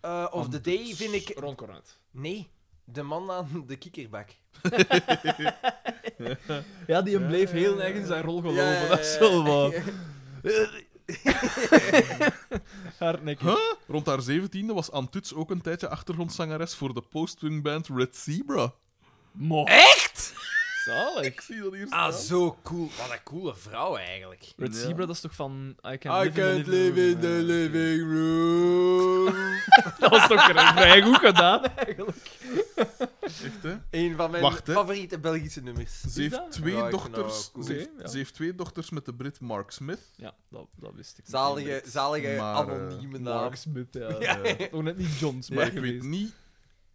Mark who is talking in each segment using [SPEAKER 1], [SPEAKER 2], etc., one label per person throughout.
[SPEAKER 1] Eh, of the
[SPEAKER 2] Anders
[SPEAKER 1] Day vind ik...
[SPEAKER 2] Ron Cornet.
[SPEAKER 1] Nee, de man aan de kikkerbak.
[SPEAKER 3] Ja, die
[SPEAKER 2] Ja,
[SPEAKER 3] bleef
[SPEAKER 2] ja,
[SPEAKER 3] heel
[SPEAKER 2] ja,
[SPEAKER 3] erg in
[SPEAKER 2] ja.
[SPEAKER 3] zijn rol geloven.
[SPEAKER 1] Ja, ja, ja,
[SPEAKER 3] Dat is
[SPEAKER 1] ja.
[SPEAKER 3] wel waar. Hardnekkig.
[SPEAKER 4] Huh? Rond haar zeventiende was Antuts ook een tijdje achtergrondzangeres voor de post-punkband Red Zebra.
[SPEAKER 3] Mo.
[SPEAKER 1] Echt?
[SPEAKER 3] Zalig.
[SPEAKER 4] Ik zie dat hier staan.
[SPEAKER 1] Ah, zo cool. Wat een coole vrouw eigenlijk.
[SPEAKER 3] Red
[SPEAKER 4] Ja.
[SPEAKER 3] Zebra, dat is toch van... I can't,
[SPEAKER 1] I can't live in the living room.
[SPEAKER 3] Dat was toch vrij goed gedaan, eigenlijk.
[SPEAKER 4] Echt, hè?
[SPEAKER 1] Een van mijn
[SPEAKER 4] Wacht, hè.
[SPEAKER 1] favoriete Belgische nummers.
[SPEAKER 4] Ze heeft,
[SPEAKER 3] dat?
[SPEAKER 4] twee
[SPEAKER 1] Ja, ik vind dat
[SPEAKER 4] dochters,
[SPEAKER 1] cool.
[SPEAKER 4] ze, heeft,
[SPEAKER 3] Oké, ja.
[SPEAKER 4] ze heeft twee dochters met de Brit Mark Smith.
[SPEAKER 3] Ja, dat, dat wist ik.
[SPEAKER 1] Zalige, zalige
[SPEAKER 4] Maar, eh,
[SPEAKER 1] anonieme naam.
[SPEAKER 3] Mark Smith, ja.
[SPEAKER 4] Ja.
[SPEAKER 3] Eh, Toch net niet John Smith
[SPEAKER 4] Maar ik weet
[SPEAKER 3] geweest.
[SPEAKER 4] niet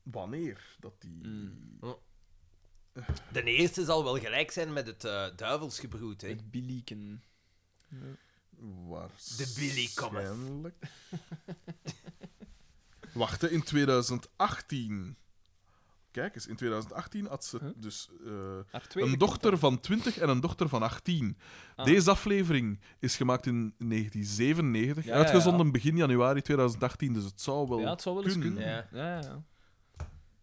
[SPEAKER 4] wanneer dat die...
[SPEAKER 3] Mm.
[SPEAKER 1] De eerste zal wel gelijk zijn met het eh, duivelsgebroed, hè.
[SPEAKER 3] Het Bilieken.
[SPEAKER 4] Waarschijnlijk.
[SPEAKER 1] Billy Cometh.
[SPEAKER 4] Wacht, hè, in 2018. Kijk eens, in 2018 had ze
[SPEAKER 3] Huh?
[SPEAKER 4] dus eh,
[SPEAKER 3] Haar tweede
[SPEAKER 4] een
[SPEAKER 3] kind
[SPEAKER 4] dochter
[SPEAKER 3] dan.
[SPEAKER 4] van 20 en een dochter van 18.
[SPEAKER 3] Ah.
[SPEAKER 4] Deze aflevering is gemaakt in 1997,
[SPEAKER 3] Ja, ja, ja.
[SPEAKER 4] uitgezonden begin januari 2018, dus het zou wel.
[SPEAKER 3] Ja, het zou wel eens
[SPEAKER 4] kunnen.
[SPEAKER 3] kunnen.
[SPEAKER 1] Ja.
[SPEAKER 3] Ja. Ja, ja.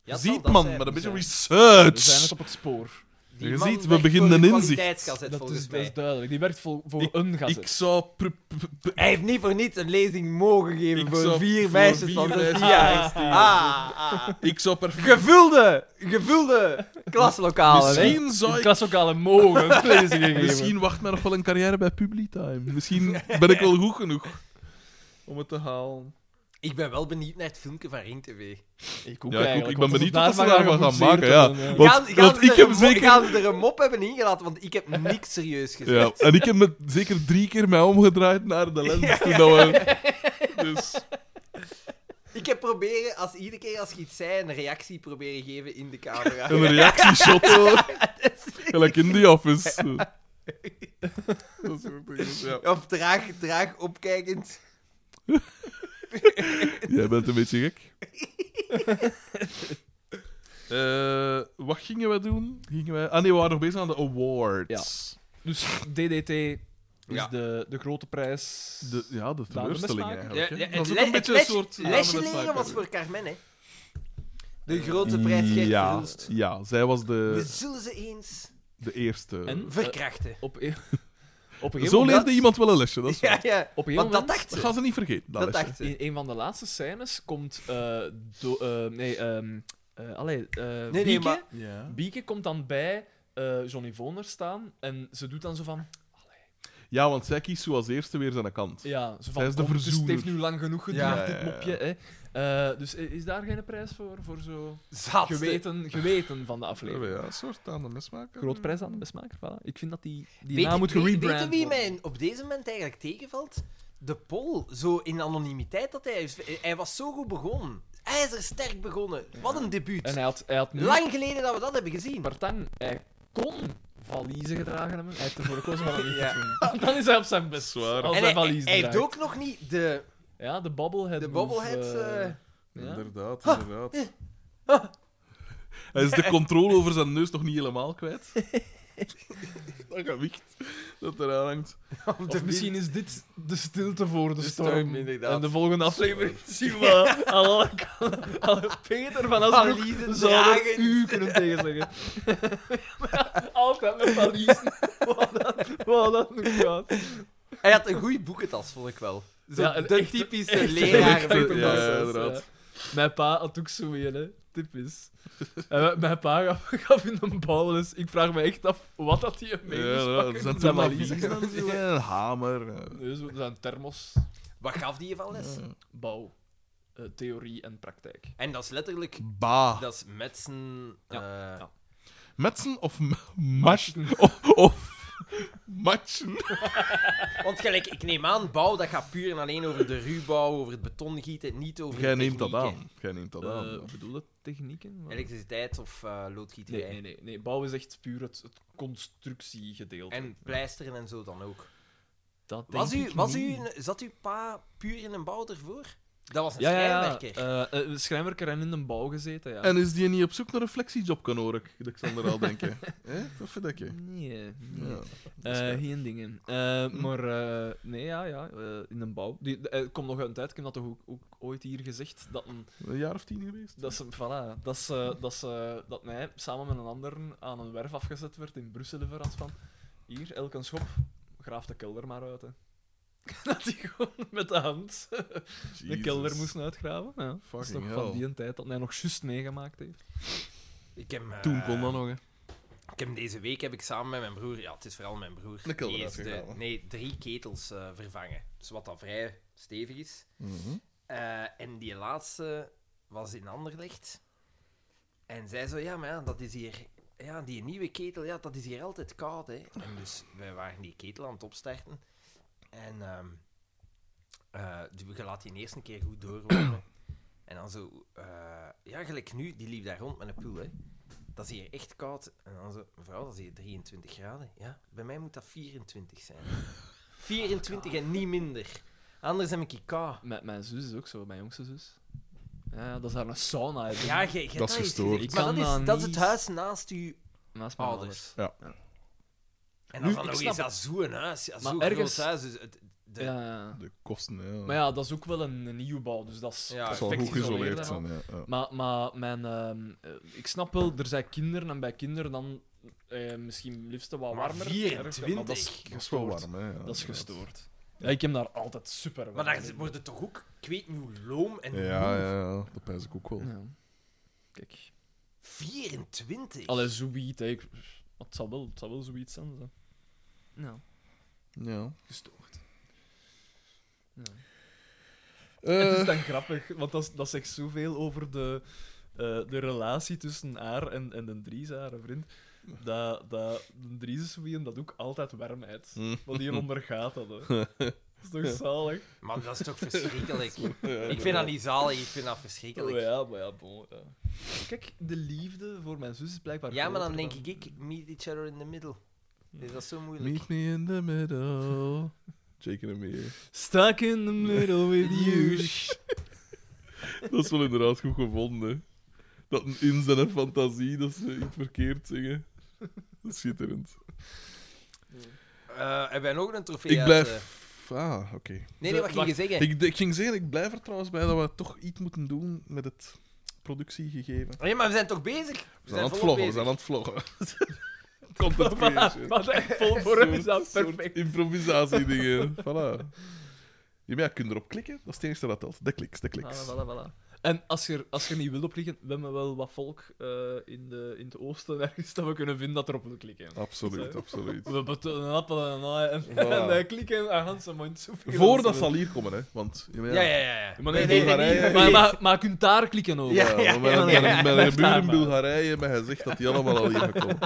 [SPEAKER 1] Ja, het zal
[SPEAKER 4] Ziet
[SPEAKER 1] dat
[SPEAKER 4] man,
[SPEAKER 1] zijn.
[SPEAKER 4] met een beetje
[SPEAKER 3] zijn.
[SPEAKER 4] research.
[SPEAKER 3] We zijn het op het spoor.
[SPEAKER 1] Die
[SPEAKER 4] Je
[SPEAKER 1] man
[SPEAKER 4] ziet, we
[SPEAKER 1] werkt
[SPEAKER 4] beginnen
[SPEAKER 1] voor de
[SPEAKER 4] inzicht.
[SPEAKER 1] kwaliteitsgazet,
[SPEAKER 3] Dat
[SPEAKER 1] volgens
[SPEAKER 3] is, dat
[SPEAKER 1] mij.
[SPEAKER 3] is duidelijk. Die werkt voor, voor een
[SPEAKER 4] Ik
[SPEAKER 3] gazet.
[SPEAKER 4] zou. pr- pr- pr-
[SPEAKER 1] Hij heeft niet voor niets een lezing mogen geven
[SPEAKER 4] Ik
[SPEAKER 1] voor
[SPEAKER 4] zou
[SPEAKER 1] vier
[SPEAKER 4] voor
[SPEAKER 1] meisjes
[SPEAKER 4] vier
[SPEAKER 1] van
[SPEAKER 4] meisjes
[SPEAKER 1] 16
[SPEAKER 4] van
[SPEAKER 1] jaar.
[SPEAKER 4] 16
[SPEAKER 1] Ah, ah.
[SPEAKER 4] ik zou perfect.
[SPEAKER 1] Gevulde, gevulde klaslokalen, hè.
[SPEAKER 4] Misschien
[SPEAKER 3] Ik
[SPEAKER 4] zou ik
[SPEAKER 3] klaslokaal mogen lezingen geven.
[SPEAKER 4] Misschien wacht mij nog wel een carrière bij Publitime. Misschien ben ik wel goed genoeg om het te halen.
[SPEAKER 1] Ik ben wel benieuwd naar het filmpje van Ring TV.
[SPEAKER 3] Ik, ook
[SPEAKER 4] Ja, ik ook.
[SPEAKER 3] eigenlijk,
[SPEAKER 4] Ik ben
[SPEAKER 3] want als
[SPEAKER 4] benieuwd
[SPEAKER 3] het
[SPEAKER 4] wat ze
[SPEAKER 3] maar
[SPEAKER 4] daarvan gaan
[SPEAKER 3] geamuseerd
[SPEAKER 4] maken, ja.
[SPEAKER 3] worden,
[SPEAKER 4] Want-
[SPEAKER 1] gaan, gaan
[SPEAKER 4] want
[SPEAKER 1] ze
[SPEAKER 4] ik
[SPEAKER 1] er
[SPEAKER 4] heb
[SPEAKER 1] een mo-
[SPEAKER 4] zeker-
[SPEAKER 1] gaan ze er een mop hebben ingelaten, want ik heb niks serieus gezegd.
[SPEAKER 4] Ja, en ik heb me zeker drie keer mij omgedraaid naar de lens. Toen dat we... Dus
[SPEAKER 1] Ik heb proberen, als iedere keer als je iets zei, een reactie proberen geven in de camera.
[SPEAKER 4] een reactieshot. zo. Gelijk in The Office. zo. Dat soort dingen, ja.
[SPEAKER 1] Of traag, traag opkijkend.
[SPEAKER 4] Jij bent een beetje gek. Eh, wat gingen wij doen? Gingen wij... Ah nee, we waren nog bezig aan de awards.
[SPEAKER 3] Dus DDT is
[SPEAKER 1] Ja.
[SPEAKER 3] de, de grote prijs.
[SPEAKER 4] De, ja, de teleurstelling
[SPEAKER 3] mesmaker.
[SPEAKER 4] eigenlijk.
[SPEAKER 1] het
[SPEAKER 4] hè. dat is ook
[SPEAKER 1] le-
[SPEAKER 4] een beetje een
[SPEAKER 1] les-
[SPEAKER 4] soort... ja,
[SPEAKER 1] lesje
[SPEAKER 4] mesmaker.
[SPEAKER 1] leren was voor Carmen, hè. De grote Dus- prijs Gert
[SPEAKER 4] ja,
[SPEAKER 1] Verhulst.
[SPEAKER 4] ja, zij was
[SPEAKER 1] We
[SPEAKER 4] de,
[SPEAKER 1] zullen ze eens
[SPEAKER 4] de eerste.
[SPEAKER 3] En
[SPEAKER 1] verkrachten.
[SPEAKER 3] op, een- op een gegeven
[SPEAKER 4] Zo
[SPEAKER 3] moment...
[SPEAKER 4] leerde iemand wel een lesje, dat is
[SPEAKER 1] Ja,
[SPEAKER 4] waar.
[SPEAKER 1] ja.
[SPEAKER 3] Op een gegeven
[SPEAKER 1] Want dat
[SPEAKER 3] moment...
[SPEAKER 1] dacht
[SPEAKER 4] Dat
[SPEAKER 1] ze.
[SPEAKER 4] gaan ze niet vergeten, dat,
[SPEAKER 1] Dat
[SPEAKER 4] lesje.
[SPEAKER 1] dacht ze.
[SPEAKER 3] In een van de laatste scènes komt... eh, do- eh, nee, ehm eh, allee, eh,
[SPEAKER 1] nee,
[SPEAKER 3] Bieke,
[SPEAKER 1] maar-
[SPEAKER 4] Ja.
[SPEAKER 3] Bieke komt dan bij eh, Johnny Voner staan en ze doet dan zo van...
[SPEAKER 4] ja, want zij kiest zo als eerste weer zijn kant.
[SPEAKER 3] Ja, zo van
[SPEAKER 4] Zij is de
[SPEAKER 3] "Kom, dus het
[SPEAKER 4] verzoener."
[SPEAKER 3] heeft nu lang genoeg geduurd,
[SPEAKER 1] Ja,
[SPEAKER 4] ja, ja,
[SPEAKER 3] dit
[SPEAKER 4] ja.
[SPEAKER 3] mopje. Hè. Eh, dus i- is daar geen prijs voor, voor zo
[SPEAKER 1] Zat.
[SPEAKER 3] geweten, geweten van de
[SPEAKER 4] Ja,
[SPEAKER 3] aflevering?
[SPEAKER 4] een soort aan de mesmaker.
[SPEAKER 3] Groot prijs aan de bestmaker, voilà. Ik vind dat die, die
[SPEAKER 1] Weet
[SPEAKER 3] naam
[SPEAKER 1] je-
[SPEAKER 3] moet
[SPEAKER 1] weet-
[SPEAKER 3] gerebrand
[SPEAKER 1] Weet je
[SPEAKER 3] worden.
[SPEAKER 1] wie mij op deze moment eigenlijk tegenvalt? De Pol, zo in anonimiteit dat hij is. Hij was zo goed begonnen. IJzersterk begonnen. Wat een debuut.
[SPEAKER 3] En hij had, hij had nu...
[SPEAKER 1] Lang geleden dat we dat hebben gezien.
[SPEAKER 3] Partang, hij kon valiezen gedragen hebben. Hij heeft ervoor gekozen om dat niet
[SPEAKER 1] Ja.
[SPEAKER 3] te doen. Dan is hij op zijn best.
[SPEAKER 4] Zwaar.
[SPEAKER 3] Als
[SPEAKER 1] en
[SPEAKER 3] hij,
[SPEAKER 1] hij,
[SPEAKER 3] valiezen
[SPEAKER 1] hij heeft
[SPEAKER 3] draagt.
[SPEAKER 1] ook nog niet de,
[SPEAKER 3] Ja, de bobblehead.
[SPEAKER 1] de
[SPEAKER 3] move,
[SPEAKER 1] bobblehead...
[SPEAKER 3] eh,
[SPEAKER 1] eh,
[SPEAKER 3] ja.
[SPEAKER 4] Inderdaad, inderdaad. Hij is de controle over zijn neus nog niet helemaal kwijt. dat gewicht dat eraan hangt.
[SPEAKER 1] op de
[SPEAKER 3] Of misschien is dit de stilte voor de,
[SPEAKER 1] De storm,
[SPEAKER 3] storm.
[SPEAKER 1] inderdaad.
[SPEAKER 3] En de volgende aflevering zien we aan alle kanten- alle Peter van Asbroek
[SPEAKER 1] Valiezen
[SPEAKER 3] zou er
[SPEAKER 1] dragen.
[SPEAKER 3] u kunnen tegenzeggen. Altijd met valiezen. Wat dat nu gaat.
[SPEAKER 1] Hij had een goede boekentas, vond ik wel. Zo
[SPEAKER 3] Ja, een
[SPEAKER 1] de
[SPEAKER 3] echte-
[SPEAKER 1] typische
[SPEAKER 4] leraar-
[SPEAKER 1] leraar.
[SPEAKER 4] echte-
[SPEAKER 3] Ja,
[SPEAKER 4] Ja,
[SPEAKER 3] ja,
[SPEAKER 4] inderdaad.
[SPEAKER 3] Mijn pa had ook zo een, hè. Typisch. En we- mijn pa gaf, gaf in een bouwles. Ik vraag me echt af wat dat hij mee
[SPEAKER 4] Ja,
[SPEAKER 3] is
[SPEAKER 4] ja, er zijn twee maliezen en zo, en een hamer. eh.
[SPEAKER 3] Nee, zo, dat Dus zijn thermos,
[SPEAKER 1] Wat gaf die je van les?
[SPEAKER 3] Mm. bouw, eh, theorie en praktijk.
[SPEAKER 1] En dat is letterlijk...
[SPEAKER 4] Bah.
[SPEAKER 1] Dat is met zijn... eh,
[SPEAKER 3] ja.
[SPEAKER 4] Metsen of matchen? Of, of matchen?
[SPEAKER 1] Want gelijk, ik neem aan, bouw, dat gaat puur en alleen over de ruwbouw, over het betongieten, niet over
[SPEAKER 4] Jij
[SPEAKER 1] de
[SPEAKER 4] neemt dat
[SPEAKER 1] technieken.
[SPEAKER 4] aan. Jij neemt dat
[SPEAKER 3] Eh,
[SPEAKER 4] aan.
[SPEAKER 3] bedoel dat technieken? Wat?
[SPEAKER 1] Elektriciteit of eh
[SPEAKER 3] Nee,
[SPEAKER 1] loodgieterij.
[SPEAKER 3] nee, nee, nee. Bouw is echt puur het, het constructiegedeelte.
[SPEAKER 1] En pleisteren en zo dan ook.
[SPEAKER 3] dat
[SPEAKER 1] Was
[SPEAKER 3] denk
[SPEAKER 1] u,
[SPEAKER 3] ik
[SPEAKER 1] was u,
[SPEAKER 3] niet.
[SPEAKER 1] een- zat uw pa puur in een bouw ervoor? Dat was een
[SPEAKER 3] Ja, ja, ja.
[SPEAKER 1] schrijnwerker.
[SPEAKER 3] Eh, eh, schrijnwerker en in de bouw gezeten, ja.
[SPEAKER 4] En is die niet op zoek naar een flexiejob, kan hoor ik, Alexander al denken. Hè? Dat vind ik. hè.
[SPEAKER 3] Nee, nee.
[SPEAKER 4] Ja.
[SPEAKER 3] Eh,
[SPEAKER 4] waar. Hm.
[SPEAKER 3] geen dingen. Eh, Maar eh, nee, ja, ja, eh, in de bouw. Die, eh, komt nog uit een tijd, ik heb dat toch ook, ook ooit hier gezegd, dat een
[SPEAKER 4] Een jaar of tien geweest?
[SPEAKER 3] Dat ze, voilà, dat ze, dat ze, dat mij samen met een ander aan een werf afgezet werd in Brussel verrast van hier, elk een schop, graaf de kelder maar uit. Hè. Dat hij gewoon met de hand de
[SPEAKER 4] Jezus.
[SPEAKER 3] kelder moest uitgraven. Ja. Dat is
[SPEAKER 4] Fucking
[SPEAKER 3] nog
[SPEAKER 4] hell.
[SPEAKER 3] van die een tijd dat hij nog juist meegemaakt heeft.
[SPEAKER 1] Ik heb, eh,
[SPEAKER 4] Toen kon dat nog, hè.
[SPEAKER 1] Ik heb deze week heb ik samen met mijn broer, ja, het is vooral mijn broer,
[SPEAKER 4] De kelder
[SPEAKER 1] die heeft
[SPEAKER 4] uitgegaan, hè?
[SPEAKER 1] nee, drie ketels eh, vervangen. Dus wat dat vrij stevig is.
[SPEAKER 4] Mhm.
[SPEAKER 1] Eh, en die laatste was in Anderlecht. En zij zo, ja, maar ja, dat is hier... Ja, die nieuwe ketel, ja, dat is hier altijd koud, hè. En dus, wij waren die ketel aan het opstarten. En ehm eh, die- we laten die eerst een keer goed doorromen. en dan zo... eh, ja, gelijk nu, die liep daar rond met een poel, hè. Dat is hier echt koud. En dan zo, mevrouw, dat is hier 23 graden. Ja, bij mij moet dat 24 zijn. 24 en niet minder. Anders heb ik koud.
[SPEAKER 3] Met mijn zus is ook zo, mijn jongste zus. Ja, dat is daar een sauna. hè,
[SPEAKER 1] Ja, je, je hebt
[SPEAKER 4] Dat is
[SPEAKER 1] eens
[SPEAKER 4] gestoord.
[SPEAKER 1] gezien.
[SPEAKER 3] Ik
[SPEAKER 1] Maar
[SPEAKER 3] kan
[SPEAKER 1] dat is,
[SPEAKER 3] dat
[SPEAKER 1] dat is het
[SPEAKER 3] niet. Oh,
[SPEAKER 1] huis naast uw
[SPEAKER 3] naast mijn ouders.
[SPEAKER 1] ouders.
[SPEAKER 4] Ja.
[SPEAKER 1] En
[SPEAKER 3] Nu,
[SPEAKER 1] als dan
[SPEAKER 3] ik
[SPEAKER 1] nog
[SPEAKER 3] snap
[SPEAKER 1] eens dat zo'n huis, ja,
[SPEAKER 3] Maar
[SPEAKER 1] zo'n
[SPEAKER 3] ergens-
[SPEAKER 1] groot huis. Dus het, de,
[SPEAKER 3] Ja, ja.
[SPEAKER 4] De kosten, hè.
[SPEAKER 3] Maar ja, dat is ook wel een, een nieuwbouw, dus dat is
[SPEAKER 1] Ja,
[SPEAKER 4] dat zal
[SPEAKER 3] perfect
[SPEAKER 4] goed geïsoleerd
[SPEAKER 3] hè.
[SPEAKER 4] zijn, ja. ja.
[SPEAKER 3] Maar, maar mijn, ehm, eh, ik snap wel, er zijn kinderen en bij kinderen dan eh, misschien liefst wat
[SPEAKER 1] Maar
[SPEAKER 3] warmer.
[SPEAKER 1] 24?
[SPEAKER 3] Ja, maar dat is
[SPEAKER 4] Dat is wel
[SPEAKER 3] gestoord.
[SPEAKER 4] warm, hè. ja.
[SPEAKER 3] Dat is gestoord. Ja, ik heb daar altijd super warm.
[SPEAKER 1] Maar daar
[SPEAKER 3] in.
[SPEAKER 1] wordt het toch ook, ik weet niet hoe loom en
[SPEAKER 4] Ja,
[SPEAKER 1] moe.
[SPEAKER 4] ja, ja. Dat pijs ik ook wel.
[SPEAKER 3] Ja. Kijk.
[SPEAKER 1] 24.
[SPEAKER 3] Allee, zoiets. hè. Ik- Het zal wel, het zal wel zoiets zijn. Zo. Nou,
[SPEAKER 4] Ja.
[SPEAKER 3] gestoord. Het is
[SPEAKER 4] Eh,
[SPEAKER 3] dan grappig, want dat, dat zegt zoveel over de, eh, de relatie tussen haar en, en de Dries, haar vriend. Dat, dat de Dries is wie hem dat ook altijd warm uit.
[SPEAKER 4] Mm.
[SPEAKER 3] Want die ondergaat dat. Hè. Dat is toch zalig?
[SPEAKER 1] Maar dat is toch verschrikkelijk.
[SPEAKER 4] ja,
[SPEAKER 1] ik vind dat niet zalig, ik vind dat verschrikkelijk.
[SPEAKER 3] Oh
[SPEAKER 1] ja.
[SPEAKER 3] ja, maar ja, bon. ja. Kijk, de liefde voor mijn zus is blijkbaar
[SPEAKER 1] maar dan
[SPEAKER 3] groter
[SPEAKER 1] denk ik, ik, meet each other in the middle. Is dat zo moeilijk?
[SPEAKER 4] Meet me in the middle. Jake en me.
[SPEAKER 3] Stuck in the middle with you.
[SPEAKER 4] Dat is wel inderdaad goed gevonden. hè. Dat een inzet en fantasie, dat ze iets verkeerd zingen. Dat is schitterend.
[SPEAKER 1] Eh, hebben wij nog een trofee?
[SPEAKER 4] ik
[SPEAKER 1] uit, eh?
[SPEAKER 4] blijf. Ah, oké.
[SPEAKER 1] Nee, nee, wat ging je
[SPEAKER 3] Wacht,
[SPEAKER 1] zeggen?
[SPEAKER 4] Ik, ik ging zeggen, ik blijf er trouwens bij dat we toch iets moeten doen met het productiegegeven.
[SPEAKER 1] Nee, maar we zijn toch bezig? We,
[SPEAKER 4] We zijn aan het
[SPEAKER 1] volop
[SPEAKER 4] vloggen, we zijn aan het vloggen. Content creation.
[SPEAKER 3] Wat echt vol voor hem is dat
[SPEAKER 4] Soort
[SPEAKER 3] perfect.
[SPEAKER 4] Improvisatiedingen. Voilà. Ja, maar ja, je kunt erop klikken, dat is het enige dat telt. De kliks, de kliks.
[SPEAKER 3] Voilà, voilà, voilà. En als je, er- als je er niet wilt op klikken, we hebben wel wat volk eh, in, de, in het oosten ergens dat we kunnen vinden dat erop wil klikken.
[SPEAKER 4] Absoluut, absoluut.
[SPEAKER 3] We betonen een appel en een ei en,
[SPEAKER 4] Voilà.
[SPEAKER 3] en eh, klikken en gaan ze mond zo veel
[SPEAKER 4] Voordat
[SPEAKER 3] als
[SPEAKER 4] ze al hier komen, hè? Want ja, maar
[SPEAKER 1] Ja, ja, ja. ja.
[SPEAKER 3] Maar,
[SPEAKER 4] nee,
[SPEAKER 3] nee,
[SPEAKER 4] nee,
[SPEAKER 3] maar,
[SPEAKER 4] nee, nee.
[SPEAKER 3] maar, maar, maar je kunt daar klikken over.
[SPEAKER 1] Ja,
[SPEAKER 4] Ja,
[SPEAKER 1] ja,
[SPEAKER 4] maar met
[SPEAKER 1] ja,
[SPEAKER 4] een-
[SPEAKER 1] ja,
[SPEAKER 4] met een- met een
[SPEAKER 3] blijf
[SPEAKER 4] buur
[SPEAKER 3] daar
[SPEAKER 4] in
[SPEAKER 3] maar.
[SPEAKER 4] Bulgarije maar hij zegt dat die allemaal al hier gekomen.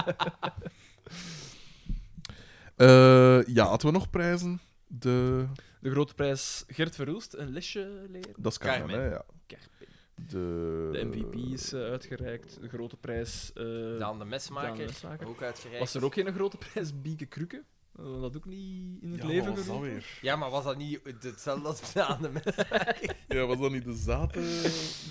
[SPEAKER 4] Eh ja, hadden we nog prijzen? De...
[SPEAKER 3] De grote prijs Gert Verhulst, een lesje leren.
[SPEAKER 4] Dat is Carmen,
[SPEAKER 1] Carmen.
[SPEAKER 4] hè? Ja.
[SPEAKER 3] Carmen.
[SPEAKER 4] De...
[SPEAKER 3] De MVP is eh, uitgereikt. De grote prijs. eh,
[SPEAKER 1] Daan de mesmaker,
[SPEAKER 3] Daan de mesmaker.
[SPEAKER 1] ook uitgereikt.
[SPEAKER 3] was er ook geen grote prijs Bieke Krukke? We hadden dat ook niet in het
[SPEAKER 4] Ja,
[SPEAKER 3] leven
[SPEAKER 4] was dat
[SPEAKER 3] geroepen.
[SPEAKER 4] weer?
[SPEAKER 1] Ja, maar was dat niet hetzelfde als Daan de mesmaker?
[SPEAKER 4] Ja, was dat niet de zaten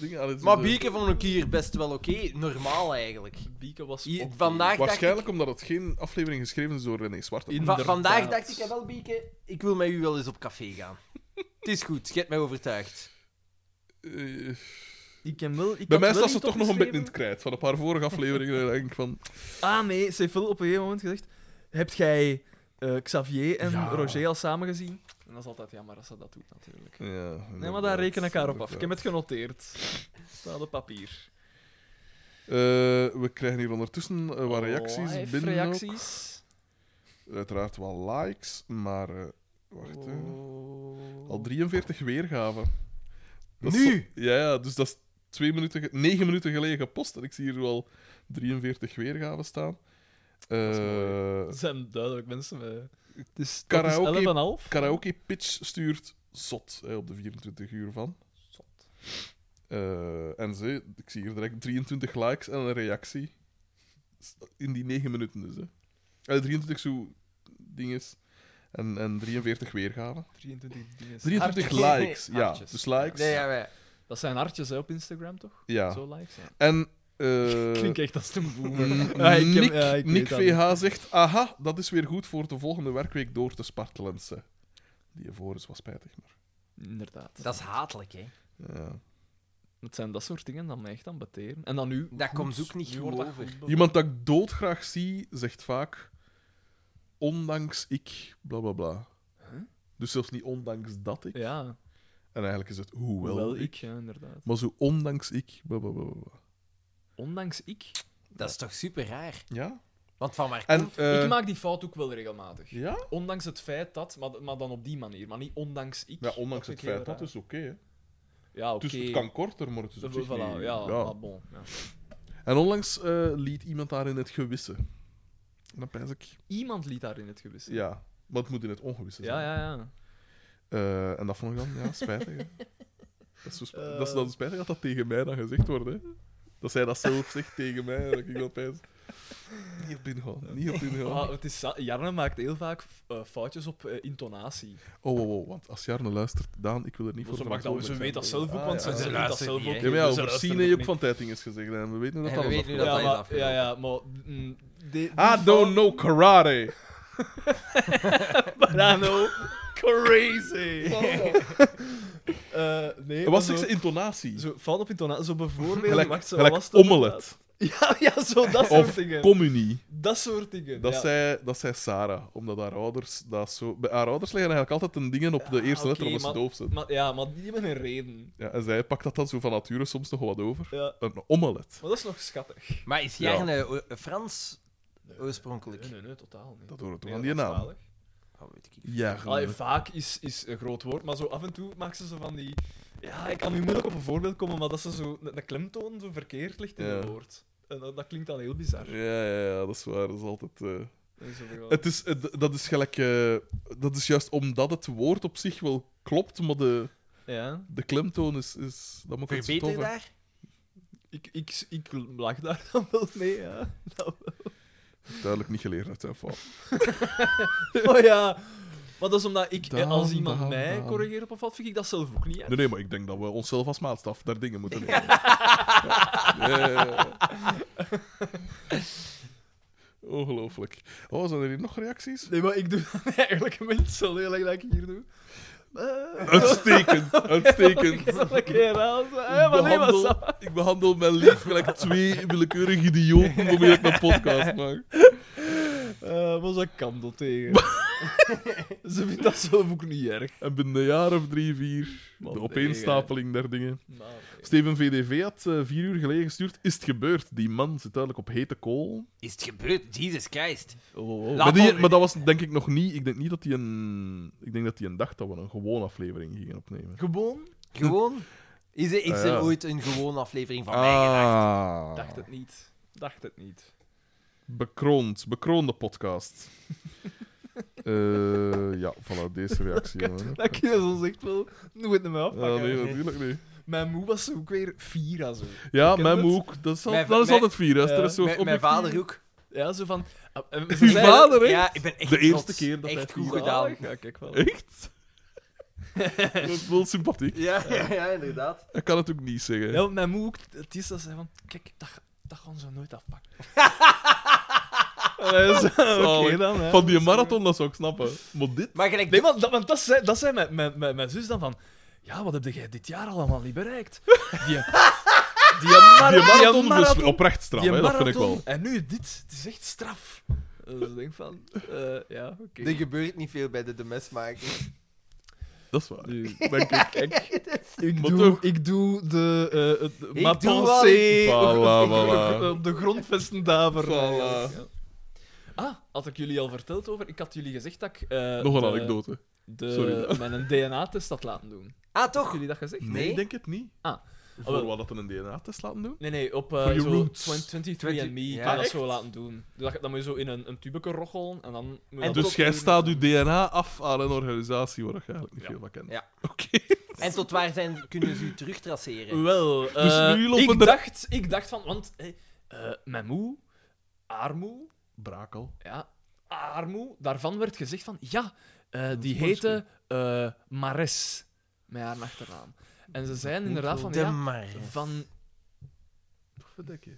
[SPEAKER 4] dingen? Allee, eh, zo
[SPEAKER 1] Maar
[SPEAKER 4] de-
[SPEAKER 1] Bieke vond ik hier best wel oké. Normaal eigenlijk.
[SPEAKER 3] Bieke was
[SPEAKER 1] Hier,
[SPEAKER 3] ook-
[SPEAKER 1] vandaag dacht ik,
[SPEAKER 4] Waarschijnlijk omdat het geen aflevering geschreven is door René Zwart.
[SPEAKER 3] In-
[SPEAKER 1] va- vandaag
[SPEAKER 3] Inderdaad.
[SPEAKER 1] dacht ik, wel Bieke, ik wil met u wel eens op café gaan. Het is goed, je hebt mij overtuigd.
[SPEAKER 4] Eh,
[SPEAKER 3] Ik ken wel, ik
[SPEAKER 4] bij mij
[SPEAKER 3] had wel
[SPEAKER 4] staat ze
[SPEAKER 3] niet
[SPEAKER 4] toch nog een beetje in het
[SPEAKER 3] opgeschreven.
[SPEAKER 4] krijt. Van een paar vorige afleveringen denk ik van...
[SPEAKER 3] Ah nee, ze heeft wel op een gegeven moment gezegd... Hebt jij eh, Xavier en
[SPEAKER 4] Ja.
[SPEAKER 3] Roger al samen gezien? En dat is altijd jammer als ze dat doet, natuurlijk.
[SPEAKER 4] Ja,
[SPEAKER 3] Nee, maar
[SPEAKER 4] inderdaad,
[SPEAKER 3] daar reken ik haar op af.
[SPEAKER 4] inderdaad.
[SPEAKER 3] Ik heb het genoteerd. Staat op papier.
[SPEAKER 4] Eh, we krijgen hier ondertussen eh,
[SPEAKER 3] Oh,
[SPEAKER 4] wat
[SPEAKER 1] Oh,
[SPEAKER 4] reacties
[SPEAKER 3] Live
[SPEAKER 4] binnen. ook.
[SPEAKER 3] reacties.
[SPEAKER 4] Uiteraard wel likes, maar. eh, wacht, hè.
[SPEAKER 3] Oh.
[SPEAKER 4] Al 43 weergaven. Dat is
[SPEAKER 1] Nu?
[SPEAKER 4] zo- ja, ja, dus dat is twee minuten ge- negen minuten geleden gepost. En ik zie hier al 43 weergaven staan.
[SPEAKER 3] is
[SPEAKER 4] Eh,
[SPEAKER 3] Dat zijn duidelijk mensen met... Het is, dat is
[SPEAKER 4] Karaoke-
[SPEAKER 3] 11,5.
[SPEAKER 4] karaoke Pitch stuurt zot hè, op de 24 uur van.
[SPEAKER 3] Zot.
[SPEAKER 4] Eh, en ze, ik zie hier direct 23 likes en een reactie. S- In die 9 minuten dus. Hè. Eh, 23 zo ding is. En, en 43 weergaven.
[SPEAKER 3] 23 dingen.
[SPEAKER 4] 23
[SPEAKER 1] Hartjes.
[SPEAKER 4] likes, ja.
[SPEAKER 3] Hartjes.
[SPEAKER 4] Dus likes.
[SPEAKER 1] Nee, ja, wij.
[SPEAKER 3] Dat zijn hartjes hè, op Instagram, toch?
[SPEAKER 4] Ja.
[SPEAKER 3] Zo likes. Ja.
[SPEAKER 4] En eh,
[SPEAKER 3] Klinkt echt als een boomer.
[SPEAKER 4] mm,
[SPEAKER 3] Ja, ik heb-
[SPEAKER 4] Nick,
[SPEAKER 3] ja, ik weet
[SPEAKER 4] Nick
[SPEAKER 3] dat niet.
[SPEAKER 4] VH zegt: Aha, dat is weer goed voor de volgende werkweek door te spartelen. ze." Die voor is was spijtig. Maar,
[SPEAKER 3] Inderdaad.
[SPEAKER 1] Dat is hatelijk, hè.
[SPEAKER 4] ja.
[SPEAKER 3] Het zijn dat soort dingen dat mij echt aan beteren. En dan nu...
[SPEAKER 1] Dat komt ook niet goed
[SPEAKER 3] nu wordt dat
[SPEAKER 1] over.
[SPEAKER 3] goed
[SPEAKER 4] Iemand dat ik doodgraag zie, zegt vaak: Ondanks ik, bla bla bla.
[SPEAKER 3] Huh?
[SPEAKER 4] Dus zelfs niet ondanks dat ik.
[SPEAKER 3] Ja,
[SPEAKER 4] En eigenlijk is het hoewel,
[SPEAKER 3] hoewel
[SPEAKER 4] ik.
[SPEAKER 3] ik, ja, inderdaad.
[SPEAKER 4] Maar zo ondanks ik, bla bla bla. bla, bla.
[SPEAKER 3] Ondanks ik.
[SPEAKER 1] Dat is toch super raar?
[SPEAKER 4] Ja?
[SPEAKER 1] Want van waar
[SPEAKER 4] En,
[SPEAKER 1] komt...
[SPEAKER 4] eh,
[SPEAKER 3] ik maak die fout ook wel regelmatig.
[SPEAKER 4] ja?
[SPEAKER 3] Ondanks het feit dat, maar, maar dan op die manier. Maar niet ondanks ik.
[SPEAKER 4] ja, ondanks
[SPEAKER 3] vind
[SPEAKER 4] het
[SPEAKER 3] ik heel
[SPEAKER 4] feit dat
[SPEAKER 3] raar.
[SPEAKER 4] is oké. hè.
[SPEAKER 3] Ja, oké.
[SPEAKER 4] Dus het kan korter, maar het is op zich
[SPEAKER 3] Voilà, ja,
[SPEAKER 4] niet-
[SPEAKER 3] maar bon. Ja.
[SPEAKER 4] En onlangs eh, liet iemand daar in het gewisse. En dan pijs ik.
[SPEAKER 3] Iemand liet daar in het gewisse.
[SPEAKER 4] Ja, maar het moet in het ongewisse zijn.
[SPEAKER 3] ja, ja. ja.
[SPEAKER 4] Eh, en dat vond ik dan ja, spijtig. hè. dat, is zo spijtig. dat is dan
[SPEAKER 3] Eh.
[SPEAKER 4] spijtig dat dat tegen mij dan gezegd wordt. Hè. Dat zij dat zelf zegt tegen mij. En dat ik dan pijs. Niet op ingaan, niet op
[SPEAKER 3] Ah,
[SPEAKER 4] ingaan.
[SPEAKER 3] het is, za- Jarne maakt heel vaak f- eh, foutjes op eh, intonatie.
[SPEAKER 4] Oh, oh, oh, want als Jarne luistert, Daan, ik wil er niet voor
[SPEAKER 3] Ze,
[SPEAKER 4] verantwoordelijk
[SPEAKER 3] maakt dat, ze
[SPEAKER 4] zijn.
[SPEAKER 3] weet dat zelf ook,
[SPEAKER 4] Ah,
[SPEAKER 3] want
[SPEAKER 4] ja,
[SPEAKER 3] ze
[SPEAKER 4] ja.
[SPEAKER 3] doet dat
[SPEAKER 1] luisteren
[SPEAKER 3] zelf
[SPEAKER 1] niet,
[SPEAKER 3] ook.
[SPEAKER 1] hè.
[SPEAKER 4] Ja, maar ja,
[SPEAKER 3] Ze
[SPEAKER 4] over
[SPEAKER 3] luisteren
[SPEAKER 4] Sine heb
[SPEAKER 3] ook
[SPEAKER 4] ik
[SPEAKER 3] niet.
[SPEAKER 4] van Tijting eens gezegd. En we weten hoe dat
[SPEAKER 1] En we
[SPEAKER 4] alles
[SPEAKER 1] weten hoe
[SPEAKER 4] afloopt.
[SPEAKER 1] dat
[SPEAKER 3] ja,
[SPEAKER 1] is
[SPEAKER 3] maar,
[SPEAKER 1] afgelopen.
[SPEAKER 3] ja, ja, maar... mm, de- die
[SPEAKER 4] I don't
[SPEAKER 3] fout-
[SPEAKER 4] know karate.
[SPEAKER 3] But I know crazy. Eh,
[SPEAKER 4] Dat
[SPEAKER 3] nee, maar
[SPEAKER 4] was
[SPEAKER 3] zo,
[SPEAKER 4] ik zijn intonatie.
[SPEAKER 3] zo fout op intonatie. Zo bijvoorbeeld...
[SPEAKER 4] Gelijk-
[SPEAKER 3] wacht, zo,
[SPEAKER 4] gelijk
[SPEAKER 3] wat was het
[SPEAKER 4] omelet.
[SPEAKER 3] inderdaad? Ja, ja, zo dat soort
[SPEAKER 4] Of
[SPEAKER 3] dingen.
[SPEAKER 4] communie.
[SPEAKER 3] Dat soort dingen.
[SPEAKER 4] Dat,
[SPEAKER 3] ja.
[SPEAKER 4] zei, dat zei Sarah, omdat haar ouders dat zo... Bij haar ouders leggen eigenlijk altijd een dingen op de eerste
[SPEAKER 3] Ah, oké,
[SPEAKER 4] letter omdat ze
[SPEAKER 3] maar-
[SPEAKER 4] doof zijn.
[SPEAKER 3] Maar, ja, maar die hebben een reden.
[SPEAKER 4] Ja, en zij pakt dat dan zo van nature soms nog wat over.
[SPEAKER 3] Ja.
[SPEAKER 4] Een omelet.
[SPEAKER 3] Maar dat is nog schattig.
[SPEAKER 1] Maar is
[SPEAKER 4] ja.
[SPEAKER 1] Jarne o- Frans oorspronkelijk?
[SPEAKER 3] Nee, nee, nee, totaal niet.
[SPEAKER 4] Dat hoort toch
[SPEAKER 3] Nee,
[SPEAKER 4] aan die
[SPEAKER 3] dat is
[SPEAKER 4] naam?
[SPEAKER 3] zalig.
[SPEAKER 1] Oh, weet ik niet.
[SPEAKER 4] Ja,
[SPEAKER 3] Allee, vaak is, is een groot woord, maar zo af en toe maakt ze zo van die... Ja, ik kan nu moeilijk op een voorbeeld komen, maar dat ze zo een, een klemtoon zo verkeerd ligt in
[SPEAKER 4] Ja.
[SPEAKER 3] het woord. En dat, dat klinkt dan heel bizar.
[SPEAKER 4] ja, ja, ja, dat is waar. Dat is altijd... eh,
[SPEAKER 3] Dat is zo van-
[SPEAKER 4] Het is, het- dat is gelijk... eh, dat is juist omdat het woord op zich wel klopt, maar de,
[SPEAKER 3] Ja,
[SPEAKER 4] de klemtoon is... is dat moet het
[SPEAKER 1] Verbeter je
[SPEAKER 4] stoffen.
[SPEAKER 1] daar?
[SPEAKER 3] ik, ik, ik lach daar dan wel mee, ja. Dat wel.
[SPEAKER 4] Duidelijk niet geleerd uit zijn fout.
[SPEAKER 3] Oh ja. Maar dat is omdat ik, eh,
[SPEAKER 4] Daan,
[SPEAKER 3] als iemand
[SPEAKER 4] Daan,
[SPEAKER 3] mij
[SPEAKER 4] Daan.
[SPEAKER 3] corrigeert op een fout, vind ik dat zelf ook niet erg.
[SPEAKER 4] Nee, nee, maar ik denk dat we onszelf als maatstaf daar dingen moeten nemen. Ja. Ja, ja, ja. Ongelooflijk. Oh, zijn er hier nog reacties?
[SPEAKER 3] Nee, maar ik doe dat eigenlijk een beetje zo heel erg dat ik hier doe.
[SPEAKER 4] Uitstekend, uitstekend.
[SPEAKER 3] Dat ik hier aan zo, hè, maar nee, was dat?
[SPEAKER 4] Behandel- ik behandel mijn lief gelijk twee willekeurige idioten waarmee ik mijn podcast maak.
[SPEAKER 3] Eh, was dat kandel tegen. Ze vindt dat zelf ook niet erg.
[SPEAKER 4] En binnen een jaar of drie, vier,
[SPEAKER 3] Man,
[SPEAKER 4] de opeenstapeling der dingen.
[SPEAKER 3] Maar, nee.
[SPEAKER 4] Steven VDV had eh, vier uur geleden gestuurd. Is het gebeurd? Die man zit duidelijk op hete kool.
[SPEAKER 1] Is het gebeurd? Jesus Christ.
[SPEAKER 3] Oh, oh, oh.
[SPEAKER 1] Laat
[SPEAKER 4] Maar, die-
[SPEAKER 1] al-
[SPEAKER 4] maar dat was denk ik nog niet. Ik denk niet dat hij een. Ik denk dat hij een dag dat we een gewone aflevering gingen opnemen.
[SPEAKER 3] Gewoon?
[SPEAKER 1] Gewoon? Is er, is
[SPEAKER 4] Ah,
[SPEAKER 1] er
[SPEAKER 4] ja. Ah,
[SPEAKER 1] ooit een gewone aflevering van mij gedacht?
[SPEAKER 3] Dacht het niet. Dacht het niet.
[SPEAKER 4] Bekroond, bekroonde podcast. Eh, ja, voilà, deze reactie. jongen.
[SPEAKER 3] Dat kun je zo echt wel nooit naar mij afpakken.
[SPEAKER 4] Ja, nee, natuurlijk niet.
[SPEAKER 3] Mijn moe was ook weer vier aan zo.
[SPEAKER 4] Ja,
[SPEAKER 3] Ken
[SPEAKER 4] mijn
[SPEAKER 3] het?
[SPEAKER 4] moe ook. Dat is, al-
[SPEAKER 1] Mijn-
[SPEAKER 4] dat is
[SPEAKER 1] mijn-
[SPEAKER 4] altijd vier. hè. Als er
[SPEAKER 3] Ja.
[SPEAKER 4] een soort
[SPEAKER 1] Mijn- Mijn
[SPEAKER 4] objectieve-
[SPEAKER 1] vader ook.
[SPEAKER 3] Ja, zo van... ah, eh, ze
[SPEAKER 4] Uw
[SPEAKER 3] zeiden-
[SPEAKER 4] vader, hè?
[SPEAKER 1] Ja, ik ben echt
[SPEAKER 4] De eerste
[SPEAKER 1] trots.
[SPEAKER 4] keer dat hij
[SPEAKER 1] Echt
[SPEAKER 4] het
[SPEAKER 1] goed
[SPEAKER 4] goed
[SPEAKER 1] gedaan.
[SPEAKER 3] Ja, kijk wel.
[SPEAKER 4] Echt? dat is wel sympathiek.
[SPEAKER 1] Ja, ja, ja, inderdaad.
[SPEAKER 4] Ik kan het ook niet zeggen.
[SPEAKER 3] Ja, want mijn moe ook, het is dat ze van, kijk, dat, ga- dat gaan ze nooit afpakken. En hij zei, Oké
[SPEAKER 4] Zalig.
[SPEAKER 3] dan, hè.
[SPEAKER 4] Oh, Van die marathon, dat zou ik snappen. Maar dit...
[SPEAKER 1] Maar gelijk...
[SPEAKER 3] Nee, want dat, want dat zei, dat zei mijn, mijn, mijn, mijn zus dan van, ja, wat heb jij dit jaar allemaal niet bereikt? Die, die, mara-
[SPEAKER 4] Die marathon,
[SPEAKER 3] Ah, die
[SPEAKER 4] dus
[SPEAKER 3] marathon,
[SPEAKER 4] oprecht straf,
[SPEAKER 3] die
[SPEAKER 4] hè, dat vind ik wel.
[SPEAKER 3] marathon, en nu dit, het is echt straf. Dus ik denk van, eh, ja, oké.
[SPEAKER 1] Er gebeurt niet veel bij de demesmaker.
[SPEAKER 4] Dat is waar.
[SPEAKER 3] Nu-
[SPEAKER 4] Denk ik.
[SPEAKER 3] Ik
[SPEAKER 4] Maar
[SPEAKER 3] doe,
[SPEAKER 4] toch.
[SPEAKER 3] ik doe de. eh het,
[SPEAKER 1] Ik
[SPEAKER 3] ma
[SPEAKER 1] doe
[SPEAKER 3] pensée
[SPEAKER 1] wat ik-
[SPEAKER 4] Voilà,
[SPEAKER 3] op, op-
[SPEAKER 4] voilà.
[SPEAKER 3] op de grondvesten daver.
[SPEAKER 4] Voilà.
[SPEAKER 3] Ja. Ah, had ik jullie al verteld over? Ik had jullie gezegd dat ik. eh,
[SPEAKER 4] Nog een
[SPEAKER 3] de-
[SPEAKER 4] anekdote.
[SPEAKER 3] De,
[SPEAKER 4] Sorry.
[SPEAKER 3] Mijn DNA-test had laten doen.
[SPEAKER 1] Ah,
[SPEAKER 3] Had
[SPEAKER 1] toch?
[SPEAKER 3] jullie dat gezegd?
[SPEAKER 1] Nee.
[SPEAKER 4] Nee, ik denk het niet.
[SPEAKER 3] Ah.
[SPEAKER 4] Voor wat dat een DNA-test laten doen?
[SPEAKER 3] Nee, nee, op eh,
[SPEAKER 4] Voor je
[SPEAKER 3] zo
[SPEAKER 4] roots.
[SPEAKER 3] 23 and me
[SPEAKER 1] Ja,
[SPEAKER 3] kan dat
[SPEAKER 4] echt?
[SPEAKER 3] zo laten doen. Dus dat, dan moet je zo in een, een tubeke rochelen en dan. Moet je
[SPEAKER 1] En
[SPEAKER 3] dat
[SPEAKER 4] Dus
[SPEAKER 3] tot-
[SPEAKER 4] jij staat je DNA af aan een organisatie waar je eigenlijk niet
[SPEAKER 3] Ja.
[SPEAKER 4] veel van kent.
[SPEAKER 1] Ja.
[SPEAKER 4] Oké.
[SPEAKER 1] En tot waar zijn, kunnen ze u terugtraceren?
[SPEAKER 3] Wel,
[SPEAKER 4] Dus
[SPEAKER 3] eh,
[SPEAKER 4] nu lopen
[SPEAKER 3] ik,
[SPEAKER 4] er-
[SPEAKER 3] dacht, ik dacht van, want eh, eh, mijn moe, haar moe,
[SPEAKER 4] Brakel.
[SPEAKER 3] ja, armoe, daarvan werd gezegd van, ja, Eh, die
[SPEAKER 4] is mooi
[SPEAKER 3] heette eh, Mares, met haar achternaam. En ze zijn inderdaad van,
[SPEAKER 1] De
[SPEAKER 3] ja,
[SPEAKER 1] maar.
[SPEAKER 3] van...
[SPEAKER 4] Pofferdekke.
[SPEAKER 3] eh,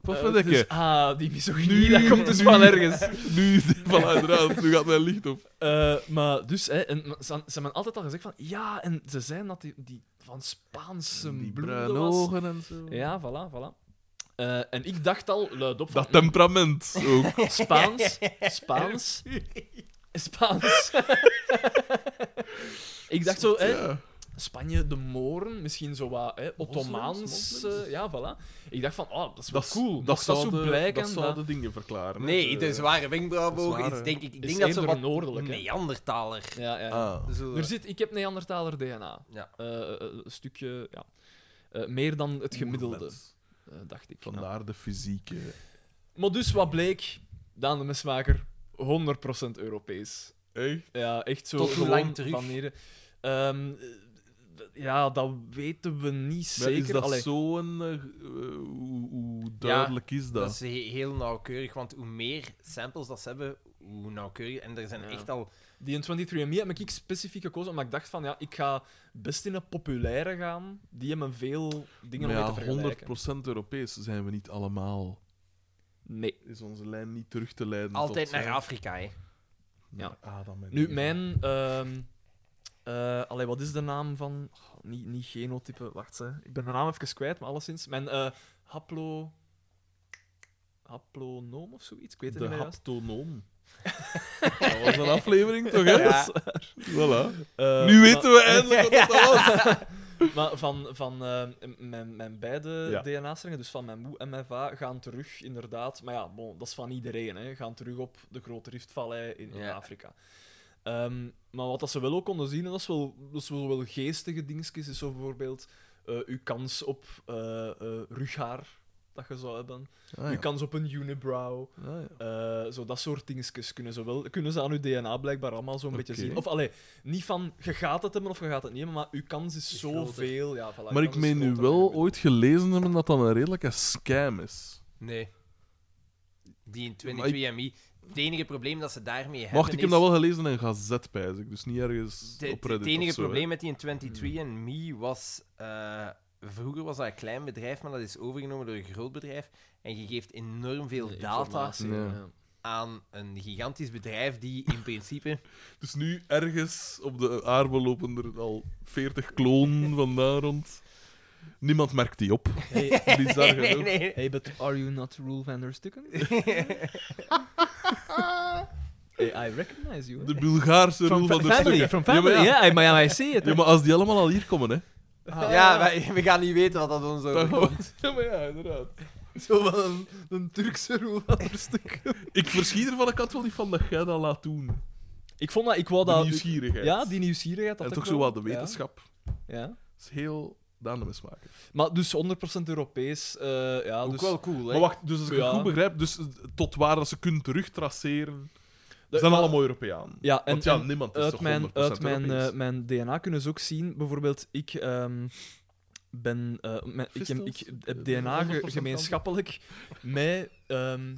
[SPEAKER 4] Pofferdekke.
[SPEAKER 3] dus- ah, die misogynie, dat komt dus van ergens.
[SPEAKER 4] Nu, voilà, inderdaad, nu gaat mijn licht op.
[SPEAKER 3] Eh, maar dus, hè, en, maar ze, ze hebben altijd al gezegd van, ja, en ze zijn dat die, die van Spaanse
[SPEAKER 4] Die
[SPEAKER 3] bloeden
[SPEAKER 4] bruine
[SPEAKER 3] was.
[SPEAKER 4] ogen en zo.
[SPEAKER 3] Ja, voilà, voilà. Eh, en ik dacht al, luid op, van,
[SPEAKER 4] Dat temperament ook.
[SPEAKER 3] Spaans, Spaans, Spaans. ik dacht zo, hè,
[SPEAKER 4] Ja.
[SPEAKER 3] Spanje, de Moren, misschien zo wat hè, Ottomaans.
[SPEAKER 4] moslims.
[SPEAKER 3] eh, ja, voilà. Ik dacht van, oh, dat is wel
[SPEAKER 4] Dat,
[SPEAKER 3] cool.
[SPEAKER 4] dat,
[SPEAKER 3] Mocht Dat,
[SPEAKER 4] zou
[SPEAKER 3] zo
[SPEAKER 4] de,
[SPEAKER 3] blijken.
[SPEAKER 4] dat zou de dingen verklaren. hè.
[SPEAKER 1] Nee, de zware
[SPEAKER 4] de
[SPEAKER 1] wenkbrauwboog
[SPEAKER 4] zware-
[SPEAKER 1] is denk ik... Ik
[SPEAKER 3] is
[SPEAKER 1] denk dat ze
[SPEAKER 3] eerder
[SPEAKER 1] wat
[SPEAKER 3] noordelijk, hè.
[SPEAKER 1] Neandertaler...
[SPEAKER 3] Ja, ja, ja.
[SPEAKER 4] Ah.
[SPEAKER 1] zullen-
[SPEAKER 3] Er zit, ik heb Neandertaler DNA.
[SPEAKER 1] Ja.
[SPEAKER 3] Eh, eh, een stukje, ja. Eh, meer dan het gemiddelde,
[SPEAKER 4] Oermens.
[SPEAKER 3] eh, dacht ik. Ja.
[SPEAKER 4] Vandaar de fysieke.
[SPEAKER 3] Maar dus, wat bleek? Daan de Mesmaker, 100% Europees.
[SPEAKER 4] Echt?
[SPEAKER 3] Ja, echt zo.
[SPEAKER 1] Tot hoe
[SPEAKER 3] gewoon
[SPEAKER 1] lang terug?
[SPEAKER 3] van hier- Ehm, eh, d- ja, dat weten we niet
[SPEAKER 4] Maar
[SPEAKER 3] zeker.
[SPEAKER 4] Is dat
[SPEAKER 3] Allee,
[SPEAKER 4] zo'n... eh, eh, hoe, hoe duidelijk is dat?
[SPEAKER 1] Dat is he- heel nauwkeurig, want hoe meer samples dat ze hebben, hoe nauwkeuriger. En er zijn
[SPEAKER 3] Ja.
[SPEAKER 1] echt al...
[SPEAKER 3] Die in 23andMe heb ik specifiek gekozen, omdat ik dacht van, ja, ik ga best in een populaire gaan. Die hebben veel dingen
[SPEAKER 4] Maar
[SPEAKER 3] om mee te
[SPEAKER 4] ja,
[SPEAKER 3] vergelijken.
[SPEAKER 4] 100% Europees zijn we niet allemaal.
[SPEAKER 3] Nee.
[SPEAKER 4] Is onze lijn niet terug te leiden
[SPEAKER 1] Altijd
[SPEAKER 4] tot,
[SPEAKER 1] naar
[SPEAKER 4] eh, Ah,
[SPEAKER 1] Afrika, hè.
[SPEAKER 3] Ja.
[SPEAKER 4] Adam en
[SPEAKER 3] Nu,
[SPEAKER 4] Eva.
[SPEAKER 3] mijn... ehm eh, allee, wat is de naam van... Oh, niet, niet genotype, wacht, hè. Ik ben de naam even kwijt, maar alleszins. Mijn eh, haplo... Haplonoom of zoiets? Ik weet het
[SPEAKER 4] De
[SPEAKER 3] niet meer. juist.
[SPEAKER 4] haptonoom. dat was een aflevering, toch? Hè?
[SPEAKER 1] Ja.
[SPEAKER 4] Voilà.
[SPEAKER 3] Eh,
[SPEAKER 4] nu
[SPEAKER 3] maar-
[SPEAKER 4] weten we eindelijk wat dat was.
[SPEAKER 3] Maar van, van eh, mijn, mijn beide
[SPEAKER 4] Ja.
[SPEAKER 3] DNA-strengen, dus van mijn moe en mijn va, gaan terug inderdaad. Maar ja, bon, dat is van iedereen, hè, gaan terug op de grote Riftvallei in, in
[SPEAKER 1] Ja.
[SPEAKER 3] Afrika. Ehm, maar wat dat ze wel ook konden zien, en dat is wel, dat is wel, wel geestige dingetjes, is zo bijvoorbeeld eh uw kans op eh, eh, rughaar dat je zou hebben,
[SPEAKER 4] Ah,
[SPEAKER 3] uw kans op een unibrow. Eh, zo dat soort dingetjes kunnen ze, wel, kunnen ze aan uw DNA blijkbaar allemaal zo'n beetje
[SPEAKER 4] Oké.
[SPEAKER 3] zien. Of allee, niet van je gaat het hebben of je gaat het niet hebben, maar uw kans is,
[SPEAKER 1] Is groter.
[SPEAKER 3] zoveel. Ja, voilà,
[SPEAKER 4] Maar
[SPEAKER 3] uw
[SPEAKER 4] ik
[SPEAKER 3] kans is
[SPEAKER 4] meen nu
[SPEAKER 3] groter.
[SPEAKER 4] wel ooit gelezen hebben dat dat een redelijke scam is.
[SPEAKER 1] Nee. Die in
[SPEAKER 4] Maar ik-
[SPEAKER 1] 23andMe. Het enige probleem dat ze daarmee hebben
[SPEAKER 4] Wacht, ik heb
[SPEAKER 1] is-
[SPEAKER 4] dat wel gelezen in een gazet, pijs ik. Dus niet ergens
[SPEAKER 1] De-
[SPEAKER 4] op
[SPEAKER 1] de-
[SPEAKER 4] Reddit
[SPEAKER 1] het enige
[SPEAKER 4] of zo, hè.
[SPEAKER 1] probleem met die in 23andMe was... eh, vroeger was dat een klein bedrijf, maar dat is overgenomen door een groot bedrijf. En je geeft enorm veel data
[SPEAKER 3] Informatie,
[SPEAKER 4] Ja.
[SPEAKER 3] ja.
[SPEAKER 1] aan een gigantisch bedrijf die in principe...
[SPEAKER 4] Dus nu ergens op de aarde lopen er al 40 klonen van daar rond. Niemand merkt die op.
[SPEAKER 3] Hey,
[SPEAKER 4] Bizar
[SPEAKER 1] nee,
[SPEAKER 4] genoeg.
[SPEAKER 1] nee, nee.
[SPEAKER 3] hey, but are you not Rule van der Stukken? hey, I recognize you.
[SPEAKER 4] De Bulgaarse roel van de stukken. ja, maar ja.
[SPEAKER 3] I, I, see it.
[SPEAKER 4] Ja, maar als die allemaal al hier komen, hè.
[SPEAKER 3] Ah,
[SPEAKER 1] Ja, wij- we gaan niet weten wat dat ons
[SPEAKER 4] Dan
[SPEAKER 1] overkomt.
[SPEAKER 4] gewoon- Ja, maar ja, inderdaad.
[SPEAKER 3] Zo van een, een Turkse Rule van der Stukken.
[SPEAKER 4] Ik verschiet ervan, ik had wel niet van dat jij dat laat doen.
[SPEAKER 3] Ik vond dat... Ik wou
[SPEAKER 4] Die
[SPEAKER 3] Oh, dat
[SPEAKER 4] nieuwsgierigheid.
[SPEAKER 3] Ja, die nieuwsgierigheid. dat
[SPEAKER 4] en
[SPEAKER 3] ik
[SPEAKER 4] toch
[SPEAKER 3] wel-
[SPEAKER 4] zo wat de
[SPEAKER 3] ja,
[SPEAKER 4] wetenschap.
[SPEAKER 3] ja.
[SPEAKER 4] Dat is heel daan de mismaken.
[SPEAKER 3] Maar dus 100% Europees. eh, ja,
[SPEAKER 1] Ook
[SPEAKER 3] dus
[SPEAKER 1] wel cool, hè?
[SPEAKER 4] Maar wacht, dus als ik
[SPEAKER 3] Ja.
[SPEAKER 4] het goed begrijp, dus eh, tot waar dat ze kunnen terugtraceren,
[SPEAKER 3] De-
[SPEAKER 4] ze zijn allemaal Europeaan.
[SPEAKER 3] Ja, en,
[SPEAKER 4] Want ja,
[SPEAKER 3] en
[SPEAKER 4] niemand is
[SPEAKER 3] uit
[SPEAKER 4] toch
[SPEAKER 3] mijn,
[SPEAKER 4] 100%
[SPEAKER 3] uit mijn,
[SPEAKER 4] Europees.
[SPEAKER 3] eh, mijn DNA kunnen ze ook zien. Bijvoorbeeld, ik ehm, ben. eh, mijn- ik, heb, ik
[SPEAKER 4] Vistels?
[SPEAKER 3] heb
[SPEAKER 4] Eh,
[SPEAKER 3] DNA ge-
[SPEAKER 4] 100%
[SPEAKER 3] gemeenschappelijk met ehm,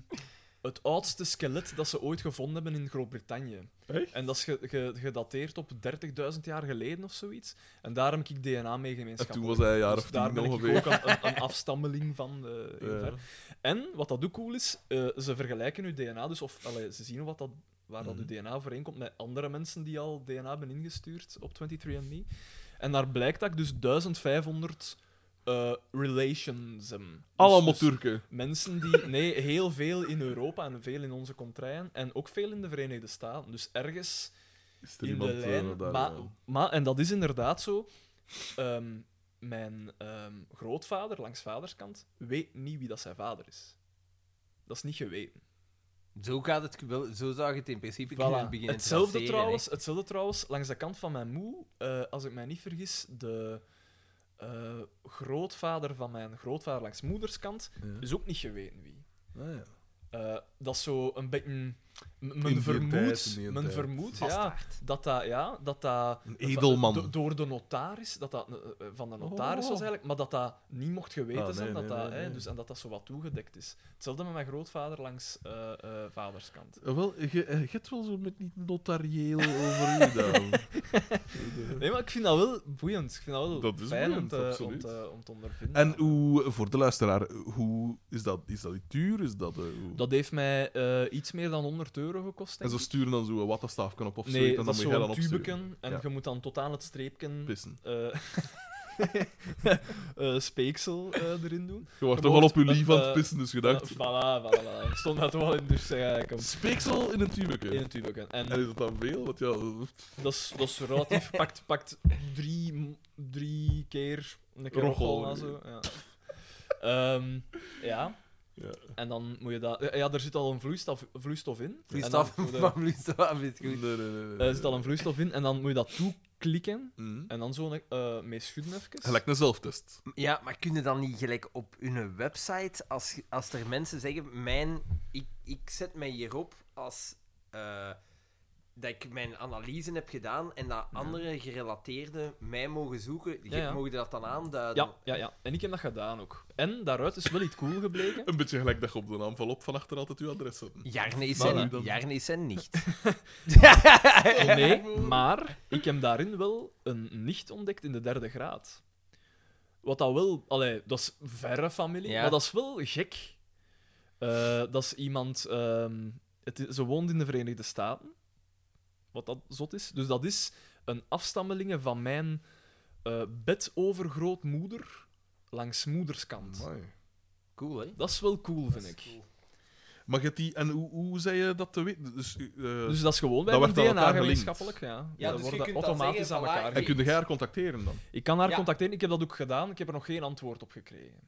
[SPEAKER 3] het oudste skelet dat ze ooit gevonden hebben in Groot-Brittannië.
[SPEAKER 4] Echt?
[SPEAKER 3] En dat is ge- ge- gedateerd op 30.000 jaar geleden of zoiets. En daar heb ik DNA mee
[SPEAKER 4] En
[SPEAKER 3] gemeenschappelijk.
[SPEAKER 4] toen was hij een jaar
[SPEAKER 3] Dus
[SPEAKER 4] of
[SPEAKER 3] daar
[SPEAKER 4] tien
[SPEAKER 3] ben ik
[SPEAKER 4] ongeveer.
[SPEAKER 3] ook een, een, een afstammeling van. eh, heel
[SPEAKER 4] Ja.
[SPEAKER 3] ver. En wat dat ook cool is, eh, ze vergelijken uw DNA, dus of allee, ze zien wat dat, waar dat uw
[SPEAKER 4] Mhm.
[SPEAKER 3] DNA overeenkomt met andere mensen die al DNA hebben ingestuurd op 23andMe. En daar blijkt dat ik dus 1500 eh, relations heb. Dus-
[SPEAKER 4] Allemaal
[SPEAKER 3] dus
[SPEAKER 4] Turken.
[SPEAKER 3] Mensen die, nee, heel veel in Europa en veel in onze contraien en ook veel in de Verenigde Staten. Dus ergens
[SPEAKER 4] Is er
[SPEAKER 3] in
[SPEAKER 4] iemand
[SPEAKER 3] de lijn.
[SPEAKER 4] eh, daar,
[SPEAKER 3] maar,
[SPEAKER 4] eh,
[SPEAKER 3] maar, en dat is inderdaad zo. Ehm, mijn ehm, grootvader, langs vaderskant, weet niet wie dat zijn vader is. Dat is niet geweten.
[SPEAKER 1] Zo, gaat het wel, zo zou je het in principe
[SPEAKER 3] Voilà.
[SPEAKER 1] kunnen beginnen
[SPEAKER 3] hetzelfde,
[SPEAKER 1] te
[SPEAKER 3] trouwens, hetzelfde trouwens, langs de kant van mijn moe, eh, als ik mij niet vergis, de eh, grootvader van mijn grootvader langs moederskant
[SPEAKER 4] ja.
[SPEAKER 3] is ook niet geweten wie.
[SPEAKER 4] Ah, ja.
[SPEAKER 3] Eh, dat is zo een beetje M-
[SPEAKER 4] In
[SPEAKER 3] Men
[SPEAKER 4] die tijd,
[SPEAKER 3] vermoedt,
[SPEAKER 4] in die
[SPEAKER 3] men
[SPEAKER 4] tijd.
[SPEAKER 3] vermoedt ja,
[SPEAKER 1] Bastaard.
[SPEAKER 3] dat dat, ja, dat dat...
[SPEAKER 4] Een edelman.
[SPEAKER 3] do- door de notaris, dat dat eh, eh, van de notaris
[SPEAKER 4] Oh.
[SPEAKER 3] was eigenlijk, maar dat dat niet mocht geweten
[SPEAKER 4] Ah, nee,
[SPEAKER 3] zijn, dat
[SPEAKER 4] nee,
[SPEAKER 3] dat,
[SPEAKER 4] nee,
[SPEAKER 3] hè,
[SPEAKER 4] nee.
[SPEAKER 3] Dus, en dat dat zo wat toegedekt is. Hetzelfde met mijn grootvader langs eh, eh, vaderskant.
[SPEAKER 4] Ah, Wel, je, je
[SPEAKER 3] eh,
[SPEAKER 4] hebt wel zo met niet notarieel over je gedaan.
[SPEAKER 3] Nee, maar ik vind dat wel boeiend. Ik vind dat wel
[SPEAKER 4] Dat is
[SPEAKER 3] fijn
[SPEAKER 4] boeiend,
[SPEAKER 3] om, te, om,
[SPEAKER 4] absoluut.
[SPEAKER 3] te, om te ondervinden.
[SPEAKER 4] En hoe, voor de luisteraar, hoe is dat? Is dat iets duur? Is dat, eh, hoe?
[SPEAKER 3] Dat heeft mij eh, iets meer dan 100 euro gekost,
[SPEAKER 4] En
[SPEAKER 3] denk
[SPEAKER 4] ze
[SPEAKER 3] ik.
[SPEAKER 4] sturen dan zo een wattenstaafje op of zo.
[SPEAKER 3] Nee,
[SPEAKER 4] en dan
[SPEAKER 3] dat is
[SPEAKER 4] moet jij
[SPEAKER 3] zo'n
[SPEAKER 4] dan opsturen.
[SPEAKER 3] tubeken en
[SPEAKER 4] Ja.
[SPEAKER 3] je moet dan tot aan het streepken
[SPEAKER 4] Pissen.
[SPEAKER 3] eh, eh, speeksel eh, erin doen.
[SPEAKER 4] Je wordt
[SPEAKER 3] Je eh,
[SPEAKER 4] toch al op
[SPEAKER 3] mocht
[SPEAKER 4] je lief aan
[SPEAKER 3] een,
[SPEAKER 4] het pissen, dus je dacht...
[SPEAKER 3] Voilà, voilà, voilà. Ik Stond dat wel in dus zeg eigenlijk om-
[SPEAKER 4] Speeksel in een tubeke.
[SPEAKER 3] in een tubeken. En
[SPEAKER 4] En is dat dan veel? Want ja,
[SPEAKER 3] dat is, dat is relatief, pakt, pakt drie, drie keer een keer
[SPEAKER 4] Rochel.
[SPEAKER 3] rochel en zo. Ja. Ehm, ja.
[SPEAKER 4] ja.
[SPEAKER 3] En dan moet je dat... Ja, er zit al een vloeistof, vloeistof in.
[SPEAKER 1] Vloeistof,
[SPEAKER 3] En dan moet je-
[SPEAKER 1] van vloeistof is
[SPEAKER 4] Nee,
[SPEAKER 1] goed.
[SPEAKER 4] nee, nee. nee,
[SPEAKER 3] eh, er zit al een vloeistof in en dan moet je dat toeklikken.
[SPEAKER 4] Mhm.
[SPEAKER 3] En dan zo eh mee schudden even.
[SPEAKER 4] Gelijk een zelftest.
[SPEAKER 1] Ja, maar kunnen dan niet gelijk op hun website, als, als er mensen zeggen, mijn, ik, ik zet mij hierop als eh, dat ik mijn analyse heb gedaan en dat andere gerelateerden mij mogen zoeken, je
[SPEAKER 3] Mhm. Ja, ja.
[SPEAKER 1] mogen dat dan aanduiden.
[SPEAKER 3] Ja, ja, ja. En ik heb dat gedaan ook. En daaruit is wel iets cool gebleken.
[SPEAKER 4] Een beetje gelijk dat je op de envelop van achter altijd je adres zet.
[SPEAKER 1] Jarne is
[SPEAKER 3] Maar,
[SPEAKER 1] en-
[SPEAKER 4] eh, dan-
[SPEAKER 1] Jarne is en niet.
[SPEAKER 3] Oh, nee, maar ik heb daarin wel een nicht ontdekt in de derde graad. Wat dat wel, allee, dat is verre familie,
[SPEAKER 1] Ja.
[SPEAKER 3] maar dat is wel gek. Eh, dat is iemand, ehm, het is- ze woont in de Verenigde Staten, wat dat zot is. Dus dat is een afstammelinge van mijn eh bedovergrootmoeder langs moederskant.
[SPEAKER 4] Amai.
[SPEAKER 1] Cool, hè?
[SPEAKER 3] Dat is wel cool, vind ik.
[SPEAKER 4] Maar je hebt die... En hoe, hoe zei je dat te weten? Dus, eh,
[SPEAKER 3] Dus dat is gewoon bij
[SPEAKER 4] Dat
[SPEAKER 3] mijn
[SPEAKER 4] wordt aan elkaar
[SPEAKER 3] DNA
[SPEAKER 4] gelinkt.
[SPEAKER 3] gemeenschappelijk. Ja,
[SPEAKER 1] Ja,
[SPEAKER 3] Dat
[SPEAKER 1] dus je
[SPEAKER 3] wordt
[SPEAKER 1] kunt dan
[SPEAKER 3] automatisch
[SPEAKER 1] zeggen,
[SPEAKER 3] aan
[SPEAKER 1] voilà,
[SPEAKER 3] elkaar.
[SPEAKER 4] En kun je haar contacteren dan?
[SPEAKER 3] Ik kan haar
[SPEAKER 1] Ja.
[SPEAKER 3] contacteren, ik heb dat ook gedaan, ik heb er nog geen antwoord op gekregen.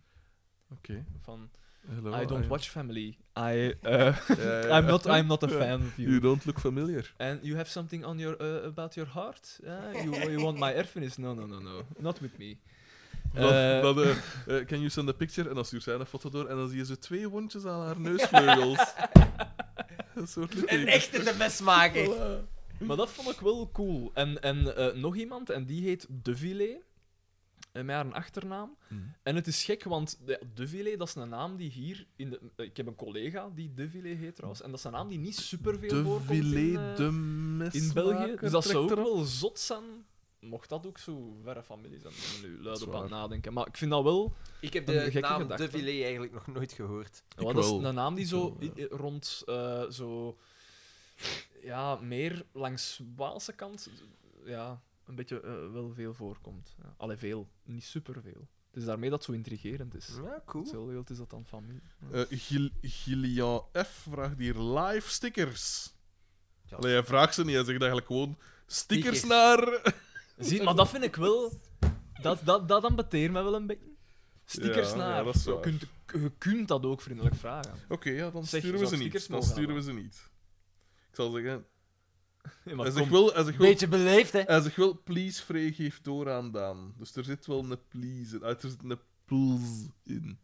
[SPEAKER 4] Oké.
[SPEAKER 3] Van,
[SPEAKER 4] Hello,
[SPEAKER 3] I don't
[SPEAKER 4] I-
[SPEAKER 3] watch family. I, eh,
[SPEAKER 4] Ja, ja, ja.
[SPEAKER 3] I'm, not, I'm not a fan of
[SPEAKER 4] You
[SPEAKER 3] you.
[SPEAKER 4] don't look familiar.
[SPEAKER 3] And you have something on your, eh, about your heart? Eh, you, you want my erfenis? No, no, no, no. Not with me. Eh,
[SPEAKER 4] Dat, dat, eh, eh, can you send a picture? En dan stuurt zij een foto door en dan zie je zo twee wondjes aan haar neusvleugels. een soort
[SPEAKER 1] Een
[SPEAKER 4] litteken.
[SPEAKER 1] echte de mesmaker.
[SPEAKER 4] Voilà.
[SPEAKER 3] Maar dat vond ik wel cool. En, en eh, nog iemand, en die heet De Villet. En met haar een achternaam.
[SPEAKER 4] Mhm.
[SPEAKER 3] En het is gek, want de, de Villet, dat is een naam die hier... In de, eh, ik heb een collega die De Villet heet trouwens. En dat is een naam die niet superveel
[SPEAKER 4] De
[SPEAKER 3] voorkomt in, eh,
[SPEAKER 4] filet de
[SPEAKER 3] in
[SPEAKER 4] mesmaker
[SPEAKER 3] België. Dus dat zou ook
[SPEAKER 4] trekt erop.
[SPEAKER 3] wel zot zijn. Mocht dat ook zo verre familie zijn. Ik ben nu luid
[SPEAKER 4] is
[SPEAKER 3] op
[SPEAKER 4] waar.
[SPEAKER 3] aan het nadenken. Maar ik vind dat wel...
[SPEAKER 1] Ik heb
[SPEAKER 3] Een
[SPEAKER 1] de
[SPEAKER 3] gekke
[SPEAKER 1] naam
[SPEAKER 3] gedachte.
[SPEAKER 1] De Villet eigenlijk nog nooit gehoord.
[SPEAKER 3] Ja, dat is
[SPEAKER 4] wel.
[SPEAKER 3] een naam die zo
[SPEAKER 4] Ik
[SPEAKER 3] i- i- rond eh, zo. Ja, meer langs Waalse kant. Ja, een beetje eh, wel veel voorkomt. Ja. Allee, veel. Niet superveel. Het is daarmee dat het zo intrigerend is.
[SPEAKER 1] Ja, cool.
[SPEAKER 3] Hetzelfde wild is dat dan familie. Ja.
[SPEAKER 4] Eh, Gil- Gillian F. vraagt hier live stickers.
[SPEAKER 1] Ja.
[SPEAKER 4] Allee, hij vraagt ze niet, hij zegt eigenlijk gewoon stickers
[SPEAKER 1] Stickers.
[SPEAKER 4] naar...
[SPEAKER 3] Zie, maar dat vind ik wel. Dat, dat, dat ambeteert mij wel een beetje. Stickers
[SPEAKER 4] Ja,
[SPEAKER 3] naar.
[SPEAKER 4] ja, dat is
[SPEAKER 3] je,
[SPEAKER 4] waar.
[SPEAKER 3] kunt, je kunt dat ook vriendelijk vragen.
[SPEAKER 4] Oké, ja, dan
[SPEAKER 3] Zeg,
[SPEAKER 4] sturen
[SPEAKER 3] je
[SPEAKER 4] we
[SPEAKER 3] zou
[SPEAKER 4] ze
[SPEAKER 3] stickers
[SPEAKER 4] niet. Dan
[SPEAKER 3] mogen
[SPEAKER 4] sturen we
[SPEAKER 3] halen.
[SPEAKER 4] ze niet. Ik zal zeggen...
[SPEAKER 3] Ja,
[SPEAKER 4] Hij
[SPEAKER 3] maar
[SPEAKER 4] zegt
[SPEAKER 3] kom,
[SPEAKER 4] wel... Hij zegt wel
[SPEAKER 1] Beetje beleefd, hè?
[SPEAKER 4] Hij zegt wel, please, Frey, geef door aan Daan. Dus er zit wel een please in. Ah, er zit een please in.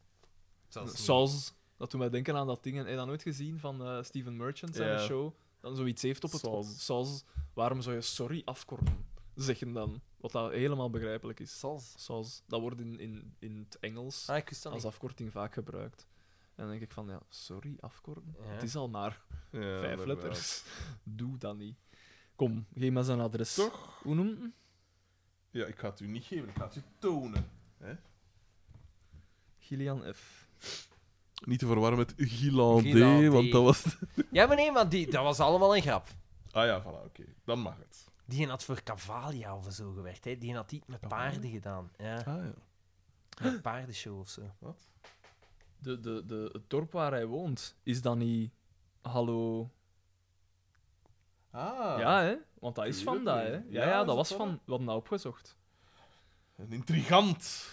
[SPEAKER 3] Sals. Dat doet mij denken aan dat ding. Heb je dat nooit gezien van eh, Steven Merchant zijn
[SPEAKER 4] Ja.
[SPEAKER 3] show? Dan zoiets heeft op het
[SPEAKER 4] Sals.
[SPEAKER 3] Sals. Waarom zou je sorry afkorten? Zeggen dan. Wat dat helemaal begrijpelijk is.
[SPEAKER 1] Sals.
[SPEAKER 3] Sals. Dat wordt in, in, in het Engels
[SPEAKER 1] Ah, ik wist dat
[SPEAKER 3] als
[SPEAKER 1] niet.
[SPEAKER 3] afkorting vaak gebruikt. En dan denk ik van, ja, sorry afkorten?
[SPEAKER 1] Ja.
[SPEAKER 3] Het is al maar
[SPEAKER 4] Ja,
[SPEAKER 3] vijf
[SPEAKER 4] inderdaad.
[SPEAKER 3] letters. Doe dat niet. Kom, geef mij zijn adres.
[SPEAKER 4] Toch?
[SPEAKER 3] Hoe noemt hem?
[SPEAKER 4] Ja, ik ga het u niet geven, ik ga het u tonen.
[SPEAKER 3] Gillian F.
[SPEAKER 4] Niet te verwarren met Gilan
[SPEAKER 1] Gilan
[SPEAKER 4] D,
[SPEAKER 1] D.
[SPEAKER 4] want dat was...
[SPEAKER 1] Ja, maar nee, maar die, dat was allemaal een grap.
[SPEAKER 4] Ah ja, voilà, oké. Dan mag het.
[SPEAKER 1] Die had voor Cavalia of zo gewerkt, hè? Die had iets met paarden gedaan. Ja,
[SPEAKER 4] Ah ja.
[SPEAKER 1] een paardenshow of zo.
[SPEAKER 3] De, de, de, het dorp waar hij woont, is dat niet... Hallo...
[SPEAKER 4] Ah,
[SPEAKER 3] Ja, hè? Want dat is
[SPEAKER 4] Tuurlijk,
[SPEAKER 3] van dat, hè?
[SPEAKER 4] nee.
[SPEAKER 3] Ja,
[SPEAKER 4] Ja,
[SPEAKER 3] ja,
[SPEAKER 4] is
[SPEAKER 3] dat
[SPEAKER 4] het
[SPEAKER 3] was
[SPEAKER 4] van
[SPEAKER 3] van.
[SPEAKER 4] dat?
[SPEAKER 3] We hebben dat opgezocht.
[SPEAKER 4] een intrigant.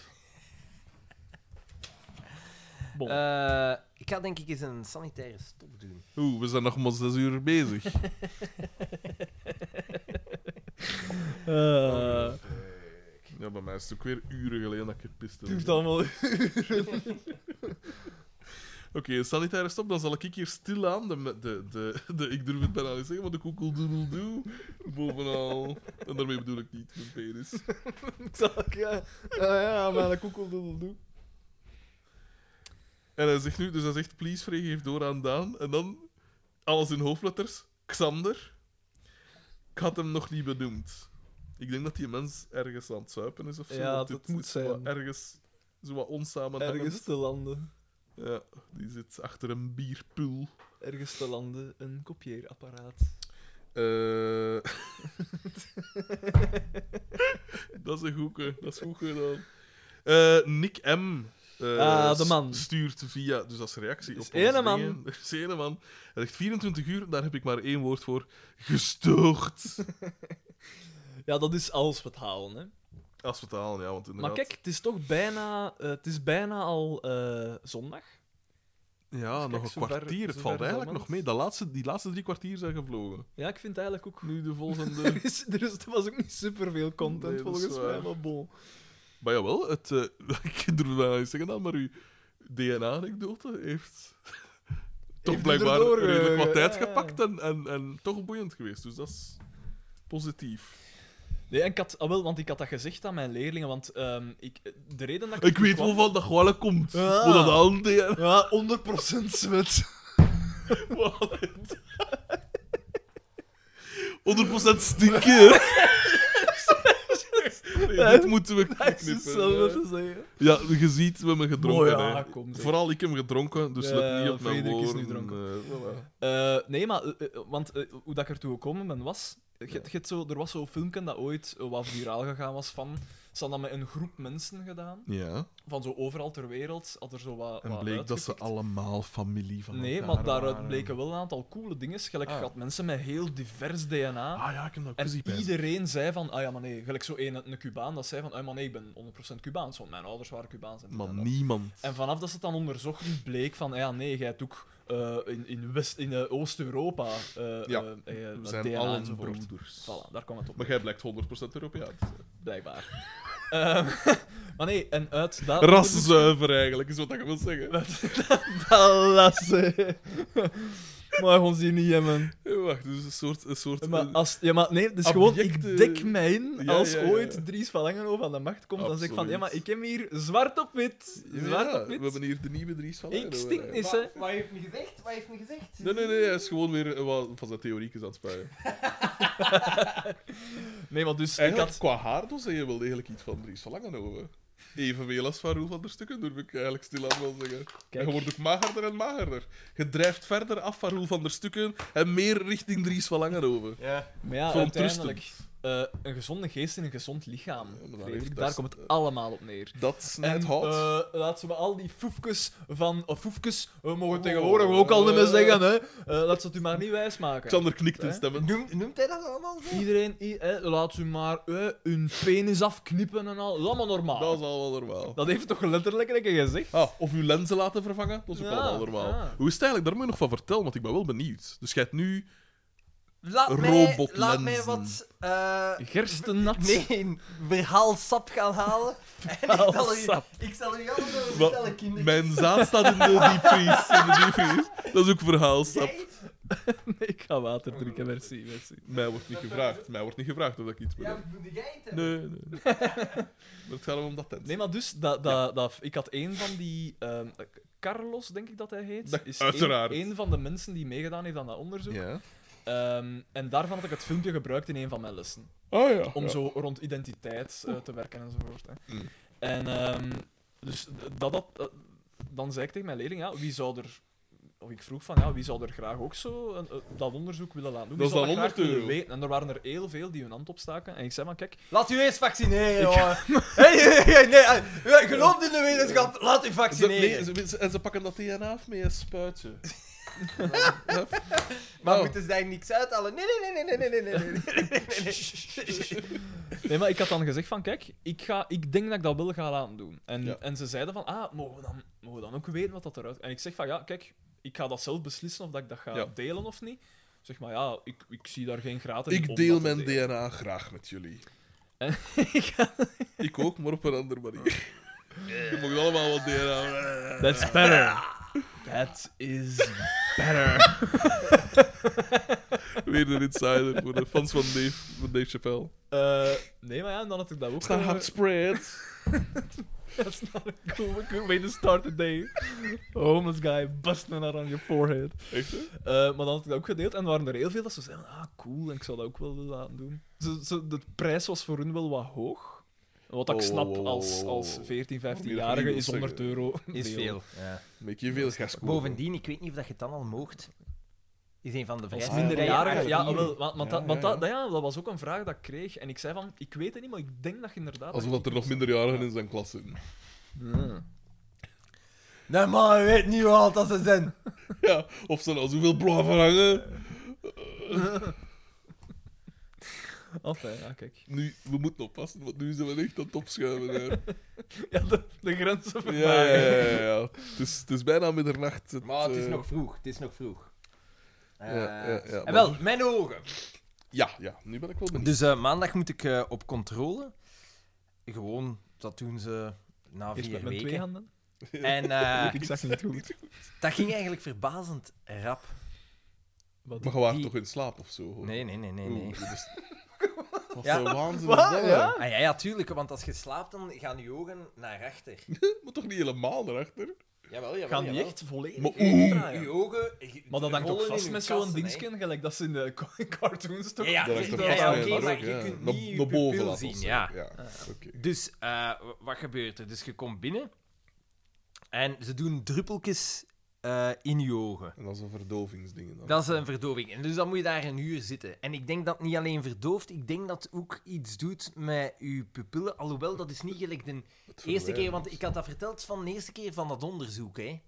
[SPEAKER 3] Bon.
[SPEAKER 1] Eh, ik ga denk ik eens een sanitaire stop doen.
[SPEAKER 4] Oeh, we zijn nog maar zes uur bezig.
[SPEAKER 3] Eh,
[SPEAKER 4] eh, Ja, bij mij is het ook weer uren geleden dat ik gepist heb.
[SPEAKER 3] duurt allemaal.
[SPEAKER 4] Oké, sanitaire stop, dan zal ik hier stilaan de, de, de, de, ik durf het bijna niet zeggen, maar de koekeldoedeldoe bovenal. En daarmee bedoel ik niet mijn penis.
[SPEAKER 3] Zal ik, ja, ja, ja, maar een koekeldoedeldoe.
[SPEAKER 4] En hij zegt nu, dus hij zegt, please, Free, geef door aan Daan. En dan, alles in hoofdletters, Xander. Ik had hem nog niet benoemd. Ik denk dat die mens ergens aan het zuipen is of zo.
[SPEAKER 3] Ja,
[SPEAKER 4] want
[SPEAKER 3] dat
[SPEAKER 4] dit
[SPEAKER 3] moet
[SPEAKER 4] is wel
[SPEAKER 3] zijn.
[SPEAKER 4] Ergens, zo wat onsamenhangend.
[SPEAKER 3] Ergens te landen.
[SPEAKER 4] Ja, die zit achter een bierpul.
[SPEAKER 3] Ergens te landen een kopieerapparaat.
[SPEAKER 4] Eh, dat is een goeke, dat is goed gedaan. Eh, Nick M. eh,
[SPEAKER 3] Ah, de man.
[SPEAKER 4] Stuurt via, dus als reactie
[SPEAKER 3] Er is
[SPEAKER 4] op onze
[SPEAKER 3] ene man.
[SPEAKER 4] dingen. Er is ene man. Hij zegt 24 uur, daar heb ik maar één woord voor. Gestoord.
[SPEAKER 3] Ja, dat is alles wat halen, hè.
[SPEAKER 4] Als we het halen, ja, want
[SPEAKER 3] Maar
[SPEAKER 4] inderdaad...
[SPEAKER 3] kijk, het is toch bijna, eh, het is bijna al eh, zondag.
[SPEAKER 4] Ja,
[SPEAKER 3] kijk,
[SPEAKER 4] nog een
[SPEAKER 3] zo ver-
[SPEAKER 4] kwartier.
[SPEAKER 3] zo
[SPEAKER 4] het
[SPEAKER 3] ver
[SPEAKER 4] valt
[SPEAKER 3] is
[SPEAKER 4] eigenlijk
[SPEAKER 3] allemaal.
[SPEAKER 4] nog mee. De laatste, die laatste drie kwartier zijn gevlogen.
[SPEAKER 3] Ja, ik vind het eigenlijk ook...
[SPEAKER 4] Nu de volgende...
[SPEAKER 3] Er, is, er, is, er was ook niet superveel content,
[SPEAKER 4] Nee, dat is
[SPEAKER 3] volgens mij,
[SPEAKER 4] waar.
[SPEAKER 3] maar bon.
[SPEAKER 4] Maar jawel, het, eh ik durf bijna niet zeggen, dan, maar uw DNA-anekdote heeft toch
[SPEAKER 3] u
[SPEAKER 4] blijkbaar
[SPEAKER 3] erdoor, eh,
[SPEAKER 4] redelijk wat tijd
[SPEAKER 3] ja, ja.
[SPEAKER 4] gepakt en, en, en toch boeiend geweest. Dus dat is positief.
[SPEAKER 3] Nee, en ik had, ah, wel, want ik had dat gezegd aan mijn leerlingen, want ehm, ik, de reden dat ik...
[SPEAKER 4] Ik weet wel van dat gewoon komt.
[SPEAKER 3] Ah.
[SPEAKER 4] Hoe dat al DNA...
[SPEAKER 3] Ja, 100% zwet.
[SPEAKER 4] 100% stinken. nee, dit moeten we
[SPEAKER 3] Dat is
[SPEAKER 4] knippen.
[SPEAKER 3] hetzelfde
[SPEAKER 4] hè.
[SPEAKER 3] te zeggen.
[SPEAKER 4] Ja, je ziet, we hebben gedronken.
[SPEAKER 3] Oh ja,
[SPEAKER 4] hè.
[SPEAKER 3] kom, zeg.
[SPEAKER 4] Vooral ik heb gedronken, dus
[SPEAKER 3] Ja,
[SPEAKER 4] let niet op mijn
[SPEAKER 3] Frederik is
[SPEAKER 4] woorden.
[SPEAKER 3] nu dronken.
[SPEAKER 4] eh, voilà.
[SPEAKER 3] Eh, nee, maar eh, eh, want, eh, hoe dat ik ertoe gekomen ben was. je- je hebt zo, er was zo'n filmpje dat ooit eh, wat viraal gegaan was van. Ze hadden dat met een groep mensen gedaan.
[SPEAKER 4] Ja.
[SPEAKER 3] Van zo overal ter wereld. Had er zo wat.
[SPEAKER 4] En
[SPEAKER 3] wat
[SPEAKER 4] bleek dat ze
[SPEAKER 3] uitgepikt.
[SPEAKER 4] allemaal familie van
[SPEAKER 3] Nee,
[SPEAKER 4] elkaar
[SPEAKER 3] maar daaruit
[SPEAKER 4] waren.
[SPEAKER 3] bleken wel een aantal coole dingen. Gelijk,
[SPEAKER 4] Ah.
[SPEAKER 3] je had mensen met heel divers DNA.
[SPEAKER 4] Ah ja, ik heb dat ook
[SPEAKER 3] En
[SPEAKER 4] gezien. bij-
[SPEAKER 3] iedereen zei van, ah ja, maar nee, gelijk zo een, een Cubaan, dat zei van, ah maar nee, ik ben 100% Cubaans, want mijn ouders waren Cubaans. En dit en
[SPEAKER 4] Maar
[SPEAKER 3] dat.
[SPEAKER 4] niemand.
[SPEAKER 3] En vanaf dat ze het dan onderzochten, bleek van, ja, nee, jij hebt ook eh, in, in, West- in eh, Oost-Europa eh,
[SPEAKER 4] Ja,
[SPEAKER 3] eh, eh,
[SPEAKER 4] We zijn
[SPEAKER 3] DNA
[SPEAKER 4] allen
[SPEAKER 3] enzovoort.
[SPEAKER 4] broeders.
[SPEAKER 3] Voilà, daar kwam het op,
[SPEAKER 4] Maar jij blijkt 100% Europeaan. te zijn.
[SPEAKER 3] blijkbaar. Ehm, maar nee, en uit dat...
[SPEAKER 4] Raszuiver eigenlijk, is wat ik wil zeggen.
[SPEAKER 3] Valasse. Maar ons hier niet hebben.
[SPEAKER 4] Eh, Wacht, dus een soort... Een soort
[SPEAKER 3] Maar
[SPEAKER 4] eh,
[SPEAKER 3] als, ja, maar nee, dus gewoon,
[SPEAKER 4] Objecten-
[SPEAKER 3] ik dek mij in.
[SPEAKER 4] Ja,
[SPEAKER 3] als
[SPEAKER 4] ja, ja.
[SPEAKER 3] ooit Dries van Langenhoven aan de macht komt, dan zeg ik van, ja,
[SPEAKER 4] Absoluut.
[SPEAKER 3] maar ik heb hier zwart op wit.
[SPEAKER 4] ja,
[SPEAKER 3] Zwart op
[SPEAKER 4] we
[SPEAKER 3] wit.
[SPEAKER 4] hebben hier de nieuwe Dries van
[SPEAKER 3] Ik
[SPEAKER 4] Leiden,
[SPEAKER 3] stink
[SPEAKER 4] eh.
[SPEAKER 3] niet, hè.
[SPEAKER 1] Wat, wat heeft me gezegd? Wat heeft me gezegd?
[SPEAKER 4] Nee, nee, nee, hij is gewoon weer eh, wat van zijn theoriekjes aan het spuien.
[SPEAKER 3] Nee, maar dus, ik
[SPEAKER 4] Eigenlijk,
[SPEAKER 3] had...
[SPEAKER 4] qua haardos zeg je wel degelijk iets van Dries van Langenhoven. Evenveel als van Roel van der Stukken, durf ik eigenlijk stilaan wel zeggen. En
[SPEAKER 3] Kijk.
[SPEAKER 4] je wordt ook magerder en magerder. Je drijft verder af van Roel van der Stukken en meer richting Dries van Langenhoven.
[SPEAKER 1] Ja.
[SPEAKER 3] Maar ja,
[SPEAKER 4] Verontrustend.
[SPEAKER 3] uiteindelijk, eh, een gezonde geest in een gezond lichaam.
[SPEAKER 4] Ja, maar daar
[SPEAKER 3] Frederik,
[SPEAKER 4] heeft- eh,
[SPEAKER 3] daar komt het allemaal op neer.
[SPEAKER 4] Dat snijdt
[SPEAKER 3] En,
[SPEAKER 4] hout.
[SPEAKER 3] eh, laten we al die foefkes van... Of foefkes, we mogen
[SPEAKER 4] Oh,
[SPEAKER 3] tegenwoordig ook al niet meer
[SPEAKER 4] eh.
[SPEAKER 3] zeggen, hè. Eh, laat ze het u maar niet wijsmaken.
[SPEAKER 4] Xander knikt
[SPEAKER 3] Hè?
[SPEAKER 4] in stemmen.
[SPEAKER 1] Noemt, noemt hij dat allemaal zo?
[SPEAKER 3] Iedereen, i- eh, laat u maar eh, hun penis afknippen en al. Dat is allemaal normaal.
[SPEAKER 4] Dat is allemaal normaal.
[SPEAKER 3] Ah. Dat heeft toch letterlijk een keer gezegd?
[SPEAKER 4] Ah, of uw lenzen laten vervangen, dat is ook
[SPEAKER 3] Ja,
[SPEAKER 4] allemaal normaal.
[SPEAKER 3] ja.
[SPEAKER 4] Hoe is het eigenlijk? Daar moet je nog van vertellen, want ik ben wel benieuwd. Dus jij hebt nu...
[SPEAKER 1] Laat mij,
[SPEAKER 4] Robotlenzen.
[SPEAKER 1] laat mij wat... eh,
[SPEAKER 3] Gerstennat.
[SPEAKER 1] Nee, verhaalsap gaan halen. En ik zal u,
[SPEAKER 3] Verhaalsap.
[SPEAKER 1] ik zal u allemaal
[SPEAKER 4] Wa-
[SPEAKER 1] vertellen, kinderen.
[SPEAKER 4] Mijn zaad staat in de diepvries. In de diepvries. Dat is ook verhaalsap.
[SPEAKER 1] Jij?
[SPEAKER 3] Nee, ik ga water drinken, merci, merci.
[SPEAKER 4] Mij wordt niet gevraagd. Mij wordt niet gevraagd of ik iets
[SPEAKER 1] Ja,
[SPEAKER 4] ben.
[SPEAKER 1] moet jij het hebben?
[SPEAKER 4] Nee, nee. nee. maar het gaat hem om dat tent.
[SPEAKER 3] Nee, maar dus, dat, dat, dat, ik had een van die... ehm, Carlos, denk ik dat hij heet.
[SPEAKER 4] Dat-
[SPEAKER 3] is
[SPEAKER 4] uiteraard.
[SPEAKER 3] Een, een van de mensen die meegedaan heeft aan dat onderzoek.
[SPEAKER 4] Ja.
[SPEAKER 3] Ehm, en daarvan had ik het filmpje gebruikt in een van mijn lessen.
[SPEAKER 4] Oh ja.
[SPEAKER 3] Om
[SPEAKER 4] ja.
[SPEAKER 3] zo rond identiteit eh, te werken enzovoort. Hè.
[SPEAKER 4] Mm.
[SPEAKER 3] En ehm, dus d- dat, dat, eh, dan zei ik tegen mijn leerling, ja, wie zou er... Of ik vroeg van, ja, wie zou er graag ook zo een- eh, dat onderzoek willen laten doen? Wie
[SPEAKER 4] Dat is
[SPEAKER 3] zou
[SPEAKER 4] dan
[SPEAKER 3] graag
[SPEAKER 4] 100
[SPEAKER 3] willen
[SPEAKER 4] euro.
[SPEAKER 3] weten? En er waren er heel veel die hun hand opstaken. En ik zei, maar kijk,
[SPEAKER 1] Laat u eens vaccineren, jongen. Hey, hey, hey, nee, eh, geloof in de wetenschap, laat u
[SPEAKER 4] Ze,
[SPEAKER 1] vaccineren.
[SPEAKER 4] nee, ze- ze- en ze pakken dat DNA af met een spuitje. Hup.
[SPEAKER 1] Maar
[SPEAKER 4] Oh.
[SPEAKER 1] moeten ze daar niks uithalen? Nee, nee, nee, nee, nee, nee, nee, nee, nee, nee, nee, nee.
[SPEAKER 3] Nee, maar ik had dan gezegd van, kijk, ik, ga, ik denk dat ik dat wel ga laten doen. En,
[SPEAKER 4] Ja.
[SPEAKER 3] en ze zeiden van, ah, mogen we, dan, mogen we dan ook weten wat dat eruit... En ik zeg van, ja, kijk, ik ga dat zelf beslissen of dat ik dat ga
[SPEAKER 4] Ja.
[SPEAKER 3] delen of niet. Zeg maar, ja, ik, ik zie daar geen graad in om
[SPEAKER 4] Ik
[SPEAKER 3] dat
[SPEAKER 4] deel
[SPEAKER 3] te
[SPEAKER 4] mijn
[SPEAKER 3] delen.
[SPEAKER 4] DNA graag met jullie.
[SPEAKER 3] En-
[SPEAKER 4] ik ook, maar op een andere manier. Je mag allemaal wat DNA.
[SPEAKER 3] That's better. That is better.
[SPEAKER 4] Weer een insider voor de fans van Dave, van Dave Chappelle.
[SPEAKER 3] Eh, nee, maar ja, dan had ik dat ook.
[SPEAKER 4] Staan
[SPEAKER 3] gedaan.
[SPEAKER 4] hard spread.
[SPEAKER 3] That's not a cool, good way to start the day. A homeless guy busting out on your forehead.
[SPEAKER 4] Echt, hè?
[SPEAKER 3] Eh, maar dan had ik dat ook gedeeld en waren er heel veel dat ze zeiden, ah cool, en ik zou dat ook wel willen laten doen. Ze, ze, de prijs was voor hun wel wat hoog. Wat ik
[SPEAKER 4] Oh,
[SPEAKER 3] snap
[SPEAKER 4] oh, oh,
[SPEAKER 3] als,
[SPEAKER 4] oh,
[SPEAKER 3] als
[SPEAKER 4] oh.
[SPEAKER 3] 14,
[SPEAKER 4] Moet je
[SPEAKER 3] 15-jarige
[SPEAKER 4] niet
[SPEAKER 3] is 100
[SPEAKER 4] zeggen.
[SPEAKER 3] euro
[SPEAKER 1] Is veel. Ja.
[SPEAKER 4] Maak je veel gas kopen.
[SPEAKER 1] Bovendien, ik weet niet of dat je het dan al moogt. Is een van de
[SPEAKER 3] Als
[SPEAKER 1] vrijste.
[SPEAKER 3] minderjarige, ja,
[SPEAKER 1] wel.
[SPEAKER 3] wel, want, want
[SPEAKER 4] Ja,
[SPEAKER 3] dat, want
[SPEAKER 4] ja,
[SPEAKER 3] dat, ja, dat was ook een vraag dat ik kreeg. En ik zei van, ik weet het niet, maar ik denk dat je inderdaad... Hmm.
[SPEAKER 4] Alsof dat er nog minderjarigen in zijn klas zitten.
[SPEAKER 1] Nee, man, je weet niet hoe oud dat ze zijn.
[SPEAKER 4] Ja, of ze nou zoveel blaven hangen.
[SPEAKER 3] Enfin, ja, kijk.
[SPEAKER 4] Nu, we moeten oppassen, want nu zijn we echt aan het opschuiven. Hè.
[SPEAKER 3] Ja, de, de grenzen
[SPEAKER 4] Ja,
[SPEAKER 3] vervagen.
[SPEAKER 4] ja, ja. ja. Het, is, het is bijna middernacht. Het,
[SPEAKER 1] Maar het is
[SPEAKER 4] eh,
[SPEAKER 1] nog vroeg, het is nog vroeg. Eh,
[SPEAKER 4] ja, ja,
[SPEAKER 1] en
[SPEAKER 4] maar-
[SPEAKER 1] wel, mijn ogen.
[SPEAKER 4] Ja, ja, nu ben ik wel benieuwd.
[SPEAKER 1] Dus eh, maandag moet ik eh, op controle. Gewoon, dat doen ze na
[SPEAKER 3] Eerst
[SPEAKER 1] vier
[SPEAKER 3] met mijn twee
[SPEAKER 1] weken.
[SPEAKER 3] handen.
[SPEAKER 1] En eh,
[SPEAKER 3] ik zag niet goed.
[SPEAKER 1] dat ging eigenlijk verbazend rap.
[SPEAKER 3] Wat?
[SPEAKER 4] Maar je waren
[SPEAKER 1] die-
[SPEAKER 4] toch in slaap of zo?
[SPEAKER 1] Nee, nee, nee, nee.
[SPEAKER 4] Oeh,
[SPEAKER 1] nee.
[SPEAKER 4] dat is- Wat
[SPEAKER 1] Ja.
[SPEAKER 4] een waanzin
[SPEAKER 3] Wat?
[SPEAKER 4] is dat, hè?
[SPEAKER 3] Ja?
[SPEAKER 1] Ah, ja, ja, tuurlijk, want als je slaapt, dan gaan je ogen naar achter.
[SPEAKER 4] Moet toch niet helemaal erachter?
[SPEAKER 1] Jawel, jawel.
[SPEAKER 3] Gaan die
[SPEAKER 1] jawel. Ah,
[SPEAKER 3] echt volledig
[SPEAKER 4] Maar
[SPEAKER 3] heen
[SPEAKER 4] oeh.
[SPEAKER 3] draaien?
[SPEAKER 1] Je ogen.
[SPEAKER 3] Maar dat hangt ook
[SPEAKER 1] rollen in
[SPEAKER 3] vast
[SPEAKER 1] hun
[SPEAKER 3] met zo'n
[SPEAKER 1] kassen, hè.
[SPEAKER 3] dingetje, gelijk dat ze in de ca- cartoons toch...
[SPEAKER 1] Ja, ja,
[SPEAKER 4] Dat
[SPEAKER 1] ja,
[SPEAKER 4] hangt er
[SPEAKER 1] ja,
[SPEAKER 4] vast
[SPEAKER 1] ja,
[SPEAKER 4] mee,
[SPEAKER 1] oké,
[SPEAKER 4] dat
[SPEAKER 1] maar
[SPEAKER 4] ook,
[SPEAKER 1] je
[SPEAKER 4] ja.
[SPEAKER 1] kunt
[SPEAKER 4] Na-
[SPEAKER 1] niet je
[SPEAKER 4] naar boven
[SPEAKER 1] pupil
[SPEAKER 4] laat
[SPEAKER 1] zien,
[SPEAKER 4] of zo.
[SPEAKER 1] ja.
[SPEAKER 4] oké.
[SPEAKER 1] Dus eh, w- wat gebeurt er? Dus je komt binnen en ze doen druppeltjes eh, in je ogen.
[SPEAKER 4] En dat is een verdovingsding. Dan.
[SPEAKER 1] Dat is een verdoving. En dus dan moet je daar een uur zitten. En ik denk dat het niet alleen verdooft, ik denk dat het ook iets doet met je pupillen. Alhoewel, dat is niet gelijk de
[SPEAKER 4] Het
[SPEAKER 1] eerste keer,
[SPEAKER 4] verwijt.
[SPEAKER 1] want ik had dat verteld van de eerste keer van dat onderzoek. Hè.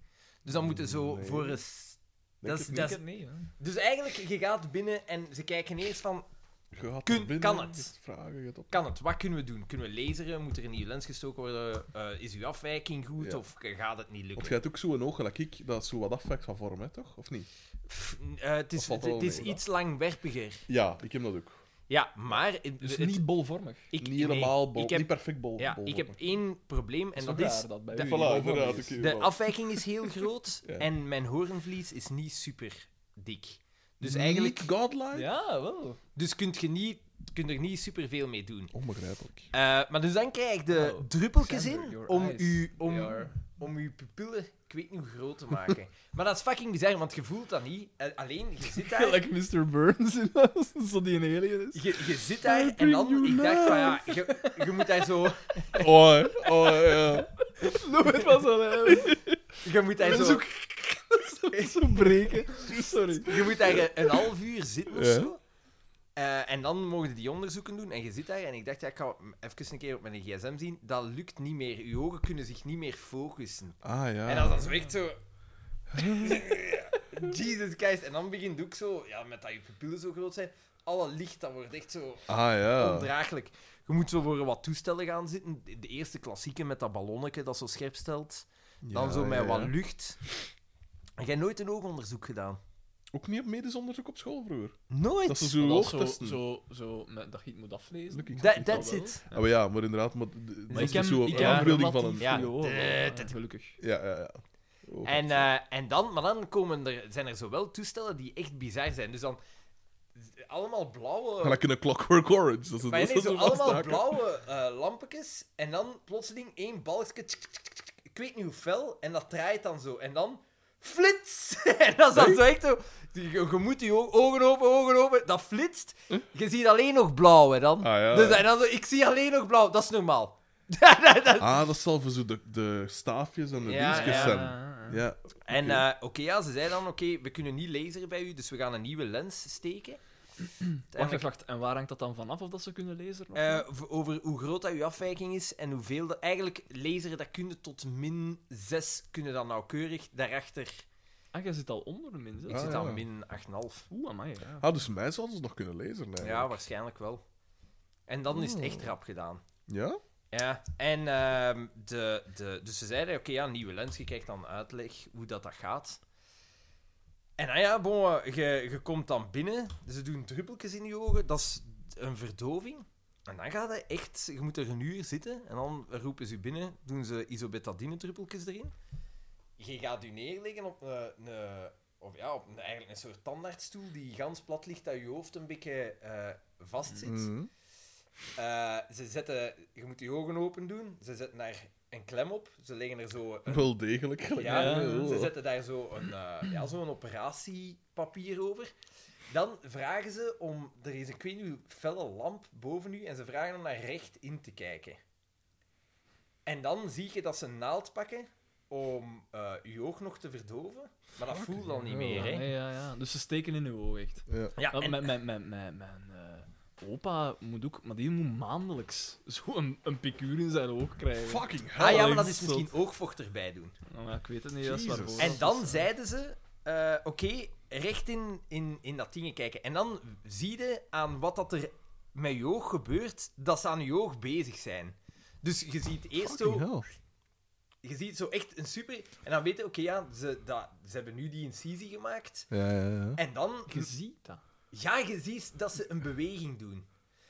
[SPEAKER 1] Dus dan moeten zo
[SPEAKER 4] Nee.
[SPEAKER 1] voor een... s-
[SPEAKER 4] Denk
[SPEAKER 1] dat is-
[SPEAKER 4] het
[SPEAKER 3] Ik
[SPEAKER 1] dat
[SPEAKER 4] niet.
[SPEAKER 1] is-
[SPEAKER 3] het niet, hè.
[SPEAKER 1] Dus eigenlijk, je gaat binnen en ze kijken eerst van,
[SPEAKER 4] Je gaat
[SPEAKER 1] kun-
[SPEAKER 4] er binnen,
[SPEAKER 1] kan
[SPEAKER 4] je
[SPEAKER 1] het?
[SPEAKER 4] hebt Vragen, je hebt op...
[SPEAKER 1] kan het? Wat kunnen we doen? Kunnen we laseren? Moet er een nieuwe lens gestoken worden? Eh, is uw afwijking goed
[SPEAKER 4] Ja.
[SPEAKER 1] of gaat het niet
[SPEAKER 4] Want
[SPEAKER 1] lukken?
[SPEAKER 4] jij hebt ook zo'n oog, gelijk ik, dat zo wat afwijkt van vorm, hè, toch? Of niet?
[SPEAKER 1] Pff, eh, het
[SPEAKER 4] Of
[SPEAKER 1] is,
[SPEAKER 4] valt
[SPEAKER 1] het,
[SPEAKER 4] dat
[SPEAKER 1] het
[SPEAKER 4] wel
[SPEAKER 1] is
[SPEAKER 4] mee?
[SPEAKER 1] iets langwerpiger.
[SPEAKER 4] Ja, ik heb dat ook.
[SPEAKER 1] Ja, maar... eh,
[SPEAKER 3] Dus
[SPEAKER 1] het-
[SPEAKER 3] niet bolvormig.
[SPEAKER 1] ik,
[SPEAKER 4] niet helemaal
[SPEAKER 1] nee,
[SPEAKER 4] bol,
[SPEAKER 1] ik heb,
[SPEAKER 4] niet perfect bol.
[SPEAKER 1] ja,
[SPEAKER 4] bol-
[SPEAKER 1] ik heb
[SPEAKER 4] bol-
[SPEAKER 1] één probleem en
[SPEAKER 3] Zo
[SPEAKER 1] dat is...
[SPEAKER 3] raar dat bij
[SPEAKER 1] de-
[SPEAKER 3] u
[SPEAKER 4] Voilà,
[SPEAKER 3] bolvormig
[SPEAKER 4] inderdaad,
[SPEAKER 3] is.
[SPEAKER 4] oké.
[SPEAKER 1] De
[SPEAKER 4] Voilà.
[SPEAKER 1] afwijking is heel groot
[SPEAKER 4] Ja.
[SPEAKER 1] en mijn hoornvlies is niet super dik. Dus eigenlijk...
[SPEAKER 4] Niet godlike?
[SPEAKER 3] Ja, wel.
[SPEAKER 1] Dus kun je, niet, kunt er niet superveel mee doen.
[SPEAKER 4] Onbegrijpelijk.
[SPEAKER 1] Eh, maar dus dan krijg je de
[SPEAKER 3] Oh,
[SPEAKER 1] druppeltjes
[SPEAKER 3] Xander,
[SPEAKER 1] in
[SPEAKER 3] your
[SPEAKER 1] om
[SPEAKER 3] eyes,
[SPEAKER 1] u,
[SPEAKER 3] they
[SPEAKER 1] om,
[SPEAKER 3] are-
[SPEAKER 1] om uw pupillen, ik weet niet hoe groot te maken. maar dat is fucking bizar, want je voelt dat niet. Eh, alleen, je zit daar...
[SPEAKER 3] Gelijk Mr. Burns in als zo die een alien is.
[SPEAKER 1] Je, je zit daar en
[SPEAKER 3] bring
[SPEAKER 1] dan,
[SPEAKER 3] you
[SPEAKER 1] ik dacht van ja, je, je moet daar zo,
[SPEAKER 4] Oh, hè. oh ja.
[SPEAKER 3] Nooit was al alien.
[SPEAKER 1] je moet daar
[SPEAKER 3] Dat is
[SPEAKER 1] zo,
[SPEAKER 3] ook... Dat is zo breken. Sorry.
[SPEAKER 1] je moet daar een, een half uur zitten of
[SPEAKER 4] Ja.
[SPEAKER 1] zo. Eh, en dan mogen die onderzoeken doen en je zit daar en ik dacht ja, ik ga even een keer op mijn gsm zien. Dat lukt niet meer, je ogen kunnen zich niet meer focussen.
[SPEAKER 4] Ah ja.
[SPEAKER 1] En dan is dat zo echt zo... Jesus Christ. En dan begint ook zo, ja, met dat je pupillen zo groot zijn, alle licht, dat wordt echt zo...
[SPEAKER 4] Ah ja.
[SPEAKER 1] ondraaglijk. Je moet zo voor wat toestellen gaan zitten. De eerste klassieke met dat ballonnetje dat zo scherp stelt. Dan
[SPEAKER 4] Ja,
[SPEAKER 1] zo met
[SPEAKER 4] ja,
[SPEAKER 1] wat
[SPEAKER 4] ja.
[SPEAKER 1] lucht. En jij nooit een oogonderzoek gedaan?
[SPEAKER 4] Ook niet op medisch onderzoek op school vroeger.
[SPEAKER 1] Nooit?
[SPEAKER 4] Dat ze zo
[SPEAKER 3] Dat
[SPEAKER 4] hoog
[SPEAKER 3] zo,
[SPEAKER 4] testen.
[SPEAKER 3] zo, zo, met, dat je het moet aflezen.
[SPEAKER 4] Lukt ik.
[SPEAKER 1] That-
[SPEAKER 3] dat
[SPEAKER 1] that's
[SPEAKER 3] wel.
[SPEAKER 1] it.
[SPEAKER 4] Ah, maar ja, maar inderdaad, maar, d- d- dat is
[SPEAKER 3] heb-
[SPEAKER 4] dus zo een
[SPEAKER 1] heb
[SPEAKER 3] heb
[SPEAKER 4] afbeelding van een...
[SPEAKER 3] relatief
[SPEAKER 1] Ja.
[SPEAKER 3] goede oren,
[SPEAKER 1] Eh, dat-
[SPEAKER 3] Gelukkig.
[SPEAKER 4] Ja, ja, ja. Oh,
[SPEAKER 1] En,
[SPEAKER 4] God.
[SPEAKER 1] eh, en dan, maar dan komen er, zijn er zowel toestellen die echt bizar zijn. Dus dan allemaal blauwe...
[SPEAKER 4] Gelijk in een Clockwork Orange. Dat is
[SPEAKER 1] Maar
[SPEAKER 4] dat
[SPEAKER 1] nee,
[SPEAKER 4] is
[SPEAKER 1] zo
[SPEAKER 4] een
[SPEAKER 1] allemaal
[SPEAKER 4] vasthaken.
[SPEAKER 1] blauwe eh lampetjes en dan plotseling één balkje. tsk, tsk, tsk, tsk, Ik weet niet hoe fel. En dat draait dan zo. En dan flits! en dat is dan zo echt zo... Je, je moet je o- ogen open, ogen open. Dat flitst. Je ziet alleen nog blauw, hè, dan.
[SPEAKER 4] Ah, ja.
[SPEAKER 1] Dus, en dan zo, ik zie alleen nog blauw. Dat is normaal.
[SPEAKER 4] Ah, dat zal voor zo de, de staafjes en de
[SPEAKER 1] Ja,
[SPEAKER 4] dingetjes
[SPEAKER 1] ja.
[SPEAKER 4] zijn. Ja.
[SPEAKER 1] En
[SPEAKER 4] Oké.
[SPEAKER 1] eh, oké, ja, ze zei dan, oké, we kunnen niet laseren bij u, dus we gaan een nieuwe lens steken.
[SPEAKER 3] Wacht,
[SPEAKER 1] Uiteindelijk-
[SPEAKER 3] wacht, wacht. En waar hangt dat dan vanaf of dat ze kunnen lezen? of
[SPEAKER 1] Eh,
[SPEAKER 3] niet?
[SPEAKER 1] v- over hoe groot dat uw afwijking is en hoeveel... Dat, eigenlijk, laseren, dat kunnen tot min 6 kunnen dan nauwkeurig. Daarachter,
[SPEAKER 3] ah, jij zit al onder de min zes.
[SPEAKER 1] ik
[SPEAKER 4] Ah,
[SPEAKER 1] zit
[SPEAKER 4] ja.
[SPEAKER 1] aan min 8,5.
[SPEAKER 3] Oeh, amai. Ja.
[SPEAKER 4] Ah, dus mij zouden ze nog kunnen lezen. eigenlijk.
[SPEAKER 1] Ja, waarschijnlijk wel. En dan is het echt rap gedaan.
[SPEAKER 4] Ja?
[SPEAKER 1] Ja, en ehm, de, de, dus ze zeiden, oké, ja, nieuwe lens, je krijgt dan uitleg hoe dat, dat gaat. En nou ja, bon, eh, je, je komt dan binnen, ze doen druppeltjes in je ogen, dat is een verdoving. En dan gaat het echt, je moet er een uur zitten, en dan roepen ze je binnen, doen ze isobetadine druppeltjes erin. je gaat je neerleggen op een, een- of ja, op een, eigenlijk een soort tandartsstoel die gans plat ligt, dat je hoofd een beetje eh, vast zit.
[SPEAKER 4] Mhm.
[SPEAKER 1] Eh, ze zetten, je moet je ogen open doen, ze zetten daar een klem op, ze leggen er zo een
[SPEAKER 4] Wel degelijk.
[SPEAKER 1] ja,
[SPEAKER 3] Ja,
[SPEAKER 1] ze
[SPEAKER 4] oh.
[SPEAKER 1] zetten daar zo een, eh, ja, zo een operatiepapier over. Dan vragen ze om... Er is een, ik weet niet, hoe felle lamp boven u en ze vragen om daar recht in te kijken. En dan zie je dat ze een naald pakken om eh je oog nog te verdoven. Maar dat voelt al niet meer, hè.
[SPEAKER 3] nee, ja, ja. Dus ze steken in uw oog echt.
[SPEAKER 4] Ja.
[SPEAKER 1] Ja,
[SPEAKER 3] Want
[SPEAKER 1] en-
[SPEAKER 3] Mijn, mijn, mijn, mijn, mijn eh, opa moet ook, maar die moet maandelijks zo'n een picuur in zijn oog krijgen.
[SPEAKER 4] Fucking hell.
[SPEAKER 1] ah ja, maar dat
[SPEAKER 3] dat
[SPEAKER 1] is
[SPEAKER 3] is
[SPEAKER 1] misschien oogvocht erbij doen.
[SPEAKER 3] Nou, ja, ik weet het niet, dat is
[SPEAKER 4] Jezus.
[SPEAKER 3] waarvoor.
[SPEAKER 1] En dan zeiden ze, eh, oké, recht in, in, in dat ding kijken. En dan zie je aan wat dat er met je oog gebeurt, dat ze aan je oog bezig zijn. Dus je ziet eerst
[SPEAKER 4] Fucking
[SPEAKER 1] zo,
[SPEAKER 4] hell.
[SPEAKER 1] je ziet zo echt een super... En dan weten, oké, ja, ze, dat, ze hebben nu die incisie gemaakt.
[SPEAKER 4] Ja, ja, ja.
[SPEAKER 1] En dan,
[SPEAKER 3] Je ziet dat.
[SPEAKER 1] ja, je ziet dat ze een beweging doen.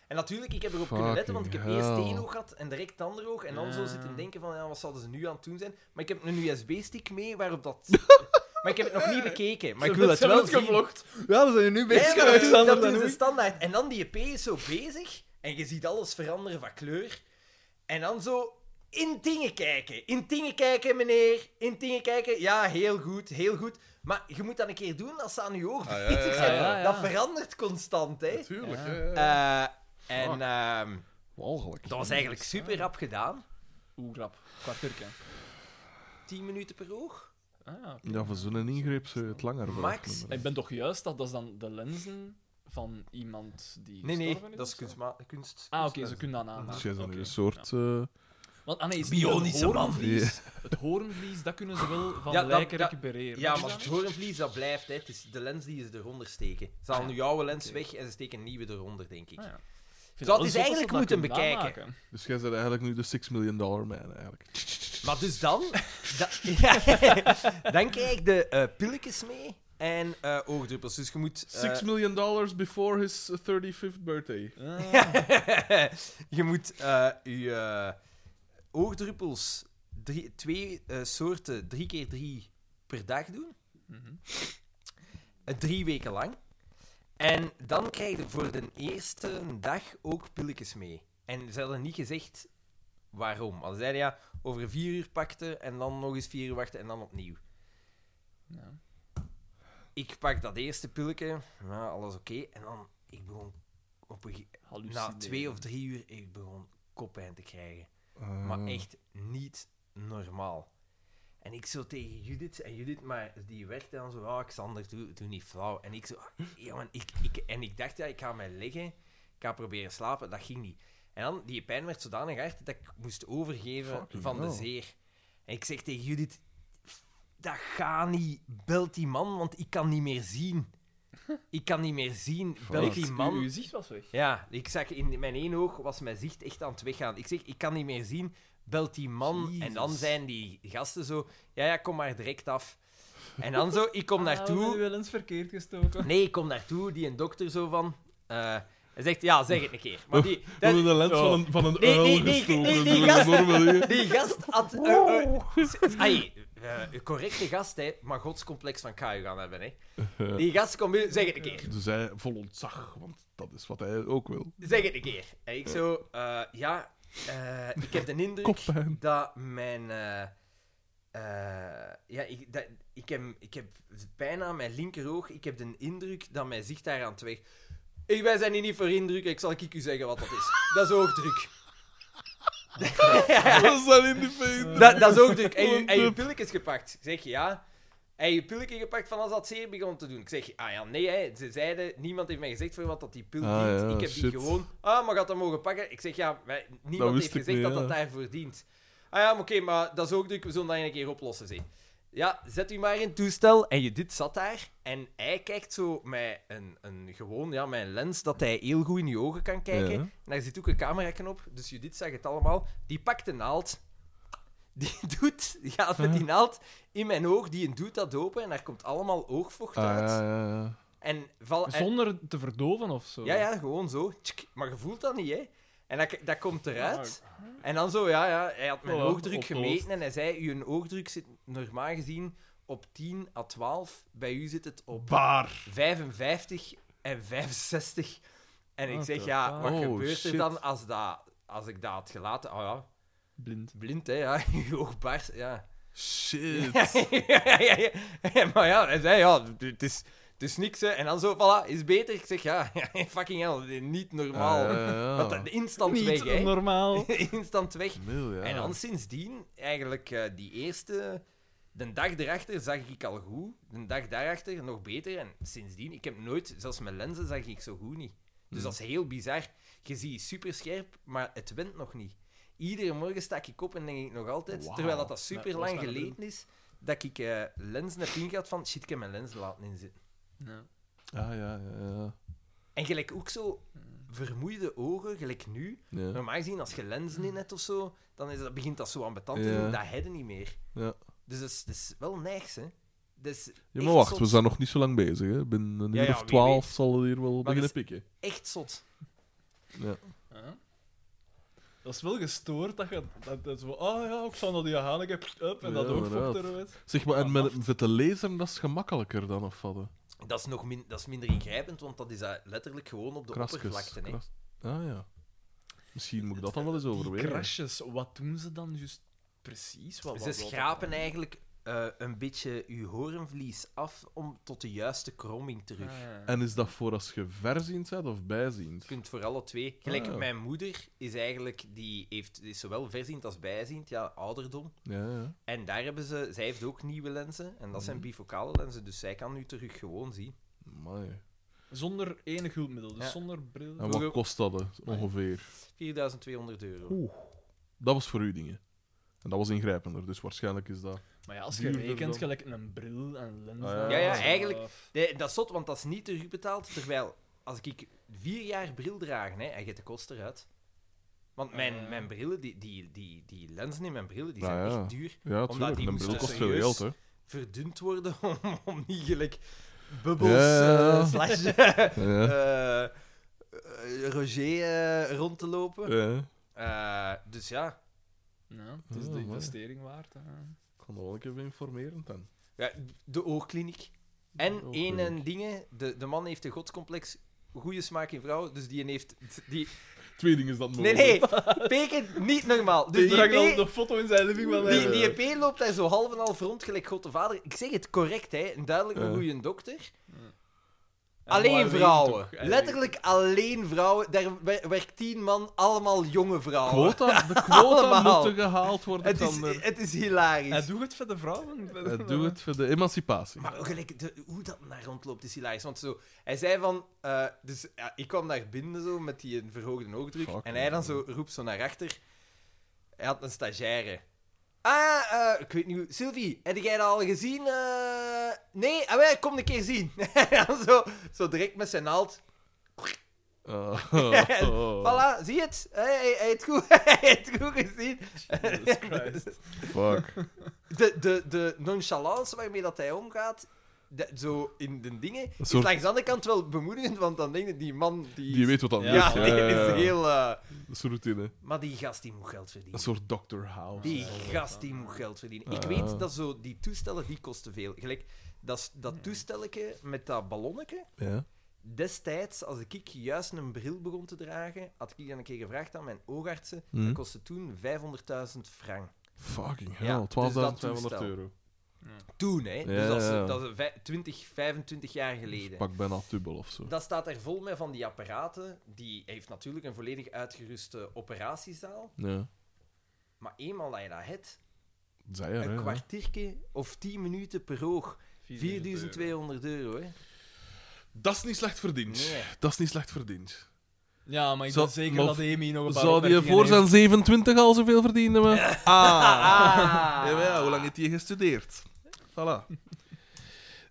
[SPEAKER 1] En natuurlijk, ik heb erop kunnen
[SPEAKER 4] Fucking
[SPEAKER 1] letten, want ik heb E
[SPEAKER 4] hell.
[SPEAKER 1] eerst het ene oog gehad en direct het andere oog. En dan zo
[SPEAKER 3] Ja.
[SPEAKER 1] zitten denken van, ja, wat zouden ze nu aan het doen zijn? Maar ik heb een USB-stick mee waarop dat... maar ik heb het nog niet bekeken, maar ik wil het wel zien.
[SPEAKER 3] gevlogd. Ja, we zijn hier nu
[SPEAKER 1] Ja,
[SPEAKER 3] bezig.
[SPEAKER 1] maar dat, doen-
[SPEAKER 3] Alexander
[SPEAKER 1] dat doen ze
[SPEAKER 3] Danoui.
[SPEAKER 1] standaard. En dan die EP is zo bezig en je ziet alles veranderen van kleur. En dan zo in dingen kijken. In dingen kijken, meneer. In dingen kijken. Ja, heel goed, heel goed. Maar je moet dat een keer doen als ze aan je oog
[SPEAKER 4] Ah, ja,
[SPEAKER 1] bezig
[SPEAKER 4] ja,
[SPEAKER 1] zijn.
[SPEAKER 3] ja, ja.
[SPEAKER 1] Dat verandert constant, hè.
[SPEAKER 4] Natuurlijk,
[SPEAKER 3] Ja.
[SPEAKER 4] ja, ja.
[SPEAKER 1] Eh,
[SPEAKER 3] Oh.
[SPEAKER 1] en ehm,
[SPEAKER 4] Walgelijk.
[SPEAKER 1] dat was eigenlijk super rap gedaan.
[SPEAKER 3] Oeh, grap. Kwartierke.
[SPEAKER 1] 10 minuten per oog.
[SPEAKER 3] Ah, ja.
[SPEAKER 4] Ja, voor zo'n ingreep zou je het langer wel
[SPEAKER 1] Max.
[SPEAKER 4] afnemen.
[SPEAKER 3] Ik ben toch juist dat dat is dan de lenzen van iemand die.
[SPEAKER 1] Nee, nee,
[SPEAKER 3] gestorven is
[SPEAKER 1] dat is
[SPEAKER 3] of zo?
[SPEAKER 1] kunstma- kunst.
[SPEAKER 3] Ah, oké, ze kunnen dat
[SPEAKER 1] Eh,
[SPEAKER 3] aanmaken.
[SPEAKER 4] Dus jij bent
[SPEAKER 3] Oké.
[SPEAKER 4] een soort... eh,
[SPEAKER 3] Want, ah, nee, is
[SPEAKER 1] Bionische
[SPEAKER 3] Bionische
[SPEAKER 1] man.
[SPEAKER 3] hoornvlies. Het hoornvlies, dat kunnen ze wel van
[SPEAKER 1] Ja, dat-
[SPEAKER 3] lijken
[SPEAKER 1] dat-
[SPEAKER 3] recupereren.
[SPEAKER 1] Ja,
[SPEAKER 3] Is
[SPEAKER 1] maar
[SPEAKER 3] dat
[SPEAKER 1] het hoornvlies, dat blijft. Hè. Het is de lens die ze eronder steken. Ze halen nu oude lens weg en ze steken een nieuwe eronder, denk ik.
[SPEAKER 3] Ah, ja. Ik
[SPEAKER 1] Zou
[SPEAKER 3] vind
[SPEAKER 1] het eens
[SPEAKER 3] wel zot dat ze
[SPEAKER 1] eigenlijk
[SPEAKER 3] dat
[SPEAKER 1] moeten
[SPEAKER 3] kunnen
[SPEAKER 1] bekijken?
[SPEAKER 3] namaken.
[SPEAKER 4] Dus jij bent eigenlijk nu de 6 million dollar man, eigenlijk.
[SPEAKER 1] Maar dus dan... da- dan krijg ik de eh, pilletjes mee en eh, oogdruppels. Dus je moet... eh,
[SPEAKER 4] 6 million dollars before his 35th birthday.
[SPEAKER 3] Ah,
[SPEAKER 1] je moet eh, je eh, oogdruppels drie, twee eh, soorten, drie keer drie per dag doen.
[SPEAKER 3] mhm.
[SPEAKER 1] Eh, Drie weken lang. En dan krijg je voor de eerste dag ook pilletjes mee. En ze hadden niet gezegd waarom. Al zeiden ja, over vier uur pakte en dan nog eens vier uur wachten en dan opnieuw.
[SPEAKER 3] Ja.
[SPEAKER 1] Ik pak dat eerste pilletje, ja, alles oké. En dan, ik begon op een, ge- na
[SPEAKER 3] Hallucineren.
[SPEAKER 1] twee of drie uur, ik begon koppijn te krijgen.
[SPEAKER 4] Ah.
[SPEAKER 1] Maar echt niet normaal. En ik zo tegen Judith, en Judith, maar die werkte dan zo, ah, Xander, doe, doe niet flauw. En ik zo, ah, ja, man, ik, ik, en ik dacht, ja, ik ga mij liggen, ik ga proberen slapen, dat ging niet. En dan, die pijn werd zodanig hard dat ik moest overgeven
[SPEAKER 4] Fucking
[SPEAKER 1] van de
[SPEAKER 4] hell.
[SPEAKER 1] zeer. En ik zeg tegen Judith, dat gaat niet, belt die man, want ik kan niet meer zien. Ik kan niet meer zien, belt
[SPEAKER 4] Fuck.
[SPEAKER 1] die
[SPEAKER 3] Uw-
[SPEAKER 1] man.
[SPEAKER 3] Uw zicht was weg.
[SPEAKER 1] Ja, ik zag in mijn één oog was mijn zicht echt aan het weggaan. Ik zeg, ik kan niet meer zien. Belt die man.
[SPEAKER 4] Jezus.
[SPEAKER 1] En dan zijn die gasten zo, ja, ja, kom maar direct af. En dan zo, ik kom
[SPEAKER 3] Ah, we
[SPEAKER 1] naartoe.
[SPEAKER 3] wel eens verkeerd gestoken.
[SPEAKER 1] Nee, ik kom naartoe. Die een dokter zo van. eh, hij zegt, ja, zeg het een keer. Maar die,
[SPEAKER 4] Door
[SPEAKER 1] dat- Oh.
[SPEAKER 4] de lens
[SPEAKER 3] Ja.
[SPEAKER 4] van een, van een
[SPEAKER 1] Nee,
[SPEAKER 4] uil
[SPEAKER 1] nee, nee,
[SPEAKER 4] gestoken.
[SPEAKER 1] nee, nee,
[SPEAKER 4] door
[SPEAKER 1] gast.
[SPEAKER 4] een enorme dingen.
[SPEAKER 1] die gast had. eh, eh, s- s- ai, eh, een correcte gast, hè, maar godscomplex van Kaju gaan hebben. Hè. Die gast komt binnen, zeg het een keer.
[SPEAKER 4] Dus hij vol ontzag, want dat is wat hij ook wil.
[SPEAKER 1] Zeg het een keer. En ik zo, eh, ja, eh, ik heb de indruk
[SPEAKER 4] Koppijn.
[SPEAKER 1] dat mijn... eh, eh, ja, ik, dat, ik, heb, ik heb bijna aan mijn linkeroog, ik heb de indruk dat mijn zicht daar aan het weg... Ik, wij zijn hier niet voor indruk, ik zal ik u zeggen wat dat is. Dat is oogdruk.
[SPEAKER 4] Dat is dan in de feest.
[SPEAKER 1] dat, dat is oogdruk. En je,
[SPEAKER 4] Wat
[SPEAKER 1] en je
[SPEAKER 4] een-
[SPEAKER 1] pilletjes gepakt. Ik zeg ja. En je pilletje gepakt van als dat zeer begon te doen. Ik zeg, ah ja, nee, hè. ze zeiden, niemand heeft mij gezegd voor wat dat die pil
[SPEAKER 4] Ah,
[SPEAKER 1] dient.
[SPEAKER 4] ja,
[SPEAKER 1] ik heb
[SPEAKER 4] shit.
[SPEAKER 1] die gewoon, ah, maar gaat dat mogen pakken? Ik zeg, ja, wij- niemand
[SPEAKER 4] wist
[SPEAKER 1] heeft
[SPEAKER 4] ik
[SPEAKER 1] gezegd
[SPEAKER 4] niet,
[SPEAKER 1] dat
[SPEAKER 4] ja.
[SPEAKER 1] dat daarvoor dient. Ah ja, maar oké, maar dat is ook druk, we zullen dat een keer oplossen, zeg. Ja, zet u maar in het toestel. En je dit zat daar. En hij kijkt zo met een, een gewoon, ja, met een lens dat hij heel goed in je ogen kan kijken.
[SPEAKER 4] Ja.
[SPEAKER 1] En daar zit ook een cameraknop, dus Judith zag het allemaal. Die pakt de naald. Die doet, die gaat met die naald in mijn oog, die een doet dat open en daar komt allemaal oogvocht
[SPEAKER 4] Ah,
[SPEAKER 1] uit.
[SPEAKER 4] ja, ja, ja.
[SPEAKER 1] En val, en-
[SPEAKER 3] Zonder te verdoven of zo.
[SPEAKER 1] ja, ja, gewoon zo. Tsk, maar je voelt dat niet, hè? En dat, dat komt eruit. En dan zo, ja, ja hij had mijn
[SPEAKER 4] Voilà,
[SPEAKER 1] oogdruk
[SPEAKER 4] opgelost.
[SPEAKER 1] gemeten en hij zei, uw oogdruk zit normaal gezien op 10 à 12. Bij u zit het op
[SPEAKER 4] Baar.
[SPEAKER 1] 55 en 65. En ik
[SPEAKER 3] What
[SPEAKER 1] zeg,
[SPEAKER 3] the
[SPEAKER 1] ja,
[SPEAKER 3] fuck?
[SPEAKER 1] wat
[SPEAKER 4] Oh,
[SPEAKER 1] gebeurt
[SPEAKER 4] shit.
[SPEAKER 1] er dan als, dat, als ik dat had gelaten? Oh ja,
[SPEAKER 3] Blind.
[SPEAKER 1] blind, hè, ja, je oogbaars, ja.
[SPEAKER 4] Shit.
[SPEAKER 1] ja, ja, ja, ja. Maar ja, hij zei, ja, d- het is, het is niks, hè. En dan zo, voilà, is beter. Ik zeg, ja, fucking hell, dit is niet normaal.
[SPEAKER 4] Ah, ja,
[SPEAKER 1] Want
[SPEAKER 4] ja.
[SPEAKER 1] dat- instant
[SPEAKER 3] Niet
[SPEAKER 1] weg, hè.
[SPEAKER 3] normaal.
[SPEAKER 1] instant weg.
[SPEAKER 4] Mil, ja.
[SPEAKER 1] En dan sindsdien, eigenlijk eh, die eerste... De dag erachter zag ik al goed. De dag daarachter nog beter. En sindsdien, ik heb nooit... Zelfs mijn lenzen zag ik zo goed niet. Dus
[SPEAKER 4] Hmm.
[SPEAKER 1] dat is heel bizar. Je ziet super scherp, maar het wint nog niet. Iedere morgen sta ik op en denk ik nog altijd...
[SPEAKER 4] Wauw.
[SPEAKER 1] Terwijl dat, dat
[SPEAKER 3] Nee,
[SPEAKER 1] super
[SPEAKER 3] dat
[SPEAKER 1] lang
[SPEAKER 3] is wel een
[SPEAKER 1] geleden is, dat ik eh, lenzen heb ingehad van... Shit, ik heb mijn lenzen laten inzitten.
[SPEAKER 4] Ah, ja, ja, ja.
[SPEAKER 1] En gelijk ook zo vermoeide ogen, gelijk nu...
[SPEAKER 4] ja.
[SPEAKER 1] Normaal gezien, als je lenzen in hebt of zo, dan is dat, begint dat zo ambetant te
[SPEAKER 4] Ja.
[SPEAKER 1] doen. Dat hebben niet meer.
[SPEAKER 4] Ja.
[SPEAKER 1] Dus dat is, dat is wel niks, hè. Dat is
[SPEAKER 4] Ja,
[SPEAKER 1] echt
[SPEAKER 4] maar wacht,
[SPEAKER 1] zot.
[SPEAKER 4] we zijn nog niet zo lang bezig. Hè. Binnen een
[SPEAKER 1] Ja,
[SPEAKER 4] uur
[SPEAKER 1] ja,
[SPEAKER 4] of
[SPEAKER 1] wie
[SPEAKER 4] twaalf
[SPEAKER 1] weet.
[SPEAKER 4] zal het hier wel
[SPEAKER 1] dat
[SPEAKER 4] beginnen
[SPEAKER 1] is-
[SPEAKER 4] pikken.
[SPEAKER 1] echt zot.
[SPEAKER 3] Dat is wel gestoord dat je dat, dat zo, ah ja, ik zal naar die Haneke pst, up, en dat
[SPEAKER 4] Ja,
[SPEAKER 3] ook
[SPEAKER 4] inderdaad.
[SPEAKER 3] vocht eruit.
[SPEAKER 4] Zeg maar, en
[SPEAKER 3] Ja,
[SPEAKER 4] met,
[SPEAKER 3] wacht.
[SPEAKER 4] met de lezer, dat is gemakkelijker dan of wat? hè?
[SPEAKER 1] Dat is, nog min, dat is minder ingrijpend, want dat is eh, letterlijk gewoon op de
[SPEAKER 4] Kraskes.
[SPEAKER 1] oppervlakte. Hè.
[SPEAKER 4] kras- Ah ja. Misschien moet ik dat dan wel eens
[SPEAKER 3] Die
[SPEAKER 4] overwegen.
[SPEAKER 3] crashes, wat doen ze dan juist precies? Wat,
[SPEAKER 1] Ze
[SPEAKER 3] wat- wat-
[SPEAKER 1] schrapen eigenlijk eh, een beetje je horenvlies af om tot de juiste kromming terug.
[SPEAKER 3] Ah, ja.
[SPEAKER 4] En is dat voor als je verziend bent of bijziend?
[SPEAKER 1] Je kunt voor alle twee. Gelijk,
[SPEAKER 4] Ah.
[SPEAKER 1] mijn moeder is eigenlijk, die heeft, is zowel verziend als bijziend, ja, ouderdom.
[SPEAKER 4] Ja, ja.
[SPEAKER 1] En daar hebben ze, zij heeft ook nieuwe lenzen, en dat
[SPEAKER 4] Mhm.
[SPEAKER 1] zijn bifocale lenzen, dus zij kan nu terug gewoon zien.
[SPEAKER 4] Amai.
[SPEAKER 3] Zonder enig hulpmiddel, dus
[SPEAKER 1] Ja.
[SPEAKER 3] zonder bril.
[SPEAKER 4] En
[SPEAKER 1] Hoeveel-
[SPEAKER 4] wat kost dat hè, ongeveer?
[SPEAKER 1] 4200 euro.
[SPEAKER 4] Dat was voor u dingen. En dat was ingrijpender, dus waarschijnlijk is dat.
[SPEAKER 3] Maar ja, als je
[SPEAKER 4] Duurder
[SPEAKER 3] rekent,
[SPEAKER 4] dan.
[SPEAKER 3] gelijk een bril en lenzen.
[SPEAKER 4] Ah, ja.
[SPEAKER 1] Ja, ja,
[SPEAKER 3] zo,
[SPEAKER 1] eigenlijk-
[SPEAKER 3] eh,
[SPEAKER 1] Nee, dat is zot, want dat is niet terugbetaald. Terwijl, als ik vier jaar bril draag, hè, hij gaat de kost eruit. Want mijn,
[SPEAKER 3] Ah, ja.
[SPEAKER 1] mijn brillen, die, die, die, die lenzen in mijn brillen, die
[SPEAKER 4] Ah,
[SPEAKER 1] zijn
[SPEAKER 4] Eh. ja.
[SPEAKER 1] echt duur.
[SPEAKER 4] Ja,
[SPEAKER 1] Omdat
[SPEAKER 4] tuurlijk.
[SPEAKER 1] die
[SPEAKER 4] Een
[SPEAKER 1] moest
[SPEAKER 4] bril
[SPEAKER 3] dus
[SPEAKER 4] kost veel
[SPEAKER 1] serieus-
[SPEAKER 4] geld, hè?
[SPEAKER 1] Verdund worden om, om niet gelijk bubbels,
[SPEAKER 4] Ja.
[SPEAKER 1] eh, slash
[SPEAKER 4] Ja.
[SPEAKER 1] eh, eh, Roger eh, rond te lopen.
[SPEAKER 4] Ja.
[SPEAKER 1] Eh, dus ja.
[SPEAKER 3] nou, het is
[SPEAKER 4] Ah,
[SPEAKER 3] de
[SPEAKER 4] mooi.
[SPEAKER 3] investering waard. Hè.
[SPEAKER 4] Ik kan er wel een keer informeren dan.
[SPEAKER 1] ja, de oogkliniek. En
[SPEAKER 4] De
[SPEAKER 1] één
[SPEAKER 4] oogkliniek.
[SPEAKER 1] ding, de, de man heeft een godscomplex, goede smaak in vrouwen, dus die heeft... Die,
[SPEAKER 4] Twee dingen is dat
[SPEAKER 1] Nee,
[SPEAKER 4] mogelijk.
[SPEAKER 1] nee, Peken niet normaal. Dus
[SPEAKER 3] Die
[SPEAKER 1] die,
[SPEAKER 3] brengt al
[SPEAKER 1] EP,
[SPEAKER 3] de foto in zijn living van
[SPEAKER 1] die,
[SPEAKER 3] eh,
[SPEAKER 1] die EP loopt daar zo half en half rond, gelijk God de Vader. Ik zeg het correct, hè. Een duidelijk een
[SPEAKER 4] Ja.
[SPEAKER 1] goede dokter.
[SPEAKER 3] en
[SPEAKER 1] Alleen
[SPEAKER 3] alleen
[SPEAKER 1] vrouwen.
[SPEAKER 3] toch, eigenlijk.
[SPEAKER 1] Letterlijk alleen vrouwen. Daar wer- werkt tien man, allemaal jonge vrouwen.
[SPEAKER 4] Quota, de quota
[SPEAKER 1] Allemaal.
[SPEAKER 4] moeten gehaald worden.
[SPEAKER 1] Het
[SPEAKER 4] dan.
[SPEAKER 1] is,
[SPEAKER 4] eh.
[SPEAKER 1] het is hilarisch.
[SPEAKER 3] Hij doet het voor de vrouwen.
[SPEAKER 4] Eh, Doe het voor de emancipatie.
[SPEAKER 1] Maar ook gelijk, de- hoe dat naar rondloopt is hilarisch. Want zo, hij zei van... eh, dus ja, ik kwam daar binnen zo, met die verhoogde oogdruk.
[SPEAKER 4] Fuck,
[SPEAKER 1] en hij dan
[SPEAKER 4] man.
[SPEAKER 1] zo roept zo naar achter. Hij had een stagiaire. Ah, eh, ik weet niet hoe... Sylvie, heb jij dat al gezien? Eh, nee? Ah, wel, kom een keer zien. en dan zo, zo direct met zijn naald.
[SPEAKER 4] Oh.
[SPEAKER 1] Voilà, zie je het? Hij, hij, hij heeft goed, hij heeft goed gezien.
[SPEAKER 3] Jesus Christ.
[SPEAKER 4] Fuck.
[SPEAKER 1] De, de, de nonchalance waarmee dat hij omgaat... de- zo in de dingen,
[SPEAKER 4] Een
[SPEAKER 1] is
[SPEAKER 4] soort-
[SPEAKER 1] langs de andere kant wel bemoedigend, want dan denk je, die man die...
[SPEAKER 4] Die weet wat dat
[SPEAKER 3] Ja,
[SPEAKER 1] ja,
[SPEAKER 4] is.
[SPEAKER 1] die
[SPEAKER 4] Ja, ja, ja.
[SPEAKER 1] is heel... eh,
[SPEAKER 4] Dat is een routine.
[SPEAKER 1] Maar die gast, die moet geld
[SPEAKER 4] Een
[SPEAKER 1] verdienen.
[SPEAKER 4] soort Dr. House.
[SPEAKER 1] Die
[SPEAKER 3] Ja.
[SPEAKER 1] gast, die moet geld verdienen. Ik
[SPEAKER 4] Ja.
[SPEAKER 1] weet dat zo, die toestellen, die kosten veel. Gelijk, dat, s- dat toestelletje met dat ballonnetje,
[SPEAKER 4] Ja.
[SPEAKER 1] destijds, als ik juist een bril begon te dragen, had ik dan een keer gevraagd aan mijn oogartsen,
[SPEAKER 4] Mhm.
[SPEAKER 1] dat kostte toen 500.000 frank.
[SPEAKER 4] Fucking
[SPEAKER 1] Ja,
[SPEAKER 4] hell.
[SPEAKER 1] dus
[SPEAKER 4] 12.500
[SPEAKER 1] dat
[SPEAKER 4] euro.
[SPEAKER 1] Toen, hè.
[SPEAKER 4] Ja,
[SPEAKER 1] dus dat is,
[SPEAKER 4] ja.
[SPEAKER 1] dat is vij- 20, 25 jaar geleden.
[SPEAKER 4] Pak bijna dubbel of zo.
[SPEAKER 1] Dat staat er vol mee van die apparaten. Die heeft natuurlijk een volledig uitgeruste operatiezaal.
[SPEAKER 4] Ja.
[SPEAKER 1] Maar eenmaal dat je dat hebt,
[SPEAKER 4] Zij er,
[SPEAKER 1] een
[SPEAKER 4] hè.
[SPEAKER 1] kwartiertje of 10 minuten per oog, 4200 euro. Hè.
[SPEAKER 4] Dat is niet slecht verdiend.
[SPEAKER 1] Nee.
[SPEAKER 4] Dat is niet slecht verdiend.
[SPEAKER 3] Ja, maar ik
[SPEAKER 4] Zou-
[SPEAKER 3] ben zeker
[SPEAKER 4] maar-
[SPEAKER 3] dat Amy nog een paar
[SPEAKER 4] Zou die
[SPEAKER 3] opmerkingen
[SPEAKER 4] voor zijn
[SPEAKER 3] heeft.
[SPEAKER 4] 27 al zoveel verdienen? We? Ah.
[SPEAKER 1] Ah.
[SPEAKER 4] Ja, maar ja, hoe lang heeft hij gestudeerd? Voilà.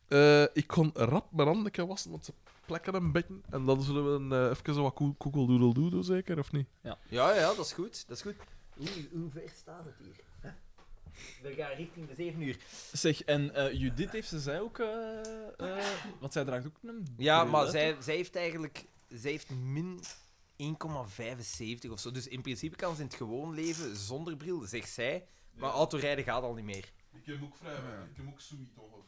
[SPEAKER 4] Eh, ik kon rap mijn handen wassen, want ze plekken een beetje. En dan zullen we een, eh, even zo wat koe- koekeldoedeldoe doen, zeker, of niet?
[SPEAKER 1] Ja, ja, dat is goed. Dat is goed. Hoe, hoe ver staat het hier? Huh? We gaan richting de 7 uur.
[SPEAKER 3] Zeg, en eh, Judith heeft ze zij ook... eh, eh, want zij draagt ook een
[SPEAKER 1] Ja,
[SPEAKER 3] bril,
[SPEAKER 1] maar
[SPEAKER 3] hè,
[SPEAKER 1] zij, zij heeft eigenlijk zij heeft min 1,75 of zo. Dus in principe kan ze in het gewoon leven zonder bril, zegt zij. Maar autorijden gaat al niet meer.
[SPEAKER 4] Ik heb ook vrij weinig. Ik heb ook zoiets ongeveer.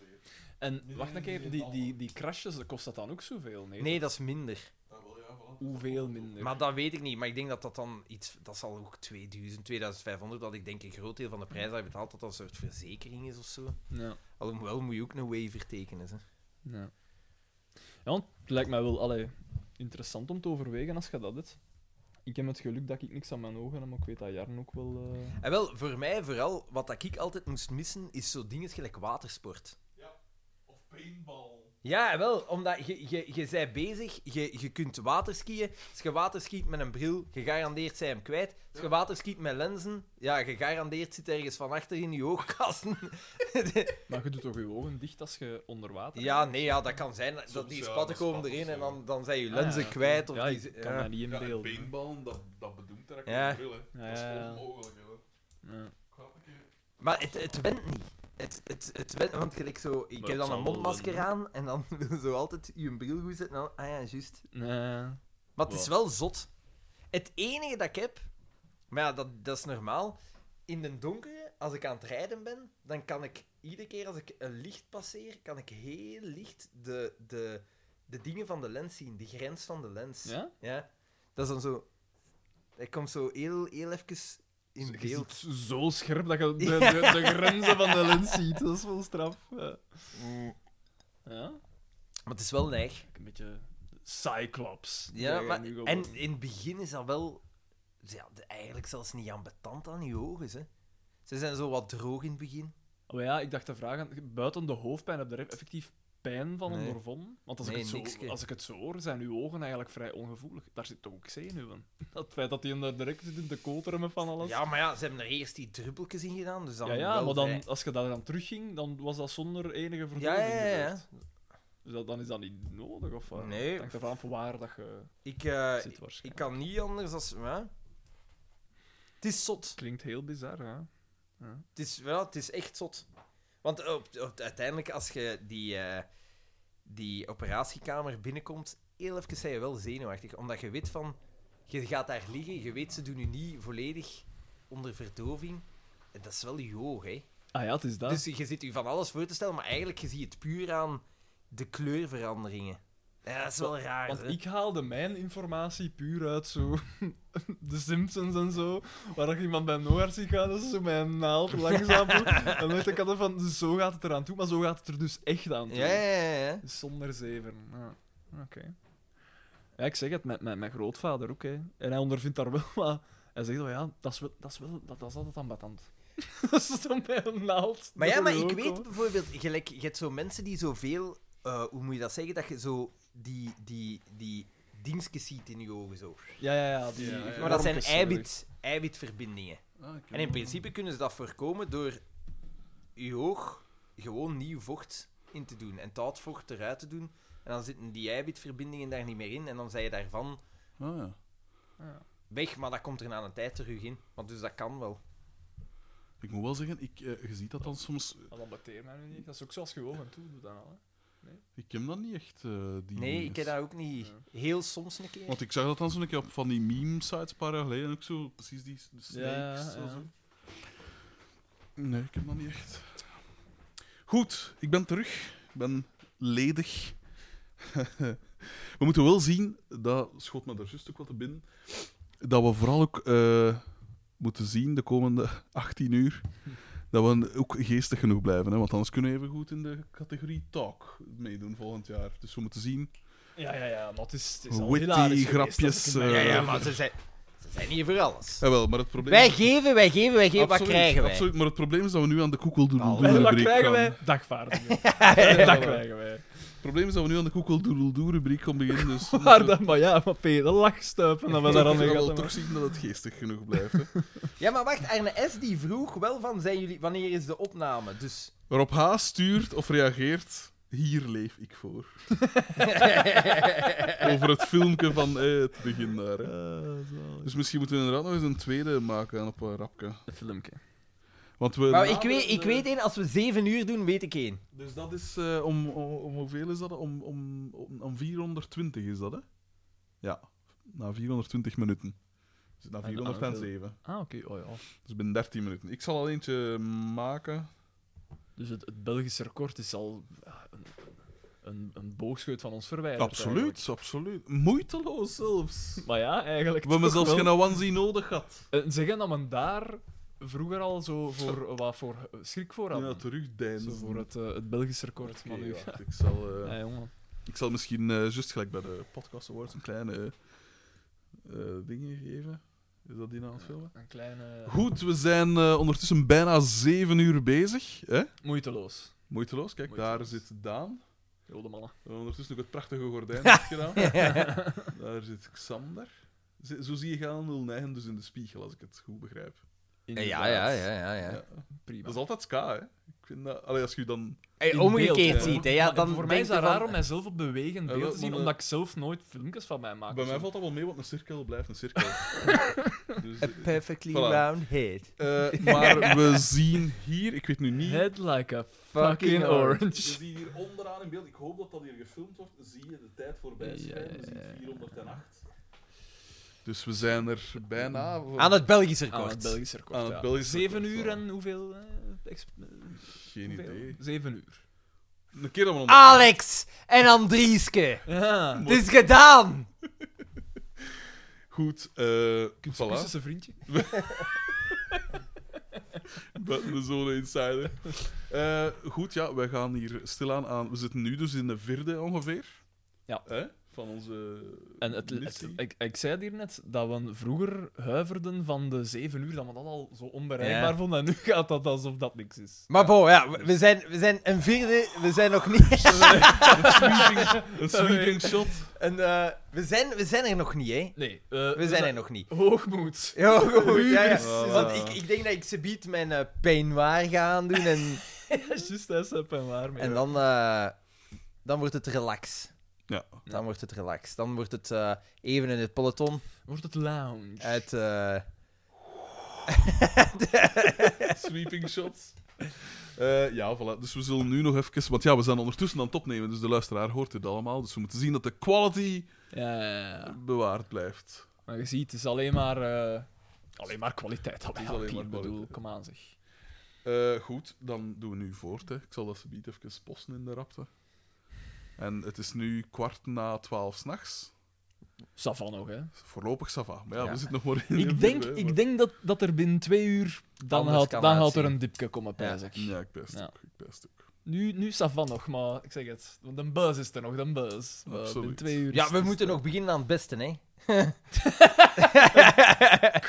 [SPEAKER 3] En wacht een keer, die, die, die crashes, dat kost dat dan ook zoveel? Nee,
[SPEAKER 1] Nee, dat is minder.
[SPEAKER 4] Ah, wel, ja, voilà.
[SPEAKER 3] hoeveel minder?
[SPEAKER 1] Maar dat weet ik niet. Maar ik denk dat dat dan iets... Dat zal ook 2000, 2500, dat ik denk een groot deel van de prijs dat je betaalt, dat dat een soort verzekering is of zo.
[SPEAKER 3] Ja.
[SPEAKER 1] Alhoewel moet je ook een waiver tekenen. Hè.
[SPEAKER 3] Ja. Ja, want het lijkt mij wel allee, interessant om te overwegen als je dat doet. Ik heb het geluk dat ik niks aan mijn ogen heb, maar ik weet dat Jarn ook wel... eh,
[SPEAKER 1] En wel, voor mij vooral, wat dat ik altijd moest missen, is zo dingen gelijk watersport.
[SPEAKER 4] Of paintball.
[SPEAKER 1] Ja, wel, omdat je, je, je bent bezig, je, je kunt waterskiën. Als je waterskiet met een bril, gegarandeerd zijn hem kwijt. Als je waterskiet met lenzen, ja, gegarandeerd zit ergens van achter in je oogkasten.
[SPEAKER 3] Maar je doet toch je ogen dicht als je onder water
[SPEAKER 1] Ja, nee, ja, dat kan zijn. Dat
[SPEAKER 4] Soms,
[SPEAKER 1] die
[SPEAKER 4] ja,
[SPEAKER 1] spatten
[SPEAKER 4] dat
[SPEAKER 1] komen
[SPEAKER 4] spat
[SPEAKER 1] erin
[SPEAKER 4] of
[SPEAKER 1] en
[SPEAKER 4] zo.
[SPEAKER 1] dan, dan zijn je
[SPEAKER 3] Ah,
[SPEAKER 1] lenzen
[SPEAKER 3] ja.
[SPEAKER 1] kwijt. Of
[SPEAKER 3] Ja,
[SPEAKER 1] die, eh,
[SPEAKER 3] ik kan
[SPEAKER 1] ja.
[SPEAKER 3] dat niet in
[SPEAKER 4] Ja, en
[SPEAKER 3] beeld.
[SPEAKER 4] paintball, dat, dat bedoelt dat ik
[SPEAKER 1] Ja.
[SPEAKER 4] ja. wil, hè.
[SPEAKER 3] Ja,
[SPEAKER 4] dat is
[SPEAKER 3] ja, ja.
[SPEAKER 4] onmogelijk, hè.
[SPEAKER 3] Ja.
[SPEAKER 4] Ik ga een keer-
[SPEAKER 1] Maar het, het went niet. Het, het, het went, want gelijk zo, ik
[SPEAKER 3] Maar
[SPEAKER 1] heb
[SPEAKER 3] het
[SPEAKER 1] dan een
[SPEAKER 3] zal wel
[SPEAKER 1] mondmasker
[SPEAKER 3] wennen.
[SPEAKER 1] aan en dan wil je zo altijd je bril goed zetten. en dan- Ah ja, juist.
[SPEAKER 3] Nee.
[SPEAKER 1] Maar het is
[SPEAKER 3] Ja.
[SPEAKER 1] wel zot. Het enige dat ik heb, maar ja, dat, dat is normaal. In den donkere, als ik aan het rijden ben, dan kan ik iedere keer als ik een licht passeer, kan ik heel licht de, de, de dingen van de lens zien, de grens van de lens.
[SPEAKER 3] Ja?
[SPEAKER 1] Ja. Dat is dan zo. Ik kom zo heel, heel even in
[SPEAKER 3] Je
[SPEAKER 1] beeld.
[SPEAKER 3] ziet zo scherp dat je de, de, de grenzen van de lens ziet. Dat is wel straf. Ja. Mm. Ja?
[SPEAKER 1] Maar het is wel neig.
[SPEAKER 3] Een beetje Cyclops.
[SPEAKER 1] Ja,
[SPEAKER 3] Die
[SPEAKER 1] maar,
[SPEAKER 3] nu gewoon-
[SPEAKER 1] en in het begin is dat wel ja, de- eigenlijk zelfs niet ambetant aan je ogen. Hè. Ze zijn zo wat droog in het begin.
[SPEAKER 3] Maar Oh ja, ik dacht te vragen, buiten de hoofdpijn heb je er effectief pijn van
[SPEAKER 1] Nee.
[SPEAKER 3] ondervonden? Want als,
[SPEAKER 1] Nee,
[SPEAKER 3] ik het zo,
[SPEAKER 1] nikske.
[SPEAKER 3] als ik het zo hoor, zijn uw ogen eigenlijk vrij ongevoelig. Daar zit toch ook zenuwen. Dat feit dat die hem daar direct zit in de kooltermen van alles.
[SPEAKER 1] Ja, maar ja, ze hebben er eerst die druppeltjes in gedaan. Dus dan
[SPEAKER 3] ja, ja,
[SPEAKER 1] wel
[SPEAKER 3] maar dan,
[SPEAKER 1] vrij-
[SPEAKER 3] als je daar dan terugging, dan was dat zonder enige
[SPEAKER 1] Ja,
[SPEAKER 3] verdooving.
[SPEAKER 1] ja, ja, ja.
[SPEAKER 3] gebeurd. Dus dat, dan is dat niet nodig, of wat?
[SPEAKER 1] Nee.
[SPEAKER 3] Het hangt ervan af waar dat je
[SPEAKER 1] Ik, eh,
[SPEAKER 3] zit, waarschijnlijk.
[SPEAKER 1] ik kan niet anders als. Ja. Het is zot.
[SPEAKER 3] Klinkt heel bizar, hè?
[SPEAKER 1] Het is, ja, het is echt zot. Want op, op- uiteindelijk, als je die, eh, die operatiekamer binnenkomt, heel even zijn je wel zenuwachtig. Omdat je weet van, je gaat daar liggen, je weet ze doen je niet volledig onder verdoving. En Dat is wel je oog, hè.
[SPEAKER 3] Ah ja, het is dat.
[SPEAKER 1] Dus je zit je van alles voor te stellen, maar eigenlijk je ziet het puur aan de kleurveranderingen. Ja, dat is wel raar,
[SPEAKER 3] Want
[SPEAKER 1] hè.
[SPEAKER 3] ik haalde mijn informatie puur uit zo de Simpsons en zo, waar ik iemand bij Noar ziet gaan, dat ze zo mijn naald langzaam doen. En dan dacht ik altijd van, dus zo gaat het eraan toe, maar zo gaat het er dus echt aan toe.
[SPEAKER 1] Ja, ja, ja, ja.
[SPEAKER 3] Dus Zonder zeven. Ja. Oké. Ja, ik zeg het, met mijn, mijn grootvader ook. Hè. En hij ondervindt daar wel wat... Hij zegt wel, ja, dat is, wel, dat is, wel, dat, dat is altijd ambetant. dat is dan bij een naald.
[SPEAKER 1] Maar ja,
[SPEAKER 3] Dat
[SPEAKER 1] maar
[SPEAKER 3] er
[SPEAKER 1] ik
[SPEAKER 3] ook
[SPEAKER 1] weet
[SPEAKER 3] al-
[SPEAKER 1] bijvoorbeeld, gelijk, je hebt zo mensen die zoveel, eh hoe moet je dat zeggen, dat je zo die, die, die dingetjes ziet in je ogen zo.
[SPEAKER 3] Ja, ja, ja. Die,
[SPEAKER 4] Ja, ja.
[SPEAKER 1] Maar dat zijn
[SPEAKER 3] vormpjes, sorry.
[SPEAKER 1] eiwit, eiwitverbindingen.
[SPEAKER 4] Ah, ik heb
[SPEAKER 1] En in principe kunnen ze dat voorkomen door je oog gewoon nieuw vocht in te doen en dat vocht eruit te doen. En dan zitten die eiwitverbindingen daar niet meer in en dan zijn je daarvan
[SPEAKER 4] Ah, ja.
[SPEAKER 3] Ja.
[SPEAKER 1] weg, maar dat komt er na een tijd terug in. Want dus dat kan wel.
[SPEAKER 4] Ik moet wel zeggen, ik, eh, je ziet dat dan soms... eh,
[SPEAKER 3] Dat ambeteert mij nu niet. Dat is ook zoals je ogen toe doet dan al. Hè.
[SPEAKER 4] Ik heb dat niet echt, eh, die
[SPEAKER 1] Nee, ik
[SPEAKER 4] dinges.
[SPEAKER 1] heb dat ook niet. Heel soms een keer.
[SPEAKER 4] Want ik zag dat dan zo'n keer op van die meme-sites een paar jaar geleden, ook zo, precies die s- snakes.
[SPEAKER 3] Ja,
[SPEAKER 4] zo,
[SPEAKER 3] ja.
[SPEAKER 4] zo. Nee, ik heb dat niet echt. Goed, ik ben terug. Ik ben ledig. we moeten wel zien, dat schot me daar juist ook wat te binnen, dat we vooral ook eh, moeten zien de komende 18 uur dat we ook geestig genoeg blijven. Hè? Want anders kunnen we even goed in de categorie talk meedoen volgend jaar. Dus we moeten zien.
[SPEAKER 3] Ja, ja, ja. Maar het is, het is al
[SPEAKER 4] Witty
[SPEAKER 3] hilarisch geweest,
[SPEAKER 4] grapjes,
[SPEAKER 3] dat ik het
[SPEAKER 1] Ja,
[SPEAKER 4] eh,
[SPEAKER 3] merk.
[SPEAKER 1] ja, maar ze zijn, ze zijn hier voor alles.
[SPEAKER 4] Jawel, Eh, maar het probleem...
[SPEAKER 1] Wij geven, wij geven, wij geven, wat
[SPEAKER 4] Absoluut,
[SPEAKER 1] krijgen wij?
[SPEAKER 4] Absoluut, maar het probleem is dat we nu aan de koekel doen.
[SPEAKER 1] Nou,
[SPEAKER 3] En wat
[SPEAKER 4] rubriek
[SPEAKER 3] krijgen
[SPEAKER 4] gaan.
[SPEAKER 3] wij? Dagvaardingen. Dat krijgen wij.
[SPEAKER 4] Het probleem is dat we nu aan de koekeldoedeldoe rubriek gaan beginnen. Dus
[SPEAKER 3] Maar, dan, maar ja, maar P, de lachstuipen dat we daar aan
[SPEAKER 4] we
[SPEAKER 3] mee
[SPEAKER 4] wel
[SPEAKER 3] gaan.
[SPEAKER 4] toch zien dat het geestig genoeg blijft. Hè.
[SPEAKER 1] Ja, maar wacht, Arne S. die vroeg wel van, zijn jullie, wanneer is de opname? Dus...
[SPEAKER 4] Waarop H stuurt of reageert. Hier leef ik voor. Over het filmpje van eh, het begin daar. Hè. Dus misschien moeten we inderdaad nog eens een tweede maken op een rapke.
[SPEAKER 3] Een filmpje.
[SPEAKER 4] Want we
[SPEAKER 1] Maar
[SPEAKER 4] na
[SPEAKER 1] ik
[SPEAKER 4] de-
[SPEAKER 1] weet, ik
[SPEAKER 4] de-
[SPEAKER 1] weet één, als we zeven uur doen, weet ik één.
[SPEAKER 4] Dus dat is eh, om, om, om hoeveel is dat? Om, om, om, om 420 is dat, hè? Ja. na 420 minuten. Dus na
[SPEAKER 3] En- en
[SPEAKER 4] 407.
[SPEAKER 3] Ah, oké. Oh ja.
[SPEAKER 4] Dus binnen 13 minuten. Ik zal al eentje maken.
[SPEAKER 3] Dus het, het Belgische record is al ja, een, een, een boogscheut van ons verwijderd. eigenlijk.
[SPEAKER 4] Absoluut, absoluut. Moeiteloos zelfs.
[SPEAKER 3] Maar ja, eigenlijk.
[SPEAKER 4] We hebben
[SPEAKER 3] toch
[SPEAKER 4] zelfs
[SPEAKER 3] wel.
[SPEAKER 4] geen onesie nodig gehad.
[SPEAKER 3] Eh, Zeggen dat men daar vroeger al zo voor, wat voor schrik voor had.
[SPEAKER 4] Ja,
[SPEAKER 3] Zo
[SPEAKER 4] terugdeinzen.
[SPEAKER 3] voor het, eh, het Belgisch record.
[SPEAKER 4] Oké,
[SPEAKER 3] maar nu-
[SPEAKER 4] wacht, ik, zal, eh,
[SPEAKER 3] Ja, jongen.
[SPEAKER 4] ik zal misschien, eh, juist gelijk bij de podcast awards, een kleine eh, eh, dingen geven. Is dat die nou aan het filmen?
[SPEAKER 3] Een kleine.
[SPEAKER 4] Goed, we zijn eh, ondertussen bijna zeven uur bezig. Hè?
[SPEAKER 3] Moeiteloos.
[SPEAKER 4] Moeiteloos, kijk, daar
[SPEAKER 3] Moeiteloos.
[SPEAKER 4] zit Daan.
[SPEAKER 3] Jode mannen.
[SPEAKER 4] We hebben ondertussen ook het prachtige gordijn afgedaan. daar zit Xander. Zo zo zie je gaan 09 dus in de spiegel, als ik het goed begrijp.
[SPEAKER 1] Ja, ja, ja, ja. ja.
[SPEAKER 4] Ja.
[SPEAKER 3] Prima.
[SPEAKER 4] Dat is altijd K, hè? Ik vind dat... Allee, als je dan...
[SPEAKER 1] Hey,
[SPEAKER 3] In
[SPEAKER 1] omgekeerd
[SPEAKER 3] beeld,
[SPEAKER 4] ja.
[SPEAKER 1] ziet, hè. Ja,
[SPEAKER 3] Maar
[SPEAKER 1] dan
[SPEAKER 3] voor mij is
[SPEAKER 1] denk
[SPEAKER 3] dat
[SPEAKER 1] je van-
[SPEAKER 3] raar om mijzelf op bewegend
[SPEAKER 4] Ja,
[SPEAKER 3] beeld
[SPEAKER 4] wel,
[SPEAKER 3] te zien,
[SPEAKER 4] maar,
[SPEAKER 3] omdat ik zelf nooit filmpjes van mij maak.
[SPEAKER 4] Bij
[SPEAKER 3] of
[SPEAKER 4] mij
[SPEAKER 3] zo.
[SPEAKER 4] valt dat wel mee, want een cirkel blijft een cirkel. dus,
[SPEAKER 1] A perfectly
[SPEAKER 4] Voilà.
[SPEAKER 1] round head.
[SPEAKER 4] eh, maar we zien hier... Ik weet nu niet...
[SPEAKER 3] Head like a
[SPEAKER 1] Fucking
[SPEAKER 3] fucking
[SPEAKER 4] We
[SPEAKER 3] orange.
[SPEAKER 4] zien hier onderaan in beeld, ik hoop dat dat hier gefilmd wordt, zie je de tijd voorbij schijnen. We zien 408. Dus we zijn er bijna...
[SPEAKER 1] Aan het Belgisch
[SPEAKER 3] Aan Ah, het
[SPEAKER 1] record.
[SPEAKER 3] Belgisch record.
[SPEAKER 4] Aan Ah, het
[SPEAKER 3] ja.
[SPEAKER 4] Belgisch
[SPEAKER 3] Zeven
[SPEAKER 4] record,
[SPEAKER 3] uur
[SPEAKER 4] ja.
[SPEAKER 3] en hoeveel? eh, ex- eh,
[SPEAKER 4] Geen
[SPEAKER 3] hoeveel?
[SPEAKER 4] idee.
[SPEAKER 3] Zeven uur.
[SPEAKER 4] Een keer dat we...
[SPEAKER 1] Alex en Andrieske.
[SPEAKER 3] Ja.
[SPEAKER 1] Het is gedaan.
[SPEAKER 4] Goed, eh
[SPEAKER 3] Kus
[SPEAKER 4] voilà.
[SPEAKER 3] is een vriendje.
[SPEAKER 4] Buiten de zone insider. Eh, goed, ja, wij gaan hier stilaan aan. We zitten nu dus in de vierde ongeveer.
[SPEAKER 3] Ja.
[SPEAKER 4] Hè? Van onze.
[SPEAKER 3] En het, het-
[SPEAKER 4] missie.
[SPEAKER 3] ik, ik zei het hier net, dat we vroeger huiverden van de zeven uur, dat we dat al zo onbereikbaar
[SPEAKER 1] Ja.
[SPEAKER 3] vonden. En nu gaat dat alsof dat niks is.
[SPEAKER 1] Maar bo, ja, we- we zijn, we zijn een vierde, we zijn nog niet...
[SPEAKER 4] Een sweeping shot.
[SPEAKER 1] En, eh, we, zijn, we zijn er nog niet, hè.
[SPEAKER 3] Nee. eh,
[SPEAKER 1] We zijn er nog niet.
[SPEAKER 3] Hoogmoed.
[SPEAKER 1] Ja, goed, ja, ja.
[SPEAKER 4] Voilà.
[SPEAKER 1] Want ik, ik denk dat ik subiet mijn eh pijn waar ga aan doen en,
[SPEAKER 3] Juist, dat is en waar mee.
[SPEAKER 1] en dan, eh, dan wordt het relax.
[SPEAKER 4] Ja.
[SPEAKER 1] Dan wordt het relax. Dan wordt het eh, even in het peloton
[SPEAKER 3] Wordt het lounge.
[SPEAKER 1] uit... eh,
[SPEAKER 4] Sweeping shot. Eh, ja, voilà. Dus we zullen nu nog even. Want ja, we zijn ondertussen aan het opnemen, dus de luisteraar hoort dit allemaal. Dus we moeten zien dat de quality
[SPEAKER 3] Ja, ja, ja.
[SPEAKER 4] bewaard blijft.
[SPEAKER 3] Maar je ziet, het is alleen maar, eh, alleen maar kwaliteit. Dat
[SPEAKER 4] Het is
[SPEAKER 3] is
[SPEAKER 4] alleen
[SPEAKER 3] alleen
[SPEAKER 4] maar
[SPEAKER 3] bedoel,
[SPEAKER 4] kwaliteit.
[SPEAKER 3] kom aan zeg.
[SPEAKER 4] Eh, goed, dan doen we nu voort. Hè. Ik zal dat subiet even posten in de rapte. En het is nu kwart na twaalf s'nachts.
[SPEAKER 3] Savan nog, hè.
[SPEAKER 4] Voorlopig Sava. Maar ja,
[SPEAKER 1] Ja.
[SPEAKER 4] we zitten nog maar in.
[SPEAKER 3] Ik denk, ik denk dat, dat er binnen twee uur, dan
[SPEAKER 1] Anders
[SPEAKER 3] gaat,
[SPEAKER 1] kan
[SPEAKER 3] dan
[SPEAKER 1] het
[SPEAKER 3] gaat er
[SPEAKER 1] zien.
[SPEAKER 3] een dipje komen, pijs ik.
[SPEAKER 4] Ja, ik best
[SPEAKER 3] Ja.
[SPEAKER 4] ook. Ik best ook.
[SPEAKER 3] Nu, nu Savan nog, maar ik zeg het, want een buzz is er nog, een buzz. Maar
[SPEAKER 4] Absoluut.
[SPEAKER 3] Binnen twee uur.
[SPEAKER 1] Ja, we moeten nog beginnen aan het beste, hè.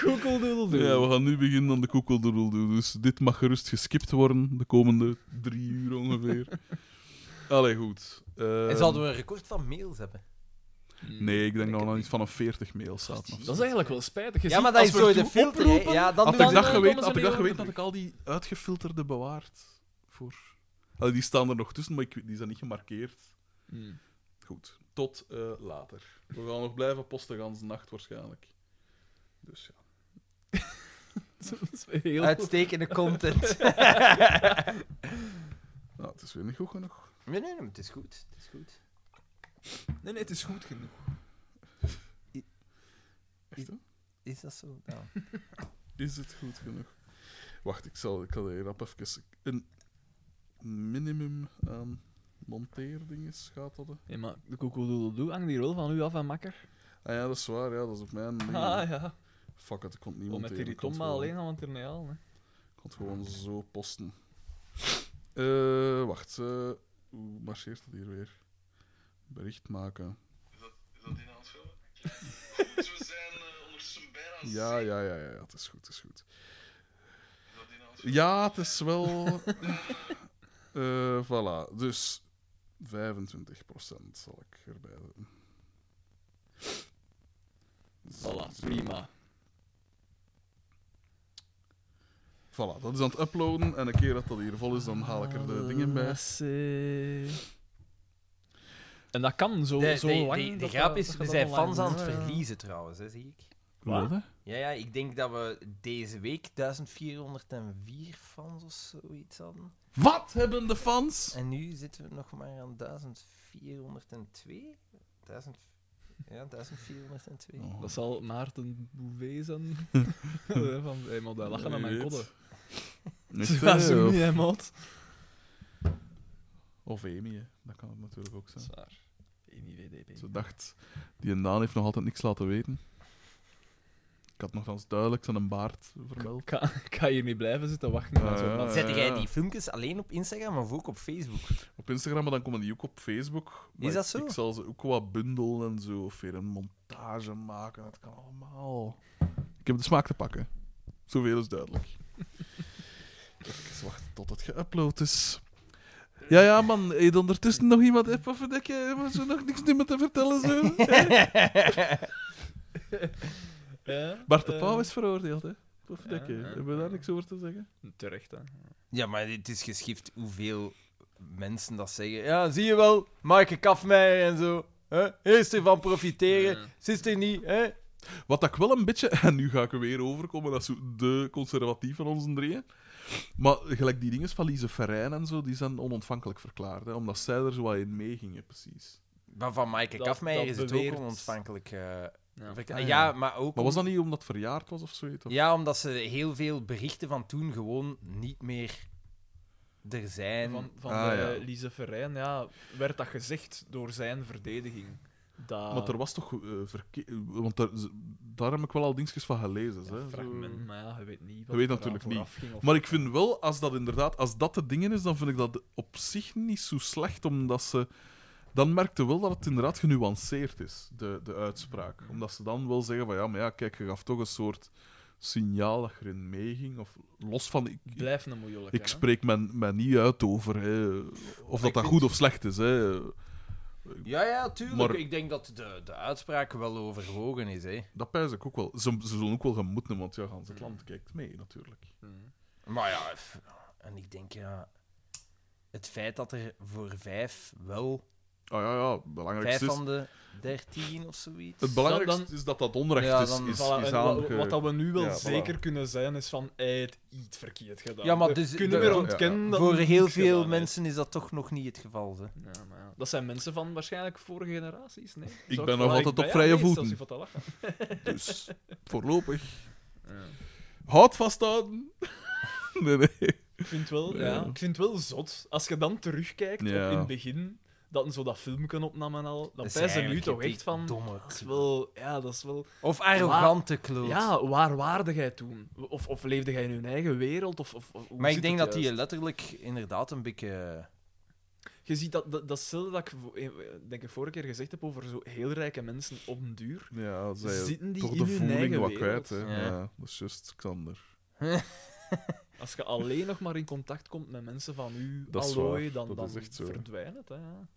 [SPEAKER 3] Koekeldoedel
[SPEAKER 4] Ja, we gaan nu beginnen aan de koekeldoedel doen. Dus dit mag gerust geskipt worden de komende drie uur ongeveer. Allee, goed. Eh,
[SPEAKER 1] En zouden we een record van mails hebben?
[SPEAKER 4] Nee, ik denk dat we
[SPEAKER 3] het
[SPEAKER 4] nog
[SPEAKER 3] niet.
[SPEAKER 4] iets van een 40 mail staat. of
[SPEAKER 3] Hmm. Dat is
[SPEAKER 4] zo.
[SPEAKER 3] eigenlijk wel spijtig. Je
[SPEAKER 1] ja,
[SPEAKER 3] ziet,
[SPEAKER 1] maar dat
[SPEAKER 3] als
[SPEAKER 1] is
[SPEAKER 3] we
[SPEAKER 1] zo de
[SPEAKER 3] toe
[SPEAKER 1] filter, hè.
[SPEAKER 3] oproepen-
[SPEAKER 1] Ja, dan doen
[SPEAKER 4] Had ik
[SPEAKER 3] dan
[SPEAKER 1] we-
[SPEAKER 4] dat
[SPEAKER 3] komen
[SPEAKER 4] geweten,
[SPEAKER 3] ze
[SPEAKER 4] had ik
[SPEAKER 3] niet
[SPEAKER 4] dat geweten, had
[SPEAKER 3] over.
[SPEAKER 4] ik al die uitgefilterde bewaard. Voor... Allee, die staan er nog tussen, maar ik, weet- die zijn niet gemarkeerd.
[SPEAKER 3] Hmm.
[SPEAKER 4] Goed, tot eh, later. We gaan nog blijven posten de ganse nacht waarschijnlijk. Dus ja.
[SPEAKER 3] Dat is heel...
[SPEAKER 1] Uitstekende content.
[SPEAKER 4] Nou, het is weer niet goed genoeg.
[SPEAKER 1] Nee, nee, nee, het is goed. Het is goed.
[SPEAKER 3] Nee, nee, het is goed genoeg.
[SPEAKER 4] Echt, hè?
[SPEAKER 1] Is dat zo? Nou.
[SPEAKER 4] Is het goed genoeg? Wacht, ik zal, ik zal hier rap even een minimum aan monteerdinges gaat dat. hè?
[SPEAKER 3] Nee, maar de koekeldoedeldoe hangt hier wel van u af, en makker.
[SPEAKER 4] Ah ja, dat is waar, ja, dat is op mijn ding.
[SPEAKER 3] Ah, ja.
[SPEAKER 4] Fuck it, ik kon het niet
[SPEAKER 3] Om
[SPEAKER 4] monteren.
[SPEAKER 3] met die
[SPEAKER 4] ik kon het
[SPEAKER 3] ritomma
[SPEAKER 4] gewoon-
[SPEAKER 3] alleen gaan we het er niet halen. hè.
[SPEAKER 4] Ik kon het gewoon zo posten. Eh, wacht, eh, hoe marcheert dat hier weer? Bericht maken. Is dat, in aan het filmen? we zijn eh, ondertussen bijna... Ja, ja, ja, ja, ja, het is goed, het is goed. Ja, het is wel. Eh voilà, dus 25% zal ik erbij doen.
[SPEAKER 3] Voilà, prima.
[SPEAKER 4] Voilà, dat is aan het uploaden. En een keer dat dat hier vol is, dan haal ik er de dingen bij.
[SPEAKER 3] En dat kan zo,
[SPEAKER 1] De,
[SPEAKER 3] zo
[SPEAKER 1] de-
[SPEAKER 3] lang.
[SPEAKER 1] de, de
[SPEAKER 3] dat
[SPEAKER 1] grap
[SPEAKER 3] dat-
[SPEAKER 1] is,
[SPEAKER 3] dat
[SPEAKER 1] we
[SPEAKER 3] dat
[SPEAKER 1] zijn
[SPEAKER 3] online
[SPEAKER 1] fans aan het
[SPEAKER 3] is. Ja, ja.
[SPEAKER 1] verliezen trouwens, hè, zie ik.
[SPEAKER 3] Wat?
[SPEAKER 4] Wat?
[SPEAKER 1] Ja, ja, ik denk dat we deze week 1404 fans of zoiets hadden.
[SPEAKER 4] Wat hebben de fans?
[SPEAKER 1] En nu zitten we nog maar aan 1402? 1000... Ja, 1402.
[SPEAKER 4] Oh.
[SPEAKER 3] Dat zal Maarten Bouvet zijn. Eh, van, hey, maar dat lachen aan
[SPEAKER 4] Wie
[SPEAKER 3] mijn
[SPEAKER 4] weet.
[SPEAKER 3] kodden.
[SPEAKER 4] Niet,
[SPEAKER 3] Ze
[SPEAKER 4] hè,
[SPEAKER 3] was
[SPEAKER 4] of-
[SPEAKER 3] niet, hè, maat.
[SPEAKER 4] Of Amy, hè. dat kan het natuurlijk ook zijn.
[SPEAKER 3] Zwaar. IMIVDB.
[SPEAKER 4] Ze dacht, die en Daan heeft nog altijd niks laten weten. Ik had nogthans duidelijk zijn baard vermeld.
[SPEAKER 3] Kan, kan je mee blijven zitten wachten?
[SPEAKER 4] Ah,
[SPEAKER 3] naar zo'n
[SPEAKER 4] ja.
[SPEAKER 3] match?
[SPEAKER 4] Zet-
[SPEAKER 1] Zet jij die filmpjes alleen op Instagram of ook op Facebook?
[SPEAKER 4] Op Instagram, maar dan komen die ook op Facebook. Maar
[SPEAKER 1] Is dat
[SPEAKER 4] ik-
[SPEAKER 1] zo?
[SPEAKER 4] Ik zal ze ook wat bundelen en zo, of weer een montage maken. Dat kan allemaal. Ik heb de smaak te pakken. Zoveel is duidelijk. Even wachten tot het geüpload is. Ja, ja, man. Heeft ondertussen nog iemand app of verdekken? Hebben ze nog niks meer te vertellen? Zo?
[SPEAKER 3] Ja,
[SPEAKER 4] Bart de
[SPEAKER 3] eh,
[SPEAKER 4] Pauw is veroordeeld, hè? Of
[SPEAKER 3] ja, ja,
[SPEAKER 4] Hebben we daar
[SPEAKER 3] ja.
[SPEAKER 4] niks over te zeggen?
[SPEAKER 3] Terecht, hè.
[SPEAKER 1] Ja, maar het is geschift hoeveel mensen dat zeggen. Ja, zie je wel, Maaike Kafmeijer en zo. hè? Eerst ervan profiteren,
[SPEAKER 3] Ja.
[SPEAKER 1] zit er niet, hè?
[SPEAKER 4] Wat ik wel een beetje... En nu ga ik er weer overkomen, dat is zo de conservatief van onze drieën. Maar gelijk die dingen van Lise Ferrein en zo, die zijn onontvankelijk verklaard. Hè, omdat zij er zo wat in meegingen, precies.
[SPEAKER 1] Maar van Maaike
[SPEAKER 3] Dat-
[SPEAKER 1] Kafmeijer
[SPEAKER 3] dat
[SPEAKER 1] is het
[SPEAKER 3] beweert-
[SPEAKER 1] ook onontvankelijk. eh,
[SPEAKER 3] Ja.
[SPEAKER 1] verk-
[SPEAKER 4] Ah,
[SPEAKER 1] ja.
[SPEAKER 4] ja.
[SPEAKER 1] maar ook...
[SPEAKER 4] Maar was dat niet omdat het verjaard was of zoiets? Of?
[SPEAKER 1] Ja, omdat ze heel veel berichten van toen gewoon niet meer er zijn.
[SPEAKER 3] Van, van
[SPEAKER 4] Ah,
[SPEAKER 3] de,
[SPEAKER 4] ja.
[SPEAKER 3] eh, Lise Verijn ja, werd dat gezegd door zijn verdediging. Dat
[SPEAKER 4] Maar er was toch... eh verke- Want daar, z- daar heb ik wel al dingetjes van gelezen.
[SPEAKER 3] ja,
[SPEAKER 4] hè, zo.
[SPEAKER 3] fragment, maar ja, je weet niet.
[SPEAKER 4] Je weet
[SPEAKER 3] er
[SPEAKER 4] natuurlijk
[SPEAKER 3] aan
[SPEAKER 4] niet.
[SPEAKER 3] vooraf ging of-
[SPEAKER 4] Maar ik vind wel, als dat inderdaad, als dat de dingen is, dan vind ik dat op zich niet zo slecht, omdat ze... Dan merkte wel dat het inderdaad genuanceerd is, de, de uitspraak. Omdat ze dan wel zeggen van, ja, maar ja, kijk, je gaf toch een soort signaal dat je erin meeging, of los van... Ik, ik-
[SPEAKER 3] Blijf een moeilijke.
[SPEAKER 4] ik
[SPEAKER 3] hè.
[SPEAKER 4] spreek mij men niet uit over hè, of dat
[SPEAKER 1] ik
[SPEAKER 4] dat
[SPEAKER 1] vind-
[SPEAKER 4] goed of slecht is. Hè.
[SPEAKER 1] Ja, ja, tuurlijk.
[SPEAKER 4] Maar-
[SPEAKER 1] Ik denk dat de, de uitspraak wel overwogen is, hè.
[SPEAKER 4] Dat pijs ik ook wel. Ze, ze zullen ook wel gaan moeten, want ja,
[SPEAKER 3] Hmm.
[SPEAKER 4] gans het land kijkt mee, natuurlijk.
[SPEAKER 3] Mm.
[SPEAKER 1] Maar ja, f- en ik denk, ja... Het feit dat er voor vijf wel...
[SPEAKER 4] Ah ja, ja, het
[SPEAKER 1] Vijf
[SPEAKER 4] belangrijkste is...
[SPEAKER 1] van de dertien of zoiets.
[SPEAKER 4] Het belangrijkste
[SPEAKER 3] Dan-
[SPEAKER 4] is dat dat onrecht
[SPEAKER 1] Ja,
[SPEAKER 4] is,
[SPEAKER 1] dan-
[SPEAKER 4] is, is
[SPEAKER 3] Voilà, en wa-
[SPEAKER 4] aange-
[SPEAKER 3] wat dat we nu wel
[SPEAKER 4] eh, Ja, voilà.
[SPEAKER 3] zeker kunnen zijn, is van hij heeft iets verkeerd gedaan.
[SPEAKER 1] Ja, maar
[SPEAKER 3] We
[SPEAKER 1] dus-
[SPEAKER 3] kunnen
[SPEAKER 1] de-
[SPEAKER 3] weer
[SPEAKER 1] ja,
[SPEAKER 3] ontkennen dat
[SPEAKER 1] Voor
[SPEAKER 3] hij
[SPEAKER 1] heel
[SPEAKER 3] iets
[SPEAKER 1] veel
[SPEAKER 3] gedaan heeft.
[SPEAKER 1] mensen is dat toch nog niet het geval, hè.
[SPEAKER 3] Ja, maar ja. Dat zijn mensen van waarschijnlijk vorige generaties. Nee? Zou
[SPEAKER 4] ben
[SPEAKER 3] het
[SPEAKER 4] nog
[SPEAKER 3] wel
[SPEAKER 4] altijd op
[SPEAKER 3] bij aan
[SPEAKER 4] vrije
[SPEAKER 3] geweest,
[SPEAKER 4] voeten.
[SPEAKER 3] als je van te lachen.
[SPEAKER 4] Dus voorlopig.
[SPEAKER 3] Ja.
[SPEAKER 4] Houd vasthouden. nee, nee.
[SPEAKER 3] Ik vind, wel, ja.
[SPEAKER 4] Ja.
[SPEAKER 3] ik vind wel zot. Als je dan terugkijkt
[SPEAKER 4] Ja.
[SPEAKER 3] op in het begin, dat een zo dat filmpje opnam en al, dan
[SPEAKER 1] Dat is
[SPEAKER 3] zijn ze nu
[SPEAKER 1] eigenlijk
[SPEAKER 3] toch
[SPEAKER 1] die
[SPEAKER 3] echt van...
[SPEAKER 1] domme
[SPEAKER 3] Dat is
[SPEAKER 1] kloot.
[SPEAKER 3] wel... Ja, dat is wel...
[SPEAKER 1] Of arrogante kloot.
[SPEAKER 3] Ja, waar waarde jij toen? Of, of leefde jij in hun eigen wereld? Of, of, of- hoe
[SPEAKER 1] maar ik
[SPEAKER 3] zit
[SPEAKER 1] denk
[SPEAKER 3] het
[SPEAKER 1] dat die
[SPEAKER 3] juist?
[SPEAKER 1] letterlijk inderdaad een beetje...
[SPEAKER 3] Je ziet dat, dat, datzelfde dat ik, vo- eh, denk ik, vorige keer gezegd heb over zo heel rijke mensen op den duur.
[SPEAKER 4] Ja, zij
[SPEAKER 3] Zitten die
[SPEAKER 4] toch
[SPEAKER 3] in
[SPEAKER 4] de
[SPEAKER 3] hun
[SPEAKER 4] voeling
[SPEAKER 3] eigen
[SPEAKER 4] wat
[SPEAKER 3] wereld?
[SPEAKER 4] kwijt. Hè. Ja.
[SPEAKER 1] Ja.
[SPEAKER 4] dat is juist Xander.
[SPEAKER 3] Als je alleen nog maar in contact komt met mensen van u,
[SPEAKER 4] Dat is
[SPEAKER 3] allooi,
[SPEAKER 4] waar.
[SPEAKER 3] dan,
[SPEAKER 4] Dat
[SPEAKER 3] dan
[SPEAKER 4] is echt zo.
[SPEAKER 3] verdwijnt het. Hè. ja.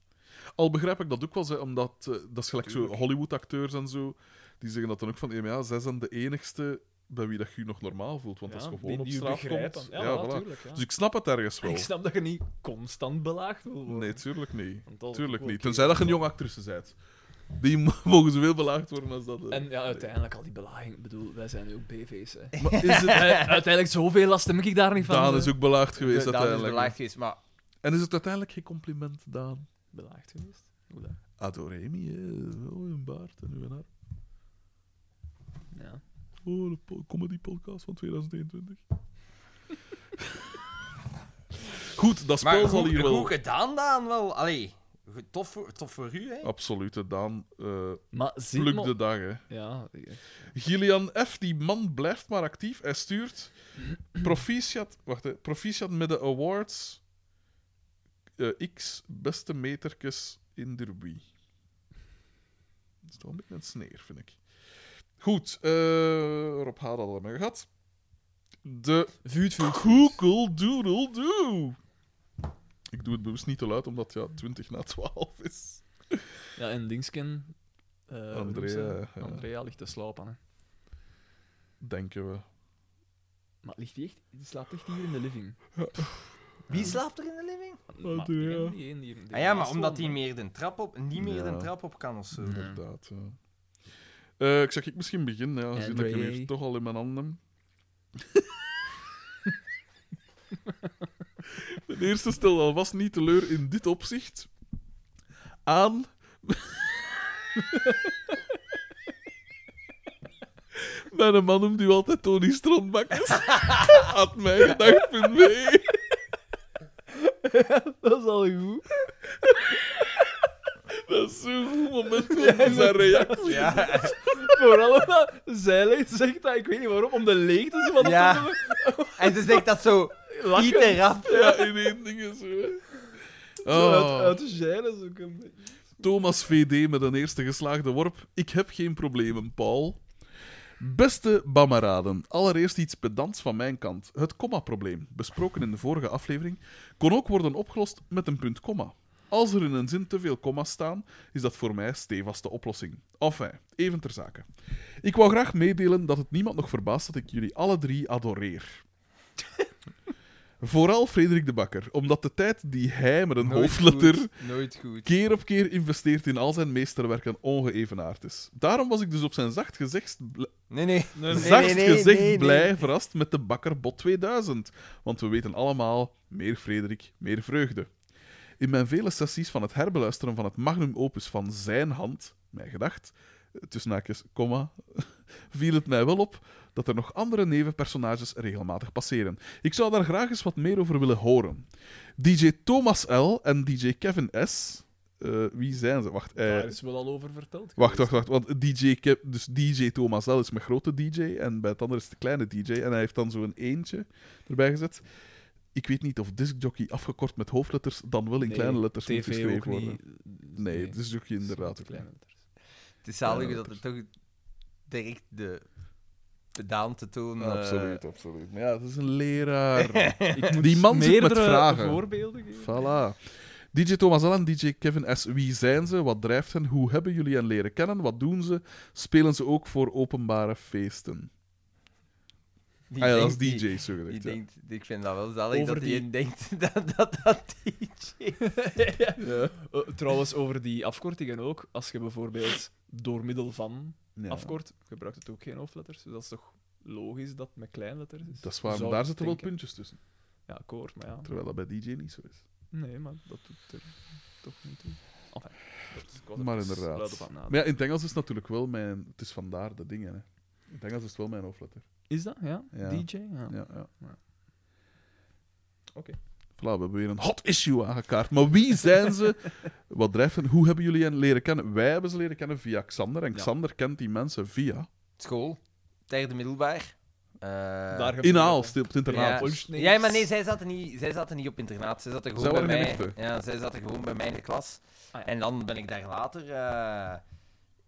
[SPEAKER 4] Al begrijp ik dat ook wel, hè, omdat eh, dat is gelijk zo
[SPEAKER 3] Tuurlijk.
[SPEAKER 4] Hollywood-acteurs en zo. Die zeggen dat dan ook van, ja, maar ja, zij zijn de enigste bij wie dat je je nog normaal voelt. Want
[SPEAKER 3] Ja,
[SPEAKER 4] als je
[SPEAKER 3] die
[SPEAKER 4] gewoon op
[SPEAKER 3] die u
[SPEAKER 4] straat
[SPEAKER 3] begrijpen.
[SPEAKER 4] komt...
[SPEAKER 3] Ja,
[SPEAKER 4] voilà.
[SPEAKER 3] natuurlijk. Ja.
[SPEAKER 4] Dus ik snap het ergens wel.
[SPEAKER 3] Ik snap dat je niet constant belaagd wil worden.
[SPEAKER 4] Nee, tuurlijk niet.
[SPEAKER 3] Want dat is
[SPEAKER 4] Tuurlijk
[SPEAKER 3] ook wel
[SPEAKER 4] niet.
[SPEAKER 3] keer.
[SPEAKER 4] Tenzij dat je een jonge actrice bent. Die mo- mogen zoveel belaagd worden als dat. eh.
[SPEAKER 3] En ja, uiteindelijk al die belaging. Ik bedoel, wij zijn nu ook BV's. Hè.
[SPEAKER 4] Maar is het...
[SPEAKER 3] Eh, uiteindelijk zoveel last heb ik daar niet van. eh,
[SPEAKER 4] Daan
[SPEAKER 3] hè.
[SPEAKER 4] is ook belaagd
[SPEAKER 1] De-
[SPEAKER 4] geweest
[SPEAKER 1] dat is
[SPEAKER 4] uiteindelijk.
[SPEAKER 1] belaagd is, maar...
[SPEAKER 4] En is het uiteindelijk geen compliment, Daan?
[SPEAKER 3] belaagd geweest. Hoe dat?
[SPEAKER 4] Adoremi, wel een baard en uw haar.
[SPEAKER 3] Ja.
[SPEAKER 4] Oh, de po- comedy podcast van 2021. goed, dat
[SPEAKER 1] Maar
[SPEAKER 4] spel
[SPEAKER 1] goed,
[SPEAKER 4] zal hier wel...
[SPEAKER 1] goed gedaan, Daan, wel. Allee, goed- tof voor, tof voor u, hè.
[SPEAKER 4] Absoluut, hè, Daan. eh
[SPEAKER 3] Maar zie
[SPEAKER 4] pluk de dag, hè.
[SPEAKER 3] Ja,
[SPEAKER 4] Gillian F., die man blijft maar actief. Hij stuurt proficiat, wacht, hè, proficiat met de awards eh, X beste metertjes in derby. Dat is toch een beetje een sneer, vind ik. Goed, eh Rob Haar hadden we maar gehad. De
[SPEAKER 3] vuut, vuut.
[SPEAKER 4] Google Doodle Doo. Ik doe het bewust niet te luid, omdat ja, 20 na 12 is.
[SPEAKER 3] Ja, en Dingsken. eh,
[SPEAKER 4] Andrea,
[SPEAKER 3] hoe noemt ze?
[SPEAKER 4] ja.
[SPEAKER 3] Andrea ligt te slapen. Hè.
[SPEAKER 4] Denken we.
[SPEAKER 3] Maar ligt die echt? Die slaapt echt hier in de living.
[SPEAKER 1] Wie slaapt er in de living?
[SPEAKER 3] Maar
[SPEAKER 4] Andrea.
[SPEAKER 3] ik ken die één die- die
[SPEAKER 1] Ah ja, maar
[SPEAKER 3] naast
[SPEAKER 1] omdat
[SPEAKER 3] woont,
[SPEAKER 1] hij meer de trap op, niet meer
[SPEAKER 4] Ja.
[SPEAKER 1] de trap op kan of zo.
[SPEAKER 3] Ja.
[SPEAKER 4] Inderdaad, ja. Eh, ik zeg, ik misschien begin, ja, gezien dat ik hem
[SPEAKER 3] Andre.
[SPEAKER 4] hier toch al in mijn handen heb. Ten eerste stel alvast niet teleur in dit opzicht aan Mijn man noemt u altijd Tony Strandbakkers. Had mij gedacht, punt mee.
[SPEAKER 3] Dat is al goed.
[SPEAKER 4] Dat is zo'n goed moment om zijn reactie.
[SPEAKER 1] Ja,
[SPEAKER 3] Vooral omdat zij zegt dat, ik weet niet waarom, om de leegte van de
[SPEAKER 1] Ja.
[SPEAKER 3] toon-
[SPEAKER 1] en ze zegt dat zo
[SPEAKER 3] Lachen.
[SPEAKER 1] Pieter rap.
[SPEAKER 4] Ja, in één ding is zo. hè.
[SPEAKER 3] Zo uit,
[SPEAKER 4] Oh. Eh,
[SPEAKER 3] uit de gêne zo kan dat.
[SPEAKER 4] Thomas VD met een eerste geslaagde worp. Ik heb geen problemen, Paul. Beste Bammeraden, allereerst iets pedants van mijn kant. Het komma-probleem, besproken in de vorige aflevering, kon ook worden opgelost met een punt-komma. Als er in een zin te veel komma's staan, is dat voor mij stevast de oplossing. Enfin, even ter zake. Ik wou graag meedelen dat het niemand nog verbaast dat ik jullie alle drie adoreer. Vooral Frederik de Bakker, omdat de tijd die hij met een hoofdletter
[SPEAKER 1] Nooit goed.
[SPEAKER 4] keer op keer investeert in al zijn meesterwerken ongeëvenaard is. Daarom was ik dus op zijn zacht gezegd, bl-
[SPEAKER 1] Nee, nee. nee,
[SPEAKER 4] zacht
[SPEAKER 1] nee,
[SPEAKER 4] gezegd
[SPEAKER 1] nee, nee.
[SPEAKER 4] blij verrast met de bakker Bot 2000. Want we weten allemaal, meer Frederik, meer vreugde. In mijn vele sessies van het herbeluisteren van het magnum opus van zijn hand, mijn gedacht, eh, tussen haakjes, komma, viel het mij wel op dat er nog andere nevenpersonages regelmatig passeren. Ik zou daar graag eens wat meer over willen horen. DJ Thomas L. en DJ Kevin S. eh, wie zijn ze? Wacht, eh,
[SPEAKER 3] Daar is wel al over verteld.
[SPEAKER 4] Wacht, wacht, wacht. Want DJ, Ke- dus DJ Thomas L is mijn grote DJ en bij het andere is het de kleine DJ. En hij heeft dan zo'n eentje erbij gezet. Ik weet niet of discjockey afgekort met hoofdletters dan wel in
[SPEAKER 3] Nee,
[SPEAKER 4] kleine letters moet
[SPEAKER 3] TV ook
[SPEAKER 4] geschreven worden.
[SPEAKER 3] niet.
[SPEAKER 4] Nee, discjockey inderdaad. ook niet.
[SPEAKER 1] Het is zalig
[SPEAKER 4] Ja,
[SPEAKER 1] dat er toch direct de pedaante toon... eh,
[SPEAKER 4] Mm, Absoluut, absoluut. Maar ja, het is een leraar.
[SPEAKER 3] Ik moet
[SPEAKER 4] Die man zit met
[SPEAKER 3] meerdere
[SPEAKER 4] vragen.
[SPEAKER 3] voorbeelden geven.
[SPEAKER 4] voilà. DJ Thomas L en DJ Kevin S. Wie zijn ze? Wat drijft hen? Hoe hebben jullie hen leren kennen? Wat doen ze? Spelen ze ook voor openbare feesten?
[SPEAKER 1] die
[SPEAKER 4] ah ja, dat
[SPEAKER 1] denkt
[SPEAKER 4] is
[SPEAKER 1] die-
[SPEAKER 4] DJ, zo
[SPEAKER 1] Die
[SPEAKER 4] gezegd. ja.
[SPEAKER 1] denkt, ik vind dat wel zalig
[SPEAKER 3] Over
[SPEAKER 1] dat die...
[SPEAKER 3] die-
[SPEAKER 1] denkt dat dat, dat DJ...
[SPEAKER 3] Ja.
[SPEAKER 4] Ja.
[SPEAKER 3] Eh, trouwens, over die afkortingen ook. Als je bijvoorbeeld door middel van
[SPEAKER 4] Ja.
[SPEAKER 3] afkort, gebruikt het ook geen hoofdletters. Dus dat is toch logisch dat het met kleinletters is?
[SPEAKER 4] Dat is waar, maar
[SPEAKER 3] Dus Zou
[SPEAKER 4] daar
[SPEAKER 3] ik
[SPEAKER 4] zitten wel
[SPEAKER 3] denken.
[SPEAKER 4] puntjes tussen.
[SPEAKER 3] Ja, akkoord, maar ja.
[SPEAKER 4] Terwijl dat bij DJ niet zo
[SPEAKER 3] Ah.
[SPEAKER 4] is.
[SPEAKER 3] Nee, maar dat doet er toch niet toe. Enfin, dat is- ik was
[SPEAKER 4] Maar
[SPEAKER 3] even
[SPEAKER 4] inderdaad.
[SPEAKER 3] luid op aan het nadenken.
[SPEAKER 4] Maar ja, in het Engels is het natuurlijk wel mijn... Het is vandaar de dingen, hè. In het Engels is het wel mijn hoofdletter.
[SPEAKER 3] Is dat, ja?
[SPEAKER 4] Ja.
[SPEAKER 3] DJ? Ja.
[SPEAKER 4] Ja, ja.
[SPEAKER 3] Ja. Oké.
[SPEAKER 4] Voilà, we hebben weer een hot issue aangekaart. Maar wie zijn ze? Wat drijft hen? Hoe hebben jullie hen leren kennen? Wij hebben ze leren kennen via Xander. En
[SPEAKER 3] Ja.
[SPEAKER 4] Xander kent die mensen via...
[SPEAKER 1] School. Derde middelbaar. Eh,
[SPEAKER 3] Daar gebeurt
[SPEAKER 4] In
[SPEAKER 3] het,
[SPEAKER 4] Aalst,
[SPEAKER 3] hè.
[SPEAKER 4] op het internaat.
[SPEAKER 3] Ja.
[SPEAKER 1] Ja. ja, maar nee, zij zaten, niet, zij zaten niet op internaat. Zij zaten gewoon
[SPEAKER 4] Zij
[SPEAKER 1] bij
[SPEAKER 4] waren
[SPEAKER 1] mij.
[SPEAKER 4] geen echte.
[SPEAKER 1] Ja, zij zaten gewoon bij mij in de klas.
[SPEAKER 3] Ah, ja.
[SPEAKER 1] En dan ben ik daar later... eh,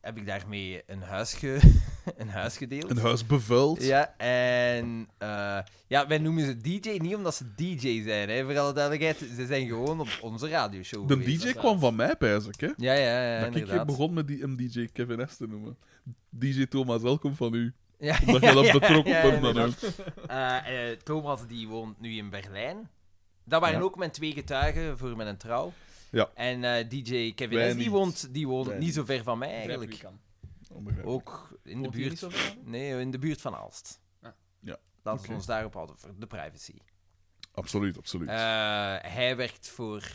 [SPEAKER 1] heb ik daarmee een huis, ge- een huis gedeeld.
[SPEAKER 4] Een huis bevuild.
[SPEAKER 1] Ja, en eh, ja, wij noemen ze DJ niet omdat ze DJ zijn, hè, voor alle duidelijkheid. Ze zijn gewoon op onze radioshow.
[SPEAKER 4] De
[SPEAKER 1] geweest,
[SPEAKER 4] DJ
[SPEAKER 1] dat
[SPEAKER 4] kwam
[SPEAKER 1] is-
[SPEAKER 4] van mij, pijs ik, hè.
[SPEAKER 1] Ja, ja, ja.
[SPEAKER 4] dat ik
[SPEAKER 1] inderdaad.
[SPEAKER 4] begon met die, hem DJ Kevin S te noemen. DJ Thomas L komt van u.
[SPEAKER 1] Ja,
[SPEAKER 4] Omdat jij dat betrokken
[SPEAKER 1] ja,
[SPEAKER 4] bent dan
[SPEAKER 1] inderdaad.
[SPEAKER 4] ook.
[SPEAKER 1] Eh, eh, Thomas die woont nu in Berlijn. Dat waren
[SPEAKER 4] Ja.
[SPEAKER 1] ook mijn twee getuigen voor mijn trouw.
[SPEAKER 4] Ja.
[SPEAKER 1] En eh, DJ Kevin
[SPEAKER 4] Wij
[SPEAKER 1] S, die
[SPEAKER 4] niet.
[SPEAKER 1] woont, die woont
[SPEAKER 4] Wij
[SPEAKER 1] niet zo ver van mij
[SPEAKER 3] Begrijp wie
[SPEAKER 1] eigenlijk.
[SPEAKER 3] kan.
[SPEAKER 4] Onbegrijpelijk.
[SPEAKER 1] Ook in de
[SPEAKER 3] Woont die niet
[SPEAKER 1] buurt.
[SPEAKER 3] zo ver?
[SPEAKER 1] Nee, in de buurt van Aalst.
[SPEAKER 3] Ah.
[SPEAKER 4] Ja,
[SPEAKER 1] Laten
[SPEAKER 4] oké.
[SPEAKER 1] we ons daarop houden voor de privacy.
[SPEAKER 4] Absoluut, absoluut.
[SPEAKER 1] Eh, hij werkt voor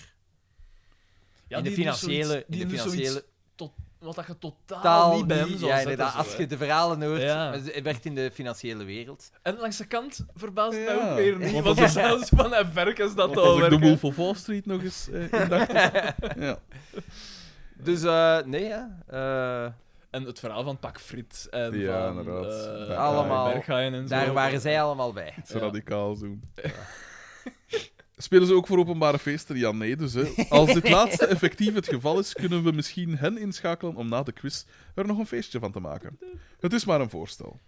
[SPEAKER 3] Ja,
[SPEAKER 1] in de
[SPEAKER 3] die doet
[SPEAKER 1] financiële-
[SPEAKER 3] zoiets-
[SPEAKER 1] in de
[SPEAKER 3] die doet zoiets
[SPEAKER 1] financiële-
[SPEAKER 3] Tot, wat dat je totaal
[SPEAKER 1] taal
[SPEAKER 3] niet bij hem
[SPEAKER 1] niet-
[SPEAKER 3] zou
[SPEAKER 1] ja,
[SPEAKER 3] zetten,
[SPEAKER 1] inderdaad,
[SPEAKER 3] zo,
[SPEAKER 1] als
[SPEAKER 3] hè.
[SPEAKER 1] je de verhalen hoort,
[SPEAKER 3] Ja.
[SPEAKER 1] maar ze- het werkt in de financiële wereld.
[SPEAKER 3] En langs de kant verbaast het
[SPEAKER 4] Ja.
[SPEAKER 3] mij ook weer niet.
[SPEAKER 4] Want
[SPEAKER 3] Want
[SPEAKER 4] dat
[SPEAKER 3] als zelfs van en verkens dat
[SPEAKER 4] Want als
[SPEAKER 3] al
[SPEAKER 4] ik de
[SPEAKER 3] werken.
[SPEAKER 4] Wolf of Wall Street nog eens eh, in dacht. ja.
[SPEAKER 1] Dus eh, nee, ja. eh,
[SPEAKER 3] En het verhaal van Pak Frit en
[SPEAKER 4] Ja,
[SPEAKER 3] van...
[SPEAKER 4] inderdaad.
[SPEAKER 3] eh,
[SPEAKER 1] Allemaal.
[SPEAKER 3] Berghain en zo.
[SPEAKER 1] daar waren zij allemaal bij.
[SPEAKER 4] Iets
[SPEAKER 3] Ja.
[SPEAKER 4] radicaals doen. Spelen ze ook voor openbare feesten? Ja, nee. Dus hè. als dit laatste effectief het geval is, kunnen we misschien hen inschakelen om na de quiz er nog een feestje van te maken. Het is maar een voorstel.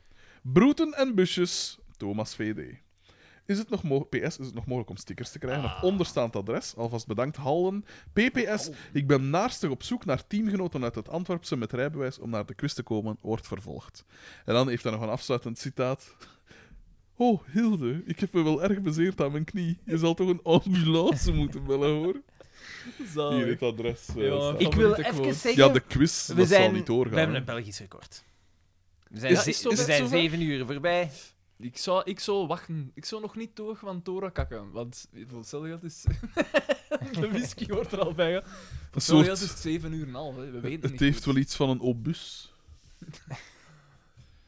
[SPEAKER 4] Broeten en busjes, Thomas VD. Is het nog mo- PS, is het nog mogelijk om stickers te krijgen? Op onderstaand adres, alvast bedankt, Hallen. PPS, ik ben naarstig op zoek naar teamgenoten uit het Antwerpse met rijbewijs om naar de quiz te komen, wordt vervolgd. En dan heeft hij nog een afsluitend citaat. Oh, Hilde, ik heb me wel erg bezeerd aan mijn knie. Je zal toch een ambulance moeten bellen, hoor.
[SPEAKER 3] Zalig.
[SPEAKER 4] Hier, het adres. eh,
[SPEAKER 3] Ja,
[SPEAKER 4] staat.
[SPEAKER 3] ik-
[SPEAKER 1] Oh, Ik wil
[SPEAKER 3] Favoriete quote.
[SPEAKER 1] even zeggen,
[SPEAKER 4] ja, de quiz,
[SPEAKER 1] we,
[SPEAKER 4] dat
[SPEAKER 1] zijn,
[SPEAKER 4] zal niet doorgaan.
[SPEAKER 1] we hebben
[SPEAKER 4] hè.
[SPEAKER 1] een Belgisch record. We zijn,
[SPEAKER 4] Is-
[SPEAKER 1] ze-
[SPEAKER 4] is het
[SPEAKER 1] we
[SPEAKER 4] zover?
[SPEAKER 1] zijn zeven uur voorbij.
[SPEAKER 3] Ik zou, ik zou wachten. Ik zou nog niet door van Tora kakken. Want voor hetzelfde geld is... de whisky wordt er al bij.
[SPEAKER 4] Een
[SPEAKER 3] Zo, ja,
[SPEAKER 4] soort,
[SPEAKER 3] het is 7 uur en een half, hè. we weten
[SPEAKER 4] het
[SPEAKER 3] niet.
[SPEAKER 4] heeft
[SPEAKER 3] goed.
[SPEAKER 4] wel iets van een obus.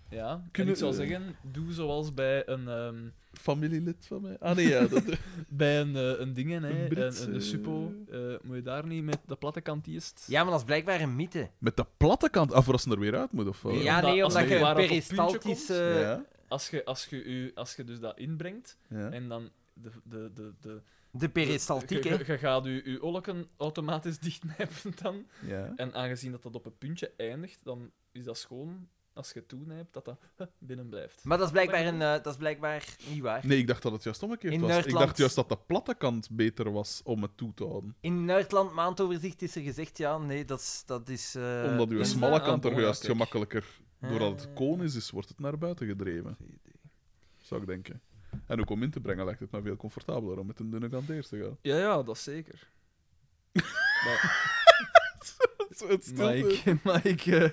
[SPEAKER 3] Ja, en
[SPEAKER 4] Kunnen-
[SPEAKER 3] ik zou
[SPEAKER 4] eh,
[SPEAKER 3] zeggen, doe zoals bij een, ehm,
[SPEAKER 4] Familielid van mij. Ah nee, ja. Dat,
[SPEAKER 3] bij een, eh, een dingen, hè, een,
[SPEAKER 4] Brits,
[SPEAKER 3] een,
[SPEAKER 4] eh.
[SPEAKER 3] suppo, eh, moet je daar niet met de platte kant eerst...
[SPEAKER 1] Ja, maar dat is blijkbaar een mythe.
[SPEAKER 4] met de platte kant af, als ze er weer uit moet. Of, wat?
[SPEAKER 1] ja, eh,
[SPEAKER 3] omdat-
[SPEAKER 1] nee,
[SPEAKER 3] als
[SPEAKER 1] omdat
[SPEAKER 4] je
[SPEAKER 1] je een
[SPEAKER 3] waar op een puntje
[SPEAKER 1] peristaltische...
[SPEAKER 4] ja.
[SPEAKER 3] Als je, als, je, u, als je dus dat inbrengt
[SPEAKER 4] ja.
[SPEAKER 3] en dan... De, de, de, de,
[SPEAKER 1] De peristaltiek,
[SPEAKER 3] je,
[SPEAKER 1] hè.
[SPEAKER 3] je- je gaat je, je olken automatisch dichtnijpen dan.
[SPEAKER 4] ja.
[SPEAKER 3] En aangezien dat dat op een puntje eindigt, dan is dat schoon, als je toenijpt, dat dat huh, binnen blijft.
[SPEAKER 1] Maar dat is blijkbaar, een, eh, dat is blijkbaar niet waar.
[SPEAKER 4] Nee, ik dacht dat het juist omgekeerd
[SPEAKER 1] In
[SPEAKER 4] was. Ik
[SPEAKER 1] Duitsland-
[SPEAKER 4] dacht juist dat de platte kant beter was om het toe te houden.
[SPEAKER 1] In Nuitland maandoverzicht is er gezegd, ja, nee, dat is... Dat is eh,
[SPEAKER 4] Omdat uw
[SPEAKER 3] is dat-
[SPEAKER 4] smalle
[SPEAKER 3] ah,
[SPEAKER 4] kant er
[SPEAKER 3] bon, ja,
[SPEAKER 4] juist
[SPEAKER 3] kijk.
[SPEAKER 4] gemakkelijker...
[SPEAKER 1] eh,
[SPEAKER 4] Doordat het koon is, is, wordt het naar buiten gedreven. Zou ik denken. En ook om in te brengen lijkt het mij veel comfortabeler om met een dunne kant eerst te gaan.
[SPEAKER 3] Ja, ja, dat zeker. maar,
[SPEAKER 4] Zo, Het stilte.
[SPEAKER 3] maar ik... Maar ik, eh,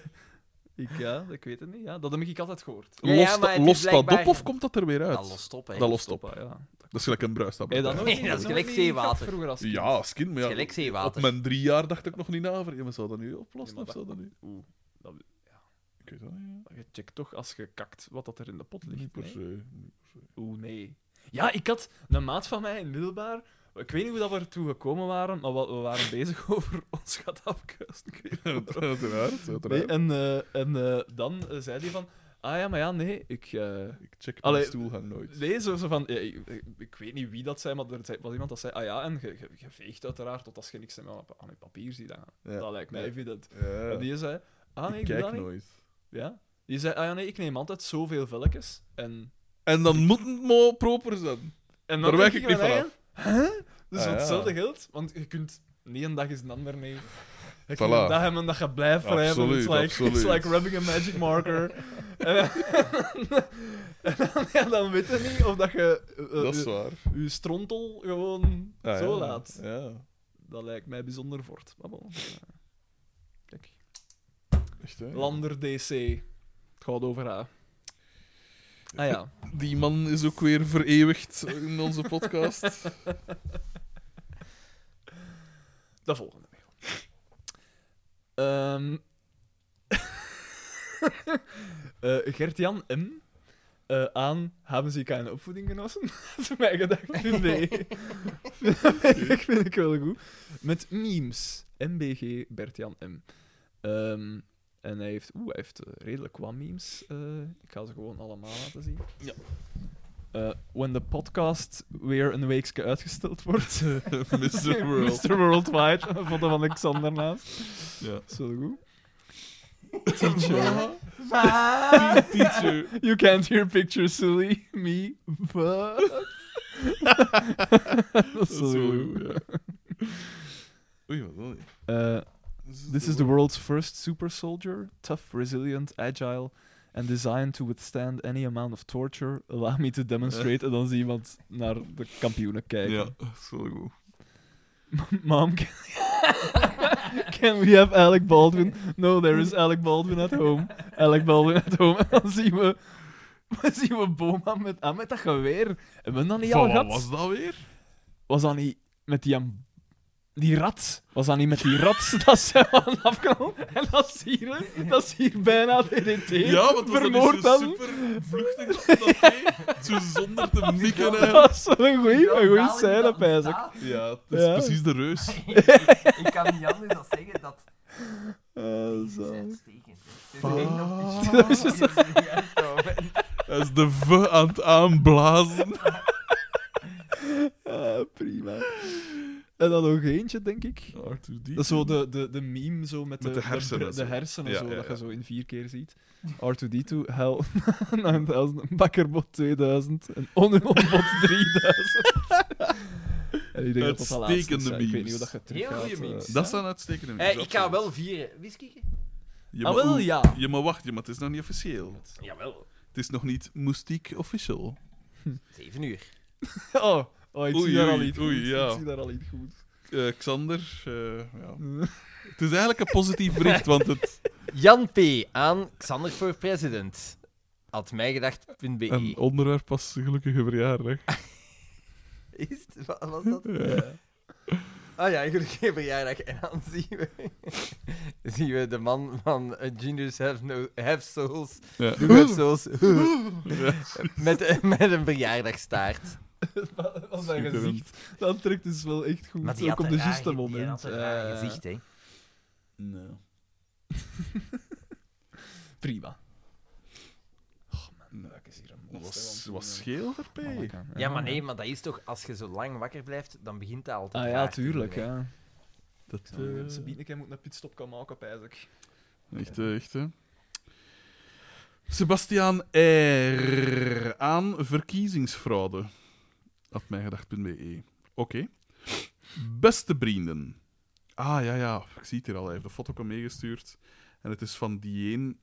[SPEAKER 3] ik ja, ik weet het niet. Ja, dat heb ik altijd gehoord.
[SPEAKER 1] Ja, ja,
[SPEAKER 4] Lost,
[SPEAKER 1] maar het is
[SPEAKER 4] lost dat
[SPEAKER 1] blijkbaar-
[SPEAKER 4] op of komt dat er weer uit?
[SPEAKER 1] Dat lost op, hè.
[SPEAKER 4] Dat lost op.
[SPEAKER 3] Stoppa, ja.
[SPEAKER 4] Dat is gelijk een
[SPEAKER 3] Heb je
[SPEAKER 4] bruistablet.
[SPEAKER 3] dat nooit
[SPEAKER 1] Nee,
[SPEAKER 3] gezien?
[SPEAKER 1] dat is
[SPEAKER 3] Heb je
[SPEAKER 1] gelijk
[SPEAKER 3] dat niet
[SPEAKER 1] zeewater.
[SPEAKER 3] gehad Vroeger als kind?
[SPEAKER 4] Ja, skin,
[SPEAKER 1] Het
[SPEAKER 4] maar ja,
[SPEAKER 1] is gelijk
[SPEAKER 4] op
[SPEAKER 1] zeewater.
[SPEAKER 4] mijn drie jaar dacht ik nog niet na over. Ja, maar zou dat nu oplossen
[SPEAKER 3] Ja,
[SPEAKER 4] of
[SPEAKER 3] maar
[SPEAKER 4] zou dat nu...
[SPEAKER 3] Oeh, dat, ja.
[SPEAKER 4] Ik weet dat niet. ja.
[SPEAKER 3] Je checkt toch als je kakt wat dat er in de pot ligt.
[SPEAKER 4] Niet per
[SPEAKER 3] nee?
[SPEAKER 4] se.
[SPEAKER 3] Oeh, nee. Ja, ik had een maat van mij in middelbaar. Ik weet niet hoe dat we ertoe gekomen waren, maar we we waren bezig over ons gaat afkuisen. Ik weet niet waarom.
[SPEAKER 4] Uiteraard,
[SPEAKER 3] Nee,
[SPEAKER 4] uiteraard.
[SPEAKER 3] en eh, en eh, dan eh, zei hij van... Ah ja, maar ja, nee, ik... eh,
[SPEAKER 4] Ik check mijn
[SPEAKER 3] Allee,
[SPEAKER 4] stoel gaan nooit.
[SPEAKER 3] nee, zo, zo van... ja, ik, ik- ik weet niet wie dat zei, maar er zei- was iemand dat zei... Ah ja, en je- je je veegt uiteraard tot als je niks aan je- aan je papier ziet. hangen."
[SPEAKER 4] Ja.
[SPEAKER 3] Dat lijkt mij
[SPEAKER 4] Ja.
[SPEAKER 3] evident.
[SPEAKER 4] Ja.
[SPEAKER 3] En die zei... Ah
[SPEAKER 4] ik
[SPEAKER 3] nee, ik doe
[SPEAKER 4] kijk
[SPEAKER 3] dat niet.
[SPEAKER 4] nooit.
[SPEAKER 3] Ja. Die zei, ah ja, nee, ik neem altijd zoveel velletjes. En,
[SPEAKER 4] En dan moet het maar proper zijn.
[SPEAKER 3] en
[SPEAKER 4] Daar
[SPEAKER 3] dan
[SPEAKER 4] wijk
[SPEAKER 3] denk
[SPEAKER 4] ik niet
[SPEAKER 3] mijn
[SPEAKER 4] van
[SPEAKER 3] eigen, Hè? Dus
[SPEAKER 4] Ah,
[SPEAKER 3] wat
[SPEAKER 4] ja.
[SPEAKER 3] hetzelfde geldt, want je kunt niet een dag is een ander mee. Je
[SPEAKER 4] Voilà.
[SPEAKER 3] kunt een dag hebben en dat je blijft vrij hebben.
[SPEAKER 4] Absoluut,
[SPEAKER 3] It's like, it's
[SPEAKER 4] absoluut.
[SPEAKER 3] like rubbing a magic marker. en, dan- en dan, ja, dan weet je niet of dat je eh, eh,
[SPEAKER 4] Dat is
[SPEAKER 3] je,
[SPEAKER 4] waar.
[SPEAKER 3] je strontel gewoon
[SPEAKER 4] Ah,
[SPEAKER 3] zo
[SPEAKER 4] ja.
[SPEAKER 3] laat.
[SPEAKER 4] Ja,
[SPEAKER 3] Dat lijkt mij bijzonder voort. Maar bon, eh, Kijk.
[SPEAKER 4] echt hè.
[SPEAKER 3] Lander DC. Het gaat over haar. Ah ja.
[SPEAKER 4] Die man is ook weer vereeuwigd in onze podcast.
[SPEAKER 3] De volgende mail. Ehm Eh, Gert-Jan M. eh, aan hebben ze keine opvoeding genossen? Dat is mijn gedachte. Nee. ik vind ik wel goed. Met memes. MBG Bert-Jan M. Ehm, en hij heeft, oeh, hij heeft eh, redelijk wat memes. Eh, ik ga ze gewoon allemaal laten zien.
[SPEAKER 4] Ja.
[SPEAKER 3] Eh, when the podcast weer een weekje uitgesteld wordt.
[SPEAKER 4] Mr. World.
[SPEAKER 3] Mr. Worldwide. Een foto van Alexander naast.
[SPEAKER 4] Ja.
[SPEAKER 3] Zo goed. Teacher.
[SPEAKER 1] Ah.
[SPEAKER 4] Teacher.
[SPEAKER 3] You can't hear pictures, silly. Me. But... Dat is zo goed.
[SPEAKER 4] ja. Oei, wat wil je?
[SPEAKER 3] Eh, This is the world's first super soldier, tough, resilient, agile, and designed to withstand any amount of torture. Allow me to demonstrate. En dan zie je iemand naar de kampioenen kijken.
[SPEAKER 4] Ja, dat is wel goed.
[SPEAKER 3] Mom, can, can we have Alec Baldwin? No, there is Alec Baldwin at home. Alec Baldwin at home. En dan zien we, dan zien we Boma met, ah, met dat geweer. Hebben we dat niet
[SPEAKER 4] Van
[SPEAKER 3] al
[SPEAKER 4] wat
[SPEAKER 3] gehad?
[SPEAKER 4] was dat weer?
[SPEAKER 3] was dat niet met die, am- die rat? Was dat niet met die rat dat ze aan afknal? En dat is hier, hè? dat is hier bijna DDT.
[SPEAKER 4] Ja, want was dat
[SPEAKER 3] vermoord
[SPEAKER 4] niet zo
[SPEAKER 3] dan.
[SPEAKER 4] super vluchtig dat dat deed? Zo zonder te mikken. hè.
[SPEAKER 3] Dat is wel een goeie, een goeie scène, pijs ik.
[SPEAKER 4] Ja, het is
[SPEAKER 3] Ja.
[SPEAKER 4] precies de reus.
[SPEAKER 1] Ik kan niet anders dan zeggen dat...
[SPEAKER 3] Eh,
[SPEAKER 1] Dat is
[SPEAKER 3] zo.
[SPEAKER 1] uitstekend. hè.
[SPEAKER 4] Fuck.
[SPEAKER 1] Er is één op-
[SPEAKER 3] Dat is
[SPEAKER 1] Er is één juist over.
[SPEAKER 4] Hij is de v aan het aanblazen.
[SPEAKER 3] Ah, prima. En dan nog eentje, denk ik.
[SPEAKER 4] Arthur D.
[SPEAKER 3] Dat is zo de, de, de meme zo met,
[SPEAKER 4] Met de hersenen
[SPEAKER 3] De,
[SPEAKER 4] zo.
[SPEAKER 3] hersenen
[SPEAKER 4] Ja,
[SPEAKER 3] zo,
[SPEAKER 4] ja,
[SPEAKER 3] dat
[SPEAKER 4] ja.
[SPEAKER 3] je zo in vier keer ziet. R2D2, Hell 9000, Bakkerbot 2000 en Onronbot 3000. en ik denk dat dat de laatste is,
[SPEAKER 4] Uitstekende
[SPEAKER 3] hè. Ik weet
[SPEAKER 4] memes.
[SPEAKER 3] niet hoe dat je terug
[SPEAKER 1] Heel
[SPEAKER 3] gaat,
[SPEAKER 1] goeie
[SPEAKER 3] eh.
[SPEAKER 1] memes.
[SPEAKER 4] Dat zijn uitstekende
[SPEAKER 1] Eh,
[SPEAKER 4] mensen,
[SPEAKER 1] ik ga
[SPEAKER 4] absoluut.
[SPEAKER 1] wel vieren. Wist ik?
[SPEAKER 4] Je
[SPEAKER 3] Ah,
[SPEAKER 4] maar-
[SPEAKER 3] wel,
[SPEAKER 4] oeh,
[SPEAKER 3] ja.
[SPEAKER 4] Je maar wacht, je, maar het is nog niet officieel.
[SPEAKER 1] Jawel.
[SPEAKER 4] Het is nog niet moestiek official.
[SPEAKER 1] Zeven uur.
[SPEAKER 3] Oh, oh ik,
[SPEAKER 4] Oei,
[SPEAKER 3] zie daar
[SPEAKER 4] oei,
[SPEAKER 3] al iets
[SPEAKER 4] oei,
[SPEAKER 3] goed.
[SPEAKER 4] ja.
[SPEAKER 3] ik zie daar al iets goed.
[SPEAKER 4] Eh, Xander, eh, ja. het is eigenlijk een positief bericht, want het...
[SPEAKER 1] Jan P. aan Xander voor president. Had mijgedacht.be.
[SPEAKER 4] Een onderwerp was gelukkige verjaardag.
[SPEAKER 1] Is het? Wat was dat?
[SPEAKER 4] Ja.
[SPEAKER 1] Ah ja, gelukkig verjaardag. En dan zien we, zien we de man van eh, Genius Have, no, have Souls,
[SPEAKER 4] Ja.
[SPEAKER 1] Who Have Souls, met, met een verjaardagstaart.
[SPEAKER 3] Als zijn
[SPEAKER 4] Schitterend.
[SPEAKER 3] gezicht. Dat trekt dus wel echt goed.
[SPEAKER 1] Maar die
[SPEAKER 3] Ook
[SPEAKER 1] had
[SPEAKER 3] op
[SPEAKER 1] een
[SPEAKER 3] de
[SPEAKER 1] raar ge-
[SPEAKER 3] juiste
[SPEAKER 1] die
[SPEAKER 3] dus moment.
[SPEAKER 1] had een raar
[SPEAKER 3] Eh,
[SPEAKER 1] gezicht, hè.
[SPEAKER 4] Nee.
[SPEAKER 3] Prima. Oh man, dat is hier een
[SPEAKER 4] Was,
[SPEAKER 3] monster.
[SPEAKER 4] was Ah, scheel er, P?
[SPEAKER 1] Ja, maar nee, maar dat is toch... Als je zo lang wakker blijft, dan begint dat altijd
[SPEAKER 3] Ah ja,
[SPEAKER 1] raar te
[SPEAKER 3] tuurlijk,
[SPEAKER 1] doen, hè.
[SPEAKER 3] ja.
[SPEAKER 4] Dat,
[SPEAKER 3] Uh,
[SPEAKER 4] eh,
[SPEAKER 3] ik moet een pitstop gaan maken, pijs ik.
[SPEAKER 4] Echt, eh, echt, hè. Sebastiaan R. aan verkiezingsfraude. At mijgedacht.be. E. Oké. Beste vrienden. Ah, ja, ja. Ik zie het hier al. Hij heeft de foto ook al meegestuurd. En het is van die een...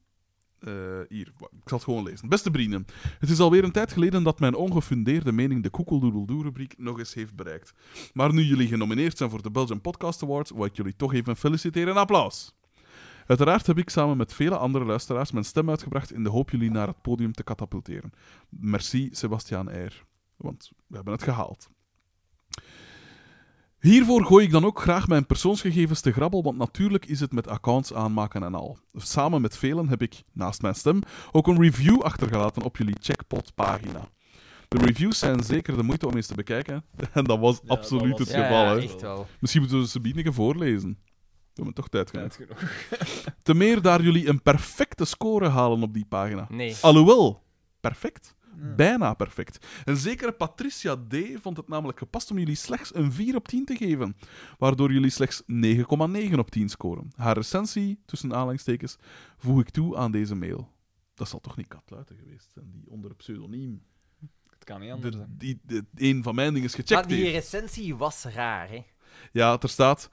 [SPEAKER 4] eh, hier, wa- ik zal het gewoon lezen. Beste vrienden, het is alweer een tijd geleden dat mijn ongefundeerde mening de koekeldoedeldoe-rubriek nog eens heeft bereikt. Maar nu jullie genomineerd zijn voor de Belgian Podcast Awards, wil ik jullie toch even feliciteren en applaus. Uiteraard heb ik samen met vele andere luisteraars mijn stem uitgebracht in de hoop jullie naar het podium te katapulteren. Merci, Sebastiaan Eyre, want we hebben het gehaald. Hiervoor gooi ik dan ook graag mijn persoonsgegevens te grabbel, want natuurlijk is het met accounts aanmaken en al. Samen met velen heb ik, naast mijn stem, ook een review achtergelaten op jullie Checkpot-pagina. De reviews zijn zeker de moeite om eens te bekijken, en dat was
[SPEAKER 3] dat
[SPEAKER 4] absoluut
[SPEAKER 3] was-
[SPEAKER 4] het
[SPEAKER 1] Ja,
[SPEAKER 4] geval.
[SPEAKER 1] ja,
[SPEAKER 4] hè.
[SPEAKER 1] echt wel.
[SPEAKER 4] Misschien moeten we ze bieden voorlezen. We hebben toch tijd genoeg.
[SPEAKER 3] Tijd genoeg.
[SPEAKER 4] Te meer daar jullie een perfecte score halen op die pagina.
[SPEAKER 1] Nee.
[SPEAKER 4] Alhoewel, perfect. Bijna perfect. Een zekere Patricia D. vond het namelijk gepast om jullie slechts een 4 op 10 te geven, waardoor jullie slechts 9,9 op 10 scoren. Haar recensie, tussen aanhalingstekens, voeg ik toe aan deze mail. Dat zal toch niet Katluiten geweest zijn, die onder een pseudoniem.
[SPEAKER 3] Het kan niet
[SPEAKER 4] De,
[SPEAKER 3] anders. hè.
[SPEAKER 4] die, de- een van mijn dingen is
[SPEAKER 1] Maar
[SPEAKER 4] gecheckt
[SPEAKER 1] die
[SPEAKER 4] heeft.
[SPEAKER 1] recensie was raar, hè.
[SPEAKER 4] Ja, er staat.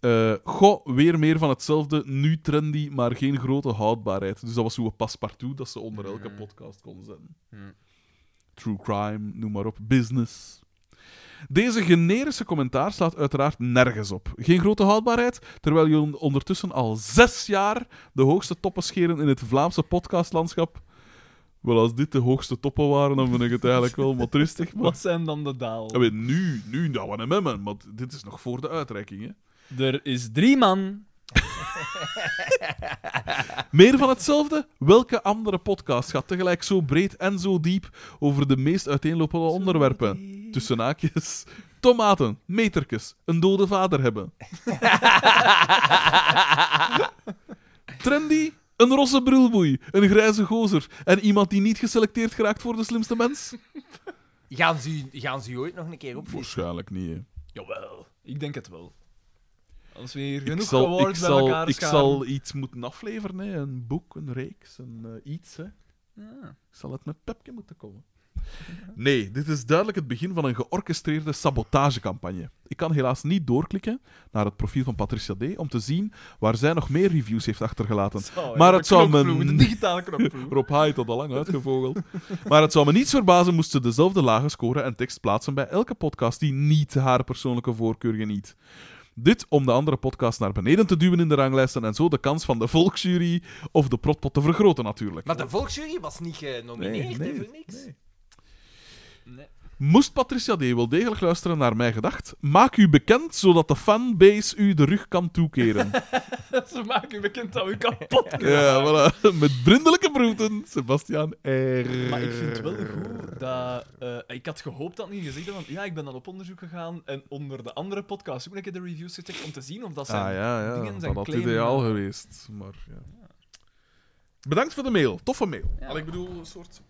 [SPEAKER 4] eh goh, weer meer van hetzelfde. Nu trendy, maar geen grote houdbaarheid. Dus dat was hoe een paspartout dat ze onder elke
[SPEAKER 3] Mhm.
[SPEAKER 4] podcast kon zetten.
[SPEAKER 3] Mhm.
[SPEAKER 4] True crime, noem maar op. Business. Deze generische commentaar slaat uiteraard nergens op. Geen grote houdbaarheid, terwijl jullie on- ondertussen al zes jaar de hoogste toppen scheren in het Vlaamse podcastlandschap. Wel, als dit de hoogste toppen waren, dan vind ik het eigenlijk wel motristig. Maar...
[SPEAKER 3] Wat zijn dan de daal?
[SPEAKER 4] Ja, weet, nu, nu, nou, en memmen, want dit is nog voor de uitreiking, hè.
[SPEAKER 3] Er is drie man.
[SPEAKER 4] Meer van hetzelfde? Welke andere podcast gaat tegelijk zo breed en zo diep over de meest uiteenlopende onderwerpen? Dus- Tussen haakjes. Tomaten, meterkes, een dode vader hebben. Trendy, een rosse brulboei, een grijze gozer en iemand die niet geselecteerd geraakt voor de slimste mens?
[SPEAKER 1] Gaan ze, u- gaan ze u ooit nog een keer opvoeden?
[SPEAKER 4] Waarschijnlijk niet, hè.
[SPEAKER 3] Jawel. Ik denk het wel. Als we hier
[SPEAKER 4] Ik
[SPEAKER 3] genoeg
[SPEAKER 4] zal, ik,
[SPEAKER 3] awards bij
[SPEAKER 4] zal,
[SPEAKER 3] elkaar
[SPEAKER 4] ik
[SPEAKER 3] scharen.
[SPEAKER 4] zal iets moeten afleveren, hè. Een boek, een reeks, een, eh, iets, hè.
[SPEAKER 3] Ja.
[SPEAKER 4] zal het met Pepke moeten komen. Nee, dit is duidelijk het begin van een georchestreerde sabotagecampagne. Ik kan helaas niet doorklikken naar het profiel van Patricia D. om te zien waar zij nog meer reviews heeft achtergelaten.
[SPEAKER 3] Zou,
[SPEAKER 4] Maar
[SPEAKER 3] ja,
[SPEAKER 4] het zou me
[SPEAKER 3] knopvloer, De
[SPEAKER 4] niet-
[SPEAKER 3] digitale knopvloer.
[SPEAKER 4] Rob Haait had al lang uitgevogeld. Maar het zou me niets verbazen moest ze dezelfde lage score en tekst plaatsen bij elke podcast die niet haar persoonlijke voorkeur geniet. Dit om de andere podcast naar beneden te duwen in de ranglijsten en zo de kans van de volksjury of de protpot te vergroten natuurlijk.
[SPEAKER 1] Maar de volksjury was niet genomineerd,
[SPEAKER 4] Nee,
[SPEAKER 1] hè,
[SPEAKER 4] nee,
[SPEAKER 1] voor niks.
[SPEAKER 4] nee.
[SPEAKER 3] Nee.
[SPEAKER 4] Moest Patricia D. wel degelijk luisteren naar mij gedacht? Maak u bekend, zodat de fanbase u de rug kan toekeren.
[SPEAKER 3] Ze maken bekend dat we kapot kunnen
[SPEAKER 4] ja,
[SPEAKER 3] maken.
[SPEAKER 4] voilà. Met vriendelijke groeten, Sebastiaan R.
[SPEAKER 3] Maar ik vind het
[SPEAKER 4] Eh.
[SPEAKER 3] wel goed dat... eh, ik had gehoopt dat het niet gezegd had, want ja, ik ben dan op onderzoek gegaan en onder de andere podcasts ook een keer de reviews gecheckt om te zien of dat zijn...
[SPEAKER 4] Ah ja, ja.
[SPEAKER 3] dingen
[SPEAKER 4] dat
[SPEAKER 3] zijn eh,
[SPEAKER 4] had
[SPEAKER 3] claim-
[SPEAKER 4] ideaal geweest. Maar, ja. Bedankt voor de mail. Toffe mail. Al, ik bedoel, een soort...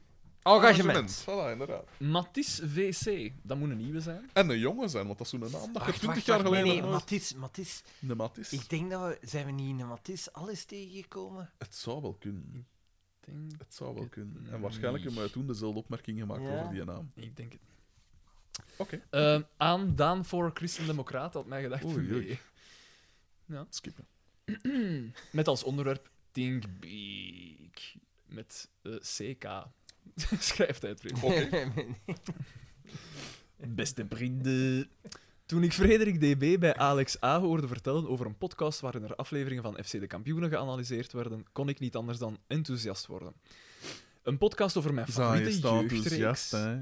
[SPEAKER 1] Engagement.
[SPEAKER 4] Voilà, inderdaad.
[SPEAKER 3] Mathis VC, dat moet een nieuwe zijn.
[SPEAKER 4] En een jongen zijn, want dat is zo'n naam dat je
[SPEAKER 1] Wacht,
[SPEAKER 4] twintig
[SPEAKER 1] wacht,
[SPEAKER 4] jaar
[SPEAKER 1] wacht. Nee,
[SPEAKER 4] geleden...
[SPEAKER 1] nee,
[SPEAKER 4] nog nooit-
[SPEAKER 1] Mathis, Mathis.
[SPEAKER 4] De maat is.
[SPEAKER 1] Ik denk dat we... Zijn we niet in de Mathis alles tegengekomen?
[SPEAKER 4] Het zou wel kunnen.
[SPEAKER 3] Ik denk,
[SPEAKER 4] Het zou wel
[SPEAKER 3] het
[SPEAKER 4] kunnen. En waarschijnlijk hebben wij toen dezelfde opmerking gemaakt
[SPEAKER 1] Ja.
[SPEAKER 4] over die naam.
[SPEAKER 3] ik denk het niet.
[SPEAKER 4] Oké.
[SPEAKER 3] Eh, aan Daan voor Christendemocraat had mij gedacht.
[SPEAKER 4] Oei, oei.
[SPEAKER 3] nee.
[SPEAKER 4] Skippen.
[SPEAKER 3] Met als onderwerp Think Big. Met eh, CK. Schrijft hij het weer. Beste vrienden. Toen ik Frederik DB bij Alex A hoorde vertellen over een podcast waarin er afleveringen van FC de Kampioenen geanalyseerd werden, kon ik niet anders dan enthousiast worden. Een podcast over mijn
[SPEAKER 4] Zij
[SPEAKER 3] favoriete
[SPEAKER 4] is daar
[SPEAKER 3] jeugdreeks.
[SPEAKER 4] enthousiast, hè.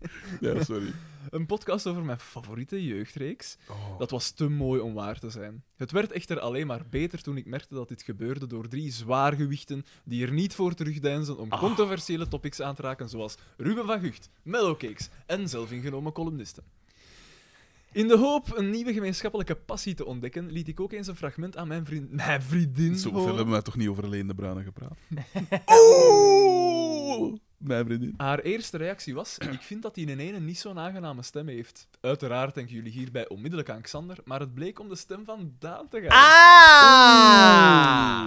[SPEAKER 4] Ja, sorry.
[SPEAKER 3] Een podcast over mijn favoriete jeugdreeks.
[SPEAKER 4] Oh.
[SPEAKER 3] Dat was te mooi om waar te zijn. Het werd echter alleen maar beter toen ik merkte dat dit gebeurde door drie zwaargewichten die er niet voor terugdeinzen
[SPEAKER 4] Ah.
[SPEAKER 3] om controversiële topics aan te raken, zoals Ruben van Gucht, Mellowcakes en zelfingenomen columnisten. In de hoop een nieuwe gemeenschappelijke passie te ontdekken, liet ik ook eens een fragment aan mijn, vriend, mijn vriendin
[SPEAKER 4] Zoveel
[SPEAKER 3] horen.
[SPEAKER 4] hebben wij toch niet over Leen de Bruyne gepraat? Oeh! Mijn vriendin.
[SPEAKER 3] Haar eerste reactie was: Ik vind dat hij in ene niet zo'n aangename stem heeft. Uiteraard denken jullie hierbij onmiddellijk aan Xander, maar het bleek om de stem van Daan te gaan.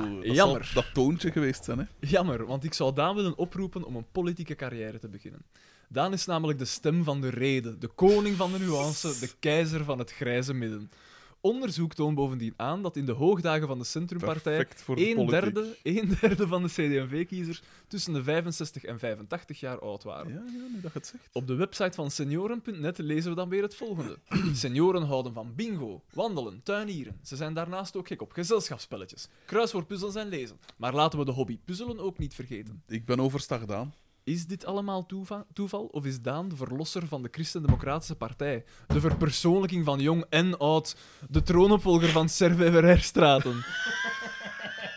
[SPEAKER 4] Oeh, dat zal
[SPEAKER 3] jammer.
[SPEAKER 4] Dat toontje geweest zijn, hè?
[SPEAKER 3] Jammer, want ik zou Daan willen oproepen om een politieke carrière te beginnen. Daan is namelijk de stem van de reden, de koning van de nuance, de keizer van het grijze midden. Onderzoek toont bovendien aan dat in de hoogdagen van de Centrumpartij
[SPEAKER 4] Perfect voor de
[SPEAKER 3] een
[SPEAKER 4] politiek.
[SPEAKER 3] derde, een derde van de CD&V-kiezers tussen de 65 en 85 jaar oud waren.
[SPEAKER 4] Ja, ja, nu dat je het zegt.
[SPEAKER 3] Op de website van senioren.net lezen we dan weer het volgende. Senioren houden van bingo, wandelen, tuinieren. Ze zijn daarnaast ook gek op gezelschapsspelletjes, kruiswoordpuzzels en lezen. Maar laten we de hobby puzzelen ook niet vergeten.
[SPEAKER 4] Ik ben overstag Daan.
[SPEAKER 3] Is dit allemaal toeva- toeval of is Daan de verlosser van de Christendemocratische Partij? De verpersoonlijking van jong en oud, de troonopvolger van Serveverherstraten.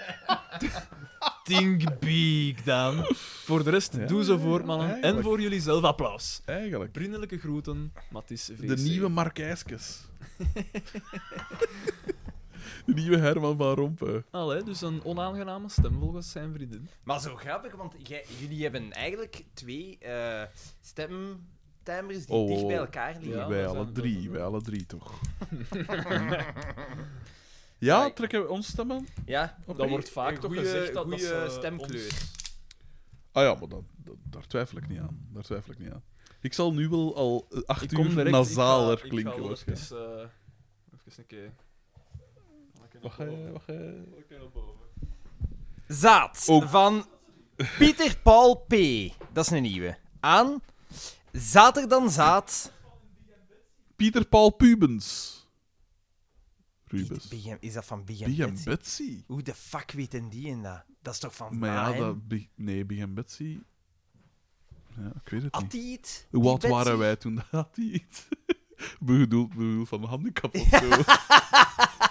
[SPEAKER 3] Think big, Daan. Voor de rest,
[SPEAKER 4] Ja,
[SPEAKER 3] doe zo
[SPEAKER 4] ja,
[SPEAKER 3] voor,
[SPEAKER 4] ja,
[SPEAKER 3] mannen. En
[SPEAKER 4] eigenlijk.
[SPEAKER 3] voor jullie zelf applaus.
[SPEAKER 4] Eigenlijk.
[SPEAKER 3] Vriendelijke groeten, Mathis VC.
[SPEAKER 4] De nieuwe Markijskes. de nieuwe Herman van Rompuy.
[SPEAKER 3] Allee, dus een onaangename stem volgens zijn vriendin.
[SPEAKER 1] Maar zo grappig, want jij- jullie hebben eigenlijk twee eh stemtimers die
[SPEAKER 4] Oh,
[SPEAKER 1] dicht bij
[SPEAKER 4] oh,
[SPEAKER 1] elkaar liggen.
[SPEAKER 3] Ja,
[SPEAKER 4] wij
[SPEAKER 3] dat
[SPEAKER 4] alle
[SPEAKER 3] zijn- dat
[SPEAKER 4] drie,
[SPEAKER 3] zijn-
[SPEAKER 4] wij alle drie toch. ja,
[SPEAKER 1] Maar-
[SPEAKER 4] trekken we ons stemmen?
[SPEAKER 1] Ja,
[SPEAKER 3] Dat wordt vaak toch gezegd dat dat
[SPEAKER 1] goede
[SPEAKER 3] ze
[SPEAKER 1] stemkleur.
[SPEAKER 4] Ah ja, maar dat, dat- daar twijfel ik niet aan. Daar twijfel ik niet aan. Ik zal nu wel al eh, acht
[SPEAKER 3] Ik
[SPEAKER 4] uur
[SPEAKER 3] kom direct,
[SPEAKER 4] nasaler
[SPEAKER 3] ik ga,
[SPEAKER 4] klinken.
[SPEAKER 3] Ik ga wel even,
[SPEAKER 4] waarschijnlijk.
[SPEAKER 3] eh, even een keer...
[SPEAKER 4] Wacht, hè, wacht, hè.
[SPEAKER 1] Zaad
[SPEAKER 4] Ook.
[SPEAKER 1] van Pieter Paul P. Dat is een nieuwe. Aan Zaad er dan zaad.
[SPEAKER 4] Pieter Paul Pubens. Rubens.
[SPEAKER 1] Big Am- Is dat van Big Am
[SPEAKER 4] Big and
[SPEAKER 1] Betsy?
[SPEAKER 4] Betsy.
[SPEAKER 1] Hoe de fuck weten die en dat? Dat is toch van
[SPEAKER 4] Maar ja,
[SPEAKER 1] Mahem?
[SPEAKER 4] dat, Big- nee, Big and Betsy. Ja, ik weet het
[SPEAKER 1] Had
[SPEAKER 4] niet.
[SPEAKER 1] die het?
[SPEAKER 4] Hoe
[SPEAKER 1] Die
[SPEAKER 4] oud
[SPEAKER 1] Betsy?
[SPEAKER 4] waren wij toen dat had hij iets? Bedoeld, bedoeld van handicap of zo.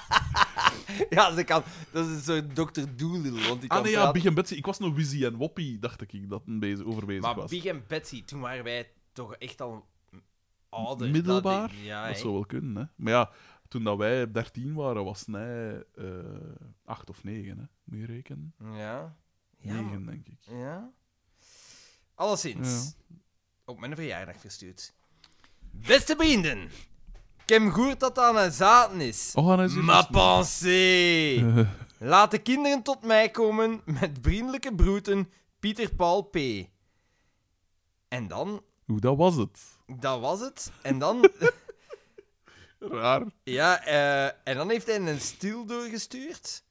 [SPEAKER 1] Ja, ze kan, dat is een soort Dr. Doolittle. Want die kan
[SPEAKER 4] ah nee, ja,
[SPEAKER 1] praten.
[SPEAKER 4] Big and Betsy. Ik was nog Wizzy en Woppie, dacht ik, ik dat een bezig, over bezig
[SPEAKER 1] Maar
[SPEAKER 4] was.
[SPEAKER 1] Big en Betsy, toen waren wij toch echt al ouder.
[SPEAKER 4] Middelbaar?
[SPEAKER 1] Dat, ja,
[SPEAKER 4] Dat
[SPEAKER 1] hè.
[SPEAKER 4] zou wel kunnen, hè. Maar ja, toen dat wij 13 waren, was hij eh 8 of 9, hè. Moet je rekenen?
[SPEAKER 1] ja. Ja.
[SPEAKER 4] 9, denk ik.
[SPEAKER 1] ja. Alleszins.
[SPEAKER 4] Ja.
[SPEAKER 1] Op mijn verjaardag verstuurd. Beste vrienden. Ik heb gehoord dat aan een zaten is.
[SPEAKER 4] Oh, en hij is hier
[SPEAKER 1] Ma
[SPEAKER 4] dus nog.
[SPEAKER 1] pensée.
[SPEAKER 4] Eh,
[SPEAKER 1] Laat de kinderen tot mij komen met vriendelijke broeten Pieter Paul P. En dan,
[SPEAKER 4] Hoe, dat was het.
[SPEAKER 1] dat was het. En dan,
[SPEAKER 4] Raar.
[SPEAKER 1] ja, eh, en dan heeft hij een stil doorgestuurd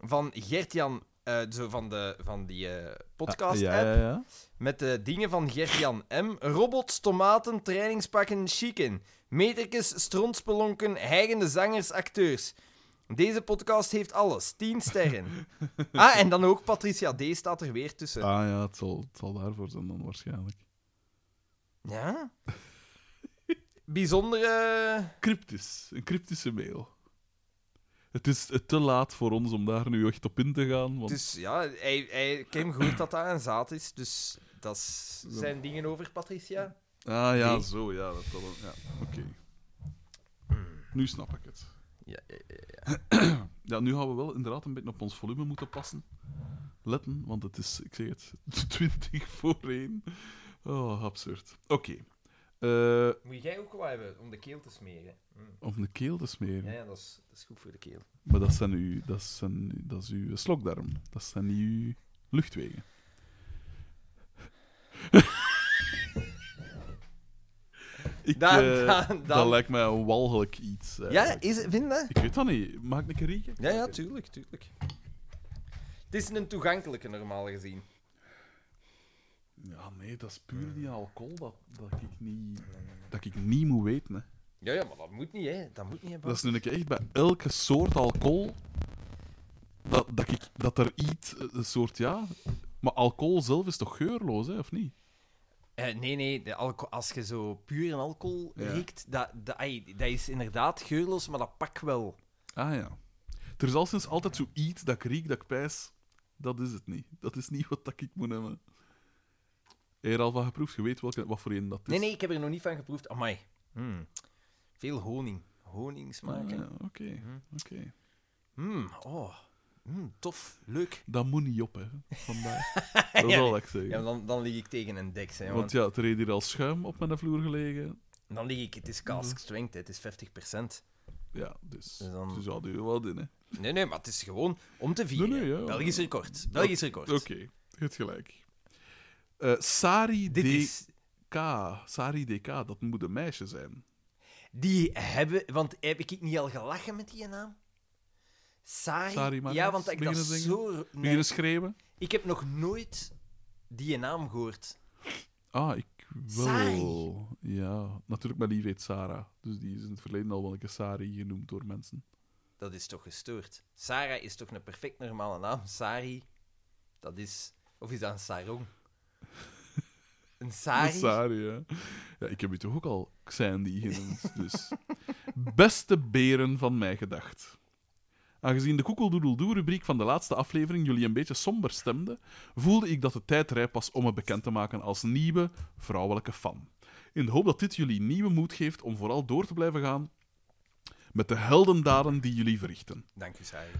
[SPEAKER 1] van Gert-Jan, eh, zo van, de, van die eh, podcast-app.
[SPEAKER 4] Ah, ja, ja, ja.
[SPEAKER 1] Met de dingen van Gert-Jan M. Robots, tomaten, trainingspakken, chicken. Metertjes, strontspelonken, heigende zangers, acteurs. Deze podcast heeft alles. 10 sterren. ah, en dan ook Patricia D. staat er weer tussen.
[SPEAKER 4] Ah ja, het zal, het zal daarvoor zijn dan waarschijnlijk.
[SPEAKER 1] Ja? Bijzondere...
[SPEAKER 4] Cryptisch. Een cryptische mail. Het is eh, te laat voor ons om daar nu echt op in te gaan, want...
[SPEAKER 1] Dus ja, hij, hij, ik heb hem gehoord dat dat een zaad is. Dus dat is- zijn dingen over Patricia.
[SPEAKER 4] Ah ja,
[SPEAKER 1] Nee.
[SPEAKER 4] zo, ja. Dat zal wel- ja. Oké. Nu snap ik het.
[SPEAKER 1] Ja, ja,
[SPEAKER 4] Ja, nu gaan we wel inderdaad een beetje op ons volume moeten passen. Letten, want het is, ik zeg het, 20 voor 1. Oh, absurd. Oké. Eh,
[SPEAKER 1] Moet jij ook wel hebben om de keel te smeren? Mm.
[SPEAKER 4] om de keel te smeren.
[SPEAKER 1] Ja, ja dat, is, dat is goed voor de keel.
[SPEAKER 4] Maar dat, zijn uw, dat, zijn, dat is uw slokdarm. Dat zijn niet uw luchtwegen. ik,
[SPEAKER 1] Dan-
[SPEAKER 4] eh,
[SPEAKER 1] dan- dan-
[SPEAKER 4] Dat lijkt mij een walgelijk iets.
[SPEAKER 1] Ja,
[SPEAKER 4] eigenlijk.
[SPEAKER 1] is, het- vind je dat?
[SPEAKER 4] Ik weet dat niet. Maak een keer rieken.
[SPEAKER 1] Ja, ja, tuurlijk, tuurlijk. Het is een toegankelijke, normaal gezien.
[SPEAKER 4] Ja, nee, dat is puur die alcohol dat, dat, ik, niet, dat ik niet moet weten. Hè.
[SPEAKER 1] Ja, ja, maar dat moet niet, hè. Dat moet niet, hè, Bart.
[SPEAKER 4] Dat is nu een keer echt bij elke soort alcohol. Dat, dat, ik, dat er iets, eh, een soort ja. Maar alcohol zelf is toch geurloos, hè, of niet?
[SPEAKER 1] Eh, nee, nee, de alco- als je zo puur in alcohol
[SPEAKER 4] Ja.
[SPEAKER 1] riekt, dat, dat, ai, dat is inderdaad geurloos, maar dat pak wel.
[SPEAKER 4] Ah ja. Er is al sinds altijd zo iets dat ik riek, dat ik pijs. Dat is het niet. Dat is niet wat dat ik moet hebben. Heb je er al van geproefd? Je weet welke, wat voor een dat is.
[SPEAKER 1] Nee, nee, ik heb er nog niet van geproefd. Amai. Hmm. Veel honing. Honing
[SPEAKER 4] Ah,
[SPEAKER 1] smaken.
[SPEAKER 4] ja, Oké, oké.
[SPEAKER 1] Mhm. Hmm, oh. Hmm, tof, leuk.
[SPEAKER 4] Dat moet niet op, hè. Vandaag. Dat zal ik zeggen.
[SPEAKER 1] Ja, maar dan, dan lig ik tegen een deks. Hè, want
[SPEAKER 4] Want ja, er reed hier al schuim op mijn vloer gelegen.
[SPEAKER 1] dan lig ik, het is
[SPEAKER 4] Mhm.
[SPEAKER 1] cask strength, hè, het is 50%.
[SPEAKER 4] Ja, dus.
[SPEAKER 1] Dus
[SPEAKER 4] Dus,
[SPEAKER 1] dan-
[SPEAKER 4] ja, die wel in, hè.
[SPEAKER 1] Nee, nee, maar het is gewoon om te vieren.
[SPEAKER 4] Nee, nee, ja, ja.
[SPEAKER 1] Belgisch record. Belgisch record.
[SPEAKER 4] Oké, het gelijk. Eh, Sari
[SPEAKER 1] Dit
[SPEAKER 4] DK.
[SPEAKER 1] is...
[SPEAKER 4] Sari DK, dat moet een meisje zijn.
[SPEAKER 1] Die hebben... Want heb ik niet al gelachen met die naam? Sari?
[SPEAKER 4] Sari
[SPEAKER 1] ja,
[SPEAKER 4] Martens,
[SPEAKER 1] want ik dat
[SPEAKER 4] beginnen zingen?
[SPEAKER 1] zo...
[SPEAKER 4] Wil
[SPEAKER 1] Nee,
[SPEAKER 4] je schreeuwen?
[SPEAKER 1] Ik heb nog nooit die naam gehoord.
[SPEAKER 4] Ah, ik wel.
[SPEAKER 1] Sari.
[SPEAKER 4] Ja, natuurlijk, mijn lief heet Sarah. Dus die is in het verleden al wel een keer Sari genoemd door mensen.
[SPEAKER 1] Dat is toch gestoord? Sarah is toch een perfect normale naam? Sari, dat is... Of is dat een sarong? Een
[SPEAKER 4] De
[SPEAKER 1] sari?
[SPEAKER 4] Sari, ja. ja. Ik heb u toch ook al Xandy genoemd, dus... Beste beren van mij gedacht. Aangezien de koekeldoedeldoe-rubriek van de laatste aflevering jullie een beetje somber stemde, voelde ik dat de tijd rijp was om me bekend te maken als nieuwe vrouwelijke fan. In de hoop dat dit jullie nieuwe moed geeft om vooral door te blijven gaan met de heldendaden die jullie verrichten.
[SPEAKER 1] Dank u, Sari.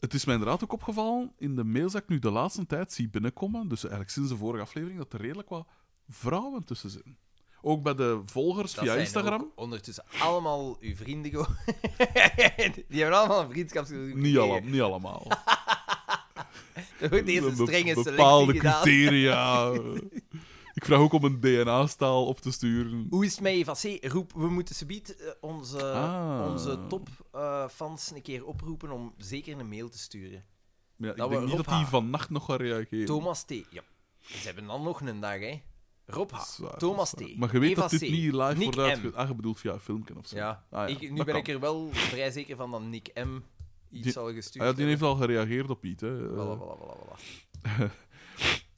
[SPEAKER 4] Het is mij inderdaad ook opgevallen in de mails dat ik nu de laatste tijd zie binnenkomen, dus eigenlijk sinds de vorige aflevering, dat er redelijk wat vrouwen tussen zitten. Ook bij de volgers
[SPEAKER 1] Dat
[SPEAKER 4] via
[SPEAKER 1] zijn
[SPEAKER 4] Instagram.
[SPEAKER 1] ook ondertussen allemaal uw vrienden geworden. Die hebben allemaal een vriendschapsgezoek
[SPEAKER 4] Niet, alle- niet allemaal.
[SPEAKER 1] Er wordt eerst een
[SPEAKER 4] Be-
[SPEAKER 1] strenge
[SPEAKER 4] bepaalde
[SPEAKER 1] selectie gedaan.
[SPEAKER 4] criteria. ik vraag ook om een DNA-staal op te sturen.
[SPEAKER 1] Hoe is het met EVC? Roep, we moeten subiet eh, onze,
[SPEAKER 4] Ah.
[SPEAKER 1] onze topfans een keer oproepen om zeker een mail te sturen.
[SPEAKER 4] Ja, ik
[SPEAKER 1] Dat we
[SPEAKER 4] denk niet
[SPEAKER 1] Rob
[SPEAKER 4] dat die
[SPEAKER 1] H.
[SPEAKER 4] vannacht nog gaat reageren.
[SPEAKER 1] Thomas T. Ja, ze hebben dan nog een dag, hè. Rob
[SPEAKER 4] Dat
[SPEAKER 1] H.
[SPEAKER 4] is waar,
[SPEAKER 1] Thomas
[SPEAKER 4] dat is
[SPEAKER 1] T.
[SPEAKER 4] waar. Maar je weet
[SPEAKER 1] Eva
[SPEAKER 4] dat dit
[SPEAKER 1] C,
[SPEAKER 4] niet live
[SPEAKER 1] Nick
[SPEAKER 4] wordt
[SPEAKER 1] M.
[SPEAKER 4] uitge... Ah, je bedoelt via filmpje of zo.
[SPEAKER 1] Ja,
[SPEAKER 4] Ah,
[SPEAKER 1] Ik, nu
[SPEAKER 4] dat
[SPEAKER 1] ben
[SPEAKER 4] kan.
[SPEAKER 1] ik er wel vrij zeker van dat Nick M. iets
[SPEAKER 4] Die-
[SPEAKER 1] zal gestuurd
[SPEAKER 4] Ah, ja, die heeft
[SPEAKER 1] hebben.
[SPEAKER 4] al gereageerd op Piet. Hè.
[SPEAKER 1] Voilà,
[SPEAKER 4] Eh,
[SPEAKER 1] voilà, voilà, voilà.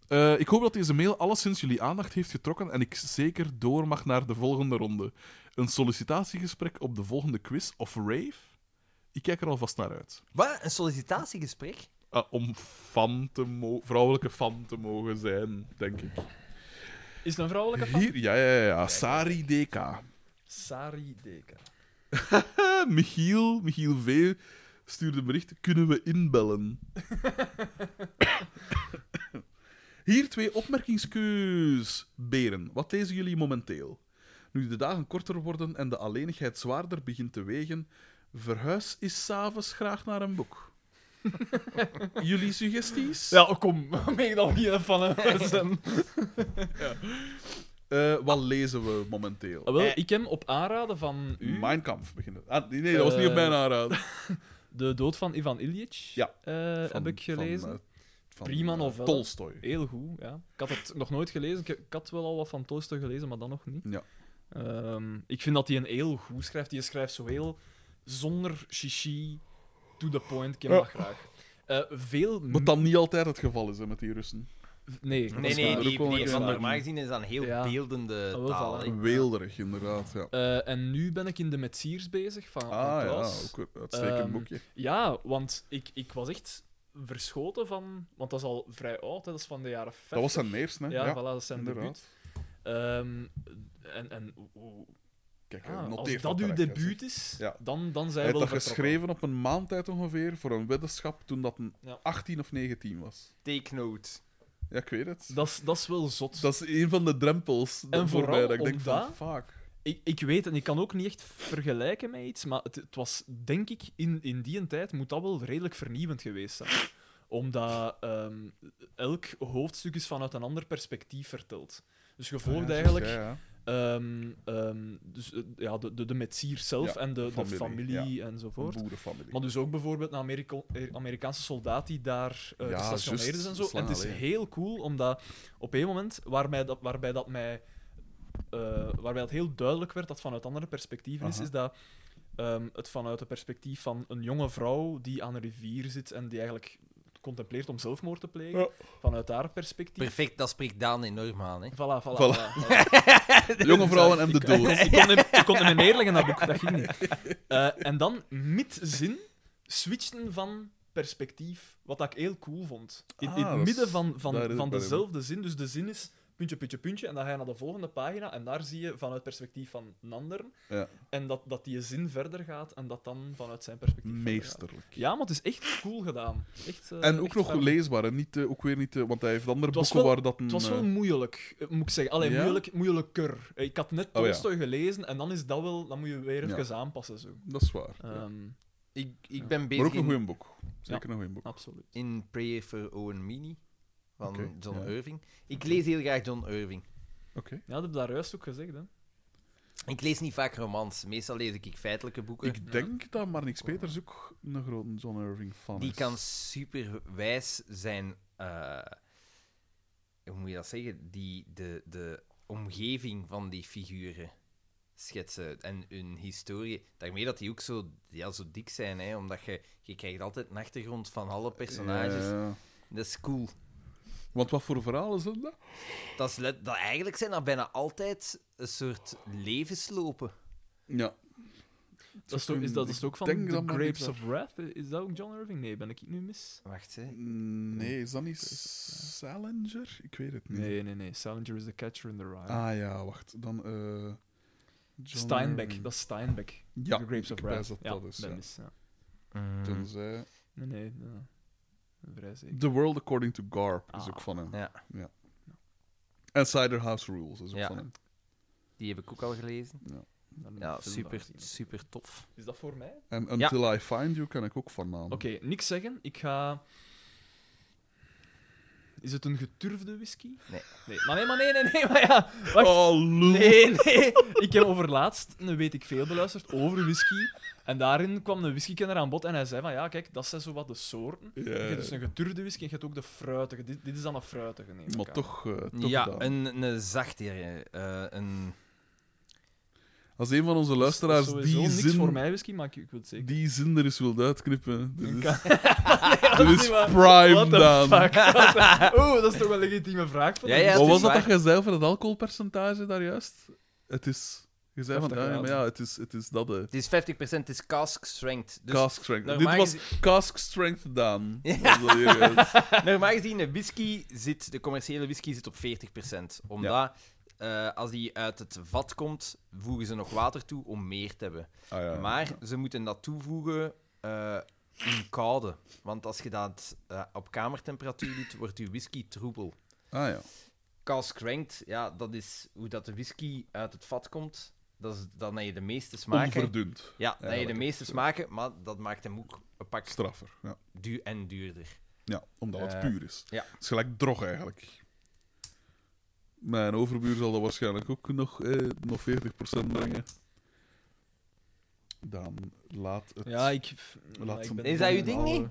[SPEAKER 4] Eh, ik hoop dat deze mail alleszins jullie aandacht heeft getrokken en ik zeker door mag naar de volgende ronde. Een sollicitatiegesprek op de volgende quiz of rave? Ik kijk er alvast naar uit.
[SPEAKER 1] Wat? Een sollicitatiegesprek?
[SPEAKER 4] Ah, om fan te mo- vrouwelijke fan te mogen zijn, denk ik.
[SPEAKER 3] Is het een vrouwelijke fan?
[SPEAKER 4] Hier, ja, ja, ja, ja. Sari DK.
[SPEAKER 3] Sari Deka.
[SPEAKER 4] Eh, Michiel, Michiel V. stuurde een bericht. Kunnen we inbellen? Hier twee opmerkingskeus. Beren, wat lezen jullie momenteel? Nu de dagen korter worden en de alleenigheid zwaarder begint te wegen, verhuis is s'avonds graag naar een boek. jullie suggesties?
[SPEAKER 3] Ja, kom, ben ik dan hier van een stem?
[SPEAKER 4] Eh, wat lezen we momenteel?
[SPEAKER 3] Ah, Wel, ik heb op aanraden van Eh, u
[SPEAKER 4] Mijn kamp beginnen. Ah, nee, nee, dat was niet op
[SPEAKER 3] Eh,
[SPEAKER 4] mijn aanrader.
[SPEAKER 3] de dood van Ivan Ilyich
[SPEAKER 4] Ja.
[SPEAKER 3] eh,
[SPEAKER 4] Van-
[SPEAKER 3] heb ik
[SPEAKER 4] van,
[SPEAKER 3] gelezen.
[SPEAKER 4] eh, van,
[SPEAKER 3] Prima
[SPEAKER 4] eh,
[SPEAKER 3] novelle.
[SPEAKER 4] Tolstoy.
[SPEAKER 3] Heel goed, ja. Ik had het nog nooit gelezen. Ik, ik had wel al wat van Tolstoy gelezen, maar dan nog niet.
[SPEAKER 4] Ja.
[SPEAKER 3] Ehm, ik vind dat hij een heel goed schrijft. Die schrijft zo heel zonder chichi, to the point. Ik heb
[SPEAKER 4] Ja.
[SPEAKER 3] dat graag. Eh, veel...
[SPEAKER 4] Wat dan niet altijd het geval is hè, met die Russen.
[SPEAKER 3] Nee, dat
[SPEAKER 1] Nee,
[SPEAKER 3] is
[SPEAKER 1] nee,
[SPEAKER 3] waar.
[SPEAKER 4] ook
[SPEAKER 1] die,
[SPEAKER 4] wel
[SPEAKER 1] nee
[SPEAKER 4] een
[SPEAKER 1] want
[SPEAKER 4] keer.
[SPEAKER 1] normaal gezien is dat een heel
[SPEAKER 3] Ja.
[SPEAKER 1] beeldende
[SPEAKER 3] Ah, wel,
[SPEAKER 1] taal.
[SPEAKER 3] voilà.
[SPEAKER 1] hè.
[SPEAKER 4] Weelderig, inderdaad. Ja.
[SPEAKER 3] Eh, en nu ben ik in de Metsiers bezig van
[SPEAKER 4] ah ja,
[SPEAKER 3] Klaas.
[SPEAKER 4] ook een uitstekend
[SPEAKER 3] Ehm,
[SPEAKER 4] boekje.
[SPEAKER 3] Ja, want ik, ik was echt verschoten van... Want dat is al vrij oud, hè, dat is van de jaren 50.
[SPEAKER 4] Dat was zijn eerste, hè?
[SPEAKER 3] Ja,
[SPEAKER 4] Ja,
[SPEAKER 3] voilà, dat is zijn debuut.
[SPEAKER 4] inderdaad.
[SPEAKER 3] Ehm, en en hoe-
[SPEAKER 4] Kijk,
[SPEAKER 3] ah,
[SPEAKER 4] hij
[SPEAKER 3] als
[SPEAKER 4] noteert
[SPEAKER 3] dat uw
[SPEAKER 4] direct, hè,
[SPEAKER 3] debuut is,
[SPEAKER 4] Ja.
[SPEAKER 3] dan, dan
[SPEAKER 4] Hij
[SPEAKER 3] zijn
[SPEAKER 4] heeft
[SPEAKER 3] we wel
[SPEAKER 4] dat
[SPEAKER 3] vertrokken.
[SPEAKER 4] geschreven op een maand tijd ongeveer voor een weddenschap toen dat een
[SPEAKER 3] Ja.
[SPEAKER 4] 18 of 19 was.
[SPEAKER 1] Take note.
[SPEAKER 4] Ja, ik weet het.
[SPEAKER 3] Dat is- Dat is wel zot.
[SPEAKER 4] Dat is een van de drempels
[SPEAKER 3] En
[SPEAKER 4] en voor mij.
[SPEAKER 3] vooral
[SPEAKER 4] Dat ik denk van,
[SPEAKER 3] omdat-
[SPEAKER 4] fuck.
[SPEAKER 3] Ik, ik weet, en ik kan ook niet echt vergelijken met iets, maar het, het was, denk ik, in, in die tijd moet dat wel redelijk vernieuwend geweest zijn. Omdat ehm, elk hoofdstuk is vanuit een ander perspectief verteld. Dus je volgt
[SPEAKER 4] Ah, Ja, zo,
[SPEAKER 3] eigenlijk
[SPEAKER 4] Ja, ja.
[SPEAKER 3] ehm, ehm, dus, eh, ja, de, de, de metsier zelf
[SPEAKER 4] Ja,
[SPEAKER 3] en de familie, de
[SPEAKER 4] familie,
[SPEAKER 3] familie enzovoort.
[SPEAKER 4] Een boerenfamilie.
[SPEAKER 3] Maar dus ook bijvoorbeeld een Ameriko- eh, Amerikaanse soldaat die daar eh
[SPEAKER 4] Ja,
[SPEAKER 3] gestationeerd is
[SPEAKER 4] juist,
[SPEAKER 3] en
[SPEAKER 4] dat
[SPEAKER 3] zo.
[SPEAKER 4] is
[SPEAKER 3] En
[SPEAKER 4] lang
[SPEAKER 3] het is
[SPEAKER 4] geleden.
[SPEAKER 3] heel cool, omdat op een moment waarbij dat, waarbij dat mij... eh, waarbij dat heel duidelijk werd dat vanuit andere perspectieven is,
[SPEAKER 4] Aha.
[SPEAKER 3] is dat ehm, het vanuit het perspectief van een jonge vrouw die aan een rivier zit en die eigenlijk contempleert om zelfmoord te plegen.
[SPEAKER 4] Ja.
[SPEAKER 3] Vanuit haar perspectief.
[SPEAKER 1] Perfect, dat spreekt Daan enorm aan. Hè.
[SPEAKER 3] Voilà, voilà.
[SPEAKER 4] Voilà.
[SPEAKER 3] voilà, voilà.
[SPEAKER 4] Jonge vrouwen en de dood.
[SPEAKER 3] Ik kon hem, ik kon hem in neerleggen, dat boek. Dat ging niet. Eh, en dan, mid-zin, switchten van perspectief. Wat dat ik heel cool vond. In, in
[SPEAKER 4] Ah,
[SPEAKER 3] het
[SPEAKER 4] dat is-
[SPEAKER 3] midden van,
[SPEAKER 4] daar is
[SPEAKER 3] van,
[SPEAKER 4] het
[SPEAKER 3] van
[SPEAKER 4] bij
[SPEAKER 3] dezelfde zin. Dus de zin is puntje, puntje, puntje. En dan ga je naar de volgende pagina. En daar zie je vanuit perspectief van een ander.
[SPEAKER 4] Ja.
[SPEAKER 3] En dat, dat die zin verder gaat. En dat dan vanuit zijn perspectief verder gaat.
[SPEAKER 4] Meesterlijk.
[SPEAKER 3] Ja, maar het is echt cool gedaan. Echt, eh,
[SPEAKER 4] En ook
[SPEAKER 3] echt
[SPEAKER 4] nog
[SPEAKER 3] fijn.
[SPEAKER 4] leesbaar, hè? Niet, eh, ook weer niet, eh, want hij heeft andere
[SPEAKER 3] Het was
[SPEAKER 4] boeken
[SPEAKER 3] wel-
[SPEAKER 4] waar dat een...
[SPEAKER 3] Het was wel
[SPEAKER 4] eh,
[SPEAKER 3] moeilijk, eh, moet ik zeggen. Allee,
[SPEAKER 4] Ja?
[SPEAKER 3] moeilijk, moeilijker. Ik had net
[SPEAKER 4] Oh, ja.
[SPEAKER 3] Tolstoy gelezen en dan is dat wel... Dan moet je weer
[SPEAKER 4] Ja.
[SPEAKER 3] even aanpassen, zo.
[SPEAKER 4] dat is waar.
[SPEAKER 3] Ehm,
[SPEAKER 1] Ik, ik
[SPEAKER 3] Ja.
[SPEAKER 1] ben
[SPEAKER 4] Maar
[SPEAKER 1] bezig
[SPEAKER 4] ook een
[SPEAKER 1] in,
[SPEAKER 4] goeie boek. Zeker een goeie boek.
[SPEAKER 3] Absoluut.
[SPEAKER 1] in Prayer for Owen Mini van
[SPEAKER 4] Oké,
[SPEAKER 1] John
[SPEAKER 4] ja.
[SPEAKER 1] Irving. Ik lees heel graag John Irving.
[SPEAKER 4] Oké.
[SPEAKER 3] Ja, dat heb je daar juist ook gezegd, hè.
[SPEAKER 1] Ik lees niet vaak romans. Meestal lees ik feitelijke boeken.
[SPEAKER 4] Ik denk dat Marnix Peters ook een grote John Irving-fan is.
[SPEAKER 1] Die kan super wijs zijn. eh, hoe moet je dat zeggen? Die, de, de omgeving van die figuren schetsen en hun historie. Daarmee dat die ook zo, ja, zo dik zijn, hè? omdat je, je krijgt altijd een achtergrond van alle personages.
[SPEAKER 4] Ja, ja.
[SPEAKER 1] Dat is cool.
[SPEAKER 4] Want wat voor verhalen zijn dat?
[SPEAKER 1] Dat is let- dat, eigenlijk zijn dat bijna altijd een soort levenslopen.
[SPEAKER 4] Ja.
[SPEAKER 3] Dat is, toch, is, dat, is ook van
[SPEAKER 4] denk
[SPEAKER 3] The
[SPEAKER 4] dat maar
[SPEAKER 3] Grapes
[SPEAKER 4] niet
[SPEAKER 3] of Wrath? Eh, Is dat ook John Irving? Nee, ben ik nu mis?
[SPEAKER 1] Wacht, hè.
[SPEAKER 4] Nee, is dat niet Salinger? Ik weet het niet.
[SPEAKER 3] Nee, nee, nee. Salinger is the catcher in the rye.
[SPEAKER 4] Ah ja, wacht. Dan... eh John
[SPEAKER 3] Steinbeck,
[SPEAKER 4] Irving.
[SPEAKER 3] dat is Steinbeck.
[SPEAKER 4] Ja,
[SPEAKER 3] the Grapes of
[SPEAKER 4] ik wijs
[SPEAKER 3] Wrath.
[SPEAKER 4] dat
[SPEAKER 3] ja,
[SPEAKER 4] dat is,
[SPEAKER 3] ben
[SPEAKER 4] ja.
[SPEAKER 3] mis, ja.
[SPEAKER 1] Mm. Hmm.
[SPEAKER 4] Tenzij...
[SPEAKER 3] Nee, nee. ja. Vrij zeker.
[SPEAKER 4] The World According to Garp is
[SPEAKER 3] Ah,
[SPEAKER 4] ook van hem.
[SPEAKER 1] ja.
[SPEAKER 4] ja. En Cider House Rules is ook
[SPEAKER 1] Ja.
[SPEAKER 4] van hem.
[SPEAKER 1] Die heb ik ook al gelezen.
[SPEAKER 3] Dan moet ik
[SPEAKER 1] Ja,
[SPEAKER 3] de film
[SPEAKER 1] super,
[SPEAKER 3] nog zien.
[SPEAKER 1] super tof.
[SPEAKER 3] Is dat voor mij?
[SPEAKER 4] En Until I Find You kan ik ook van naam.
[SPEAKER 3] Oké, niks zeggen. Ik ga. Is het een geturfde whisky?
[SPEAKER 1] Nee.
[SPEAKER 3] nee. Maar nee, maar nee, nee, nee, maar ja. Wacht.
[SPEAKER 4] Oh, lul.
[SPEAKER 3] Nee, nee. Ik heb overlaatst een Weet ik Veel beluisterd over whisky. En daarin kwam een whiskykenner aan bod en hij zei van ja, kijk, dat zijn zo wat de soorten.
[SPEAKER 4] Ja.
[SPEAKER 3] Je hebt dus een geturfde whisky en je hebt ook de fruitige. Dit, dit is dan een fruitige, neem ik
[SPEAKER 4] Maar
[SPEAKER 3] aan.
[SPEAKER 4] toch, eh, toch
[SPEAKER 1] Ja,
[SPEAKER 4] gedaan.
[SPEAKER 1] een, een zachtere. eh, een...
[SPEAKER 4] Als een van onze
[SPEAKER 3] Dus dat is
[SPEAKER 4] luisteraars
[SPEAKER 3] sowieso
[SPEAKER 4] die
[SPEAKER 3] niks voor
[SPEAKER 4] zin,
[SPEAKER 3] mij whisky, maar ik, ik wil het zeker.
[SPEAKER 4] die zin er eens wil uitknippen, dit is,
[SPEAKER 3] Kan-
[SPEAKER 4] dit
[SPEAKER 3] is
[SPEAKER 4] is
[SPEAKER 3] niet waar.
[SPEAKER 4] prime
[SPEAKER 3] What the
[SPEAKER 4] dan.
[SPEAKER 3] fuck? Oeh, dat is toch wel een legitieme vraag voor
[SPEAKER 1] Ja,
[SPEAKER 3] de
[SPEAKER 1] ja,
[SPEAKER 4] Wat
[SPEAKER 1] het
[SPEAKER 4] was
[SPEAKER 1] is
[SPEAKER 4] dat
[SPEAKER 1] waar.
[SPEAKER 4] dat jij zei over het alcoholpercentage daar juist? Het is... Je zei van, ah,
[SPEAKER 3] 50
[SPEAKER 4] ja, maar
[SPEAKER 3] graden.
[SPEAKER 4] ja, het is, het is dat, eh.
[SPEAKER 1] Het is 50%, het is cask strength. Dus
[SPEAKER 4] cask strength. Dit
[SPEAKER 1] normaal
[SPEAKER 4] was cask strength Daan. Dat was wel hier, eh,
[SPEAKER 1] normaal gezien, de whisky zit, de commerciële whisky zit op 40%. Omdat eh, als die uit het vat komt, voegen ze nog water toe om meer te hebben.
[SPEAKER 4] ah, ja.
[SPEAKER 1] maar ze moeten dat toevoegen eh, in koude. Want als je dat eh, op kamertemperatuur doet, wordt je whisky troebel.
[SPEAKER 4] Ah ja.
[SPEAKER 1] Cask strength, ja, dat is hoe dat de whisky uit het vat komt. Dat is dan dat je de meeste smaken...
[SPEAKER 4] Onverdund.
[SPEAKER 1] Ja, dat je de
[SPEAKER 4] Eigenlijk,
[SPEAKER 1] meeste
[SPEAKER 4] zo.
[SPEAKER 1] smaken, maar dat maakt hem ook een pak
[SPEAKER 4] Straffer, ja.
[SPEAKER 1] duur en duurder.
[SPEAKER 4] Ja, omdat het
[SPEAKER 1] Eh,
[SPEAKER 4] puur is.
[SPEAKER 1] ja.
[SPEAKER 4] Het is gelijk drog eigenlijk. Mijn overbuur zal dat waarschijnlijk ook nog, eh, nog 40% brengen. Dan laat het.
[SPEAKER 3] Ja, ik...
[SPEAKER 4] Laat
[SPEAKER 3] maar ik
[SPEAKER 4] ze-
[SPEAKER 3] ben
[SPEAKER 1] Is dat uw
[SPEAKER 3] toch-
[SPEAKER 1] ding niet?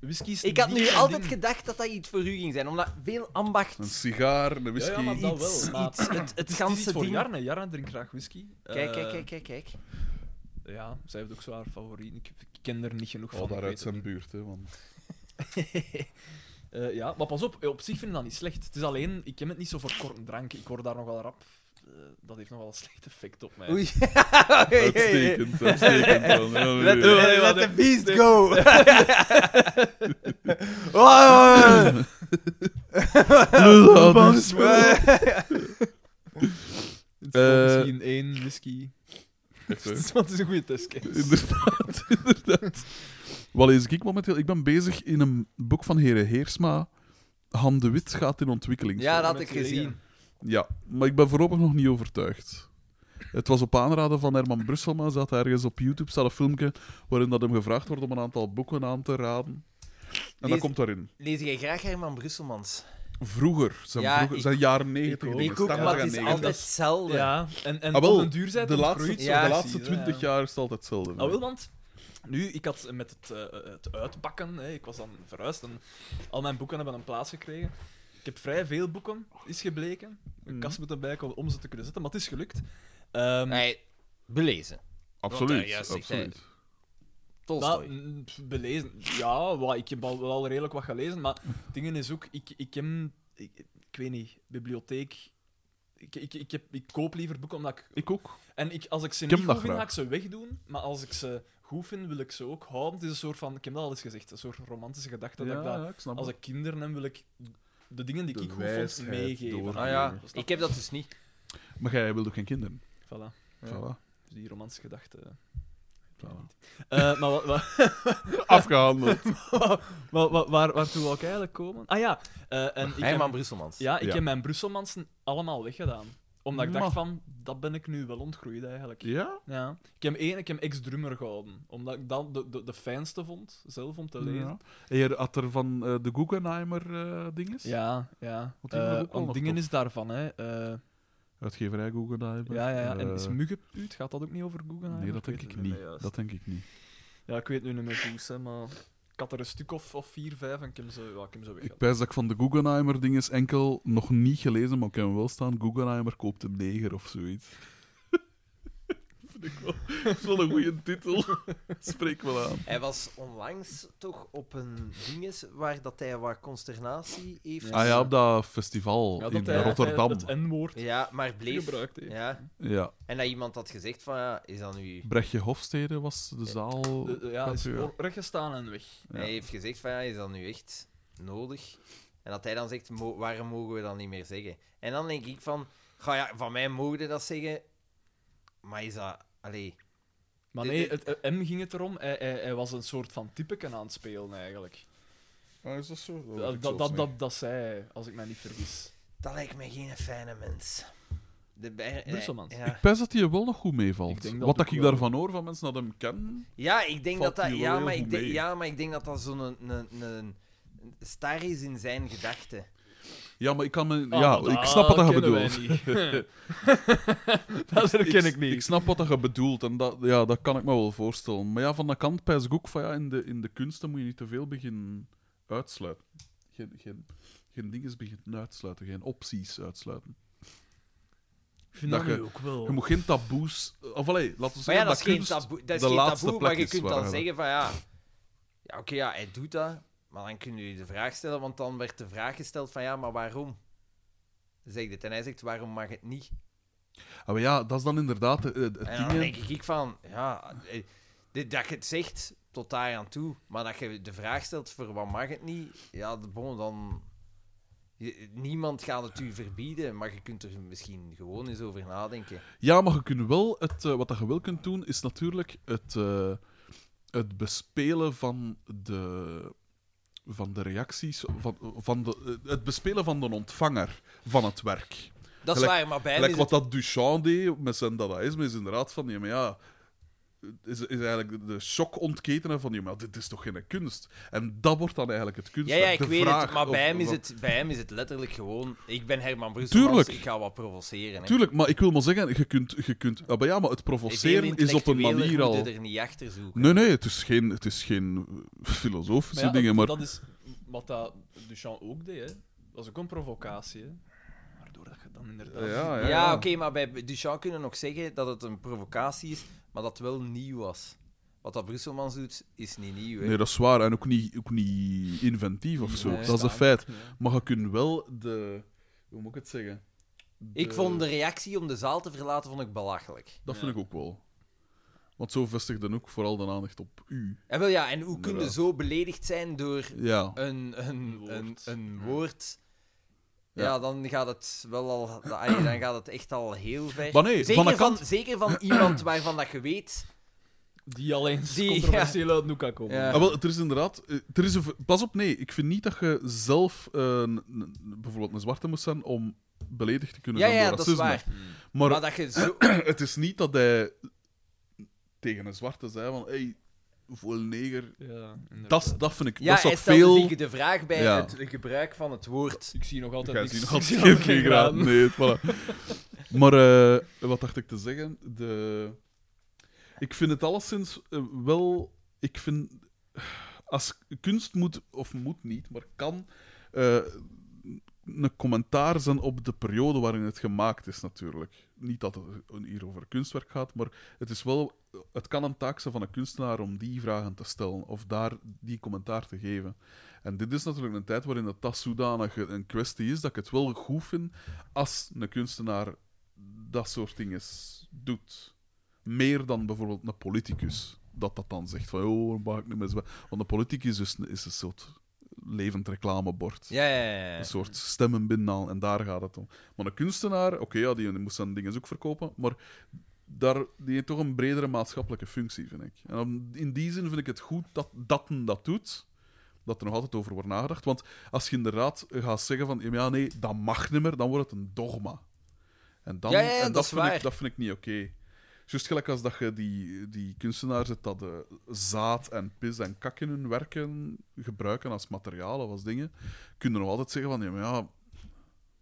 [SPEAKER 3] Whisky is
[SPEAKER 1] Ik had
[SPEAKER 3] niet
[SPEAKER 1] nu
[SPEAKER 3] mijn
[SPEAKER 1] altijd
[SPEAKER 3] ding.
[SPEAKER 1] gedacht dat dat iets voor u ging zijn, omdat veel ambacht
[SPEAKER 4] Een sigaar, een
[SPEAKER 3] Ja,
[SPEAKER 4] whisky.
[SPEAKER 3] ja, maar dat
[SPEAKER 1] iets,
[SPEAKER 3] wel. Maar
[SPEAKER 1] iets, het, het
[SPEAKER 3] is
[SPEAKER 1] ganse
[SPEAKER 3] iets voor
[SPEAKER 1] ding...
[SPEAKER 3] Jarne. Jarne drinkt graag whisky.
[SPEAKER 1] Kijk,
[SPEAKER 3] Eh,
[SPEAKER 1] kijk, kijk, kijk, kijk.
[SPEAKER 3] Ja, zij heeft ook zo haar favoriet. Ik, ik ken er niet genoeg van.
[SPEAKER 4] Oh,
[SPEAKER 3] ik
[SPEAKER 4] daar
[SPEAKER 3] weet
[SPEAKER 4] uit
[SPEAKER 3] het
[SPEAKER 4] zijn
[SPEAKER 3] niet.
[SPEAKER 4] buurt, hè. Want...
[SPEAKER 3] Eh, ja, maar pas op. Op zich vind ik dat niet slecht. Het is alleen, ik ken het niet zo voor korte drank. Ik word daar nogal rap. eh, dat heeft nogal een slecht effect op mij.
[SPEAKER 1] Oei.
[SPEAKER 4] Uitstekend, uitstekend. Dan. Ja,
[SPEAKER 1] Let,
[SPEAKER 4] ja, ja.
[SPEAKER 3] nee,
[SPEAKER 1] let
[SPEAKER 3] nee.
[SPEAKER 1] the beast go! Wow.
[SPEAKER 4] Lul, dat is wel-
[SPEAKER 3] Het is wel
[SPEAKER 4] Eh.
[SPEAKER 3] misschien één whisky.
[SPEAKER 4] Echt, hè.
[SPEAKER 3] Want het is een goede testcase.
[SPEAKER 4] Inderdaad, inderdaad. Wat lees ik momenteel? Ik ben bezig in een boek van Heren Heersma. Han de Wit gaat in ontwikkeling.
[SPEAKER 1] Ja, dat
[SPEAKER 3] Net
[SPEAKER 1] had ik gezien.
[SPEAKER 4] Ja, maar ik ben voorlopig nog niet overtuigd. Het was op aanraden van Herman Brusselma, zat ergens op YouTube, staat een filmpje waarin dat hem gevraagd wordt om een aantal boeken aan te raden. En
[SPEAKER 1] Lees-
[SPEAKER 4] dat komt daarin.
[SPEAKER 1] Lees jij graag Herman Brusselmans?
[SPEAKER 4] Vroeger, zijn,
[SPEAKER 1] Ja,
[SPEAKER 4] vroeger,
[SPEAKER 1] ik-
[SPEAKER 4] zijn jaren 90
[SPEAKER 3] ik ook.
[SPEAKER 4] dingen,
[SPEAKER 1] Ik ook,
[SPEAKER 3] Standaard
[SPEAKER 1] maar het
[SPEAKER 4] en
[SPEAKER 1] is
[SPEAKER 4] 90.
[SPEAKER 1] altijd hetzelfde.
[SPEAKER 3] Ja, en, en
[SPEAKER 4] Ah, wel,
[SPEAKER 3] op een duur zijn
[SPEAKER 4] de
[SPEAKER 3] het
[SPEAKER 4] laatste,
[SPEAKER 3] ontgroeid,
[SPEAKER 4] de
[SPEAKER 3] zo
[SPEAKER 1] ja,
[SPEAKER 4] laatste
[SPEAKER 3] precies, hè,
[SPEAKER 4] 20
[SPEAKER 3] ja.
[SPEAKER 4] jaar is het altijd hetzelfde.
[SPEAKER 3] Nou, wel, want nu, ik had met het, eh, het uitpakken, hè, ik was dan verhuisd en al mijn boeken hebben een plaats gekregen. Ik heb vrij veel boeken, is gebleken. Een
[SPEAKER 4] Mhm.
[SPEAKER 3] kast moet erbij komen om ze te kunnen zetten, maar het is gelukt. Ehm,
[SPEAKER 1] Nee, belezen.
[SPEAKER 4] absoluut.
[SPEAKER 1] juist, ik
[SPEAKER 4] absoluut.
[SPEAKER 3] Dat,
[SPEAKER 2] Tolstoy.
[SPEAKER 3] mm, pff, belezen. Ja, wat, ik heb al, wel al redelijk wat gelezen, maar dingen is ook, ik, ik heb, ik, ik weet niet, bibliotheek. Ik, ik, ik, heb, ik koop liever boeken omdat ik.
[SPEAKER 4] Ik ook.
[SPEAKER 3] En ik, als ik ze
[SPEAKER 4] Ik
[SPEAKER 3] niet
[SPEAKER 4] heb
[SPEAKER 3] goed
[SPEAKER 4] dat
[SPEAKER 3] vind, ga ik
[SPEAKER 4] graag.
[SPEAKER 3] ze wegdoen. Maar als ik ze goed vind, wil ik ze ook houden. Het is een soort van, ik heb dat al eens gezegd, een soort romantische gedachte. dat ik dat,
[SPEAKER 4] ik snap
[SPEAKER 3] als
[SPEAKER 4] het.
[SPEAKER 3] ik kinderen heb, wil ik de dingen die
[SPEAKER 4] De
[SPEAKER 3] ik goed vond
[SPEAKER 4] wijsheid
[SPEAKER 3] meegeven.
[SPEAKER 4] door-
[SPEAKER 1] Ah ja, ik heb dat dus niet.
[SPEAKER 4] Maar jij wil ook geen kinderen.
[SPEAKER 3] Voilà.
[SPEAKER 4] Voilà.
[SPEAKER 3] Dus die romantische gedachte. eh, ik weet
[SPEAKER 4] Voilà.
[SPEAKER 3] niet. Eh, maar wat, wat,
[SPEAKER 4] Afgehandeld.
[SPEAKER 3] maar wat- waar, waartoe wou ik eigenlijk komen? Ah ja, eh, en ik heb-
[SPEAKER 1] Herman Brusselmans.
[SPEAKER 3] Ja, ik
[SPEAKER 4] Ja.
[SPEAKER 3] heb mijn Brusselmansen allemaal weggedaan. Omdat ik
[SPEAKER 4] Maar-
[SPEAKER 3] dacht van, dat ben ik nu wel ontgroeid eigenlijk. Ja.
[SPEAKER 4] ja?
[SPEAKER 3] Ik heb één, ik heb ex-drummer gehouden. Omdat ik dat de, de, de fijnste vond, zelf om te lezen.
[SPEAKER 4] ja. En je had er van eh, de Guggenheimer eh dinges?
[SPEAKER 3] Ja, ja.
[SPEAKER 4] Want die waren
[SPEAKER 3] Eh,
[SPEAKER 4] ook wel
[SPEAKER 3] want
[SPEAKER 4] nog
[SPEAKER 3] dingen
[SPEAKER 4] tof.
[SPEAKER 3] is daarvan, hè. Eh,
[SPEAKER 4] Uitgeverij Guggenheimer.
[SPEAKER 3] ja, ja, ja. En is
[SPEAKER 4] Eh,
[SPEAKER 3] Muggenpuut, gaat dat ook niet over Google?
[SPEAKER 4] Nee, dat denk ik niet. Dat denk ik niet.
[SPEAKER 3] Ja, ik weet nu niet meer hoe, hè, maar... Ik had er een stuk of, of vier, vijf en ik heb ze, ja, ik heb ze
[SPEAKER 4] Ik
[SPEAKER 3] weggedaan.
[SPEAKER 4] wijs dat ik van de Guggenheimer dinges enkel nog niet gelezen, maar ik heb hem wel staan. Guggenheimer koopt een neger of zoiets. Vind ik wel. Dat is wel een goede titel. Spreek wel aan.
[SPEAKER 1] Hij was onlangs toch op een dinges waar dat hij wat consternatie heeft.
[SPEAKER 3] Ja.
[SPEAKER 4] Ah ja, op dat festival
[SPEAKER 3] Ja,
[SPEAKER 4] in
[SPEAKER 3] hij-
[SPEAKER 4] Rotterdam.
[SPEAKER 3] hij Het N-woord
[SPEAKER 1] Ja, maar bleef.
[SPEAKER 3] gebruikt heeft.
[SPEAKER 1] Ja.
[SPEAKER 4] Ja,
[SPEAKER 1] En dat iemand had gezegd van, ja, is dat nu...
[SPEAKER 4] Brechtje Hofstede was de zaal.
[SPEAKER 3] De- de- ja, is
[SPEAKER 4] Ja.
[SPEAKER 3] voor- rechtgestaan en weg.
[SPEAKER 4] Ja.
[SPEAKER 1] Hij heeft gezegd van, ja, is dat nu echt nodig? En dat hij dan zegt, "Mo- waarom mogen we dat niet meer zeggen? En dan denk ik van, ga ja, van mij mogen we dat zeggen, maar is dat... Allee,
[SPEAKER 3] Maar
[SPEAKER 1] Dit-
[SPEAKER 3] nee,
[SPEAKER 1] dit-
[SPEAKER 3] het, eh, hem ging het erom. Hij, hij, hij was een soort van typeken aan het spelen, eigenlijk.
[SPEAKER 4] Ah, is dat zo? Dat weet
[SPEAKER 3] Oh, Dat,
[SPEAKER 4] ik
[SPEAKER 3] dat,
[SPEAKER 4] zelfs
[SPEAKER 3] dat,
[SPEAKER 4] niet.
[SPEAKER 3] dat, dat zei hij, als ik mij niet vergis.
[SPEAKER 1] dat lijkt mij geen fijne mens. De ber- eh,
[SPEAKER 3] Brusselmans.
[SPEAKER 1] Ja.
[SPEAKER 4] Ik pijs dat hij er wel nog goed meevalt.
[SPEAKER 3] Ik denk dat
[SPEAKER 4] Wat
[SPEAKER 3] ook
[SPEAKER 4] dat ik
[SPEAKER 3] wel.
[SPEAKER 4] daarvan hoor van mensen dat hem kennen.
[SPEAKER 1] Ja, ik denk
[SPEAKER 4] Valt
[SPEAKER 1] dat dat.
[SPEAKER 4] hier
[SPEAKER 1] Ja
[SPEAKER 4] wel
[SPEAKER 1] maar
[SPEAKER 4] heel
[SPEAKER 1] ik
[SPEAKER 4] goed
[SPEAKER 1] denk,
[SPEAKER 4] mee.
[SPEAKER 1] ja, maar ik denk dat dat zo'n een, een, een star is in zijn gedachten.
[SPEAKER 4] Ja, maar ik kan me...
[SPEAKER 3] Ah,
[SPEAKER 4] ja,
[SPEAKER 3] maar
[SPEAKER 4] ik snap wat dat je
[SPEAKER 3] kennen wij
[SPEAKER 4] bedoelt.
[SPEAKER 3] niet. dat herken ik niet.
[SPEAKER 4] Ik snap wat dat je bedoelt en dat, ja, dat kan ik me wel voorstellen. Maar ja, van de kant pijs ik ook van ja, in de, in de kunsten moet je niet te veel beginnen uitsluiten. Geen, geen, geen dingen beginnen uitsluiten, geen opties uitsluiten.
[SPEAKER 3] Ik vind
[SPEAKER 4] dat
[SPEAKER 3] dat
[SPEAKER 4] je-
[SPEAKER 3] nu ook wel.
[SPEAKER 4] Je moet geen taboes... Of allee, laten we
[SPEAKER 1] Maar
[SPEAKER 4] zeggen
[SPEAKER 1] ja, dat
[SPEAKER 4] dat
[SPEAKER 1] is geen
[SPEAKER 4] kunst
[SPEAKER 1] taboe, dat is
[SPEAKER 4] de
[SPEAKER 1] geen
[SPEAKER 4] laatste
[SPEAKER 1] taboe
[SPEAKER 4] plek
[SPEAKER 1] maar je
[SPEAKER 4] is
[SPEAKER 1] kunt
[SPEAKER 4] waar
[SPEAKER 1] dan
[SPEAKER 4] je-
[SPEAKER 1] zeggen van ja. Ja, oké, ja, hij doet dat. Maar dan kun je de vraag stellen, want dan werd de vraag gesteld van ja, maar waarom? Zeg dit. En hij zegt, waarom mag het niet?
[SPEAKER 4] Ah, maar ja, dat is dan inderdaad eh, het
[SPEAKER 1] En
[SPEAKER 4] ding,
[SPEAKER 1] dan
[SPEAKER 4] hè.
[SPEAKER 1] denk ik van, ja, eh, dit, dat je het zegt tot daar aan toe, maar dat je de vraag stelt voor wat mag het niet, ja, de- bon, dan. je- niemand gaat het u verbieden, maar je kunt er misschien gewoon eens over nadenken.
[SPEAKER 4] Ja, maar je kunt wel het, eh, wat dat je wel kunt doen, is natuurlijk het, eh, het bespelen van de, van de reacties, van, van de, eh, het bespelen van de ontvanger van het werk.
[SPEAKER 1] Dat is
[SPEAKER 4] Gelijk-
[SPEAKER 1] waar, maar bij hem
[SPEAKER 4] Gelijk
[SPEAKER 1] is
[SPEAKER 4] wat
[SPEAKER 1] het-
[SPEAKER 4] dat Duchamp deed met zijn dadaïsme, is inderdaad van, ja, maar ja, is, is eigenlijk de- de shock ontketenen van, ja, maar dit is toch geen kunst? En dat wordt dan eigenlijk het kunst.
[SPEAKER 1] Ja, ja, ik weet het, maar bij hem, is het, bij hem is het letterlijk gewoon... Ik ben Herman Brusselmans,
[SPEAKER 4] Tuurlijk.
[SPEAKER 1] ik ga wat provoceren. Hè.
[SPEAKER 4] Tuurlijk, maar ik wil maar zeggen, je kunt, je kunt, ah, maar ja, maar het provoceren is op een
[SPEAKER 1] Intellectuelen
[SPEAKER 4] manier al...
[SPEAKER 1] moeten er niet achter zoeken.
[SPEAKER 4] Nee, nee, het is geen, het is geen eh, filosofische
[SPEAKER 3] Maar ja,
[SPEAKER 4] dingen, maar...
[SPEAKER 3] Dat is wat dat Duchamp ook deed, hè. Dat was ook een provocatie, hè. Waardoor dat je dan inderdaad...
[SPEAKER 4] Ah, Ja,
[SPEAKER 1] Ja,
[SPEAKER 4] ja,
[SPEAKER 1] oké, maar bij Duchamp kunnen we nog zeggen dat het een provocatie is, maar dat het wel nieuw was. Wat dat Brusselmans doet, is niet nieuw. Hè?
[SPEAKER 4] Nee, dat is waar. En ook niet, ook niet inventief of zo.
[SPEAKER 3] Nee,
[SPEAKER 4] dat is een
[SPEAKER 3] staan.
[SPEAKER 4] feit.
[SPEAKER 3] Ja.
[SPEAKER 4] Maar je kunt wel de... Hoe moet ik het zeggen?
[SPEAKER 1] Ik
[SPEAKER 4] De-
[SPEAKER 1] vond de reactie om de zaal te verlaten vond ik belachelijk.
[SPEAKER 4] Dat
[SPEAKER 3] Ja.
[SPEAKER 4] vind ik ook wel. Want zo vestigt dan ook vooral de aandacht op u.
[SPEAKER 1] En, Eh, wel, ja, en hoe kun je
[SPEAKER 4] Inderdaad.
[SPEAKER 1] zo beledigd zijn door
[SPEAKER 4] Ja.
[SPEAKER 1] een, een,
[SPEAKER 3] Een
[SPEAKER 1] een,
[SPEAKER 3] woord.
[SPEAKER 1] een woord? Ja.
[SPEAKER 4] Ja.
[SPEAKER 1] dan gaat het wel al... allee, Dan gaat het echt al heel ver.
[SPEAKER 4] Maar nee,
[SPEAKER 1] zeker,
[SPEAKER 4] van de
[SPEAKER 1] van,
[SPEAKER 4] kant...
[SPEAKER 1] zeker van iemand waarvan dat je weet...
[SPEAKER 3] Die alleen
[SPEAKER 1] Die,
[SPEAKER 3] controversieel uit Nuka komen.
[SPEAKER 1] Ja.
[SPEAKER 4] Ah, wel, er is inderdaad... eh, Er is een v- Pas op, nee. Ik vind niet dat je zelf eh, een- een- bijvoorbeeld een zwarte moet zijn om beledigd te kunnen
[SPEAKER 1] Ja,
[SPEAKER 4] zijn
[SPEAKER 1] ja,
[SPEAKER 4] door
[SPEAKER 1] dat is
[SPEAKER 4] racisme.
[SPEAKER 1] waar.
[SPEAKER 4] Maar
[SPEAKER 1] Maar dat je zo...
[SPEAKER 4] het is niet dat hij tegen een zwarte zei van hey, voor een neger.
[SPEAKER 3] Ja, inderdaad.
[SPEAKER 4] Dat, dat vind ik
[SPEAKER 1] Ja,
[SPEAKER 4] dat is
[SPEAKER 1] hij
[SPEAKER 4] nog
[SPEAKER 1] stelde
[SPEAKER 4] veel.
[SPEAKER 1] zich de vraag bij
[SPEAKER 4] Ja.
[SPEAKER 1] het gebruik van het woord.
[SPEAKER 3] Ik zie nog altijd
[SPEAKER 4] Jij
[SPEAKER 3] niks.
[SPEAKER 4] ziet nog
[SPEAKER 3] Ik zie
[SPEAKER 4] altijd
[SPEAKER 3] nog
[SPEAKER 4] geen
[SPEAKER 3] geen
[SPEAKER 4] graad.
[SPEAKER 3] graden.
[SPEAKER 4] Nee, voilà. maar eh, wat dacht ik te zeggen? De... Ik vind het alleszins eh, wel. Ik vind. Als kunst moet, of moet niet, maar kan. eh, een commentaar zijn op de periode waarin het gemaakt is, natuurlijk. Niet dat het hier over kunstwerk gaat, maar het, is wel, het kan een taak zijn van een kunstenaar om die vragen te stellen of daar die commentaar te geven. En dit is natuurlijk een tijd waarin dat, dat zodanig een kwestie is dat ik het wel goed vind als een kunstenaar dat soort dingen doet. Meer dan bijvoorbeeld een politicus. Dat dat dan zegt van, oh, maak niet meer zo. Want een politicus is, is een soort levend reclamebord.
[SPEAKER 1] Ja, ja, ja. ja.
[SPEAKER 4] Een soort stemmen binnenhalen, en daar gaat het om. Maar een kunstenaar, oké, ja, die moest zijn dingen ook verkopen, maar daar, die heeft toch een bredere maatschappelijke functie, vind ik. En om- in die zin vind ik het goed dat dat een dat doet, dat er nog altijd over wordt nagedacht. Want als je inderdaad gaat zeggen van, ja, nee, dat mag niet meer, dan wordt het een dogma. En, dan,
[SPEAKER 1] Ja, ja, ja,
[SPEAKER 4] en
[SPEAKER 1] dat
[SPEAKER 4] dat,
[SPEAKER 1] is
[SPEAKER 4] vind
[SPEAKER 1] waar.
[SPEAKER 4] Ik, dat vind ik niet oké. Juist gelijk als dat je die, die kunstenaars hebt dat eh, zaad en pis en kak in hun werken gebruiken als materialen, als dingen, kun je nog altijd zeggen van, ja, maar ja,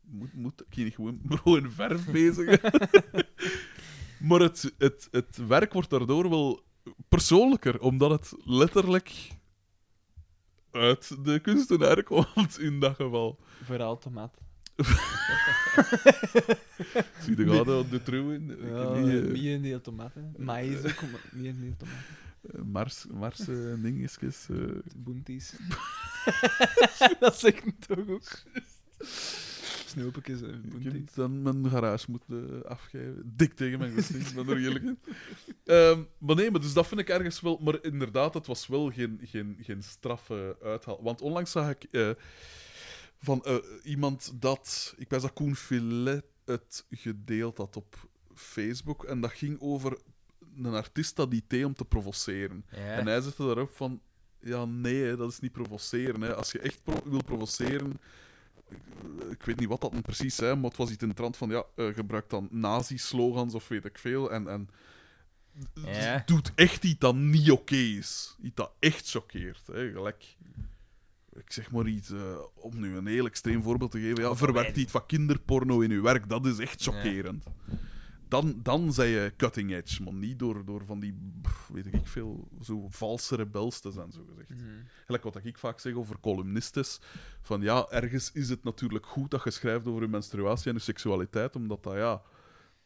[SPEAKER 4] moet, moet ik hier niet gewoon bro en verf bezig? maar het, het, het werk wordt daardoor wel persoonlijker, omdat het letterlijk uit de kunstenaar komt, in dat geval.
[SPEAKER 3] Verhaal te mat.
[SPEAKER 4] Zie je gaat op de trouwen? Ik
[SPEAKER 3] Ja,
[SPEAKER 4] heb niet, eh,
[SPEAKER 3] niet in die tomaten. Maïs ook, maar niet in die tomaten.
[SPEAKER 4] Mars, Mars eh, dingetjes. eh.
[SPEAKER 3] Boenties. dat zeg ik toch ook. Snoepjes en
[SPEAKER 4] ik
[SPEAKER 3] boenties.
[SPEAKER 4] heb dan mijn garage moeten eh, afgeven. Dik tegen mijn goesting, ik ben er eerlijk in. Ehm, maar nee, maar dus dat vind ik ergens wel... Maar inderdaad, het was wel geen, geen, geen straffe uithaal. Want onlangs zag ik eh, van eh, iemand dat... Ik ben dat Koen Filet het gedeeld had op Facebook. En dat ging over een artiest dat idee om te provoceren. En eh, hij zette daarop van... Ja, nee, hè, dat is niet provoceren. Hè. Als je echt pro- wil provoceren... eh, Ik weet niet wat dat dan precies zijn, maar het was iets in de trant van... Ja, eh, gebruik dan nazi-slogans of weet ik veel. En, en
[SPEAKER 1] Ja.
[SPEAKER 4] doet echt iets dat niet oké is. Iets dat echt choqueert. Hè. Gelijk... Ik zeg maar iets, eh, om nu een heel extreem voorbeeld te geven. Ja, verwerkt iets van kinderporno in uw werk, dat is echt
[SPEAKER 1] Ja.
[SPEAKER 4] chockerend. Dan, dan zei je cutting edge, man. Niet door, door van die, brr, weet ik veel, zo valse rebels te zijn, zo gezegd.
[SPEAKER 1] Mhm.
[SPEAKER 4] Gelijk wat ik vaak zeg over columnistes. Van ja, ergens is het natuurlijk goed dat je schrijft over je menstruatie en je seksualiteit, omdat dat ja.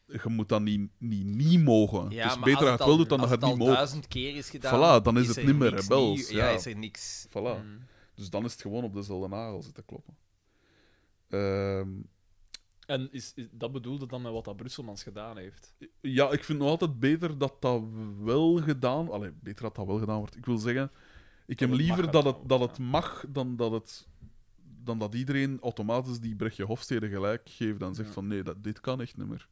[SPEAKER 4] Je moet dat niet, niet, niet mogen.
[SPEAKER 1] Ja,
[SPEAKER 4] het is
[SPEAKER 1] maar
[SPEAKER 4] beter
[SPEAKER 1] als
[SPEAKER 4] dat je het wel doet dan dat
[SPEAKER 1] als
[SPEAKER 4] je het niet
[SPEAKER 1] al
[SPEAKER 4] mogen.
[SPEAKER 1] duizend keer is gedaan...
[SPEAKER 4] Voilà, dan is het
[SPEAKER 1] er
[SPEAKER 4] niet meer
[SPEAKER 1] niks
[SPEAKER 4] rebels,
[SPEAKER 1] nieuw. Ja,
[SPEAKER 4] ja.
[SPEAKER 1] is er niks...
[SPEAKER 4] Voilà.
[SPEAKER 3] Mhm.
[SPEAKER 4] Dus dan is het gewoon op dezelfde nagel zitten kloppen. Ehm,
[SPEAKER 3] En is, is- dat bedoelde dan met wat dat Brusselmans gedaan heeft.
[SPEAKER 4] ja, ik vind nog altijd beter dat dat wel gedaan... Allee, beter dat dat wel gedaan wordt. Ik wil zeggen, ik heb
[SPEAKER 3] het mag
[SPEAKER 4] liever dat
[SPEAKER 3] gedaan
[SPEAKER 4] het, dat
[SPEAKER 3] wordt,
[SPEAKER 4] het mag dan dat, het, dan dat iedereen automatisch die Brechtje Hofstede gelijk geeft en zegt
[SPEAKER 3] Ja.
[SPEAKER 4] van nee, dat, dit kan echt niet meer.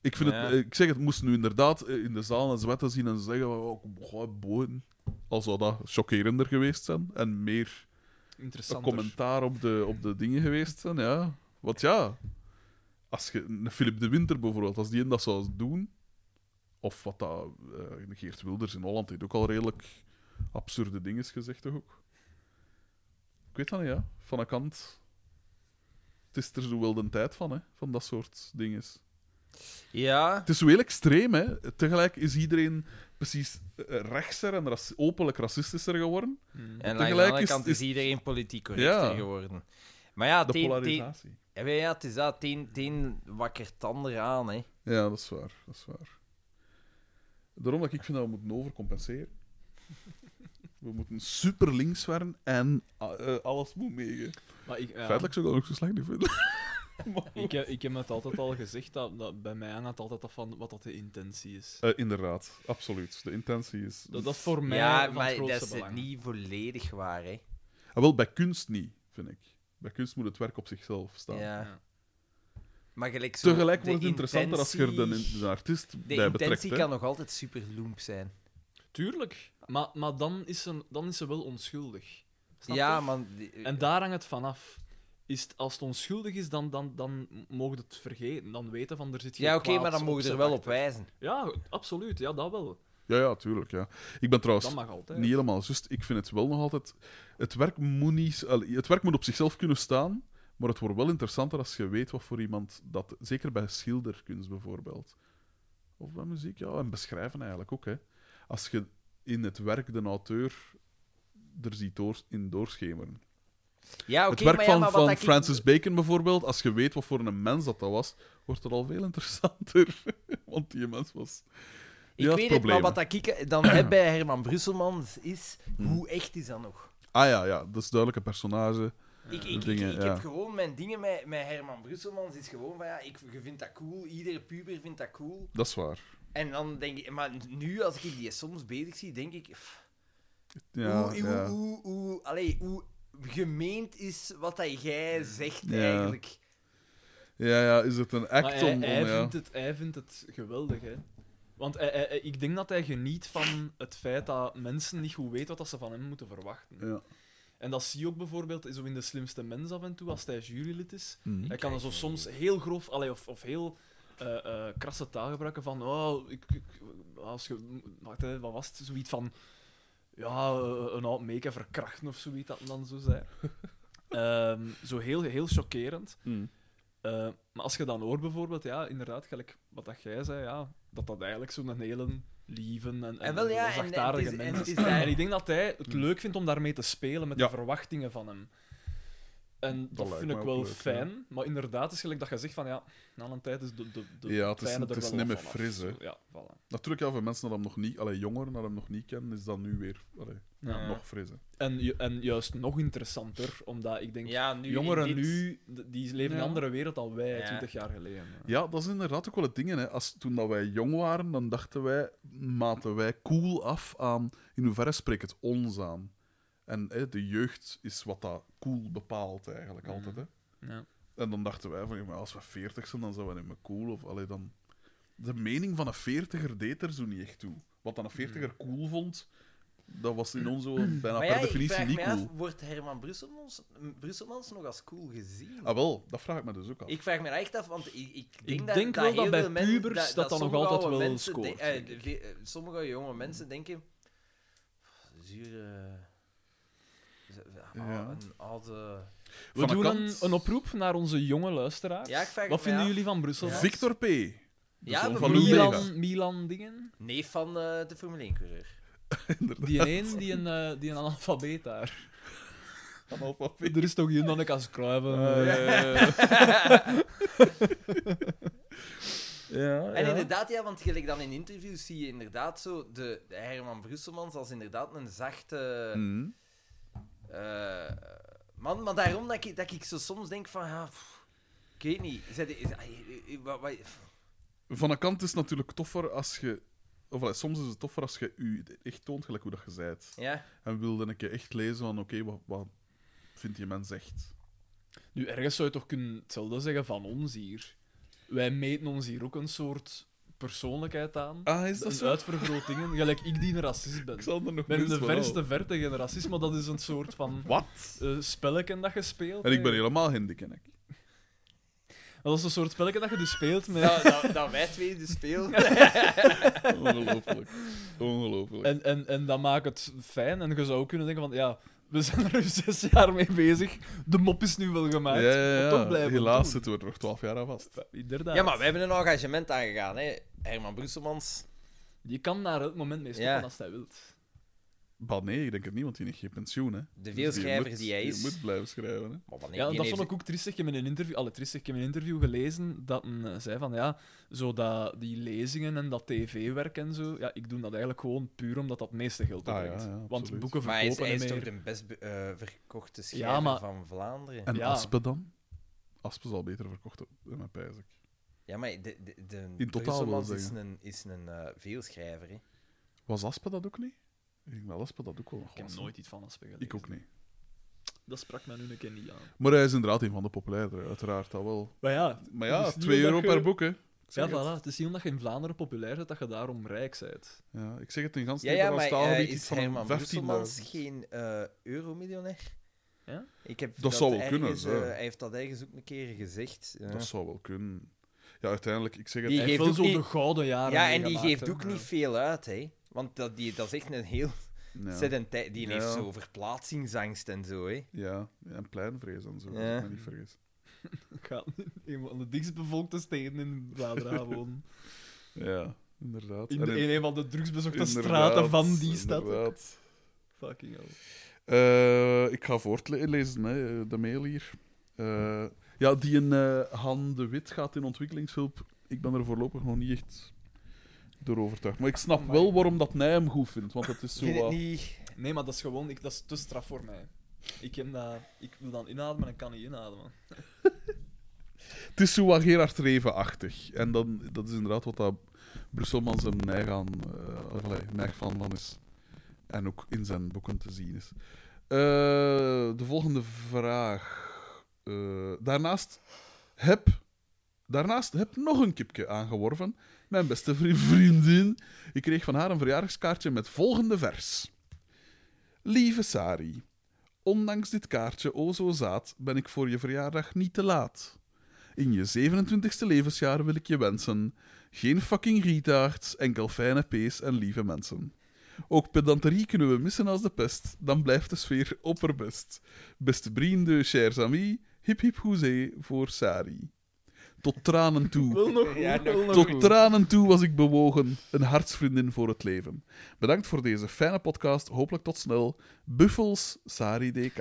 [SPEAKER 4] Ik, vind
[SPEAKER 1] Ja.
[SPEAKER 4] het, eh, ik zeg, het moest nu inderdaad eh, in de zaal en zwetten zien en zeggen van, oh, goh, boven. Al zou dat chockerender geweest zijn en meer een
[SPEAKER 3] Interessant.
[SPEAKER 4] commentaar op de, op de dingen geweest zijn, ja. Want ja, als je een Philip de Winter bijvoorbeeld, als die een dat zou doen, of wat dat, eh, Geert Wilders in Holland heeft ook al redelijk absurde dingen gezegd, toch ook? Ik weet dat niet, ja. Van een kant, het is er zo wel de tijd van, hè, van dat soort dingen.
[SPEAKER 1] Ja,
[SPEAKER 4] Het is zo heel extreem, hè. Tegelijk is iedereen precies eh, rechtser en raci- openlijk racistischer geworden.
[SPEAKER 1] en aan de
[SPEAKER 4] tegelijk
[SPEAKER 1] andere
[SPEAKER 4] is-
[SPEAKER 1] kant
[SPEAKER 4] is-
[SPEAKER 1] is iedereen politiek correcter
[SPEAKER 4] Ja.
[SPEAKER 1] geworden. Maar ja,
[SPEAKER 4] De
[SPEAKER 1] teen- teen-
[SPEAKER 4] polarisatie.
[SPEAKER 1] Ja, maar ja, het is dat. Tien, tien wakkert ander aan, hè.
[SPEAKER 4] Ja, dat is waar. Dat is waar. Daarom dat ik vind dat we moeten overcompenseren. We moeten super links werden en ah, eh, alles moet meegen.
[SPEAKER 3] Maar ik, ja,
[SPEAKER 4] Feitelijk zou ik dat ook zo slecht niet vinden.
[SPEAKER 3] ik, heb- ik heb het altijd al gezegd, dat, dat bij mij hangt het altijd af van wat dat de intentie is.
[SPEAKER 4] Eh, inderdaad, absoluut. De intentie is.
[SPEAKER 3] Dat, dat is voor mij
[SPEAKER 1] Ja,
[SPEAKER 3] van
[SPEAKER 1] maar
[SPEAKER 3] het
[SPEAKER 1] dat
[SPEAKER 3] grootste
[SPEAKER 1] is het
[SPEAKER 3] belang.
[SPEAKER 1] niet volledig waar, hè.
[SPEAKER 4] Ah, wel, bij kunst niet, vind ik. Bij kunst moet het werk op zichzelf staan.
[SPEAKER 1] Ja. Maar gelijk zo,
[SPEAKER 4] Tegelijk
[SPEAKER 1] de
[SPEAKER 4] wordt het interessanter als je er de,
[SPEAKER 1] intentie-
[SPEAKER 4] in- de artiest
[SPEAKER 1] De
[SPEAKER 4] bij betrekt.
[SPEAKER 1] intentie
[SPEAKER 4] hè.
[SPEAKER 1] kan nog altijd super loemp zijn.
[SPEAKER 3] Tuurlijk. Maar, maar dan, is ze, dan is ze wel onschuldig. Snap
[SPEAKER 1] ja,
[SPEAKER 3] je?
[SPEAKER 1] man.
[SPEAKER 3] En daar hangt het vanaf. Is het, als het onschuldig is, dan, dan, dan mogen het vergeten. Dan weten van er zit geen
[SPEAKER 1] Ja, oké,
[SPEAKER 3] kwaads
[SPEAKER 1] maar dan mogen ze er
[SPEAKER 3] opzet
[SPEAKER 1] wel op
[SPEAKER 3] achter.
[SPEAKER 1] wijzen.
[SPEAKER 3] Ja, absoluut. Ja, dat wel.
[SPEAKER 4] Ja, ja, tuurlijk. Ja. Ik ben trouwens
[SPEAKER 3] Dat mag altijd.
[SPEAKER 4] Niet helemaal juist. Ik vind het wel nog altijd. Het werk, moet niet, allee, het werk moet op zichzelf kunnen staan, maar het wordt wel interessanter als je weet wat voor iemand dat. Zeker bij schilderkunst bijvoorbeeld. Of bij muziek, ja. En beschrijven eigenlijk ook. Hè. Als je in het werk de auteur er ziet door, in doorschemeren.
[SPEAKER 1] Ja,
[SPEAKER 4] het
[SPEAKER 1] oké,
[SPEAKER 4] werk
[SPEAKER 1] maar ja,
[SPEAKER 4] van,
[SPEAKER 1] maar wat
[SPEAKER 4] van
[SPEAKER 1] dat ik-
[SPEAKER 4] Francis Bacon bijvoorbeeld, als je weet wat voor een mens dat, dat was, wordt het al veel interessanter. Want die mens was.
[SPEAKER 1] Ik
[SPEAKER 4] Ja,
[SPEAKER 1] weet
[SPEAKER 4] het
[SPEAKER 1] het, maar
[SPEAKER 4] probleem,
[SPEAKER 1] wat dat ik eh, dan heb bij Herman Brusselmans is,
[SPEAKER 4] Hmm.
[SPEAKER 1] hoe echt is dat nog?
[SPEAKER 4] Ah ja, ja, dat is duidelijk een personage.
[SPEAKER 1] Ik, ik, ik,
[SPEAKER 4] dingen,
[SPEAKER 1] ik
[SPEAKER 4] ja.
[SPEAKER 1] heb gewoon mijn dingen met, met Herman Brusselmans is gewoon van ja, ik je vindt dat cool, iedere puber vindt dat cool.
[SPEAKER 4] Dat is waar.
[SPEAKER 1] En dan denk ik, maar nu als ik die soms bezig zie, denk ik, pff,
[SPEAKER 4] Ja,
[SPEAKER 1] hoe, hoe,
[SPEAKER 4] ja.
[SPEAKER 1] hoe, hoe- allee, hoe gemeend is wat dat jij zegt
[SPEAKER 4] Ja.
[SPEAKER 1] eigenlijk.
[SPEAKER 4] Ja, ja, is het een act
[SPEAKER 3] Maar
[SPEAKER 4] om.
[SPEAKER 3] hij,
[SPEAKER 4] om,
[SPEAKER 3] hij
[SPEAKER 4] ja.
[SPEAKER 3] vindt het, hij vindt het geweldig, hè. Want hij- hij- hij- ik denk dat hij geniet van het feit dat mensen niet goed weten wat dat ze van hem moeten verwachten.
[SPEAKER 4] Ja.
[SPEAKER 3] En dat zie je ook bijvoorbeeld zo in De Slimste Mens af en toe, als hij jurylid is.
[SPEAKER 4] Mhm.
[SPEAKER 3] Hij kan er zo soms heel grof allee, of, of heel eh, eh, krasse taal gebruiken van... Oh, ik, ik- als je, wacht, hè, wat was het? Zoiets van... Ja, eh, een oud meke verkrachten of zoiets dat dan zo zei. Ehm, zo heel, heel chockerend.
[SPEAKER 4] Mm.
[SPEAKER 3] Eh, maar als je dan hoort bijvoorbeeld, ja, inderdaad, gelijk wat dat jij zei, ja, dat dat eigenlijk zo'n hele lieve en, en,
[SPEAKER 1] En Eh, wel, ja, en- en het
[SPEAKER 3] zachtaardige
[SPEAKER 1] is- en
[SPEAKER 3] mens
[SPEAKER 1] het
[SPEAKER 3] is.
[SPEAKER 1] is daar-
[SPEAKER 3] En ik denk dat hij het leuk vindt om daarmee te spelen met
[SPEAKER 4] Hmm. Ja.
[SPEAKER 3] de verwachtingen van hem. En dat,
[SPEAKER 4] lijkt
[SPEAKER 3] vind
[SPEAKER 4] mij
[SPEAKER 3] ik
[SPEAKER 4] ook
[SPEAKER 3] wel
[SPEAKER 4] leuk,
[SPEAKER 3] fijn, maar inderdaad is gelijk dat je zegt van ja, na een tijd is de, de, de
[SPEAKER 4] Ja, het is-
[SPEAKER 3] fijne
[SPEAKER 4] het
[SPEAKER 3] er
[SPEAKER 4] is
[SPEAKER 3] wel
[SPEAKER 4] niet
[SPEAKER 3] wat
[SPEAKER 4] meer
[SPEAKER 3] vanaf.
[SPEAKER 4] fris, hè.
[SPEAKER 3] Zo, Ja, voilà.
[SPEAKER 4] Natuurlijk, ja, voor mensen dat hem nog niet, allee, jongeren dat hem nog niet kennen, is dat nu weer allee,
[SPEAKER 3] Ja.
[SPEAKER 1] Ja.
[SPEAKER 4] nog fris. hè.
[SPEAKER 3] En, ju- en juist nog interessanter, omdat ik denk,
[SPEAKER 1] Ja, nu
[SPEAKER 3] jongeren
[SPEAKER 1] in dit-
[SPEAKER 3] nu, d- die leven in
[SPEAKER 4] Ja.
[SPEAKER 3] een andere wereld dan wij,
[SPEAKER 1] Ja.
[SPEAKER 3] 20 jaar geleden. hè.
[SPEAKER 4] Ja, dat is inderdaad ook wel het ding. Hè. Als, toen dat wij jong waren, dan dachten wij, maten wij cool af aan in hoeverre spreekt het ons aan. En hè, de jeugd is wat dat cool bepaalt eigenlijk altijd. Hè.
[SPEAKER 3] Ja.
[SPEAKER 4] En dan dachten wij van, ja, maar als we veertig zijn, dan zijn we niet meer cool. Of, allee, dan... De mening van een veertiger deed er zo niet echt toe. Wat dan een
[SPEAKER 3] Mm.
[SPEAKER 4] veertiger cool vond, dat was in ons zo bijna
[SPEAKER 1] Maar
[SPEAKER 4] per
[SPEAKER 1] ja, ik
[SPEAKER 4] definitie
[SPEAKER 1] vraag
[SPEAKER 4] niet
[SPEAKER 1] me af,
[SPEAKER 4] cool.
[SPEAKER 1] wordt Herman Brusselmans, Brusselmans nog als cool gezien?
[SPEAKER 4] Ah wel, dat vraag ik me dus ook af.
[SPEAKER 1] Ik vraag me dat echt af, want ik, ik denk,
[SPEAKER 3] Ik
[SPEAKER 1] dat,
[SPEAKER 3] denk
[SPEAKER 1] dat
[SPEAKER 3] wel dat
[SPEAKER 1] heel
[SPEAKER 3] bij
[SPEAKER 1] veel mensen-
[SPEAKER 3] pubers dat dat nog
[SPEAKER 1] sommige
[SPEAKER 3] altijd
[SPEAKER 1] oude
[SPEAKER 3] wel
[SPEAKER 1] mensen
[SPEAKER 3] scoort,
[SPEAKER 1] de- eh,
[SPEAKER 3] denk ik.
[SPEAKER 1] ve- eh, sommige jonge mensen denken... Zure... z- ah,
[SPEAKER 4] Ja.
[SPEAKER 1] Een oude...
[SPEAKER 3] We
[SPEAKER 4] Van de
[SPEAKER 3] doen
[SPEAKER 4] kant-
[SPEAKER 3] een, een oproep naar onze jonge luisteraars.
[SPEAKER 1] Ja, ik vraag het
[SPEAKER 3] Wat
[SPEAKER 1] me
[SPEAKER 3] vinden
[SPEAKER 1] af.
[SPEAKER 3] jullie van Brussel?
[SPEAKER 1] Ja.
[SPEAKER 4] Victor P. de
[SPEAKER 1] Ja,
[SPEAKER 4] zoon
[SPEAKER 1] we
[SPEAKER 4] van
[SPEAKER 1] verliezen
[SPEAKER 4] Lou Bega.
[SPEAKER 3] Milan, Milan dingen?
[SPEAKER 1] Neef van eh, de Formule 1-coureur.
[SPEAKER 3] Die een een, die een, eh, die een analfabeet daar.
[SPEAKER 4] Analfabeet.
[SPEAKER 3] Er is toch hier dan een als kruiven.
[SPEAKER 4] Ah,
[SPEAKER 3] Ah,
[SPEAKER 4] Ja,
[SPEAKER 1] En inderdaad, ja, want gelijk dan in interviews zie je inderdaad zo de, de Herman Brusselmans als inderdaad een zachte...
[SPEAKER 4] Mhm.
[SPEAKER 1] Eh, man, maar daarom dat ik, dat ik zo soms denk van, ja, pff, ik weet niet. Zij de- is- ah, eh, eh, wat- wat- pff.
[SPEAKER 4] Van een kant is het natuurlijk toffer als je. Of allee, soms is het toffer als je u echt toont gelijk hoe dat je zijt.
[SPEAKER 1] Ja,
[SPEAKER 4] En wilde een keer echt lezen van: oké, wat, wat vindt die mens echt?
[SPEAKER 3] Nu, ergens zou je toch kunnen hetzelfde zeggen van ons hier. Wij meten ons hier ook een soort persoonlijkheid aan.
[SPEAKER 4] Ah, is dat
[SPEAKER 3] een
[SPEAKER 4] zo?
[SPEAKER 3] uitvergrotingen. Gelijk ik die een racist ben.
[SPEAKER 4] Ik zal er nog
[SPEAKER 3] Ik ben in
[SPEAKER 4] minst
[SPEAKER 3] de
[SPEAKER 4] van al.
[SPEAKER 3] verste verte geen racist, maar dat is een soort van
[SPEAKER 4] Wat?
[SPEAKER 3] eh spelletje dat je speelt.
[SPEAKER 4] En ik ben
[SPEAKER 3] hè.
[SPEAKER 4] helemaal geen dikke nek.
[SPEAKER 3] Dat is een soort spelletje dat je dus speelt met...
[SPEAKER 1] dat, dat, dat wij twee dus spelen.
[SPEAKER 4] Ongelooflijk. Ongelooflijk.
[SPEAKER 3] En, en, en dat maakt het fijn. En je zou ook kunnen denken van, ja, we zijn er zes jaar mee bezig. De mop is nu wel
[SPEAKER 4] ja,
[SPEAKER 3] gemaakt.
[SPEAKER 4] ja, ja.
[SPEAKER 3] Maar toch blijven
[SPEAKER 4] Helaas
[SPEAKER 3] doen.
[SPEAKER 4] zitten we er nog twaalf jaar aan vast.
[SPEAKER 3] Inderdaad.
[SPEAKER 1] Ja, maar we hebben een engagement aangegaan, hè. Herman Brusselmans.
[SPEAKER 3] Je kan daar elk moment mee stoppen
[SPEAKER 1] Ja.
[SPEAKER 3] als hij wilt.
[SPEAKER 4] Bah, nee, ik denk het niet, want die heeft geen pensioen. Hè.
[SPEAKER 1] De
[SPEAKER 4] Dus
[SPEAKER 1] veelschrijver
[SPEAKER 4] moet-
[SPEAKER 1] die hij is.
[SPEAKER 4] Je moet blijven schrijven. Hè.
[SPEAKER 1] Maar wanneer-
[SPEAKER 3] Ja,
[SPEAKER 1] die
[SPEAKER 3] dat
[SPEAKER 1] heeft-
[SPEAKER 3] vond ik ook triestig. Ik heb in een interview, alle triestig, ik heb in een interview gelezen dat een eh, zei van, ja, zo dat die lezingen en dat tv-werk en zo, ja, ik doe dat eigenlijk gewoon puur omdat dat het meeste geld
[SPEAKER 4] Ah, ja,
[SPEAKER 3] opbrengt.
[SPEAKER 4] ja,
[SPEAKER 3] Want
[SPEAKER 4] absoluut.
[SPEAKER 3] boeken
[SPEAKER 1] Maar hij is,
[SPEAKER 3] verkopen
[SPEAKER 1] hij
[SPEAKER 3] niet
[SPEAKER 1] is toch
[SPEAKER 3] meer.
[SPEAKER 1] de best be- eh, verkochte schrijver
[SPEAKER 3] maar-
[SPEAKER 1] van Vlaanderen.
[SPEAKER 4] En
[SPEAKER 3] Ja.
[SPEAKER 4] Aspe dan? Aspe zal beter verkocht worden, mijn pijs ik.
[SPEAKER 1] Ja, maar de, de, de
[SPEAKER 4] In totaal
[SPEAKER 1] Brusselmans
[SPEAKER 4] wil
[SPEAKER 1] is
[SPEAKER 4] zeggen.
[SPEAKER 1] een, is een eh, veelschrijver, hè.
[SPEAKER 4] Was Aspe dat ook niet? Ik denk dat Aspe dat ook wel nog
[SPEAKER 3] Ik heb
[SPEAKER 4] was, hè.
[SPEAKER 3] nooit iets van Aspen gelezen.
[SPEAKER 4] Ik ook niet.
[SPEAKER 3] Dat sprak mij nu een keer niet aan.
[SPEAKER 4] Maar hij is inderdaad een van de populairdere, uiteraard, dat wel.
[SPEAKER 3] Maar ja,
[SPEAKER 4] Maar
[SPEAKER 3] het
[SPEAKER 4] ja,
[SPEAKER 3] is niet
[SPEAKER 4] 2
[SPEAKER 3] omdat
[SPEAKER 4] euro
[SPEAKER 3] je-
[SPEAKER 4] per boek, hè. Ik zeg
[SPEAKER 3] Ja,
[SPEAKER 4] het.
[SPEAKER 3] voilà. Het is niet omdat je in Vlaanderen populair bent dat je daarom rijk bent.
[SPEAKER 4] Ja, ik zeg het in gans
[SPEAKER 1] Ja, ja, maar
[SPEAKER 4] Nederlands
[SPEAKER 1] eh,
[SPEAKER 4] taalgebied
[SPEAKER 1] is
[SPEAKER 4] iets van een
[SPEAKER 1] Herman
[SPEAKER 4] 15 maar-
[SPEAKER 1] Brusselmans geen eh euromiljonair?
[SPEAKER 3] Ja?
[SPEAKER 1] Ik heb
[SPEAKER 4] Dat zou wel
[SPEAKER 1] ergens,
[SPEAKER 4] kunnen, zo.
[SPEAKER 1] eh, hij heeft dat ergens ook een keer gezegd. eh.
[SPEAKER 4] Dat zou wel kunnen. Ja, uiteindelijk, ik zeg het...
[SPEAKER 1] Die
[SPEAKER 3] Die
[SPEAKER 1] geeft
[SPEAKER 3] geeft
[SPEAKER 1] ook
[SPEAKER 3] zo
[SPEAKER 1] niet-
[SPEAKER 3] de gouden jaren.
[SPEAKER 1] ja, en die
[SPEAKER 3] meegemaakt,
[SPEAKER 1] geeft
[SPEAKER 3] hè.
[SPEAKER 1] ook
[SPEAKER 4] eh.
[SPEAKER 1] niet veel uit, hè. Want dat, die, dat is echt een heel
[SPEAKER 4] Ja,
[SPEAKER 1] sedentij... Die
[SPEAKER 4] Ja.
[SPEAKER 1] heeft zo verplaatsingsangst en zo, hè.
[SPEAKER 4] ja, en pleinvrees en zo, als
[SPEAKER 1] Ja.
[SPEAKER 4] ik me niet vergis.
[SPEAKER 3] Ik ga in een van de dichtstbevolkte steden in Vlaanderen wonen.
[SPEAKER 4] Ja, inderdaad.
[SPEAKER 3] In,
[SPEAKER 4] En
[SPEAKER 3] de- in een van de drugsbezochte
[SPEAKER 4] inderdaad,
[SPEAKER 3] straten van die stad.
[SPEAKER 4] inderdaad.
[SPEAKER 3] Fucking hell.
[SPEAKER 4] Eh, ik ga voortlezen, hè, de mail hier. Eh, ja, die in eh, Han de Wit gaat in ontwikkelingshulp. Ik ben er voorlopig nog niet echt door overtuigd. Maar ik snap
[SPEAKER 3] Amai.
[SPEAKER 4] wel waarom dat Nij hem goed vindt, want het is
[SPEAKER 3] Ik
[SPEAKER 4] zo...
[SPEAKER 3] vind het
[SPEAKER 4] wat-
[SPEAKER 3] niet... Nee, maar dat is gewoon... Ik, dat is te straf voor mij. Ik, ken dat, ik wil dan inademen en kan niet inademen.
[SPEAKER 4] Het is zo wat Gerard Reven-achtig. En dan, dat is inderdaad wat dat Brusselmans hem neig, aan, eh, allee, neig van, van is. En ook in zijn boeken te zien is. Eh, de volgende vraag. Eh, daarnaast, heb, daarnaast heb nog een kipje aangeworven. Mijn beste vri- vriendin. Ik kreeg van haar een verjaardagskaartje met volgende vers. Lieve Sari, ondanks dit kaartje, o zo zaad, ben ik voor je verjaardag niet te laat. In je 27ste levensjaar wil ik je wensen. Geen fucking retards, enkel fijne pees en lieve mensen. Ook pedanterie kunnen we missen als de pest, dan blijft de sfeer opperbest. Beste vrienden, chers amis, hip hip hoezee voor Sari. Tot tranen toe.
[SPEAKER 3] Wil nog
[SPEAKER 1] Ja,
[SPEAKER 3] goed, wil nog
[SPEAKER 4] Tot
[SPEAKER 3] goed.
[SPEAKER 4] tranen toe was ik bewogen. Een hartsvriendin voor het leven. Bedankt voor deze fijne podcast. Hopelijk tot snel. Buffels, Sari DK.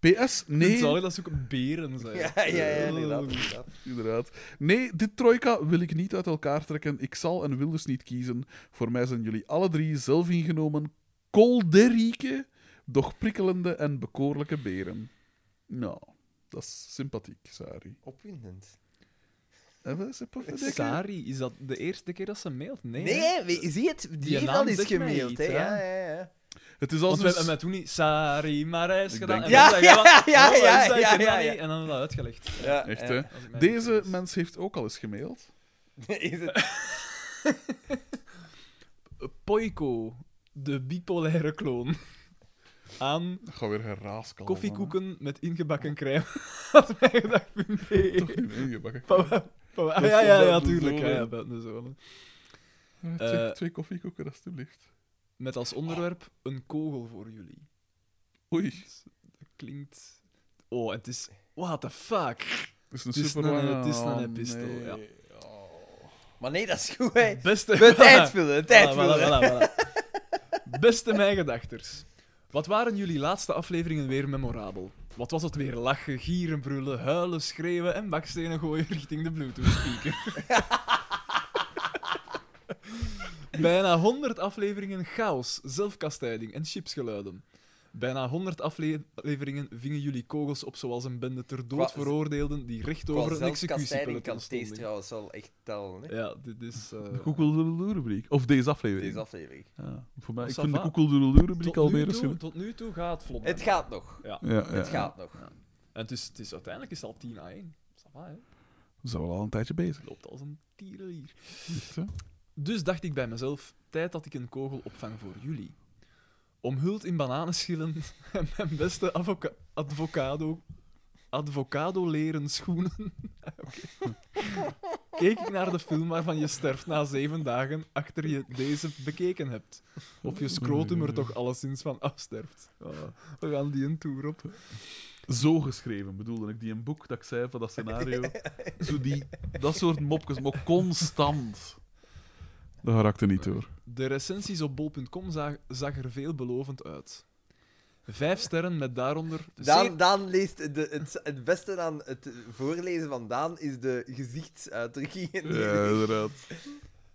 [SPEAKER 4] PS,
[SPEAKER 3] Ik vind
[SPEAKER 4] nee...
[SPEAKER 3] het zalig dat ze ook beren zijn.
[SPEAKER 1] Ja, ja,
[SPEAKER 3] Eh,
[SPEAKER 1] ja, inderdaad. inderdaad.
[SPEAKER 4] Inderdaad. Nee, dit trojka wil ik niet uit elkaar trekken. Ik zal en wil dus niet kiezen. Voor mij zijn jullie alle drie zelf ingenomen kolderieke, doch prikkelende en bekoorlijke beren. Nou, dat is sympathiek, Sari. Eh,
[SPEAKER 1] Opwindend.
[SPEAKER 4] Hebben we ze even denken?
[SPEAKER 3] Sari, is dat de eerste keer dat ze mailt? Nee.
[SPEAKER 1] Nee,
[SPEAKER 3] hè?
[SPEAKER 1] hè, we- zie je het? Die,
[SPEAKER 3] Die
[SPEAKER 1] heeft
[SPEAKER 3] naam
[SPEAKER 1] al eens
[SPEAKER 3] zegt mij
[SPEAKER 1] gemaild,
[SPEAKER 3] iets,
[SPEAKER 1] hè? Ja,
[SPEAKER 3] ja.
[SPEAKER 1] ja, ja.
[SPEAKER 4] Het is
[SPEAKER 3] Want
[SPEAKER 4] als
[SPEAKER 3] we hebben
[SPEAKER 4] een...
[SPEAKER 3] mij toen niet Sari Marijs
[SPEAKER 4] Ik
[SPEAKER 3] gedaan.
[SPEAKER 4] denk-
[SPEAKER 1] Ja,
[SPEAKER 3] en dan zei jij
[SPEAKER 1] ja,
[SPEAKER 3] wat-
[SPEAKER 1] ja,
[SPEAKER 3] oh,
[SPEAKER 1] ja,
[SPEAKER 3] is dat? Ik
[SPEAKER 1] ja,
[SPEAKER 3] ken dat
[SPEAKER 1] ja,
[SPEAKER 3] niet.
[SPEAKER 1] ja.
[SPEAKER 3] En dan hebben we dat uitgelegd.
[SPEAKER 1] ja
[SPEAKER 4] Echt,
[SPEAKER 1] ja.
[SPEAKER 4] hè?
[SPEAKER 3] Als ik mij niet
[SPEAKER 4] Deze
[SPEAKER 3] vergis.
[SPEAKER 4] mens heeft ook al eens gemaild.
[SPEAKER 1] Is het...
[SPEAKER 3] Poiko, de bipolaire kloon. Aan
[SPEAKER 4] Dat gaat weer geraaskal.
[SPEAKER 3] koffiekoeken met ingebakken crème. Had mij gedacht,
[SPEAKER 4] Toch
[SPEAKER 3] nee.
[SPEAKER 4] niet ingebakken.
[SPEAKER 3] Papa- papa- Ah,
[SPEAKER 4] Dat
[SPEAKER 3] ja,
[SPEAKER 4] is
[SPEAKER 3] ja,
[SPEAKER 4] wel
[SPEAKER 3] ja,
[SPEAKER 4] de
[SPEAKER 3] tuurlijk. Ja,
[SPEAKER 4] zone.
[SPEAKER 3] ja, buiten de zone.
[SPEAKER 4] Twee,
[SPEAKER 3] Eh.
[SPEAKER 4] twee koffiekoeken, alstublieft.
[SPEAKER 3] Met als onderwerp een kogel voor jullie.
[SPEAKER 4] Oei.
[SPEAKER 3] Dat klinkt. Oh, het is. What the fuck?
[SPEAKER 4] Het is een Ah, super
[SPEAKER 3] Het is een- het is een epistel, ja.
[SPEAKER 1] Maar nee, dat is goed, hè?
[SPEAKER 3] Beste.
[SPEAKER 1] We tijd vullen, tijd
[SPEAKER 3] Voilà,
[SPEAKER 1] vullen.
[SPEAKER 3] voilà, voilà, voilà. Beste mijgedachters. Wat waren jullie laatste afleveringen weer memorabel? Wat was het weer lachen, gieren, brullen, huilen, schreeuwen en bakstenen gooien richting de Bluetooth-speaker? Bijna 100 afleveringen chaos, zelfkastijding en chipsgeluiden. Bijna 100 afleveringen vingen jullie kogels op zoals een bende ter dood
[SPEAKER 1] Qua-
[SPEAKER 3] veroordeelden die recht
[SPEAKER 1] Qua
[SPEAKER 3] over een
[SPEAKER 1] zelfkastijding
[SPEAKER 3] executiepeloton
[SPEAKER 1] kan Thees
[SPEAKER 3] stonden.
[SPEAKER 1] trouwens wel echt tellen, hè?
[SPEAKER 3] Ja, dit is... eh,
[SPEAKER 4] Koekeldoedeldoe-rubriek. Of deze aflevering.
[SPEAKER 1] Deze aflevering.
[SPEAKER 4] Ja, voor mij.
[SPEAKER 3] Oh,
[SPEAKER 4] Ik
[SPEAKER 3] ça
[SPEAKER 4] vind de
[SPEAKER 3] va.
[SPEAKER 4] koekeldoedeldoe-rubriek
[SPEAKER 3] tot,
[SPEAKER 4] alweer
[SPEAKER 3] nu
[SPEAKER 4] eens...
[SPEAKER 3] toe,
[SPEAKER 4] goed.
[SPEAKER 3] tot nu toe gaat het vlot.
[SPEAKER 1] Het gaat nog.
[SPEAKER 3] Ja.
[SPEAKER 4] Ja, ja,
[SPEAKER 1] Het
[SPEAKER 4] ja.
[SPEAKER 1] gaat nog.
[SPEAKER 3] En het is, het is, uiteindelijk is het al 10 à 1. Sava, hè?
[SPEAKER 4] We zijn wel al een tijdje bezig.
[SPEAKER 3] Het loopt als een tierenlier.
[SPEAKER 4] Echt, hè?
[SPEAKER 3] Dus dacht ik bij mezelf, tijd dat ik een kogel opvang voor jullie. Omhuld in bananenschillen en mijn beste avoca- advocado... Advocado leren schoenen. Oké. Keek ik naar de film waarvan je sterft na zeven dagen achter je deze bekeken hebt. Of je scrotum er toch alleszins van afsterft. Oh, we gaan die een tour op.
[SPEAKER 4] Zo geschreven bedoelde ik. Die een boek dat ik zei van dat scenario. Zo die, dat soort mopjes, maar constant. Dat raakte niet door.
[SPEAKER 3] De recensies op bol.com zag, zag er veelbelovend uit. Vijf sterren met daaronder...
[SPEAKER 1] Daan,
[SPEAKER 3] zeer-
[SPEAKER 1] Daan leest... De, het, het beste aan het voorlezen van Daan is de gezichtsuitdrukkingen. die
[SPEAKER 4] Ja, inderdaad.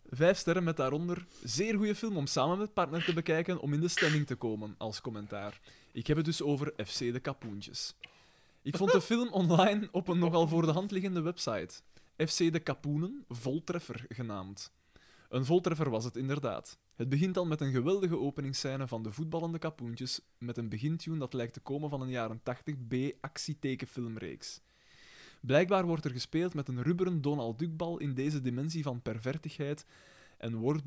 [SPEAKER 3] Vijf sterren met daaronder... Zeer goede film om samen met partner te bekijken om in de stemming te komen, als commentaar. Ik heb het dus over FC de Kapoentjes. Ik vond de film online op een nogal voor de hand liggende website. FC de Kapoenen, voltreffer genaamd. Een voltreffer was het inderdaad. Het begint al met een geweldige openingsscène van de voetballende kapoentjes met een begintune dat lijkt te komen van een jaren 80 B-actietekenfilmreeks. Blijkbaar wordt er gespeeld met een rubberen Donald Duckbal in deze dimensie van pervertigheid en wordt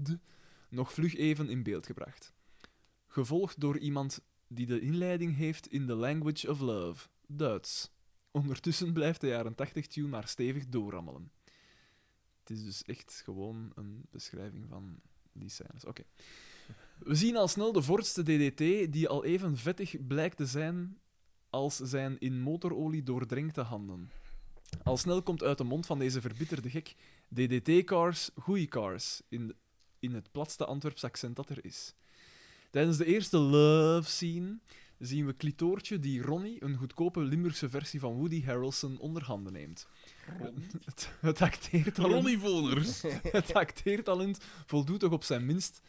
[SPEAKER 3] nog vlug even in beeld gebracht. Gevolgd door iemand die de inleiding heeft in The Language of Love, Duits. Ondertussen blijft de jaren 80-tune maar stevig doorrammelen. Het is dus echt gewoon een beschrijving van die scènes. Oké. We zien al snel de Fordste DDT, die al even vettig blijkt te zijn als zijn in motorolie doordrenkte handen. Al snel komt uit de mond van deze verbitterde gek DDT-cars, goeie cars, in, in het platste Antwerps accent dat er is. Tijdens de eerste love scene zien we Clitoortje die Ronnie, een goedkope Limburgse versie van Woody Harrelson, onder handen neemt. Het, het acteertalent,
[SPEAKER 4] Ronnie Voners.
[SPEAKER 3] het acteertalent voldoet toch op zijn minst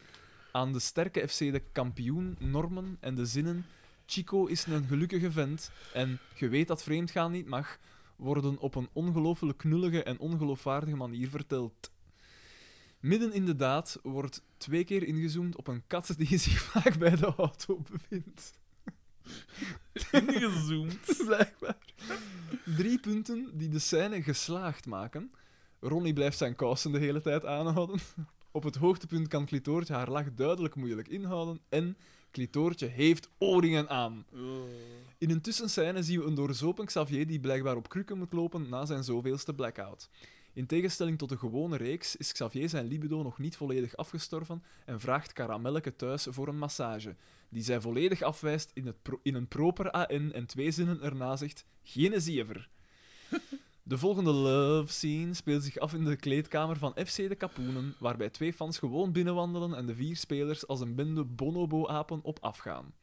[SPEAKER 3] aan de sterke FC de kampioen normen en de zinnen Chico is een gelukkige vent en je weet dat vreemdgaan niet mag, worden op een ongelooflijk knullige en ongeloofwaardige manier verteld. Midden in de daad wordt twee keer ingezoomd op een kat die zich vaak bij de auto bevindt.
[SPEAKER 4] Ingezoomd.
[SPEAKER 3] Blijkbaar. Drie punten die de scène geslaagd maken. Ronnie blijft zijn kousen de hele tijd aanhouden. Op het hoogtepunt kan Clitoortje haar lach duidelijk moeilijk inhouden. En Clitoortje heeft oorringen aan. In een tussenscène zien we een doorzopen Xavier die blijkbaar op krukken moet lopen na zijn zoveelste blackout. In tegenstelling tot de gewone reeks is Xavier zijn libido nog niet volledig afgestorven en vraagt Karamelleke thuis voor een massage, die zij volledig afwijst in, het pro- in een proper AN en twee zinnen erna zegt, geen ziever. De volgende love scene speelt zich af in de kleedkamer van FC de Kapoenen, waarbij twee fans gewoon binnenwandelen en de vier spelers als een bende bonobo-apen op afgaan.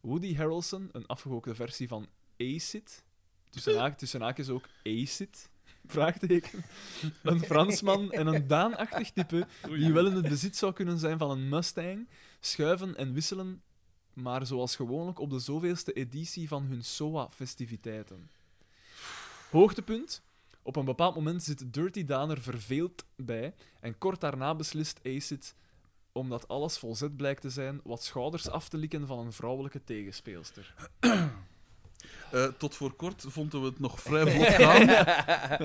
[SPEAKER 3] Woody Harrelson, een afgehookte versie van Acid, tussen, haak, tussen haakjes ook Acid, vraagteken, een Fransman en een Daanachtig type die wel in het bezit zou kunnen zijn van een Mustang, schuiven en wisselen, maar zoals gewoonlijk op de zoveelste editie van hun SOA-festiviteiten. Hoogtepunt. Op een bepaald moment zit Dirty Daan er verveeld bij en kort daarna beslist Acid, omdat alles volzet blijkt te zijn, wat schouders af te likken van een vrouwelijke tegenspeelster.
[SPEAKER 4] Eh, tot voor kort vonden we het nog vrij vlot gaan,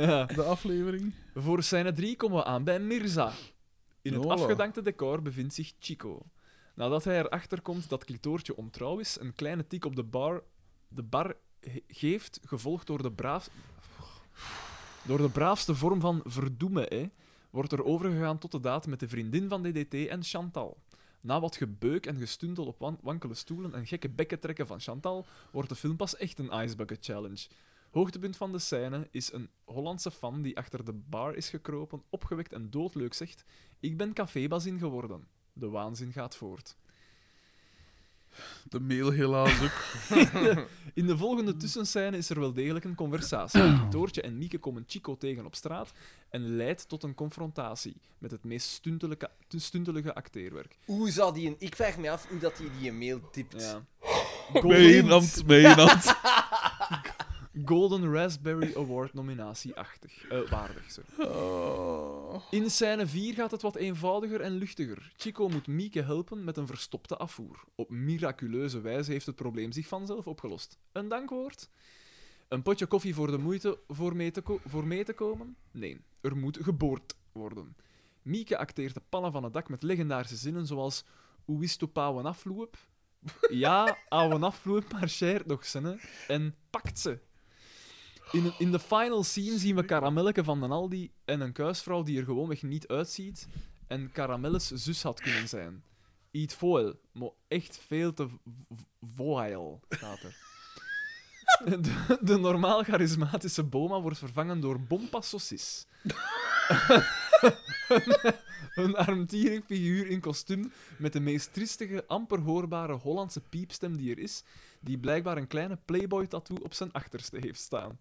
[SPEAKER 3] Ja.
[SPEAKER 4] de aflevering.
[SPEAKER 3] Voor scène 3 komen we aan bij Mirza. In het
[SPEAKER 4] Voilà.
[SPEAKER 3] afgedankte decor bevindt zich Chico. Nadat hij erachter komt dat Clitoortje ontrouw is, een kleine tik op de bar, de bar he- geeft, gevolgd door de, braaf, door de braafste vorm van verdoemen, hè, wordt er overgegaan tot de daad met de vriendin van DDT en Chantal. Na wat gebeuk en gestuntel op wan- wankele stoelen en gekke bekken trekken van Chantal, wordt de film pas echt een Ice Bucket Challenge. Hoogtepunt van de scène is een Hollandse fan die achter de bar is gekropen, opgewekt en doodleuk zegt: Ik ben cafébazin geworden. De waanzin gaat voort.
[SPEAKER 4] De mail helaas ook.
[SPEAKER 3] In de volgende tussenscène is er wel degelijk een conversatie. Toortje en Mieke komen Chico tegen op straat en leidt tot een confrontatie met het meest stuntelige, stuntelige acteerwerk.
[SPEAKER 1] Hoe zou die een... Ik vraag me af hoe dat hij die een mail typt.
[SPEAKER 3] Ja.
[SPEAKER 4] Bij één hand, bij één hand.
[SPEAKER 3] Golden Raspberry Award nominatie-achtig. Eh, waardig, sorry.
[SPEAKER 4] Oh.
[SPEAKER 3] In scène 4 gaat het wat eenvoudiger en luchtiger. Chico moet Mieke helpen met een verstopte afvoer. Op miraculeuze wijze heeft het probleem zich vanzelf opgelost. Een dankwoord? Een potje koffie voor de moeite voor mee te, ko- voor mee te komen? Nee, er moet geboord worden. Mieke acteert de pannen van het dak met legendarische zinnen zoals Hoe is het op een afloop? Ja, ouwe afloop, maar scheert nog zinnen. En pakt ze. In, in de final scene zien we karamelleke van den Aldi en een kuisvrouw die er gewoonweg niet uitziet en karamelles zus had kunnen zijn. Eat foil, maar echt veel te v- v- voil staat er. De, de normaal charismatische Boma wordt vervangen door Bompa Saucis. een, een armtierig figuur in kostuum met de meest triestige, amper hoorbare Hollandse piepstem die er is, die blijkbaar een kleine Playboy-tattoo op zijn achterste heeft staan.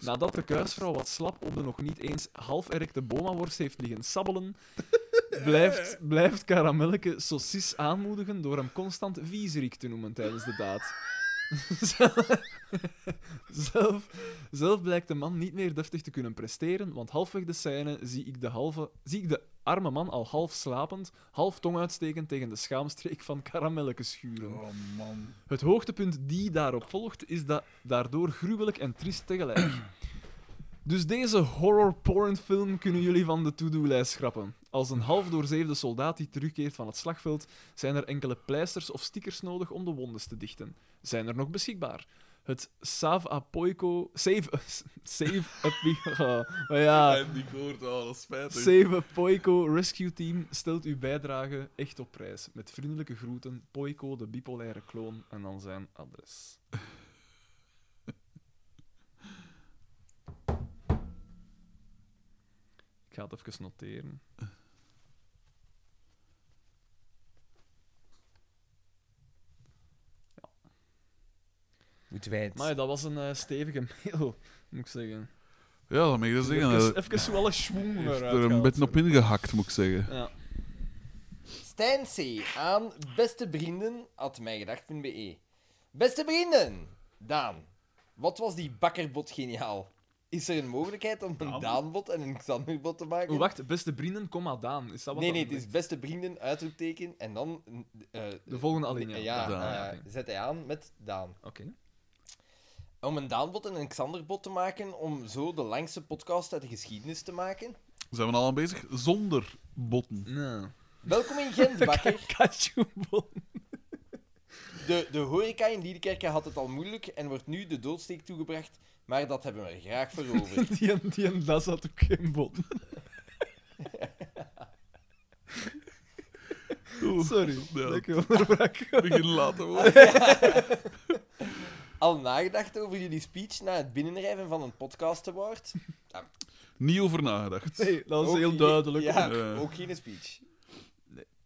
[SPEAKER 3] Nadat de kuisvrouw wat slap op de nog niet eens half erecte bomaworst heeft liggen sabbelen, blijft, blijft Karamelleke Saucis aanmoedigen door hem constant viezerik te noemen tijdens de daad. zelf, zelf blijkt de man niet meer deftig te kunnen presteren, want halfweg de scène zie ik de, halve, zie ik de arme man al half slapend, half tong uitstekend tegen de schaamstreek van Karamelleke schuren.
[SPEAKER 4] Oh man.
[SPEAKER 3] Het hoogtepunt die daarop volgt is da daardoor gruwelijk en triest tegelijk. Dus deze horror porn film kunnen jullie van de to-do-lijst schrappen. Als een half doorzeefde soldaat die terugkeert van het slagveld, zijn er enkele pleisters of stickers nodig om de wondes te dichten. Zijn er nog beschikbaar? Het Save Apoico... Save... Save... Api- Oh, Maar ja...
[SPEAKER 4] Ah. En die hoort al, dat is spijtig.
[SPEAKER 3] Save Poico Rescue Team stelt uw bijdrage echt op prijs. Met vriendelijke groeten, Poico, de bipolaire kloon, en dan zijn adres. Ik ga het even noteren.
[SPEAKER 2] doet wij het.
[SPEAKER 3] Maar dat was een eh, stevige mail, moet ik zeggen.
[SPEAKER 4] Ja, dat mag je zeggen.
[SPEAKER 3] Even,
[SPEAKER 4] Hij
[SPEAKER 3] even zo alle schwung
[SPEAKER 4] eh, heeft
[SPEAKER 3] eruit
[SPEAKER 4] er een
[SPEAKER 3] gehaald.
[SPEAKER 4] beetje op ingehakt, moet ik zeggen.
[SPEAKER 3] Ja.
[SPEAKER 1] Stijn C. aan beste vrienden at mijgedacht.be. Beste vrienden, Daan, wat was die bakkerbot geniaal? Is er een mogelijkheid om een
[SPEAKER 3] Daan?
[SPEAKER 1] Daanbot en een Xanderbot te maken?
[SPEAKER 3] Oh, wacht, beste vrienden, kom maar Daan. Is dat wat
[SPEAKER 1] nee,
[SPEAKER 3] dat
[SPEAKER 1] nee, het is beste vrienden, uitroepteken en dan. eh,
[SPEAKER 3] De volgende
[SPEAKER 1] ja,
[SPEAKER 3] alinea.
[SPEAKER 4] Daan.
[SPEAKER 1] eh,
[SPEAKER 3] Ah, oké.
[SPEAKER 1] zet hij aan met Daan.
[SPEAKER 3] Oké.
[SPEAKER 1] Om een Daanbot en een Xanderbot te maken, om zo de langste podcast uit de geschiedenis te maken.
[SPEAKER 4] Zijn we nou al aan bezig? Zonder botten.
[SPEAKER 3] Nou.
[SPEAKER 1] Welkom in Gent, bakker.
[SPEAKER 3] Kakaoboon.
[SPEAKER 1] De, de horeca in Liedekerken had het al moeilijk en wordt nu de doodsteek toegebracht, maar dat hebben we er graag voor over.
[SPEAKER 3] Die en die en dat zat ook geen bon. Sorry,
[SPEAKER 4] Ja.
[SPEAKER 3] ik onderbrak.
[SPEAKER 4] Begin later hoor.
[SPEAKER 1] Al nagedacht over jullie speech na het binnenrijven van een podcast award?
[SPEAKER 4] Niet over nagedacht.
[SPEAKER 3] Nee, dat was
[SPEAKER 1] Ook
[SPEAKER 3] heel
[SPEAKER 1] geen-
[SPEAKER 3] duidelijk.
[SPEAKER 1] Ja,
[SPEAKER 4] Eh.
[SPEAKER 1] ook geen speech.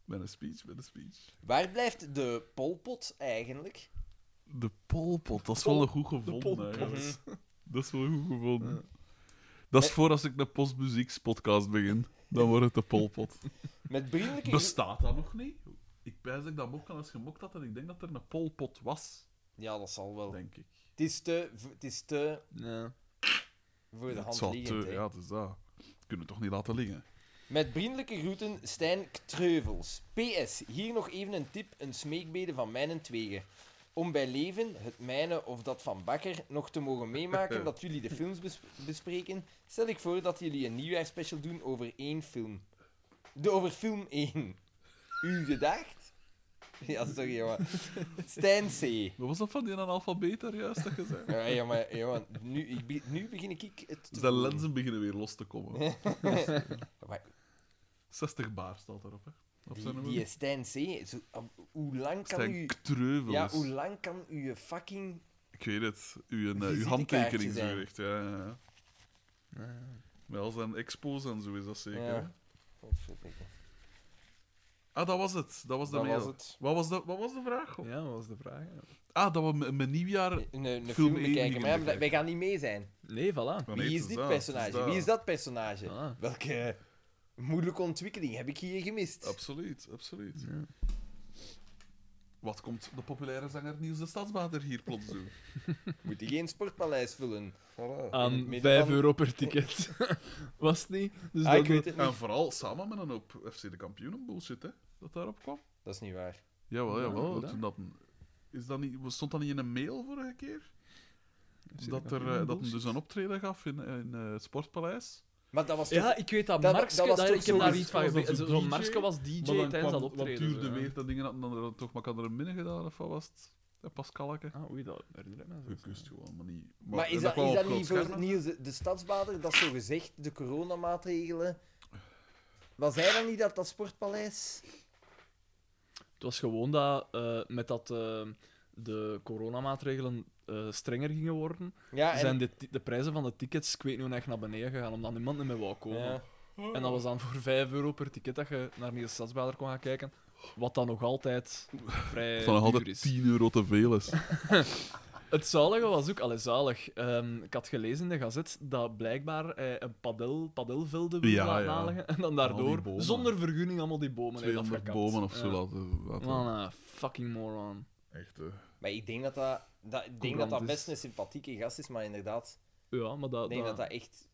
[SPEAKER 4] Met een speech, met een speech.
[SPEAKER 1] Waar blijft de polpot eigenlijk?
[SPEAKER 4] De polpot, dat is wel een goed
[SPEAKER 3] polpot.
[SPEAKER 4] gevonden. eigenlijk.
[SPEAKER 1] Mhm.
[SPEAKER 4] Dat is wel goed gevonden. Dat is voor als ik de postmuziekspodcast begin. Dan wordt het de polpot.
[SPEAKER 1] Met vriendelijke...
[SPEAKER 4] Bestaat dat nog niet? Ik wijs dat ik dat mok al eens gemokt had en ik denk dat er een polpot was,
[SPEAKER 1] Ja, dat zal wel.
[SPEAKER 4] denk ik.
[SPEAKER 1] Het is te, v- het is te
[SPEAKER 3] Nee.
[SPEAKER 1] voor de
[SPEAKER 4] Het
[SPEAKER 1] hand
[SPEAKER 4] zou
[SPEAKER 1] liggend.
[SPEAKER 4] te-
[SPEAKER 1] hè.
[SPEAKER 4] ja, het is dat. Kunnen we toch niet laten liggen?
[SPEAKER 1] Met vriendelijke groeten, Stijn Treuvels. PS, hier nog even een tip, een smeekbede van mijn en tweeën. Om bij leven, het mijne of dat van Bakker, nog te mogen meemaken dat jullie de films bes- bespreken, stel ik voor dat jullie een nieuwjaarspecial doen over één film. De over film 1. U gedacht? Ja, sorry, jongen. Stijn C.
[SPEAKER 4] Wat was dat van die analfabeet daar juist dat je zei?
[SPEAKER 1] Ja, ja, maar, ja, maar nu, ik be- nu begin ik het te
[SPEAKER 4] Zijn
[SPEAKER 1] voelen.
[SPEAKER 4] lenzen beginnen weer los te komen.
[SPEAKER 1] Maar
[SPEAKER 4] 60 baar staat erop, hè? Op zijn
[SPEAKER 1] Die,
[SPEAKER 4] nummer.
[SPEAKER 1] die Stijn C. Zo, ah, hoe lang kan u...
[SPEAKER 4] Stijn Treuvels.
[SPEAKER 1] Ja, hoe lang kan uw fucking.
[SPEAKER 4] Ik weet het. Uw, eh, uw
[SPEAKER 1] Visitekaartjes
[SPEAKER 4] handtekening
[SPEAKER 1] zijn.
[SPEAKER 4] zo echt, ja, ja, ja. Met al zijn expos en zo is dat zeker.
[SPEAKER 1] Ja.
[SPEAKER 4] hè? Ah, dat was het. Dat was de
[SPEAKER 1] Dat
[SPEAKER 4] mail.
[SPEAKER 1] was het.
[SPEAKER 4] Wat, was de, wat was de vraag?
[SPEAKER 3] Ja, dat was de vraag. ja.
[SPEAKER 4] Ah, dat we m- mijn nieuwjaar...
[SPEAKER 1] Een, een
[SPEAKER 4] Film
[SPEAKER 1] film
[SPEAKER 4] één
[SPEAKER 1] bekijken,
[SPEAKER 4] niet
[SPEAKER 1] maar ja,
[SPEAKER 4] bekijken.
[SPEAKER 1] wij gaan niet mee zijn.
[SPEAKER 3] Nee,
[SPEAKER 4] Van
[SPEAKER 3] voilà.
[SPEAKER 1] Wie
[SPEAKER 4] eten dus
[SPEAKER 1] is dit
[SPEAKER 4] dat,
[SPEAKER 1] personage? Wie is dat personage?
[SPEAKER 3] Ah.
[SPEAKER 1] Welke moeilijke ontwikkeling heb ik hier gemist?
[SPEAKER 4] Absoluut, absoluut. Wat komt de populaire zanger Niels de Stadsbader hier plots doen?
[SPEAKER 1] Moet ik geen sportpaleis vullen?
[SPEAKER 3] Ah,
[SPEAKER 4] Voilà.
[SPEAKER 1] In het
[SPEAKER 3] Aan
[SPEAKER 1] midden
[SPEAKER 3] 5
[SPEAKER 1] van-
[SPEAKER 3] euro per ticket. was het niet? Dus
[SPEAKER 1] ah, ik
[SPEAKER 3] dat
[SPEAKER 1] weet het
[SPEAKER 4] En
[SPEAKER 1] niet.
[SPEAKER 4] vooral samen met een hoop FC de kampioenen bullshit, hè? Dat daarop kwam.
[SPEAKER 1] Dat is niet waar.
[SPEAKER 4] Jawel,
[SPEAKER 3] Ja,
[SPEAKER 4] jawel.
[SPEAKER 3] hoe
[SPEAKER 4] toen
[SPEAKER 3] dan?
[SPEAKER 4] dat, is dat niet, stond dat niet in een mail vorige keer?
[SPEAKER 3] FC de
[SPEAKER 4] Dat, er, eh,
[SPEAKER 3] kampioenen
[SPEAKER 4] dat hem dus
[SPEAKER 3] bullshit.
[SPEAKER 4] een optreden gaf in, in eh, het Sportpaleis.
[SPEAKER 1] Maar dat was toch...
[SPEAKER 3] Ja, ik weet dat,
[SPEAKER 1] Dat-
[SPEAKER 3] Markske,
[SPEAKER 1] dat was
[SPEAKER 3] daar-
[SPEAKER 1] toch
[SPEAKER 3] ik heb daar
[SPEAKER 4] zoiets
[SPEAKER 3] iets van
[SPEAKER 4] als
[SPEAKER 3] gezien.
[SPEAKER 4] een
[SPEAKER 3] Zo'n
[SPEAKER 4] DJ?
[SPEAKER 3] Markske was DJ
[SPEAKER 4] Maar dan
[SPEAKER 3] tijdens
[SPEAKER 4] kwam-
[SPEAKER 3] dat optreden. dus,
[SPEAKER 4] Wat duurde
[SPEAKER 3] zo, ja.
[SPEAKER 4] weer dat dingen hadden dan er toch maar kan er een binnen gedaan of wat was het? Een Pascalke.
[SPEAKER 3] Ah, oei, dat herinner ik me. zo.
[SPEAKER 4] Gekust gewoon, maar niet.
[SPEAKER 1] maar,
[SPEAKER 4] en
[SPEAKER 1] is dat,
[SPEAKER 4] kwam
[SPEAKER 1] is
[SPEAKER 4] op
[SPEAKER 1] dat
[SPEAKER 4] groot
[SPEAKER 1] niet voor
[SPEAKER 4] scherm.
[SPEAKER 1] Niels de, de stadsbader? Dat zo gezegd, de coronamaatregelen. Was hij dan niet dat dat sportpaleis?
[SPEAKER 3] Het was gewoon dat eh, met dat eh, de coronamaatregelen eh, strenger gingen worden,
[SPEAKER 1] Ja, en...
[SPEAKER 3] zijn de, ti- de prijzen van de tickets, ik weet niet hoe echt naar beneden gegaan, omdat niemand meer wou komen.
[SPEAKER 1] Ja.
[SPEAKER 3] En dat was dan voor 5 euro per ticket dat je naar Nieuwe Stadsbader kon gaan kijken, wat dan nog altijd vrij
[SPEAKER 4] Het van nog
[SPEAKER 3] duur
[SPEAKER 4] altijd
[SPEAKER 3] is.
[SPEAKER 4] 10 euro te veel is.
[SPEAKER 3] Het zalige was ook, allee, zalig. Ehm, ik had gelezen in de gazet dat blijkbaar eh, een padel, padelvelden wilde
[SPEAKER 4] Ja,
[SPEAKER 3] laten
[SPEAKER 4] ja.
[SPEAKER 3] aanleggen en dan
[SPEAKER 4] Al die
[SPEAKER 3] daardoor,
[SPEAKER 4] bomen.
[SPEAKER 3] zonder vergunning, allemaal die bomen heeft
[SPEAKER 4] 200
[SPEAKER 3] afgekapt.
[SPEAKER 4] bomen of zo
[SPEAKER 3] Ja.
[SPEAKER 4] laten. laten-
[SPEAKER 3] Man, eh, fucking moron.
[SPEAKER 4] Echt, eh. hè.
[SPEAKER 1] Maar ik denk dat dat, dat, ik denk dat,
[SPEAKER 3] Courant
[SPEAKER 1] dat
[SPEAKER 3] is.
[SPEAKER 1] best een sympathieke gast is, maar inderdaad,
[SPEAKER 3] Ja, maar dat...
[SPEAKER 1] ik denk dat
[SPEAKER 3] dat-
[SPEAKER 1] dat echt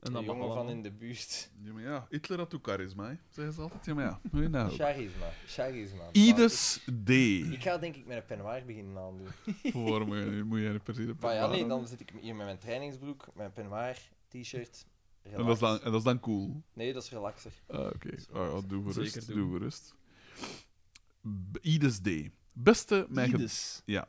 [SPEAKER 3] En
[SPEAKER 1] een
[SPEAKER 3] dat mag
[SPEAKER 1] jongen van
[SPEAKER 3] allemaal.
[SPEAKER 1] in de buurt.
[SPEAKER 4] Ja, maar ja. Hitler had ook charisma, hè. Zeggen ze altijd. Ja, maar ja. Hoe je nou ook.
[SPEAKER 1] Charisma, charisma.
[SPEAKER 4] Ides D.
[SPEAKER 1] Maar Ik ga denk ik met een peignoir beginnen aandoen.
[SPEAKER 4] Voor moet je, moet je per se de
[SPEAKER 1] Maar ja,
[SPEAKER 4] papa-
[SPEAKER 1] nee, dan zit ik hier met mijn trainingsbroek, mijn peignoir, t-shirt.
[SPEAKER 4] En dat, is dan,
[SPEAKER 1] relaxed.
[SPEAKER 4] en dat is dan cool.
[SPEAKER 1] Nee, dat is relaxer.
[SPEAKER 4] Ah, Oké, Ah, ja, doe
[SPEAKER 3] Zeker
[SPEAKER 4] gerust.
[SPEAKER 3] doen.
[SPEAKER 4] Doe gerust. B- Ides D. Beste mij ge-
[SPEAKER 3] Ides.
[SPEAKER 4] Ja,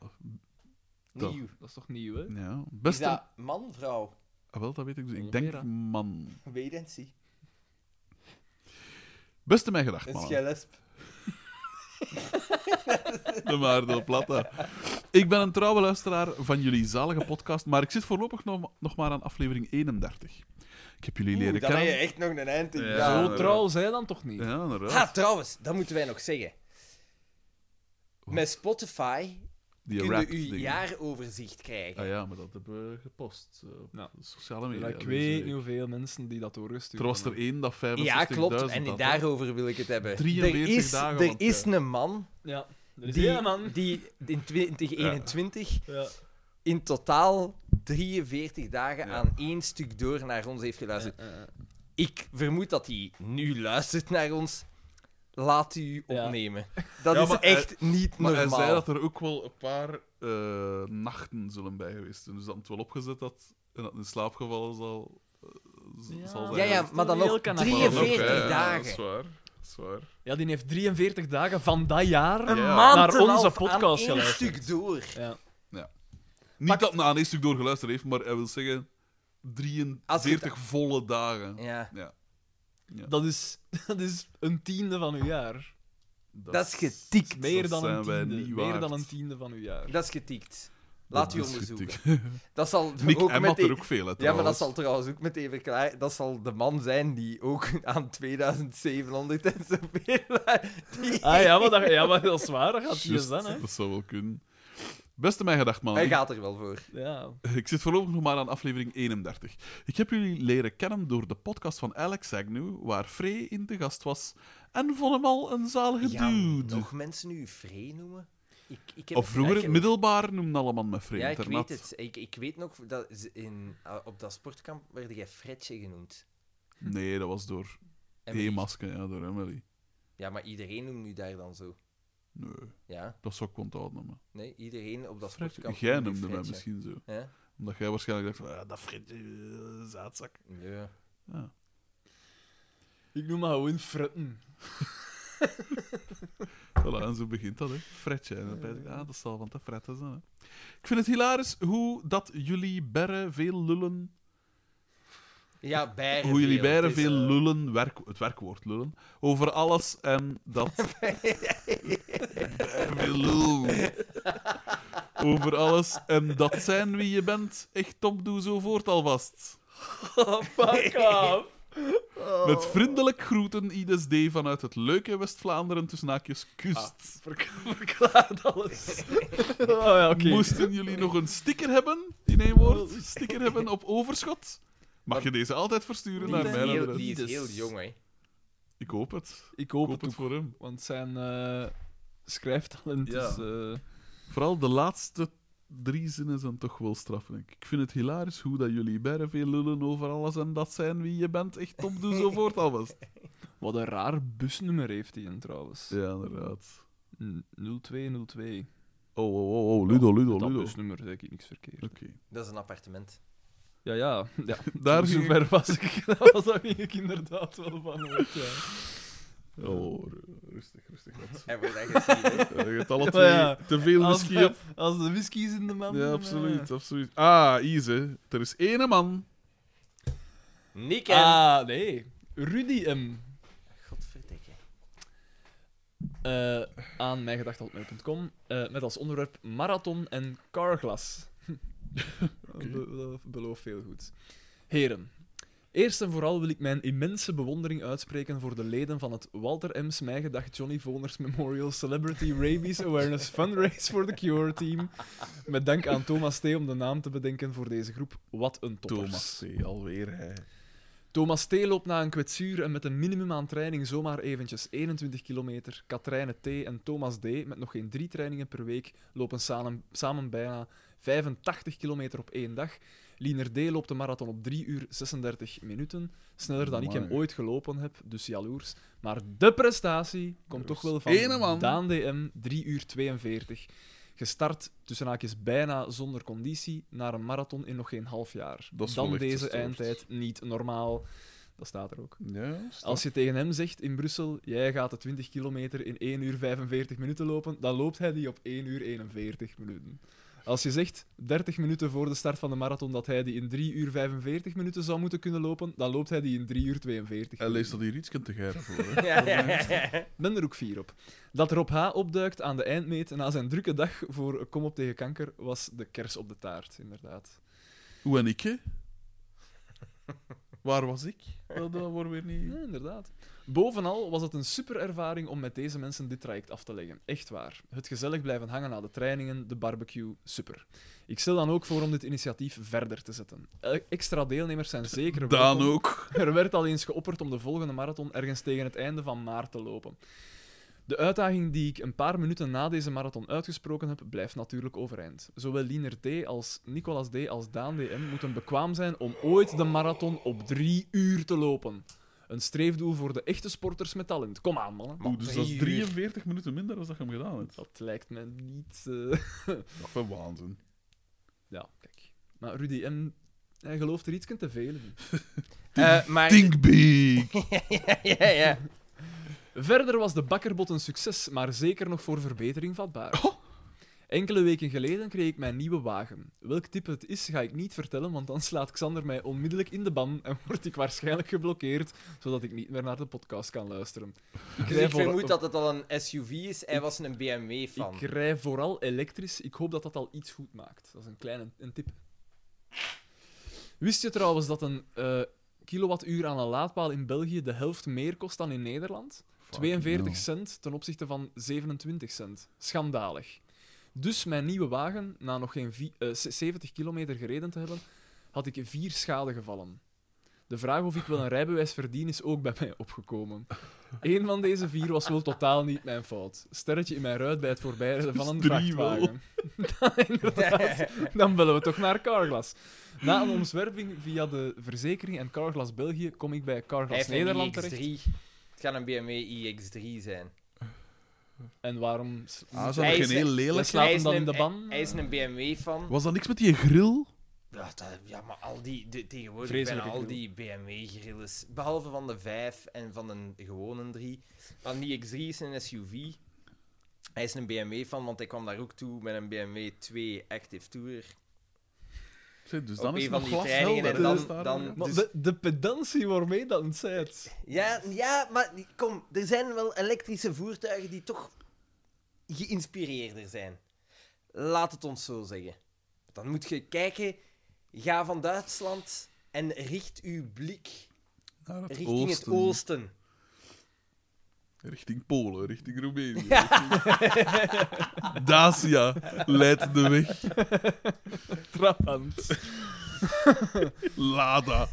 [SPEAKER 4] Toch.
[SPEAKER 1] Nieuw.
[SPEAKER 3] Dat is toch nieuw, hè?
[SPEAKER 4] ja.
[SPEAKER 1] Is
[SPEAKER 4] Beste...
[SPEAKER 1] dat man, vrouw?
[SPEAKER 4] Ah, wel, dat weet ik dus. Ik
[SPEAKER 3] Oliveira.
[SPEAKER 4] denk man.
[SPEAKER 1] Weet en zie.
[SPEAKER 4] Beste mijn gedacht,
[SPEAKER 1] Een
[SPEAKER 4] man.
[SPEAKER 1] schelesp.
[SPEAKER 4] De Maardo Plata. Ik ben een trouwe luisteraar van jullie zalige podcast, maar ik zit voorlopig nog, nog maar aan aflevering 31. Ik heb jullie leren
[SPEAKER 1] Oeh, Dan heb je
[SPEAKER 4] kennen.
[SPEAKER 1] echt nog een eind in.
[SPEAKER 4] Ja.
[SPEAKER 1] Ja.
[SPEAKER 3] Zo
[SPEAKER 4] inderdaad.
[SPEAKER 3] trouw zij dan toch niet?
[SPEAKER 4] Ja, inderdaad.
[SPEAKER 1] Ah, trouwens, dat moeten wij nog zeggen. Met Spotify
[SPEAKER 4] Die
[SPEAKER 1] Kunnen
[SPEAKER 4] rap
[SPEAKER 1] u
[SPEAKER 4] dingen.
[SPEAKER 1] jaaroverzicht krijgen?
[SPEAKER 4] Ah ja, maar dat hebben we gepost eh, op
[SPEAKER 3] Ja.
[SPEAKER 4] sociale media.
[SPEAKER 3] Ja, ik
[SPEAKER 4] dus,
[SPEAKER 3] weet
[SPEAKER 4] eh,
[SPEAKER 3] niet hoeveel mensen die dat doorgestuurd
[SPEAKER 4] Er was er
[SPEAKER 3] hebben.
[SPEAKER 4] één dat dus 65.000
[SPEAKER 1] Ja, klopt. En
[SPEAKER 4] had, hè.
[SPEAKER 1] daarover wil ik het hebben.
[SPEAKER 4] 43
[SPEAKER 1] er is,
[SPEAKER 4] dagen,
[SPEAKER 1] er
[SPEAKER 4] want,
[SPEAKER 1] is
[SPEAKER 4] eh,
[SPEAKER 1] een man
[SPEAKER 3] Ja, er is
[SPEAKER 1] die,
[SPEAKER 3] één man.
[SPEAKER 1] die in 2021
[SPEAKER 3] Ja.
[SPEAKER 1] in totaal 43 dagen
[SPEAKER 4] Ja.
[SPEAKER 1] aan één stuk door naar ons heeft geluisterd.
[SPEAKER 3] Eh, eh,
[SPEAKER 1] Ik vermoed dat hij nu luistert naar ons. Laat u
[SPEAKER 3] Ja.
[SPEAKER 1] opnemen. Dat
[SPEAKER 4] Ja,
[SPEAKER 1] is
[SPEAKER 4] maar hij-
[SPEAKER 1] echt niet
[SPEAKER 4] Maar
[SPEAKER 1] normaal.
[SPEAKER 4] hij zei dat er ook wel een paar eh, nachten zullen bij geweest zijn. Dus dat het wel opgezet had en dat het in slaap gevallen zal, eh, z-
[SPEAKER 3] Ja,
[SPEAKER 4] zal zijn.
[SPEAKER 1] ja, ja,
[SPEAKER 3] dat is
[SPEAKER 1] maar dan
[SPEAKER 3] een heel
[SPEAKER 1] nog
[SPEAKER 3] kanaal.
[SPEAKER 1] 43
[SPEAKER 4] Maar dan ook, hè,
[SPEAKER 1] dagen.
[SPEAKER 4] Dat is waar. Dat is waar.
[SPEAKER 3] Ja, die heeft 43 dagen van dat jaar.
[SPEAKER 4] Een Ja.
[SPEAKER 1] Maand
[SPEAKER 3] Naar
[SPEAKER 1] en
[SPEAKER 3] onze
[SPEAKER 1] half aan
[SPEAKER 3] podcast
[SPEAKER 1] één
[SPEAKER 3] geluisterd.
[SPEAKER 1] stuk door.
[SPEAKER 3] Ja.
[SPEAKER 4] Niet dat na een stuk doorgeluisterd heeft, maar hij wil zeggen 43 volle dagen.
[SPEAKER 1] Ja.
[SPEAKER 3] Dat, is, dat is een tiende van uw jaar.
[SPEAKER 1] Dat is getikt.
[SPEAKER 3] Meer
[SPEAKER 4] Dat
[SPEAKER 3] dan een
[SPEAKER 4] zijn wij
[SPEAKER 3] tiende.
[SPEAKER 4] niet
[SPEAKER 3] Meer
[SPEAKER 4] waard.
[SPEAKER 3] dan een tiende van uw jaar.
[SPEAKER 1] Dat is getikt. Laat u
[SPEAKER 4] Dat is
[SPEAKER 1] onderzoeken.
[SPEAKER 4] getikt.
[SPEAKER 1] Dat zal
[SPEAKER 4] Nick
[SPEAKER 1] ook
[SPEAKER 4] M had
[SPEAKER 1] meteen...
[SPEAKER 4] er ook veel uit.
[SPEAKER 1] Ja, maar dat zal trouwens ook meteen verklaren. Dat zal de man zijn die ook aan 2700 en zoveel. Die...
[SPEAKER 3] Ah ja, maar dat, ja, maar dat is waar. Dat gaat hier
[SPEAKER 4] Juist,
[SPEAKER 3] zijn, hè.
[SPEAKER 4] Dus Dat zou wel kunnen. Beste mijn gedacht, man.
[SPEAKER 1] Hij
[SPEAKER 4] Ik,
[SPEAKER 1] gaat er wel voor.
[SPEAKER 3] Ja.
[SPEAKER 4] ik zit voorlopig nog maar aan aflevering 31. Ik heb jullie leren kennen door de podcast van Alex Agnew, waar Frey in te gast was. En vond hem al een zalige dude.
[SPEAKER 1] nog mensen nu Free noemen? Ik, ik heb
[SPEAKER 4] Of vroeger,
[SPEAKER 1] ik-
[SPEAKER 4] middelbaar, noemde allemaal me Frey.
[SPEAKER 1] Ja, ik
[SPEAKER 4] internaat.
[SPEAKER 1] weet het. Ik, ik weet nog dat ze in, ah, op dat sportkamp werd jij Fredje genoemd.
[SPEAKER 4] Nee, dat was door
[SPEAKER 1] Hm. Emily.
[SPEAKER 4] E-masker, ja, door Emily.
[SPEAKER 1] Ja, maar iedereen noemt nu daar dan zo.
[SPEAKER 4] Nee,
[SPEAKER 1] Ja,
[SPEAKER 4] dat zou ik onthouden. Maar.
[SPEAKER 1] nee, iedereen op dat sportkamp.
[SPEAKER 4] Jij
[SPEAKER 1] noemt
[SPEAKER 4] noemde
[SPEAKER 1] u
[SPEAKER 4] mij
[SPEAKER 1] Fredje.
[SPEAKER 4] misschien zo.
[SPEAKER 1] Ja?
[SPEAKER 4] Omdat jij waarschijnlijk dacht van, ah, dat Fred, eh, zaadzak.
[SPEAKER 1] Ja.
[SPEAKER 4] Ja.
[SPEAKER 3] Ik noem maar gewoon fretten.
[SPEAKER 4] Voilà, en zo begint dat, hè. Fretje. En dan ben ik, ah, dat zal van te fretten zijn, hè. Ik vind het hilarisch hoe dat jullie berren veel lullen...
[SPEAKER 1] Ja, bijren
[SPEAKER 4] hoe jullie
[SPEAKER 1] veel.
[SPEAKER 4] berren
[SPEAKER 1] Het is,
[SPEAKER 4] veel
[SPEAKER 1] eh,
[SPEAKER 4] lullen, werk, het werkwoord lullen, over alles en dat... Berren veel lullen. Over alles en dat zijn wie je bent. Echt top, doe zo voort alvast.
[SPEAKER 3] Oh, fuck off.
[SPEAKER 1] Oh.
[SPEAKER 4] Met vriendelijk groeten, IDSD, vanuit het leuke West-Vlaanderen tussen haakjes kust.
[SPEAKER 3] Verk- verklaart alles. Oh ja,
[SPEAKER 1] Ah,
[SPEAKER 3] oké.
[SPEAKER 4] Moesten jullie nog een sticker hebben, in één
[SPEAKER 1] Oh.
[SPEAKER 4] woord, sticker hebben op overschot? Mag je deze altijd versturen
[SPEAKER 1] Die
[SPEAKER 4] naar
[SPEAKER 1] is
[SPEAKER 4] mijn
[SPEAKER 1] heel-
[SPEAKER 4] adres?
[SPEAKER 1] Die is heel
[SPEAKER 3] Dus-
[SPEAKER 1] jong, hè.
[SPEAKER 4] Ik hoop het.
[SPEAKER 3] Ik
[SPEAKER 4] Ik
[SPEAKER 3] hoop
[SPEAKER 4] hoop
[SPEAKER 3] het
[SPEAKER 4] het
[SPEAKER 3] ook.
[SPEAKER 4] voor hem.
[SPEAKER 3] Want zijn eh schrijftalent
[SPEAKER 4] Ja.
[SPEAKER 3] is... eh,
[SPEAKER 4] Vooral de laatste drie zinnen zijn toch wel straffelijk. Ik vind het hilarisch hoe dat jullie bijna veel lullen over alles en dat zijn wie je bent. Echt top, doe zo voort alvast.
[SPEAKER 3] wat een raar busnummer heeft hij trouwens.
[SPEAKER 4] Ja, inderdaad.
[SPEAKER 3] N- 0202.
[SPEAKER 4] Oh, oh, oh, oh, Ludo, Ludo,
[SPEAKER 3] Dat
[SPEAKER 4] Ludo. Oké.
[SPEAKER 3] busnummer zeg ik niks verkeerd.
[SPEAKER 1] Dat is een appartement.
[SPEAKER 3] Ja, ja. ja.
[SPEAKER 4] Daar
[SPEAKER 3] Daar
[SPEAKER 4] ging
[SPEAKER 3] zover was ik. Daar was dat ik inderdaad wel van. hoort, Ja.
[SPEAKER 4] Oh, ru- rustig, rustig. wat.
[SPEAKER 1] En wordt dat gezien, hè.
[SPEAKER 4] Eh, Je hebt alle
[SPEAKER 3] Maar
[SPEAKER 4] twee
[SPEAKER 3] ja,
[SPEAKER 4] te veel
[SPEAKER 3] Als,
[SPEAKER 4] whisky op.
[SPEAKER 3] als de whisky is in de man.
[SPEAKER 4] Ja,
[SPEAKER 3] eh,
[SPEAKER 4] absoluut, absoluut. Ah, Ise, er is ene man.
[SPEAKER 1] Nick en...
[SPEAKER 3] Ah, nee. Rudy M.
[SPEAKER 1] Godverdikke.
[SPEAKER 3] eh aan mijngedacht.com eh met als onderwerp marathon en carglass. Be- dat belooft veel goed. Heren, eerst en vooral wil ik mijn immense bewondering uitspreken voor de leden van het Walter M's Mijngedacht Johnny Voners Memorial Celebrity Rabies Awareness Fundraise for the Cure Team. Met dank aan Thomas T. om de naam te bedenken voor deze groep. Wat een toppers.
[SPEAKER 4] Thomas C. Alweer hij.
[SPEAKER 3] Thomas T. loopt na een kwetsuur en met een minimum aan training zomaar eventjes 21 kilometer. Katrijne T. en Thomas D. met nog geen drie trainingen per week lopen samen, samen bijna 85 kilometer op één dag. Liener D. loopt de marathon op 3 uur 36 minuten. Sneller dan ik hem
[SPEAKER 4] Amai.
[SPEAKER 3] ooit gelopen heb, dus jaloers. Maar de prestatie komt
[SPEAKER 4] Dus
[SPEAKER 3] toch wel van
[SPEAKER 4] ene man.
[SPEAKER 3] Daan DM, 3 uur 42. Gestart, tussen haakjes bijna zonder conditie, naar een marathon in nog geen half jaar.
[SPEAKER 4] Dat is wel
[SPEAKER 3] dan
[SPEAKER 4] echt
[SPEAKER 3] deze
[SPEAKER 4] gestoord.
[SPEAKER 3] eindtijd niet normaal. Dat staat er ook.
[SPEAKER 4] Ja,
[SPEAKER 3] Als je tegen hem zegt in Brussel, jij gaat de 20 kilometer in 1 uur 45 minuten lopen, dan loopt hij die op 1 uur 41 minuten. Als je zegt 30 minuten voor de start van de marathon dat hij die in 3 uur 45 minuten zou moeten kunnen lopen, dan loopt hij die in 3 uur 42
[SPEAKER 4] Hij leest
[SPEAKER 3] minuten.
[SPEAKER 4] dat hier iets te geren voor. Hè?
[SPEAKER 1] Ja, ja, ja.
[SPEAKER 3] Ik ben er ook fier op. Dat Rob H. opduikt aan de eindmeet na zijn drukke dag voor Kom op tegen kanker was de kers op de taart, inderdaad.
[SPEAKER 4] Hoe en ik, hè? Waar was ik? Dat, dat wordt weer niet.
[SPEAKER 3] Ja, inderdaad. Bovenal was het een super ervaring om met deze mensen dit traject af te leggen. Echt waar. Het gezellig blijven hangen na de trainingen, de barbecue, super. Ik stel dan ook voor om dit initiatief verder te zetten. El- Extra deelnemers zijn zeker welkom.
[SPEAKER 4] Daan ook.
[SPEAKER 3] Er werd al eens geopperd om de volgende marathon ergens tegen het einde van maart te lopen. De uitdaging die ik een paar minuten na deze marathon uitgesproken heb, blijft natuurlijk overeind. Zowel Liener D als Nicolas D als Daan DM moeten bekwaam zijn om ooit de marathon op drie uur te lopen. Een streefdoel voor de echte sporters met talent. Kom aan, mannen.
[SPEAKER 4] Oeh, dus dat is
[SPEAKER 1] Drie uur.
[SPEAKER 4] 43 minuten minder dan dat je hem gedaan hebt.
[SPEAKER 3] Dat lijkt me niet... eh,
[SPEAKER 4] Dat is waanzin.
[SPEAKER 3] Ja, kijk. Maar Rudy M... Hij gelooft er iets te veel in.
[SPEAKER 1] Eh, maar...
[SPEAKER 4] Think big!
[SPEAKER 1] ja, ja, ja.
[SPEAKER 3] Verder was de bakkerbot een succes, maar zeker nog voor verbetering vatbaar. Enkele weken geleden kreeg ik mijn nieuwe wagen. Welk type het is, ga ik niet vertellen, want dan slaat Xander mij onmiddellijk in de ban en word ik waarschijnlijk geblokkeerd, zodat ik niet meer naar de podcast kan luisteren. Ik
[SPEAKER 1] Dus
[SPEAKER 3] rij
[SPEAKER 1] ik
[SPEAKER 3] voor-
[SPEAKER 1] vermoed dat het al een SUV is. Hij was een BMW fan.
[SPEAKER 3] ik rij vooral elektrisch. Ik hoop dat dat al iets goed maakt. Dat is een kleine een tip. Wist je trouwens dat een eh, kilowattuur aan een laadpaal in België de helft meer kost dan in Nederland? 42 cent ten opzichte van 27 cent. Schandalig. Dus mijn nieuwe wagen, na nog geen vi- eh, ze- 70 kilometer gereden te hebben, had ik vier schadegevallen. De vraag of ik wel een rijbewijs verdien is ook bij mij opgekomen. Eén van deze vier was wel totaal niet mijn fout. Sterretje in mijn ruit bij het voorbijrijden van een
[SPEAKER 4] Dus drie wel.
[SPEAKER 3] vrachtwagen. Dan inderdaad. Dan bellen we toch naar Carglass. Na een omzwerving via de verzekering en Carglass België kom ik bij
[SPEAKER 1] Hij
[SPEAKER 3] Carglass
[SPEAKER 1] heeft
[SPEAKER 3] Nederland
[SPEAKER 1] een
[SPEAKER 3] terecht.
[SPEAKER 1] iX3. Het gaat een BMW iX3 zijn.
[SPEAKER 3] En waarom... s-
[SPEAKER 4] Ah,
[SPEAKER 1] Hij
[SPEAKER 4] zou dat
[SPEAKER 1] is-
[SPEAKER 4] geen heel
[SPEAKER 3] Hij
[SPEAKER 4] lelijk
[SPEAKER 3] slaat
[SPEAKER 1] Hij
[SPEAKER 3] hem
[SPEAKER 1] is
[SPEAKER 3] dan
[SPEAKER 1] een-
[SPEAKER 3] in de ban?
[SPEAKER 1] Hij is een BMW fan.
[SPEAKER 4] Was dat niks met die grill?
[SPEAKER 1] Ja, dat- ja, maar al die, de- tegenwoordig
[SPEAKER 3] Vreselijke
[SPEAKER 1] bijna al
[SPEAKER 3] grill.
[SPEAKER 1] die BMW-grilles, behalve van de 5 en van een gewone 3. Maar die X3 is een SUV. Hij is een BMW van, want hij kwam daar ook toe met een BMW 2 Active Tour.
[SPEAKER 4] Zeg, dus
[SPEAKER 1] Op
[SPEAKER 4] dan
[SPEAKER 1] een
[SPEAKER 4] is het
[SPEAKER 1] van
[SPEAKER 4] nog
[SPEAKER 1] die trainingen en dan-
[SPEAKER 4] glashelder, hè? Daar,
[SPEAKER 1] dan-
[SPEAKER 4] ja.
[SPEAKER 3] Maar
[SPEAKER 1] Dus-
[SPEAKER 3] de, de pedantie waarmee dat het zet.
[SPEAKER 1] Ja, ja, maar die- kom, er zijn wel elektrische voertuigen die toch geïnspireerder zijn. Laat het ons zo zeggen. Dan moet je kijken, ga van Duitsland en richt uw blik
[SPEAKER 4] Naar het
[SPEAKER 1] richting
[SPEAKER 4] oosten.
[SPEAKER 1] het oosten.
[SPEAKER 4] Richting Polen, richting Roemenië. richting- Dacia leidt de weg.
[SPEAKER 3] Trapant.
[SPEAKER 4] Lada.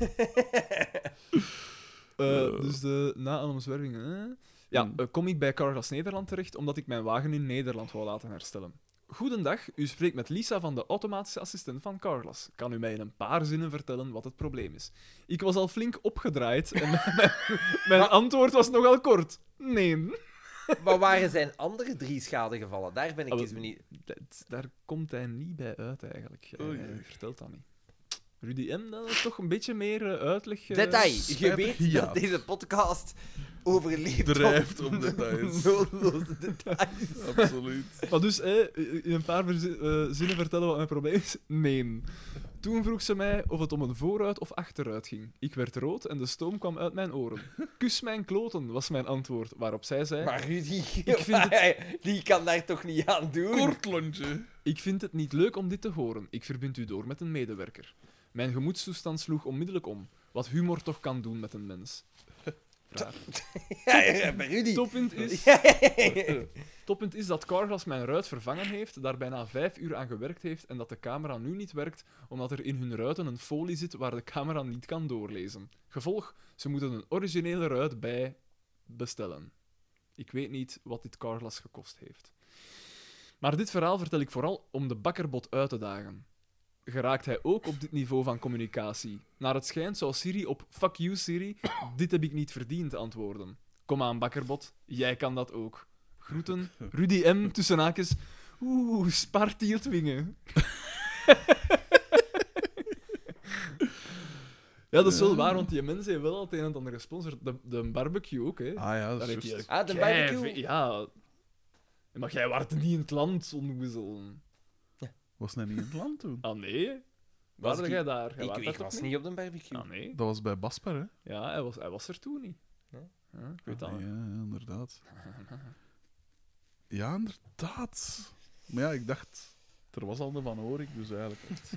[SPEAKER 3] Eh, dus de, na een omzwerving. hè? Ja,
[SPEAKER 4] Hmm.
[SPEAKER 3] eh, kom ik bij Cargas Nederland terecht omdat ik mijn wagen in Nederland wou laten herstellen. Goedendag, u spreekt met Lisa van de automatische assistent van Carglass. Kan u mij in een paar zinnen vertellen wat het probleem is? Ik was al flink opgedraaid en mijn, mijn antwoord was nogal kort. Nee,
[SPEAKER 1] Maar waren zijn andere drie schadegevallen? Daar ben ik
[SPEAKER 3] Ah,
[SPEAKER 1] eens
[SPEAKER 3] wel-
[SPEAKER 1] benieuwd.
[SPEAKER 3] Dat- daar komt hij niet bij uit eigenlijk. Hij,
[SPEAKER 4] Oei.
[SPEAKER 3] hij vertelt dat niet. Rudy M, dat is toch een beetje meer eh, uitleg. eh,
[SPEAKER 1] Detail. Je
[SPEAKER 4] spijtig
[SPEAKER 1] weet
[SPEAKER 4] ja.
[SPEAKER 1] dat deze podcast overleeft
[SPEAKER 4] Drijft
[SPEAKER 1] op
[SPEAKER 4] om details.
[SPEAKER 1] noodloze details.
[SPEAKER 4] Absoluut.
[SPEAKER 3] Maar dus, hè, in een paar verzi- eh, zinnen vertellen wat mijn probleem is? Nee. Toen vroeg ze mij of het om een vooruit of achteruit ging. Ik werd rood en de stoom kwam uit mijn oren. Kus mijn kloten, was mijn antwoord. Waarop zij zei...
[SPEAKER 1] Maar Rudy,
[SPEAKER 3] vind
[SPEAKER 1] die kan daar toch niet aan doen?
[SPEAKER 4] Kort lontje.
[SPEAKER 3] Ik vind het niet leuk om dit te horen. Ik verbind u door met een medewerker. Mijn gemoedstoestand sloeg onmiddellijk om. Wat humor toch kan doen met een mens. Raar.
[SPEAKER 1] Ja, ja, maar Rudy.
[SPEAKER 3] Toppunt is...
[SPEAKER 1] Ja, ja, ja.
[SPEAKER 3] Toppunt is dat Carglass mijn ruit vervangen heeft, daar bijna vijf uur aan gewerkt heeft en dat de camera nu niet werkt omdat er in hun ruiten een folie zit waar de camera niet kan doorlezen. Gevolg, ze moeten een originele ruit bij bestellen. Ik weet niet wat dit Carglass gekost heeft. Maar dit verhaal vertel ik vooral om de bakkerbot uit te dagen. Geraakt hij ook op dit niveau van communicatie? Naar het schijnt zou Siri op fuck you Siri, dit heb ik niet verdiend antwoorden. Kom aan bakkerbot, jij kan dat ook. Groeten, Rudy M. tussen haakjes. Oeh, Spartieltwingen. ja, dat is wel waar, want die mensen hebben wel al het een en het ander gesponsord. De, de barbecue ook, hè.
[SPEAKER 4] Ah ja, dat
[SPEAKER 3] Daar
[SPEAKER 4] is
[SPEAKER 3] heeft
[SPEAKER 4] juist.
[SPEAKER 3] hij
[SPEAKER 1] Ah, de
[SPEAKER 3] Kei-
[SPEAKER 1] barbecue.
[SPEAKER 3] Ja. Maar jij waart niet in het land, ongezel.
[SPEAKER 4] Was hij niet in het land toen?
[SPEAKER 3] Ah, nee?
[SPEAKER 1] Was
[SPEAKER 3] Waar
[SPEAKER 1] ik-
[SPEAKER 3] jij daar? Jij
[SPEAKER 1] Ik
[SPEAKER 3] waart
[SPEAKER 1] weet,
[SPEAKER 3] daar toch
[SPEAKER 1] was niet op de barbecue.
[SPEAKER 3] Ah, nee.
[SPEAKER 4] Dat was bij Basper, hè?
[SPEAKER 3] Ja, hij was, hij was er toen niet.
[SPEAKER 1] Nee.
[SPEAKER 3] Ja, ik weet
[SPEAKER 4] Ah,
[SPEAKER 3] dat
[SPEAKER 4] nee,
[SPEAKER 3] niet.
[SPEAKER 4] ja, ja, inderdaad. Ja, inderdaad. Maar ja, ik dacht... Er was al de Van Horik, dus eigenlijk... echt-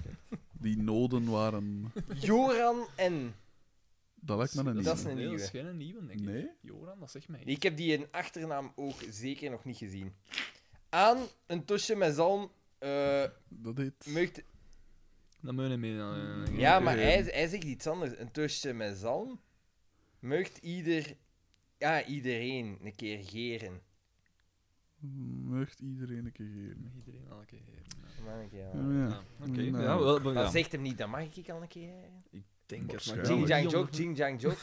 [SPEAKER 4] Die noden waren...
[SPEAKER 1] Joran en
[SPEAKER 4] Dat lijkt me een
[SPEAKER 1] Dat is een
[SPEAKER 4] nieuwe.
[SPEAKER 3] Nee,
[SPEAKER 1] nieuwe.
[SPEAKER 3] Dat is geen nieuwe, denk ik.
[SPEAKER 4] Nee?
[SPEAKER 3] Joran, dat zegt mij.
[SPEAKER 1] Ik heb die in achternaam ook zeker nog niet gezien. Aan een tosje met zalm. eh
[SPEAKER 4] Dat heet...
[SPEAKER 1] meugt...
[SPEAKER 3] Dat moet je niet mee. dan, eh,
[SPEAKER 1] Ja,
[SPEAKER 3] eh,
[SPEAKER 1] maar hij, hij zegt iets anders. Een tosje met zalm meugt ieder... Ja, iedereen een keer geren.
[SPEAKER 4] Meugt iedereen een keer geven.
[SPEAKER 3] Mag Iedereen al een keer. heren?
[SPEAKER 1] Maar een keer,
[SPEAKER 4] Ja,
[SPEAKER 1] ja.
[SPEAKER 3] Ja,
[SPEAKER 4] ja.
[SPEAKER 3] oké.
[SPEAKER 4] Nee.
[SPEAKER 3] Ja, wel, wel,
[SPEAKER 1] Maar
[SPEAKER 3] Mm, ja.
[SPEAKER 1] zegt hem niet, dan mag ik al een keer heren.
[SPEAKER 3] Ik denk het, maar
[SPEAKER 4] Waarschijnlijk.
[SPEAKER 3] ik zal
[SPEAKER 1] Jing
[SPEAKER 3] het
[SPEAKER 1] Jang
[SPEAKER 3] niet
[SPEAKER 1] Jok,
[SPEAKER 3] onder-
[SPEAKER 1] Jing Jang Jok.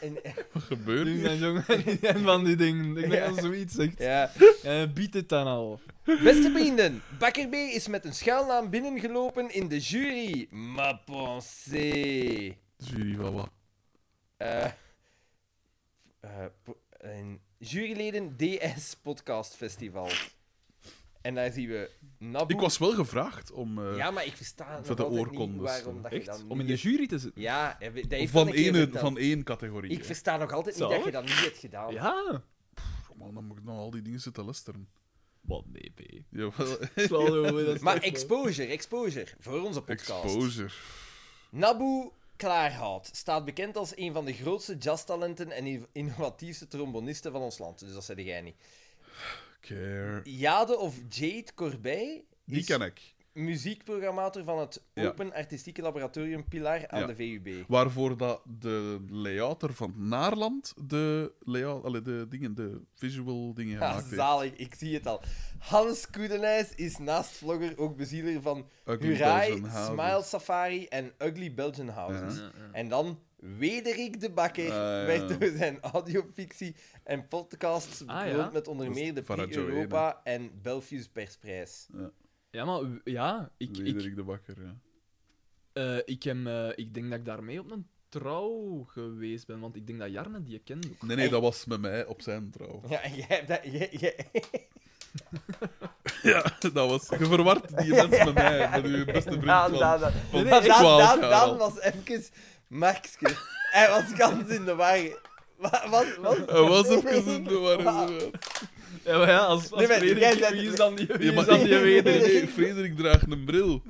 [SPEAKER 1] En-
[SPEAKER 4] Wat gebeurt
[SPEAKER 3] Jing
[SPEAKER 1] eh,
[SPEAKER 4] hier?
[SPEAKER 3] Jang Jong en van die dingen. Ik denk dat ze zoiets zegt.
[SPEAKER 1] ja.
[SPEAKER 3] Eh, Bied het dan al.
[SPEAKER 1] Beste vrienden, Bakker B is met een schuilnaam binnengelopen in de jury. Ma pensée.
[SPEAKER 4] Jury van wat?
[SPEAKER 1] Eh, eh, po- en juryleden DS Podcast Festival. En daar zien we Nabu.
[SPEAKER 4] Ik was wel gevraagd om... eh,
[SPEAKER 1] ja, maar ik versta nog
[SPEAKER 4] voor de
[SPEAKER 1] altijd niet
[SPEAKER 4] oorkondes.
[SPEAKER 1] waarom dat je
[SPEAKER 3] Echt?
[SPEAKER 1] dan
[SPEAKER 3] Om in de jury te zitten.
[SPEAKER 1] Ja, hij- dat heeft
[SPEAKER 4] van,
[SPEAKER 1] wel een keer
[SPEAKER 4] één,
[SPEAKER 1] verteld.
[SPEAKER 4] van één categorie.
[SPEAKER 1] Ik
[SPEAKER 4] hè.
[SPEAKER 1] versta nog altijd niet
[SPEAKER 3] Zalig.
[SPEAKER 1] dat je dat niet hebt gedaan.
[SPEAKER 3] Ja.
[SPEAKER 4] Pff, man, dan moet ik nog al die dingen zitten luisteren.
[SPEAKER 3] Wat nee, B.
[SPEAKER 4] Jawel.
[SPEAKER 1] Maar exposure, exposure. Voor onze podcast.
[SPEAKER 4] Exposure.
[SPEAKER 1] Nabu Klaarhout staat bekend als een van de grootste jazztalenten en in- innovatiefste trombonisten van ons land. Dus dat zei jij niet.
[SPEAKER 4] Care.
[SPEAKER 1] Jade of Jade Corbey
[SPEAKER 4] Die
[SPEAKER 1] is
[SPEAKER 4] ken ik.
[SPEAKER 1] muziekprogrammator van het
[SPEAKER 4] Ja.
[SPEAKER 1] Open Artistieke Laboratorium Pilar aan
[SPEAKER 4] Ja.
[SPEAKER 1] de VUB.
[SPEAKER 4] Waarvoor dat de layouter van Naarland de, layout, allee, de, dingen, de visual dingen
[SPEAKER 1] Ja,
[SPEAKER 4] gemaakt heeft.
[SPEAKER 1] zalig, ik zie het al. Hans Koedenijs is naast vlogger ook bezieler van
[SPEAKER 4] Ugly
[SPEAKER 1] Hurai,
[SPEAKER 4] Belgian houses.
[SPEAKER 1] Smile Safari en Ugly Belgian Houses. En dan Wederik de Bakker
[SPEAKER 4] Ah, ja.
[SPEAKER 1] werd door zijn audiofictie en podcasts
[SPEAKER 3] Ah,
[SPEAKER 1] bekroond
[SPEAKER 3] ja?
[SPEAKER 1] met onder
[SPEAKER 4] Dat is
[SPEAKER 1] meer de
[SPEAKER 4] Farah
[SPEAKER 1] Prix
[SPEAKER 4] Joy, hè?
[SPEAKER 1] Europa en Belfius Persprijs.
[SPEAKER 3] Ja, maar w- ja, ik, ik,
[SPEAKER 4] Wederik de Bakker, ja.
[SPEAKER 3] eh, ik, hem, eh, ik denk dat ik daarmee op een trouw geweest ben, want ik denk dat Jarne die je kent ook.
[SPEAKER 4] Nee, nee, dat was met mij op zijn trouw.
[SPEAKER 1] Ja, en jij hebt dat... Jij, jij-
[SPEAKER 4] Ja, dat was... Je verwart die mensen met mij, met uw beste vriend.
[SPEAKER 1] Daan,
[SPEAKER 4] van-
[SPEAKER 1] Daan, Daan.
[SPEAKER 4] van
[SPEAKER 1] Maar Daan,
[SPEAKER 4] 12
[SPEAKER 1] Daan-
[SPEAKER 4] jaar
[SPEAKER 1] Daan
[SPEAKER 4] al.
[SPEAKER 1] was even... Maxke. Hij was kans in de war. Wa- Wat? Wat?
[SPEAKER 4] Hij was even in de war,
[SPEAKER 1] Wa-
[SPEAKER 4] inderdaad.
[SPEAKER 3] Ja, maar ja, als, als
[SPEAKER 1] Nee, maar
[SPEAKER 3] Frederik-
[SPEAKER 1] jij bent-
[SPEAKER 3] wie is dan die, wie
[SPEAKER 4] Ja,
[SPEAKER 3] is
[SPEAKER 4] maar
[SPEAKER 3] dan
[SPEAKER 4] ik-
[SPEAKER 3] die
[SPEAKER 4] nee,
[SPEAKER 3] Wederik?
[SPEAKER 4] nee, Frederik draagt een bril.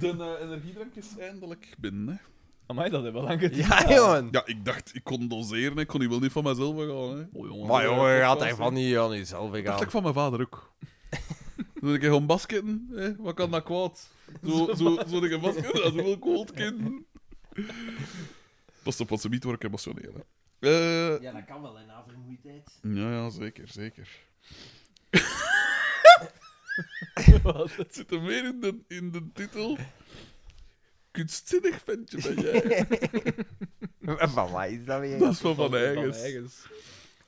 [SPEAKER 4] De eh, energiedrank is eindelijk binnen, hè.
[SPEAKER 3] Amai, dat hebben we lang gedaan.
[SPEAKER 1] Ja, jongen.
[SPEAKER 4] Ja, ik dacht, ik kon doseren, ik kon hier wel niet van mezelf gaan, hè.
[SPEAKER 3] Oh, jongen.
[SPEAKER 1] Maar jongen, je gaat
[SPEAKER 4] podcast,
[SPEAKER 1] daarvan niet aan jezelf
[SPEAKER 4] Ik dacht
[SPEAKER 1] gaan.
[SPEAKER 4] ik van mijn vader ook. Zo ik gewoon basketten, hè? wat kan dat kwaad? Zo, zo, zo een basketten, dat is wel koud, kind. Pas op, want ze niet word ik emotioneel. Hè. Eh,
[SPEAKER 1] Ja, dat kan wel, in na vermoeidheid.
[SPEAKER 4] ja, ja, zeker, zeker. Het zit er meer in de, in de titel. Kunstzinnig ventje ben jij.
[SPEAKER 1] Van wat is dat weer?
[SPEAKER 4] Dat is van Van Eigens.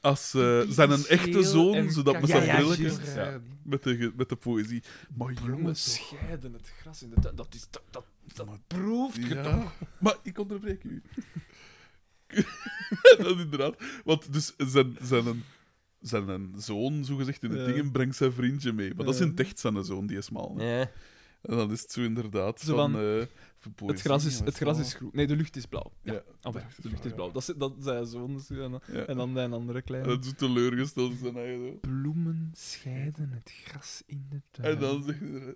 [SPEAKER 4] Als eh, zijn een echte zoon, zodat met
[SPEAKER 1] Ja,
[SPEAKER 4] zijn
[SPEAKER 1] ja,
[SPEAKER 4] brilletjes,
[SPEAKER 1] juist,
[SPEAKER 4] ja, met, de, ge- met de poëzie. Maar
[SPEAKER 3] Jongens,
[SPEAKER 4] jongens,
[SPEAKER 3] scheiden het gras in de tuin. Dat is... Dat, dat,
[SPEAKER 4] Maar-
[SPEAKER 3] dat proeft je
[SPEAKER 4] Ja.
[SPEAKER 3] toch?
[SPEAKER 4] Maar ik onderbreek u. dat is inderdaad. Want dus zijn, zijn, een, zijn een zoon, zogezegd in de
[SPEAKER 3] Ja.
[SPEAKER 4] dingen, brengt zijn vriendje mee. Maar dat is
[SPEAKER 3] Ja.
[SPEAKER 4] in het echt zijn zoon, die is mal. hè.
[SPEAKER 1] Ja.
[SPEAKER 4] En dan is het zo inderdaad
[SPEAKER 3] Zo
[SPEAKER 4] van...
[SPEAKER 3] van,
[SPEAKER 4] eh,
[SPEAKER 3] Het
[SPEAKER 4] poëzie,
[SPEAKER 3] gras is,
[SPEAKER 4] wat
[SPEAKER 3] het gras
[SPEAKER 4] dat?
[SPEAKER 3] is groen. Nee, de lucht is blauw. Ja.
[SPEAKER 4] Ja,
[SPEAKER 3] Oh,
[SPEAKER 4] de
[SPEAKER 3] ja,
[SPEAKER 4] lucht is
[SPEAKER 3] de lucht is
[SPEAKER 4] blauw,
[SPEAKER 3] blauw. Dat, is- dat zijn zo'n En
[SPEAKER 4] Ja. En
[SPEAKER 3] dan een andere kleine.
[SPEAKER 4] dan zo teleurgesteld is zijn eigen zo.
[SPEAKER 3] Bloemen scheiden het gras in de tuin.
[SPEAKER 4] En dan zegt hij...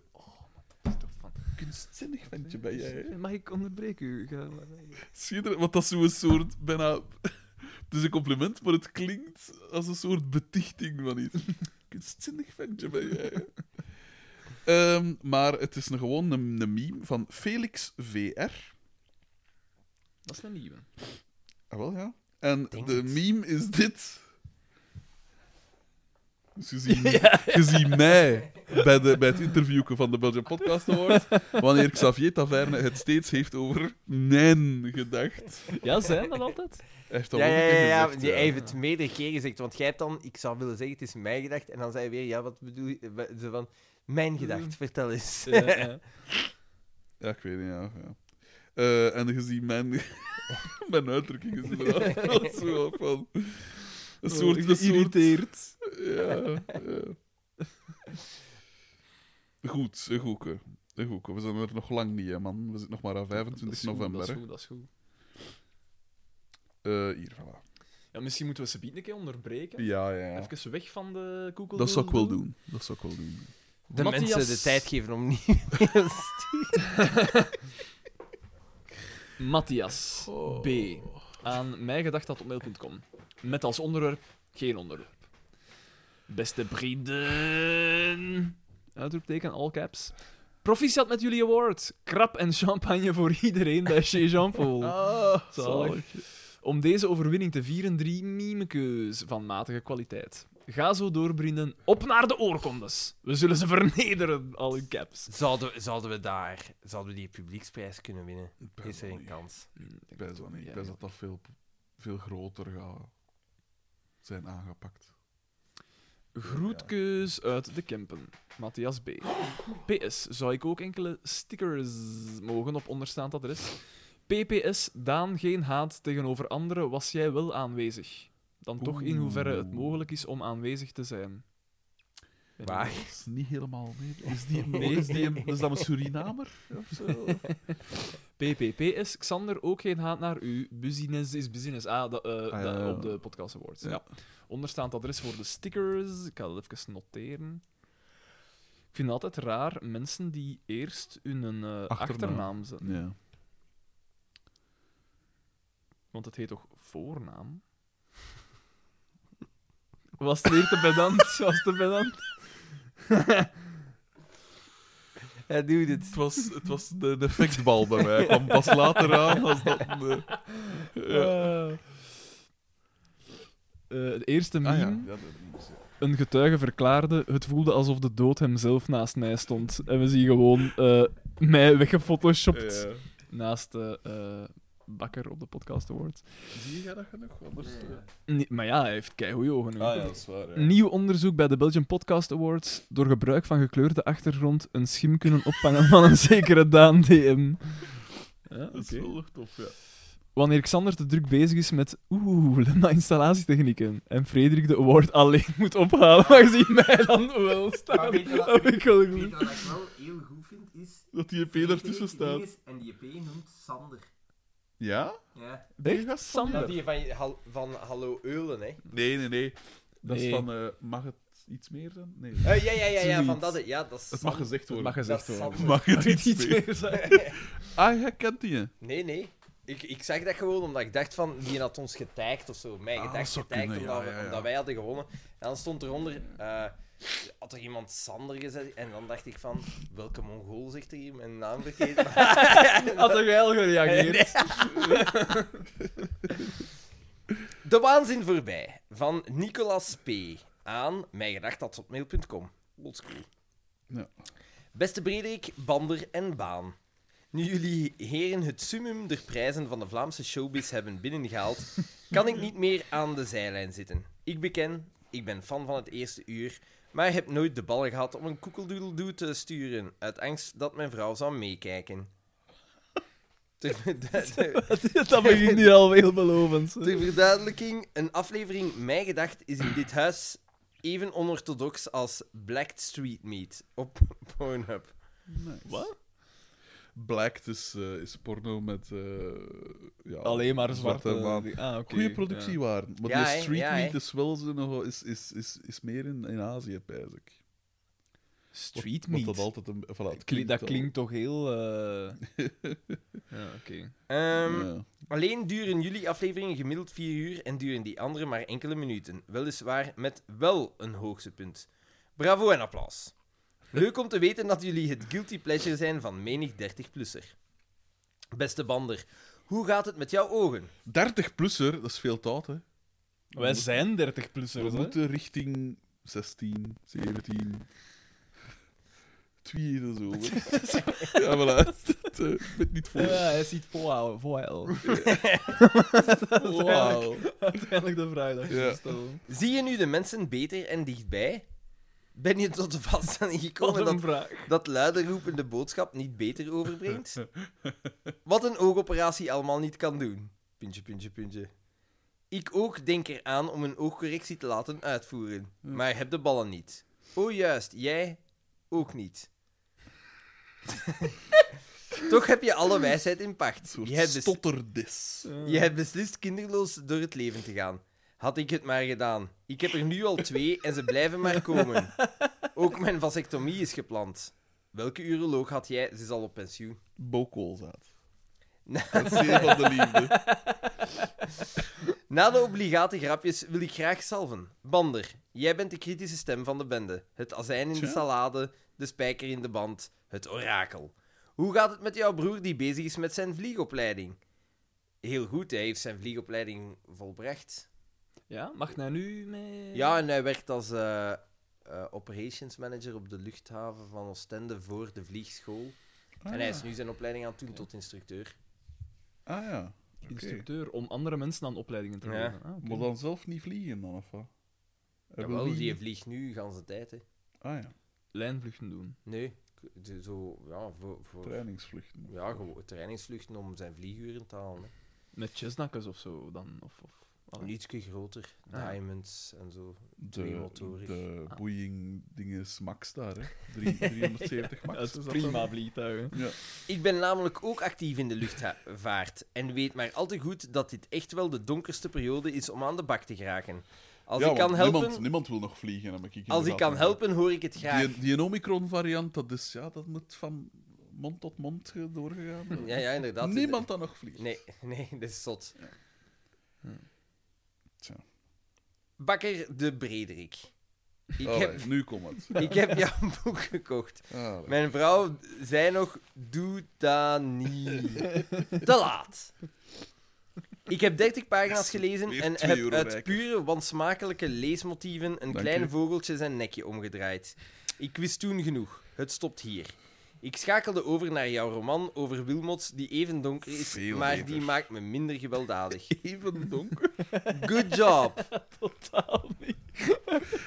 [SPEAKER 3] Dat is toch van-
[SPEAKER 4] Kunstzinnig ventje ben jij, hè.
[SPEAKER 3] Mag ik onderbreken u? Ga maar.
[SPEAKER 4] Schitterend, want dat is zo'n soort bijna. Het is een compliment, maar het klinkt als een soort betichting van iets. Kunstzinnig ventje ben jij. hè. Ehm, maar het is een, gewoon een, een meme van Felix VR.
[SPEAKER 3] Dat is een nieuwe.
[SPEAKER 4] Ah, wel ja. En
[SPEAKER 1] Denk
[SPEAKER 4] de
[SPEAKER 1] het.
[SPEAKER 4] meme is dit. Dus je ziet, je ziet mij bij, de, bij het interview van de Belgian Podcast Awards, wanneer Xavier Taverne het steeds heeft over mijn gedacht.
[SPEAKER 3] Ja, zijn dat altijd?
[SPEAKER 4] Hij heeft dat
[SPEAKER 1] Ja,
[SPEAKER 4] wel
[SPEAKER 1] ja,
[SPEAKER 4] een keer
[SPEAKER 1] ja, ja,
[SPEAKER 4] gezegd,
[SPEAKER 1] die- hij heeft het meerdere keer gezegd. Want jij hebt dan, ik zou willen zeggen, het is mijn gedacht. En dan zei hij weer, ja, wat bedoel je? eh, wa- Zo van, mijn gedacht, vertel eens.
[SPEAKER 3] Ja, ja.
[SPEAKER 4] Ja, ik weet niet, ja. ja. Eh, en gezien mijn, mijn uitdrukking is inderdaad wel zo wat van... Een soort... Een soort
[SPEAKER 3] Oh, geïrriteerd.
[SPEAKER 4] ja, ja. Goed, een goeke. Een goeke. We zijn er nog lang niet, hè, man. We zitten nog maar aan 25 november.
[SPEAKER 3] Dat is
[SPEAKER 4] hè.
[SPEAKER 3] goed, dat is goed.
[SPEAKER 4] Eh, hier, voilà.
[SPEAKER 3] Ja, misschien moeten we ze een keer onderbreken.
[SPEAKER 4] Ja, ja, ja.
[SPEAKER 3] Even weg van de koekel.
[SPEAKER 4] Dat zou ik wel doen. Dat zou ik wel doen.
[SPEAKER 1] De
[SPEAKER 3] Matthias-
[SPEAKER 1] mensen de tijd geven om niet te sturen.
[SPEAKER 3] Matthias
[SPEAKER 4] Oh.
[SPEAKER 3] B. Aan mijgedacht.mail.com. Met als onderwerp geen onderwerp. Beste vrienden. Uitroepteken, all caps. Proficiat met jullie award. Krap en champagne voor iedereen bij Chez Jean-Paul.
[SPEAKER 4] Ah,
[SPEAKER 3] Zalig. Om deze overwinning te vieren, drie mimekeus van matige kwaliteit. Ga zo door, vrienden. Op naar de oorkondes. We zullen ze vernederen, al hun caps.
[SPEAKER 1] Zouden, we- zouden we daar zouden we die publieksprijs kunnen winnen? Is er een kans?
[SPEAKER 4] Ik wijs dat niet. Ik wijs dat dat veel, veel groter gaat zijn aangepakt.
[SPEAKER 3] Groetkeus uit de Kempen. Matthias B. PS. Zou ik ook enkele stickers mogen op onderstaand adres? PPS. Daan, geen haat tegenover anderen. Was jij wel aanwezig? Dan toch in hoeverre het
[SPEAKER 4] Oeh.
[SPEAKER 3] mogelijk is om aanwezig te zijn. Ben
[SPEAKER 1] Waar?
[SPEAKER 4] Dat is niet helemaal... Nee, is, die,
[SPEAKER 3] Nee.
[SPEAKER 4] is, die, is dat een Surinamer? Of zo?
[SPEAKER 3] PPPS, Xander, ook geen haat naar u. Business is business. Ah, dat, eh,
[SPEAKER 4] Ah, ja,
[SPEAKER 3] dat
[SPEAKER 4] ja, ja.
[SPEAKER 3] op de podcast awards.
[SPEAKER 4] Ja.
[SPEAKER 3] Onderstaand adres voor de stickers. Ik ga dat even noteren. Ik vind het altijd raar mensen die eerst hun eh,
[SPEAKER 4] Achternaam.
[SPEAKER 3] achternaam zetten.
[SPEAKER 4] Ja.
[SPEAKER 3] Want het heet toch voornaam? Was het weer te pedant? Was het te pedant?
[SPEAKER 1] Hij doet het.
[SPEAKER 4] Het was, het was de, de effectbal bij mij. Hij kwam pas later aan als dat... eh, De, ja.
[SPEAKER 3] Eh, de eerste meme.
[SPEAKER 4] Ah ja. ja dat is, ja.
[SPEAKER 3] Een getuige verklaarde, het voelde alsof de dood hemzelf naast mij stond. En we zien gewoon eh, mij weggefotoshopt
[SPEAKER 4] Ja.
[SPEAKER 3] naast de eh, bakker op de podcast award.
[SPEAKER 4] Zie jij dat genoeg? Anders... eh?
[SPEAKER 3] Nee, maar ja, hij heeft keigoeie ogen. hoor.
[SPEAKER 4] Ah ja, dat is waar. Ja.
[SPEAKER 3] Nieuw onderzoek bij de Belgian Podcast Awards. Door gebruik van gekleurde achtergrond een schim kunnen opvangen van een zekere Daan DM. Ja,
[SPEAKER 4] Dat is
[SPEAKER 3] oké.
[SPEAKER 4] wel nog tof, ja.
[SPEAKER 3] Wanneer Xander te druk bezig is met oeh, lemma installatietechnieken en Frederik de award alleen moet ophalen, maar gezien mij dan wel
[SPEAKER 1] Maar
[SPEAKER 3] staan.
[SPEAKER 1] weet je wat-
[SPEAKER 3] Dat vind ik wel
[SPEAKER 1] Weet je
[SPEAKER 3] goed.
[SPEAKER 1] wat ik wel heel goed vind? Is
[SPEAKER 4] Dat die EP ertussen staat.
[SPEAKER 1] En die EP noemt Sander.
[SPEAKER 4] Ja?
[SPEAKER 1] Ja.
[SPEAKER 4] Die
[SPEAKER 3] Echt?
[SPEAKER 4] gast van
[SPEAKER 1] Dat
[SPEAKER 3] Sander?
[SPEAKER 1] die van, Hal- van Hallo Eulen, hè?
[SPEAKER 4] Nee, nee, nee. Dat
[SPEAKER 3] Nee.
[SPEAKER 4] is van... eh, mag het iets meer zijn? Nee.
[SPEAKER 1] Eh, ja, ja, ja, ja, van
[SPEAKER 3] Zoiets.
[SPEAKER 1] dat. Ja, dat is
[SPEAKER 4] Het mag
[SPEAKER 1] Sander.
[SPEAKER 4] gezegd
[SPEAKER 3] Dat
[SPEAKER 4] worden.
[SPEAKER 3] mag gezegd
[SPEAKER 1] Dat is
[SPEAKER 3] worden.
[SPEAKER 1] gezegd.
[SPEAKER 4] Mag het
[SPEAKER 3] Mag
[SPEAKER 4] iets
[SPEAKER 3] iets
[SPEAKER 4] meer?
[SPEAKER 3] meer zijn?
[SPEAKER 4] Ah, jij kent die, hè?
[SPEAKER 1] Nee, nee. Ik, ik zeg dat gewoon omdat ik dacht van, die had ons getagd of zo. Mij
[SPEAKER 4] Ah,
[SPEAKER 1] gedacht
[SPEAKER 4] dat zou
[SPEAKER 1] getagd
[SPEAKER 4] kunnen,
[SPEAKER 1] omdat,
[SPEAKER 4] ja,
[SPEAKER 1] we-
[SPEAKER 4] ja, ja.
[SPEAKER 1] omdat wij hadden gewonnen. En dan stond eronder, eh had er iemand Sander gezet. En dan dacht ik van, welke mongool zegt er hier mijn naam vergeten?
[SPEAKER 3] Had er wel gereageerd.
[SPEAKER 1] De waanzin voorbij van Nicolas P. aan mijgedacht.mail.com. Oldschool.
[SPEAKER 4] Ja.
[SPEAKER 1] Beste Brederik, Bander en Baan. Nu jullie heren het summum der prijzen van de Vlaamse showbiz hebben binnengehaald, kan ik niet meer aan de zijlijn zitten. Ik beken, ik ben fan van het eerste uur, maar heb nooit de ballen gehad om een koekeldoedeldoe te sturen, uit angst dat mijn vrouw zou meekijken. Ter-
[SPEAKER 3] Dat begint hier al heel belovend.
[SPEAKER 1] Ter verduidelijking, een aflevering Mij Gedacht is in dit huis even onorthodox als Black Street Meat op Pornhub.
[SPEAKER 4] Nice.
[SPEAKER 3] Wat?
[SPEAKER 4] Blacked is, eh, is porno met... eh ja,
[SPEAKER 3] Alleen maar zwarte...
[SPEAKER 4] maan.
[SPEAKER 3] Ah, oké,
[SPEAKER 4] Goeie
[SPEAKER 3] ja.
[SPEAKER 4] productiewaarde. Maar
[SPEAKER 1] Ja,
[SPEAKER 4] die
[SPEAKER 1] hè,
[SPEAKER 4] street
[SPEAKER 1] ja, hè.
[SPEAKER 4] meat is wel zo nog... Is, is, is, is meer in, in Azië, pijs ik. Wat-
[SPEAKER 3] Street
[SPEAKER 4] wat
[SPEAKER 3] meat.
[SPEAKER 4] dat altijd een... Voilà, het
[SPEAKER 3] Dat klinkt, dat
[SPEAKER 4] al.
[SPEAKER 3] klinkt toch heel... eh, ja, oké.
[SPEAKER 1] Ehm,
[SPEAKER 4] Ja.
[SPEAKER 1] Alleen duren jullie afleveringen gemiddeld 4 uur en duren die andere maar enkele minuten. Weliswaar met wel een hoogste punt. Bravo en applaus. Leuk om te weten dat jullie het guilty pleasure zijn van menig 30-plusser. Beste Bander, hoe gaat het met jouw ogen?
[SPEAKER 4] 30-plusser, dat is veel tijd, hè.
[SPEAKER 3] Wij zijn
[SPEAKER 4] We
[SPEAKER 3] 30-plussers, hè?
[SPEAKER 4] moeten richting 16, 17... Twee en zo. hè. ja, voilà. Het, eh, Ik ben niet
[SPEAKER 3] Ja,
[SPEAKER 4] voor.
[SPEAKER 3] hij ziet volhouden, volhouden.
[SPEAKER 4] Wauw.
[SPEAKER 3] Uiteindelijk de vrijdag.
[SPEAKER 4] Ja.
[SPEAKER 1] Zie je nu de mensen beter en dichtbij? Ben je tot de vaststelling
[SPEAKER 3] Wat
[SPEAKER 1] gekomen dat
[SPEAKER 3] een vraag.
[SPEAKER 1] dat luider roepende boodschap niet beter overbrengt? Wat een oogoperatie allemaal niet kan doen. Puntje, puntje, puntje. Ik ook denk eraan om een oogcorrectie te laten uitvoeren, maar heb de ballen niet. Oh juist, jij ook niet. Toch heb je alle wijsheid in
[SPEAKER 4] Een
[SPEAKER 1] pacht.
[SPEAKER 4] soort
[SPEAKER 1] Je hebt, bes-
[SPEAKER 4] stotterdis.
[SPEAKER 1] je hebt beslist kinderloos door het leven te gaan. Had ik het maar gedaan. Ik heb er nu al twee en ze blijven maar komen. Ook mijn vasectomie is gepland. Welke uroloog had jij? Ze is al op pensioen.
[SPEAKER 4] Bokoolzaad. Het zee van de liefde.
[SPEAKER 1] Na de obligate grapjes wil ik graag salven. Bander, jij bent de kritische stem van de bende. Het azijn in de
[SPEAKER 4] Tja.
[SPEAKER 1] salade, de spijker in de band, het orakel. Hoe gaat het met jouw broer die bezig is met zijn vliegopleiding? Heel goed, hij heeft zijn vliegopleiding volbracht.
[SPEAKER 3] Ja, mag nou nu mee...
[SPEAKER 1] Ja, en hij werkt als eh, eh, operations manager op de luchthaven van Oostende voor de vliegschool. En hij is nu zijn opleiding aan het doen tot instructeur.
[SPEAKER 4] Ah ja. Oké.
[SPEAKER 3] Instructeur, om andere mensen aan opleidingen te
[SPEAKER 1] Ja.
[SPEAKER 3] geven. Ah, oké.
[SPEAKER 4] Maar dan zelf niet vliegen dan, of wat? Hij wil
[SPEAKER 1] Jawel, die
[SPEAKER 4] vliegen.
[SPEAKER 1] vliegt nu gans de tijd, hè.
[SPEAKER 4] Ah ja,
[SPEAKER 3] Lijnvluchten doen.
[SPEAKER 1] Nee, k- de- zo, ja, voor... voor...
[SPEAKER 4] trainingsvluchten.
[SPEAKER 1] Ja, gewoon trainingsvluchten om zijn vlieguren te halen. hè.
[SPEAKER 3] Met chesnakkes of zo dan. Of, of,
[SPEAKER 4] Ah.
[SPEAKER 3] allee.
[SPEAKER 1] Ietsje groter.
[SPEAKER 3] Ah, ja.
[SPEAKER 1] Diamonds en zo. Twee
[SPEAKER 4] De,
[SPEAKER 1] motoren.
[SPEAKER 4] de
[SPEAKER 3] Ah.
[SPEAKER 4] boeing dinges max daar, hè. Drie- 370 max.
[SPEAKER 3] Het
[SPEAKER 4] is dat
[SPEAKER 3] prima
[SPEAKER 4] dan?
[SPEAKER 3] vliegtuig.
[SPEAKER 4] Ja.
[SPEAKER 1] Ik ben namelijk ook actief in de luchtvaart en weet maar al te goed dat dit echt wel de donkerste periode is om aan de bak te geraken. Als
[SPEAKER 4] Ja,
[SPEAKER 1] ik kan
[SPEAKER 4] want
[SPEAKER 1] helpen,
[SPEAKER 4] Niemand, niemand wil nog vliegen, heb ik
[SPEAKER 1] als ik
[SPEAKER 4] inderdaad
[SPEAKER 1] kan
[SPEAKER 4] nog-
[SPEAKER 1] helpen hoor ik het graag.
[SPEAKER 4] Die, die Omicron-variant, dat, is- ja, dat moet van mond tot mond ge- doorgegaan. worden.
[SPEAKER 1] Ja, ja, inderdaad.
[SPEAKER 4] niemand dan nog vliegt.
[SPEAKER 1] Nee, nee, dat is zot.
[SPEAKER 4] Hm. Tja.
[SPEAKER 1] Bakker de Brederik. Ik
[SPEAKER 4] Allee,
[SPEAKER 1] heb,
[SPEAKER 4] Nu komt het.
[SPEAKER 1] ik heb jouw boek gekocht.
[SPEAKER 4] Allee.
[SPEAKER 1] Mijn vrouw zei nog: Doe dat niet. Te laat. Ik heb 30 pagina's gelezen
[SPEAKER 4] weer
[SPEAKER 1] en
[SPEAKER 4] twee
[SPEAKER 1] heb
[SPEAKER 4] euro
[SPEAKER 1] uit
[SPEAKER 4] rijker.
[SPEAKER 1] pure wansmakelijke leesmotieven een
[SPEAKER 4] Dank
[SPEAKER 1] klein
[SPEAKER 4] u.
[SPEAKER 1] vogeltje zijn nekje omgedraaid. Ik wist toen genoeg. Het stopt hier. Ik schakelde over naar jouw roman over Wilmot, die even donker is,
[SPEAKER 4] Veel
[SPEAKER 1] maar
[SPEAKER 4] beter.
[SPEAKER 1] die maakt me minder gewelddadig.
[SPEAKER 4] Even donker.
[SPEAKER 1] Good job.
[SPEAKER 3] Totaal niet.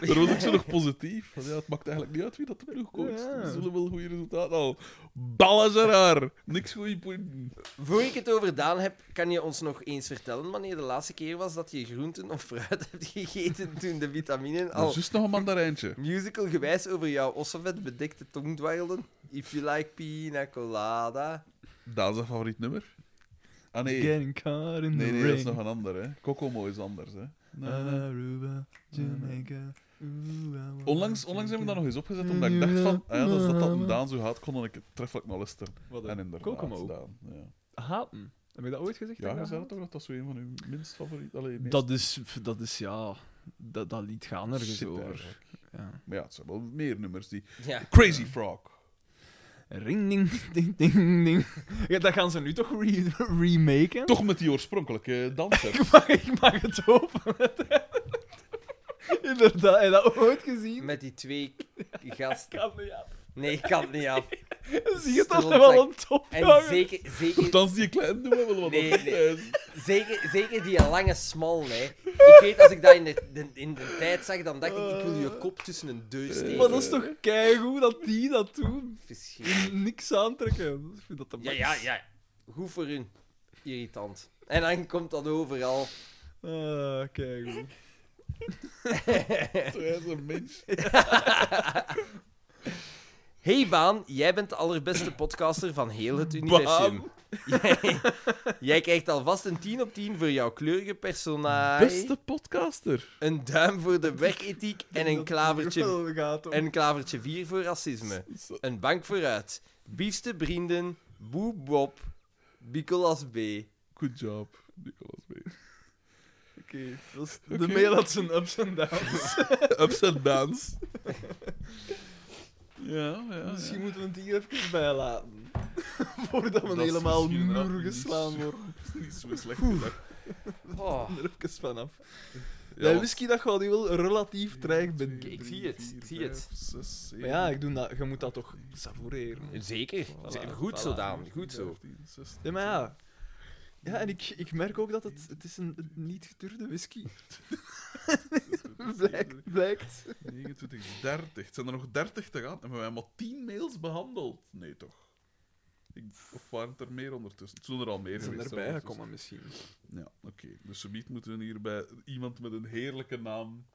[SPEAKER 4] Daar was ik zo nog positief. Want ja, het maakt eigenlijk niet uit wie dat de ploeg coacht.
[SPEAKER 3] Ja.
[SPEAKER 4] We zullen wel goede resultaten al. Ballen ze raar. Niks goede punten.
[SPEAKER 1] Voor ik het over Daan heb, kan je ons nog eens vertellen wanneer de laatste keer was dat je groenten of fruit hebt gegeten toen de vitaminen
[SPEAKER 4] Er
[SPEAKER 1] al
[SPEAKER 4] is juist nog een mandarijntje.
[SPEAKER 1] Musical gewijs over jouw ossenvet bedekte tong dwarrelden. If you like pina colada.
[SPEAKER 4] Dat is een favoriet nummer. Ah nee.
[SPEAKER 3] Getting caught in
[SPEAKER 4] Nee,
[SPEAKER 3] the
[SPEAKER 4] nee, dat is
[SPEAKER 3] rain.
[SPEAKER 4] nog een ander. hè. Kokomo is anders. Hè.
[SPEAKER 3] Aruba, Jamaica. Ooh, I wanna
[SPEAKER 4] Onlangs, onlangs hebben we dat nog eens opgezet, omdat ik dacht van... Ah, ja, dat is dat dat een Daan zo haat, kon ik het treffelijk naar luisteren.
[SPEAKER 3] Wat
[SPEAKER 4] En
[SPEAKER 3] een
[SPEAKER 4] inderdaad,
[SPEAKER 3] Kokomo.
[SPEAKER 4] Daan. Ja,
[SPEAKER 3] Haten. Heb ik dat ooit gezegd?
[SPEAKER 4] ja
[SPEAKER 3] ik
[SPEAKER 4] je
[SPEAKER 3] dat
[SPEAKER 4] zei dat
[SPEAKER 3] haat?
[SPEAKER 4] toch dat dat zo een van uw minst favoriet... Allee, meest-
[SPEAKER 3] Dat is, dat is ja, dat, dat lied gaan ergens
[SPEAKER 4] Shit,
[SPEAKER 3] over.
[SPEAKER 4] eigenlijk.
[SPEAKER 3] Ja.
[SPEAKER 4] Maar ja, het zijn wel meer nummers die...
[SPEAKER 1] Ja.
[SPEAKER 4] Crazy Frog.
[SPEAKER 3] Ring, ding, ding, ding, ding. Ja, dat gaan ze nu toch re remaken?
[SPEAKER 4] Toch met die oorspronkelijke danser.
[SPEAKER 3] Ik mag, ik mag het hopen. Inderdaad, heb je dat ooit gezien?
[SPEAKER 1] Met die twee k- gasten.
[SPEAKER 3] kan niet af.
[SPEAKER 1] Nee, ik kan het niet af.
[SPEAKER 3] Zie je dat
[SPEAKER 1] Stil
[SPEAKER 3] er wel
[SPEAKER 1] zijn.
[SPEAKER 3] een top?
[SPEAKER 1] En
[SPEAKER 3] hangen?
[SPEAKER 1] zeker, zeker,
[SPEAKER 4] Althans, die kleine doen we wel wat
[SPEAKER 1] Nee,
[SPEAKER 4] op.
[SPEAKER 1] nee. zeker, zeker die lange smal, hè. Ik weet, als ik dat in de, de- in de tijd zag, dan dacht ik, ik wil je kop tussen een deur steken.
[SPEAKER 3] Maar dat is toch keigoed dat die dat doen?
[SPEAKER 1] Verschrikkelijk.
[SPEAKER 3] En Niks aantrekken. Ik vind dat de
[SPEAKER 1] Ja,
[SPEAKER 3] max.
[SPEAKER 1] ja, ja. Goed voor hun. Irritant. En dan komt dat overal.
[SPEAKER 3] Ah, keigoed.
[SPEAKER 4] Hij is een mens.
[SPEAKER 1] Hey Baan, jij bent de allerbeste podcaster van heel het universum.
[SPEAKER 4] Baan.
[SPEAKER 1] Jij, jij krijgt alvast een 10 op 10 voor jouw kleurige personage.
[SPEAKER 4] Beste podcaster.
[SPEAKER 1] Een duim voor de werkethiek en een
[SPEAKER 3] Dat
[SPEAKER 1] klavertje,
[SPEAKER 3] wel gaat om.
[SPEAKER 1] een klavertje 4 voor racisme. Een bank vooruit. Biefste vrienden, Boe Bob, Bicolas B.
[SPEAKER 4] Good job, Nicolas B.
[SPEAKER 3] Oké, dat is
[SPEAKER 4] Oké.
[SPEAKER 3] de mail had zijn ups en downs.
[SPEAKER 4] Ups and downs. ja, ja.
[SPEAKER 3] Misschien
[SPEAKER 4] ja.
[SPEAKER 3] moeten we het hier even bijlaten. Voordat we
[SPEAKER 4] Dat is
[SPEAKER 3] helemaal
[SPEAKER 4] misschien inderdaad
[SPEAKER 3] moer
[SPEAKER 4] niet
[SPEAKER 3] geslaan
[SPEAKER 4] zo-
[SPEAKER 3] worden.
[SPEAKER 4] Dat is niet zo slecht. gedacht.
[SPEAKER 1] Oh.
[SPEAKER 3] Er even vanaf.
[SPEAKER 4] Ja,
[SPEAKER 3] Ja,
[SPEAKER 4] want-
[SPEAKER 3] whisky dat gaat wel relatief traag
[SPEAKER 1] Ik
[SPEAKER 3] binnen.
[SPEAKER 4] Drie,
[SPEAKER 1] zie het,
[SPEAKER 4] vier,
[SPEAKER 1] ik zie het.
[SPEAKER 4] vijf, zes, zeven,
[SPEAKER 3] Maar ja, ik doe dat, je moet dat toch savoureren.
[SPEAKER 1] Zeker.
[SPEAKER 3] Voilà,
[SPEAKER 1] goed
[SPEAKER 3] voilà.
[SPEAKER 1] zo, Daan. Goed zo.
[SPEAKER 4] 15, 16,
[SPEAKER 3] Ja, maar ja. Ja, en ik, ik merk ook dat het, het is een een niet gedurfde whisky
[SPEAKER 4] 17,
[SPEAKER 3] blijkt. blijkt.
[SPEAKER 4] 29, 30. Het zijn er nog 30 te gaan. En we hebben maar 10 mails behandeld. Nee, toch? Ik, of waren het er meer ondertussen? Het zullen er al meer
[SPEAKER 3] We zijn
[SPEAKER 4] geweest
[SPEAKER 3] erbij
[SPEAKER 4] ondertussen.
[SPEAKER 3] gekomen misschien.
[SPEAKER 4] Ja, oké. Dus subiet moeten we hier bij iemand met een heerlijke naam.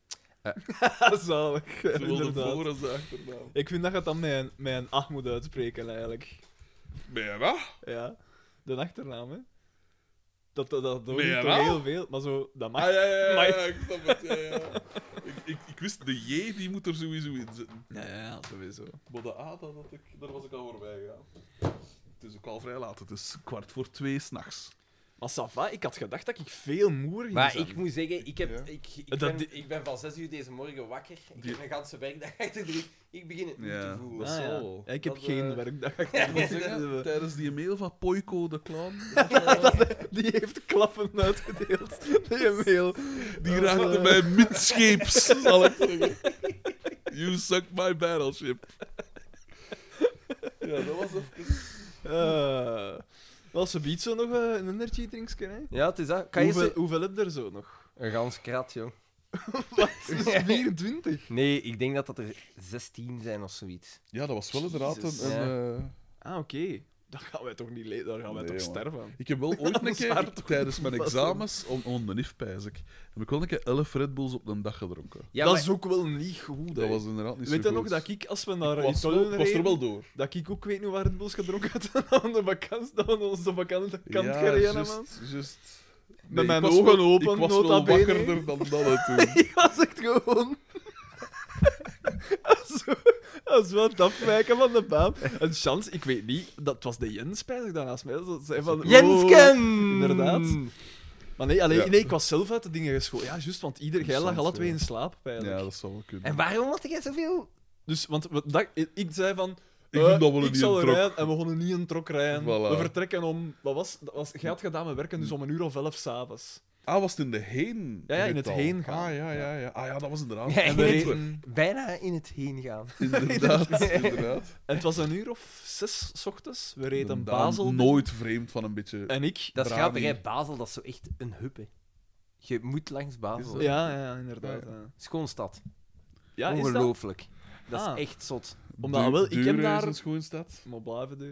[SPEAKER 3] Zalig,
[SPEAKER 4] Zowel
[SPEAKER 3] ja,
[SPEAKER 4] de
[SPEAKER 3] inderdaad.
[SPEAKER 4] voor- als de achternaam.
[SPEAKER 3] Ik vind dat je het dan mijn, mijn ach moet uitspreken eigenlijk.
[SPEAKER 4] Mera?
[SPEAKER 3] Ja, de achternaam, hè. Dat, dat, dat hoor je
[SPEAKER 4] Mera?
[SPEAKER 3] toch heel veel, maar zo, dat
[SPEAKER 4] Ah,
[SPEAKER 3] mag.
[SPEAKER 4] ja, ja, ja, ja,
[SPEAKER 3] Maar-
[SPEAKER 4] ik snap het. Ja, ja. Ik, ik, ik wist, de J die moet er sowieso in zitten.
[SPEAKER 3] Ja, ja, sowieso.
[SPEAKER 4] Maar de A, dat had ik, daar was ik al voorbij gegaan. Het is ook al vrij laat. Het is kwart voor twee s'nachts.
[SPEAKER 3] Maar Sava, ik had gedacht dat ik veel moer ging
[SPEAKER 1] Maar
[SPEAKER 3] zijn.
[SPEAKER 1] ik moet zeggen, ik, heb,
[SPEAKER 4] Ja.
[SPEAKER 1] ik, ik,
[SPEAKER 3] Dat
[SPEAKER 1] ben,
[SPEAKER 3] di-
[SPEAKER 1] ik ben van 6 uur deze morgen wakker. Ik
[SPEAKER 4] Die-
[SPEAKER 1] heb een ganse werkdag achter de rug. Ik begin het nu
[SPEAKER 4] Ja,
[SPEAKER 1] te voelen.
[SPEAKER 4] dat
[SPEAKER 3] Ah, ja.
[SPEAKER 4] zal.
[SPEAKER 3] Ja, Ik heb
[SPEAKER 1] Dat,
[SPEAKER 3] geen
[SPEAKER 1] eh,
[SPEAKER 3] werkdag.
[SPEAKER 4] Ik moet zeggen, tijdens die mail van Poiko de Clown,
[SPEAKER 3] Die heeft klappen uitgedeeld. Die mail.
[SPEAKER 4] die raakte
[SPEAKER 3] eh,
[SPEAKER 4] mij midscheeps, zal ik zeggen. You suck my battleship. Ja, dat was even...
[SPEAKER 3] Eh, wel, ze biedt zo nog eh, een energy drinksje, hè?
[SPEAKER 1] Ja, het is dat.
[SPEAKER 3] hoeveel, hoeveel heb je er zo nog?
[SPEAKER 1] Een gans krat, joh.
[SPEAKER 3] Wat? 24?
[SPEAKER 1] Nee, ik denk dat dat er 16 zijn of zoiets.
[SPEAKER 4] Ja, dat was wel inderdaad
[SPEAKER 3] Jezus.
[SPEAKER 4] een... een, eh,
[SPEAKER 3] Ah, oké. Dan gaan wij toch niet le- Daar gaan wij
[SPEAKER 4] Nee,
[SPEAKER 3] toch
[SPEAKER 4] man.
[SPEAKER 3] sterven aan.
[SPEAKER 4] Ik heb wel ooit een
[SPEAKER 3] Anders haar
[SPEAKER 4] keer,
[SPEAKER 3] toch
[SPEAKER 4] tijdens mijn
[SPEAKER 3] vast
[SPEAKER 4] examens, on, on de NIF pijs ik, heb ik wel een keer 11 Red Bulls op een dag gedronken.
[SPEAKER 1] Ja,
[SPEAKER 3] dat
[SPEAKER 1] maar-
[SPEAKER 3] is ook wel niet goed,
[SPEAKER 4] Dat
[SPEAKER 3] hè.
[SPEAKER 4] was inderdaad niet
[SPEAKER 3] Weet
[SPEAKER 4] zo
[SPEAKER 3] je
[SPEAKER 4] goed.
[SPEAKER 3] nog dat ik, als we naar
[SPEAKER 4] Ik was,
[SPEAKER 3] Italië
[SPEAKER 4] wel- ik was er
[SPEAKER 3] reden,
[SPEAKER 4] wel door.
[SPEAKER 3] dat ik ook weet niet waar het bos gedronken had aan de vakantie, dat we naar onze vakantie kant
[SPEAKER 4] ja,
[SPEAKER 3] gereden,
[SPEAKER 4] juist,
[SPEAKER 3] man.
[SPEAKER 4] juist.
[SPEAKER 3] Met
[SPEAKER 4] Nee, ik
[SPEAKER 3] mijn
[SPEAKER 4] was
[SPEAKER 3] ogen
[SPEAKER 4] wel-
[SPEAKER 3] open,
[SPEAKER 4] Ik was
[SPEAKER 3] nota
[SPEAKER 4] wel
[SPEAKER 3] bene.
[SPEAKER 4] wakkerder dan dat hè, toen.
[SPEAKER 3] Ik was echt gewoon. Zo, Als we aan het afwijken van de baan. Een chance, ik weet niet, dat was de Jens spijtig dan naast mij. Dat zei van, wow.
[SPEAKER 1] Oh,
[SPEAKER 3] inderdaad. Maar nee, alleen,
[SPEAKER 4] Ja.
[SPEAKER 3] nee, ik was zelf uit de dingen geschoten. Ja, juist, want ieder, jij lag
[SPEAKER 4] Chance,
[SPEAKER 3] alle twee
[SPEAKER 4] ja.
[SPEAKER 3] in slaap.
[SPEAKER 4] Ja,
[SPEAKER 3] Eigenlijk.
[SPEAKER 4] dat zou wel kunnen.
[SPEAKER 1] En waarom had jij zoveel?
[SPEAKER 3] Dus, want we- dat, ik, ik zei van.
[SPEAKER 4] Ik
[SPEAKER 3] eh,
[SPEAKER 4] doe dat wel
[SPEAKER 3] ik
[SPEAKER 4] niet
[SPEAKER 3] zal
[SPEAKER 4] in
[SPEAKER 3] er
[SPEAKER 4] trok.
[SPEAKER 3] rijden en we gaan niet in trok rijden.
[SPEAKER 4] Voilà.
[SPEAKER 3] We vertrekken om. Wat was, dat was, jij had gedaan met werken, dus om een uur of elf s'avonds.
[SPEAKER 4] Ah, was het in de heen?
[SPEAKER 3] Ja, ja, in het
[SPEAKER 4] getal?
[SPEAKER 3] heen gaan.
[SPEAKER 4] Ah, ja, ja, ja. Ah, ja, dat was inderdaad.
[SPEAKER 1] Ja,
[SPEAKER 3] En
[SPEAKER 1] in
[SPEAKER 3] we
[SPEAKER 1] het-
[SPEAKER 3] reden.
[SPEAKER 1] Bijna in het heen gaan.
[SPEAKER 4] Inderdaad, inderdaad.
[SPEAKER 3] En het was een uur of zes 's ochtends. We reden
[SPEAKER 4] Dan
[SPEAKER 3] Basel.
[SPEAKER 4] Nooit vreemd van een beetje...
[SPEAKER 3] En ik.
[SPEAKER 1] Dat is
[SPEAKER 4] Brani.
[SPEAKER 1] grappig, hè. Basel, dat is zo echt een hub, hè. Je moet langs
[SPEAKER 4] Is
[SPEAKER 1] Basel.
[SPEAKER 4] dat-
[SPEAKER 1] Ja.
[SPEAKER 3] Ja, ja, inderdaad. Ja,
[SPEAKER 1] Schoonstad.
[SPEAKER 3] ja is dat?
[SPEAKER 1] Ongelooflijk. Dat
[SPEAKER 3] Ah.
[SPEAKER 1] is echt zot.
[SPEAKER 3] Omdat ah,
[SPEAKER 4] Du-
[SPEAKER 3] wel, ik heb
[SPEAKER 4] Duren is
[SPEAKER 3] daar-
[SPEAKER 4] een schoon stad.
[SPEAKER 3] Maar blijven doen.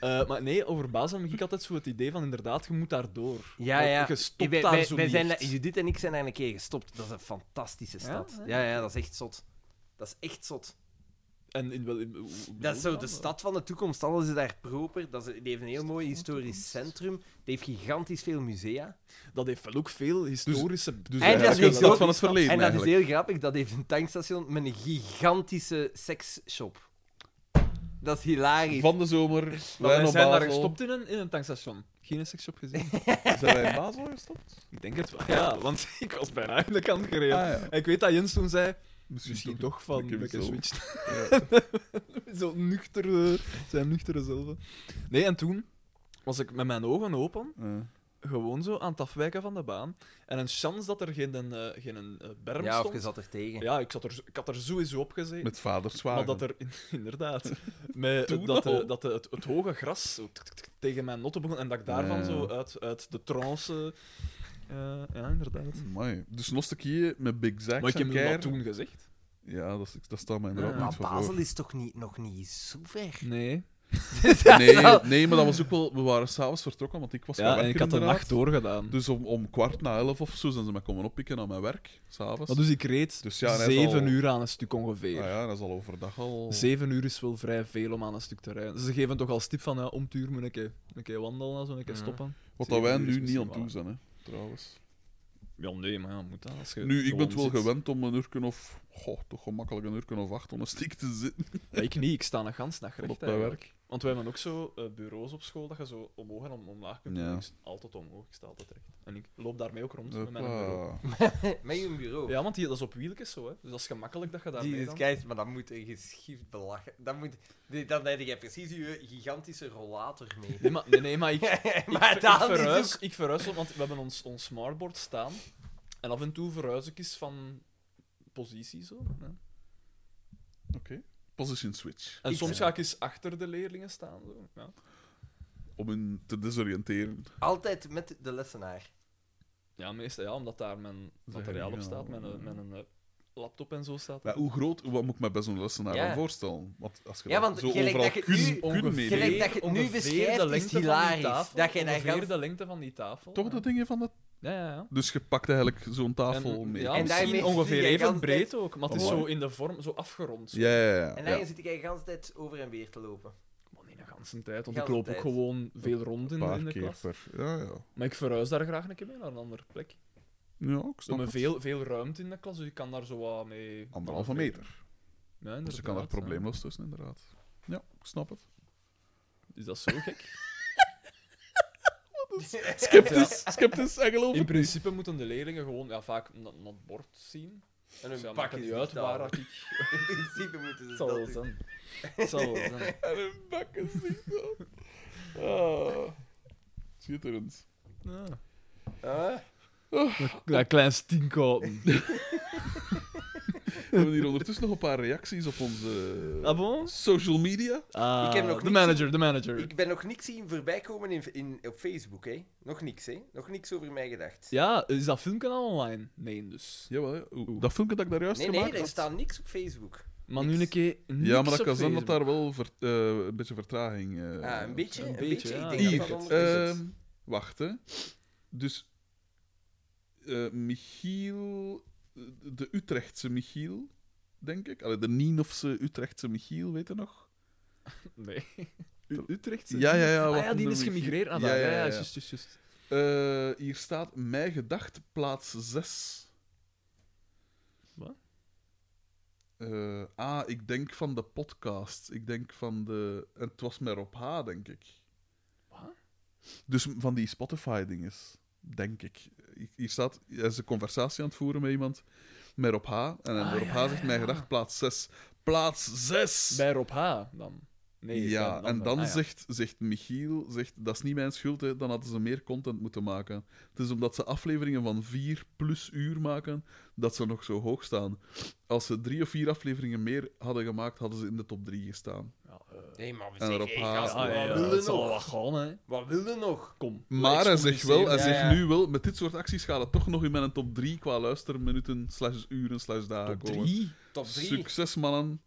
[SPEAKER 3] Eh, maar nee, over Basel heb ik altijd zo het idee van inderdaad, je moet daar door.
[SPEAKER 1] Ja,
[SPEAKER 3] Want
[SPEAKER 1] ja.
[SPEAKER 3] Je stopt
[SPEAKER 1] wij,
[SPEAKER 3] daar
[SPEAKER 1] wij-
[SPEAKER 3] zo
[SPEAKER 1] wij
[SPEAKER 3] niet
[SPEAKER 1] zijn,
[SPEAKER 3] echt.
[SPEAKER 1] Judith en ik zijn daar een keer gestopt. Dat is een fantastische stad.
[SPEAKER 3] Ja,
[SPEAKER 1] Ja, ja, dat is echt zot. Dat is echt zot.
[SPEAKER 3] En in wel... in- hoe- hoe bedoel
[SPEAKER 1] Dat is
[SPEAKER 3] je
[SPEAKER 1] zo de stad van de toekomst. Alles is daar proper. Dat is, die heeft een heel mooi historisch centrum. Die heeft gigantisch veel musea.
[SPEAKER 3] Dat heeft wel ook veel historische...
[SPEAKER 4] Dus
[SPEAKER 1] En dat is
[SPEAKER 4] eigenlijk een
[SPEAKER 1] niet
[SPEAKER 4] stad
[SPEAKER 1] zo-
[SPEAKER 4] van het verleden
[SPEAKER 1] En dat is
[SPEAKER 4] eigenlijk.
[SPEAKER 1] heel grappig. Dat heeft een tankstation met een gigantische seksshop. Dat is hilarisch.
[SPEAKER 4] Van de zomer,
[SPEAKER 3] Maar
[SPEAKER 4] wij
[SPEAKER 3] wij
[SPEAKER 4] naar
[SPEAKER 3] zijn daar
[SPEAKER 4] Basel.
[SPEAKER 3] gestopt in een, in een tankstation. Geen seksshop gezien.
[SPEAKER 4] Zijn wij in Basel gestopt?
[SPEAKER 3] ik denk het wel. Ja, want ik was bijna aan de kant gereden.
[SPEAKER 4] Ah, ja.
[SPEAKER 3] En ik weet dat Jens toen zei...
[SPEAKER 4] Misschien,
[SPEAKER 3] Misschien toch van...
[SPEAKER 4] Ik heb het
[SPEAKER 3] Ik
[SPEAKER 4] zelf.
[SPEAKER 3] switch.
[SPEAKER 4] Ja.
[SPEAKER 3] Zo nuchtere... Zijn nuchtere zelf. Nee, en toen was ik met mijn ogen open...
[SPEAKER 4] Ja.
[SPEAKER 3] gewoon zo aan het afwijken van de baan. En een chance dat er geen, eh, geen eh, berm
[SPEAKER 1] Ja, of
[SPEAKER 3] stond.
[SPEAKER 1] je zat er tegen.
[SPEAKER 3] Ja, ik, zat er, ik had er sowieso op gezeten.
[SPEAKER 4] Met vaderswagen.
[SPEAKER 3] maar dat er, inderdaad, met,
[SPEAKER 4] Toen
[SPEAKER 3] dat, eh,
[SPEAKER 4] al.
[SPEAKER 3] dat eh, het, het hoge gras zo tik, tik, tik tegen mijn notten begon en dat ik daarvan
[SPEAKER 4] Ja.
[SPEAKER 3] zo uit, uit de trance... eh, ja, inderdaad.
[SPEAKER 4] Amai. Dus nog een keer met Big Zack.
[SPEAKER 3] Maar ik heb
[SPEAKER 4] en
[SPEAKER 3] hem
[SPEAKER 4] Keir.
[SPEAKER 3] dat toen gezegd.
[SPEAKER 4] Ja, dat, is- dat staat mij inderdaad
[SPEAKER 3] Ja.
[SPEAKER 1] Maar
[SPEAKER 4] niet van
[SPEAKER 1] Basel
[SPEAKER 4] voor.
[SPEAKER 1] is toch niet, nog niet zo ver?
[SPEAKER 3] Nee.
[SPEAKER 4] Nee, nee, maar dat was ook wel... We waren s'avonds vertrokken, want ik was gaan
[SPEAKER 3] Ja, en
[SPEAKER 4] werken,
[SPEAKER 3] ik had de
[SPEAKER 4] inderdaad.
[SPEAKER 3] nacht doorgedaan.
[SPEAKER 4] Dus om, om kwart na elf of zo zijn ze mij komen oppikken aan mijn werk, s'avonds.
[SPEAKER 3] Maar dus ik reed
[SPEAKER 4] Dus ja, en hij is
[SPEAKER 3] zeven
[SPEAKER 4] al-
[SPEAKER 3] uur aan een stuk ongeveer.
[SPEAKER 4] Ah ja, dat is al overdag al...
[SPEAKER 3] Zeven uur is wel vrij veel om aan een stuk te rijden. Ze geven toch al stip van, ja, om het uur moet ik een keer- een keer wandelen, zo een keer
[SPEAKER 1] Ja.
[SPEAKER 3] stoppen.
[SPEAKER 4] Wat dat
[SPEAKER 3] zeven
[SPEAKER 4] wij
[SPEAKER 3] uur is
[SPEAKER 4] nu niet
[SPEAKER 3] misschien
[SPEAKER 4] aan toe
[SPEAKER 3] wel.
[SPEAKER 4] zijn, hè, trouwens.
[SPEAKER 3] Ja, nee, maar ja, moet dat. Als je
[SPEAKER 4] Nu, ik ben
[SPEAKER 3] gewoon
[SPEAKER 4] het wel
[SPEAKER 3] zit.
[SPEAKER 4] gewend om een uurken of... Goh, toch gemakkelijk een uurken of acht om een stiek te zitten.
[SPEAKER 3] Ja, ik niet, ik sta een gans nacht recht
[SPEAKER 4] Op mijn
[SPEAKER 3] eigenlijk. Want wij hebben ook zo eh, bureaus op school dat je zo omhoog en om- omlaag kunt. doen.
[SPEAKER 4] Ja.
[SPEAKER 3] Ik sta altijd omhoog, ik sta altijd recht. En ik loop daarmee ook rond met mijn
[SPEAKER 4] Ah,
[SPEAKER 3] bureau.
[SPEAKER 4] Hoppa.
[SPEAKER 1] Met je bureau.
[SPEAKER 3] Ja, want die, dat is op wieltjes zo, hè. Dus dat is gemakkelijk dat je daarmee
[SPEAKER 1] Jezus
[SPEAKER 3] dan...
[SPEAKER 1] Christus, maar dat moet een geschift belachen. Dat moet, die- dan heb je precies je gigantische rollator mee.
[SPEAKER 3] Nee, maar, nee, nee, maar ik,
[SPEAKER 1] maar
[SPEAKER 3] ik, ver-
[SPEAKER 1] dat
[SPEAKER 3] ik
[SPEAKER 1] is
[SPEAKER 3] verhuis, ik verhuis, want we hebben ons, ons smartboard staan. En af en toe verhuis ik eens van positie zo. hè.
[SPEAKER 4] Position switch.
[SPEAKER 3] En
[SPEAKER 1] Ik-
[SPEAKER 3] soms ga ik eens achter de leerlingen staan. Zo. Ja.
[SPEAKER 4] Om hen te desoriënteren.
[SPEAKER 1] Altijd met de lessenaar.
[SPEAKER 3] ja, meestal ja, omdat daar mijn materiaal op
[SPEAKER 4] ja,
[SPEAKER 3] staat, mijn,
[SPEAKER 4] ja.
[SPEAKER 3] mijn, eh, laptop en zo staat.
[SPEAKER 4] Maar hoe groot, wat moet ik me bij zo'n lessenaar
[SPEAKER 1] Ja.
[SPEAKER 4] dan voorstellen? Want als je
[SPEAKER 1] Ja,
[SPEAKER 4] dat
[SPEAKER 1] want
[SPEAKER 4] zo
[SPEAKER 1] gelijk
[SPEAKER 4] overal
[SPEAKER 1] dat je
[SPEAKER 4] kun,
[SPEAKER 1] nu-
[SPEAKER 4] kun
[SPEAKER 3] Ongeveer-
[SPEAKER 4] meenemen.
[SPEAKER 1] Gelijk dat je het nu
[SPEAKER 3] ongeveer
[SPEAKER 1] beschrijft,
[SPEAKER 3] de
[SPEAKER 1] is
[SPEAKER 3] lengte van die
[SPEAKER 1] hilarisch.
[SPEAKER 3] tafel,
[SPEAKER 1] Dat jij daar
[SPEAKER 3] ongeveer
[SPEAKER 1] gans-
[SPEAKER 3] de lengte van die tafel.
[SPEAKER 4] Toch
[SPEAKER 3] ja.
[SPEAKER 4] de dingen van dat...
[SPEAKER 3] Ja, ja, ja.
[SPEAKER 4] Dus je pakt eigenlijk zo'n tafel
[SPEAKER 3] en,
[SPEAKER 4] mee.
[SPEAKER 3] ja, dus-
[SPEAKER 1] En
[SPEAKER 3] misschien
[SPEAKER 1] daarmee zie
[SPEAKER 3] ongeveer
[SPEAKER 1] je
[SPEAKER 3] even
[SPEAKER 1] gans
[SPEAKER 3] breed ook, maar het is
[SPEAKER 4] Oh,
[SPEAKER 3] zo
[SPEAKER 4] mooi.
[SPEAKER 3] in de vorm, zo afgerond. Zo.
[SPEAKER 4] Ja, ja, ja.
[SPEAKER 1] En
[SPEAKER 4] ja.
[SPEAKER 1] dan zit ik eigenlijk de hele tijd over en weer te lopen.
[SPEAKER 3] Maar niet de ganse tijd, want
[SPEAKER 1] Ganse
[SPEAKER 3] ik loop
[SPEAKER 1] tijd.
[SPEAKER 3] ook gewoon veel rond
[SPEAKER 4] Een
[SPEAKER 3] in, de-
[SPEAKER 4] paar
[SPEAKER 3] in de
[SPEAKER 4] keer
[SPEAKER 3] klas.
[SPEAKER 4] per... Ja, ja.
[SPEAKER 3] Maar ik verhuis daar graag een keer mee naar een andere plek.
[SPEAKER 4] Ja, ik
[SPEAKER 3] We
[SPEAKER 4] snap
[SPEAKER 3] hebben
[SPEAKER 4] het.
[SPEAKER 3] veel, veel ruimte in de klas, dus ik kan daar zo wat mee...
[SPEAKER 4] Anderhalve
[SPEAKER 3] mee-
[SPEAKER 4] meter. Dus je
[SPEAKER 3] Ja,
[SPEAKER 4] kan daar
[SPEAKER 3] inderdaad, ja.
[SPEAKER 4] probleemloos tussen, inderdaad. Ja, ik snap het.
[SPEAKER 3] Is dat zo gek?
[SPEAKER 4] Sceptisch, sceptisch en geloof het
[SPEAKER 3] In
[SPEAKER 4] niet.
[SPEAKER 3] principe moeten de leerlingen gewoon ja, vaak na- naar het bord zien.
[SPEAKER 1] En
[SPEAKER 3] Dus ja,
[SPEAKER 1] een pak
[SPEAKER 3] maakt het
[SPEAKER 1] is
[SPEAKER 3] niet uit
[SPEAKER 1] waar.
[SPEAKER 3] waar dat ik...
[SPEAKER 1] In principe moeten ze
[SPEAKER 3] Het zal wel
[SPEAKER 1] dat doen.
[SPEAKER 3] zijn. Het zal wel zijn.
[SPEAKER 4] En een bakken ziet dat. Ah. Schitterend.
[SPEAKER 1] Ah,
[SPEAKER 3] Ja, klein stinkhouden.
[SPEAKER 4] We hebben hier ondertussen nog een paar reacties op onze
[SPEAKER 3] Ah bon?
[SPEAKER 4] social media.
[SPEAKER 3] Ah,
[SPEAKER 1] Ik heb nog
[SPEAKER 3] de
[SPEAKER 1] niet
[SPEAKER 3] manager, de manager.
[SPEAKER 1] ik ben nog niks zien voorbij komen in, in, op Facebook, hè. Nog niks, hè. Nog niks over mij gedacht.
[SPEAKER 3] Ja, is dat filmkanaal online? Nee, dus.
[SPEAKER 4] Jawel, ja. Oeh, dat filmpje dat ik daar juist
[SPEAKER 1] nee, nee,
[SPEAKER 4] gemaakt
[SPEAKER 1] er
[SPEAKER 4] had.
[SPEAKER 1] staat niks op Facebook.
[SPEAKER 3] Maar nu een keer niks
[SPEAKER 4] Ja, maar dat
[SPEAKER 3] op
[SPEAKER 4] kan zijn dat
[SPEAKER 3] Facebook.
[SPEAKER 4] daar wel ver- eh, een beetje vertraging... eh,
[SPEAKER 1] Ah, een beetje,
[SPEAKER 4] is.
[SPEAKER 1] een,
[SPEAKER 3] beetje,
[SPEAKER 1] beetje.
[SPEAKER 3] ja.
[SPEAKER 1] Ik denk
[SPEAKER 4] Hier,
[SPEAKER 1] dat dat
[SPEAKER 3] eh,
[SPEAKER 1] ondertussen-
[SPEAKER 4] ehm, wacht hè. Dus eh, Michiel, eh, de Utrechtse Michiel, denk ik. Allee, de Nienofse Utrechtse Michiel, weet je nog?
[SPEAKER 3] Nee. U- Utrechtse?
[SPEAKER 4] Ja, ja, ja.
[SPEAKER 3] Ah
[SPEAKER 4] wacht,
[SPEAKER 3] ja, die
[SPEAKER 4] de
[SPEAKER 3] is
[SPEAKER 4] Michiel.
[SPEAKER 3] gemigreerd naar daar. Ja, ja, juist, juist, juist.
[SPEAKER 4] Eh, hier staat Mij gedacht, plaats 6.
[SPEAKER 3] Wat?
[SPEAKER 4] ah, ik denk van de podcast. Ik denk van de. en Het was met Rob H, denk ik.
[SPEAKER 3] Wat?
[SPEAKER 4] Dus van die Spotify-dinges, denk ik. Hier staat. Hij is een conversatie aan het voeren met iemand. Met Rob H. En
[SPEAKER 3] Ah,
[SPEAKER 4] Rob
[SPEAKER 3] ja,
[SPEAKER 4] H
[SPEAKER 3] ja,
[SPEAKER 4] zegt:
[SPEAKER 3] ja.
[SPEAKER 4] Mij gedacht, plaats 6. Plaats 6!
[SPEAKER 3] Bij Rob H. dan. Nee,
[SPEAKER 4] ja,
[SPEAKER 3] dan-
[SPEAKER 4] en dan
[SPEAKER 3] ah, ja.
[SPEAKER 4] zegt, zegt Michiel, zegt, dat is niet mijn schuld, hè. dan hadden ze meer content moeten maken. Het is omdat ze afleveringen van vier plus uur maken, dat ze nog zo hoog staan. Als ze drie of vier afleveringen meer hadden gemaakt, hadden ze in de top drie gestaan.
[SPEAKER 3] Ja,
[SPEAKER 1] Nee, maar we
[SPEAKER 4] En erop
[SPEAKER 1] zeggen, hey,
[SPEAKER 4] halen.
[SPEAKER 1] gast,
[SPEAKER 3] Ah, ja,
[SPEAKER 1] wat
[SPEAKER 3] ja, ja,
[SPEAKER 1] wil
[SPEAKER 3] dat
[SPEAKER 1] je
[SPEAKER 3] zal wel
[SPEAKER 1] nog?
[SPEAKER 3] wat gaan, hè.
[SPEAKER 1] Wat wil je nog?
[SPEAKER 3] Kom.
[SPEAKER 4] Maar hij zegt wel, hij
[SPEAKER 1] Ja,
[SPEAKER 4] zegt
[SPEAKER 1] ja.
[SPEAKER 4] nu wel, met dit soort acties gaat het toch nog in mijn top drie qua luisterminuten, slash uren, slash dagen
[SPEAKER 3] Top
[SPEAKER 4] komen.
[SPEAKER 3] drie.
[SPEAKER 1] Top 3.
[SPEAKER 4] Succes, mannen.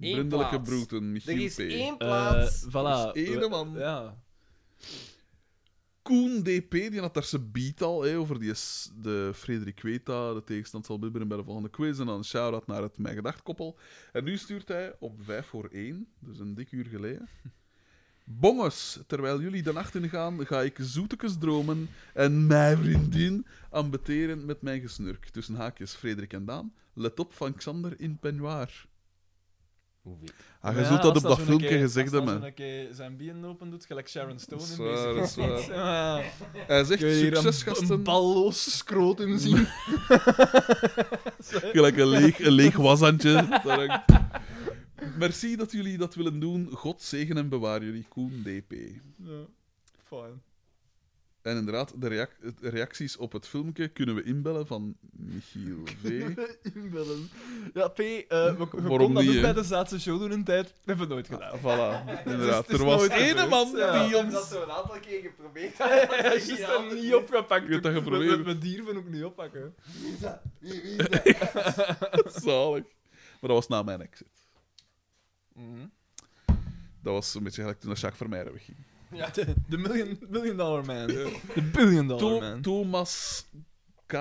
[SPEAKER 1] Eén
[SPEAKER 4] Brindelijke
[SPEAKER 1] plaats.
[SPEAKER 4] broeten,
[SPEAKER 1] Er
[SPEAKER 4] Michiel
[SPEAKER 1] is
[SPEAKER 4] P.
[SPEAKER 1] één
[SPEAKER 3] Eh
[SPEAKER 1] plaats.
[SPEAKER 4] Dus
[SPEAKER 3] voilà.
[SPEAKER 4] één man.
[SPEAKER 3] Ja.
[SPEAKER 4] Koen DP, die had daar zijn beat al hè, over die s- de Frederik Weta, de tegenstand zal bibberen bij de volgende quiz. En dan een shout-out naar het Mijn Gedacht koppel. En nu stuurt hij op 5 voor 1, dus een dik uur geleden. Bongens, terwijl jullie de nacht ingaan, ga ik zoetekes dromen en mijn vriendin ambeteren met mijn gesnurk. Tussen haakjes Frederik en Daan. Let op van Xander in peignoir.
[SPEAKER 1] Hoeveel?
[SPEAKER 4] Ah, je
[SPEAKER 3] Ja,
[SPEAKER 4] zult dat
[SPEAKER 3] als
[SPEAKER 4] op dat
[SPEAKER 3] zo'n
[SPEAKER 4] filmpje
[SPEAKER 3] keer-
[SPEAKER 4] gezegd
[SPEAKER 3] Als
[SPEAKER 4] hebben.
[SPEAKER 3] dat zo'n keer zijn bieren open doet, gelijk Sharon Stone in
[SPEAKER 4] Dat is waar,
[SPEAKER 3] bezig is.
[SPEAKER 4] dat is
[SPEAKER 3] Ja.
[SPEAKER 4] Hij zegt
[SPEAKER 3] Kun je hier
[SPEAKER 4] succes,
[SPEAKER 3] een,
[SPEAKER 4] gasten.
[SPEAKER 3] een balloos scrotum zien?
[SPEAKER 4] Gelijk een leeg, een leeg washandje. dat hangt. Merci dat jullie dat willen doen. God zegen en bewaar jullie, Koen DP.
[SPEAKER 3] ja. Fijn.
[SPEAKER 4] En inderdaad, de reac- het- reacties op het filmpje kunnen we inbellen van Michiel V.
[SPEAKER 3] Inbellen. Ja, P, eh we, we
[SPEAKER 4] Waarom
[SPEAKER 3] konden dat
[SPEAKER 4] niet,
[SPEAKER 3] ook
[SPEAKER 4] hè?
[SPEAKER 3] bij de Zaatse show doen in tijd. We hebben het nooit gedaan.
[SPEAKER 4] Voilà,
[SPEAKER 3] is-
[SPEAKER 4] inderdaad.
[SPEAKER 3] het is
[SPEAKER 4] er was
[SPEAKER 3] nooit
[SPEAKER 4] één
[SPEAKER 3] gebeurd,
[SPEAKER 4] man
[SPEAKER 3] ja.
[SPEAKER 4] die
[SPEAKER 1] Dat
[SPEAKER 4] ons...
[SPEAKER 1] ze een aantal keer geprobeerd
[SPEAKER 3] Hij is er niet opgepakt.
[SPEAKER 4] Je hebt dat
[SPEAKER 3] We- we-
[SPEAKER 4] geprobeerd.
[SPEAKER 3] We dierven ook niet oppakken.
[SPEAKER 4] Zalig. Maar dat was na mijn exit.
[SPEAKER 3] Mhm.
[SPEAKER 4] Dat was een beetje gelijk toen dat Jacques Vermeijden wegging.
[SPEAKER 3] Ja, de, de million, billion dollar man. De billion dollar
[SPEAKER 4] To-
[SPEAKER 3] man.
[SPEAKER 4] Thomas K.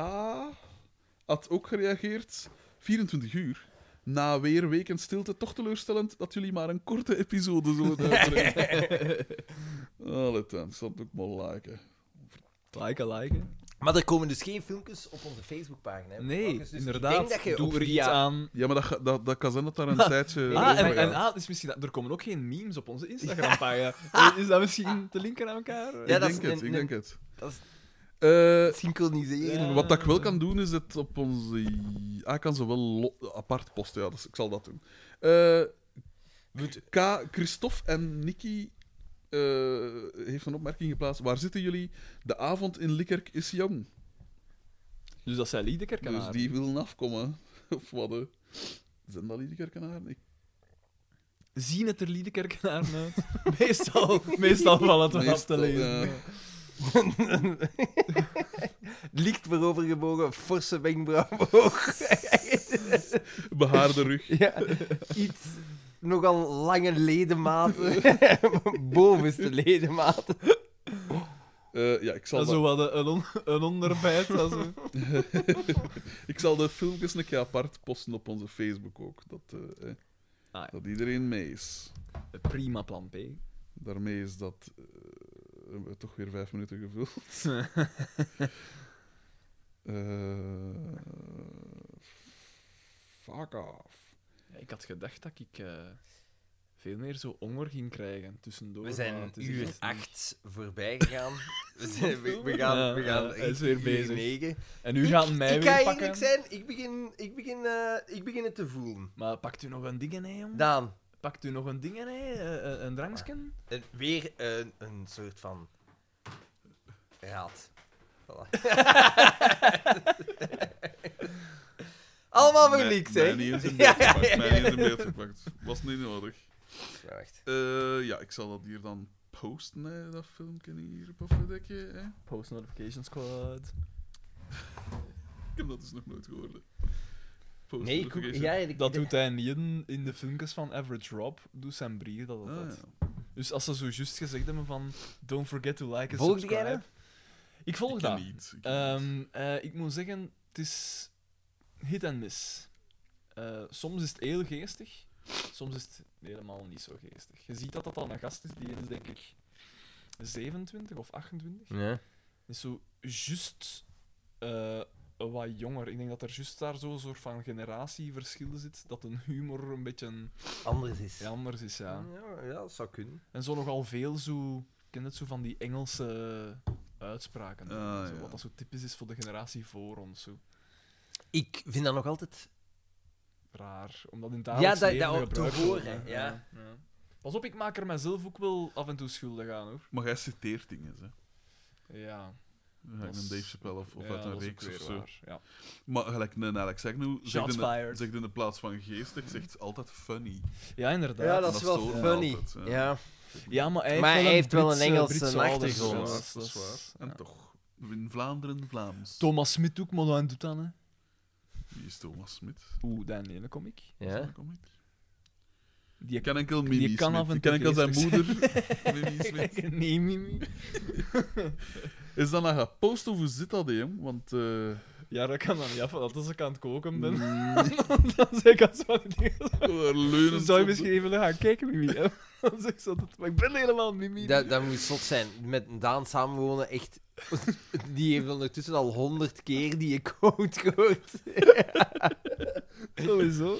[SPEAKER 4] had ook gereageerd. 24 uur. Na weer weken stilte, toch teleurstellend dat jullie maar een korte episode zullen uitbrengen. Allee, dan, zal het ook maar liken.
[SPEAKER 3] Liken, liken.
[SPEAKER 1] Maar er komen dus geen filmpjes op onze Facebookpagina. hè,
[SPEAKER 3] Nee,
[SPEAKER 1] Marcus. Dus
[SPEAKER 3] inderdaad.
[SPEAKER 1] Ik denk dat je
[SPEAKER 3] doe
[SPEAKER 1] op
[SPEAKER 3] er iets
[SPEAKER 1] via-
[SPEAKER 3] aan.
[SPEAKER 4] Ja, maar dat, ga- dat, dat kan zijn dat daar een
[SPEAKER 3] Ah,
[SPEAKER 4] tijdje.
[SPEAKER 3] Ah, en, en
[SPEAKER 4] overgaat.
[SPEAKER 3] ah, dus misschien dat- er komen ook geen memes op onze Instagram-pagina. Eh, Is dat misschien te linken aan elkaar?
[SPEAKER 1] Ja,
[SPEAKER 4] ik
[SPEAKER 1] dat
[SPEAKER 4] denk
[SPEAKER 1] is
[SPEAKER 4] het,
[SPEAKER 1] een-
[SPEAKER 4] ik
[SPEAKER 1] een-
[SPEAKER 4] denk het.
[SPEAKER 1] dat is-
[SPEAKER 4] Eh,
[SPEAKER 1] Synchroniseren.
[SPEAKER 3] Ja.
[SPEAKER 4] wat dat ik wel kan doen, is het op onze... Ah, ik kan ze wel lo- apart posten, ja, dus ik zal dat doen. Eh, K. Christophe en Nicky eh, heeft een opmerking geplaatst. Waar zitten jullie? De avond in Likkerk is jong.
[SPEAKER 3] Dus dat zijn Liedekerkenaar.
[SPEAKER 4] Dus die willen afkomen. Of wat, hè? Zijn dat Liedekerkenaren? Ik...
[SPEAKER 3] Zien het er Liedekerkenaren uit? meestal, meestal valt het wel af
[SPEAKER 4] Meestal, eh,
[SPEAKER 3] te lezen.
[SPEAKER 4] ja.
[SPEAKER 1] Licht voorovergebogen, forse wenkbrauw omhoog.
[SPEAKER 4] Behaarde rug.
[SPEAKER 1] Ja, iets nogal lange ledematen. Bovenste ledematen.
[SPEAKER 4] Eh, ja, ik zal,
[SPEAKER 3] Dat is zo
[SPEAKER 4] dat-
[SPEAKER 3] wat een, een, on, een onderbijt. dat zo.
[SPEAKER 4] ik zal de filmpjes een keer apart posten op onze Facebook ook. Dat, eh, eh,
[SPEAKER 3] Ah, ja.
[SPEAKER 4] dat iedereen mee is.
[SPEAKER 3] Prima plan, P.
[SPEAKER 4] Daarmee is dat... eh, hebben we toch weer vijf minuten gevuld. Eh, fuck off.
[SPEAKER 3] Ja, ik had gedacht dat ik eh, veel meer zo honger ging krijgen tussendoor.
[SPEAKER 1] We
[SPEAKER 3] maar
[SPEAKER 1] zijn
[SPEAKER 3] Oh, het is echt
[SPEAKER 1] uur
[SPEAKER 3] niet-
[SPEAKER 1] 8 voorbij gegaan. We, zijn- we, we gaan, we
[SPEAKER 3] Ja,
[SPEAKER 1] gaan
[SPEAKER 3] ja, hij is weer
[SPEAKER 1] uur
[SPEAKER 3] bezig.
[SPEAKER 1] negen.
[SPEAKER 3] En u
[SPEAKER 1] Ik-
[SPEAKER 3] gaat mij
[SPEAKER 1] ik
[SPEAKER 3] weer
[SPEAKER 1] ga
[SPEAKER 3] pakken.
[SPEAKER 1] eerlijk zijn, ik begin, ik, begin, eh, ik begin het te voelen.
[SPEAKER 3] Maar pakt u nog een ding in, hè, jongen?
[SPEAKER 1] Daan,
[SPEAKER 3] Pakt u nog een ding in, hè? Eh, eh, Een drankje?
[SPEAKER 1] eh, weer een, een soort van raad. Voilà. Allemaal voor
[SPEAKER 4] Mij-
[SPEAKER 1] niks, hè?
[SPEAKER 4] Mij niet eens in
[SPEAKER 1] Ja,
[SPEAKER 4] beeld
[SPEAKER 1] ja,
[SPEAKER 4] gepakt.
[SPEAKER 1] ja,
[SPEAKER 4] mij niet eens in beeld gepakt. Was niet nodig.
[SPEAKER 1] ja, wacht.
[SPEAKER 4] Eh, ja, ik zal dat hier dan posten, hè, dat filmpje hier op Affedekje. Hè.
[SPEAKER 3] Post notification squad.
[SPEAKER 4] Ik heb dat dus nog nooit gehoord. hè. Post
[SPEAKER 1] Nee, ik,
[SPEAKER 4] notification.
[SPEAKER 1] ja, ik,
[SPEAKER 3] Dat doet hij niet in, in de filmpjes van Average Rob. Doet zijn brier dat
[SPEAKER 4] Ah,
[SPEAKER 3] altijd.
[SPEAKER 4] ja.
[SPEAKER 3] Dus als ze zo juist gezegd hebben van... Don't forget to like and
[SPEAKER 1] Volg jij
[SPEAKER 3] subscribe.
[SPEAKER 1] dat?
[SPEAKER 3] Ik volg
[SPEAKER 4] Ik
[SPEAKER 3] dat.
[SPEAKER 4] ken niet. ik ken niet.
[SPEAKER 3] Ehm, eh, ik moet zeggen, het is hit en miss. Eh, soms is het heel geestig, soms is het helemaal niet zo geestig. Je ziet dat dat dan een gast is, die is denk ik 27 of 28.
[SPEAKER 4] Hm.
[SPEAKER 1] Ja.
[SPEAKER 3] Is zo juist eh, wat jonger. Ik denk dat er juist daar zo'n soort van generatieverschil zit, dat een humor een beetje
[SPEAKER 1] Anders is.
[SPEAKER 3] anders is. Ja.
[SPEAKER 1] ja, ja, dat zou kunnen.
[SPEAKER 3] En zo nogal veel zo... Ik ken het zo van die Engelse uitspraken.
[SPEAKER 4] Ah,
[SPEAKER 3] zo,
[SPEAKER 4] ja.
[SPEAKER 3] Wat dat zo typisch is voor de generatie voor ons. Zo.
[SPEAKER 1] Ik vind dat nog altijd
[SPEAKER 3] raar. Omdat in het dagelijks
[SPEAKER 1] Ja, dat-
[SPEAKER 3] leven
[SPEAKER 1] dat te
[SPEAKER 3] gebruikt wordt,
[SPEAKER 1] horen,
[SPEAKER 3] hè.
[SPEAKER 1] ja.
[SPEAKER 3] Pas op, ik maak er mezelf ook wel af en toe schuldig aan, hoor.
[SPEAKER 4] Maar jij citeert dingen, hè.
[SPEAKER 3] Ja.
[SPEAKER 4] Ja,
[SPEAKER 3] Dat
[SPEAKER 4] in een
[SPEAKER 3] is-
[SPEAKER 4] Dave Chappelle of, of
[SPEAKER 3] ja,
[SPEAKER 4] uit een
[SPEAKER 3] dat is
[SPEAKER 4] reeks
[SPEAKER 3] ook
[SPEAKER 4] of
[SPEAKER 3] weer
[SPEAKER 4] zo.
[SPEAKER 3] waar, Ja.
[SPEAKER 4] Maar gelijk een Alex Agnew zegt
[SPEAKER 3] Shots
[SPEAKER 4] in, de,
[SPEAKER 3] fired.
[SPEAKER 4] zegt in de plaats van geestig, zegt altijd funny.
[SPEAKER 3] ja, inderdaad.
[SPEAKER 1] Ja,
[SPEAKER 3] Ja,
[SPEAKER 1] dat
[SPEAKER 4] dat
[SPEAKER 1] is
[SPEAKER 4] is
[SPEAKER 1] wel
[SPEAKER 4] zo
[SPEAKER 1] funny.
[SPEAKER 4] altijd, ja.
[SPEAKER 1] ja.
[SPEAKER 3] maar hij heeft
[SPEAKER 1] Maar
[SPEAKER 3] wel
[SPEAKER 1] hij
[SPEAKER 3] een,
[SPEAKER 1] heeft wel een
[SPEAKER 3] Britse-
[SPEAKER 1] Engelse
[SPEAKER 3] Britse
[SPEAKER 1] achtergrond.
[SPEAKER 3] ouders,
[SPEAKER 1] Ja,
[SPEAKER 3] dus
[SPEAKER 4] dat is waar. En
[SPEAKER 3] ja.
[SPEAKER 4] toch, in Vlaanderen Vlaams.
[SPEAKER 3] Thomas Smit ook, maar dat doet dan, hè.
[SPEAKER 4] Wie is Thomas Smit?
[SPEAKER 3] Oeh, dat ene comic.
[SPEAKER 1] Ja.
[SPEAKER 4] Kom ik.
[SPEAKER 3] Die
[SPEAKER 4] Ik ken enkel Mimi
[SPEAKER 3] Die kan
[SPEAKER 4] Smit.
[SPEAKER 3] af en
[SPEAKER 4] Ik ken
[SPEAKER 3] toe
[SPEAKER 4] enkel zijn moeder.
[SPEAKER 3] geestig
[SPEAKER 4] Mimi Smit.
[SPEAKER 3] nee, Mimi.
[SPEAKER 4] Is dat nou gepost of hoe zit dat, hè? Want... eh,
[SPEAKER 3] Ja, dat kan dan niet af. Dat als ik aan het koken ben,
[SPEAKER 4] mm,
[SPEAKER 3] dan zeg ik als wat
[SPEAKER 4] daar leunend
[SPEAKER 3] Zou je
[SPEAKER 4] op-
[SPEAKER 3] misschien even gaan kijken, Mimi? hè? Dan zeg ik zo, dat- maar ik ben helemaal Mimi.
[SPEAKER 1] Dat, dat moet zot zijn. Met Daan samenwonen, echt. Die heeft ondertussen al honderd keer die quote gehoord.
[SPEAKER 3] Sowieso.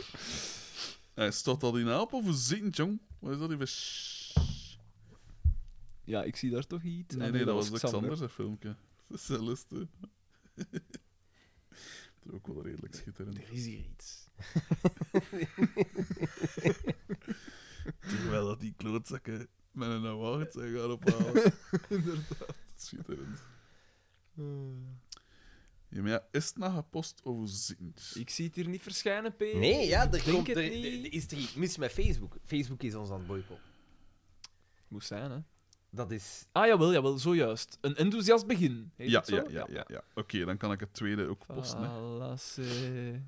[SPEAKER 4] Hij staat dat in aap of hoe zit het, jong? Wat is dat even?
[SPEAKER 3] Nou, Ja, ik zie daar toch iets. Ah,
[SPEAKER 4] Nee, nee, dat was Alexander, zijn filmpje. Dat is Celeste. Dat is ook wel redelijk schitterend.
[SPEAKER 3] Er is hier iets.
[SPEAKER 4] Terwijl dat die klootzakken met een award zijn gaan ophalen. Inderdaad. Schitterend. Ja, maar ja, is het nou gepost of hoe zit het?
[SPEAKER 3] Ik zie het hier niet verschijnen, P.
[SPEAKER 1] Nee, ja, er,
[SPEAKER 3] denk
[SPEAKER 1] komt,
[SPEAKER 3] het
[SPEAKER 1] er,
[SPEAKER 3] niet.
[SPEAKER 1] er- er is er iets mis met Facebook. Facebook is ons aan het boycotten.
[SPEAKER 3] Moest zijn, hè?
[SPEAKER 1] Dat is.
[SPEAKER 3] Ah, jawel, jawel, zojuist. Een enthousiast begin. Heet
[SPEAKER 4] Ja,
[SPEAKER 3] het zo?
[SPEAKER 4] ja, ja, ja. ja. Oké, dan kan ik het tweede ook posten. hè.
[SPEAKER 3] Falasse.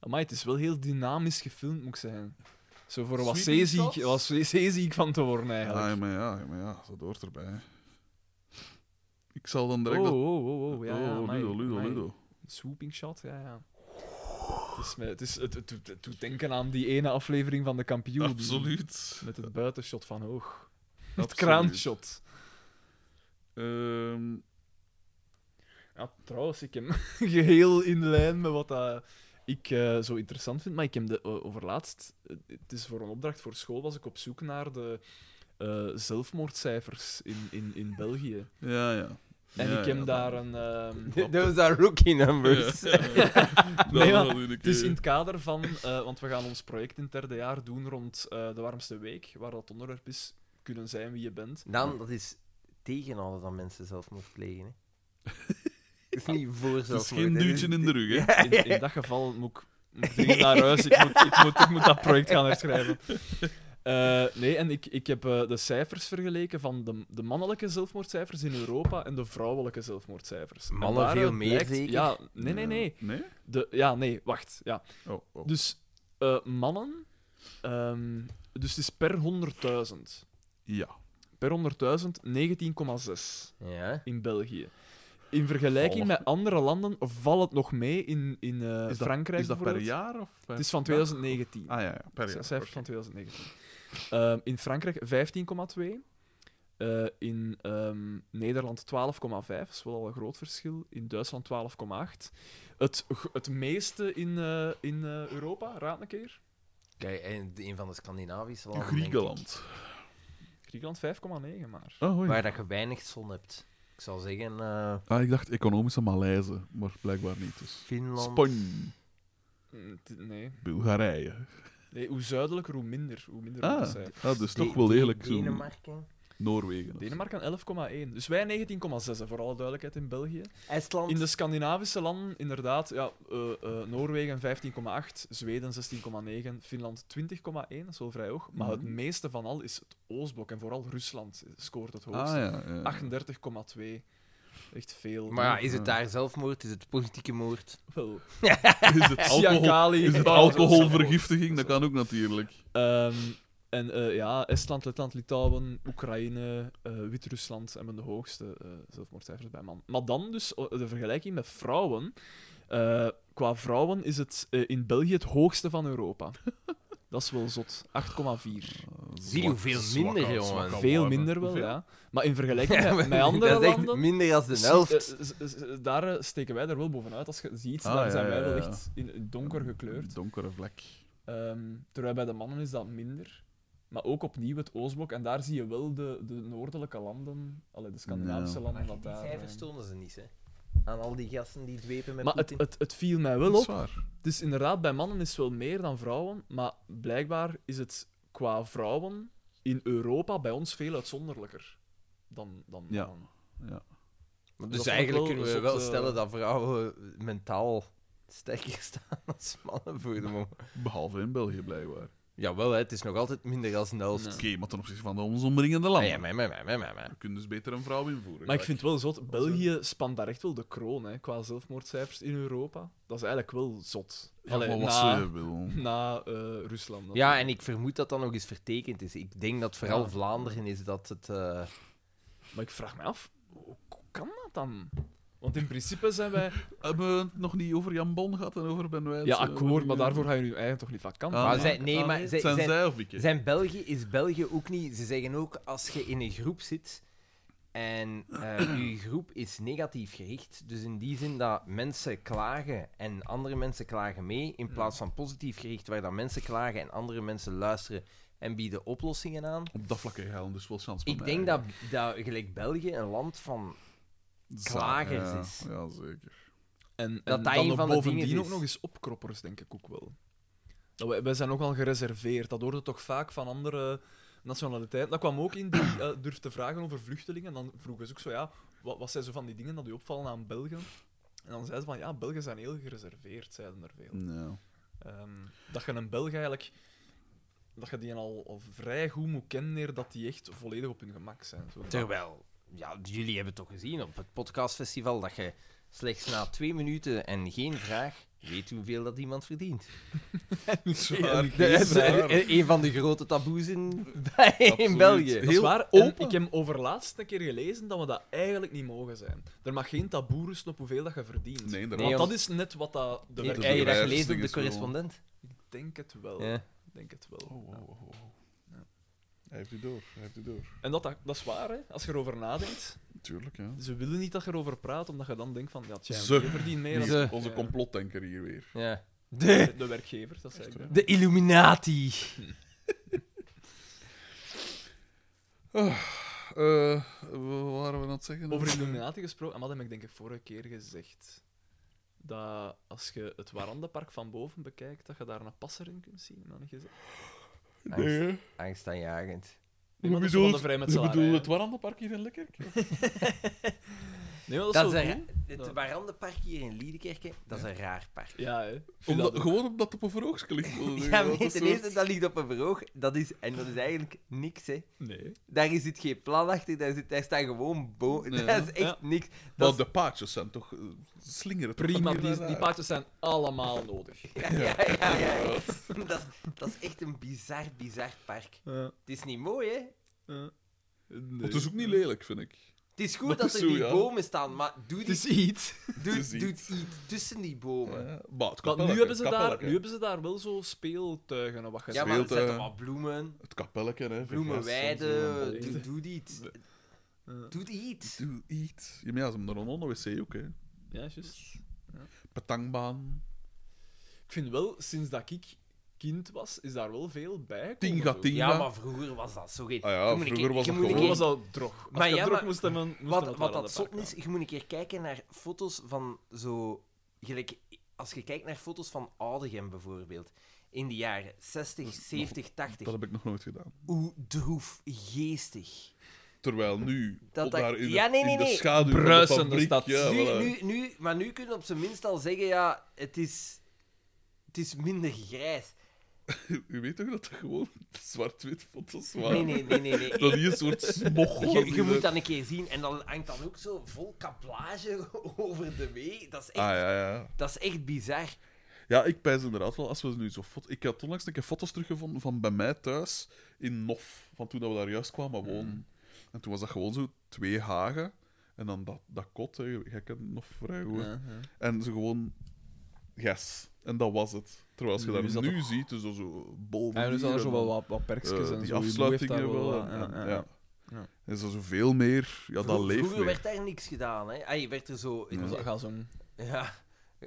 [SPEAKER 3] Amai, het is wel heel dynamisch gefilmd, moet ik zeggen. Zo voor wat C
[SPEAKER 4] Sweeping
[SPEAKER 3] zie ik,
[SPEAKER 4] shots?
[SPEAKER 3] wat C zie ik van te worden,
[SPEAKER 4] Ah, ja,
[SPEAKER 3] eigenlijk.
[SPEAKER 4] maar ja, ja, maar ja, dat hoort erbij. hè. Ik zal dan direct
[SPEAKER 3] oh,
[SPEAKER 4] dat...
[SPEAKER 3] oh, oh, oh, ja, ja,
[SPEAKER 4] oh,
[SPEAKER 3] amai,
[SPEAKER 4] Ludo, Ludo,
[SPEAKER 3] amai.
[SPEAKER 4] Ludo.
[SPEAKER 3] Swooping shot, ja, ja. Het, is me- het, is, het, het doet- het doet denken aan die ene aflevering van de kampioen.
[SPEAKER 4] Absoluut.
[SPEAKER 3] Met het buitenshot van hoog. Het
[SPEAKER 4] Absoluut.
[SPEAKER 3] kraanshot.
[SPEAKER 4] Ehm,
[SPEAKER 3] Ja, trouwens, ik heb geheel in lijn met wat dat ik eh, zo interessant vind. Maar ik heb de, eh, overlaatst... eh, het is voor een opdracht voor school, was ik op zoek naar de eh, zelfmoordcijfers in, in, in België.
[SPEAKER 4] ja, ja.
[SPEAKER 3] En
[SPEAKER 4] Ja,
[SPEAKER 3] ik heb
[SPEAKER 4] ja,
[SPEAKER 3] daar
[SPEAKER 4] dat-
[SPEAKER 3] een... ehm,
[SPEAKER 1] Those are rookie numbers.
[SPEAKER 4] Ja, dat
[SPEAKER 3] Nee, maar
[SPEAKER 4] zal u een
[SPEAKER 3] Het is
[SPEAKER 4] keer-
[SPEAKER 3] in het kader van, eh, want we gaan ons project in het derde jaar doen rond eh, de warmste week, waar dat onderwerp is kunnen zijn wie je bent.
[SPEAKER 1] Daan, dat is tegenhouden dat mensen zelfmoord plegen. Hè. Het is niet voor zelfmoord.
[SPEAKER 4] Het is geen
[SPEAKER 1] hè.
[SPEAKER 4] duwtje in de rug, hè.
[SPEAKER 3] In, in dat geval moet ik, moet ik dringend naar huis, ik moet, ik, moet, ik moet dat project gaan herschrijven. Eh, nee, en ik, ik heb eh, de cijfers vergeleken van de, de mannelijke zelfmoordcijfers in Europa en de vrouwelijke zelfmoordcijfers. En
[SPEAKER 1] Mannen
[SPEAKER 3] daaruit
[SPEAKER 1] veel meer,
[SPEAKER 3] blijkt-
[SPEAKER 1] zeker?
[SPEAKER 3] Ja, nee, nee, nee.
[SPEAKER 4] Eh, Nee?
[SPEAKER 3] De, ja, nee, wacht. Ja.
[SPEAKER 4] Oh, oh.
[SPEAKER 3] Dus eh, mannen, ehm, dus het is per 100.000.
[SPEAKER 4] Ja.
[SPEAKER 3] per 100.000 19,6
[SPEAKER 1] Ja.
[SPEAKER 3] in België. In vergelijking
[SPEAKER 4] Vallen.
[SPEAKER 3] met andere landen valt het nog mee in, in eh,
[SPEAKER 4] Is dat-
[SPEAKER 3] Frankrijk.
[SPEAKER 4] Is dat per
[SPEAKER 3] bijvoorbeeld.
[SPEAKER 4] jaar? Of per...
[SPEAKER 3] Het is van 2019.
[SPEAKER 4] Ah, ja, ja. Per
[SPEAKER 3] C-
[SPEAKER 4] jaar.
[SPEAKER 3] Cijfers
[SPEAKER 4] oké.
[SPEAKER 3] van 2019. Ehm, in Frankrijk 15,2. Eh, in ehm, Nederland 12,5. Dat is wel al een groot verschil. In Duitsland 12,8. Het, g- het meeste in, eh, in eh, Europa, raad een keer.
[SPEAKER 1] Kijk, en een van de Scandinavische landen. denk ik,
[SPEAKER 4] Griekenland.
[SPEAKER 3] Griekenland 5,9 maar.
[SPEAKER 4] Oh, hoi.
[SPEAKER 1] waar dat je weinig zon hebt. Ik zou zeggen, eh,
[SPEAKER 4] Ah, ik dacht economische Maleise, maar blijkbaar niet. Dus.
[SPEAKER 1] Finland.
[SPEAKER 4] Spanje,
[SPEAKER 3] Mm, t- Nee.
[SPEAKER 4] Bulgarije.
[SPEAKER 3] nee. Hoe zuidelijker, hoe minder. Hoe minder
[SPEAKER 4] Ah,
[SPEAKER 3] onze cijfers.
[SPEAKER 4] ah, dus
[SPEAKER 1] De-
[SPEAKER 4] toch wel
[SPEAKER 1] De-
[SPEAKER 4] eerlijk zo.
[SPEAKER 1] Denemarken.
[SPEAKER 4] Noorwegen. of zo.
[SPEAKER 3] Denemarken 11,1. Dus wij 19,6, hè, voor alle duidelijkheid, in België.
[SPEAKER 1] IJsland.
[SPEAKER 3] In de Scandinavische landen, inderdaad, ja, eh, eh, Noorwegen 15,8, Zweden 16,9, Finland 20,1, dat is wel vrij hoog. Maar het
[SPEAKER 4] Mhm.
[SPEAKER 3] meeste van al is het Oostblok en vooral Rusland scoort het hoogst.
[SPEAKER 4] Ah ja. ja.
[SPEAKER 3] 38,2. Echt veel.
[SPEAKER 1] Maar ja,
[SPEAKER 4] Noor-
[SPEAKER 1] is het daar zelfmoord? Is het politieke moord?
[SPEAKER 3] Wel,
[SPEAKER 4] Is het alcohol?
[SPEAKER 3] Siankali,
[SPEAKER 4] Is het
[SPEAKER 3] Bauer,
[SPEAKER 4] alcoholvergiftiging? Dat kan ook natuurlijk.
[SPEAKER 3] Ehm, en eh, ja, Estland, Letland, Litouwen, Oekraïne, eh, Wit-Rusland hebben de hoogste eh, zelfmoordcijfers bij man. Maar dan dus o- de vergelijking met vrouwen. Eh, qua vrouwen is het eh, in België het hoogste van Europa. Dat is wel zot. 8,4.
[SPEAKER 1] Zie je hoeveel minder, jongen.
[SPEAKER 3] Veel minder wel, ja. Maar in vergelijking met, met andere
[SPEAKER 1] dat is echt
[SPEAKER 3] landen...
[SPEAKER 1] minder dan de
[SPEAKER 3] zie- eh,
[SPEAKER 1] helft.
[SPEAKER 3] z- z- z- daar eh, steken wij er wel bovenuit. Als je ziet,
[SPEAKER 4] Ah,
[SPEAKER 3] daar
[SPEAKER 4] ja,
[SPEAKER 3] zijn wij
[SPEAKER 4] ja,
[SPEAKER 3] wel
[SPEAKER 4] ja.
[SPEAKER 3] echt in in donker gekleurd.
[SPEAKER 4] Donkere vlek.
[SPEAKER 3] Ehm, terwijl bij de mannen is dat minder. Maar ook opnieuw het Oostblok. En daar zie je wel de, de noordelijke landen, allee, de Scandinavische
[SPEAKER 4] Ja.
[SPEAKER 3] landen. Dat
[SPEAKER 1] die
[SPEAKER 3] daar,
[SPEAKER 1] cijfers
[SPEAKER 3] eh,
[SPEAKER 1] tonen ze niet, hè? Aan al die gasten die dwepen met
[SPEAKER 3] Maar het,
[SPEAKER 1] Poetin.
[SPEAKER 3] het, het viel mij wel
[SPEAKER 4] Dat is
[SPEAKER 3] op.
[SPEAKER 4] waar.
[SPEAKER 3] Dus inderdaad, bij mannen is het wel meer dan vrouwen. Maar blijkbaar is het qua vrouwen in Europa bij ons veel uitzonderlijker dan, dan
[SPEAKER 4] Ja.
[SPEAKER 3] mannen.
[SPEAKER 1] Maar
[SPEAKER 3] dat
[SPEAKER 1] Dus
[SPEAKER 3] is
[SPEAKER 1] eigenlijk
[SPEAKER 3] ook wel
[SPEAKER 1] kunnen we wel
[SPEAKER 3] een soort, eh,
[SPEAKER 1] stellen dat vrouwen mentaal sterker staan als mannen voor de moment.
[SPEAKER 4] Behalve in België blijkbaar.
[SPEAKER 1] Jawel, hè, het is nog altijd minder dan de helft.
[SPEAKER 3] Nee.
[SPEAKER 4] Oké, maar ten opzichte van de ons omringende
[SPEAKER 1] Ah,
[SPEAKER 4] landen.
[SPEAKER 1] ja, maar, maar, maar, maar, maar, maar.
[SPEAKER 4] We kunnen dus beter een vrouw invoeren.
[SPEAKER 3] Maar ik vind het wel zot. België spant daar echt wel de kroon hè, qua zelfmoordcijfers in Europa. Dat is eigenlijk wel zot.
[SPEAKER 4] Ja, maar
[SPEAKER 3] Allee,
[SPEAKER 4] wat
[SPEAKER 3] na,
[SPEAKER 4] ze wil.
[SPEAKER 3] na eh, Rusland.
[SPEAKER 1] Ja, en ik vermoed dat dat nog eens vertekend is. Ik denk dat vooral
[SPEAKER 3] Ja.
[SPEAKER 1] Vlaanderen is dat het... eh,
[SPEAKER 3] Maar ik vraag me af, hoe hoe kan dat dan? Want in principe zijn wij...
[SPEAKER 4] Hebben we het nog niet over Jan Bon gehad en over Ben Wijts?
[SPEAKER 3] Ja,
[SPEAKER 4] en
[SPEAKER 3] akkoord,
[SPEAKER 4] over-
[SPEAKER 3] maar daarvoor ga je nu eigenlijk toch niet vakant
[SPEAKER 4] Ah,
[SPEAKER 1] maar
[SPEAKER 4] nee.
[SPEAKER 1] zij- nee,
[SPEAKER 4] Ah,
[SPEAKER 1] maar zij-
[SPEAKER 4] zijn,
[SPEAKER 1] zij-
[SPEAKER 4] zij of ik? hè?
[SPEAKER 1] Zijn België is België ook niet. Ze zeggen ook als je in een groep zit en eh je groep is negatief gericht. Dus in die zin dat mensen klagen en andere mensen klagen mee. In plaats van positief gericht, waar dat mensen klagen en andere mensen luisteren en bieden oplossingen aan.
[SPEAKER 4] Op dat vlak heb je dan dus wel kans
[SPEAKER 1] Ik denk dat, dat gelijk België een land van. klagers
[SPEAKER 4] ja,
[SPEAKER 1] is.
[SPEAKER 4] Ja, zeker.
[SPEAKER 3] En, en
[SPEAKER 1] dat
[SPEAKER 3] dan
[SPEAKER 1] een
[SPEAKER 3] nog
[SPEAKER 1] van de
[SPEAKER 3] bovendien
[SPEAKER 1] dingen
[SPEAKER 3] ook
[SPEAKER 1] is.
[SPEAKER 3] nog eens opkroppers, denk ik ook wel. Dat wij, wij zijn nogal gereserveerd. Dat hoorde toch vaak van andere nationaliteiten. Dat kwam ook in die eh, durf te vragen over vluchtelingen. En dan vroegen ze ook zo, ja, wat, wat zijn zo van die dingen dat u opvallen aan Belgen? En dan zeiden ze van, ja, Belgen zijn heel gereserveerd, zeiden er veel.
[SPEAKER 4] Ja.
[SPEAKER 3] Ehm, dat je een Belg eigenlijk... Dat je die al, al vrij goed moet kennen eer dat die echt volledig op hun gemak zijn. Zo, dat-
[SPEAKER 1] Terwijl, ja, jullie hebben toch gezien op het podcastfestival dat je slechts na twee minuten en geen vraag weet hoeveel dat iemand verdient.
[SPEAKER 4] Zwaar.
[SPEAKER 3] En-
[SPEAKER 1] Dat is
[SPEAKER 4] Zwaar.
[SPEAKER 1] eh, eh, een van de grote taboes in, bij- in
[SPEAKER 4] Absoluut.
[SPEAKER 1] België.
[SPEAKER 3] Dat is
[SPEAKER 4] Heel
[SPEAKER 3] waar. En
[SPEAKER 4] open.
[SPEAKER 3] ik heb overlaatst een keer gelezen dat we dat eigenlijk niet mogen zijn. Er mag geen taboe rusten op hoeveel dat je verdient.
[SPEAKER 4] Nee,
[SPEAKER 1] Nee,
[SPEAKER 3] Want
[SPEAKER 4] inderdaad.
[SPEAKER 1] joh.
[SPEAKER 3] dat is net wat dat de
[SPEAKER 1] Heb
[SPEAKER 4] de
[SPEAKER 1] jij dat
[SPEAKER 3] werkgever-
[SPEAKER 4] bedrijfsding
[SPEAKER 1] gelezen op de
[SPEAKER 4] is wel-
[SPEAKER 1] correspondent?
[SPEAKER 3] Ik denk het wel.
[SPEAKER 1] Ja.
[SPEAKER 3] Ik denk het wel.
[SPEAKER 4] Oh, oh, oh, oh. Hij heeft u door, hij heeft u door.
[SPEAKER 3] En dat, dat, dat is waar, hè. als je erover nadenkt.
[SPEAKER 4] Natuurlijk, ja.
[SPEAKER 3] Ze willen niet dat je erover praat, omdat je dan denkt van, ja, tja,
[SPEAKER 4] Ze.
[SPEAKER 3] je verdient meer dan
[SPEAKER 1] Ze.
[SPEAKER 4] Onze
[SPEAKER 3] Ja.
[SPEAKER 4] complotdenker hier weer.
[SPEAKER 1] Ja. De,
[SPEAKER 3] de, de werkgever. Dat zei ik.
[SPEAKER 4] Echt,
[SPEAKER 3] dan.
[SPEAKER 1] de Illuminati.
[SPEAKER 4] Eh, wat waren we aan het zeggen?
[SPEAKER 3] Over Illuminati gesproken, en wat heb ik denk ik vorige keer gezegd? Dat als je het Warandenpark van boven bekijkt, dat je daar een passer in kunt zien. Dat niet gezegd.
[SPEAKER 4] Nee, hè?
[SPEAKER 1] Angstaanjagend.
[SPEAKER 3] Nee, maar dat is
[SPEAKER 4] bedoel-
[SPEAKER 3] van de vrijmetselarij,
[SPEAKER 4] bedoel
[SPEAKER 3] hè.
[SPEAKER 4] het Warandenpark hier in Lekkerk?
[SPEAKER 3] Nee, maar dat is
[SPEAKER 1] Dat is
[SPEAKER 3] wel
[SPEAKER 1] een
[SPEAKER 3] cool.
[SPEAKER 1] ra- het Warandenpark hier in Liedekerke, dat is een raar park.
[SPEAKER 3] Ja, hè. Ik vind dat
[SPEAKER 4] Omdat,
[SPEAKER 3] ook.
[SPEAKER 4] gewoon omdat het op een verhoogst ligt. Dat is
[SPEAKER 1] Ja,
[SPEAKER 4] een
[SPEAKER 1] nee, ten
[SPEAKER 4] soort-
[SPEAKER 1] eerste, dat ligt op een verhoog. Dat is, en dat is eigenlijk niks, hè.
[SPEAKER 3] Nee.
[SPEAKER 1] Daar zit geen plan achter, daar, zit, daar staan gewoon bomen.
[SPEAKER 4] Ja.
[SPEAKER 1] Dat is echt
[SPEAKER 3] Ja.
[SPEAKER 1] niks.
[SPEAKER 4] Maar
[SPEAKER 1] Dat
[SPEAKER 4] de paardjes zijn toch eh, slingeren. toch
[SPEAKER 3] Prima,
[SPEAKER 4] van eh, hier
[SPEAKER 3] die,
[SPEAKER 4] naar
[SPEAKER 3] die
[SPEAKER 4] daar.
[SPEAKER 3] paardjes zijn allemaal nodig.
[SPEAKER 1] is, ja, ja, ja, ja, ja. Dat, is- dat is echt een bizar, bizar park. Het is niet mooi, hè.
[SPEAKER 4] Maar het is ook niet lelijk, vind ik.
[SPEAKER 1] Het is goed
[SPEAKER 4] Dat
[SPEAKER 1] dat,
[SPEAKER 4] is
[SPEAKER 1] er
[SPEAKER 4] zo,
[SPEAKER 1] die
[SPEAKER 4] ja.
[SPEAKER 1] bomen staan, maar doe,
[SPEAKER 3] Het
[SPEAKER 1] die,
[SPEAKER 3] is iets.
[SPEAKER 1] doe,
[SPEAKER 4] is iets.
[SPEAKER 1] doe iets tussen die bomen.
[SPEAKER 4] Ja, maar het
[SPEAKER 3] Want nu
[SPEAKER 4] kapelletje,
[SPEAKER 3] hebben, ze
[SPEAKER 4] het
[SPEAKER 3] daar,
[SPEAKER 4] kapelletje.
[SPEAKER 3] nu hebben ze daar wel zo speeltuigen en wat
[SPEAKER 1] Ja,
[SPEAKER 3] je zegt.
[SPEAKER 1] maar er
[SPEAKER 4] speelt,
[SPEAKER 1] zijn
[SPEAKER 4] eh,
[SPEAKER 1] toch wel bloemen,
[SPEAKER 4] Het kapelletje, hè. verglas en
[SPEAKER 1] bloemenweiden,
[SPEAKER 4] zo.
[SPEAKER 1] doe, doe iets. Doe iets.
[SPEAKER 4] Doe iets. Ja, maar ja, ze hebben er een onderwc ook, hè.
[SPEAKER 3] Ja, juist.
[SPEAKER 4] Petangbaan.
[SPEAKER 3] Ik vind wel, sinds dat ik kind was, is daar wel veel bij.
[SPEAKER 4] Tinga,
[SPEAKER 3] gaat
[SPEAKER 4] tinga.
[SPEAKER 1] Ja, maar vroeger was dat zo geen...
[SPEAKER 4] Ah ja,
[SPEAKER 1] Je moet een
[SPEAKER 4] vroeger
[SPEAKER 1] keer-
[SPEAKER 4] was
[SPEAKER 1] je
[SPEAKER 4] dat
[SPEAKER 1] moet een
[SPEAKER 3] Vroeger
[SPEAKER 1] keer-
[SPEAKER 4] gewoon.
[SPEAKER 3] was dat drog. Als
[SPEAKER 1] Maar
[SPEAKER 3] je
[SPEAKER 1] ja,
[SPEAKER 3] drog
[SPEAKER 1] maar
[SPEAKER 3] moest hebben, moest dat
[SPEAKER 1] Wat,
[SPEAKER 3] wel
[SPEAKER 1] wat
[SPEAKER 3] aan
[SPEAKER 1] dat
[SPEAKER 3] de
[SPEAKER 1] zot
[SPEAKER 3] bak
[SPEAKER 1] is, je moet een keer kijken naar foto's van zo... Gelijk, als je kijkt naar foto's van Oudegem bijvoorbeeld, in de jaren 60, 70, 80,
[SPEAKER 4] Dat heb ik nog nooit gedaan.
[SPEAKER 1] hoe droefgeestig.
[SPEAKER 4] Terwijl nu,
[SPEAKER 1] Dat
[SPEAKER 4] op
[SPEAKER 1] dat-
[SPEAKER 4] daar in, de-
[SPEAKER 1] Ja, nee, nee,
[SPEAKER 4] in de
[SPEAKER 1] nee.
[SPEAKER 4] schaduw van de
[SPEAKER 3] Bruisende
[SPEAKER 4] fabriek,
[SPEAKER 3] stad.
[SPEAKER 4] Ja,
[SPEAKER 1] nu,
[SPEAKER 4] voilà.
[SPEAKER 1] nu, nu, maar nu kun je op zijn minst al zeggen, ja, het is, het is minder grijs.
[SPEAKER 4] U weet toch dat dat gewoon zwart-wit foto's waren?
[SPEAKER 1] Nee, nee, nee, nee. nee.
[SPEAKER 4] Dat die een soort smog
[SPEAKER 1] Je, je
[SPEAKER 4] worden.
[SPEAKER 1] moet dat een keer zien. En dan hangt dan ook zo vol kaplage over de weg. Dat is echt,
[SPEAKER 4] Ah, ja, ja.
[SPEAKER 1] dat is echt bizar.
[SPEAKER 4] Ja, ik pijs inderdaad wel, als we nu zo foto's... Ik had onlangs een keer foto's teruggevonden van bij mij thuis in Nof, van toen dat we daar juist kwamen
[SPEAKER 3] Mm.
[SPEAKER 4] wonen. En toen was dat gewoon zo twee hagen en dan dat, dat kot, hè. Jij kent Nof vrij goed.
[SPEAKER 3] Ja, ja.
[SPEAKER 4] En ze gewoon... Yes. En dat was het. Terwijl als je
[SPEAKER 3] Nu is
[SPEAKER 4] dat
[SPEAKER 3] dat
[SPEAKER 4] nu ziet, dus zo- zo bol van
[SPEAKER 3] Ja, nu zijn er
[SPEAKER 4] hier
[SPEAKER 3] zo
[SPEAKER 4] en
[SPEAKER 3] wel
[SPEAKER 4] dan,
[SPEAKER 3] wat, wat perkjes
[SPEAKER 4] eh,
[SPEAKER 3] en
[SPEAKER 4] die
[SPEAKER 3] zo.
[SPEAKER 4] afsluitingen wel.
[SPEAKER 3] wel.
[SPEAKER 4] en- en- ja,
[SPEAKER 3] Ja.
[SPEAKER 4] Er is er zoveel meer... Ja, dat
[SPEAKER 1] Vroeger-
[SPEAKER 4] leeft
[SPEAKER 1] Vroeger
[SPEAKER 4] weer.
[SPEAKER 1] werd daar niks gedaan. Hè. Ay, werd er zo...
[SPEAKER 4] Ja.
[SPEAKER 1] Ja.
[SPEAKER 3] Ga zo'n...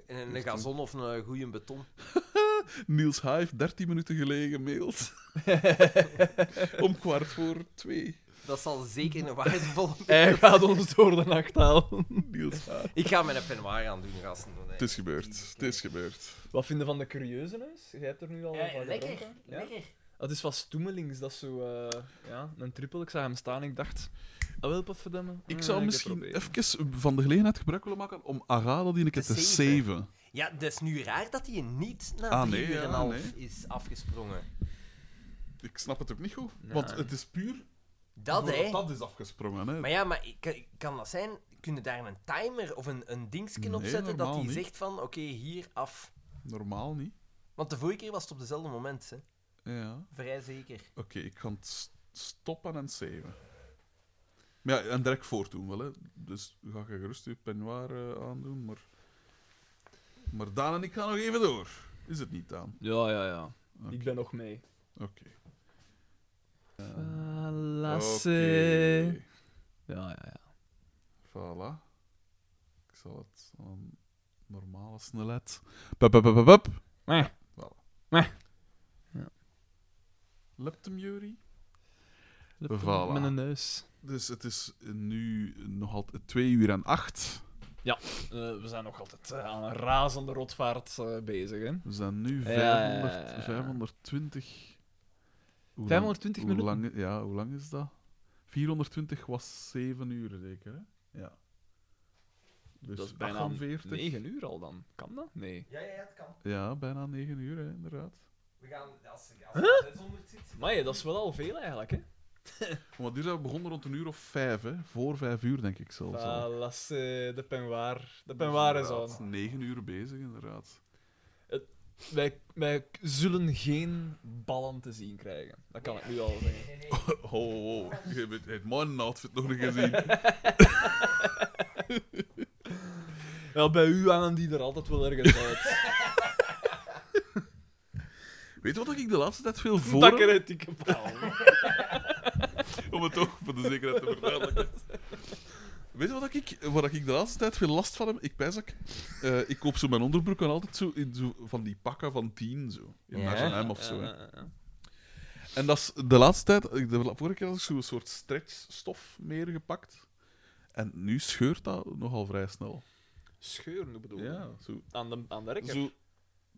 [SPEAKER 1] Een, een gazon of een goeie beton.
[SPEAKER 4] Niels Ha heeft 13 minuten geleden gemaild. Om kwart voor twee.
[SPEAKER 1] Dat zal zeker een waardevolle...
[SPEAKER 3] Hij gaat ons door de nacht halen.
[SPEAKER 4] Niels Ha.
[SPEAKER 1] Ik ga mijn penoir aan doen, gasten. Nee.
[SPEAKER 4] Het is gebeurd. Het is gebeurd.
[SPEAKER 3] Wat vinden van de Curieuzenhuis? Jij hebt er nu al
[SPEAKER 1] Eh,
[SPEAKER 3] van
[SPEAKER 1] lekker,
[SPEAKER 3] gedronken? Ja?
[SPEAKER 1] lekker.
[SPEAKER 3] Dat is van Stoemelings, dat is zo... eh, ja, een triple. Ik zag hem staan en ik dacht... Ah, wel, potverdamme.
[SPEAKER 4] Ik
[SPEAKER 3] Eh,
[SPEAKER 4] zou
[SPEAKER 3] ga
[SPEAKER 4] misschien
[SPEAKER 3] proberen.
[SPEAKER 4] even van de gelegenheid gebruik willen maken om Arada die een keer
[SPEAKER 1] Te
[SPEAKER 4] te
[SPEAKER 1] saven.
[SPEAKER 4] saven.
[SPEAKER 1] Ja, dat is nu raar dat hij niet na
[SPEAKER 4] Ah,
[SPEAKER 1] drie
[SPEAKER 4] nee,
[SPEAKER 1] uur
[SPEAKER 4] ja,
[SPEAKER 1] en een half
[SPEAKER 4] nee.
[SPEAKER 1] is afgesprongen.
[SPEAKER 4] Ik snap het ook niet goed.
[SPEAKER 3] Nee.
[SPEAKER 4] Want het is puur
[SPEAKER 1] Dat,
[SPEAKER 4] voordat
[SPEAKER 1] hè.
[SPEAKER 4] dat is afgesprongen. Hè.
[SPEAKER 1] Maar ja, maar ik- kan, kan dat zijn? Kunnen daar een timer of een, een dingetje
[SPEAKER 4] Nee,
[SPEAKER 1] op zetten dat
[SPEAKER 4] normaal
[SPEAKER 1] die
[SPEAKER 4] niet.
[SPEAKER 1] zegt van, oké, hier af.
[SPEAKER 4] Normaal niet.
[SPEAKER 1] Want de vorige keer was het op dezelfde moment, hè.
[SPEAKER 4] Ja.
[SPEAKER 1] Vrij zeker.
[SPEAKER 4] Oké, ik ga het s- stoppen en saven. Maar ja, en direct voortdoen wel. Hè. Dus ga je gerust je peignoir eh, aandoen. Maar... maar Daan en ik gaan nog even door. Is het niet, Daan?
[SPEAKER 3] Ja, ja, ja.
[SPEAKER 4] Oké.
[SPEAKER 3] Ik ben nog mee.
[SPEAKER 4] Oké.
[SPEAKER 3] Falasse.
[SPEAKER 4] Oké.
[SPEAKER 3] Ja, ja, ja.
[SPEAKER 4] Voilà. Ik zal het aan een normale snelheid. Pup, pup, pup, pup, pup.
[SPEAKER 3] Meh.
[SPEAKER 4] Voilà.
[SPEAKER 3] Meh. Ja.
[SPEAKER 4] Leptum, Jury.
[SPEAKER 3] Laptop
[SPEAKER 4] Voilà.
[SPEAKER 3] Met een neus.
[SPEAKER 4] Dus het is nu nog altijd 2 uur en 8.
[SPEAKER 3] Eh, we zijn nog altijd eh, aan een razende rotvaart eh, bezig, hè.
[SPEAKER 4] We zijn nu
[SPEAKER 3] Ja, ja, ja,
[SPEAKER 4] 500,
[SPEAKER 3] ja.
[SPEAKER 4] 520. Hoe lang-
[SPEAKER 3] 520
[SPEAKER 4] hoe
[SPEAKER 3] minuten?
[SPEAKER 4] lang- ja, hoe lang is dat? 420 was 7 uur, zeker. Hè? Ja. Dus
[SPEAKER 3] dat is bijna
[SPEAKER 4] 48.
[SPEAKER 3] 9 uur al dan. Kan dat? Nee.
[SPEAKER 1] Ja, ja, dat kan.
[SPEAKER 4] Ja, bijna 9 uur, hè, inderdaad.
[SPEAKER 1] We gaan, als, als zit...
[SPEAKER 3] Maar ja, dat is wel al veel eigenlijk, hè.
[SPEAKER 4] Want hier zijn we begonnen rond een uur of vijf, hè? Voor vijf uur, denk ik zelfs. al.
[SPEAKER 3] Falasse, eh, de penwaar. De penwaar is
[SPEAKER 4] Inderdaad,
[SPEAKER 3] aan.
[SPEAKER 4] Negen uur bezig, inderdaad.
[SPEAKER 3] Wij, wij zullen geen ballen te zien krijgen. Dat kan ik nu al zeggen.
[SPEAKER 4] Oh, oh, oh. je hebt het man outfit nog niet gezien.
[SPEAKER 3] Ja, bij u hangen die er altijd wel ergens uit.
[SPEAKER 4] Weet je wat ik de laatste tijd veel voor
[SPEAKER 3] Takken uit die kabal.
[SPEAKER 4] Om het toch voor de zekerheid te verduidelijken. Weet je wat ik, waar ik de laatste tijd veel last van heb? Ik pijs dat ik, eh, ik koop zo mijn onderbroek en altijd zo, in zo van die pakken van tien, zo. In
[SPEAKER 1] Ja.
[SPEAKER 4] H&M of
[SPEAKER 3] Eh,
[SPEAKER 4] zo. hè. En dat is de laatste tijd, de vorige keer had ik zo'n soort stretchstof meer gepakt. En nu scheurt dat nogal vrij snel.
[SPEAKER 3] Scheuren, hoe bedoel je?
[SPEAKER 4] Ja, zo,
[SPEAKER 3] Aan de, aan de rekker.
[SPEAKER 4] zo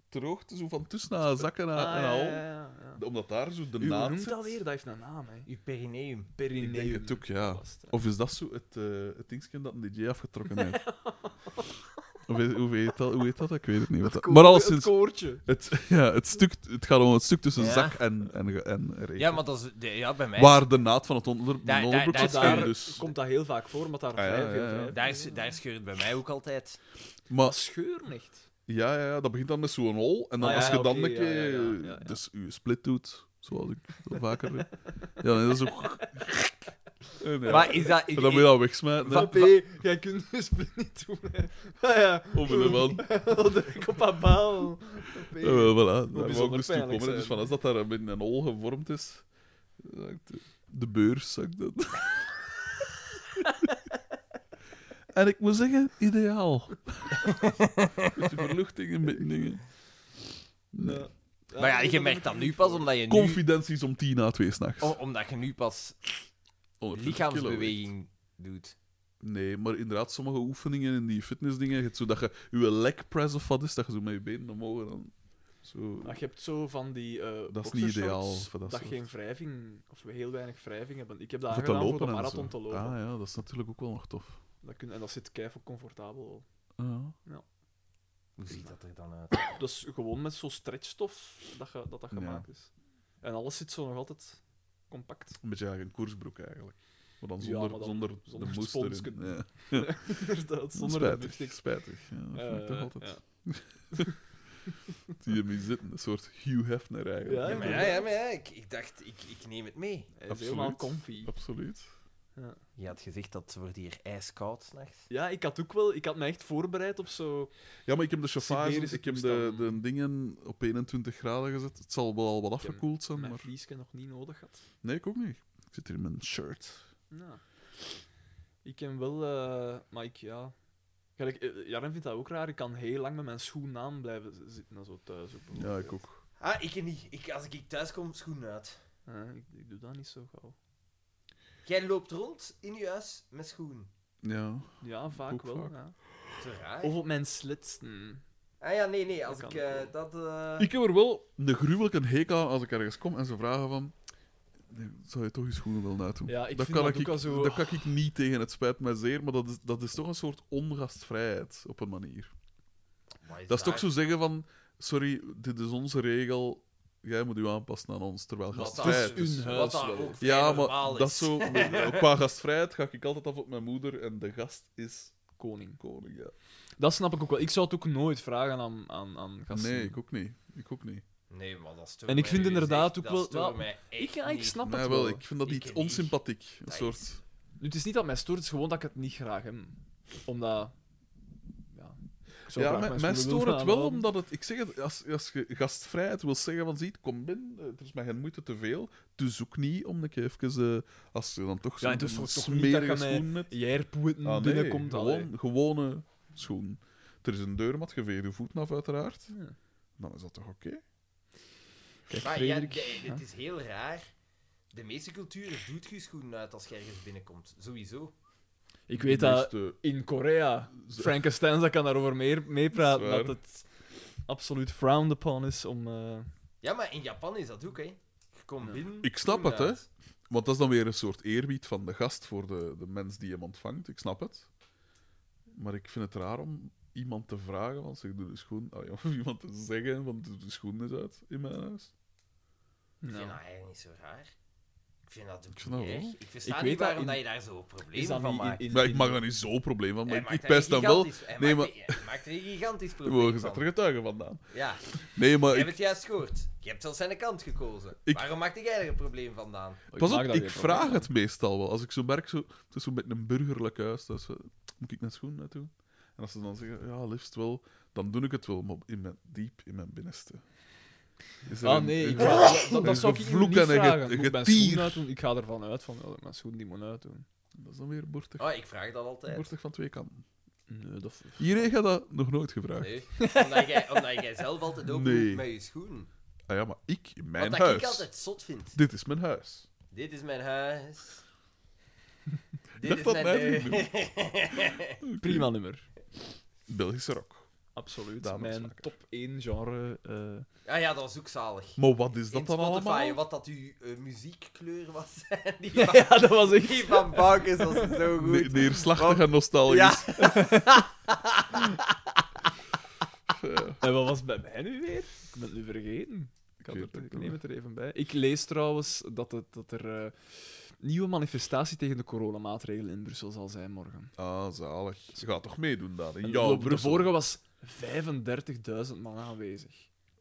[SPEAKER 4] droogte zo van tussen haar zak en haar,
[SPEAKER 3] Ah,
[SPEAKER 4] en haar
[SPEAKER 3] ja,
[SPEAKER 4] hol.
[SPEAKER 3] ja, ja, ja.
[SPEAKER 4] Omdat daar zo de
[SPEAKER 3] U, Hoe
[SPEAKER 4] naad
[SPEAKER 3] noemt
[SPEAKER 4] zit.
[SPEAKER 3] dat weer? Dat heeft een naam, hè.
[SPEAKER 1] Uw perineum.
[SPEAKER 4] Ik
[SPEAKER 3] Perineum.
[SPEAKER 4] denk het ook, ja.
[SPEAKER 3] Vast, hè.
[SPEAKER 4] Of is dat zo het, eh het dingetje dat een DJ afgetrokken heeft? of is- hoe, heet dat, hoe heet dat? Ik weet het niet. Wat dat- maar
[SPEAKER 3] Het
[SPEAKER 4] alleszins,
[SPEAKER 3] koortje.
[SPEAKER 4] het, ja, het, stuk, het gaat om het stuk tussen
[SPEAKER 1] Ja.
[SPEAKER 4] zak en, en, ge- en reet.
[SPEAKER 1] Ja, maar dat is... de- ja, bij mij... is-
[SPEAKER 4] Waar de naad van het onder,
[SPEAKER 1] Daar-
[SPEAKER 4] mijn
[SPEAKER 1] daar-
[SPEAKER 4] onderbroek
[SPEAKER 1] daar
[SPEAKER 4] zat.
[SPEAKER 1] is
[SPEAKER 4] scheen
[SPEAKER 1] waar.
[SPEAKER 4] Dus.
[SPEAKER 3] Komt dat heel vaak voor, maar daar
[SPEAKER 4] Ah, ja,
[SPEAKER 3] vrij veel
[SPEAKER 4] ja, ja.
[SPEAKER 3] vrij-
[SPEAKER 1] Daar, is- daar scheurt bij mij ook altijd.
[SPEAKER 4] Maar
[SPEAKER 3] Dat scheuren echt.
[SPEAKER 4] Ja, ja, ja, dat begint dan met zo'n hol. En dan
[SPEAKER 3] Ah, ja,
[SPEAKER 4] als je
[SPEAKER 3] ja,
[SPEAKER 4] dan
[SPEAKER 3] oké,
[SPEAKER 4] een
[SPEAKER 3] ja,
[SPEAKER 4] keer
[SPEAKER 3] ja, ja, ja, ja.
[SPEAKER 4] dus je split doet, zoals ik dat vaker doe. Ja, nee, dat is ook... En
[SPEAKER 3] Oh,
[SPEAKER 4] ja,
[SPEAKER 1] Maar is dat...
[SPEAKER 4] en dan moet je dat wegsmijten. hè.
[SPEAKER 3] Van P, jij kunt dus niet doen. Hè. Ah, ja.
[SPEAKER 4] Om in de Oh, man.
[SPEAKER 3] Dat druk ik op haar baal. Van P.
[SPEAKER 4] Ja, wel, voilà, daar wou
[SPEAKER 3] bijzonder
[SPEAKER 4] ik dus toe
[SPEAKER 3] pijnlijk
[SPEAKER 4] komen. hè. Dus
[SPEAKER 3] zijn.
[SPEAKER 4] van als dat daar een beetje een hol gevormd is... dan denk ik, De beurs, zeg ik dat. en ik moet zeggen, ideaal. Met die verluchting en beetje dingen. Nee.
[SPEAKER 3] Ja.
[SPEAKER 1] Maar ja, je merkt dat nu pas omdat je nu...
[SPEAKER 4] Confidenties om tien na twee s'nachts.
[SPEAKER 3] Oh,
[SPEAKER 1] o- omdat je nu pas
[SPEAKER 4] 120 kilo
[SPEAKER 1] lichaamsbeweging doet.
[SPEAKER 4] weegt. Nee, maar inderdaad, sommige oefeningen in die fitnessdingen, het zo dat je je leg press of wat is, dat je zo met je benen omhoog en dan zo...
[SPEAKER 3] Maar je hebt zo van die eh
[SPEAKER 4] Dat is niet
[SPEAKER 3] boxershorts
[SPEAKER 4] ideaal voor dat soort.
[SPEAKER 3] geen wrijving, of heel weinig wrijving hebben. Ik heb dat
[SPEAKER 4] Voor
[SPEAKER 3] aangedaan voor de
[SPEAKER 4] en
[SPEAKER 3] marathon
[SPEAKER 4] zo.
[SPEAKER 3] te lopen.
[SPEAKER 4] Ah ja, dat is natuurlijk ook wel nog tof. Ah,
[SPEAKER 3] dat kun, en dat zit keihard comfortabel.
[SPEAKER 4] Ja.
[SPEAKER 1] Hoe ziet dat er dan uit?
[SPEAKER 3] Dus gewoon met zo'n stretchstof dat ge- dat, dat
[SPEAKER 4] Ja.
[SPEAKER 3] gemaakt is. En alles zit zo nog altijd compact.
[SPEAKER 4] Een beetje eigenlijk een koersbroek eigenlijk. Maar dan
[SPEAKER 3] Ja,
[SPEAKER 4] zonder,
[SPEAKER 3] maar dan
[SPEAKER 4] zonder,
[SPEAKER 3] zonder
[SPEAKER 4] de
[SPEAKER 3] het
[SPEAKER 4] moes
[SPEAKER 3] sponsje.
[SPEAKER 4] erin. Ja.
[SPEAKER 3] Inderdaad, zonder een
[SPEAKER 4] spijtig,
[SPEAKER 3] lipstick.
[SPEAKER 4] spijtig. Ja, dat vind ik toch
[SPEAKER 3] Eh,
[SPEAKER 4] altijd.
[SPEAKER 3] ja.
[SPEAKER 4] Die ermee zitten, een soort Hugh Hefner eigenlijk.
[SPEAKER 3] Ja,
[SPEAKER 1] Ja, maar ja, ja, maar ja, ik, ik dacht, ik, ik neem het mee.
[SPEAKER 3] Hij is
[SPEAKER 4] Absoluut.
[SPEAKER 3] helemaal comfy.
[SPEAKER 4] Absoluut.
[SPEAKER 1] Je had gezegd dat wordt hier ijskoud s'nachts.
[SPEAKER 3] Ja, ik had ook wel... Ik had me echt voorbereid op zo...
[SPEAKER 4] Ja, maar ik heb de chauffage,
[SPEAKER 3] Siberische
[SPEAKER 4] ik heb de,
[SPEAKER 3] toestand.
[SPEAKER 4] de dingen op 21 graden gezet. Het zal wel al wat
[SPEAKER 3] heb
[SPEAKER 4] afgekoeld zijn,
[SPEAKER 3] Mijn
[SPEAKER 4] maar...
[SPEAKER 3] vriesken nog niet nodig had.
[SPEAKER 4] Nee, ik ook niet. Ik zit hier in mijn shirt.
[SPEAKER 3] Nou. Ik heb wel... eh, maar ik, ja... Gelijk, eh, Jaren vindt dat ook raar. Ik kan heel lang met mijn schoen aan blijven z- zitten en zo thuis. Ook,
[SPEAKER 4] Ja,
[SPEAKER 3] bijvoorbeeld.
[SPEAKER 4] ik ook.
[SPEAKER 1] Ah, ik niet. Ik, als ik thuis kom, schoenen uit.
[SPEAKER 3] Eh, ik, ik doe dat niet zo gauw.
[SPEAKER 1] Jij loopt rond in je huis met schoenen.
[SPEAKER 4] Ja.
[SPEAKER 3] Ja, vaak
[SPEAKER 4] Ook
[SPEAKER 3] wel.
[SPEAKER 4] vaak.
[SPEAKER 3] Ja.
[SPEAKER 1] Te raar.
[SPEAKER 3] Of op mijn Hm. slitsen.
[SPEAKER 1] Ah ja, nee, nee. Als
[SPEAKER 3] Dat
[SPEAKER 1] ik
[SPEAKER 3] kan ook
[SPEAKER 1] eh, dat... eh,
[SPEAKER 4] Ik heb er wel een gruwelijke hekel aan als ik ergens kom en ze vragen van... "Nee, Zou je toch je schoenen willen uitdoen?
[SPEAKER 3] Ja, ik
[SPEAKER 4] dat
[SPEAKER 3] vind
[SPEAKER 4] kan
[SPEAKER 3] dat
[SPEAKER 4] ik,
[SPEAKER 3] ook al zo-
[SPEAKER 4] Dat kan ik niet tegen, het spijt mij zeer, maar dat is, dat is toch een soort ongastvrijheid op een manier.
[SPEAKER 1] maar
[SPEAKER 4] Dat is toch zo zeggen van... Sorry, dit is onze regel, jij moet u aanpassen aan ons, terwijl
[SPEAKER 3] Wat
[SPEAKER 4] gastvrijheid
[SPEAKER 3] dat is
[SPEAKER 4] is.
[SPEAKER 3] hun
[SPEAKER 1] Wat
[SPEAKER 3] huis
[SPEAKER 1] daar
[SPEAKER 3] wel.
[SPEAKER 1] ook vrij
[SPEAKER 4] Ja,
[SPEAKER 1] normaal
[SPEAKER 4] maar dat is zo... Qua gastvrijheid ga ik altijd af op mijn moeder en de gast is
[SPEAKER 3] Koning.
[SPEAKER 4] koning, ja.
[SPEAKER 3] Dat snap ik ook wel. Ik zou het ook nooit vragen aan, aan, aan gasten.
[SPEAKER 4] Nee, ik ook niet. Ik ook niet.
[SPEAKER 1] Nee, maar dat stoort
[SPEAKER 3] En ik
[SPEAKER 1] mij
[SPEAKER 3] vind
[SPEAKER 1] nu eens echt.
[SPEAKER 3] inderdaad ook
[SPEAKER 1] Dat
[SPEAKER 3] wel-
[SPEAKER 1] stoort
[SPEAKER 3] wel,
[SPEAKER 1] mij
[SPEAKER 3] ik,
[SPEAKER 1] echt
[SPEAKER 3] ja, ik
[SPEAKER 1] niet.
[SPEAKER 3] snap
[SPEAKER 4] Nee,
[SPEAKER 3] het
[SPEAKER 4] wel,
[SPEAKER 3] wel.
[SPEAKER 4] ik vind dat
[SPEAKER 1] Ik
[SPEAKER 4] iets
[SPEAKER 1] niet.
[SPEAKER 4] onsympathiek. Een
[SPEAKER 1] Dat
[SPEAKER 4] soort...
[SPEAKER 1] is-
[SPEAKER 3] Nu, het is niet dat mij stoort, het is gewoon dat ik het niet graag heb. Omdat... Ja, ik zou
[SPEAKER 4] Ja,
[SPEAKER 3] graag
[SPEAKER 4] mij,
[SPEAKER 3] mijn
[SPEAKER 4] mij
[SPEAKER 3] schoenen
[SPEAKER 4] stoort
[SPEAKER 3] willen
[SPEAKER 4] het wel
[SPEAKER 3] aanhouden.
[SPEAKER 4] omdat het... Ik zeg het, als, als je gastvrijheid wil zeggen van, ziet, kom binnen, eh, er is mij geen moeite te veel, dus ook niet om een keer even... eh, als je dan toch
[SPEAKER 3] Ja,
[SPEAKER 4] zo'n
[SPEAKER 3] en het is toch- toch niet
[SPEAKER 4] smerige
[SPEAKER 3] dat je mij-
[SPEAKER 4] schoen hebt...
[SPEAKER 3] Jerpoeten
[SPEAKER 4] Ah, nee,
[SPEAKER 3] binnenkomt. allee.
[SPEAKER 4] gewoon, gewone schoen. Er is een deurmat, je veegt je voeten af, uiteraard.
[SPEAKER 3] Ja.
[SPEAKER 4] Dan is dat toch oké?
[SPEAKER 3] Kijk,
[SPEAKER 1] Maar ja,
[SPEAKER 3] Frederik,
[SPEAKER 1] de-
[SPEAKER 3] ja.
[SPEAKER 1] het is heel raar. De meeste culturen doet je schoenen uit als je ergens binnenkomt. Sowieso.
[SPEAKER 3] Ik weet
[SPEAKER 4] De
[SPEAKER 3] dat
[SPEAKER 4] meeste-
[SPEAKER 3] in Korea, Frankenstein dat kan daarover meer, meepraten,
[SPEAKER 4] Zwaar.
[SPEAKER 3] dat het absoluut frowned upon is om... eh,
[SPEAKER 1] Ja, maar in Japan is dat ook, hè. Je komt
[SPEAKER 3] Ja.
[SPEAKER 1] binnen...
[SPEAKER 4] Ik snap
[SPEAKER 1] schoenen
[SPEAKER 4] het, hè.
[SPEAKER 1] uit.
[SPEAKER 4] Want dat is dan weer een soort eerbied van de gast voor de, de mens die hem ontvangt. Ik snap het. Maar ik vind het raar om iemand te vragen, want ze doen de schoen... Ah, ja, of iemand te zeggen, want de schoen is uit in mijn huis.
[SPEAKER 1] Ik vind
[SPEAKER 3] nou.
[SPEAKER 1] dat eigenlijk niet zo raar. Ik vind dat ook
[SPEAKER 4] Ik vind dat
[SPEAKER 1] niet
[SPEAKER 4] wel.
[SPEAKER 1] erg. Ik versta
[SPEAKER 3] Ik weet
[SPEAKER 1] niet
[SPEAKER 3] dat
[SPEAKER 1] waarom
[SPEAKER 3] in-
[SPEAKER 1] dat je daar zo'n
[SPEAKER 3] Is
[SPEAKER 1] probleem
[SPEAKER 3] dat
[SPEAKER 1] van
[SPEAKER 3] niet in-
[SPEAKER 1] maakt.
[SPEAKER 3] in-
[SPEAKER 4] Maar ik
[SPEAKER 3] in-
[SPEAKER 4] maak daar niet zo'n probleem van, maar
[SPEAKER 1] Hij
[SPEAKER 4] ik, ik
[SPEAKER 1] maakt daar
[SPEAKER 4] pijs
[SPEAKER 1] een
[SPEAKER 4] dan wel...
[SPEAKER 1] gigantisch- hij
[SPEAKER 4] Nee,
[SPEAKER 1] maakt, hij maakt er een gigantisch probleem
[SPEAKER 4] Wow, Je
[SPEAKER 1] van.
[SPEAKER 4] zet er getuigen vandaan.
[SPEAKER 1] Ja,
[SPEAKER 4] Nee, maar
[SPEAKER 1] je
[SPEAKER 4] ik,
[SPEAKER 1] hebt het juist gehoord. Je hebt zelfs zijn kant gekozen.
[SPEAKER 4] Ik-
[SPEAKER 1] Waarom maakt jij er een probleem vandaan?
[SPEAKER 3] Oh, Ik
[SPEAKER 4] Pas
[SPEAKER 3] maak
[SPEAKER 4] op,
[SPEAKER 3] daar
[SPEAKER 4] ik
[SPEAKER 3] geen
[SPEAKER 4] vraag
[SPEAKER 3] probleem
[SPEAKER 4] het meestal wel. Als ik zo merk, zo, het is zo met een burgerlijk huis, dat is, eh, moet ik naar schoen naartoe? En als ze dan zeggen, ja, liefst wel, dan doe ik het wel, maar in mijn, diep in mijn binnenste. Is er
[SPEAKER 3] Ah
[SPEAKER 4] een-
[SPEAKER 3] nee, ik
[SPEAKER 4] een-
[SPEAKER 3] wou- dat, dat
[SPEAKER 4] een
[SPEAKER 3] zou ik iemand
[SPEAKER 4] gevloek
[SPEAKER 3] niet
[SPEAKER 4] en een ge-
[SPEAKER 3] vragen.
[SPEAKER 4] een
[SPEAKER 3] Moet ik mijn
[SPEAKER 4] getier.
[SPEAKER 3] schoen uitdoen? Ik ga ervan uit van, ja, dat ik mijn schoen die moet uitdoen.
[SPEAKER 4] Dat is dan weer boertig,
[SPEAKER 1] Oh, ik vraag dat altijd.
[SPEAKER 4] boertig van twee kanten.
[SPEAKER 3] Nee, dat...
[SPEAKER 4] Iedereen gaat dat nog nooit gevraagd.
[SPEAKER 1] Nee, omdat jij, omdat jij zelf altijd open
[SPEAKER 4] Nee.
[SPEAKER 1] doet met je schoen.
[SPEAKER 4] Ah ja, maar ik, in mijn
[SPEAKER 1] Wat dat
[SPEAKER 4] huis.
[SPEAKER 1] ik altijd zot vind.
[SPEAKER 4] Dit is mijn huis.
[SPEAKER 1] Dit is mijn huis. Dit
[SPEAKER 4] dacht
[SPEAKER 1] is
[SPEAKER 4] dat
[SPEAKER 1] mijn
[SPEAKER 4] mijn
[SPEAKER 1] deur.
[SPEAKER 4] vrienden
[SPEAKER 3] Prima nummer.
[SPEAKER 4] Belgische rok.
[SPEAKER 3] Absoluut.
[SPEAKER 4] Dames
[SPEAKER 3] mijn
[SPEAKER 4] vaker.
[SPEAKER 3] top 1 genre. eh,
[SPEAKER 1] Ah ja, dat was ook zalig.
[SPEAKER 4] Maar wat is dat
[SPEAKER 1] In
[SPEAKER 4] dan
[SPEAKER 1] Spotify,
[SPEAKER 4] allemaal?
[SPEAKER 1] wat dat uw eh, muziekkleur was. die
[SPEAKER 3] ja, dat was echt.
[SPEAKER 1] Die van Baukes was zo goed.
[SPEAKER 4] Ne- neerslachtig en nostalgisch.
[SPEAKER 1] Ja.
[SPEAKER 3] En wat was het bij mij nu weer? Ik ben het nu vergeten. Ik, had
[SPEAKER 4] weet
[SPEAKER 3] het-
[SPEAKER 4] het
[SPEAKER 3] ik
[SPEAKER 4] ook
[SPEAKER 3] neem het er even bij. Ik lees trouwens dat, het, dat er eh, nieuwe manifestatie tegen de coronamaatregelen in Brussel zal zijn morgen.
[SPEAKER 4] Ah, zalig. Ze gaat toch meedoen daar? In
[SPEAKER 3] En
[SPEAKER 4] jouw
[SPEAKER 3] de- de
[SPEAKER 4] Brussel.
[SPEAKER 3] vorige was 35.000 man aanwezig.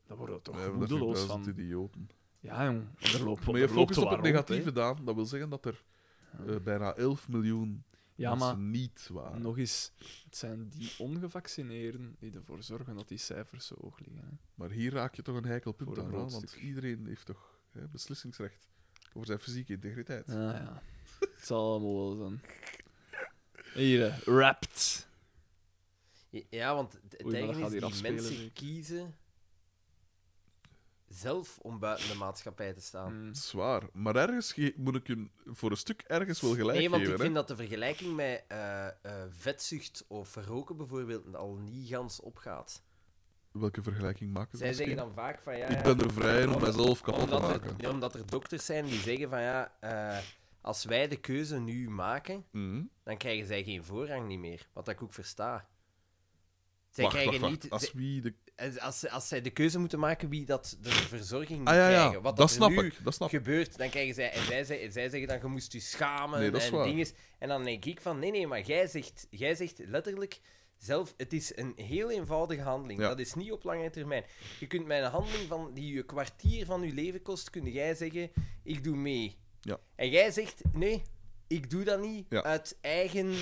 [SPEAKER 3] Daar worden we toch moedeloos
[SPEAKER 4] 35.000
[SPEAKER 3] van.
[SPEAKER 4] idioten.
[SPEAKER 3] Ja, jong. Er loopt
[SPEAKER 4] Maar je
[SPEAKER 3] er
[SPEAKER 4] focust
[SPEAKER 3] loopt wel
[SPEAKER 4] op het
[SPEAKER 3] wat rond, hè.
[SPEAKER 4] negatieve, Daan. Dat wil zeggen dat er eh, bijna 11 miljoen
[SPEAKER 3] Ja,
[SPEAKER 4] mensen
[SPEAKER 3] maar
[SPEAKER 4] niet waren.
[SPEAKER 3] nog eens. Het zijn die ongevaccineerden die ervoor zorgen dat die cijfers zo hoog liggen. hè.
[SPEAKER 4] Maar hier raak je toch een heikel punt
[SPEAKER 3] Voor een
[SPEAKER 4] aan,
[SPEAKER 3] groot
[SPEAKER 4] Daan, want
[SPEAKER 3] stuk.
[SPEAKER 4] iedereen heeft toch hè, beslissingsrecht over zijn fysieke integriteit.
[SPEAKER 3] Ah ja, het zal allemaal wel zijn. Hier, eh, Wrapped.
[SPEAKER 1] Ja, want het
[SPEAKER 3] Oei, maar dat
[SPEAKER 1] eigen
[SPEAKER 3] gaat
[SPEAKER 1] is,
[SPEAKER 3] hier
[SPEAKER 1] die
[SPEAKER 3] afspelen,
[SPEAKER 1] mensen
[SPEAKER 3] zeker.
[SPEAKER 1] kiezen zelf om buiten de maatschappij te staan.
[SPEAKER 3] Mm.
[SPEAKER 4] Dat is waar. Maar ergens ge- moet ik je voor een stuk ergens wel gelijk
[SPEAKER 1] nee, want
[SPEAKER 4] geven.
[SPEAKER 1] ik
[SPEAKER 4] hè.
[SPEAKER 1] vind dat de vergelijking met eh, eh, vetzucht of roken bijvoorbeeld al niet gans opgaat.
[SPEAKER 4] Welke vergelijking maken ze?
[SPEAKER 1] Zij
[SPEAKER 4] misschien?
[SPEAKER 1] zeggen dan vaak van ja...
[SPEAKER 4] Ik
[SPEAKER 1] ja,
[SPEAKER 4] ben er vrij in om mezelf kapot te
[SPEAKER 1] omdat,
[SPEAKER 4] maken.
[SPEAKER 1] er, omdat er dokters zijn die zeggen van ja, eh, als wij de keuze nu maken,
[SPEAKER 4] Mhm.
[SPEAKER 1] dan krijgen zij geen voorrang niet meer. Wat ik ook versta. Zij
[SPEAKER 4] Wacht,
[SPEAKER 1] krijgen
[SPEAKER 4] wacht, wacht.
[SPEAKER 1] niet...
[SPEAKER 4] Als wie de...
[SPEAKER 1] Als, als, als zij de keuze moeten maken wie dat de verzorging moet
[SPEAKER 4] Ah ja, ja.
[SPEAKER 1] krijgen. Wat
[SPEAKER 4] Dat,
[SPEAKER 1] dat er
[SPEAKER 4] snap
[SPEAKER 1] nu
[SPEAKER 4] ik. Dat snap ik.
[SPEAKER 1] gebeurt, dan krijgen zij... En zij, zij, zij zeggen dan, je moest je schamen
[SPEAKER 4] Nee, dat is
[SPEAKER 1] en
[SPEAKER 4] waar.
[SPEAKER 1] dinges. En dan denk ik van, nee, nee, maar jij zegt, jij zegt letterlijk zelf... Het is een heel eenvoudige handeling.
[SPEAKER 4] Ja.
[SPEAKER 1] Dat is niet op lange termijn. Je kunt met een handeling van, die je kwartier van je leven kost, kun jij zeggen, ik doe mee.
[SPEAKER 4] Ja.
[SPEAKER 1] En jij zegt, nee, ik doe dat niet
[SPEAKER 4] Ja.
[SPEAKER 1] uit eigen...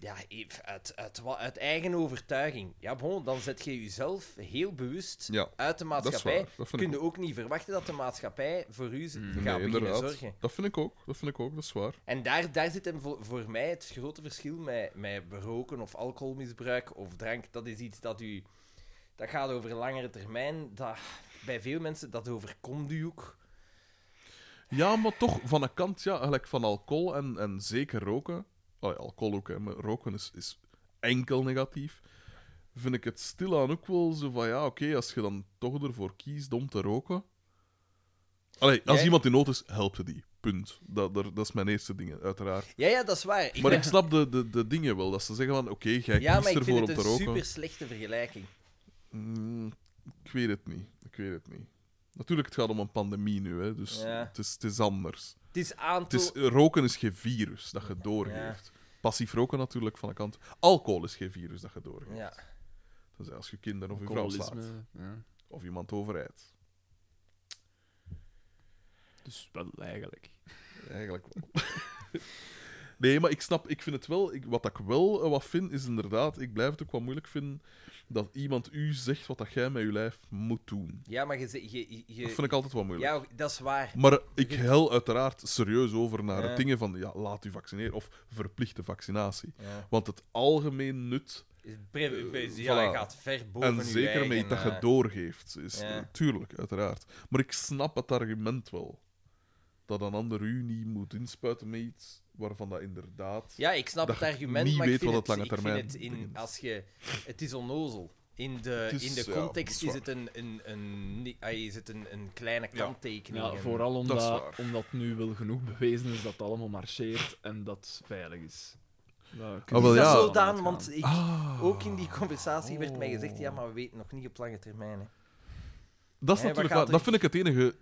[SPEAKER 1] Ja, uit, uit, uit, wa- uit eigen overtuiging. Ja, bon, dan zet je jezelf heel bewust
[SPEAKER 4] Ja,
[SPEAKER 1] uit de
[SPEAKER 4] dat is
[SPEAKER 1] maatschappij.
[SPEAKER 4] waar. Dat vind ik
[SPEAKER 1] Kun je ook niet verwachten dat de maatschappij voor u z-
[SPEAKER 4] Mm. Nee,
[SPEAKER 1] gaat beginnen
[SPEAKER 4] inderdaad.
[SPEAKER 1] zorgen.
[SPEAKER 4] Dat vind ik ook. Dat vind ik ook. Dat is waar.
[SPEAKER 1] En daar, daar zit hem voor, voor mij het grote verschil met, met roken of alcoholmisbruik of drank. Dat is iets dat u... Dat gaat over langere termijn. Dat, bij veel mensen, dat overkomt u ook.
[SPEAKER 4] Ja, maar toch van een kant, ja, gelijk van alcohol en, en zeker roken. Oh, ja, alcohol ook, hè, maar roken is, is enkel negatief. Vind ik het stilaan ook wel zo van ja, oké, als je dan toch ervoor kiest om te roken. Allee, als
[SPEAKER 1] Jij-
[SPEAKER 4] iemand in nood is, help je die. Punt. Dat, dat, dat is mijn eerste ding, uiteraard.
[SPEAKER 1] Ja, ja, dat is waar. Ik
[SPEAKER 4] Maar
[SPEAKER 1] ben-
[SPEAKER 4] ik snap de, de, de dingen wel. Dat ze zeggen van oké, jij
[SPEAKER 1] ja, maar
[SPEAKER 4] kiest
[SPEAKER 1] ik
[SPEAKER 4] ervoor
[SPEAKER 1] vind
[SPEAKER 4] om
[SPEAKER 1] het
[SPEAKER 4] te
[SPEAKER 1] een
[SPEAKER 4] roken.
[SPEAKER 1] super slechte vergelijking.
[SPEAKER 4] Mm, ik weet het niet. Ik weet het niet. Natuurlijk, het gaat om een pandemie nu, hè, dus
[SPEAKER 1] Ja.
[SPEAKER 4] het, is, het is anders.
[SPEAKER 1] Het is
[SPEAKER 4] Het is,
[SPEAKER 1] aantal...
[SPEAKER 4] roken is geen virus dat je doorgeeft. Passief roken natuurlijk van de kant. Alcohol is geen virus dat je doorgeeft.
[SPEAKER 1] Ja.
[SPEAKER 4] Tenzij als je kinderen of je vrouw slaat.
[SPEAKER 3] Alcoholisme. Ja.
[SPEAKER 4] Of iemand overrijdt.
[SPEAKER 3] Dus wel eigenlijk.
[SPEAKER 4] Eigenlijk wel. nee, maar ik snap, ik vind het wel. Ik, wat ik wel eh, wat vind, is inderdaad. Ik blijf het ook wel moeilijk vinden dat iemand u zegt wat dat jij met je lijf moet doen.
[SPEAKER 1] Ja, maar je... ze- je, je, je-
[SPEAKER 4] Dat vind ik altijd wel moeilijk.
[SPEAKER 1] ja, dat is waar.
[SPEAKER 4] Maar ik hel uiteraard serieus over naar
[SPEAKER 1] Ja.
[SPEAKER 4] het dingen van ja, laat u vaccineren of verplichte vaccinatie.
[SPEAKER 1] Ja.
[SPEAKER 4] Want het algemeen nut
[SPEAKER 1] Pre- pre-
[SPEAKER 4] Eh,
[SPEAKER 1] ja,
[SPEAKER 4] voilà.
[SPEAKER 1] gaat ver boven
[SPEAKER 4] En
[SPEAKER 1] uw
[SPEAKER 4] zeker
[SPEAKER 1] eigen,
[SPEAKER 4] mee dat je
[SPEAKER 1] eh,
[SPEAKER 4] doorgeeft. Is,
[SPEAKER 1] ja.
[SPEAKER 4] eh, Tuurlijk, uiteraard. Maar ik snap het argument wel. Dat een ander u niet moet inspuiten met iets waarvan dat inderdaad...
[SPEAKER 1] Ja, ik snap
[SPEAKER 4] dat
[SPEAKER 1] het
[SPEAKER 4] je
[SPEAKER 1] argument,
[SPEAKER 4] niet
[SPEAKER 1] maar ik
[SPEAKER 4] weet
[SPEAKER 1] vind
[SPEAKER 4] wat
[SPEAKER 1] het,
[SPEAKER 4] het
[SPEAKER 1] ik
[SPEAKER 4] lange
[SPEAKER 1] vind
[SPEAKER 4] termijn
[SPEAKER 1] het in,
[SPEAKER 4] betekent.
[SPEAKER 1] als je, het is onnozel. In de,
[SPEAKER 4] Het is-
[SPEAKER 1] in de
[SPEAKER 4] ja,
[SPEAKER 1] context
[SPEAKER 4] dat
[SPEAKER 1] is
[SPEAKER 4] is
[SPEAKER 1] het een, een, een, ni- ah, is het een, een kleine kanttekening.
[SPEAKER 3] Ja,
[SPEAKER 1] En-
[SPEAKER 3] vooral
[SPEAKER 4] dat is
[SPEAKER 3] omdat,
[SPEAKER 4] waar.
[SPEAKER 3] omdat nu wel genoeg bewezen is dat het allemaal marcheert en dat het veilig is. Nou,
[SPEAKER 4] Ah, wel
[SPEAKER 1] Is
[SPEAKER 4] ja.
[SPEAKER 1] dat zo, Daan? Want ik,
[SPEAKER 4] Ah,
[SPEAKER 1] ook in die conversatie werd mij gezegd, ja, maar we weten nog niet op lange termijn. Hè.
[SPEAKER 4] dat is
[SPEAKER 1] Hè, waar
[SPEAKER 4] natuurlijk
[SPEAKER 1] gaat
[SPEAKER 4] waar. Dat
[SPEAKER 1] het-
[SPEAKER 4] vind ik het enige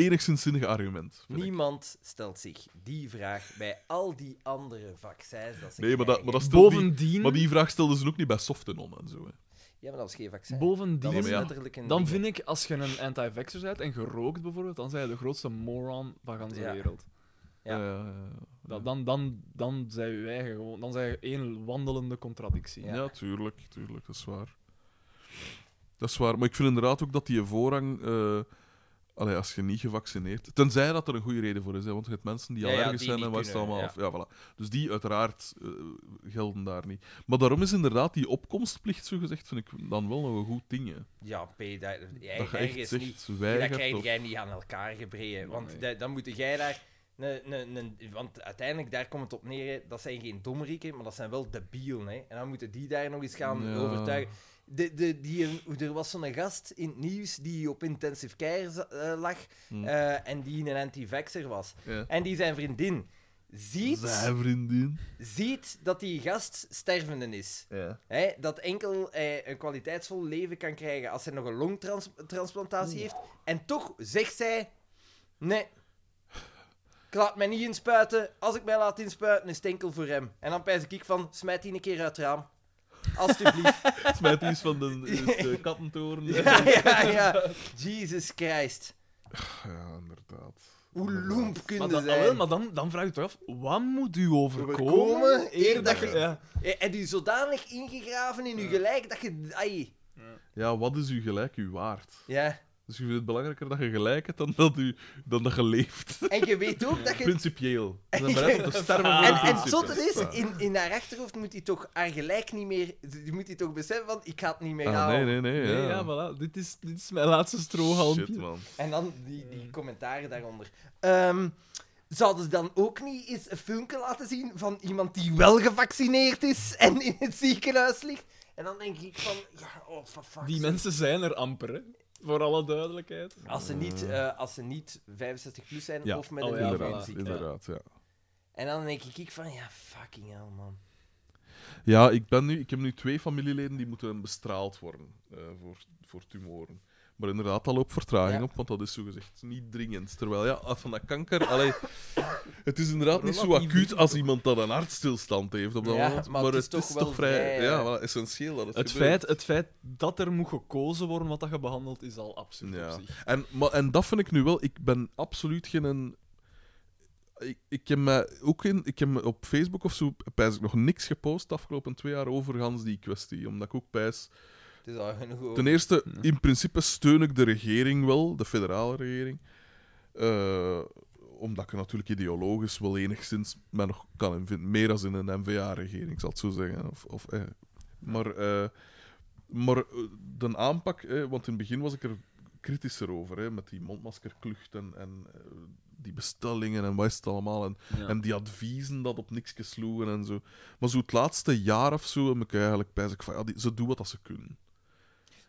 [SPEAKER 4] enigszins zinnige argument. vind ik.
[SPEAKER 1] Niemand stelt zich die vraag bij al die andere vaccins. Dat ze
[SPEAKER 4] Nee, maar dat, maar
[SPEAKER 1] krijgen.
[SPEAKER 4] dat stelt die,
[SPEAKER 3] Bovendien,
[SPEAKER 4] maar die vraag stelden ze ook niet bij Softenon en zo. Hè.
[SPEAKER 1] Ja, maar dat was geen vaccin. dat
[SPEAKER 3] bovendien
[SPEAKER 1] was
[SPEAKER 4] maar ja.
[SPEAKER 1] letterlijk een
[SPEAKER 3] dan
[SPEAKER 1] ding, hè.
[SPEAKER 3] vind ik als je een anti-vaxxer bent en gerookt bijvoorbeeld, dan zijn je de grootste moron van de
[SPEAKER 1] Ja.
[SPEAKER 3] wereld.
[SPEAKER 1] Ja.
[SPEAKER 4] Eh, ja,
[SPEAKER 3] Dan, dan, dan, dan zijn je eigen gewoon, dan zijn je één wandelende contradictie.
[SPEAKER 1] Ja.
[SPEAKER 4] Ja, tuurlijk, tuurlijk, dat is waar. Dat is waar, maar ik vind inderdaad ook dat die voorrang... eh, allee, als je niet gevaccineerd... Tenzij dat er een goede reden voor is, hè, want je hebt mensen die
[SPEAKER 1] Ja, ja,
[SPEAKER 4] allergisch
[SPEAKER 1] die
[SPEAKER 4] zijn
[SPEAKER 1] niet
[SPEAKER 4] en wat is het
[SPEAKER 1] kunnen,
[SPEAKER 4] allemaal... af. Ja. voilà. Dus die uiteraard eh, gelden daar niet. Maar daarom is inderdaad die opkomstplicht, zogezegd, vind ik dan wel nog een goed ding. Hè.
[SPEAKER 1] Ja, P, dat, jij-
[SPEAKER 4] Dat je echt
[SPEAKER 1] ergens niet.
[SPEAKER 4] zegt,
[SPEAKER 1] Dat
[SPEAKER 4] weigert...
[SPEAKER 1] krijg
[SPEAKER 4] of-
[SPEAKER 1] jij niet aan elkaar gebreien. Want
[SPEAKER 3] Nee.
[SPEAKER 1] da- dan moet jij daar. ne- ne- ne- want uiteindelijk, daar komt het op neer. hè. Dat zijn geen domrieken, maar dat zijn wel debielen. Hè. En dan moeten die daar nog eens gaan
[SPEAKER 4] Ja.
[SPEAKER 1] overtuigen. De, de, die, er was zo'n gast in het nieuws die op intensive care za- eh, lag
[SPEAKER 4] Hm.
[SPEAKER 1] eh, en die een anti-vaxxer was.
[SPEAKER 4] Ja.
[SPEAKER 1] En die zijn vriendin ziet,
[SPEAKER 4] Zij, vriendin.
[SPEAKER 1] ziet dat die gast stervende is.
[SPEAKER 4] Ja.
[SPEAKER 1] Hè, dat enkel eh, een kwaliteitsvol leven kan krijgen als hij nog een longtransplantatie heeft. En toch zegt zij: Nee, ik laat mij niet inspuiten. Als ik mij laat inspuiten, is het enkel voor hem. En dan pijs ik van: Smijt die een keer uit het raam. Alsjeblieft.
[SPEAKER 4] Smijt iets van de, de kattentoren. Ja.
[SPEAKER 1] ja, ja, ja. Jesus Christ.
[SPEAKER 4] inderdaad.
[SPEAKER 1] Hoe loemp
[SPEAKER 3] Maar,
[SPEAKER 1] kunnen
[SPEAKER 3] dan, ah, wel,
[SPEAKER 1] zijn.
[SPEAKER 3] maar dan, dan vraag je toch af, wat moet u overkomen,
[SPEAKER 1] Overkomen, eer dat
[SPEAKER 4] je-
[SPEAKER 3] Ja.
[SPEAKER 1] Eh, En die zodanig ingegraven in uw gelijk dat je... Ai.
[SPEAKER 4] Ja, wat is uw gelijk, uw waard?
[SPEAKER 1] Ja.
[SPEAKER 4] Dus je vindt het belangrijker dat je gelijk hebt dan dat, u, dan dat je leeft.
[SPEAKER 1] En je weet ook dat je...
[SPEAKER 4] Principieel. We zijn bereid om te sterven voor Ah,
[SPEAKER 1] En,
[SPEAKER 4] de
[SPEAKER 1] en het
[SPEAKER 4] principes.
[SPEAKER 1] zotte is,
[SPEAKER 4] Ja.
[SPEAKER 1] in, in haar achterhoofd moet hij toch haar gelijk niet meer... Die moet hij toch beseffen van, ik ga het niet meer
[SPEAKER 4] Ah,
[SPEAKER 1] halen.
[SPEAKER 4] nee, nee, nee.
[SPEAKER 3] Nee,
[SPEAKER 4] Ja,
[SPEAKER 3] ja, voilà. Dit is, dit is mijn laatste strohalmpje.
[SPEAKER 4] Shit, man.
[SPEAKER 1] En dan die, die commentaren daaronder. Ehm, zouden ze dan ook niet eens een filmpje laten zien van iemand die wel gevaccineerd is en in het ziekenhuis ligt? En dan denk ik van, ja, oh, for fuck's
[SPEAKER 3] Die
[SPEAKER 1] sake.
[SPEAKER 3] mensen zijn er amper, hè. Voor alle duidelijkheid.
[SPEAKER 1] Als ze niet, eh, als ze niet 65 plus zijn
[SPEAKER 4] Mm. Ja,
[SPEAKER 1] of met
[SPEAKER 3] oh
[SPEAKER 1] een
[SPEAKER 3] ja,
[SPEAKER 1] ja,
[SPEAKER 3] voilà.
[SPEAKER 4] Inderdaad,
[SPEAKER 1] ziekte.
[SPEAKER 4] inderdaad, ja.
[SPEAKER 1] En dan denk ik ik van, ja, fucking hell, man.
[SPEAKER 4] Ja, ik, ben nu, ik heb nu twee familieleden die moeten bestraald worden eh, voor, voor tumoren. Maar inderdaad, daar loopt vertraging
[SPEAKER 1] Ja.
[SPEAKER 4] op, want dat is zogezegd niet dringend. Terwijl, ja, af van dat kanker... Allee, het is inderdaad niet zo
[SPEAKER 3] Relatief
[SPEAKER 4] acuut als iemand dat een hartstilstand heeft op dat
[SPEAKER 1] Ja,
[SPEAKER 4] moment. Maar, het is toch,
[SPEAKER 1] wel
[SPEAKER 4] vrij...
[SPEAKER 1] vrij,
[SPEAKER 4] ja,
[SPEAKER 1] eh,
[SPEAKER 4] wel essentieel dat het,
[SPEAKER 3] Het
[SPEAKER 4] gebeurt.
[SPEAKER 3] feit, het feit dat er moet gekozen worden wat dat je behandelt, is al absurd
[SPEAKER 4] Ja.
[SPEAKER 3] op zich.
[SPEAKER 4] En, maar, en dat vind ik nu wel. Ik ben absoluut geen. een- Ik, ik heb me ook in. Ik heb me op Facebook of zo. Pijs ik nog niks gepost de afgelopen twee jaar over gans die kwestie. Omdat ik ook pijs.
[SPEAKER 1] Het is al genoeg over.
[SPEAKER 4] Ten eerste, in principe steun ik de regering wel, de federale regering. Eh, omdat ik er natuurlijk ideologisch wel enigszins mij nog kan in vinden. Meer als in een NVA-regering, ik zal het zo zeggen. Of, of, eh. Maar, eh, maar eh, de aanpak, eh, want in het begin was ik er kritischer over, hè, met die mondmaskerklucht en, en eh, die bestellingen en wat is het allemaal. En,
[SPEAKER 3] Ja.
[SPEAKER 4] en die adviezen dat op niks sloegen en zo. Maar zo het laatste jaar of zo heb ik eigenlijk bij van, ja, die, ze doen wat dat ze kunnen.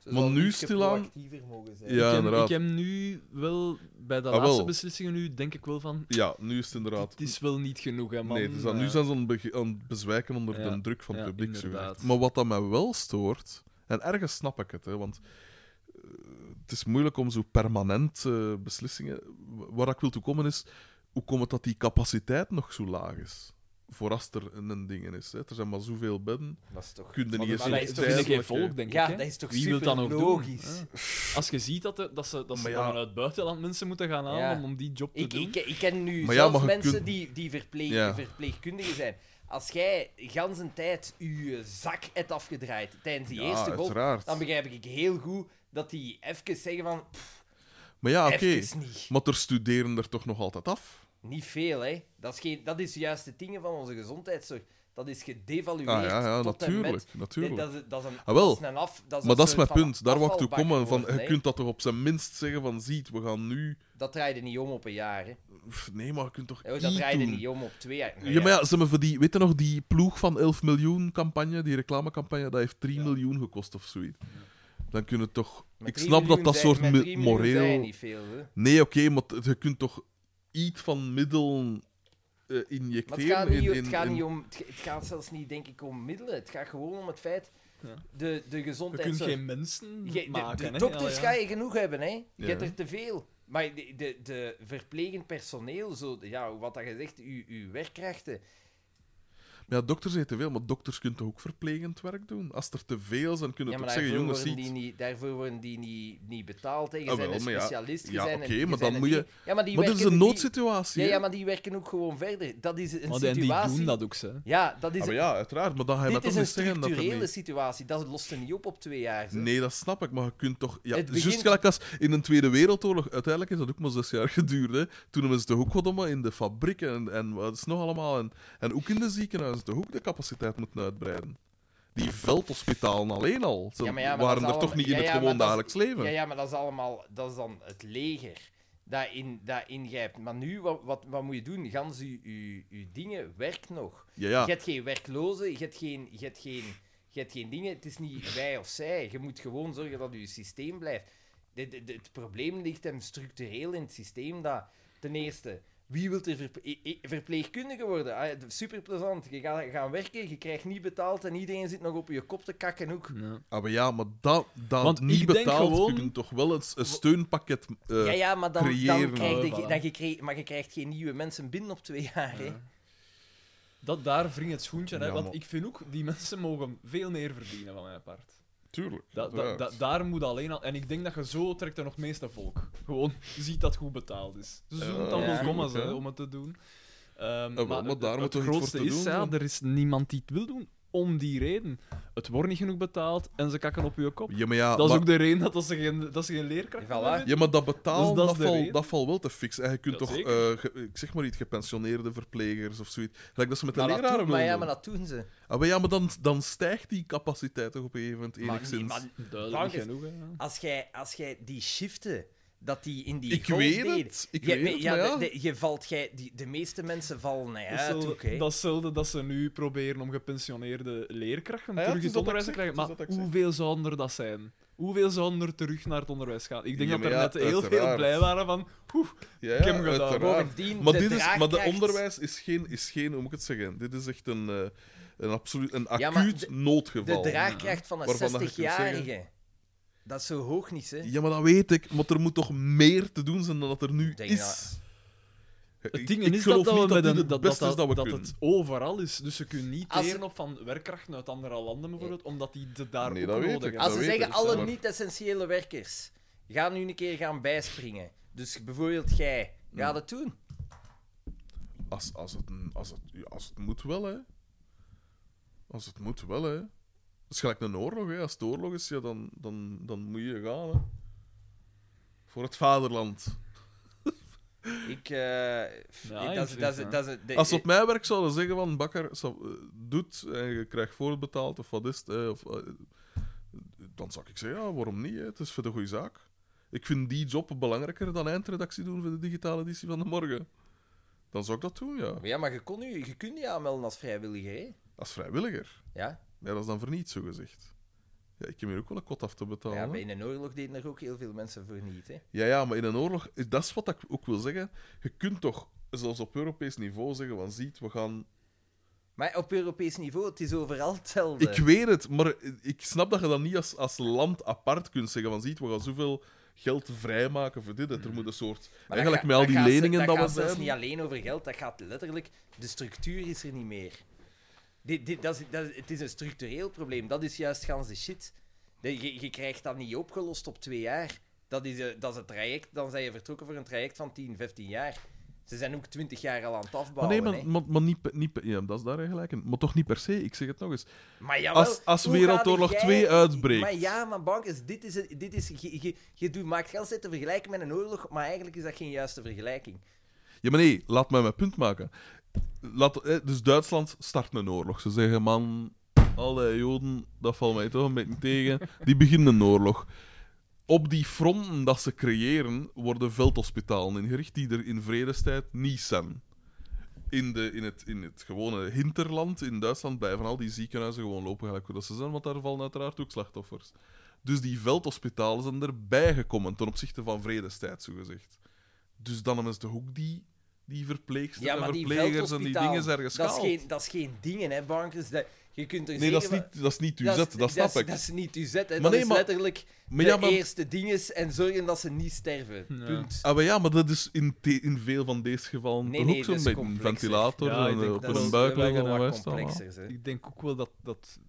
[SPEAKER 1] Ze
[SPEAKER 4] maar
[SPEAKER 1] zouden
[SPEAKER 4] nu
[SPEAKER 1] ietsje
[SPEAKER 4] stilaan-
[SPEAKER 1] proactiever mogen zijn.
[SPEAKER 4] Ja,
[SPEAKER 3] ik, heb,
[SPEAKER 4] inderdaad.
[SPEAKER 3] ik heb nu wel, bij de
[SPEAKER 4] Ah, wel.
[SPEAKER 3] laatste beslissingen nu, denk ik wel van...
[SPEAKER 4] Ja, nu is het inderdaad.
[SPEAKER 3] Het is wel niet genoeg, hè, man.
[SPEAKER 4] nee, dus dan,
[SPEAKER 3] Eh,
[SPEAKER 4] nu zijn ze aan het, bege- aan het bezwijken onder
[SPEAKER 3] Ja,
[SPEAKER 4] de druk van het
[SPEAKER 3] ja,
[SPEAKER 4] publiek. zo
[SPEAKER 3] inderdaad.
[SPEAKER 4] gezegd. Maar wat dat mij wel stoort, en ergens snap ik het, hè, want eh, het is moeilijk om zo permanent eh, beslissingen. wa- Waar ik wil toe komen is, hoe komt het dat die capaciteit nog zo laag is? Voor als er een een ding is. Hè. Er zijn maar zoveel bedden.
[SPEAKER 1] Dat is toch...
[SPEAKER 4] Kun je niet eens
[SPEAKER 1] maar
[SPEAKER 3] Maar
[SPEAKER 1] Ah, dat
[SPEAKER 3] dat is
[SPEAKER 1] is
[SPEAKER 3] toch
[SPEAKER 1] duidelijk,
[SPEAKER 3] geen volk, denk
[SPEAKER 1] Ja,
[SPEAKER 3] ik. hè?
[SPEAKER 1] dat is toch
[SPEAKER 3] Wie wil dat nou
[SPEAKER 1] superlogisch.
[SPEAKER 4] Ah.
[SPEAKER 3] doen, hè? Als je ziet dat, de- dat ze, dat ze
[SPEAKER 4] Maar ja.
[SPEAKER 3] dan uit buitenland mensen moeten gaan halen
[SPEAKER 1] Ja.
[SPEAKER 3] om, om die job te
[SPEAKER 1] Ik,
[SPEAKER 3] doen.
[SPEAKER 1] ik, ik ken nu
[SPEAKER 4] Maar ja,
[SPEAKER 1] zelfs
[SPEAKER 4] maar je
[SPEAKER 1] mensen
[SPEAKER 4] kunt-
[SPEAKER 1] die, die verpleeg,
[SPEAKER 4] Ja.
[SPEAKER 1] verpleegkundigen zijn. Als jij gans een tijd je zak hebt afgedraaid tijdens die
[SPEAKER 4] Ja,
[SPEAKER 1] eerste golf,
[SPEAKER 4] uiteraard.
[SPEAKER 1] dan begrijp ik heel goed dat die even zeggen van, pff,
[SPEAKER 4] Maar ja, Ah, oké.
[SPEAKER 1] even dus niet.
[SPEAKER 4] Maar er studeren er toch nog altijd af.
[SPEAKER 1] Niet veel, hè. Dat is, geen, dat is juist de dingen van onze gezondheidszorg. Dat is gedevalueerd
[SPEAKER 4] Ah, ja, ja,
[SPEAKER 1] tot en met...
[SPEAKER 4] natuurlijk.
[SPEAKER 1] Nee,
[SPEAKER 4] natuurlijk.
[SPEAKER 1] Dat is, dat is een,
[SPEAKER 4] Ah, wel.
[SPEAKER 1] dat is een af... Dat is
[SPEAKER 4] maar
[SPEAKER 1] een
[SPEAKER 4] dat is mijn
[SPEAKER 1] soort van
[SPEAKER 4] punt. Daar wou ik toe
[SPEAKER 1] afvalbak
[SPEAKER 4] komen. Van,
[SPEAKER 1] geworden,
[SPEAKER 4] je
[SPEAKER 1] hè.
[SPEAKER 4] kunt dat toch op zijn minst zeggen van... Ziet, we gaan nu...
[SPEAKER 1] Dat draai je niet om op een jaar, hè.
[SPEAKER 4] Pff, Nee, maar je kunt toch
[SPEAKER 1] Oh,
[SPEAKER 4] iets
[SPEAKER 1] Dat draai je
[SPEAKER 4] doen?
[SPEAKER 1] niet om op twee jaar. Nou
[SPEAKER 4] ja, maar ja, ze hebben voor die, weet je nog, die ploeg van 11 miljoen campagne, die reclamecampagne, dat heeft 3 miljoen gekost of zoiets. Dan kunnen we toch...
[SPEAKER 1] met
[SPEAKER 4] ik
[SPEAKER 1] drie
[SPEAKER 4] snap dat
[SPEAKER 1] miljoen
[SPEAKER 4] dat
[SPEAKER 1] zijn-
[SPEAKER 4] soort
[SPEAKER 1] met
[SPEAKER 4] mi-
[SPEAKER 1] drie miljoen
[SPEAKER 4] moreel...
[SPEAKER 1] zijn niet veel, hè.
[SPEAKER 4] Nee, oké, maar t- je kunt toch iets van middelen eh,
[SPEAKER 1] Maar het gaat,
[SPEAKER 4] injecteren
[SPEAKER 1] niet,
[SPEAKER 4] in,
[SPEAKER 1] het,
[SPEAKER 4] in-
[SPEAKER 1] gaat
[SPEAKER 4] in-
[SPEAKER 1] niet om, het ge- het gaat zelfs niet, denk ik, om middelen. Het gaat gewoon om het feit...
[SPEAKER 3] Ja.
[SPEAKER 1] De, de
[SPEAKER 3] Je kunt
[SPEAKER 1] gezondheidszorg...
[SPEAKER 3] geen mensen
[SPEAKER 1] Je- de,
[SPEAKER 3] maken.
[SPEAKER 1] de
[SPEAKER 3] hè.
[SPEAKER 1] dokters
[SPEAKER 3] Ja,
[SPEAKER 1] ga
[SPEAKER 3] ja.
[SPEAKER 1] je genoeg hebben, hè. Je
[SPEAKER 4] Ja.
[SPEAKER 1] hebt er te veel. Maar de, de, de verplegend personeel, zo, ja, wat dat je zegt, uw, uw werkkrachten...
[SPEAKER 4] Maar Ja, dokters zijn te veel, maar dokters kunnen toch ook verplegend werk doen? Als er te veel zijn, kunnen
[SPEAKER 1] ja,
[SPEAKER 4] we
[SPEAKER 1] maar
[SPEAKER 4] toch
[SPEAKER 1] daarvoor,
[SPEAKER 4] zeggen, jongens,
[SPEAKER 1] worden die
[SPEAKER 4] ziet...
[SPEAKER 1] niet, daarvoor worden die niet, niet betaald. Hè. Je
[SPEAKER 4] Ah,
[SPEAKER 1] bent
[SPEAKER 4] wel,
[SPEAKER 1] een
[SPEAKER 4] maar ja.
[SPEAKER 1] specialist. je
[SPEAKER 4] Ja,
[SPEAKER 1] bent een-
[SPEAKER 4] oké,
[SPEAKER 1] je
[SPEAKER 4] maar
[SPEAKER 1] bent
[SPEAKER 4] dan
[SPEAKER 1] een
[SPEAKER 4] moet je-
[SPEAKER 1] ding. Ja, maar die
[SPEAKER 4] Maar dat is
[SPEAKER 1] werken
[SPEAKER 4] een
[SPEAKER 1] niet-
[SPEAKER 4] noodsituatie,
[SPEAKER 1] Ja,
[SPEAKER 4] hè?
[SPEAKER 1] ja, maar die werken ook gewoon verder. Dat is een
[SPEAKER 3] Want en die
[SPEAKER 1] situatie...
[SPEAKER 3] doen dat ook, ze.
[SPEAKER 1] Ja, dat is...
[SPEAKER 4] Ah, maar ja, uiteraard, maar dan ga je
[SPEAKER 1] dit
[SPEAKER 4] met
[SPEAKER 1] is
[SPEAKER 4] hem
[SPEAKER 1] een
[SPEAKER 4] niet zeggen dat er
[SPEAKER 1] structurele
[SPEAKER 4] niet...
[SPEAKER 1] situatie. Dat lost er niet op op twee jaar. zeg.
[SPEAKER 4] Nee, dat snap ik, maar je kunt toch... Ja,
[SPEAKER 1] Het
[SPEAKER 4] juist
[SPEAKER 1] begint-
[SPEAKER 4] gelijk als in een Tweede Wereldoorlog, uiteindelijk is dat ook maar zes jaar geduurd. Hè. Toen hebben ze de hoek gedaan in de fabrieken en, en wat is nog allemaal. En, en ook in de ziekenhuizen, de hoek de capaciteit moeten uitbreiden. Die veldhospitalen alleen al, ze
[SPEAKER 1] Ja, maar ja, maar dat
[SPEAKER 4] waren
[SPEAKER 1] is
[SPEAKER 4] er toch
[SPEAKER 1] allemaal-
[SPEAKER 4] niet in
[SPEAKER 1] ja,
[SPEAKER 4] het
[SPEAKER 1] ja, maar
[SPEAKER 4] gewoon
[SPEAKER 1] dat is-
[SPEAKER 4] dagelijks leven.
[SPEAKER 1] Ja, ja, maar dat is allemaal... Dat is dan het leger dat, in, dat ingrijpt. Maar nu, wat, wat, wat moet je doen? Gans je uw, uw dingen werkt nog.
[SPEAKER 4] Ja, ja.
[SPEAKER 1] Je hebt geen werklozen, je hebt geen, je hebt geen, je hebt geen dingen. Het is niet wij of zij. Je moet gewoon zorgen dat je systeem blijft. De- de- de- het probleem ligt hem structureel in het systeem. Dat, ten eerste, wie wil er verple- e- e- verpleegkundige worden? Ah, super plezant. Je gaat gaan werken, je krijgt niet betaald en iedereen zit nog op je kop te kakken ook.
[SPEAKER 4] Ah, maar ja, maar dat, dat
[SPEAKER 3] Want
[SPEAKER 4] niet
[SPEAKER 3] ik denk
[SPEAKER 4] betaald,
[SPEAKER 3] gewoon-
[SPEAKER 4] je kunt toch wel een, een steunpakket... eh,
[SPEAKER 1] ja, ja, maar dan, dan
[SPEAKER 4] creëren,
[SPEAKER 1] krijg je,
[SPEAKER 3] eh, voilà.
[SPEAKER 1] dan je krijgt- maar je krijgt geen nieuwe mensen binnen op twee jaar. Hè?
[SPEAKER 3] Dat daar wringt het schoentje, hè,
[SPEAKER 4] Ja,
[SPEAKER 3] want
[SPEAKER 4] maar-
[SPEAKER 3] ik vind ook, die mensen mogen veel meer verdienen van mijn part.
[SPEAKER 4] Tuurlijk.
[SPEAKER 3] Da- da-
[SPEAKER 4] uiteraard.
[SPEAKER 3] da- daar moet alleen al... En ik denk dat je zo trekt er nog het meeste volk. Gewoon ziet dat goed betaald is. Ze zoeken dan
[SPEAKER 1] ja,
[SPEAKER 3] wel
[SPEAKER 1] tuurlijk,
[SPEAKER 3] gomma's hè,
[SPEAKER 4] hè. Oh,
[SPEAKER 3] om het te doen. Ehm,
[SPEAKER 4] wel, maar
[SPEAKER 3] het-
[SPEAKER 4] daar
[SPEAKER 3] het,
[SPEAKER 4] moeten we iets
[SPEAKER 3] grootste
[SPEAKER 4] voor te
[SPEAKER 3] is,
[SPEAKER 4] doen,
[SPEAKER 3] ja,
[SPEAKER 4] want-
[SPEAKER 3] er is niemand die het wil doen. om die reden. Het wordt niet genoeg betaald en ze kakken op je kop.
[SPEAKER 4] Ja, maar ja,
[SPEAKER 3] Dat is
[SPEAKER 4] maar,
[SPEAKER 3] ook de reden dat, dat, ze, geen, dat ze geen leerkracht
[SPEAKER 1] Voilà.
[SPEAKER 3] hebben.
[SPEAKER 4] ja, maar dat betaal,
[SPEAKER 3] Dus dat is
[SPEAKER 4] dat,
[SPEAKER 3] de
[SPEAKER 4] val,
[SPEAKER 3] reden.
[SPEAKER 4] dat valt wel te fix. En je kunt
[SPEAKER 3] Ja,
[SPEAKER 4] toch,
[SPEAKER 3] zeker.
[SPEAKER 4] eh, ge- ik zeg maar iets, gepensioneerde verplegers of zoiets. Gelijk dat ze met de
[SPEAKER 1] Maar dat
[SPEAKER 4] leraren
[SPEAKER 1] doen- maar
[SPEAKER 4] willen
[SPEAKER 1] ja,
[SPEAKER 4] doen.
[SPEAKER 1] maar dat doen ze.
[SPEAKER 4] Ah, maar ja, maar dan, dan stijgt die capaciteit toch op een gegeven moment
[SPEAKER 1] Maar
[SPEAKER 4] enigszins.
[SPEAKER 1] nee, maar
[SPEAKER 3] Duidelijk
[SPEAKER 1] Frank
[SPEAKER 3] niet
[SPEAKER 1] is-
[SPEAKER 3] genoeg, hè.
[SPEAKER 1] Als jij, als jij die shiften, dat die in die
[SPEAKER 4] Ik
[SPEAKER 1] golf
[SPEAKER 4] weet
[SPEAKER 1] deden-
[SPEAKER 4] het, ik
[SPEAKER 1] Ja,
[SPEAKER 4] weet
[SPEAKER 1] maar-
[SPEAKER 4] het,
[SPEAKER 1] ja,
[SPEAKER 4] maar ja.
[SPEAKER 1] de- de- je valt, jij, die, de meeste mensen vallen nou uit.
[SPEAKER 3] Datzelfde-
[SPEAKER 1] oké.
[SPEAKER 3] Datzelfde dat ze nu proberen om gepensioneerde leerkrachten
[SPEAKER 4] Ah ja, het
[SPEAKER 3] terug
[SPEAKER 4] is
[SPEAKER 3] in het
[SPEAKER 4] dat
[SPEAKER 3] onderwijs
[SPEAKER 4] ik zeg,
[SPEAKER 3] te krijgen.
[SPEAKER 4] het
[SPEAKER 3] Maar
[SPEAKER 4] is dat ik zeg.
[SPEAKER 3] hoeveel zouden er dat zijn? Hoeveel zouden er terug naar het onderwijs gaan? Ik denk
[SPEAKER 4] Ja,
[SPEAKER 3] dat er
[SPEAKER 4] maar ja,
[SPEAKER 3] net heel veel
[SPEAKER 4] uiteraard.
[SPEAKER 3] blij waren van... "Oeh,
[SPEAKER 4] Ja,
[SPEAKER 3] Ik heb hem
[SPEAKER 4] ja,
[SPEAKER 3] gedaan.
[SPEAKER 4] uiteraard.
[SPEAKER 1] Bovendien,
[SPEAKER 4] Maar,
[SPEAKER 1] de
[SPEAKER 4] dit is, maar de
[SPEAKER 1] draagkracht-
[SPEAKER 4] onderwijs is geen, is geen, hoe moet ik het zeggen? Dit is echt een, eh, een absoluut een
[SPEAKER 1] Ja,
[SPEAKER 4] acuut
[SPEAKER 1] maar de- De
[SPEAKER 4] noodgeval.
[SPEAKER 1] draagkracht van een
[SPEAKER 4] Waarvan dat je kunt
[SPEAKER 1] 60-jarige. Dat is zo hoog niet, hè?
[SPEAKER 4] Ja, maar dat weet ik. Maar er moet toch meer te doen zijn dan dat er nu
[SPEAKER 1] Ik denk
[SPEAKER 4] is.
[SPEAKER 1] dat-
[SPEAKER 4] Ik-
[SPEAKER 3] Het ding
[SPEAKER 4] ik
[SPEAKER 3] is dat,
[SPEAKER 4] geloof
[SPEAKER 3] dat,
[SPEAKER 4] niet
[SPEAKER 3] we met
[SPEAKER 4] dit
[SPEAKER 3] een-
[SPEAKER 4] het
[SPEAKER 3] dat, dat,
[SPEAKER 4] beste is dat we
[SPEAKER 3] dat
[SPEAKER 4] kunnen.
[SPEAKER 3] het overal is. Dus ze kunnen niet
[SPEAKER 1] Als-
[SPEAKER 3] teren op van werkkrachten uit andere landen bijvoorbeeld, omdat die de daar
[SPEAKER 4] Nee,
[SPEAKER 3] ook
[SPEAKER 4] dat weet
[SPEAKER 3] nodig
[SPEAKER 4] ik.
[SPEAKER 3] hebben.
[SPEAKER 1] Als
[SPEAKER 4] dat
[SPEAKER 1] ze
[SPEAKER 4] weet
[SPEAKER 1] zeggen,
[SPEAKER 4] ik,
[SPEAKER 1] alle
[SPEAKER 4] maar-
[SPEAKER 1] niet-essentiële werkers gaan nu een keer gaan bijspringen. Dus bijvoorbeeld jij,
[SPEAKER 4] Hmm.
[SPEAKER 1] ga dat doen.
[SPEAKER 4] Als, als, het, als, het, ja, als het moet wel, hè. Als het moet wel, hè. Dat is gelijk een oorlog, hè. Als het oorlog is, ja, dan, dan, dan moet je gaan, hè. Voor het vaderland.
[SPEAKER 1] Ik, eh, f-
[SPEAKER 3] Ja,
[SPEAKER 1] dat is-
[SPEAKER 3] in
[SPEAKER 1] dat is-
[SPEAKER 3] principe,
[SPEAKER 1] dat is- de-
[SPEAKER 4] Als ze op mijn werk zouden zeggen van, bakker, sa- eh, doet en je krijgt voorbetaald of wat is het, hè, of, eh, dan zou ik zeggen, ja, waarom niet, hè. Het is voor de goede zaak. Ik vind die job belangrijker dan eindredactie doen voor de digitale editie van de morgen. Dan zou ik dat doen, ja.
[SPEAKER 1] Ja, maar je, kon nu, je kunt je aanmelden als vrijwilliger, hè?
[SPEAKER 4] Als vrijwilliger.
[SPEAKER 1] Ja,
[SPEAKER 4] Ja, dat is dan voor niets, zo gezegd. Ja, ik heb hier ook wel een kot af te betalen.
[SPEAKER 1] ja
[SPEAKER 4] hè.
[SPEAKER 1] bij in een oorlog deden er ook heel veel mensen voor niet, hè?
[SPEAKER 4] Ja, ja, maar in een oorlog, is- dat is wat ik ook wil zeggen. Je kunt toch, zelfs op Europees niveau, zeggen: van ziet, we gaan.
[SPEAKER 1] Maar op Europees niveau, het is overal hetzelfde.
[SPEAKER 4] Ik weet het, maar ik snap dat je dat niet als, als land apart kunt zeggen: van ziet, we gaan zoveel geld vrijmaken voor dit. Dat er moet een soort.
[SPEAKER 1] Mm. Maar dat
[SPEAKER 4] eigenlijk
[SPEAKER 1] ga-
[SPEAKER 4] met al
[SPEAKER 1] dat
[SPEAKER 4] die
[SPEAKER 1] gaat ze-
[SPEAKER 4] leningen dat
[SPEAKER 1] dat
[SPEAKER 4] we
[SPEAKER 1] gaat zelfs
[SPEAKER 4] zijn.
[SPEAKER 1] niet alleen over geld, dat gaat letterlijk... De structuur is er niet meer. Dit, dit, dat is, dat is- het is een structureel probleem. Dat is juist gans de shit. De- Je, je krijgt dat niet opgelost op twee jaar. Dat is, eh, dat is het traject. Dan zijn je vertrokken voor een traject van 10, 15 jaar. Ze zijn ook 20 jaar al aan het
[SPEAKER 4] Maar
[SPEAKER 1] afbouwen.
[SPEAKER 4] nee,
[SPEAKER 1] hè. Maar,
[SPEAKER 4] maar, maar, maar niet, per- niet, per- ja, dat is daar eigenlijk. een- Maar toch niet per se, ik zeg het nog eens.
[SPEAKER 1] jawel,
[SPEAKER 4] als- als
[SPEAKER 1] hoe
[SPEAKER 4] Wereldoorlog
[SPEAKER 1] ga jij-
[SPEAKER 4] 2 uitbreekt.
[SPEAKER 1] Maar ja, maar bankers, dit is... het- Dit is je, je, je doet, maakt gans te vergelijken met een oorlog, maar eigenlijk is dat geen juiste vergelijking.
[SPEAKER 4] Ja, maar nee, laat mij mijn punt maken. Laat, eh, dus Duitsland start een oorlog. Ze zeggen, man, alle Joden, dat valt mij toch een beetje tegen. Die beginnen een oorlog. Op die fronten dat ze creëren, worden veldhospitalen ingericht die er in vredestijd niet zijn. In, de, in, het, in het gewone hinterland in Duitsland blijven al die ziekenhuizen gewoon lopen gelijk hoe dat ze zijn, want daar vallen uiteraard ook slachtoffers. Dus die veldhospitalen zijn erbij gekomen ten opzichte van vredestijd, zogezegd. Dus dan is de hoek die, die verpleegsters
[SPEAKER 1] Ja,
[SPEAKER 4] en
[SPEAKER 1] maar die
[SPEAKER 4] verplegers en die dingen zijn
[SPEAKER 1] veldhospitaal,
[SPEAKER 4] geschaald.
[SPEAKER 1] Dat is geen, dat is geen dingen, hè, bankers. Dat, je kunt er
[SPEAKER 4] Nee, dat is
[SPEAKER 1] zeker
[SPEAKER 4] niet, dat is niet
[SPEAKER 1] van-
[SPEAKER 4] uw zet,
[SPEAKER 1] is-
[SPEAKER 4] dat snap
[SPEAKER 1] is-
[SPEAKER 4] ik.
[SPEAKER 1] Dat is niet uw zet, hè.
[SPEAKER 4] Maar
[SPEAKER 1] dat
[SPEAKER 4] nee,
[SPEAKER 1] is
[SPEAKER 4] maar-
[SPEAKER 1] letterlijk
[SPEAKER 4] maar
[SPEAKER 1] de
[SPEAKER 4] ja, maar-
[SPEAKER 1] eerste dinges en zorgen dat ze niet sterven. Punt.
[SPEAKER 4] Ah, maar ja, maar dat is in, te- in veel van deze gevallen
[SPEAKER 1] Nee,
[SPEAKER 4] toch
[SPEAKER 1] nee, dat
[SPEAKER 4] ook zo'n
[SPEAKER 1] is
[SPEAKER 4] beetje een
[SPEAKER 1] complexer.
[SPEAKER 4] ventilator
[SPEAKER 3] Ja, ik
[SPEAKER 4] en,
[SPEAKER 3] denk
[SPEAKER 4] op
[SPEAKER 3] dat
[SPEAKER 4] een
[SPEAKER 3] is
[SPEAKER 4] buik
[SPEAKER 1] wel
[SPEAKER 4] liggen en
[SPEAKER 1] wat
[SPEAKER 4] wat is dat allemaal.
[SPEAKER 1] complexer, hè.
[SPEAKER 3] Ik denk ook wel dat dat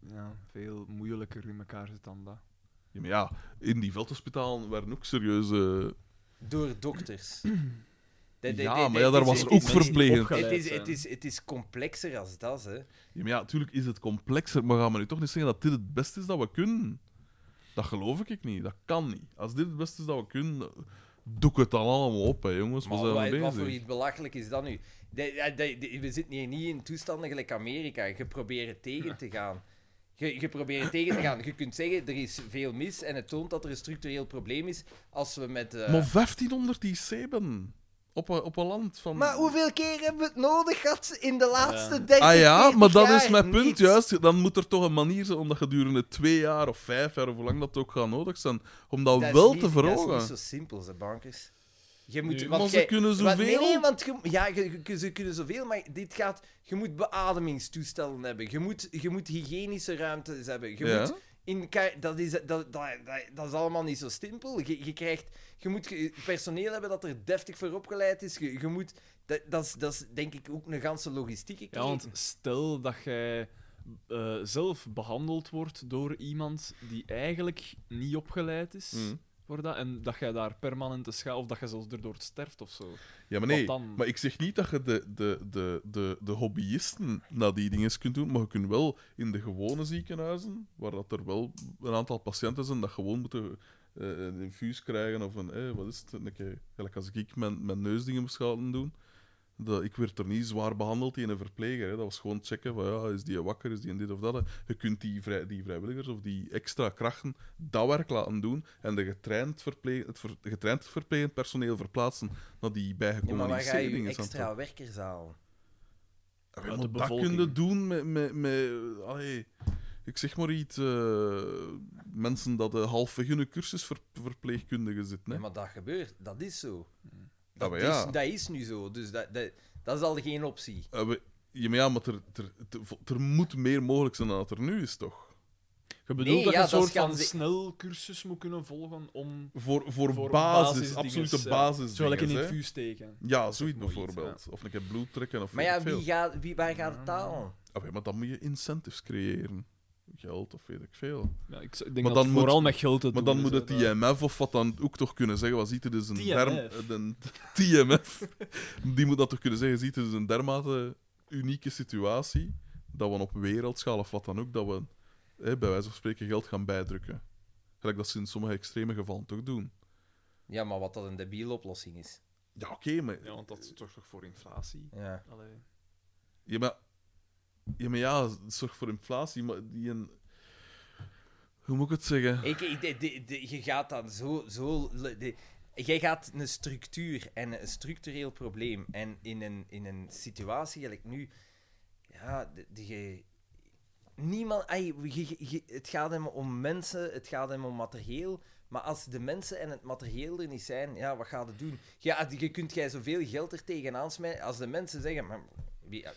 [SPEAKER 3] ja, veel moeilijker in elkaar zit dan dat.
[SPEAKER 4] Ja, maar ja, in die veldhospitalen waren ook serieuze...
[SPEAKER 1] Door dokters. De- de-
[SPEAKER 4] ja,
[SPEAKER 1] de- de-
[SPEAKER 4] maar ja, daar
[SPEAKER 1] het
[SPEAKER 4] was
[SPEAKER 1] is-
[SPEAKER 4] er
[SPEAKER 1] het
[SPEAKER 4] ook
[SPEAKER 1] is- het is-
[SPEAKER 4] verplegend.
[SPEAKER 3] opge-
[SPEAKER 4] Ja,
[SPEAKER 1] Het
[SPEAKER 3] Geleid
[SPEAKER 1] is,
[SPEAKER 3] zijn.
[SPEAKER 1] het, is, het is complexer als dat, hè.
[SPEAKER 4] maar ja, natuurlijk is het complexer, maar gaan we nu toch niet zeggen dat dit het beste is dat we kunnen? Dat geloof ik niet, dat kan niet. Als dit het beste is dat we kunnen, doe ik het dan allemaal op, hè, jongens. We
[SPEAKER 1] Maar
[SPEAKER 4] zijn
[SPEAKER 1] wat,
[SPEAKER 4] er
[SPEAKER 1] wat voor
[SPEAKER 4] bezig.
[SPEAKER 1] iets belachelijk is dat nu? De- ja, de- de- we zitten hier niet in toestanden gelijk Amerika. Je probeert het tegen te gaan. Je, je probeert het tegen te gaan. Je kunt zeggen, er is veel mis en het toont dat er een structureel probleem is als we met... eh,
[SPEAKER 4] Maar 1500 IC ben op een, op een land van...
[SPEAKER 1] Maar hoeveel keer hebben we het nodig gehad in de laatste 30
[SPEAKER 4] Ah ja,
[SPEAKER 1] 40
[SPEAKER 4] maar dat
[SPEAKER 1] jaar?
[SPEAKER 4] is mijn punt,
[SPEAKER 1] Niets.
[SPEAKER 4] juist. Dan moet er toch een manier zijn om dat gedurende twee jaar of vijf jaar, of hoe lang dat ook gaat nodig zijn, om dat,
[SPEAKER 1] Dat is
[SPEAKER 4] wel
[SPEAKER 1] niet-
[SPEAKER 4] te
[SPEAKER 1] Dat is
[SPEAKER 4] verhogen.
[SPEAKER 1] niet zo simpel, ze bankers. Je moet,
[SPEAKER 3] Nee,
[SPEAKER 1] want
[SPEAKER 4] maar ze
[SPEAKER 1] jij-
[SPEAKER 4] kunnen
[SPEAKER 1] want- Nee,
[SPEAKER 4] zoveel.
[SPEAKER 1] nee, want je, ja, je- je- ze kunnen zoveel, maar dit gaat... Je moet beademingstoestellen hebben. Je moet, je moet hygiënische ruimtes hebben. Je
[SPEAKER 4] Ja.
[SPEAKER 1] moet... In, ka- dat, is, dat, dat, dat, dat is allemaal niet zo simpel. Je, je, krijgt, je moet ge- personeel hebben dat er deftig voor opgeleid is. Je, je moet, dat, dat, is, dat is denk ik ook een ganse logistieke
[SPEAKER 3] Ja, want stel dat jij eh, zelf behandeld wordt door iemand die eigenlijk niet opgeleid is,
[SPEAKER 4] Mm.
[SPEAKER 3] Voor dat, en dat jij daar permanent te schaal of dat je zelfs erdoor sterft of zo.
[SPEAKER 4] Ja, maar
[SPEAKER 3] Wat
[SPEAKER 4] nee.
[SPEAKER 3] dan?
[SPEAKER 4] Maar ik zeg niet dat je de, de, de, de, de hobbyisten naar die dingen kunt doen, maar je kunt wel in de gewone ziekenhuizen, waar dat er wel een aantal patiënten zijn dat gewoon moeten eh, een infuus krijgen of een, eh, wat is het, een keer, gelijk als ik mijn, mijn neusdingen moest gaan doen, dat, ik werd er niet zwaar behandeld in een verpleger. Hè. Dat was gewoon checken van, ja, is die wakker, is die en dit of dat. hè. Je kunt die, vrij, die vrijwilligers of die extra krachten dat werk laten doen en de getraind verpleeg, het ver- getraind verplegend personeel verplaatsen naar die
[SPEAKER 1] Ja, maar
[SPEAKER 4] bijgekomen
[SPEAKER 1] waar ga je je
[SPEAKER 4] dingen.
[SPEAKER 1] extra werkers halen?
[SPEAKER 4] Ja,
[SPEAKER 3] Uit
[SPEAKER 4] maar
[SPEAKER 3] de
[SPEAKER 4] dat
[SPEAKER 3] bevolking.
[SPEAKER 4] kunnen doen met... met, met allee, ik zeg maar iets, eh, mensen dat eh halfweg hun cursus ver- verpleegkundige zitten.
[SPEAKER 1] Ja,
[SPEAKER 4] Hè.
[SPEAKER 1] maar dat gebeurt. Dat is zo.
[SPEAKER 4] Ja,
[SPEAKER 1] Dat,
[SPEAKER 4] maar ja.
[SPEAKER 1] is, dat is nu zo. Dus dat, dat, dat is al geen optie.
[SPEAKER 4] Eh, we- ja, maar, ja, maar er, er, er- er moet meer mogelijk zijn dan dat er nu is, toch?
[SPEAKER 3] Je bedoelt
[SPEAKER 1] Nee,
[SPEAKER 3] dat
[SPEAKER 1] ja,
[SPEAKER 3] je een
[SPEAKER 1] dat
[SPEAKER 3] soort
[SPEAKER 1] gaan
[SPEAKER 3] van
[SPEAKER 1] ze-
[SPEAKER 3] snel cursus moet kunnen volgen om...
[SPEAKER 4] Voor, voor,
[SPEAKER 3] Voor
[SPEAKER 4] basis,
[SPEAKER 3] basisdinges,
[SPEAKER 4] absolute
[SPEAKER 3] ja.
[SPEAKER 4] basis.
[SPEAKER 3] Zo lekker in het vuur steken.
[SPEAKER 4] Ja, zoiets
[SPEAKER 3] mooi iets,
[SPEAKER 4] bijvoorbeeld. Of een keer bloed trekken of
[SPEAKER 1] Maar
[SPEAKER 4] weet
[SPEAKER 1] ja,
[SPEAKER 4] ik veel.
[SPEAKER 1] wie gaat, wie, waar gaat het halen?
[SPEAKER 4] Ah, ja, maar dan moet je incentives creëren. Geld of weet ik veel.
[SPEAKER 3] Ja, ik, z- ik denk
[SPEAKER 4] Maar
[SPEAKER 3] dat
[SPEAKER 4] dan
[SPEAKER 3] het
[SPEAKER 4] moet-
[SPEAKER 3] vooral met geld te
[SPEAKER 4] Maar
[SPEAKER 3] doen
[SPEAKER 4] dan moet
[SPEAKER 3] is,
[SPEAKER 4] het
[SPEAKER 3] hè,
[SPEAKER 4] IMF of wat dan ook toch kunnen zeggen. Wat ziet het is een
[SPEAKER 3] TMF.
[SPEAKER 4] derm. eh, Een TMF. Die moet dat toch kunnen zeggen. Ziet het is een dermate unieke situatie. Dat we op wereldschaal of wat dan ook. Dat we eh, bij wijze van spreken geld gaan bijdrukken. Gelijk dat ze in sommige extreme gevallen toch doen.
[SPEAKER 1] Ja, maar wat dat een debiele oplossing is.
[SPEAKER 4] Ja, oké, maar
[SPEAKER 3] Ja, want dat zorgt toch voor inflatie?
[SPEAKER 1] Ja.
[SPEAKER 3] Allee.
[SPEAKER 4] Ja, maar ja, maar ja het zorgt voor inflatie, maar die een... Hoe moet ik het zeggen?
[SPEAKER 1] Ik, ik- de- de- de- je gaat dan zo... zo le- de- jij gaat een structuur en een structureel probleem. En in een, in een situatie gelijk nu... Ja, de, de- je... Niemand... ai, je- je- het gaat hem om mensen, het gaat hem om materieel. Maar als de mensen en het materieel er niet zijn, ja, wat gaat het doen? Ja, je kunt jij zoveel geld er tegenaan smijten. Als de mensen zeggen... Maar, wie, ai,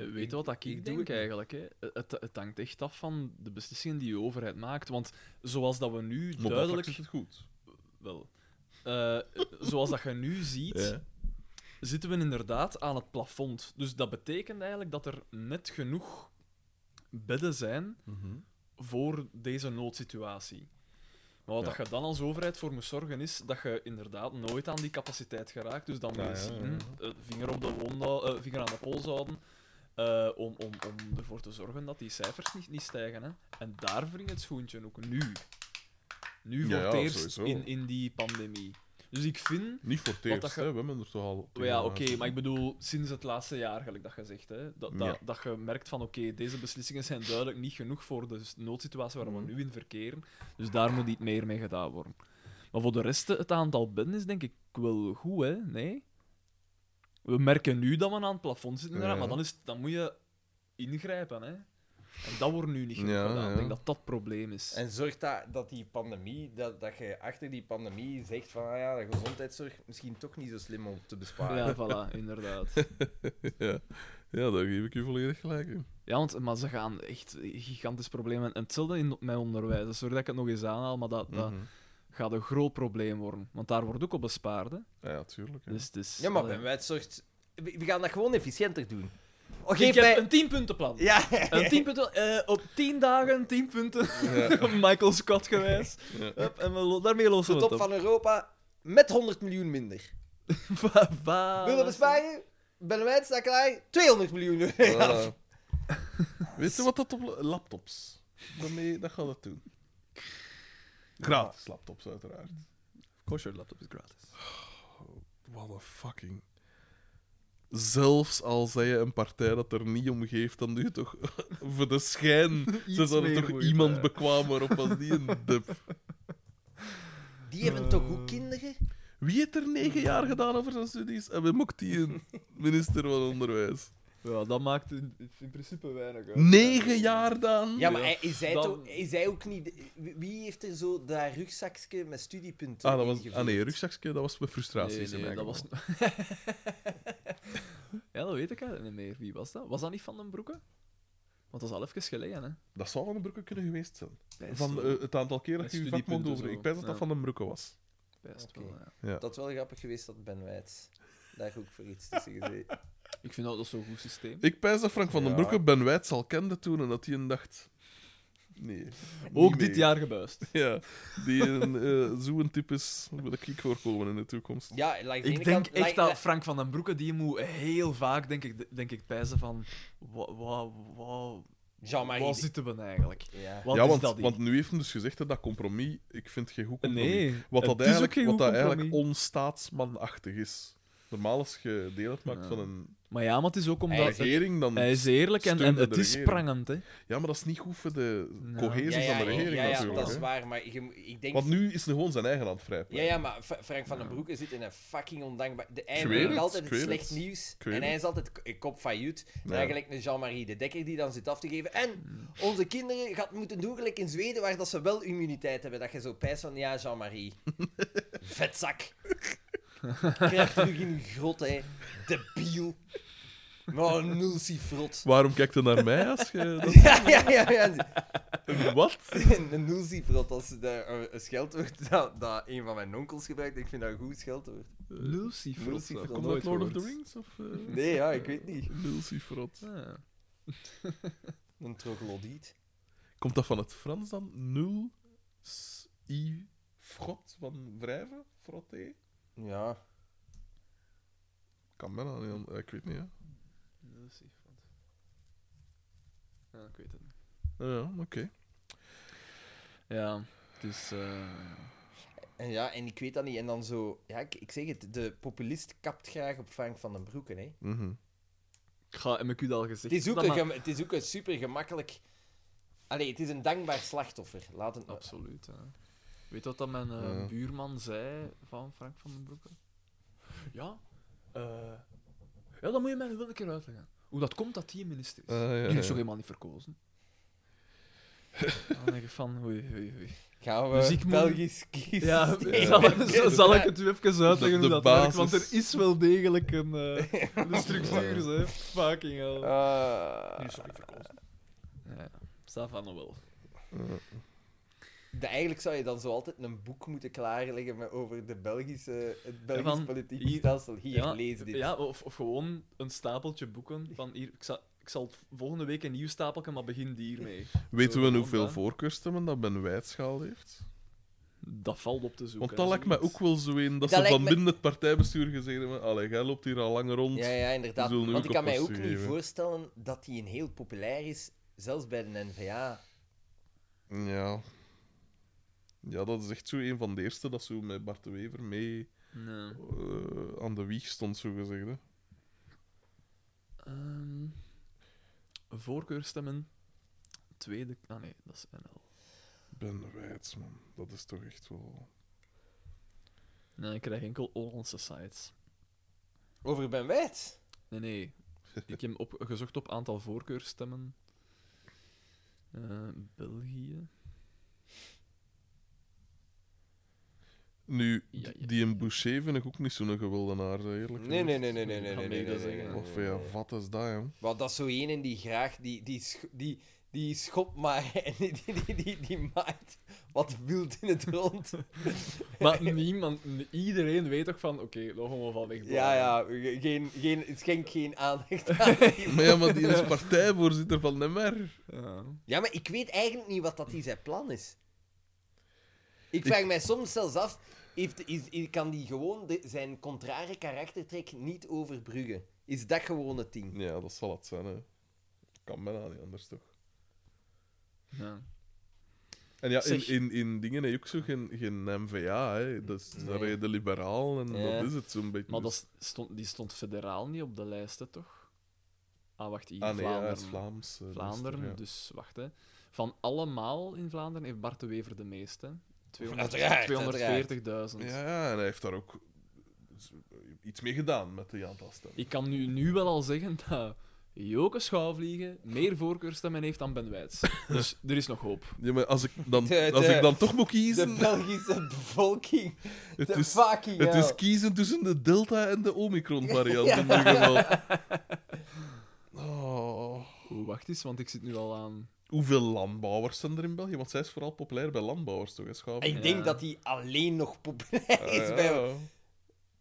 [SPEAKER 3] Eh, Weet je wat dat ik,
[SPEAKER 1] ik
[SPEAKER 3] denk
[SPEAKER 1] doe?
[SPEAKER 3] eigenlijk? Hè? Het, het hangt echt af van de beslissingen die de overheid maakt. Want zoals dat we nu
[SPEAKER 4] Maar duidelijk
[SPEAKER 3] duidelijk...
[SPEAKER 4] is het goed.
[SPEAKER 3] Wel, eh, zoals dat je nu ziet,
[SPEAKER 4] Ja.
[SPEAKER 3] zitten we inderdaad aan het plafond. Dus dat betekent eigenlijk dat er net genoeg bedden zijn
[SPEAKER 4] Mhm.
[SPEAKER 3] voor deze noodsituatie. Maar wat
[SPEAKER 4] Ja.
[SPEAKER 3] dat je dan als overheid voor moet zorgen is dat je inderdaad nooit aan die capaciteit geraakt. Dus dan moet
[SPEAKER 4] Ja,
[SPEAKER 3] je
[SPEAKER 4] ja, ja,
[SPEAKER 3] zien, eh, vinger, op de wond, hou- eh, vinger aan de pols houden, eh, om, om, om ervoor te zorgen dat die cijfers niet, niet stijgen. Hè. En daar wringt het schoentje ook nu. Nu
[SPEAKER 4] Ja,
[SPEAKER 3] voor het
[SPEAKER 4] ja,
[SPEAKER 3] eerst
[SPEAKER 4] sowieso.
[SPEAKER 3] in, in die pandemie. Dus ik vind
[SPEAKER 4] Niet voor het
[SPEAKER 3] Wat
[SPEAKER 4] eerst,
[SPEAKER 3] dat ge-
[SPEAKER 4] hè. We hebben er toch al...
[SPEAKER 3] maar Ja, oké, maar ik bedoel, sinds het laatste jaar, gelijk dat je zegt, hè, dat, dat,
[SPEAKER 4] Ja.
[SPEAKER 3] dat je merkt van, oké, deze beslissingen zijn duidelijk niet genoeg voor de s- noodsituatie waar we
[SPEAKER 4] Mhm.
[SPEAKER 3] nu in verkeren, dus daar moet iets meer mee gedaan worden. Maar voor de rest, het aantal bedden is denk ik wel goed, hè? Nee? We merken nu dat we aan het plafond zitten, inderdaad,
[SPEAKER 4] Ja.
[SPEAKER 3] maar dan, is, het- dan moet je ingrijpen, hè? En dat wordt nu niet genoeg
[SPEAKER 4] Ja,
[SPEAKER 3] gedaan.
[SPEAKER 4] ja.
[SPEAKER 3] Ik denk dat dat het probleem is.
[SPEAKER 1] En zorgt dat, dat die pandemie, dat, dat je achter die pandemie zegt van ah ja, de gezondheidszorg misschien toch niet zo slim om te besparen.
[SPEAKER 3] Ja, voilà, inderdaad.
[SPEAKER 4] ja. ja, daar geef ik u volledig gelijk in.
[SPEAKER 3] Ja, want, maar ze gaan echt gigantisch problemen. En hetzelfde in mijn onderwijs. Dus Sorry dat ik het nog eens aanhaal, maar dat, dat
[SPEAKER 4] Mhm.
[SPEAKER 3] gaat een groot probleem worden. Want daar wordt ook op bespaard. hè.
[SPEAKER 4] Ah Ja, ja, tuurlijk. hè.
[SPEAKER 3] Dus het is,
[SPEAKER 1] Ja, maar
[SPEAKER 3] allee.
[SPEAKER 1] bij mij het zorgt... We we gaan dat gewoon efficiënter doen. Oh,
[SPEAKER 3] Ik
[SPEAKER 1] geef
[SPEAKER 3] heb
[SPEAKER 1] mij...
[SPEAKER 3] een 10 puntenplan.
[SPEAKER 1] Ja.
[SPEAKER 3] Een 10 punten, eh, op 10 dagen 10 punten.
[SPEAKER 4] Ja.
[SPEAKER 3] Michael Scott geweest.
[SPEAKER 4] Ja.
[SPEAKER 3] Hup, en we lo- daarmee
[SPEAKER 1] De
[SPEAKER 3] lossen we
[SPEAKER 1] top
[SPEAKER 3] het op.
[SPEAKER 1] van Europa met 100 miljoen minder.
[SPEAKER 3] Va- va-
[SPEAKER 1] Wil je besparen? Ben wij het staat klaar? 200 miljoen euro af.
[SPEAKER 4] Voilà. Weet je wat dat op la- laptops? Daarmee, dat gaat het doen. Gratis laptops, uiteraard.
[SPEAKER 3] Kosher laptop is gratis.
[SPEAKER 4] Wat een fucking. Zelfs al zei je een partij dat er niet om geeft, dan doe je toch voor de schijn. Ze zouden
[SPEAKER 3] meer
[SPEAKER 4] toch
[SPEAKER 3] goed,
[SPEAKER 4] iemand
[SPEAKER 3] ja.
[SPEAKER 4] bekwamer op als die een dub.
[SPEAKER 1] Die hebben toch ook kinderen?
[SPEAKER 4] Wie heeft er negen jaar gedaan over zijn studies? En we mocht die een minister van Onderwijs.
[SPEAKER 3] Ja, dat maakt in, in principe weinig uit.
[SPEAKER 4] Negen jaar dan?
[SPEAKER 1] Ja, maar
[SPEAKER 3] Ja.
[SPEAKER 1] hij- Is, hij
[SPEAKER 3] Dan-
[SPEAKER 1] toch, is hij ook niet... Wie heeft er zo dat rugzakje met studiepunten
[SPEAKER 4] Ah, dat was,
[SPEAKER 1] ingevuld?
[SPEAKER 4] ah nee, rugzakje, dat was mijn frustratie.
[SPEAKER 3] Nee,
[SPEAKER 4] is in
[SPEAKER 3] nee,
[SPEAKER 4] mijn
[SPEAKER 3] dat was...
[SPEAKER 4] geval.
[SPEAKER 3] ja, dat weet ik eigenlijk niet meer. Wie was dat? Was dat niet Van den Broeke? Want dat is al even geleden, hè?
[SPEAKER 4] Dat zou van den Broeke kunnen geweest zijn.
[SPEAKER 3] Best
[SPEAKER 4] Van
[SPEAKER 3] wel.
[SPEAKER 4] eh, het aantal keer dat
[SPEAKER 3] Met
[SPEAKER 4] je je vak mocht
[SPEAKER 3] studiepunten
[SPEAKER 4] over.
[SPEAKER 3] zo.
[SPEAKER 4] Ik pijs dat dat
[SPEAKER 3] Ja.
[SPEAKER 4] van den Broeke was.
[SPEAKER 3] Best
[SPEAKER 1] Oké.
[SPEAKER 3] wel, ja.
[SPEAKER 1] Dat is wel grappig geweest dat Ben Wijts daar ook voor iets tussen gezeten
[SPEAKER 3] Ik vind dat, dat zo'n goed systeem.
[SPEAKER 4] Ik pijs dat Frank van den
[SPEAKER 1] Ja.
[SPEAKER 4] Broeke Ben Wijts al kende toen en dat hij een dacht. Nee. niet
[SPEAKER 3] Ook
[SPEAKER 4] mee.
[SPEAKER 3] dit jaar gebuist.
[SPEAKER 4] Ja, die een, eh, zo'n type is wil ik voor komen in de toekomst.
[SPEAKER 1] Ja, like, de
[SPEAKER 3] Ik
[SPEAKER 1] ene
[SPEAKER 3] denk
[SPEAKER 1] kant-
[SPEAKER 3] echt
[SPEAKER 1] like-
[SPEAKER 3] dat
[SPEAKER 1] like-
[SPEAKER 3] Frank van den Broeke, die moet heel vaak, denk ik, denk ik pijzen van... wa- wa- wa-
[SPEAKER 1] Jean-Marie.
[SPEAKER 3] Waar zitten we eigenlijk?
[SPEAKER 1] Ja.
[SPEAKER 3] Wat
[SPEAKER 4] ja,
[SPEAKER 3] is
[SPEAKER 4] want,
[SPEAKER 3] dat hier?
[SPEAKER 4] want nu heeft hem dus gezegd hè, dat compromis, ik vind geen goed compromis.
[SPEAKER 3] Nee,
[SPEAKER 4] wat
[SPEAKER 3] het
[SPEAKER 4] dat
[SPEAKER 3] is
[SPEAKER 4] eigenlijk,
[SPEAKER 3] ook geen
[SPEAKER 4] wat
[SPEAKER 3] goed
[SPEAKER 4] dat eigenlijk
[SPEAKER 3] compromis.
[SPEAKER 4] onstaatsmanachtig is. Normaal als je deel uitmaakt
[SPEAKER 3] Ja.
[SPEAKER 4] van een
[SPEAKER 3] Maar ja, maar het is ook omdat...
[SPEAKER 1] Hij is
[SPEAKER 4] regering, dan...
[SPEAKER 3] Hij is eerlijk en, en
[SPEAKER 4] Steun de
[SPEAKER 3] het is
[SPEAKER 4] regering.
[SPEAKER 3] prangend, hè.
[SPEAKER 4] Ja, maar dat is niet goed voor de
[SPEAKER 3] Nou.
[SPEAKER 4] cohesie
[SPEAKER 1] Ja, ja,
[SPEAKER 4] van de regering
[SPEAKER 1] ja, ja,
[SPEAKER 4] natuurlijk.
[SPEAKER 1] dat is
[SPEAKER 4] hè.
[SPEAKER 1] waar, maar ik, ik denk...
[SPEAKER 4] Want nu is er gewoon zijn eigen hand vrij.
[SPEAKER 1] Ja, ja, maar Fra- Frank van den Broeke zit in een fucking ondankbaar... De, hij
[SPEAKER 4] Ik weet
[SPEAKER 1] brengt
[SPEAKER 4] het,
[SPEAKER 1] altijd
[SPEAKER 4] ik
[SPEAKER 1] het
[SPEAKER 4] weet
[SPEAKER 1] slecht
[SPEAKER 4] het.
[SPEAKER 1] nieuws.
[SPEAKER 4] weet
[SPEAKER 1] En hij
[SPEAKER 4] het.
[SPEAKER 1] is altijd k- kop failliet. En
[SPEAKER 4] Ja.
[SPEAKER 1] eigenlijk een Jean-Marie de Dekker die dan zit af te geven. En onze kinderen gaat moeten doen gelijk in Zweden, waar dat ze wel immuniteit hebben. Dat je zo pijst van, ja, Jean-Marie. Vetzak. Krijgt terug in uw grot, hè. Debiel. Maar nul cifrot.
[SPEAKER 4] Waarom kijkt je naar mij als je... dat-
[SPEAKER 1] Ja, ja, ja, ja.
[SPEAKER 4] Wat?
[SPEAKER 1] Een nulsifrot, dat is de- eh, een- een scheldwoord dat, dat een van mijn onkels gebruikt. Ik vind dat een goed scheldwoord.
[SPEAKER 3] Lucifer.
[SPEAKER 1] Lucifer,
[SPEAKER 4] Komt dat uit Lord of the Rings? Of, eh,
[SPEAKER 1] Nee, ja, ik weet niet.
[SPEAKER 4] Nulsifrot.
[SPEAKER 1] Een troglodyt.
[SPEAKER 4] Komt dat van het Frans dan? Nul, s, i, frot van wrijven? Frotté?
[SPEAKER 1] Ja.
[SPEAKER 4] Kan bijna niet, an- ik weet niet. Hè.
[SPEAKER 3] Ja, ik weet het niet.
[SPEAKER 4] Ah, Ja, oké.
[SPEAKER 3] Ja, het is... eh,
[SPEAKER 1] En ja, en ik weet dat niet. En dan zo... Ja, ik, ik zeg het, de populist kapt graag op Frank van den Broeken, hè.
[SPEAKER 4] Mhm.
[SPEAKER 3] Ik ga heb ik u dat al gezegd.
[SPEAKER 1] Het is ook
[SPEAKER 3] Dat
[SPEAKER 1] een,
[SPEAKER 3] Dus maar-
[SPEAKER 1] gem- het is ook een super gemakkelijk... Allee, het is een dankbaar slachtoffer. Laat het...
[SPEAKER 3] Absoluut, hè. Weet wat dat mijn eh,
[SPEAKER 4] Ja.
[SPEAKER 3] buurman zei van Frank van den Broeke? Ja, eh, ja, dat moet je mij wel een keer uitleggen. Hoe dat komt dat die minister is.
[SPEAKER 4] Ah, ja,
[SPEAKER 3] Die
[SPEAKER 4] ja.
[SPEAKER 3] is toch helemaal niet verkozen? Dan denk ik van, oei, oei, oei.
[SPEAKER 1] Gaan we
[SPEAKER 3] Dus ik moet-
[SPEAKER 1] Belgisch kiezen?
[SPEAKER 3] Ja, zal, zal ik het u even uitleggen
[SPEAKER 4] De-
[SPEAKER 3] hoe
[SPEAKER 4] de
[SPEAKER 3] dat werkt, want
[SPEAKER 4] basis.
[SPEAKER 3] er is wel degelijk een, eh, een structuur, hè. Fucking hell.
[SPEAKER 4] Ah.
[SPEAKER 1] Eh,
[SPEAKER 3] sorry, verkozen. Ja, staat van nog wel.
[SPEAKER 1] de- eigenlijk zou je dan zo altijd een boek moeten klaarleggen met, over de Belgische, het Belgisch
[SPEAKER 3] Van,
[SPEAKER 1] politieke
[SPEAKER 3] hier-
[SPEAKER 1] stelsel. Hier,
[SPEAKER 3] ja,
[SPEAKER 1] lees dit.
[SPEAKER 3] Ja, of, of gewoon een stapeltje boeken van hier, ik zal, ik zal het volgende week een nieuw stapeltje, maar begin hiermee.
[SPEAKER 4] Weten we
[SPEAKER 3] Zo,
[SPEAKER 4] hoeveel
[SPEAKER 3] want, hè.
[SPEAKER 4] voorkeurstemmen dat Ben Wijtschaal heeft?
[SPEAKER 3] Dat valt op te zoeken.
[SPEAKER 4] Want dat
[SPEAKER 3] hè,
[SPEAKER 4] lijkt mij
[SPEAKER 3] zoiets.
[SPEAKER 4] ook wel zo in dat,
[SPEAKER 1] Dat
[SPEAKER 4] ze
[SPEAKER 1] lijkt
[SPEAKER 4] van
[SPEAKER 1] me-
[SPEAKER 4] binnen het partijbestuur gezegd hebben: Allee, jij loopt hier al lang rond.
[SPEAKER 1] Ja, ja, inderdaad.
[SPEAKER 4] We zullen
[SPEAKER 1] Want
[SPEAKER 4] ook
[SPEAKER 1] ik kan mij ook
[SPEAKER 4] oppassen,
[SPEAKER 1] niet
[SPEAKER 4] hè.
[SPEAKER 1] voorstellen dat hij een heel populair is, zelfs bij de NVA.
[SPEAKER 4] Ja. Ja, dat is echt zo een van de eerste dat zo met Bart de Wever mee
[SPEAKER 3] Nee.
[SPEAKER 4] eh, aan de wieg stond, zo gezegd. Hè.
[SPEAKER 3] Ehm, voorkeurstemmen. Tweede. Ah nee, dat is NL.
[SPEAKER 4] Ben Wijts, man. Dat is toch echt wel.
[SPEAKER 3] Nee, ik krijg enkel Hollandse sites.
[SPEAKER 1] Over Ben Wijts?
[SPEAKER 3] Nee, nee. Ik heb hem op, gezocht op aantal voorkeurstemmen. Eh, België.
[SPEAKER 4] Nu,
[SPEAKER 3] Ja, ja,
[SPEAKER 4] die in Boucher vind ik ook niet zo'n geweldenaar, eerlijk
[SPEAKER 1] Nee, nee,
[SPEAKER 4] gezegd.
[SPEAKER 1] nee, nee, nee, nee,
[SPEAKER 3] Ga
[SPEAKER 1] nee,
[SPEAKER 3] mee
[SPEAKER 1] nee,
[SPEAKER 3] dat
[SPEAKER 1] nee,
[SPEAKER 3] zeggen.
[SPEAKER 1] nee, nee,
[SPEAKER 4] Of
[SPEAKER 1] nee,
[SPEAKER 4] ja,
[SPEAKER 1] nee.
[SPEAKER 4] wat is dat, hè?
[SPEAKER 1] Want dat is zo één die graag die, die, sch- die, die schop maar en die, die, die, die, die maait wat wild in het rond.
[SPEAKER 3] Maar niemand, iedereen weet toch van, oké, daar gaan we van weg.
[SPEAKER 1] Ja, ja, ge- geen, geen, schenk geen aandacht aan. die
[SPEAKER 4] Maar ja, maar die is partijvoorzitter van de MR.
[SPEAKER 3] Ja.
[SPEAKER 1] Ja, maar ik weet eigenlijk niet wat dat die zijn plan is. Ik
[SPEAKER 4] Ik-
[SPEAKER 1] vraag mij soms zelfs af, heeft, is, is- kan die gewoon de- zijn contraire karaktertrek niet overbruggen? Is dat gewoon het ding?
[SPEAKER 4] Ja, dat zal het zijn, hè. Kan bijna niet anders, toch?
[SPEAKER 3] ja.
[SPEAKER 4] En ja,
[SPEAKER 3] Zeg.
[SPEAKER 4] in, in, in dingen heb je ook zo geen, geen NVA, hè. Dat is, Daar
[SPEAKER 1] Nee.
[SPEAKER 4] ben je de liberaal en
[SPEAKER 1] Ja.
[SPEAKER 4] dat is het zo'n beetje. Dus-
[SPEAKER 3] Maar dat stond, die stond federaal niet op de lijst, hè, toch? Ah, wacht, hier,
[SPEAKER 4] Ah nee, ja, hij
[SPEAKER 3] Vlaanderen.
[SPEAKER 4] is Vlaams. eh, dat is
[SPEAKER 3] Vlaanderen,
[SPEAKER 4] er, ja.
[SPEAKER 3] dus wacht, hè. Van allemaal in Vlaanderen heeft Bart de Wever de meeste. 200
[SPEAKER 1] Uiteraard,
[SPEAKER 3] 240.000.
[SPEAKER 4] Ja, ja, en hij heeft daar ook iets mee gedaan met de aantal stemmen.
[SPEAKER 3] Ik kan nu, nu wel al zeggen dat Joke Schouwvliegen meer voorkeurstemmen heeft dan Ben Wijts. Dus er is nog hoop.
[SPEAKER 4] Ja, maar als ik dan,
[SPEAKER 1] De-
[SPEAKER 4] als
[SPEAKER 1] de-
[SPEAKER 4] ik dan toch moet
[SPEAKER 1] De
[SPEAKER 4] kiezen...
[SPEAKER 1] Belgische bevolking.
[SPEAKER 4] het,
[SPEAKER 1] de
[SPEAKER 4] is,
[SPEAKER 1] fucking
[SPEAKER 4] het
[SPEAKER 1] hell.
[SPEAKER 4] is kiezen tussen de Delta en de Omicron-variant
[SPEAKER 1] Ja.
[SPEAKER 4] in ieder geval. Oh.
[SPEAKER 3] Oeh, wacht eens, want ik zit nu al aan...
[SPEAKER 4] Hoeveel landbouwers zijn er in België? Want zij is vooral populair bij landbouwers, toch? hè, Schaaf?
[SPEAKER 1] Ik denk
[SPEAKER 3] Ja.
[SPEAKER 1] dat die alleen nog populair
[SPEAKER 4] Ah,
[SPEAKER 1] is
[SPEAKER 4] ja.
[SPEAKER 1] bij...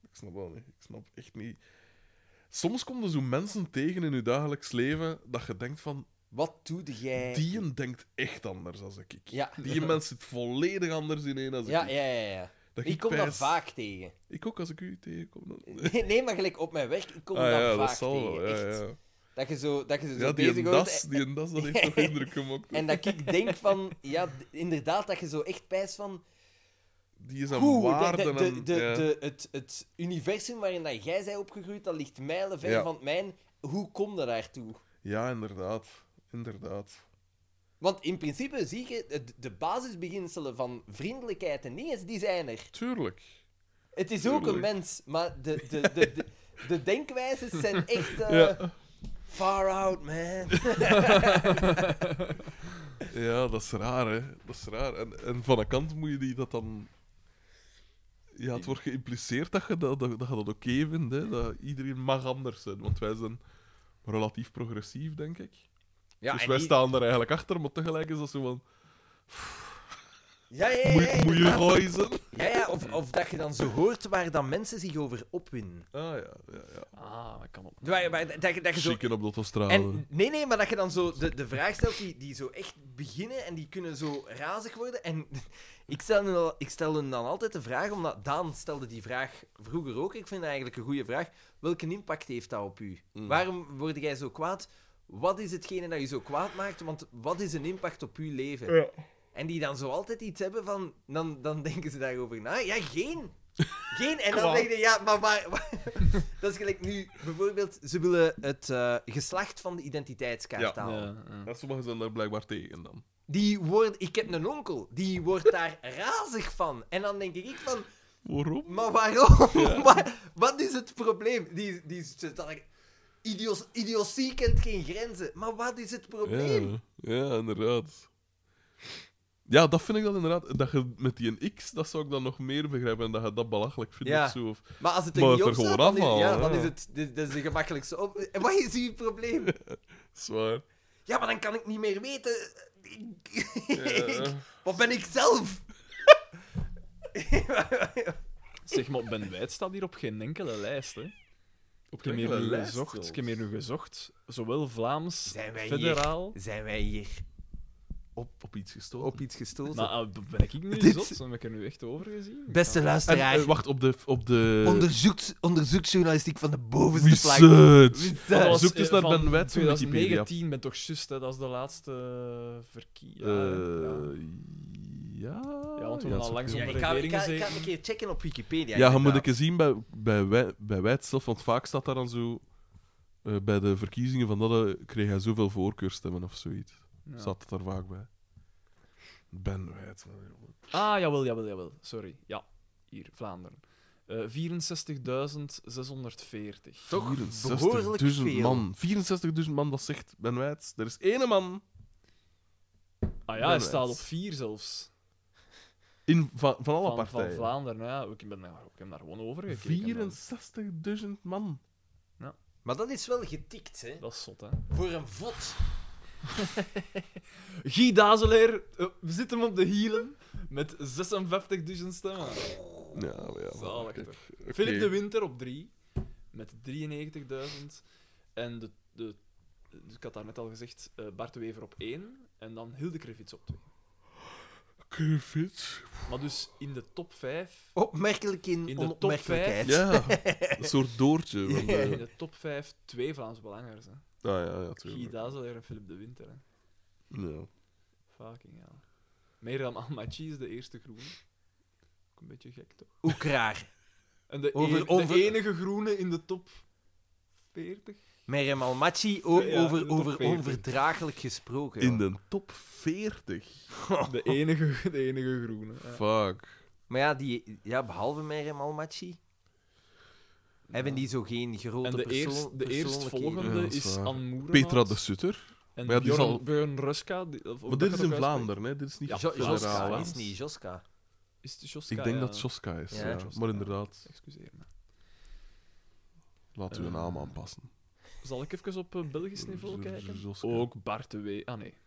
[SPEAKER 4] Ik snap wel niet. Ik snap echt niet. Soms komen er zo mensen tegen in je dagelijks leven dat je denkt van...
[SPEAKER 1] Wat doe jij?
[SPEAKER 4] Die een denkt echt anders als ik.
[SPEAKER 1] Ja.
[SPEAKER 4] Die mens zit volledig anders in een als
[SPEAKER 1] Ja,
[SPEAKER 4] ik.
[SPEAKER 1] ja, ja. ja.
[SPEAKER 4] Dat
[SPEAKER 1] Ik kom dat
[SPEAKER 4] pijs-
[SPEAKER 1] vaak tegen.
[SPEAKER 4] Ik ook, als ik u tegenkom. Dan...
[SPEAKER 1] Nee, nee, maar gelijk op mijn werk, ik kom
[SPEAKER 4] Ah,
[SPEAKER 1] dat
[SPEAKER 4] ja,
[SPEAKER 1] vaak
[SPEAKER 4] dat zal wel.
[SPEAKER 1] tegen.
[SPEAKER 4] Ja,
[SPEAKER 1] echt.
[SPEAKER 4] ja.
[SPEAKER 1] Dat je zo, dat je zo
[SPEAKER 4] ja, die
[SPEAKER 1] bezig
[SPEAKER 4] een
[SPEAKER 1] wordt
[SPEAKER 4] das, die een das, dat heeft toch indruk gemaakt.
[SPEAKER 1] en dat ik denk van... Ja, d- inderdaad, dat je zo echt pijst van...
[SPEAKER 4] Die is aan
[SPEAKER 1] Oeh,
[SPEAKER 4] waarden
[SPEAKER 1] de, de,
[SPEAKER 4] en-
[SPEAKER 1] de,
[SPEAKER 4] ja.
[SPEAKER 1] de- het, het universum waarin dat jij bent opgegroeid, dat ligt mijlen ver
[SPEAKER 4] Ja.
[SPEAKER 1] van het mijn. Hoe kom je daartoe?
[SPEAKER 4] ja, inderdaad. Inderdaad.
[SPEAKER 1] Want in principe zie je, het- de basisbeginselen van vriendelijkheid en dinges, die zijn er.
[SPEAKER 4] Tuurlijk.
[SPEAKER 1] Het is ook een
[SPEAKER 4] Tuurlijk.
[SPEAKER 1] mens, maar de, de, de, de, de denkwijzes zijn echt eh,
[SPEAKER 4] Ja.
[SPEAKER 1] far out, man.
[SPEAKER 4] ja, dat is raar, hè. Dat is raar. En, en van een kant moet je die dat dan... Ja, het wordt geïmpliceerd dat je dat, dat, dat, je dat oké vindt, hè. Dat iedereen mag anders zijn, want wij zijn relatief progressief, denk ik.
[SPEAKER 1] Ja,
[SPEAKER 4] dus
[SPEAKER 1] en
[SPEAKER 4] wij
[SPEAKER 1] die-
[SPEAKER 4] staan er eigenlijk achter, maar tegelijk is dat zo van...
[SPEAKER 1] Ja, ja, ja,
[SPEAKER 4] Moet, moet je
[SPEAKER 1] inderdaad.
[SPEAKER 4] gooi zijn?
[SPEAKER 1] ja, ja of, of dat je dan zo hoort waar dan mensen zich over opwinden.
[SPEAKER 4] Ah, ja, ja, ja.
[SPEAKER 3] Ah, dat kan op.
[SPEAKER 1] Waar, waar- dat, je- dat je zo...
[SPEAKER 4] Chicken op de autostrade.
[SPEAKER 1] En, nee, nee, maar dat je dan zo de, de vraag stelt die, die zo echt beginnen en die kunnen zo razig worden. En ik stel, hun al- ik stel hun dan altijd de vraag, omdat Daan stelde die vraag vroeger ook. Ik vind dat eigenlijk een goede vraag. Welke impact heeft dat op u?
[SPEAKER 4] Mm.
[SPEAKER 1] Waarom word jij zo kwaad? Wat is hetgene dat je zo kwaad maakt? Want wat is een impact op uw leven?
[SPEAKER 4] Ja.
[SPEAKER 1] En die dan zo altijd iets hebben van... Dan, dan denken ze daarover na. Ja, geen. Geen. En dan
[SPEAKER 4] Kwaad.
[SPEAKER 1] denk je, ja, maar waar... waar- dat is gelijk nu... Bijvoorbeeld, ze willen het eh, geslacht van de identiteitskaart
[SPEAKER 4] Ja.
[SPEAKER 1] halen.
[SPEAKER 4] Ja, sommigen zijn daar blijkbaar tegen dan.
[SPEAKER 1] Die wordt... Ik heb een onkel. Die wordt daar razig van. En dan denk ik van...
[SPEAKER 4] Waarom?
[SPEAKER 1] Maar waarom? Wa- wat is het probleem? Die, die zit daar... Idios, idiotie kent geen grenzen. Maar wat is het probleem?
[SPEAKER 4] Ja, ja, inderdaad. Ja, dat vind ik dan inderdaad. Dat je met die een X, dat zou ik dan nog meer begrijpen. En dat je dat belachelijk vindt
[SPEAKER 1] Ja.
[SPEAKER 4] of zo. Of...
[SPEAKER 1] Maar als het er
[SPEAKER 4] Maar
[SPEAKER 1] niet
[SPEAKER 4] het
[SPEAKER 1] op
[SPEAKER 4] er
[SPEAKER 1] staat,
[SPEAKER 4] gewoon
[SPEAKER 1] dan is,
[SPEAKER 4] afhalen,
[SPEAKER 1] ja, dan
[SPEAKER 4] ja.
[SPEAKER 1] is het dit, dit is de gemakkelijkste op... En wat is uw probleem?
[SPEAKER 4] Zwaar.
[SPEAKER 1] Ja, maar dan kan ik niet meer weten. Ik-
[SPEAKER 4] Ja.
[SPEAKER 1] Wat ben ik zelf?
[SPEAKER 3] Zeg maar, Ben Wijd staat hier op geen enkele lijst, hè?
[SPEAKER 4] Op
[SPEAKER 3] Ik heb hier
[SPEAKER 4] enkele
[SPEAKER 3] nu
[SPEAKER 4] lijst
[SPEAKER 3] gezocht,
[SPEAKER 4] zelfs.
[SPEAKER 3] ik heb hier nu gezocht, zowel Vlaams,
[SPEAKER 1] Zijn wij
[SPEAKER 3] federaal...
[SPEAKER 1] Zijn wij hier
[SPEAKER 4] Op, op iets gestoken.
[SPEAKER 1] op iets gestoten?
[SPEAKER 3] Maar ah, ben ik nu
[SPEAKER 1] Dit-
[SPEAKER 3] zot? Heb ik er nu echt over gezien?
[SPEAKER 1] Beste
[SPEAKER 4] En,
[SPEAKER 1] luisteraar,
[SPEAKER 4] eh, wacht, op de. Op de...
[SPEAKER 1] eh, onderzoekt, onderzoeksjournalistiek van de bovenste plank.
[SPEAKER 4] Research.
[SPEAKER 1] Research.
[SPEAKER 4] Zoek
[SPEAKER 3] eh,
[SPEAKER 4] dus naar Ben Wet
[SPEAKER 3] Wet.
[SPEAKER 4] op Wikipedia.
[SPEAKER 3] 2019 ben toch juist, hè, dat is de laatste verkiezing. ja.
[SPEAKER 4] Eh, ja.
[SPEAKER 3] Ja, want we
[SPEAKER 4] ja,
[SPEAKER 3] gaan al
[SPEAKER 4] zo-
[SPEAKER 3] langs
[SPEAKER 1] Ja,
[SPEAKER 3] onder
[SPEAKER 1] ik ga, ik, ga,
[SPEAKER 3] regeringen
[SPEAKER 1] ik ga
[SPEAKER 3] zeker.
[SPEAKER 1] het een keer checken op Wikipedia.
[SPEAKER 4] Ja, je moet
[SPEAKER 1] inderdaad.
[SPEAKER 4] ik zien bij, bij, wij- bij Wijd zelf, want vaak staat daar dan zo. eh, bij de verkiezingen van dat eh, kreeg hij zoveel voorkeurstemmen of zoiets.
[SPEAKER 3] Ja.
[SPEAKER 4] Zat het er vaak bij. Ben Wijd.
[SPEAKER 3] Ah, jawel, jawel, jawel. Sorry. Ja, hier, Vlaanderen. Eh 64.640.
[SPEAKER 1] Toch
[SPEAKER 4] 64.000
[SPEAKER 1] behoorlijk veel.
[SPEAKER 4] man. 64.000 man, dat zegt Ben Wijd. Er is één man
[SPEAKER 3] Ah ja, hij
[SPEAKER 4] Benwijs.
[SPEAKER 3] staat op 4 zelfs.
[SPEAKER 4] in, van, van alle
[SPEAKER 3] Van, van
[SPEAKER 4] partijen.
[SPEAKER 3] Vlaanderen, ja. Ik ben daar, ik heb daar gewoon over gekeken. man.
[SPEAKER 4] 64.000 man.
[SPEAKER 1] Maar dat is wel getikt, hè?
[SPEAKER 3] Dat is zot, hè.
[SPEAKER 1] Voor een vod.
[SPEAKER 3] Guy Dazeleer, eh, we zitten hem op de hielen met 56.000 stemmen.
[SPEAKER 4] Ja, maar Oh, ja.
[SPEAKER 3] Zalig,
[SPEAKER 4] kijk,
[SPEAKER 3] toch?
[SPEAKER 4] oké.
[SPEAKER 3] Philip de Winter op 3 met 93.000. En de, de, dus ik had daar net al gezegd, eh, Bart de Wever op 1 en dan Hilde Krevits op 2.
[SPEAKER 4] Krevits.
[SPEAKER 3] Maar dus in de top 5,
[SPEAKER 1] Opmerkelijk in,
[SPEAKER 3] In de top
[SPEAKER 1] onopmerkelijkheid.
[SPEAKER 4] Ja, een soort doortje. Van
[SPEAKER 3] in
[SPEAKER 4] de...
[SPEAKER 3] de top 5 twee Vlaams belangers. Hè.
[SPEAKER 4] Ah ja, ja,
[SPEAKER 3] Guy
[SPEAKER 4] tuurlijk.
[SPEAKER 3] Dazeleer en Philip de Winter. Hè.
[SPEAKER 4] Ja.
[SPEAKER 3] Fucking hell. Meer dan Amachi is de eerste groene. Ook een beetje gek, toch?
[SPEAKER 1] Ook raar.
[SPEAKER 3] En de,
[SPEAKER 1] Over-
[SPEAKER 3] een- de
[SPEAKER 1] over-
[SPEAKER 3] enige groene in de top 40.
[SPEAKER 1] Merem Almachi, o-
[SPEAKER 3] Ja,
[SPEAKER 1] over,
[SPEAKER 3] top
[SPEAKER 1] over
[SPEAKER 3] 40.
[SPEAKER 1] onverdraaglijk gesproken.
[SPEAKER 4] In
[SPEAKER 1] joh.
[SPEAKER 4] de top 40.
[SPEAKER 3] De enige, de enige groene. ja.
[SPEAKER 4] Fuck.
[SPEAKER 1] Maar ja, die, ja behalve Merem Almachi, hebben die zo geen grote
[SPEAKER 3] En de,
[SPEAKER 1] persoon,
[SPEAKER 3] eerst, de
[SPEAKER 1] persoonlijkheden?
[SPEAKER 3] eerstvolgende
[SPEAKER 4] Ja, dat is
[SPEAKER 3] is
[SPEAKER 4] waar.
[SPEAKER 3] Anne Moerenmaat.
[SPEAKER 4] Petra de Sutter.
[SPEAKER 3] En
[SPEAKER 4] Maar ja, die
[SPEAKER 3] Björn,
[SPEAKER 4] zal-
[SPEAKER 3] Björn Ruska. die- of- of
[SPEAKER 4] Maar
[SPEAKER 3] dat
[SPEAKER 4] dit is
[SPEAKER 3] je
[SPEAKER 4] in
[SPEAKER 3] dat ook uitspreekt.
[SPEAKER 4] Vlaanderen, hè? Dit is niet
[SPEAKER 3] Ja,
[SPEAKER 1] Jo-
[SPEAKER 4] federaal,
[SPEAKER 1] Joska,
[SPEAKER 4] hè.
[SPEAKER 3] Vlaanderen.
[SPEAKER 1] is niet Joska.
[SPEAKER 3] Is het Joska?
[SPEAKER 4] Ik denk
[SPEAKER 3] ja.
[SPEAKER 4] dat Joska is,
[SPEAKER 1] Ja,
[SPEAKER 4] ja.
[SPEAKER 3] Joska,
[SPEAKER 4] Maar
[SPEAKER 3] ja.
[SPEAKER 4] inderdaad,
[SPEAKER 3] Excuseer me.
[SPEAKER 4] laat uw
[SPEAKER 3] Eh,
[SPEAKER 4] naam aanpassen.
[SPEAKER 3] Zal ik even op eh, Belgisch niveau kijken?
[SPEAKER 4] Joska.
[SPEAKER 3] Ook Bart de Wee. Ah nee. Wacht,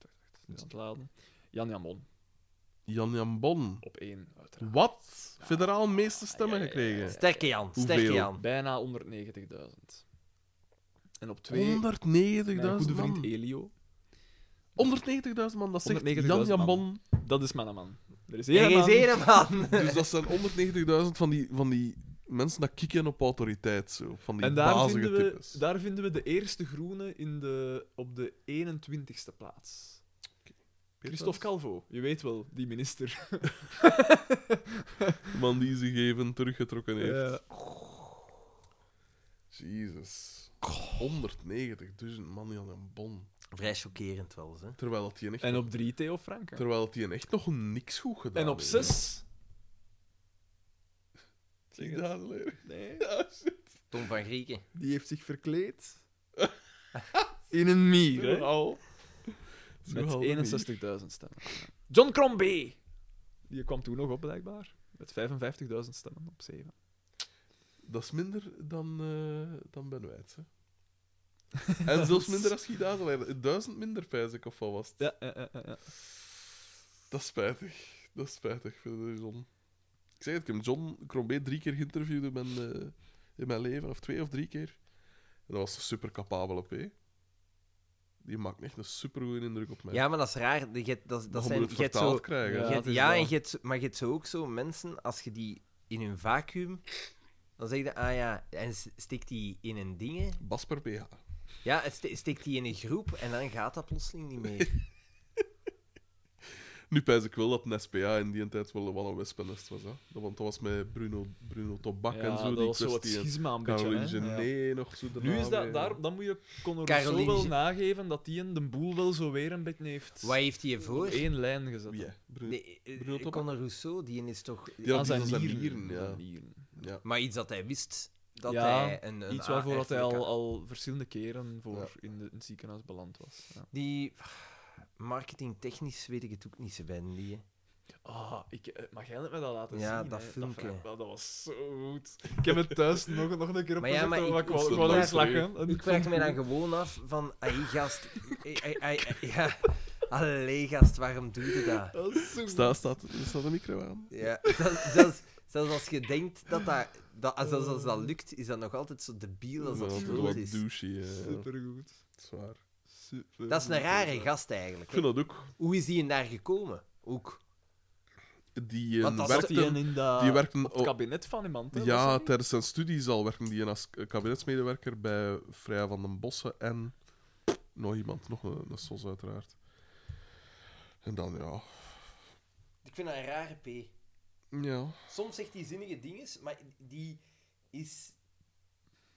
[SPEAKER 3] wacht, wacht. Het is aan het laden. Jan Jamon
[SPEAKER 4] Jan Jan Bon.
[SPEAKER 3] op één, uiteraard.
[SPEAKER 4] Wat? Federaal meeste stemmen
[SPEAKER 3] ja, ja, ja.
[SPEAKER 4] gekregen.
[SPEAKER 1] Sterke Jan, sterke
[SPEAKER 4] Hoeveel?
[SPEAKER 1] Jan.
[SPEAKER 3] Bijna 190.000. En op twee,
[SPEAKER 4] 190.000
[SPEAKER 3] mijn goede vriend
[SPEAKER 4] man.
[SPEAKER 3] Elio.
[SPEAKER 4] 190.000 man, dat zegt
[SPEAKER 3] 190.000
[SPEAKER 4] Jan
[SPEAKER 3] man.
[SPEAKER 4] Jambon.
[SPEAKER 3] Dat is mijn man. Er is
[SPEAKER 1] Er
[SPEAKER 3] één
[SPEAKER 1] is
[SPEAKER 3] man.
[SPEAKER 1] één man.
[SPEAKER 4] Dus dat zijn 190.000 van die, van die mensen dat kikken op autoriteit. Zo. Van die
[SPEAKER 3] En daar
[SPEAKER 4] bazige
[SPEAKER 3] vinden, we,
[SPEAKER 4] types.
[SPEAKER 3] daar vinden we de eerste groene in de, op de 21ste plaats. Christophe Calvo, je weet wel, die minister.
[SPEAKER 4] De man die zich even teruggetrokken heeft.
[SPEAKER 3] Ja.
[SPEAKER 4] Jezus. 190.000 man die aan een bon.
[SPEAKER 1] Vrij chockerend wel, hè.
[SPEAKER 4] Terwijl dat die echt,
[SPEAKER 3] En op 3 Theo Franken.
[SPEAKER 4] terwijl dat die echt nog niks goed gedaan
[SPEAKER 3] En op
[SPEAKER 4] heeft.
[SPEAKER 3] 6.
[SPEAKER 4] Zie daar, leer.
[SPEAKER 3] Nee.
[SPEAKER 4] Ja, shit.
[SPEAKER 1] Tom van Grieken.
[SPEAKER 3] Die heeft zich verkleed. In een mier,
[SPEAKER 4] Zo
[SPEAKER 3] hè?
[SPEAKER 4] al. Zo
[SPEAKER 3] Met
[SPEAKER 4] al de
[SPEAKER 3] 61.000 stemmen. John Crombie! Die kwam toen nog op, blijkbaar. Met 55.000 stemmen op 7.
[SPEAKER 4] mier. Dat is minder dan, eh dan Ben Wijts, hè. En zelfs minder als Gidazel. Duizend minder, pijs ik, of wat was het?
[SPEAKER 3] Ja, ja, ja, ja, ja.
[SPEAKER 4] Dat is spijtig. Dat is spijtig voor de John. Ik zeg het, ik heb John Crombé drie keer geïnterviewd in mijn, eh, in mijn leven, of twee of drie keer. En dat was een super capabele P. Die maakt echt een super goede indruk op mij.
[SPEAKER 1] Ja, maar dat is raar. Je hebt- dat, dat
[SPEAKER 4] Dan moet
[SPEAKER 1] zijn,
[SPEAKER 4] je het
[SPEAKER 1] je hebt
[SPEAKER 4] vertaald
[SPEAKER 1] zo,
[SPEAKER 4] krijgen.
[SPEAKER 3] Ja,
[SPEAKER 1] je
[SPEAKER 3] het
[SPEAKER 1] hebt-
[SPEAKER 3] is
[SPEAKER 1] ja
[SPEAKER 3] waar.
[SPEAKER 1] en je hebt, maar je hebt zo ook zo mensen, als je die in hun vacuüm... Dan zeg je, ah ja, en s- steekt die in een dingen.
[SPEAKER 4] Bas per PH.
[SPEAKER 1] Ja, het ste- steekt die in een groep en dan gaat dat plotseling niet meer.
[SPEAKER 4] Nu pijs ik wel dat een SPA in die tijd wel wel een wespennest was. Hè? Dat- Want dat was met Bruno, Bruno Tobak en zo.
[SPEAKER 3] dat
[SPEAKER 4] die
[SPEAKER 3] was zo het
[SPEAKER 4] kwestie.
[SPEAKER 3] schisma een beetje.
[SPEAKER 4] Caroline
[SPEAKER 3] hè. Ja.
[SPEAKER 4] Gené nog zo daarna
[SPEAKER 3] Nu is
[SPEAKER 4] mee.
[SPEAKER 3] dat, daar, dan moet je Conor
[SPEAKER 1] Nou, Caroline
[SPEAKER 3] Rousseau wel
[SPEAKER 1] Ge-
[SPEAKER 3] nageven dat die een de boel wel zo weer een beetje heeft
[SPEAKER 1] Wat heeft hij
[SPEAKER 3] op
[SPEAKER 1] voor?
[SPEAKER 3] één lijn gezet.
[SPEAKER 4] Ja, Bruno.
[SPEAKER 1] Nee, eh,
[SPEAKER 4] Bruno Tobak?
[SPEAKER 1] Conor Rousseau, die is toch...
[SPEAKER 4] Ja,
[SPEAKER 3] Aan
[SPEAKER 4] die
[SPEAKER 3] zijn
[SPEAKER 4] van zijn
[SPEAKER 3] nieren.
[SPEAKER 4] nieren, ja.
[SPEAKER 3] Zijn nieren.
[SPEAKER 4] Ja.
[SPEAKER 1] Maar iets dat hij wist. Dat
[SPEAKER 3] Ja,
[SPEAKER 1] hij een, een
[SPEAKER 3] Iets waarvoor dat hij al,
[SPEAKER 1] aardrijkselijk-
[SPEAKER 3] al verschillende keren voor
[SPEAKER 4] Ja.
[SPEAKER 3] in, de, in het ziekenhuis beland was. Ja.
[SPEAKER 1] Die... Marketingtechnisch weet ik het ook niet zo bij die. hè.
[SPEAKER 3] Ah, ik, eh, mag jij het me dat laten
[SPEAKER 1] Ja,
[SPEAKER 3] zien?
[SPEAKER 1] dat
[SPEAKER 3] hè?
[SPEAKER 1] filmpje.
[SPEAKER 3] Dat, dat was zo goed. Ik heb het thuis nog, nog een keer op
[SPEAKER 1] Maar ja, maar
[SPEAKER 3] gezet,
[SPEAKER 1] ik-
[SPEAKER 3] ik wou
[SPEAKER 4] ik-
[SPEAKER 3] ik wou nog eens
[SPEAKER 4] ik-
[SPEAKER 3] lachen. En
[SPEAKER 1] Ik
[SPEAKER 3] vond
[SPEAKER 1] vraag
[SPEAKER 3] het
[SPEAKER 1] mij dan
[SPEAKER 3] goed.
[SPEAKER 1] gewoon af van... Ai, gast... ai, ai, ai, ai, ja. Allee, gast, waarom doe je dat?
[SPEAKER 3] Dat is zo goed.
[SPEAKER 4] Staat, staat, staat de micro aan?
[SPEAKER 1] Ja, zelfs, zelfs, zelfs als je denkt dat dat... dat als- zelfs als dat lukt, is dat nog altijd zo debiel als dat
[SPEAKER 4] dat
[SPEAKER 1] zo
[SPEAKER 4] wat eh,
[SPEAKER 1] is.
[SPEAKER 4] douche, ja.
[SPEAKER 3] Supergoed.
[SPEAKER 4] Zwaar.
[SPEAKER 3] Super.
[SPEAKER 1] Dat is een rare gast,
[SPEAKER 4] Ik
[SPEAKER 1] eigenlijk. hè.
[SPEAKER 4] vind dat ook.
[SPEAKER 1] Hoe is die daar gekomen? Ook.
[SPEAKER 4] Die,
[SPEAKER 1] Want
[SPEAKER 4] eh
[SPEAKER 1] dat
[SPEAKER 4] werkte,
[SPEAKER 1] zat
[SPEAKER 3] Die een
[SPEAKER 4] die,
[SPEAKER 3] in dat,
[SPEAKER 4] werkte
[SPEAKER 3] op het kabinet van iemand. hè, was
[SPEAKER 4] ja,
[SPEAKER 3] dat niet?
[SPEAKER 4] tijdens zijn studies al werkte die als eh, kabinetsmedewerker bij Freya van den Bossen en nog iemand, nog een, een SOS uiteraard. En dan, ja.
[SPEAKER 1] Ik vind dat een rare P.
[SPEAKER 4] Ja.
[SPEAKER 1] Soms zegt hij zinnige dingen, maar die is.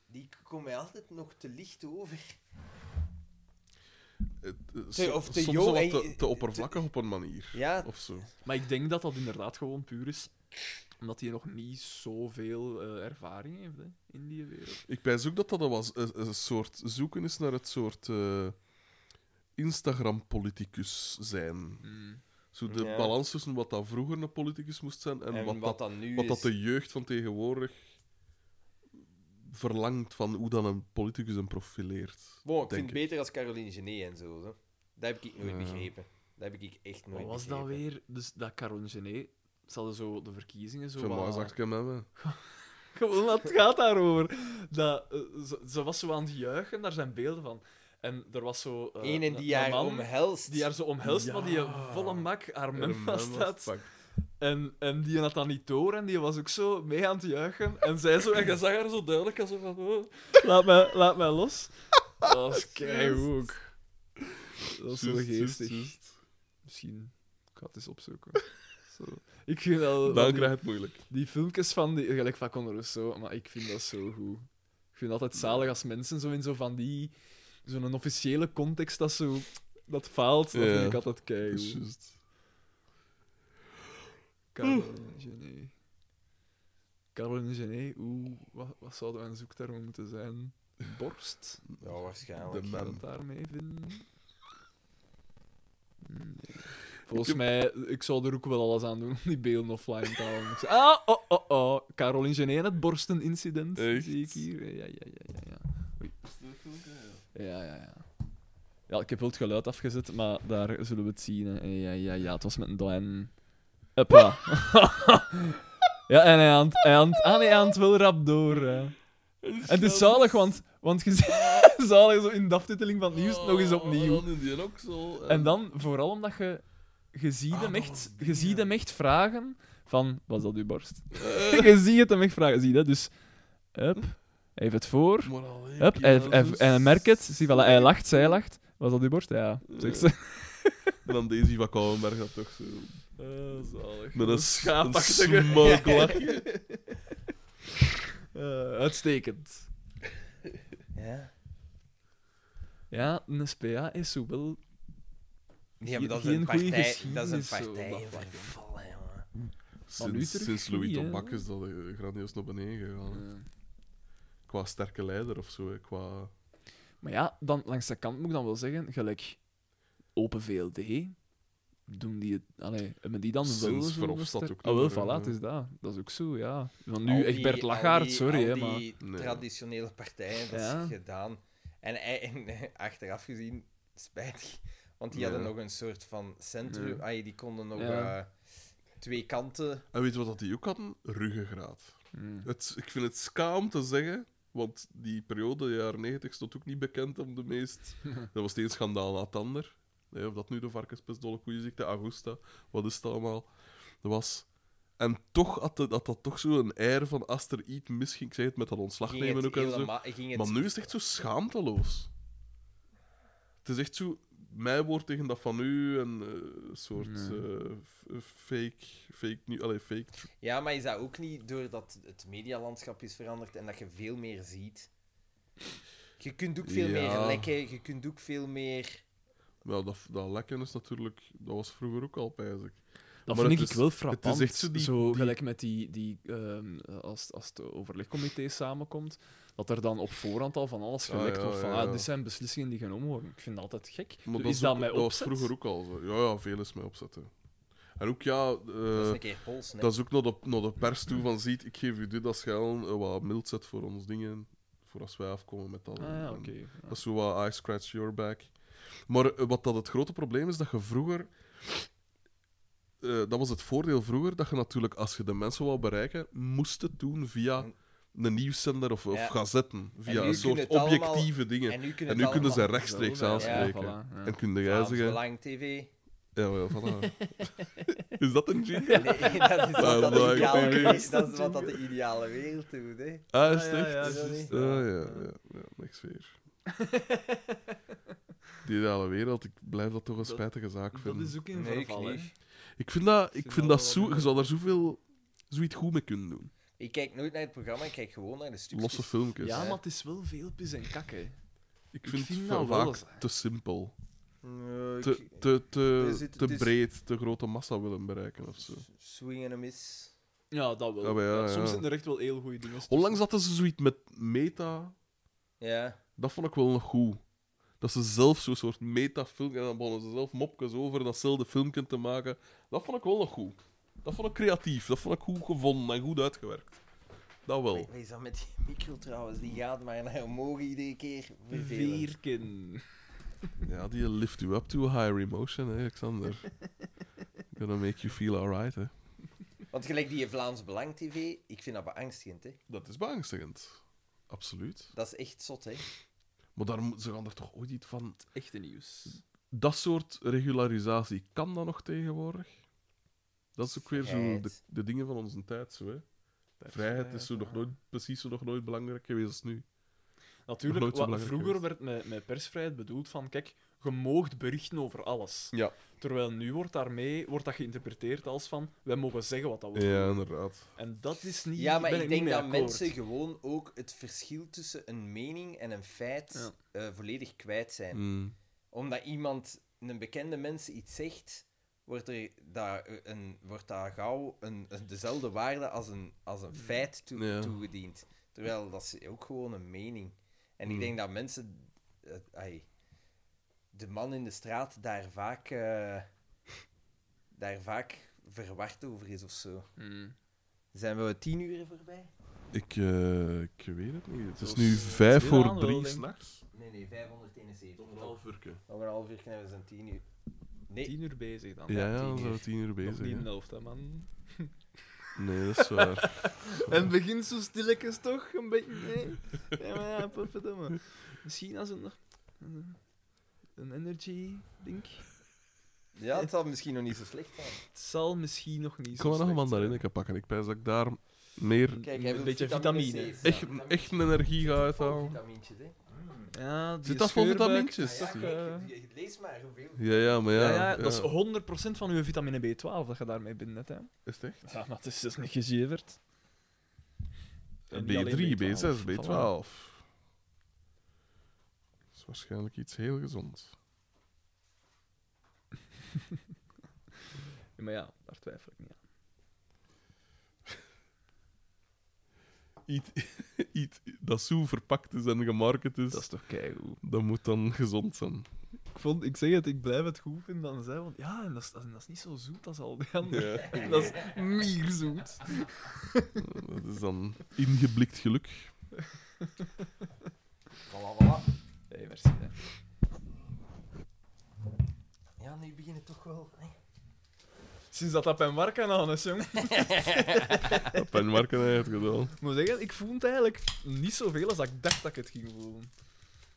[SPEAKER 1] Die komt mij altijd nog te licht over.
[SPEAKER 4] Het, eh,
[SPEAKER 1] Zeg,
[SPEAKER 4] so-
[SPEAKER 1] of te
[SPEAKER 4] soms
[SPEAKER 1] jong,
[SPEAKER 4] wel
[SPEAKER 1] en-
[SPEAKER 4] te, te
[SPEAKER 1] te-
[SPEAKER 4] oppervlakkig op een manier.
[SPEAKER 1] Ja,
[SPEAKER 4] Of zo.
[SPEAKER 3] Maar ik denk dat dat inderdaad gewoon puur is omdat hij nog niet zoveel eh, ervaring heeft hè, in die wereld.
[SPEAKER 4] Ik pijs ook dat dat was, een, een soort zoeken is naar het soort eh, Instagram-politicus zijn.
[SPEAKER 1] Hmm.
[SPEAKER 3] Mm.
[SPEAKER 4] Zo de
[SPEAKER 1] Ja.
[SPEAKER 4] balans tussen wat dat vroeger een politicus moest zijn en, wat, dat,
[SPEAKER 1] dan nu
[SPEAKER 4] wat dat de jeugd van tegenwoordig verlangt van hoe dan een politicus hem profileert.
[SPEAKER 1] Bon, ik
[SPEAKER 4] denk
[SPEAKER 1] vind het beter als Caroline Gené en zo. Hè. Dat heb ik nooit
[SPEAKER 4] Ja.
[SPEAKER 1] begrepen. Dat heb ik echt nooit
[SPEAKER 3] Wat was dat
[SPEAKER 1] begrepen.
[SPEAKER 3] weer? Dus dat Caron Gené, ze hadden zo de verkiezingen zo
[SPEAKER 4] Zo
[SPEAKER 3] wat-
[SPEAKER 4] maar zag ik hem hebben.
[SPEAKER 3] Gewoon, wat gaat daarover? Dat, eh, ze, ze was zo aan het juichen, daar zijn beelden van. En er was zo... eh,
[SPEAKER 1] Eén en
[SPEAKER 3] een-
[SPEAKER 1] die
[SPEAKER 3] een
[SPEAKER 1] haar
[SPEAKER 3] man
[SPEAKER 1] omhelst.
[SPEAKER 3] Die haar zo omhelst,
[SPEAKER 4] Ja.
[SPEAKER 3] maar die volle mak haar mem vaststaat.
[SPEAKER 4] Fuck.
[SPEAKER 3] En, en die had dat niet door en die was ook zo mee aan het juichen. En zij zo, en je zag haar zo duidelijk als zo van, oh, laat, mij, laat mij los. Dat is keigoed ook. Dat is zo
[SPEAKER 4] Juist, juist,
[SPEAKER 3] geestig.
[SPEAKER 4] juist.
[SPEAKER 3] Misschien, ik ga het eens opzoeken. Zo. Ik vind wel
[SPEAKER 4] Dan
[SPEAKER 3] van die,
[SPEAKER 4] krijg je het moeilijk.
[SPEAKER 3] die filmpjes van, die, gelijk van Conor Rousseau, maar ik vind dat zo goed. Ik vind het altijd zalig als mensen zo in zo van die, zo'n officiële context dat zo, dat faalt. Dat
[SPEAKER 4] Ja.
[SPEAKER 3] vind ik altijd
[SPEAKER 4] Dat is
[SPEAKER 3] keigoed.
[SPEAKER 4] juist.
[SPEAKER 3] Caroline Genet. Caroline Genet, oeh, wat, wat zou een zoekterm moeten zijn? Borst?
[SPEAKER 1] Ja, waarschijnlijk.
[SPEAKER 4] De
[SPEAKER 3] Kan
[SPEAKER 4] man.
[SPEAKER 3] dat daarmee vinden? Nee. Volgens mij, ik zou er ook wel alles aan doen om die beelden offline te houden. Ik zeg, Ah, oh, oh, oh. Caroline Genet, het borstenincident.
[SPEAKER 4] Echt?
[SPEAKER 3] Zie ik hier. Ja, ja, ja, ja. ja. Oei. Ja, ja, ja. Ja, ik heb wel het geluid afgezet, maar daar zullen we het zien. hè. Ja, ja, ja, het was met een doan. Hoppa. ja, en hij aan het- hij aan het- ah, nee, hij aan het wel rap door. hè. En het is zalig, want, want je, ziet- zalig zo in de aftiteling van het nieuws nog eens opnieuw.
[SPEAKER 4] Oh, Dan in die ook zo.
[SPEAKER 3] En dan vooral omdat je, je ziet
[SPEAKER 4] Ah,
[SPEAKER 3] hem
[SPEAKER 4] dat
[SPEAKER 3] echt,
[SPEAKER 4] was die,
[SPEAKER 3] je ziet
[SPEAKER 4] ja.
[SPEAKER 3] hem echt vragen van, was dat uw borst? je ziet het hem echt vragen, zie je dat? Dus, hup, hij heeft het voor,
[SPEAKER 4] Maar allee,
[SPEAKER 3] hup, hij,
[SPEAKER 1] nou
[SPEAKER 4] kerels,
[SPEAKER 3] hij,
[SPEAKER 4] dus.
[SPEAKER 3] hij merkt het, zie, voilà, hij lacht, zij lacht. Was dat uw borst? Ja,
[SPEAKER 1] Eh,
[SPEAKER 3] zegt ze.
[SPEAKER 4] En dan Daisy van Kouwenberg dat toch zo.
[SPEAKER 1] eh,
[SPEAKER 3] zalig.
[SPEAKER 4] Met een, een
[SPEAKER 3] schaapachtige...
[SPEAKER 4] smug lachje.
[SPEAKER 3] Eh, uitstekend.
[SPEAKER 1] Ja.
[SPEAKER 3] Ja, een SPA is zowel...
[SPEAKER 1] Nee, maar dat is
[SPEAKER 3] Geen
[SPEAKER 1] een
[SPEAKER 3] goeie
[SPEAKER 1] partij, dat is een
[SPEAKER 3] geschiedenis, zo,
[SPEAKER 1] partij
[SPEAKER 3] dat
[SPEAKER 1] in
[SPEAKER 3] vlak.
[SPEAKER 1] verval, hè, jongen.
[SPEAKER 3] Maar nu
[SPEAKER 4] Sinds,
[SPEAKER 3] terug
[SPEAKER 4] sinds Louis
[SPEAKER 3] niet, hè.
[SPEAKER 4] Tobac is dat eh, grandioos naar beneden gegaan. hè. Qua sterke leider of zo. hè, Qua...
[SPEAKER 3] Maar ja, dan, langs de kant moet ik dan wel zeggen, gelijk Open VLD, doen die het... Allee, hebben die dan
[SPEAKER 4] Sinds
[SPEAKER 3] wel zo'n
[SPEAKER 4] Verhofstadt
[SPEAKER 3] ster-
[SPEAKER 4] ook eh.
[SPEAKER 3] Ah, wel,
[SPEAKER 4] nog,
[SPEAKER 3] voilà,
[SPEAKER 4] hè.
[SPEAKER 3] het is dat. Dat is ook zo, ja. Van
[SPEAKER 1] Al
[SPEAKER 3] nu
[SPEAKER 1] die-
[SPEAKER 3] Egbert
[SPEAKER 1] al
[SPEAKER 3] Lagarde,
[SPEAKER 1] die-
[SPEAKER 3] sorry, hè,
[SPEAKER 1] al
[SPEAKER 3] maar...
[SPEAKER 1] die
[SPEAKER 4] Nee.
[SPEAKER 1] traditionele partijen, dat
[SPEAKER 3] Ja.
[SPEAKER 1] is gedaan. En, ei- en achteraf gezien, spijtig. Want die
[SPEAKER 4] Ja.
[SPEAKER 1] hadden nog een soort van centrum.
[SPEAKER 3] Ja.
[SPEAKER 1] Ai, die konden nog
[SPEAKER 3] Ja.
[SPEAKER 1] eh, twee kanten.
[SPEAKER 4] En weet je wat dat die ook hadden? Ruggengraat.
[SPEAKER 3] Hmm.
[SPEAKER 4] Het, ik vind het ska om te zeggen, want die periode, de jaren 90, stond ook niet bekend om de meest. dat was de een schandaal na het ander. Nee, of dat nu de varkenspestdolle koeienziekte, Augusta, wat is het allemaal, dat was. En toch had dat, had dat toch zo'n air van als er iets misging, ik zei het met dat ontslag
[SPEAKER 1] Ging
[SPEAKER 4] nemen
[SPEAKER 1] het
[SPEAKER 4] ook en zo.
[SPEAKER 1] helemaal- ging het-
[SPEAKER 4] Maar nu is het echt zo schaamteloos. Het is echt zo, mijn woord tegen dat van u, een eh, soort eh, f- fake, fake, nu, allee, fake tr-
[SPEAKER 1] Ja, maar is dat ook niet doordat het medialandschap is veranderd en dat je veel meer ziet? Je kunt ook veel meer
[SPEAKER 4] Ja.
[SPEAKER 1] lekken, je kunt ook veel meer...
[SPEAKER 4] Wel, dat, dat lekken is natuurlijk... Dat was vroeger ook al, pijs ik.
[SPEAKER 3] Dat
[SPEAKER 4] Maar het
[SPEAKER 3] vind ik
[SPEAKER 4] is-
[SPEAKER 3] wel frappant.
[SPEAKER 4] echt zo die- die-
[SPEAKER 3] gelijk met die... die ehm, als, als het overlegcomité samenkomt, dat er dan op voorhand al van alles
[SPEAKER 4] Ah,
[SPEAKER 3] gelekt
[SPEAKER 4] ja,
[SPEAKER 3] wordt. Van,
[SPEAKER 4] ja, ja.
[SPEAKER 3] ah, dit zijn beslissingen die genomen worden. Ik vind dat altijd gek.
[SPEAKER 4] Maar
[SPEAKER 3] Dus
[SPEAKER 4] dat
[SPEAKER 3] is dat
[SPEAKER 4] ook-
[SPEAKER 3] mij
[SPEAKER 4] Dat was
[SPEAKER 3] opzet?
[SPEAKER 4] vroeger ook al zo. Ja, ja, veel is mij opzetten. En ook, ja... eh,
[SPEAKER 1] dat is een keer Pools, hè.
[SPEAKER 4] dat is ook naar de, naar de pers toe van... Ziet, ik geef u dit als geil, eh, wat mild zet voor ons dingen. Voor als wij afkomen met dat.
[SPEAKER 3] Ah ja,
[SPEAKER 4] En
[SPEAKER 3] oké. Ja.
[SPEAKER 4] Dat is zo wat I scratch your back. Maar eh, wat dat het grote probleem is, dat je vroeger... eh, dat was het voordeel vroeger, dat je natuurlijk, als je de mensen wou bereiken, moest het doen via een nieuwszender of, of
[SPEAKER 1] Ja.
[SPEAKER 4] gazetten. Via
[SPEAKER 1] nu
[SPEAKER 4] een
[SPEAKER 1] kun je
[SPEAKER 4] soort
[SPEAKER 1] het allemaal-
[SPEAKER 4] objectieve dingen.
[SPEAKER 1] En nu kunnen,
[SPEAKER 4] En nu kunnen ze
[SPEAKER 1] allemaal...
[SPEAKER 4] rechtstreeks
[SPEAKER 3] Zo, ja,
[SPEAKER 4] aanspreken.
[SPEAKER 3] ja, voilà, ja.
[SPEAKER 4] En kunnen jij
[SPEAKER 1] Vlaams
[SPEAKER 4] zeggen...
[SPEAKER 1] Belang TV.
[SPEAKER 4] Ja, wel, voilà. is dat een jingle?
[SPEAKER 1] Nee, dat is,
[SPEAKER 3] Oh
[SPEAKER 1] wat dat, de
[SPEAKER 4] Belang
[SPEAKER 1] ideale,
[SPEAKER 4] TV.
[SPEAKER 1] wereld- dat is wat dat de ideale wereld doet, hè.
[SPEAKER 4] Ah, is
[SPEAKER 3] Ah,
[SPEAKER 4] het
[SPEAKER 3] ja,
[SPEAKER 4] echt?
[SPEAKER 3] ja,
[SPEAKER 1] Is dat
[SPEAKER 3] juist,
[SPEAKER 1] niet?
[SPEAKER 4] Ah,
[SPEAKER 3] ja.
[SPEAKER 4] ja, ja, ja, niks weer. Die ideale wereld, ik blijf dat toch een
[SPEAKER 3] Dat-
[SPEAKER 4] spijtige zaak
[SPEAKER 3] Dat
[SPEAKER 4] vinden.
[SPEAKER 3] is ook een
[SPEAKER 1] Nee, ik
[SPEAKER 3] verval, hè.
[SPEAKER 1] niet.
[SPEAKER 4] Ik vind dat, ik
[SPEAKER 3] vind
[SPEAKER 4] vind
[SPEAKER 3] dat
[SPEAKER 4] dat
[SPEAKER 3] wel
[SPEAKER 4] zo... Je zou daar zoveel... Zoiets goed mee kunnen doen.
[SPEAKER 1] Ik kijk nooit naar het programma, ik kijk gewoon naar de stukjes.
[SPEAKER 4] Losse filmpjes.
[SPEAKER 3] Ja,
[SPEAKER 1] hè.
[SPEAKER 3] maar het is wel veel pis en kak, hè.
[SPEAKER 4] ik vind,
[SPEAKER 3] vind
[SPEAKER 4] het
[SPEAKER 3] dat wel
[SPEAKER 4] vaak
[SPEAKER 3] eens, hè.
[SPEAKER 4] te simpel.
[SPEAKER 1] Nee, ik-
[SPEAKER 4] Te, te, te,
[SPEAKER 1] Er zit-
[SPEAKER 4] te
[SPEAKER 1] het is-
[SPEAKER 4] breed, te grote massa willen bereiken of zo.
[SPEAKER 1] Swing en een miss.
[SPEAKER 3] Ja, dat wel.
[SPEAKER 4] Ja, Ah, maar ja,
[SPEAKER 3] Ja, soms
[SPEAKER 4] ja.
[SPEAKER 3] zijn er echt wel heel goede dingen. tussen.
[SPEAKER 4] Onlangs hadden ze zoiets met meta...
[SPEAKER 1] Ja.
[SPEAKER 4] Dat vond ik wel nog goed. Dat ze zelf zo'n soort metafilmpje... En dan begonnen ze zelf mopjes over datzelfde filmpje te maken. Dat vond ik wel nog goed. Dat vond ik creatief. Dat vond ik goed gevonden en goed uitgewerkt. Dat wel.
[SPEAKER 3] Oh.
[SPEAKER 1] Wat is dat met die micro trouwens? Die gaat maar naar omhoog iedere keer. Vervelend.
[SPEAKER 3] Vierken.
[SPEAKER 4] Ja, die lift you up to a higher emotion, hè, Alexander. Gonna make you feel alright, hè.
[SPEAKER 1] Want gelijk die Vlaams Belang TV, ik vind dat beangstigend, hè.
[SPEAKER 4] Dat is beangstigend. Absoluut.
[SPEAKER 1] Dat is echt zot, hè.
[SPEAKER 4] Maar daar, moet- ze gaan er toch ooit iets van...
[SPEAKER 3] Echte nieuws.
[SPEAKER 4] Dat soort regularisatie kan dat nog tegenwoordig? Dat is ook weer zo de,
[SPEAKER 1] Vrijheid.
[SPEAKER 4] de dingen van onze tijd, zo, hè. Vrijheid is zo nog nooit, precies zo nog nooit belangrijk geweest als nu.
[SPEAKER 3] Natuurlijk,
[SPEAKER 4] nooit zo
[SPEAKER 3] wat
[SPEAKER 4] belangrijk
[SPEAKER 3] vroeger
[SPEAKER 4] geweest.
[SPEAKER 3] werd met, met persvrijheid bedoeld van, kijk, je moogt berichten over alles.
[SPEAKER 4] Ja.
[SPEAKER 3] Terwijl nu wordt daarmee wordt dat geïnterpreteerd als van, wij mogen zeggen wat dat we
[SPEAKER 4] Ja,
[SPEAKER 3] doen.
[SPEAKER 4] inderdaad.
[SPEAKER 3] En dat is niet...
[SPEAKER 1] Ja, maar
[SPEAKER 3] ben
[SPEAKER 1] ik,
[SPEAKER 3] ik niet
[SPEAKER 1] denk
[SPEAKER 3] mee
[SPEAKER 1] dat
[SPEAKER 3] akkoord.
[SPEAKER 1] mensen gewoon ook het verschil tussen een mening en een feit
[SPEAKER 3] Ja.
[SPEAKER 1] eh, volledig kwijt zijn.
[SPEAKER 4] Mm.
[SPEAKER 1] Omdat iemand, een bekende mens, iets zegt, wordt, er daar, eh, een, wordt daar gauw een, een- dezelfde waarde als een, als een feit toe-
[SPEAKER 4] Ja.
[SPEAKER 1] toegediend. Terwijl dat is ook gewoon een mening. En ik
[SPEAKER 4] Hmm.
[SPEAKER 1] denk dat mensen, eh, ai, de man in de straat, daar vaak, eh, daar vaak verward over is of zo.
[SPEAKER 3] Hmm.
[SPEAKER 1] Zijn we tien uur voorbij?
[SPEAKER 4] Ik, eh, ik weet het niet. Het is
[SPEAKER 3] Zoals-
[SPEAKER 4] nu vijf
[SPEAKER 3] Weer
[SPEAKER 4] voor
[SPEAKER 3] aan wel,
[SPEAKER 4] drie
[SPEAKER 3] denk ik.
[SPEAKER 4] s'nachts.
[SPEAKER 1] Nee, nee, 571.
[SPEAKER 4] uur.
[SPEAKER 1] Over een half uur kunnen we zijn tien uur. Nee,
[SPEAKER 3] Tien uur bezig dan.
[SPEAKER 4] Ja,
[SPEAKER 1] Ja,
[SPEAKER 4] ja,
[SPEAKER 1] tien
[SPEAKER 4] dan zijn we
[SPEAKER 1] uur.
[SPEAKER 4] tien uur
[SPEAKER 3] Nog
[SPEAKER 4] bezig.
[SPEAKER 3] niet
[SPEAKER 4] hè.
[SPEAKER 3] een helft, hè, man.
[SPEAKER 4] Nee, dat is waar.
[SPEAKER 3] En begint zo stilletjes toch, een beetje... Nee. Ja, maar ja, potverdomme. Misschien als een, een, een energy drink.
[SPEAKER 1] Ja, het zal misschien nog niet zo slecht zijn.
[SPEAKER 3] Het zal misschien nog niet
[SPEAKER 4] Ik kan wel
[SPEAKER 3] zo
[SPEAKER 4] nog een
[SPEAKER 3] slecht
[SPEAKER 4] mandarijneke pakken. Ik pijs dat ik daar meer
[SPEAKER 1] Kijk,
[SPEAKER 3] Een
[SPEAKER 1] hij wil
[SPEAKER 3] beetje vitamine.
[SPEAKER 1] C,
[SPEAKER 4] echt,
[SPEAKER 1] vitamine.
[SPEAKER 4] echt een energie ga uithalen.
[SPEAKER 1] Vitamintjes, hè. Mm.
[SPEAKER 3] zijn. Ja, die
[SPEAKER 4] Zit dat vol
[SPEAKER 3] scheurbuik.
[SPEAKER 4] vitamintjes?
[SPEAKER 1] Ah, ja,
[SPEAKER 3] Zak,
[SPEAKER 1] kijk,
[SPEAKER 3] eh.
[SPEAKER 1] je- je- lees maar hoeveel.
[SPEAKER 4] Ja, ja, maar ja.
[SPEAKER 3] Ja, ja, dat is 100% van uw vitamine B12 dat je daarmee bindt. Hè.
[SPEAKER 4] Is het echt?
[SPEAKER 3] Ja, maar het is dus niet gezeverd. En niet
[SPEAKER 4] B3,
[SPEAKER 3] alleen
[SPEAKER 4] B6,
[SPEAKER 3] B12,
[SPEAKER 4] B12. Dat is waarschijnlijk iets heel gezonds.
[SPEAKER 3] Ja, maar ja, daar twijfel ik niet aan.
[SPEAKER 4] Iets, iets dat zo verpakt is en gemarket is, dat,
[SPEAKER 3] toch keigoed.
[SPEAKER 4] moet dan gezond zijn.
[SPEAKER 3] Ik, vond, ik zeg het, ik blijf het goed vinden dan zij, want ja, en dat is, dat is- dat is niet zo zoet als al die anderen.
[SPEAKER 4] Ja,
[SPEAKER 3] Dat is meer zoet.
[SPEAKER 4] dat is dan ingeblikt geluk.
[SPEAKER 1] Voilà, voilà.
[SPEAKER 3] Nee, merci. Hè.
[SPEAKER 1] Ja, nu beginnen toch wel. hè.
[SPEAKER 3] Sinds dat dat bij Marken aan is, jong.
[SPEAKER 4] Dat penmarken heeft gedaan.
[SPEAKER 3] Ik moet zeggen, ik voel het eigenlijk niet zoveel als ik dacht dat ik het ging voelen.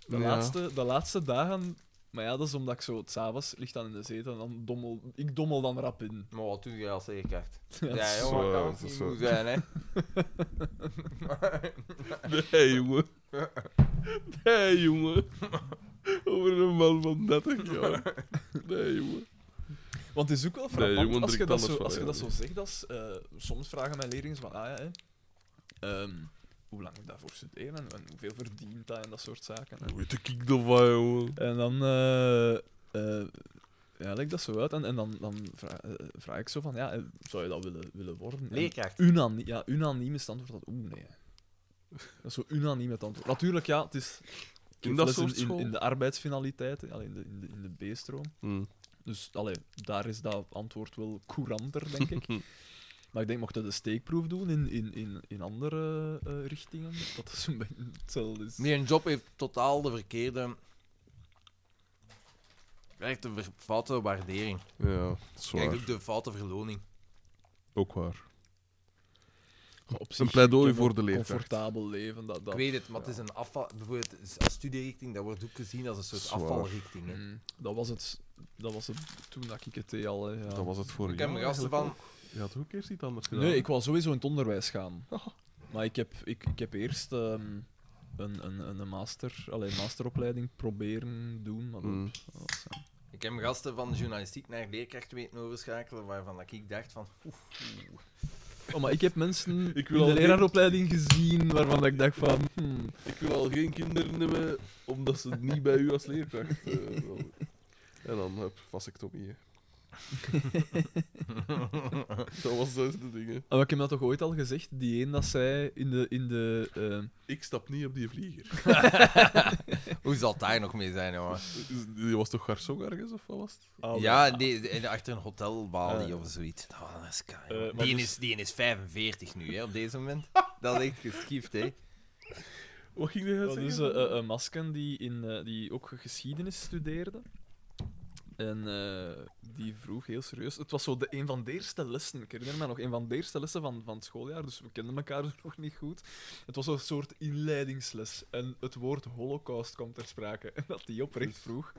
[SPEAKER 3] De,
[SPEAKER 4] Ja.
[SPEAKER 3] laatste, de laatste dagen... Maar ja, dat is omdat ik zo... S'avonds ligt dan in de zetel en dan dommel... Ik dommel dan rap in.
[SPEAKER 1] Maar wat doe je als leerkracht?
[SPEAKER 3] Ja,
[SPEAKER 1] Ja,
[SPEAKER 4] zo,
[SPEAKER 1] jongen, kan
[SPEAKER 4] dat
[SPEAKER 1] het
[SPEAKER 4] is
[SPEAKER 1] niet
[SPEAKER 4] zo.
[SPEAKER 1] moe zijn, hè.
[SPEAKER 4] Nee, jongen. Nee, jongen. Over een man van 30 jaar. Nee, jongen.
[SPEAKER 3] Want het is ook wel frappant
[SPEAKER 4] jongen,
[SPEAKER 3] als, je
[SPEAKER 4] drink
[SPEAKER 3] dat
[SPEAKER 4] dan
[SPEAKER 3] zo,
[SPEAKER 4] eens
[SPEAKER 3] als je
[SPEAKER 4] van,
[SPEAKER 3] dat
[SPEAKER 4] ja.
[SPEAKER 3] zo zegt. Als, eh, soms vragen mijn leerlingen van, ah ja, hè, ehm, hoe lang moet ik daarvoor studeren en, en hoeveel verdient dat en dat soort zaken. hè.
[SPEAKER 4] Hoe weet ik dat van, jongen?
[SPEAKER 3] En dan eh eh ja, leg ik dat zo uit en, en dan, dan vraag, eh, vraag ik zo van, ja, eh, zou je dat willen, willen worden? En
[SPEAKER 1] Leerkracht.
[SPEAKER 3] Unaniem, ja, unaniem is het antwoord dat, oeh, nee. Dat is zo unaniem het antwoord. Natuurlijk, ja, het is
[SPEAKER 4] In dat
[SPEAKER 3] les
[SPEAKER 4] soort
[SPEAKER 3] in,
[SPEAKER 4] school?
[SPEAKER 3] in de arbeidsfinaliteiten, allee, in de, in de, in de B-stroom.
[SPEAKER 4] Hmm.
[SPEAKER 3] Dus allee, daar is dat antwoord wel couranter, denk ik. maar ik denk, mocht je de steekproef doen in, in, in, in andere eh, richtingen, dat is een beetje hetzelfde. Is.
[SPEAKER 1] Die een job heeft totaal de verkeerde. Krijgt de ver- foute waardering.
[SPEAKER 4] Ja,
[SPEAKER 1] Krijgt
[SPEAKER 4] zwaar.
[SPEAKER 1] ook de foute verloning.
[SPEAKER 4] Ook waar.
[SPEAKER 3] Op zich,
[SPEAKER 4] Een pleidooi
[SPEAKER 3] ik heb
[SPEAKER 4] voor de
[SPEAKER 3] een
[SPEAKER 4] leeftijd.
[SPEAKER 3] comfortabel leven. Dat, dat,
[SPEAKER 1] Ik weet het, maar het is een afval. Bijvoorbeeld als studierichting, dat wordt ook gezien als een soort
[SPEAKER 4] Zwaar.
[SPEAKER 1] afvalrichting. Hè.
[SPEAKER 3] Mm, dat, was het, dat was het toen dat ik het deed al. hè, ja.
[SPEAKER 4] Dat was het voor
[SPEAKER 1] Ik heb me gasten van.
[SPEAKER 4] Je had ook eerst iets anders gedaan.
[SPEAKER 3] Nee, ik wou sowieso in het onderwijs gaan. Maar ik heb, ik, ik heb eerst ehm, een, een, een, master, allee, masteropleiding proberen doen. Maar dat,
[SPEAKER 4] Mm.
[SPEAKER 3] dat was, ja.
[SPEAKER 1] Ik heb gasten van journalistiek naar leerkracht weten overschakelen, waarvan dat ik dacht van.
[SPEAKER 3] Oh, maar ik heb mensen
[SPEAKER 4] Ik
[SPEAKER 3] ik
[SPEAKER 4] wil
[SPEAKER 3] in de
[SPEAKER 4] al
[SPEAKER 3] leraaropleiding gezien waarvan ik dacht van... hmm,
[SPEAKER 4] Ik wil al geen kinderen nemen, omdat ze niet bij u als leerkracht eh, wilden. En dan heb vasectomie. hè. dat was dus de ding. hè.
[SPEAKER 3] ah, maar ik heb dat toch ooit al gezegd? Die een dat zij in de... In de eh,
[SPEAKER 4] Ik stap niet op die vlieger.
[SPEAKER 1] Hoe zal het daar nog mee zijn, jongen?
[SPEAKER 4] Die was toch garçon ergens, of wat was het?
[SPEAKER 1] ja, nee, de- en achter een hotelbalie
[SPEAKER 3] Eh.
[SPEAKER 1] of zoiets. Oh, Dat was een sky.
[SPEAKER 3] Eh,
[SPEAKER 1] jongen.
[SPEAKER 3] maar
[SPEAKER 1] die,
[SPEAKER 3] dus-
[SPEAKER 1] is, die is 45 nu, hè, op deze moment. Dat is echt geschift, hè.
[SPEAKER 4] Wat ging die
[SPEAKER 3] Dat
[SPEAKER 4] zeggen?
[SPEAKER 3] is eh, eh, een masken die, in, eh, die ook geschiedenis studeerde. En eh, die vroeg heel serieus. Het was zo de, een van de eerste lessen. Ik herinner me nog een van de eerste lessen van, van het schooljaar. Dus we kenden elkaar nog niet goed. Het was zo'n soort inleidingsles. En het woord holocaust kwam ter sprake. En dat die oprecht vroeg: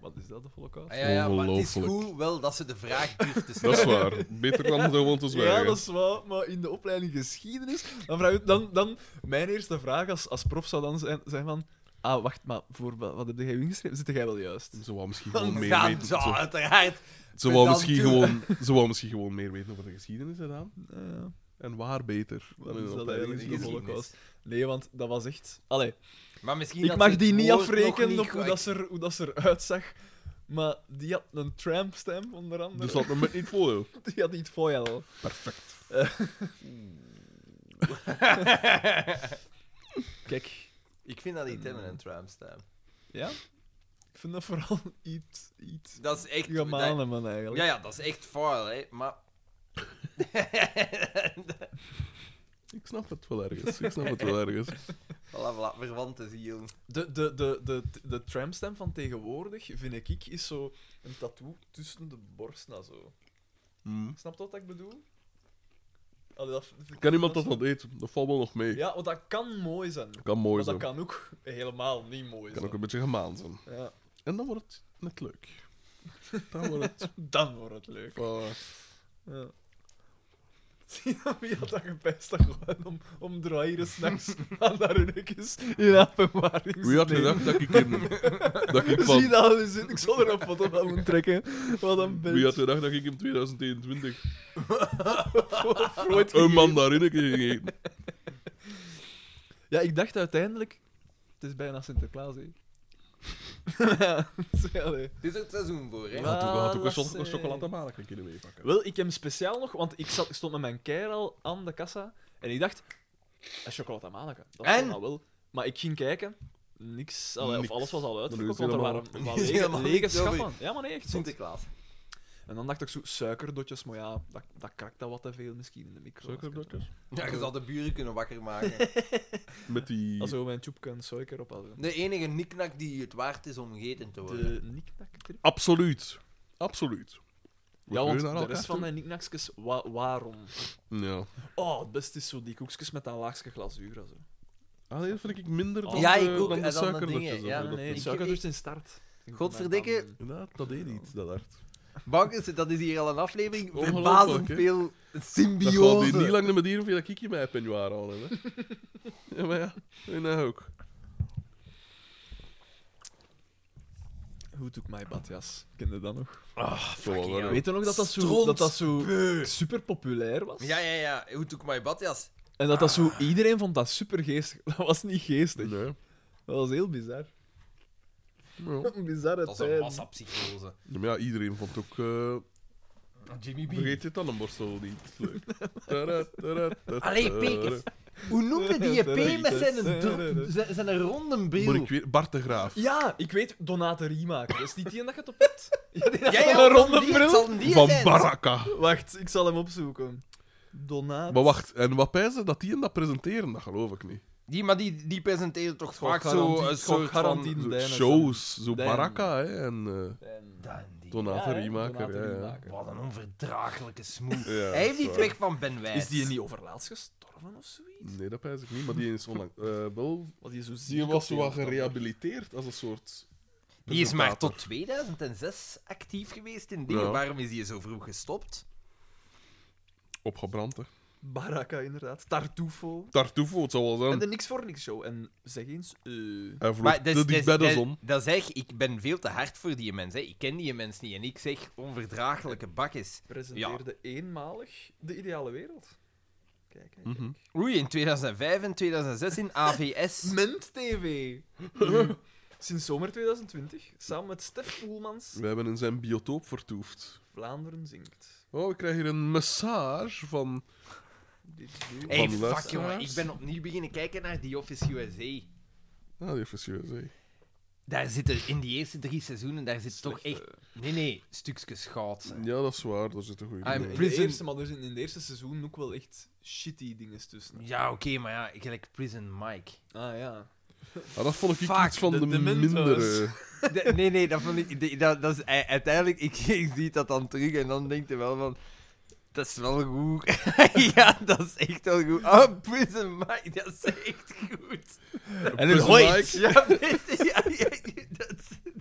[SPEAKER 3] Wat is dat, de holocaust?
[SPEAKER 1] Ah, ja, ja, maar het is
[SPEAKER 4] Ongelooflijk.
[SPEAKER 1] goed wel dat ze de vraag durft te
[SPEAKER 4] Dat
[SPEAKER 1] stellen.
[SPEAKER 4] is waar. Beter dan gewoon te zwijgen.
[SPEAKER 3] Ja, dat is waar, maar in de opleiding geschiedenis. Dan vraag ik, dan, dan, mijn eerste vraag als, als prof zou dan zijn, zijn: van, Ah, wacht, maar voor wa- wat heb jij ingeschreven? Zit jij wel juist?
[SPEAKER 4] Ze wou misschien gewoon meer
[SPEAKER 1] ja,
[SPEAKER 4] weten.
[SPEAKER 1] zo,
[SPEAKER 4] Ze,
[SPEAKER 1] uiteraard.
[SPEAKER 4] ze, wou
[SPEAKER 1] Dan
[SPEAKER 4] misschien
[SPEAKER 1] toe.
[SPEAKER 4] gewoon, ze wou misschien gewoon meer weten over de geschiedenis gedaan.
[SPEAKER 3] Nou
[SPEAKER 1] Eh,
[SPEAKER 3] ja.
[SPEAKER 4] En waar beter. dan
[SPEAKER 3] Wat
[SPEAKER 4] in
[SPEAKER 3] is
[SPEAKER 4] een
[SPEAKER 3] dat
[SPEAKER 4] opleiding
[SPEAKER 3] eigenlijk,
[SPEAKER 4] is
[SPEAKER 3] de
[SPEAKER 4] gewoon-
[SPEAKER 3] holocaust? Nee, want dat was echt... Allee,
[SPEAKER 1] Maar misschien
[SPEAKER 3] ik
[SPEAKER 1] had
[SPEAKER 3] mag
[SPEAKER 1] ze
[SPEAKER 3] die
[SPEAKER 1] het
[SPEAKER 3] niet
[SPEAKER 1] woord nog niet
[SPEAKER 3] afrekenen op hoe
[SPEAKER 1] goed-
[SPEAKER 3] dat, ze er, hoe dat ze eruit zag. Maar die had een trampstamp, onder andere.
[SPEAKER 4] Dus laat me met niet volgen.
[SPEAKER 3] Die had iets Eh. foil. Perfect. Kijk,
[SPEAKER 1] Ik vind dat niet hebben, een tramstamp.
[SPEAKER 3] ja? Ik vind dat vooral iets... iets
[SPEAKER 1] Dat is echt... dat-
[SPEAKER 3] Germanen, man, eigenlijk.
[SPEAKER 1] ja, ja, dat is echt foil, hè. Maar...
[SPEAKER 4] Ik snap het wel ergens. Ik snap het wel ergens.
[SPEAKER 1] voilà, voilà, verwanten zie je. jong.
[SPEAKER 3] De, de, de, de, de tramstamp van tegenwoordig, vind ik, ik, is zo een tattoo tussen de borst, nou zo.
[SPEAKER 4] Mm.
[SPEAKER 3] Snap je wat ik bedoel? Allee, dat, dat-
[SPEAKER 4] Kan iemand dat van eten? Dat valt wel nog mee.
[SPEAKER 3] Ja, want dat kan mooi zijn.
[SPEAKER 4] Kan mooi
[SPEAKER 3] Maar
[SPEAKER 4] zijn.
[SPEAKER 3] dat
[SPEAKER 4] Kan,
[SPEAKER 3] kan ook helemaal niet mooi zijn.
[SPEAKER 4] ook een beetje gemaan zijn.
[SPEAKER 3] Ja.
[SPEAKER 4] En dan wordt het net leuk. Dan wordt het...
[SPEAKER 3] Dan wordt het leuk.
[SPEAKER 4] eh,
[SPEAKER 3] Ja. Zie je wie had dat gepest dat gewoon om, om draaien s'nachts aan daar hun hekjes in openbaring
[SPEAKER 4] wie had gedacht dat ik in... Dat ik
[SPEAKER 3] Zie
[SPEAKER 4] van...
[SPEAKER 3] dat al zit. Ik zal er een foto van moeten trekken. Wat een best.
[SPEAKER 4] Wie had gedacht dat ik in 2021
[SPEAKER 3] Freud
[SPEAKER 4] een
[SPEAKER 3] gegeven.
[SPEAKER 4] mandarineke ging eten?
[SPEAKER 3] Ja, ik dacht uiteindelijk... Het is bijna Sinterklaas, hè. ja, zo, allee.
[SPEAKER 1] Dit is het seizoen voor, hè?
[SPEAKER 4] Ja, had ook, had ook een,
[SPEAKER 3] Voilà,
[SPEAKER 4] cho- een
[SPEAKER 3] zeg.
[SPEAKER 4] chocolademalig kunnen meepakken.
[SPEAKER 3] Wel, ik heb speciaal nog... Want ik, zat, ik stond met mijn keir al aan de kassa. En ik dacht... Een chocolademalige. Dat
[SPEAKER 1] En?
[SPEAKER 3] zal nou wel. Maar ik ging kijken. Niks. allee,
[SPEAKER 4] Niks.
[SPEAKER 3] Of alles was al uitverkocht.
[SPEAKER 4] Dan
[SPEAKER 3] Want
[SPEAKER 4] is
[SPEAKER 3] er
[SPEAKER 4] het
[SPEAKER 3] waren
[SPEAKER 1] helemaal-
[SPEAKER 3] wel lege,
[SPEAKER 1] helemaal
[SPEAKER 3] lege
[SPEAKER 1] niks over.
[SPEAKER 3] schappen. Ja, maar nee, echt. zot.
[SPEAKER 1] Sinterklaas.
[SPEAKER 3] En dan dacht ik zo, suikerdotjes, maar ja, dat, dat krakt dan wat te veel misschien in de micro.
[SPEAKER 4] Suikerdotjes?
[SPEAKER 1] Ja, je zal de buren kunnen wakker maken.
[SPEAKER 4] Met die...
[SPEAKER 3] Also, mijn tjoep kan suiker op hadden.
[SPEAKER 1] De enige niknak die het waard is om gegeten te worden.
[SPEAKER 3] De niknak trip.
[SPEAKER 4] Absoluut. Absoluut. We
[SPEAKER 3] Ja, want
[SPEAKER 4] kunnen
[SPEAKER 3] de
[SPEAKER 4] naar
[SPEAKER 3] rest
[SPEAKER 4] elkaar
[SPEAKER 3] van
[SPEAKER 4] toe.
[SPEAKER 3] mijn niknakjes, wa- waarom?
[SPEAKER 4] Ja.
[SPEAKER 3] Oh, het beste is zo die koekjes met dat laagste glazuur. en Zo.
[SPEAKER 4] Ah, nee, dat vind ik minder dan,
[SPEAKER 1] Ja,
[SPEAKER 4] de-
[SPEAKER 1] ik ook. En
[SPEAKER 4] dan
[SPEAKER 1] dan de
[SPEAKER 4] de suikerdotjes.
[SPEAKER 1] dingen,
[SPEAKER 4] of
[SPEAKER 1] ja.
[SPEAKER 4] zo.
[SPEAKER 3] nee,
[SPEAKER 4] Dat-
[SPEAKER 3] nee,
[SPEAKER 1] ik-
[SPEAKER 3] suiker doet in start.
[SPEAKER 1] Godverdikke.
[SPEAKER 4] Inderdaad, dat deed niet, dat hart.
[SPEAKER 1] Bakkes, dat is hier al een aflevering.
[SPEAKER 4] Ongelooflijk,
[SPEAKER 1] Verbazend
[SPEAKER 4] hè?
[SPEAKER 1] veel
[SPEAKER 4] Dat gaat
[SPEAKER 1] symbiose.
[SPEAKER 4] hier niet lang naar beneden of je dat kikje mij penjoar aan hebben. ja, maar ja, en dat ook.
[SPEAKER 3] Hoe doe ik mijn badjas? Ken je dat nog?
[SPEAKER 4] Gewoon
[SPEAKER 1] hell.
[SPEAKER 4] wel.
[SPEAKER 3] Weet je nog dat dat zo,
[SPEAKER 1] Stront.
[SPEAKER 3] dat dat zo super populair was?
[SPEAKER 1] Ja, ja, ja. Hoe doe ik mijn badjas?
[SPEAKER 3] En dat dat zo, iedereen vond dat super geestig. Dat was niet geestig.
[SPEAKER 4] Nee.
[SPEAKER 3] Dat was heel bizar.
[SPEAKER 4] Ja.
[SPEAKER 3] Een bizarre
[SPEAKER 1] Dat is een
[SPEAKER 3] tijd.
[SPEAKER 1] massapsychose.
[SPEAKER 4] Ja, maar ja, iedereen vond ook. eh
[SPEAKER 1] Jimmy
[SPEAKER 4] vergeet je tandenborstel niet. Leuk. Tada, tada, tada.
[SPEAKER 1] Allee, Pekers. Hoe noemde die P met zijn, dro- zijn, zijn ronde
[SPEAKER 4] Moet
[SPEAKER 1] bril?
[SPEAKER 4] ik weer. Bart de Graaf.
[SPEAKER 3] Ja, ik weet Donatelli maken. Dat is niet die en dat je het op hebt. Ja, die had
[SPEAKER 1] Ja, ja,
[SPEAKER 3] een
[SPEAKER 1] het zal
[SPEAKER 3] ronde
[SPEAKER 1] die- het
[SPEAKER 3] bril.
[SPEAKER 1] zal die
[SPEAKER 4] Van
[SPEAKER 1] zijn.
[SPEAKER 4] Baraka.
[SPEAKER 3] Wacht, ik zal hem opzoeken. Donat.
[SPEAKER 4] Maar wacht, en wat pijzen dat die en dat presenteren? Dat geloof ik niet.
[SPEAKER 1] Die, maar die, die presenteerde toch vaak zo
[SPEAKER 3] garantie-
[SPEAKER 1] een soort
[SPEAKER 3] garantie.
[SPEAKER 1] van...
[SPEAKER 4] Zo
[SPEAKER 3] Dijn en
[SPEAKER 4] shows, zo
[SPEAKER 3] Dijn.
[SPEAKER 4] Baraka hè, en eh
[SPEAKER 1] Dan die-
[SPEAKER 4] Donateriemaker.
[SPEAKER 3] Ja, hè,
[SPEAKER 4] Ja, ja.
[SPEAKER 3] Donateriemaker.
[SPEAKER 1] Wat een onverdraaglijke smoes.
[SPEAKER 4] Ja,
[SPEAKER 1] Hij heeft
[SPEAKER 4] dat is
[SPEAKER 1] die
[SPEAKER 4] waar.
[SPEAKER 1] weg van Ben Wijs.
[SPEAKER 3] Is die niet overlaatst gestorven of zoiets?
[SPEAKER 4] Nee, dat pijs ik niet, maar die is onlang. eh, wel,
[SPEAKER 3] Wat die zo ziek
[SPEAKER 4] die was
[SPEAKER 3] of
[SPEAKER 4] zo wat
[SPEAKER 3] of dat?
[SPEAKER 4] gerehabiliteerd als een soort.
[SPEAKER 1] Die is maar
[SPEAKER 4] presentator.
[SPEAKER 1] tot 2006 actief geweest in dingen.
[SPEAKER 4] Ja.
[SPEAKER 1] Waarom is die zo vroeg gestopt?
[SPEAKER 4] Opgebrand, hè.
[SPEAKER 3] Baraka, inderdaad. Tartufo.
[SPEAKER 4] Tartufo, het zou wel zijn.
[SPEAKER 3] En de Niks voor Niks show. En zeg eens... eh,
[SPEAKER 4] Hij vloog
[SPEAKER 1] dat is-
[SPEAKER 4] te
[SPEAKER 1] dat
[SPEAKER 4] dicht
[SPEAKER 1] is-
[SPEAKER 4] bij de
[SPEAKER 3] dus-
[SPEAKER 1] dat-
[SPEAKER 4] zon.
[SPEAKER 1] Dat zeg, ik ben veel te hard voor die mens. Hè. Ik ken die mens niet. En ik zeg onverdraaglijke bakjes.
[SPEAKER 3] presenteerde eenmalig De Ideale Wereld. Kijk, kijk,
[SPEAKER 4] Mhm.
[SPEAKER 3] kijk.
[SPEAKER 1] Oei, in 2005 en 2006 in AVS.
[SPEAKER 3] Ment TV. Nu, Sinds zomer 2020, samen met Stef Poelmans,
[SPEAKER 4] We hebben in zijn biotoop vertoefd.
[SPEAKER 3] Vlaanderen zingt.
[SPEAKER 4] Oh, ik krijg hier een massage van...
[SPEAKER 3] Dit duurt-
[SPEAKER 1] Hey,
[SPEAKER 4] Van
[SPEAKER 1] fuck
[SPEAKER 4] luisteraars.
[SPEAKER 1] jongen, ik ben opnieuw beginnen kijken naar The Office USA.
[SPEAKER 4] Ah, die heeft een USA.
[SPEAKER 1] Daar zitten in die eerste drie seizoenen, daar zit toch echt...
[SPEAKER 3] Slechte-
[SPEAKER 1] Nee, nee, stukjes goud. hè.
[SPEAKER 4] Ja, dat is waar. Daar zit een goede
[SPEAKER 1] I'm
[SPEAKER 4] in.
[SPEAKER 3] In
[SPEAKER 1] pretty-
[SPEAKER 3] de
[SPEAKER 1] Prison-
[SPEAKER 3] eerste, maar er zijn in het eerste seizoen ook wel echt shitty dingen tussen.
[SPEAKER 1] Ja, oké, maar ja, ik gelijk Prison Mike.
[SPEAKER 3] Ah ja.
[SPEAKER 4] Ah, dat vond ik
[SPEAKER 1] Fuck,
[SPEAKER 4] iets van
[SPEAKER 3] de
[SPEAKER 4] de,
[SPEAKER 3] Demento's.
[SPEAKER 4] mindere...
[SPEAKER 1] De- nee, nee, dat vond ik. de- dat, dat is, u- uiteindelijk, ik, ik zie dat dan terug en dan denk je wel van. Dat is wel goed. ja, dat is echt wel goed. Oh, Prison Mike, dat is echt goed.
[SPEAKER 4] En
[SPEAKER 3] een
[SPEAKER 1] Ooit. Ja, weet je, ja, ja, dat is-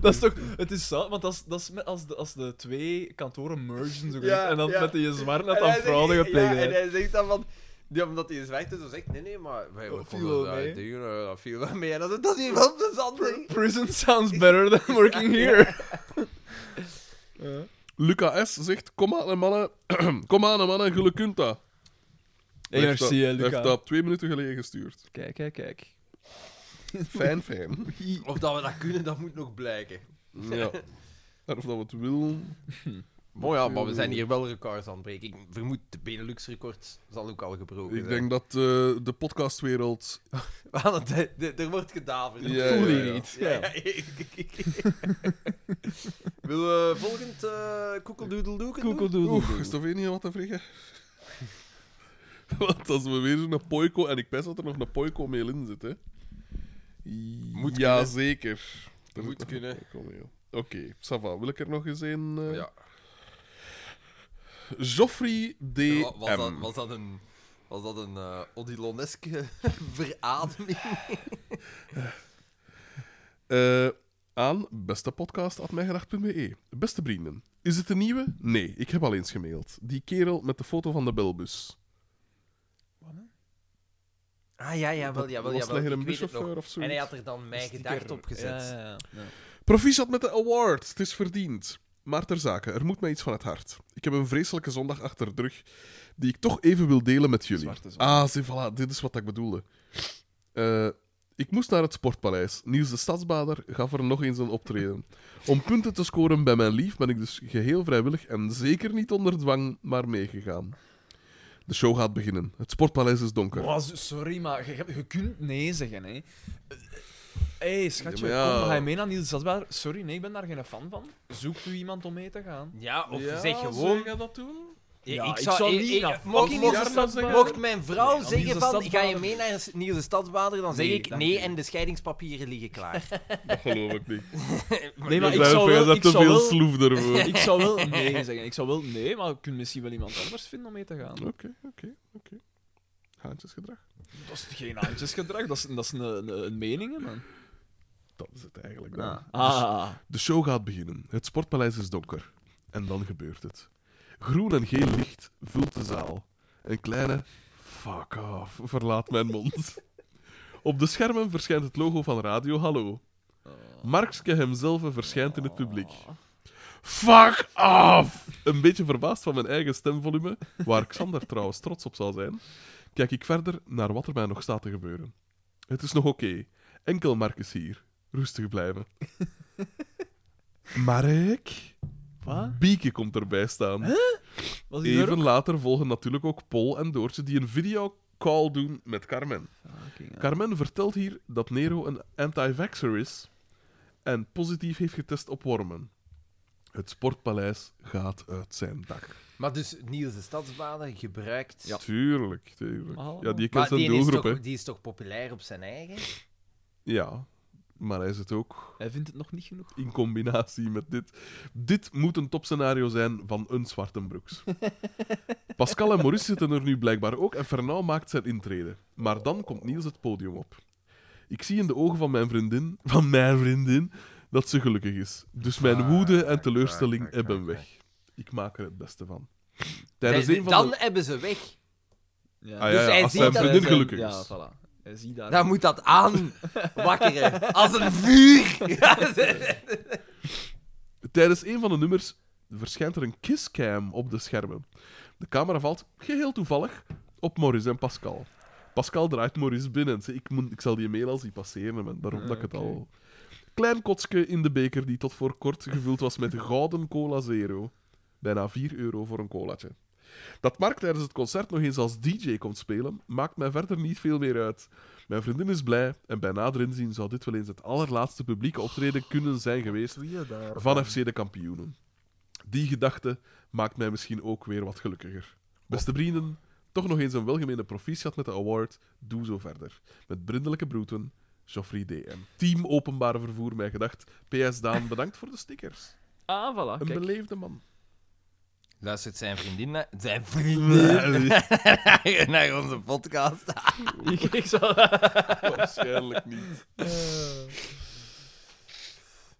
[SPEAKER 3] Dat is toch... Het is zo, want dat is, dat is met, als, de, als de twee kantoren mergen, zo gezegd, en dan
[SPEAKER 1] ja.
[SPEAKER 3] met die zwart
[SPEAKER 1] En
[SPEAKER 3] net aan
[SPEAKER 1] hij zegt-
[SPEAKER 3] fraude
[SPEAKER 1] ja, En
[SPEAKER 3] gepleegd.
[SPEAKER 1] hij zegt dan van. Ja, omdat hij zwart is, dan zegt nee, nee, maar wij
[SPEAKER 3] Dat
[SPEAKER 1] we
[SPEAKER 3] viel
[SPEAKER 1] konden
[SPEAKER 3] wel
[SPEAKER 1] daar
[SPEAKER 3] mee.
[SPEAKER 1] dingen, eh, dat viel wel mee. En dat, dat is hier wel plezant. hè.
[SPEAKER 3] Prison sounds better than working here. Ja.
[SPEAKER 4] Luca S. zegt, kom aan, hè, mannen. kom aan, hè, mannen. Jullie kunt dat.
[SPEAKER 3] Hey,
[SPEAKER 4] Hij heeft
[SPEAKER 3] merci,
[SPEAKER 4] dat-
[SPEAKER 3] hè,
[SPEAKER 4] Hij
[SPEAKER 3] Luca.
[SPEAKER 4] heeft dat twee minuten geleden gestuurd.
[SPEAKER 3] Kijk, kijk, kijk.
[SPEAKER 4] Fijn, fijn.
[SPEAKER 1] Of dat we dat kunnen, dat moet nog blijken.
[SPEAKER 4] Ja. En of dat we het wil...
[SPEAKER 1] Mooi ja, maar we zijn hier wel records aan het breken. Ik vermoed de Benelux-record zal ook al gebroken
[SPEAKER 4] Ik
[SPEAKER 1] zijn.
[SPEAKER 4] denk dat eh, de podcastwereld...
[SPEAKER 1] Want de, de- er wordt gedaverd.
[SPEAKER 4] Ja, ja,
[SPEAKER 3] voel je
[SPEAKER 4] ja.
[SPEAKER 3] niet.
[SPEAKER 1] Ja, ja, ik- ik- ik- Wil we volgend eh koekeldoedeldoeken doen?
[SPEAKER 4] Oeh, is toch weer niet wat te vregen? Want als we weer zo'n poiko... En ik pest dat er nog een poiko mee in zit, hè.
[SPEAKER 1] Moet
[SPEAKER 4] ja,
[SPEAKER 1] kunnen.
[SPEAKER 4] zeker. Er
[SPEAKER 1] Moet
[SPEAKER 4] zit nog
[SPEAKER 1] kunnen.
[SPEAKER 4] een poiko mee, joh. Oké, Sava, wil ik er nog eens een... eh,
[SPEAKER 1] Ja.
[SPEAKER 4] Joffrey D.
[SPEAKER 2] Wa- Was dat,
[SPEAKER 4] M.
[SPEAKER 2] was dat een, was dat een eh, Odiloneske verademing?
[SPEAKER 4] Eh, aan bestepodcast.mijgedacht.be. e. Beste vrienden, is het een nieuwe? Nee, ik heb al eens gemaild. Die kerel met de foto van de belbus.
[SPEAKER 1] Ah ja, jawel, jawel,
[SPEAKER 4] was
[SPEAKER 1] jawel.
[SPEAKER 4] er
[SPEAKER 1] Ik
[SPEAKER 4] een
[SPEAKER 1] weet het nog.
[SPEAKER 4] buschauffeur of zo?
[SPEAKER 1] En hij had er dan mijn gedacht op gezet.
[SPEAKER 3] Ja, ja, ja.
[SPEAKER 4] Proficiat met de award, het is verdiend. Maar ter zake, er moet mij iets van het hart. Ik heb een vreselijke zondag achter de rug die ik toch even wil delen met jullie.
[SPEAKER 3] Zwarte
[SPEAKER 4] Ah, zie, voilà, dit is wat ik bedoelde. Eh, ik moest naar het Sportpaleis. Niels de Stadsbader gaf er nog eens een optreden. Om punten te scoren bij mijn lief ben ik dus geheel vrijwillig en zeker niet onder dwang, maar meegegaan. De show gaat beginnen. Het Sportpaleis is donker.
[SPEAKER 3] Wow, zo- Oh, sorry, maar je, hebt- je kunt nee zeggen, hè. Hé, hey, schatje,
[SPEAKER 4] Ja, maar ja.
[SPEAKER 3] kom, ga je mee naar Niels Stadsbaar? Sorry, nee, ik ben daar geen fan van. Zoekt u iemand om mee te gaan? Ah,
[SPEAKER 1] Ja, of zeg gewoon...
[SPEAKER 4] je dat doen?
[SPEAKER 1] Ja,
[SPEAKER 3] Ja,
[SPEAKER 1] ik
[SPEAKER 3] ik
[SPEAKER 1] zou,
[SPEAKER 3] zou
[SPEAKER 1] ik-
[SPEAKER 3] niet
[SPEAKER 1] ik-
[SPEAKER 3] naar
[SPEAKER 1] mocht,
[SPEAKER 3] fucking
[SPEAKER 1] mocht,
[SPEAKER 3] Nieuwe Stadsbader.
[SPEAKER 1] mocht mijn vrouw
[SPEAKER 3] Nee,
[SPEAKER 1] zeggen
[SPEAKER 3] Nieuwe
[SPEAKER 1] van,
[SPEAKER 3] Stadsbader.
[SPEAKER 1] ga je mee naar Nieuwe Stadsbader, dan zeg
[SPEAKER 3] Nee,
[SPEAKER 1] ik
[SPEAKER 3] dank
[SPEAKER 1] nee
[SPEAKER 3] u.
[SPEAKER 1] en de scheidingspapieren liggen klaar.
[SPEAKER 4] Dat geloof ik niet.
[SPEAKER 3] Nee, maar
[SPEAKER 4] Daar
[SPEAKER 3] ik
[SPEAKER 4] zijn
[SPEAKER 3] zou
[SPEAKER 4] we-
[SPEAKER 3] wel...
[SPEAKER 4] daar
[SPEAKER 3] Ik
[SPEAKER 4] te
[SPEAKER 3] zou
[SPEAKER 4] veel
[SPEAKER 3] wel,
[SPEAKER 4] sloef ervoor.
[SPEAKER 3] ik zou wel nee zeggen. Ik zou wel nee, maar je kunt misschien wel iemand anders vinden om mee te gaan.
[SPEAKER 4] Oké, oké, oké. Haantjesgedrag.
[SPEAKER 3] Dat is geen handjesgedrag, dat is, dat is een, een, een mening, hè, man.
[SPEAKER 4] Dat is het eigenlijk dan.
[SPEAKER 3] Ja. Ah,
[SPEAKER 4] De show gaat beginnen. Het sportpaleis is donker. En dan gebeurt het. Groen en geel licht vult de zaal. Een kleine fuck off verlaat mijn mond. Op de schermen verschijnt het logo van Radio Hallo. Markske hemzelf verschijnt in het publiek. Fuck off! Een beetje verbaasd van mijn eigen stemvolume, waar Xander trouwens trots op zal zijn, kijk ik verder naar wat er mij nog staat te gebeuren. Het is nog oké. Enkel Mark is hier. Rustig blijven. Mark?
[SPEAKER 3] wat?
[SPEAKER 4] Bieke komt erbij staan.
[SPEAKER 3] Was die er
[SPEAKER 4] Even
[SPEAKER 3] ook?
[SPEAKER 4] later volgen natuurlijk ook Paul en Doortje die een videocall doen met Carmen.
[SPEAKER 3] Fucking hell.
[SPEAKER 4] Carmen vertelt hier dat Nero een anti-vaxxer is en positief heeft getest op wormen. Het sportpaleis gaat uit zijn dak.
[SPEAKER 1] Maar dus Niels de Stadsbader gebruikt...
[SPEAKER 4] Tuurlijk, tuurlijk.
[SPEAKER 3] Maar-
[SPEAKER 4] Ja, die kent
[SPEAKER 1] Maar
[SPEAKER 4] zijn
[SPEAKER 1] die is,
[SPEAKER 4] doelgroep, hè.
[SPEAKER 1] toch, die is toch populair op zijn eigen?
[SPEAKER 4] Ja, maar hij zit ook
[SPEAKER 3] Hij vindt het nog niet genoeg.
[SPEAKER 4] in combinatie met dit. Dit moet een topscenario zijn van een Zwartenbroeks. Pascal en Maurice zitten er nu blijkbaar ook en Fernand maakt zijn intrede. Maar dan komt Niels het podium op. Ik zie in de ogen van mijn vriendin, van mijn vriendin, dat ze gelukkig is. Dus mijn woede en teleurstelling hebben weg. Ik maak er het beste van. Tijdens een van
[SPEAKER 1] Dus dan
[SPEAKER 4] de...
[SPEAKER 1] hebben ze weg.
[SPEAKER 3] Ja.
[SPEAKER 4] Ah ja,
[SPEAKER 1] Dus hij
[SPEAKER 4] als
[SPEAKER 1] ziet
[SPEAKER 4] zijn
[SPEAKER 1] dat-
[SPEAKER 4] vriendin
[SPEAKER 1] hij-
[SPEAKER 4] gelukkig
[SPEAKER 3] Ja,
[SPEAKER 4] is.
[SPEAKER 3] voilà. Hij ziet daar...
[SPEAKER 1] Dan Nou, moet dat aanwakkeren. Als een vuur. Ja, ze-
[SPEAKER 4] Tijdens een van de nummers verschijnt er een kisscam op de schermen. De camera valt geheel toevallig op Maurice en Pascal. Pascal draait Maurice binnen. Zeg, Ik, moet, ik zal die mail als die passeren, man. daarom dat ik het al... Klein kotske in de beker die tot voor kort gevuld was met gouden cola zero. Bijna 4 euro voor een colaatje. Dat Mark tijdens het concert nog eens als DJ komt spelen, maakt mij verder niet veel meer uit. Mijn vriendin is blij en bij nader inzien zou dit wel eens het allerlaatste publieke optreden kunnen zijn geweest van FC de kampioenen. Die gedachte maakt mij misschien ook weer wat gelukkiger. Beste vrienden, toch nog eens een welgemeende proficiat met de award. Doe zo verder. Met brindelijke broeten, Geoffrey DM. Team openbare vervoer, mij gedacht. PS Daan, bedankt voor de stickers.
[SPEAKER 3] Ah, voilà,
[SPEAKER 4] Een
[SPEAKER 3] kijk.
[SPEAKER 4] beleefde man.
[SPEAKER 1] Luistert zijn vriendin naar... Zijn vriendin naar onze podcast.
[SPEAKER 3] Ik, ik zal...
[SPEAKER 4] Waarschijnlijk niet.
[SPEAKER 3] Eh.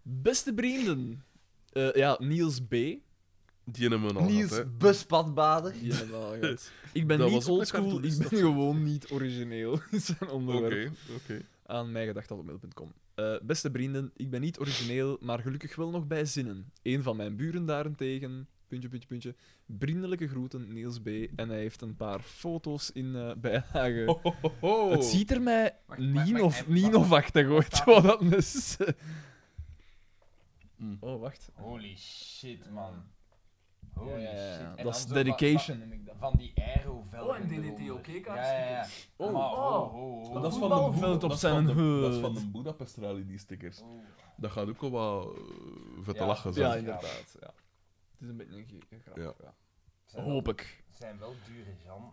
[SPEAKER 3] Beste vrienden. Eh, ja, Niels B.
[SPEAKER 4] Die hebben we al gehad,
[SPEAKER 1] Niels
[SPEAKER 4] hè.
[SPEAKER 1] Buspatbader.
[SPEAKER 3] Die hebben we al gehad. Ik ben
[SPEAKER 4] Dat was
[SPEAKER 3] niet
[SPEAKER 4] ook een
[SPEAKER 3] oldschool, ik
[SPEAKER 4] cartoonist,
[SPEAKER 3] ben gewoon niet origineel. in zijn
[SPEAKER 4] Oké,
[SPEAKER 3] onderwerp.
[SPEAKER 4] oké.
[SPEAKER 3] Aan mijgedacht.mail.com. Eh beste vrienden, ik ben niet origineel, maar gelukkig wel nog bij zinnen. Een van mijn buren daarentegen... Puntje, puntje, puntje. Vriendelijke groeten, Niels B. En hij heeft een paar foto's in eh bijlage.
[SPEAKER 4] Ho, ho, ho.
[SPEAKER 3] Het ziet er mij
[SPEAKER 1] Wacht, wacht, wacht,
[SPEAKER 3] Ninof-
[SPEAKER 1] wacht,
[SPEAKER 3] Ninofachtig uit, wat dat is. Oh, wacht.
[SPEAKER 1] Holy shit, man.
[SPEAKER 3] Ja,
[SPEAKER 1] Holy
[SPEAKER 3] ja, ja.
[SPEAKER 1] shit. En
[SPEAKER 3] Dat
[SPEAKER 1] dan
[SPEAKER 3] is
[SPEAKER 1] zo Van,
[SPEAKER 3] dedication, noem ik dat.
[SPEAKER 1] van, van die aero velden
[SPEAKER 3] Oh, en die
[SPEAKER 1] eronder.
[SPEAKER 3] DDT-OK-kaartjes.
[SPEAKER 1] Ja, ja, ja.
[SPEAKER 3] Oh,
[SPEAKER 1] Maar,
[SPEAKER 3] oh.
[SPEAKER 4] Dat
[SPEAKER 1] oh.
[SPEAKER 4] is van de
[SPEAKER 3] voetbalveld
[SPEAKER 4] Boed-
[SPEAKER 3] op
[SPEAKER 4] dat is
[SPEAKER 3] zijn
[SPEAKER 4] van de-
[SPEAKER 3] hoed.
[SPEAKER 4] Dat is van de Budapest Rally, die stickers. Dat gaat ook al wat eh, vette
[SPEAKER 1] Ja.
[SPEAKER 4] lachen zijn.
[SPEAKER 3] Ja,
[SPEAKER 1] Ja.
[SPEAKER 3] inderdaad. Ja. Het is een beetje een ge- een grap.
[SPEAKER 4] Ja.
[SPEAKER 3] ja.
[SPEAKER 1] Zijn wel-
[SPEAKER 3] Hoop ik.
[SPEAKER 1] Zijn wel dure Jan.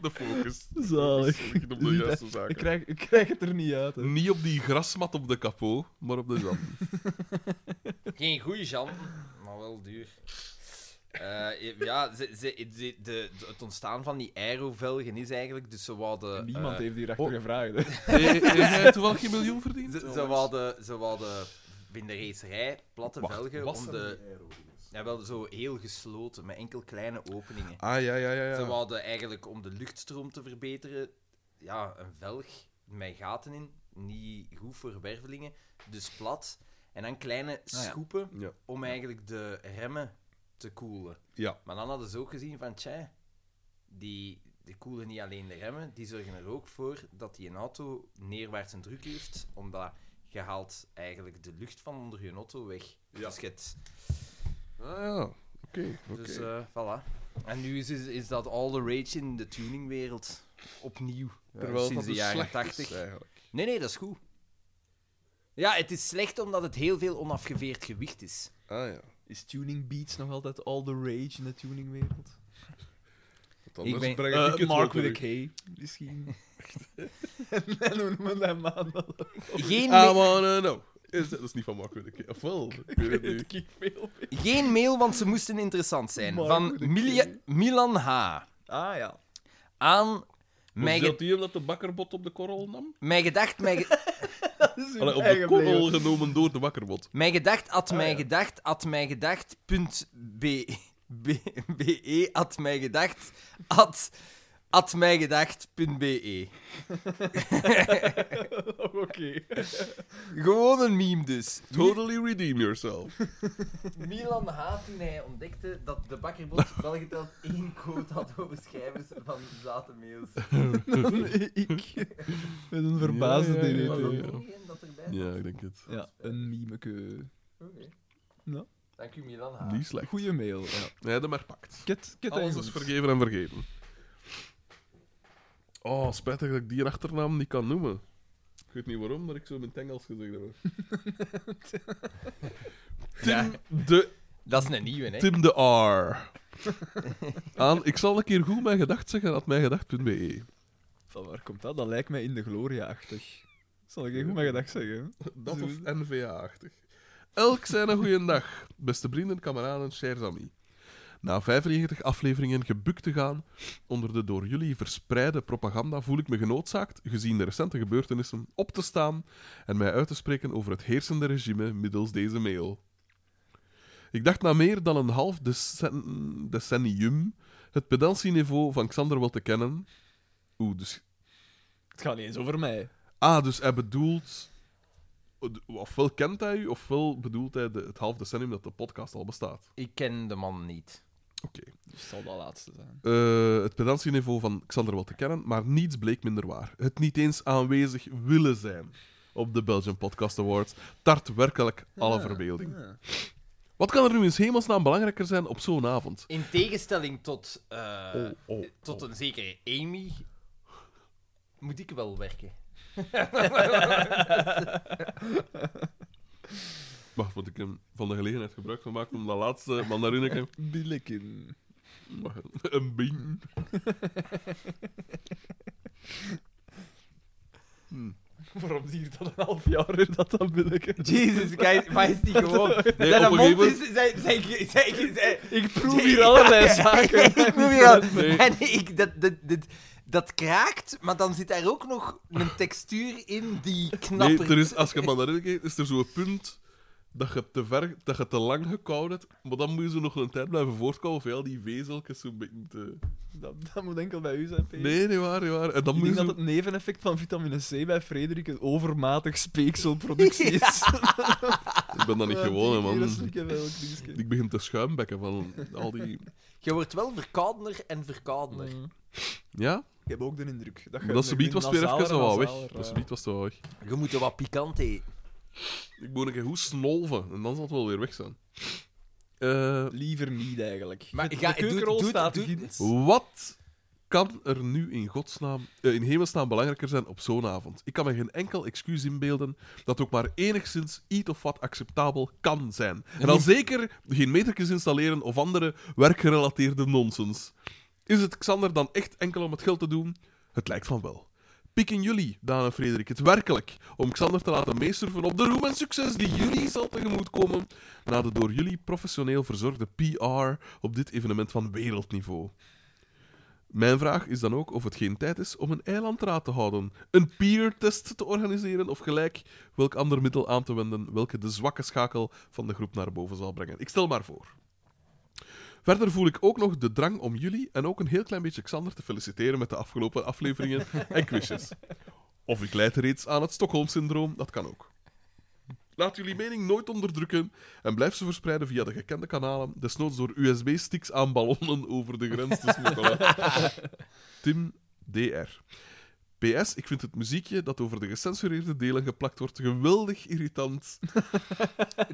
[SPEAKER 4] De focus.
[SPEAKER 3] Zalig.
[SPEAKER 4] Focus Op de juiste zaken.
[SPEAKER 3] Ik krijg, ik krijg het er niet uit. Hè.
[SPEAKER 4] Niet op die grasmat op de kapot, maar op de zand.
[SPEAKER 1] Geen goede Jan, maar wel duur. Eh, ja, ze, ze- de, de, het ontstaan van die aerovelgen is eigenlijk... Dus ze wouden,
[SPEAKER 3] Niemand
[SPEAKER 1] eh,
[SPEAKER 3] heeft hierachter
[SPEAKER 2] oh.
[SPEAKER 3] gevraagd. Hè.
[SPEAKER 4] Heb jij toevallig geen miljoen verdiend?
[SPEAKER 1] Ze, ze, wouden, ze wouden binnen de racerij platte velgen om de... Ja, wel zo heel gesloten, met enkel kleine openingen.
[SPEAKER 4] Ah, ja, ja, ja. ja.
[SPEAKER 1] Ze wouden eigenlijk om de luchtstroom te verbeteren, ja, een velg met gaten in, niet goed voor wervelingen, dus plat. En dan kleine
[SPEAKER 4] Ah, ja.
[SPEAKER 1] schoepen
[SPEAKER 4] Ja.
[SPEAKER 1] om eigenlijk de remmen te koelen.
[SPEAKER 4] Ja.
[SPEAKER 1] Maar dan hadden ze ook gezien van, tja, die, die koelen niet alleen de remmen, die zorgen er ook voor dat die een auto neerwaarts een druk heeft, omdat je haalt eigenlijk de lucht van onder je auto weg.
[SPEAKER 2] Ja.
[SPEAKER 1] Dus, je het-
[SPEAKER 2] Ah ja, oké. oké.
[SPEAKER 1] dus eh, voilà. En nu is, is, is dat all the rage in de tuningwereld. Opnieuw. eh,
[SPEAKER 2] Ja,
[SPEAKER 4] Terwijl
[SPEAKER 1] sinds
[SPEAKER 4] dat
[SPEAKER 1] de
[SPEAKER 4] dus
[SPEAKER 1] jaren
[SPEAKER 4] slecht is,
[SPEAKER 1] 80.
[SPEAKER 4] eigenlijk.
[SPEAKER 1] Nee, nee, dat is goed. Ja, het is slecht omdat het heel veel onafgeveerd gewicht is.
[SPEAKER 2] Ah ja.
[SPEAKER 3] Is tuning beats nog altijd all the rage in de tuningwereld?
[SPEAKER 2] Want
[SPEAKER 1] Ik
[SPEAKER 2] anders
[SPEAKER 1] ben-
[SPEAKER 2] breng ik
[SPEAKER 3] Eh,
[SPEAKER 2] het
[SPEAKER 3] Mark
[SPEAKER 2] wel
[SPEAKER 3] with
[SPEAKER 2] terug.
[SPEAKER 3] a K, misschien. en hoe noemen we dat man dan?
[SPEAKER 1] Geen,
[SPEAKER 4] I
[SPEAKER 1] me-
[SPEAKER 4] wanna know. eh, Is, dat is niet van Mark Whittaker. Ofwel, ik weet het
[SPEAKER 3] Weet
[SPEAKER 4] niet.
[SPEAKER 3] ik niet veel meer.
[SPEAKER 1] Geen mail, want ze moesten interessant zijn.
[SPEAKER 3] Maar
[SPEAKER 1] Van
[SPEAKER 3] moet ik
[SPEAKER 1] Milia-
[SPEAKER 3] zeggen.
[SPEAKER 4] eh,
[SPEAKER 1] Milan H.
[SPEAKER 3] Ah ja.
[SPEAKER 1] Aan mij,
[SPEAKER 4] Was
[SPEAKER 1] ge-
[SPEAKER 4] dat die hem dat de bakkerbot op de korrel nam?
[SPEAKER 1] mij gedacht, mij, ge-
[SPEAKER 3] Dat is hun
[SPEAKER 4] Allee, op de
[SPEAKER 3] eigen
[SPEAKER 4] korrel
[SPEAKER 3] leven.
[SPEAKER 4] genomen door de bakkerbot.
[SPEAKER 1] mij gedacht, at
[SPEAKER 3] Ah,
[SPEAKER 1] mij
[SPEAKER 3] ja.
[SPEAKER 1] gedacht, at mij gedacht, punt B. B, BE, at mij gedacht, at, at mij gedacht, punt E. BE.
[SPEAKER 3] Oh, Oké.
[SPEAKER 1] Gewoon een meme dus.
[SPEAKER 4] Totally redeem yourself.
[SPEAKER 1] Milan H. toen hij ontdekte dat de bakkerbot welgeteld één quote had over schrijvers van zate mails.
[SPEAKER 3] ik. Met een verbaasde
[SPEAKER 4] Ja, ja, ja,
[SPEAKER 3] DDT.
[SPEAKER 4] ja.
[SPEAKER 1] dat erbij
[SPEAKER 4] Ja, ik denk het.
[SPEAKER 3] Ja, een mimeke.
[SPEAKER 1] Oké.
[SPEAKER 3] Ja.
[SPEAKER 1] Dank u, Milan
[SPEAKER 3] Ah.
[SPEAKER 1] H.
[SPEAKER 4] Niet slecht.
[SPEAKER 3] Goeie mail. Ja.
[SPEAKER 4] Nee, dat maar pakt.
[SPEAKER 3] Ket, ket
[SPEAKER 4] Alles
[SPEAKER 3] Engels.
[SPEAKER 4] is vergeven en vergeten. Oh, spijtig dat ik die achternaam niet kan noemen. Ik weet niet waarom, maar ik zo in het Engels gezegd heb. Tim,
[SPEAKER 1] Ja.
[SPEAKER 4] de,
[SPEAKER 1] Dat is een nieuwe, hè?
[SPEAKER 4] Tim de R. Aan, ik zal een keer goed mijn gedacht zeggen at mijgedacht.be.
[SPEAKER 3] Van waar komt dat? Dat lijkt mij in de gloria-achtig. Zal ik even mijn gedag zeggen?
[SPEAKER 4] Dat of NVA-achtig. Elk zijn een goeiedag, beste vrienden, kameraden, chers amis. Na 95 afleveringen gebukt te gaan onder de door jullie verspreide propaganda voel ik me genoodzaakt, gezien de recente gebeurtenissen, op te staan en mij uit te spreken over het heersende regime middels deze mail. Ik dacht na meer dan een half decen- decennium het pedantieniveau van Xander wel te kennen. Oeh, dus
[SPEAKER 3] Het gaat niet eens over mij.
[SPEAKER 4] Ah, dus hij bedoelt. Ofwel kent hij u, ofwel bedoelt hij de, het half decennium dat de podcast al bestaat.
[SPEAKER 1] Ik ken de man niet.
[SPEAKER 4] Oké.
[SPEAKER 3] Dus het zal dat laatste zijn.
[SPEAKER 4] Eh, het pedantieniveau van Xander wel te kennen, maar niets bleek minder waar. Het niet eens aanwezig willen zijn op de Belgian Podcast Awards tart werkelijk alle verbeelding.
[SPEAKER 3] Ja.
[SPEAKER 4] Wat kan er nu in 's hemelsnaam belangrijker zijn op zo'n avond?
[SPEAKER 1] In tegenstelling tot, eh,
[SPEAKER 4] Oh, oh,
[SPEAKER 1] tot een zekere Amy, moet ik wel werken.
[SPEAKER 4] Wacht, want ik heb van de gelegenheid gebruik gemaakt om dat laatste mandarineke...
[SPEAKER 3] Billekin.
[SPEAKER 4] Wacht, Een bing.
[SPEAKER 3] Waarom zie ik dat een half jaar in dat dat Billekin?
[SPEAKER 1] Jezus, guys, maar is niet gewoon.
[SPEAKER 4] Nee, op een gegeven moment...
[SPEAKER 3] Ik proef hier allerlei zaken.
[SPEAKER 1] ik noem je wel. En ik, dat, dat, dat, dat kraakt, maar dan zit daar ook nog een textuur in die
[SPEAKER 4] Nee,
[SPEAKER 1] knapper.
[SPEAKER 4] er is, als je mandarin kijkt, is er zo'n punt dat je te ver, dat je te lang gekauwd hebt, maar dan moet je zo nog een tijd blijven voortkouwen voor al die wezeltjes zo'n beetje te...
[SPEAKER 3] Dat, dat moet enkel bij u zijn, P.
[SPEAKER 4] Nee, nee, waar, nee, waar. En dan
[SPEAKER 3] Ik
[SPEAKER 4] moet je
[SPEAKER 3] denk dat
[SPEAKER 4] zo...
[SPEAKER 3] het neveneffect van vitamine C bij Frederik een overmatig speekselproductie is.
[SPEAKER 4] Ik ben dat niet gewoon, hè,
[SPEAKER 3] Dat
[SPEAKER 4] man.
[SPEAKER 3] is wel dingetje.
[SPEAKER 4] Ik begin te schuimbekken van al die...
[SPEAKER 1] Je wordt wel verkoudener en verkoudener.
[SPEAKER 3] Mm.
[SPEAKER 4] Ja?
[SPEAKER 3] Ik heb ook de indruk. Dat,
[SPEAKER 4] Maar dat subiet was het weer even zo wel weg. Dat
[SPEAKER 3] subiet.
[SPEAKER 4] subiet was zo weg.
[SPEAKER 1] Je moet er wat pikant eten.
[SPEAKER 4] Ik moet een keer goed snolven, en dan zal het wel weer weg zijn. Eh,
[SPEAKER 3] Liever niet, eigenlijk.
[SPEAKER 1] Maar
[SPEAKER 3] de
[SPEAKER 1] ga- doe-
[SPEAKER 3] keukenrol
[SPEAKER 1] doe-
[SPEAKER 3] staat
[SPEAKER 1] doe-
[SPEAKER 3] erin.
[SPEAKER 4] Wat kan er nu in godsnaam, eh, in hemelsnaam belangrijker zijn op zo'n avond? Ik kan me geen enkel excuus inbeelden dat ook maar enigszins iets of wat acceptabel kan zijn. En dan zeker geen metertjes installeren of andere werkgerelateerde nonsens. Is het Xander dan echt enkel om het geld te doen? Het lijkt van wel. pikken jullie, Daan en Frederik, het werkelijk om Xander te laten meesurfen op de roem en succes die jullie zal tegemoetkomen na de door jullie professioneel verzorgde PR op dit evenement van wereldniveau. Mijn vraag is dan ook of het geen tijd is om een eilandraad te houden, een peer-test te organiseren of gelijk welk ander middel aan te wenden welke de zwakke schakel van de groep naar boven zal brengen. Ik stel maar voor. Verder voel ik ook nog de drang om jullie en ook een heel klein beetje Xander te feliciteren met de afgelopen afleveringen en quizjes. Of ik leid reeds aan het Stockholm-syndroom, dat kan ook. Laat jullie mening nooit onderdrukken en blijf ze verspreiden via de gekende kanalen, desnoods door USB-sticks aan ballonnen over de grens te smokkelen. Tim DR. PS, ik vind het muziekje dat over de gecensureerde delen geplakt wordt geweldig irritant.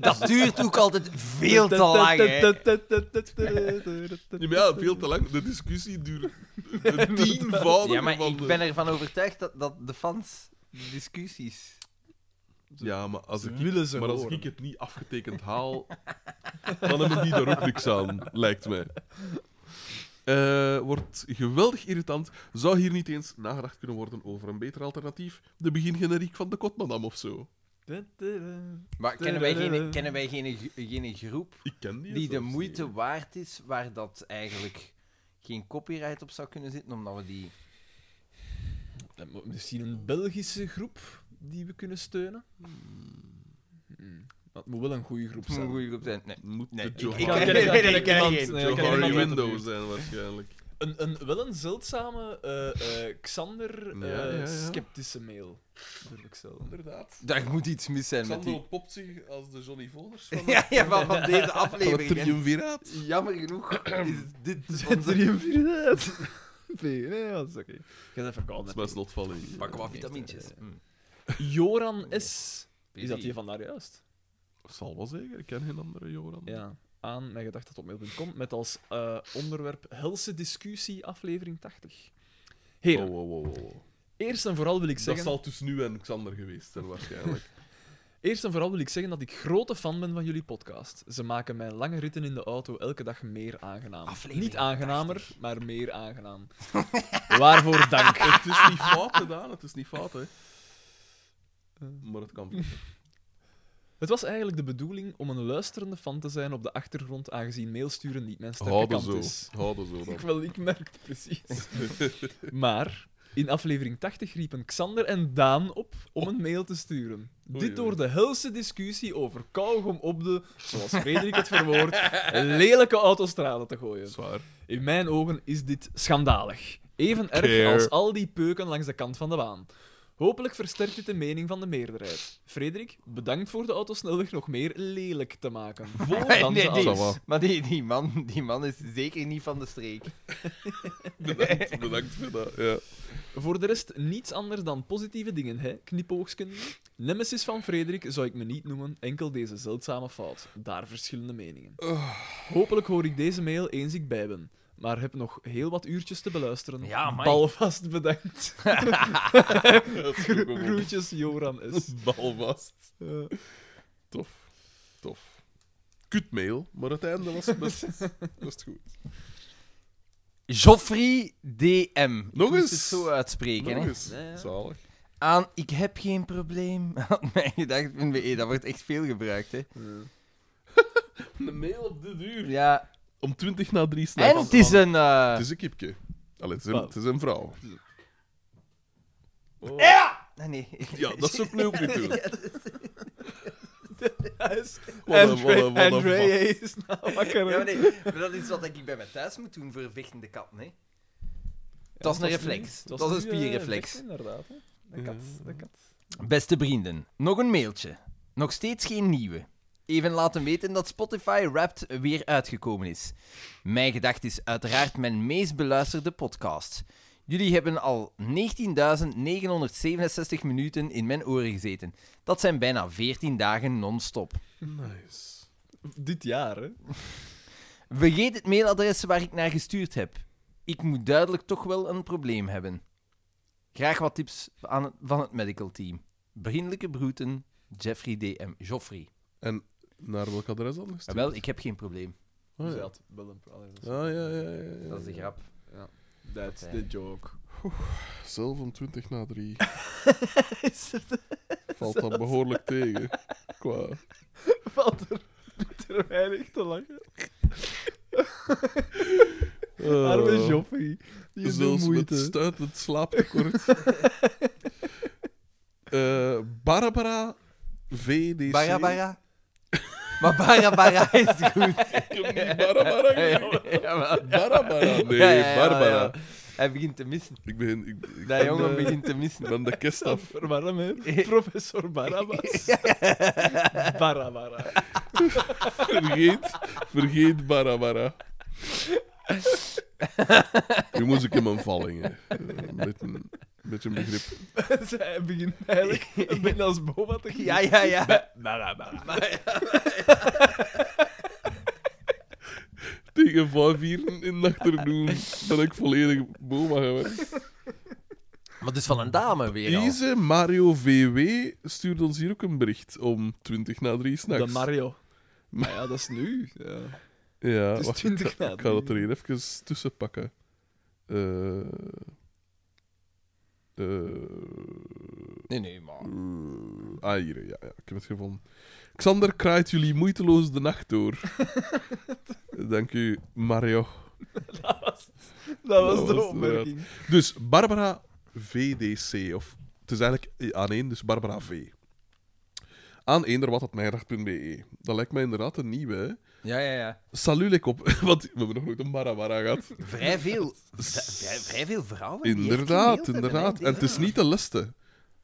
[SPEAKER 1] Dat duurt ook altijd veel te lang, hè.
[SPEAKER 4] Ja, maar ja, veel te lang. De discussie duurt een tienvoudige
[SPEAKER 1] Ja, maar
[SPEAKER 4] van
[SPEAKER 1] ik
[SPEAKER 4] de-
[SPEAKER 1] ben ervan overtuigd dat, dat de fans de discussies...
[SPEAKER 4] Ja, maar als ik,
[SPEAKER 3] willen ze
[SPEAKER 4] maar als
[SPEAKER 3] horen.
[SPEAKER 4] ik het niet afgetekend haal, dan hebben die daar ook niks aan, lijkt mij. Eh, wordt geweldig irritant. Zou hier niet eens nagedacht kunnen worden over een beter alternatief? De begingeneriek van de Kotmadam of zo?
[SPEAKER 1] Maar kennen wij geen, kennen wij geen, geen groep
[SPEAKER 4] Ik ken die.
[SPEAKER 1] die de
[SPEAKER 4] zelfs
[SPEAKER 1] moeite
[SPEAKER 4] niet.
[SPEAKER 1] waard is, waar dat eigenlijk geen copyright op zou kunnen zitten, omdat we die...
[SPEAKER 3] Misschien een Belgische groep die we kunnen steunen? Hmm. Dat moet wel een goede groep
[SPEAKER 1] Het moet een
[SPEAKER 3] zijn.
[SPEAKER 1] goede groep zijn. Nee.
[SPEAKER 4] Moet
[SPEAKER 1] Nee,
[SPEAKER 4] de
[SPEAKER 1] ik-
[SPEAKER 4] Johari
[SPEAKER 1] ik-
[SPEAKER 3] Kan-
[SPEAKER 1] nee,
[SPEAKER 3] kan- kan-
[SPEAKER 1] nee,
[SPEAKER 3] kan-
[SPEAKER 1] Eh, ik ken
[SPEAKER 3] kan-
[SPEAKER 1] geen.
[SPEAKER 3] nee, kan- kan- kan- kan-
[SPEAKER 4] Windows zijn waarschijnlijk.
[SPEAKER 3] Een, een, wel een zeldzame eh, eh, Xander eh,
[SPEAKER 4] Ja, ja, ja.
[SPEAKER 3] sceptische mail. Durf ik zelf.
[SPEAKER 4] Inderdaad.
[SPEAKER 1] Daar moet iets mis zijn met
[SPEAKER 4] Xandro
[SPEAKER 1] die...
[SPEAKER 4] popt zich als de Johnny Volers van,
[SPEAKER 1] Ja, ja van, van deze
[SPEAKER 4] van het
[SPEAKER 1] aflevering. hè.
[SPEAKER 4] triumviraat.
[SPEAKER 1] Jammer genoeg is dit onze...
[SPEAKER 3] triumviraat. Nee, nee, dat is oké. Je bent
[SPEAKER 4] Dat is mijn
[SPEAKER 3] verkouden.
[SPEAKER 4] slotvalling.
[SPEAKER 1] Pak wat vitamintjes.
[SPEAKER 3] Joran S. Is dat die van daar juist?
[SPEAKER 4] Zal wel zeker, ik ken geen andere Joran.
[SPEAKER 3] Ja. Aan mijn gedachten.mail.com met als eh, onderwerp Helse discussie aflevering 80. Heren,
[SPEAKER 4] Oh, wow, wow, wow, wow.
[SPEAKER 3] eerst en vooral wil ik
[SPEAKER 4] Dat
[SPEAKER 3] zeggen...
[SPEAKER 4] zal tussen nu en Xander geweest zijn, waarschijnlijk.
[SPEAKER 3] Eerst en vooral wil ik zeggen dat ik grote fan ben van jullie podcast. Ze maken mijn lange ritten in de auto elke dag meer aangenaam.
[SPEAKER 1] Aflevering
[SPEAKER 3] Niet aangenamer, maar meer aangenaam. Waarvoor dank.
[SPEAKER 4] het is niet fout gedaan, het is niet fout, hè.
[SPEAKER 3] Eh.
[SPEAKER 4] Maar het kan wel.
[SPEAKER 3] Het was eigenlijk de bedoeling om een luisterende fan te zijn op de achtergrond, aangezien mailsturen niet mijn sterke
[SPEAKER 4] Houden
[SPEAKER 3] kant
[SPEAKER 4] zo.
[SPEAKER 3] is.
[SPEAKER 4] Houden Oh, zo dan.
[SPEAKER 3] Ik, wel, ik merk het precies. maar in aflevering 80 riepen Xander en Daan op om een mail te sturen.
[SPEAKER 4] Oei, oei.
[SPEAKER 3] Dit door de helse discussie over kauwgom op de, zoals Frederik het verwoordt, lelijke autostrade te gooien.
[SPEAKER 4] Zwaar.
[SPEAKER 3] In mijn ogen is dit schandalig. Even erg
[SPEAKER 4] Care.
[SPEAKER 3] als al die peuken langs de kant van de baan. Hopelijk versterkt dit de mening van de meerderheid. Frederik, bedankt voor de autosnelweg nog meer lelijk te maken. Volg
[SPEAKER 1] Nee,
[SPEAKER 3] dan
[SPEAKER 1] nee,
[SPEAKER 3] de
[SPEAKER 1] nee.
[SPEAKER 3] auto's.
[SPEAKER 1] Maar die, die, man, die man is zeker niet van de streek.
[SPEAKER 4] Bedankt, bedankt voor dat. Ja.
[SPEAKER 3] Voor de rest niets anders dan positieve dingen, hè? Knipoogsten. Nemesis van Frederik zou ik me niet noemen, enkel deze zeldzame fout. Daar verschillende meningen.
[SPEAKER 1] Oh.
[SPEAKER 3] Hopelijk hoor ik deze mail eens ik bij ben. Maar heb nog heel wat uurtjes te beluisteren.
[SPEAKER 1] Ja, amai.
[SPEAKER 3] Balvast bedankt.
[SPEAKER 4] Dat is
[SPEAKER 3] Gro-
[SPEAKER 4] ook gewoon
[SPEAKER 3] Groetjes, Joran S.
[SPEAKER 4] Balvast.
[SPEAKER 3] Eh,
[SPEAKER 4] Tof. Tof. Kutmail, maar het einde was best, best goed.
[SPEAKER 1] Joffrey DM.
[SPEAKER 4] Nog
[SPEAKER 1] Ik moest
[SPEAKER 4] eens.
[SPEAKER 1] het zo uitspreken,
[SPEAKER 4] Nog
[SPEAKER 1] hè.
[SPEAKER 4] eens. Zalig.
[SPEAKER 1] Aan ik heb geen probleem. Had mij gedacht, NBE, dat wordt echt veel gebruikt, hè.
[SPEAKER 4] Een mail op de duur.
[SPEAKER 1] Ja.
[SPEAKER 4] Om 20 na 3
[SPEAKER 1] En het is een... eh,
[SPEAKER 4] Het is een kipje. Allee, het is een, het is een vrouw.
[SPEAKER 1] Ah, Nee.
[SPEAKER 4] Ja, dat zou ik nu ook niet doen.
[SPEAKER 3] Hij is-
[SPEAKER 4] Wat een-
[SPEAKER 3] André-
[SPEAKER 4] wat een- wat een
[SPEAKER 3] André
[SPEAKER 4] vak.
[SPEAKER 3] is nou wakker.
[SPEAKER 1] Ja,
[SPEAKER 3] hè.
[SPEAKER 1] maar nee, maar dat is wat ik bij mij thuis moet doen voor vechtende katten, hè. dat is een
[SPEAKER 3] nu-
[SPEAKER 1] reflex.
[SPEAKER 3] het was
[SPEAKER 1] Dat is een
[SPEAKER 3] nu, eh,
[SPEAKER 1] spierreflex.
[SPEAKER 3] vechten, Inderdaad, hè. De kat, de kat.
[SPEAKER 1] Beste vrienden, nog een mailtje. Nog steeds geen nieuwe. Even laten weten dat Spotify Wrapped weer uitgekomen is. Mijn gedacht is uiteraard mijn meest beluisterde podcast. Jullie hebben al 19.967 minuten in mijn oren gezeten. Dat zijn bijna 14 dagen non-stop.
[SPEAKER 4] Nice.
[SPEAKER 3] Dit jaar,
[SPEAKER 4] Oh,
[SPEAKER 3] hè.
[SPEAKER 1] Vergeet het mailadres waar ik naar gestuurd heb. Ik moet duidelijk toch wel een probleem hebben. Graag wat tips aan het- van het medical team. Vriendelijke groeten, Jeffrey DM. Joffrey.
[SPEAKER 4] Naar welk adres dan
[SPEAKER 1] Ah,
[SPEAKER 4] gestuurd?
[SPEAKER 1] wel, ik heb geen probleem.
[SPEAKER 4] Ah,
[SPEAKER 3] Ze
[SPEAKER 4] ja.
[SPEAKER 3] had wel een pro- allee, dat is-
[SPEAKER 1] Eh,
[SPEAKER 4] Ah, ja, ja, ja, ja.
[SPEAKER 1] Dat is de grap.
[SPEAKER 3] Ja, that's
[SPEAKER 1] Oké.
[SPEAKER 3] the joke.
[SPEAKER 4] Zelf om 20 na 3
[SPEAKER 3] Is het,
[SPEAKER 4] valt dat behoorlijk tegen. Qua...
[SPEAKER 3] valt er bitter weinig te lachen.
[SPEAKER 4] eh,
[SPEAKER 3] Arme Joffrey. Die is
[SPEAKER 4] zelfs
[SPEAKER 3] moeite.
[SPEAKER 4] met stuitend slaaptekort. Eh, Barbara VDC.
[SPEAKER 1] Barabara. Maar Barabara is goed.
[SPEAKER 4] Ik heb niet Barbara gezegd. Barbara. Nee, Barbara.
[SPEAKER 1] Hij begint te missen.
[SPEAKER 4] Ik ben... Ik, ik
[SPEAKER 1] Dat
[SPEAKER 4] ben
[SPEAKER 1] jongen
[SPEAKER 4] de-
[SPEAKER 1] begint te
[SPEAKER 4] ik
[SPEAKER 1] missen.
[SPEAKER 4] ben de kist af.
[SPEAKER 3] Verwarm, hè? Professor Barabbas. Barabara.
[SPEAKER 4] Vergeet, vergeet Barbara. Nu moest ik hem aanvallen, hè. Eh, Met een, met een begrip.
[SPEAKER 3] Zij begint eigenlijk een beetje als Boba te
[SPEAKER 1] Ja, ja, ja.
[SPEAKER 3] Barabara.
[SPEAKER 4] Tegen vijf uur in de achternoon ben ik volledig boma geweest.
[SPEAKER 1] Maar dus van een dame weer al.
[SPEAKER 4] Eze Mario VW stuurt ons hier ook een bericht om 20 na 3
[SPEAKER 3] De
[SPEAKER 4] s'nachts.
[SPEAKER 3] Mario. Maar ja, dat is nu. Ja.
[SPEAKER 4] Ja,
[SPEAKER 3] Het is
[SPEAKER 4] wacht,
[SPEAKER 3] 20
[SPEAKER 4] ik, ga,
[SPEAKER 3] na
[SPEAKER 4] ik ga dat er
[SPEAKER 3] drie.
[SPEAKER 4] hier even tussen pakken. Eh, eh,
[SPEAKER 1] Nee, nee, maar.
[SPEAKER 4] Eh, ah, hier, ja, ja, ik heb het gevonden. Xander kraait jullie moeiteloos de nacht door. Dank u, Mario.
[SPEAKER 3] Dat was, dat was
[SPEAKER 4] was
[SPEAKER 3] de
[SPEAKER 4] het,
[SPEAKER 3] opmerking.
[SPEAKER 4] Dus Barbara VDC, of het is eigenlijk eh, aan één, dus Barbara V. Aan eender wat at mijnrecht.be. E. Dat lijkt mij inderdaad een nieuwe. Hè?
[SPEAKER 1] Ja, ja, ja.
[SPEAKER 4] Salut, ik op. Want we hebben nog nooit een Barbara gehad.
[SPEAKER 5] Vrij veel, vrij, veel vrouwen.
[SPEAKER 4] Inderdaad, inderdaad. En het is niet de leste.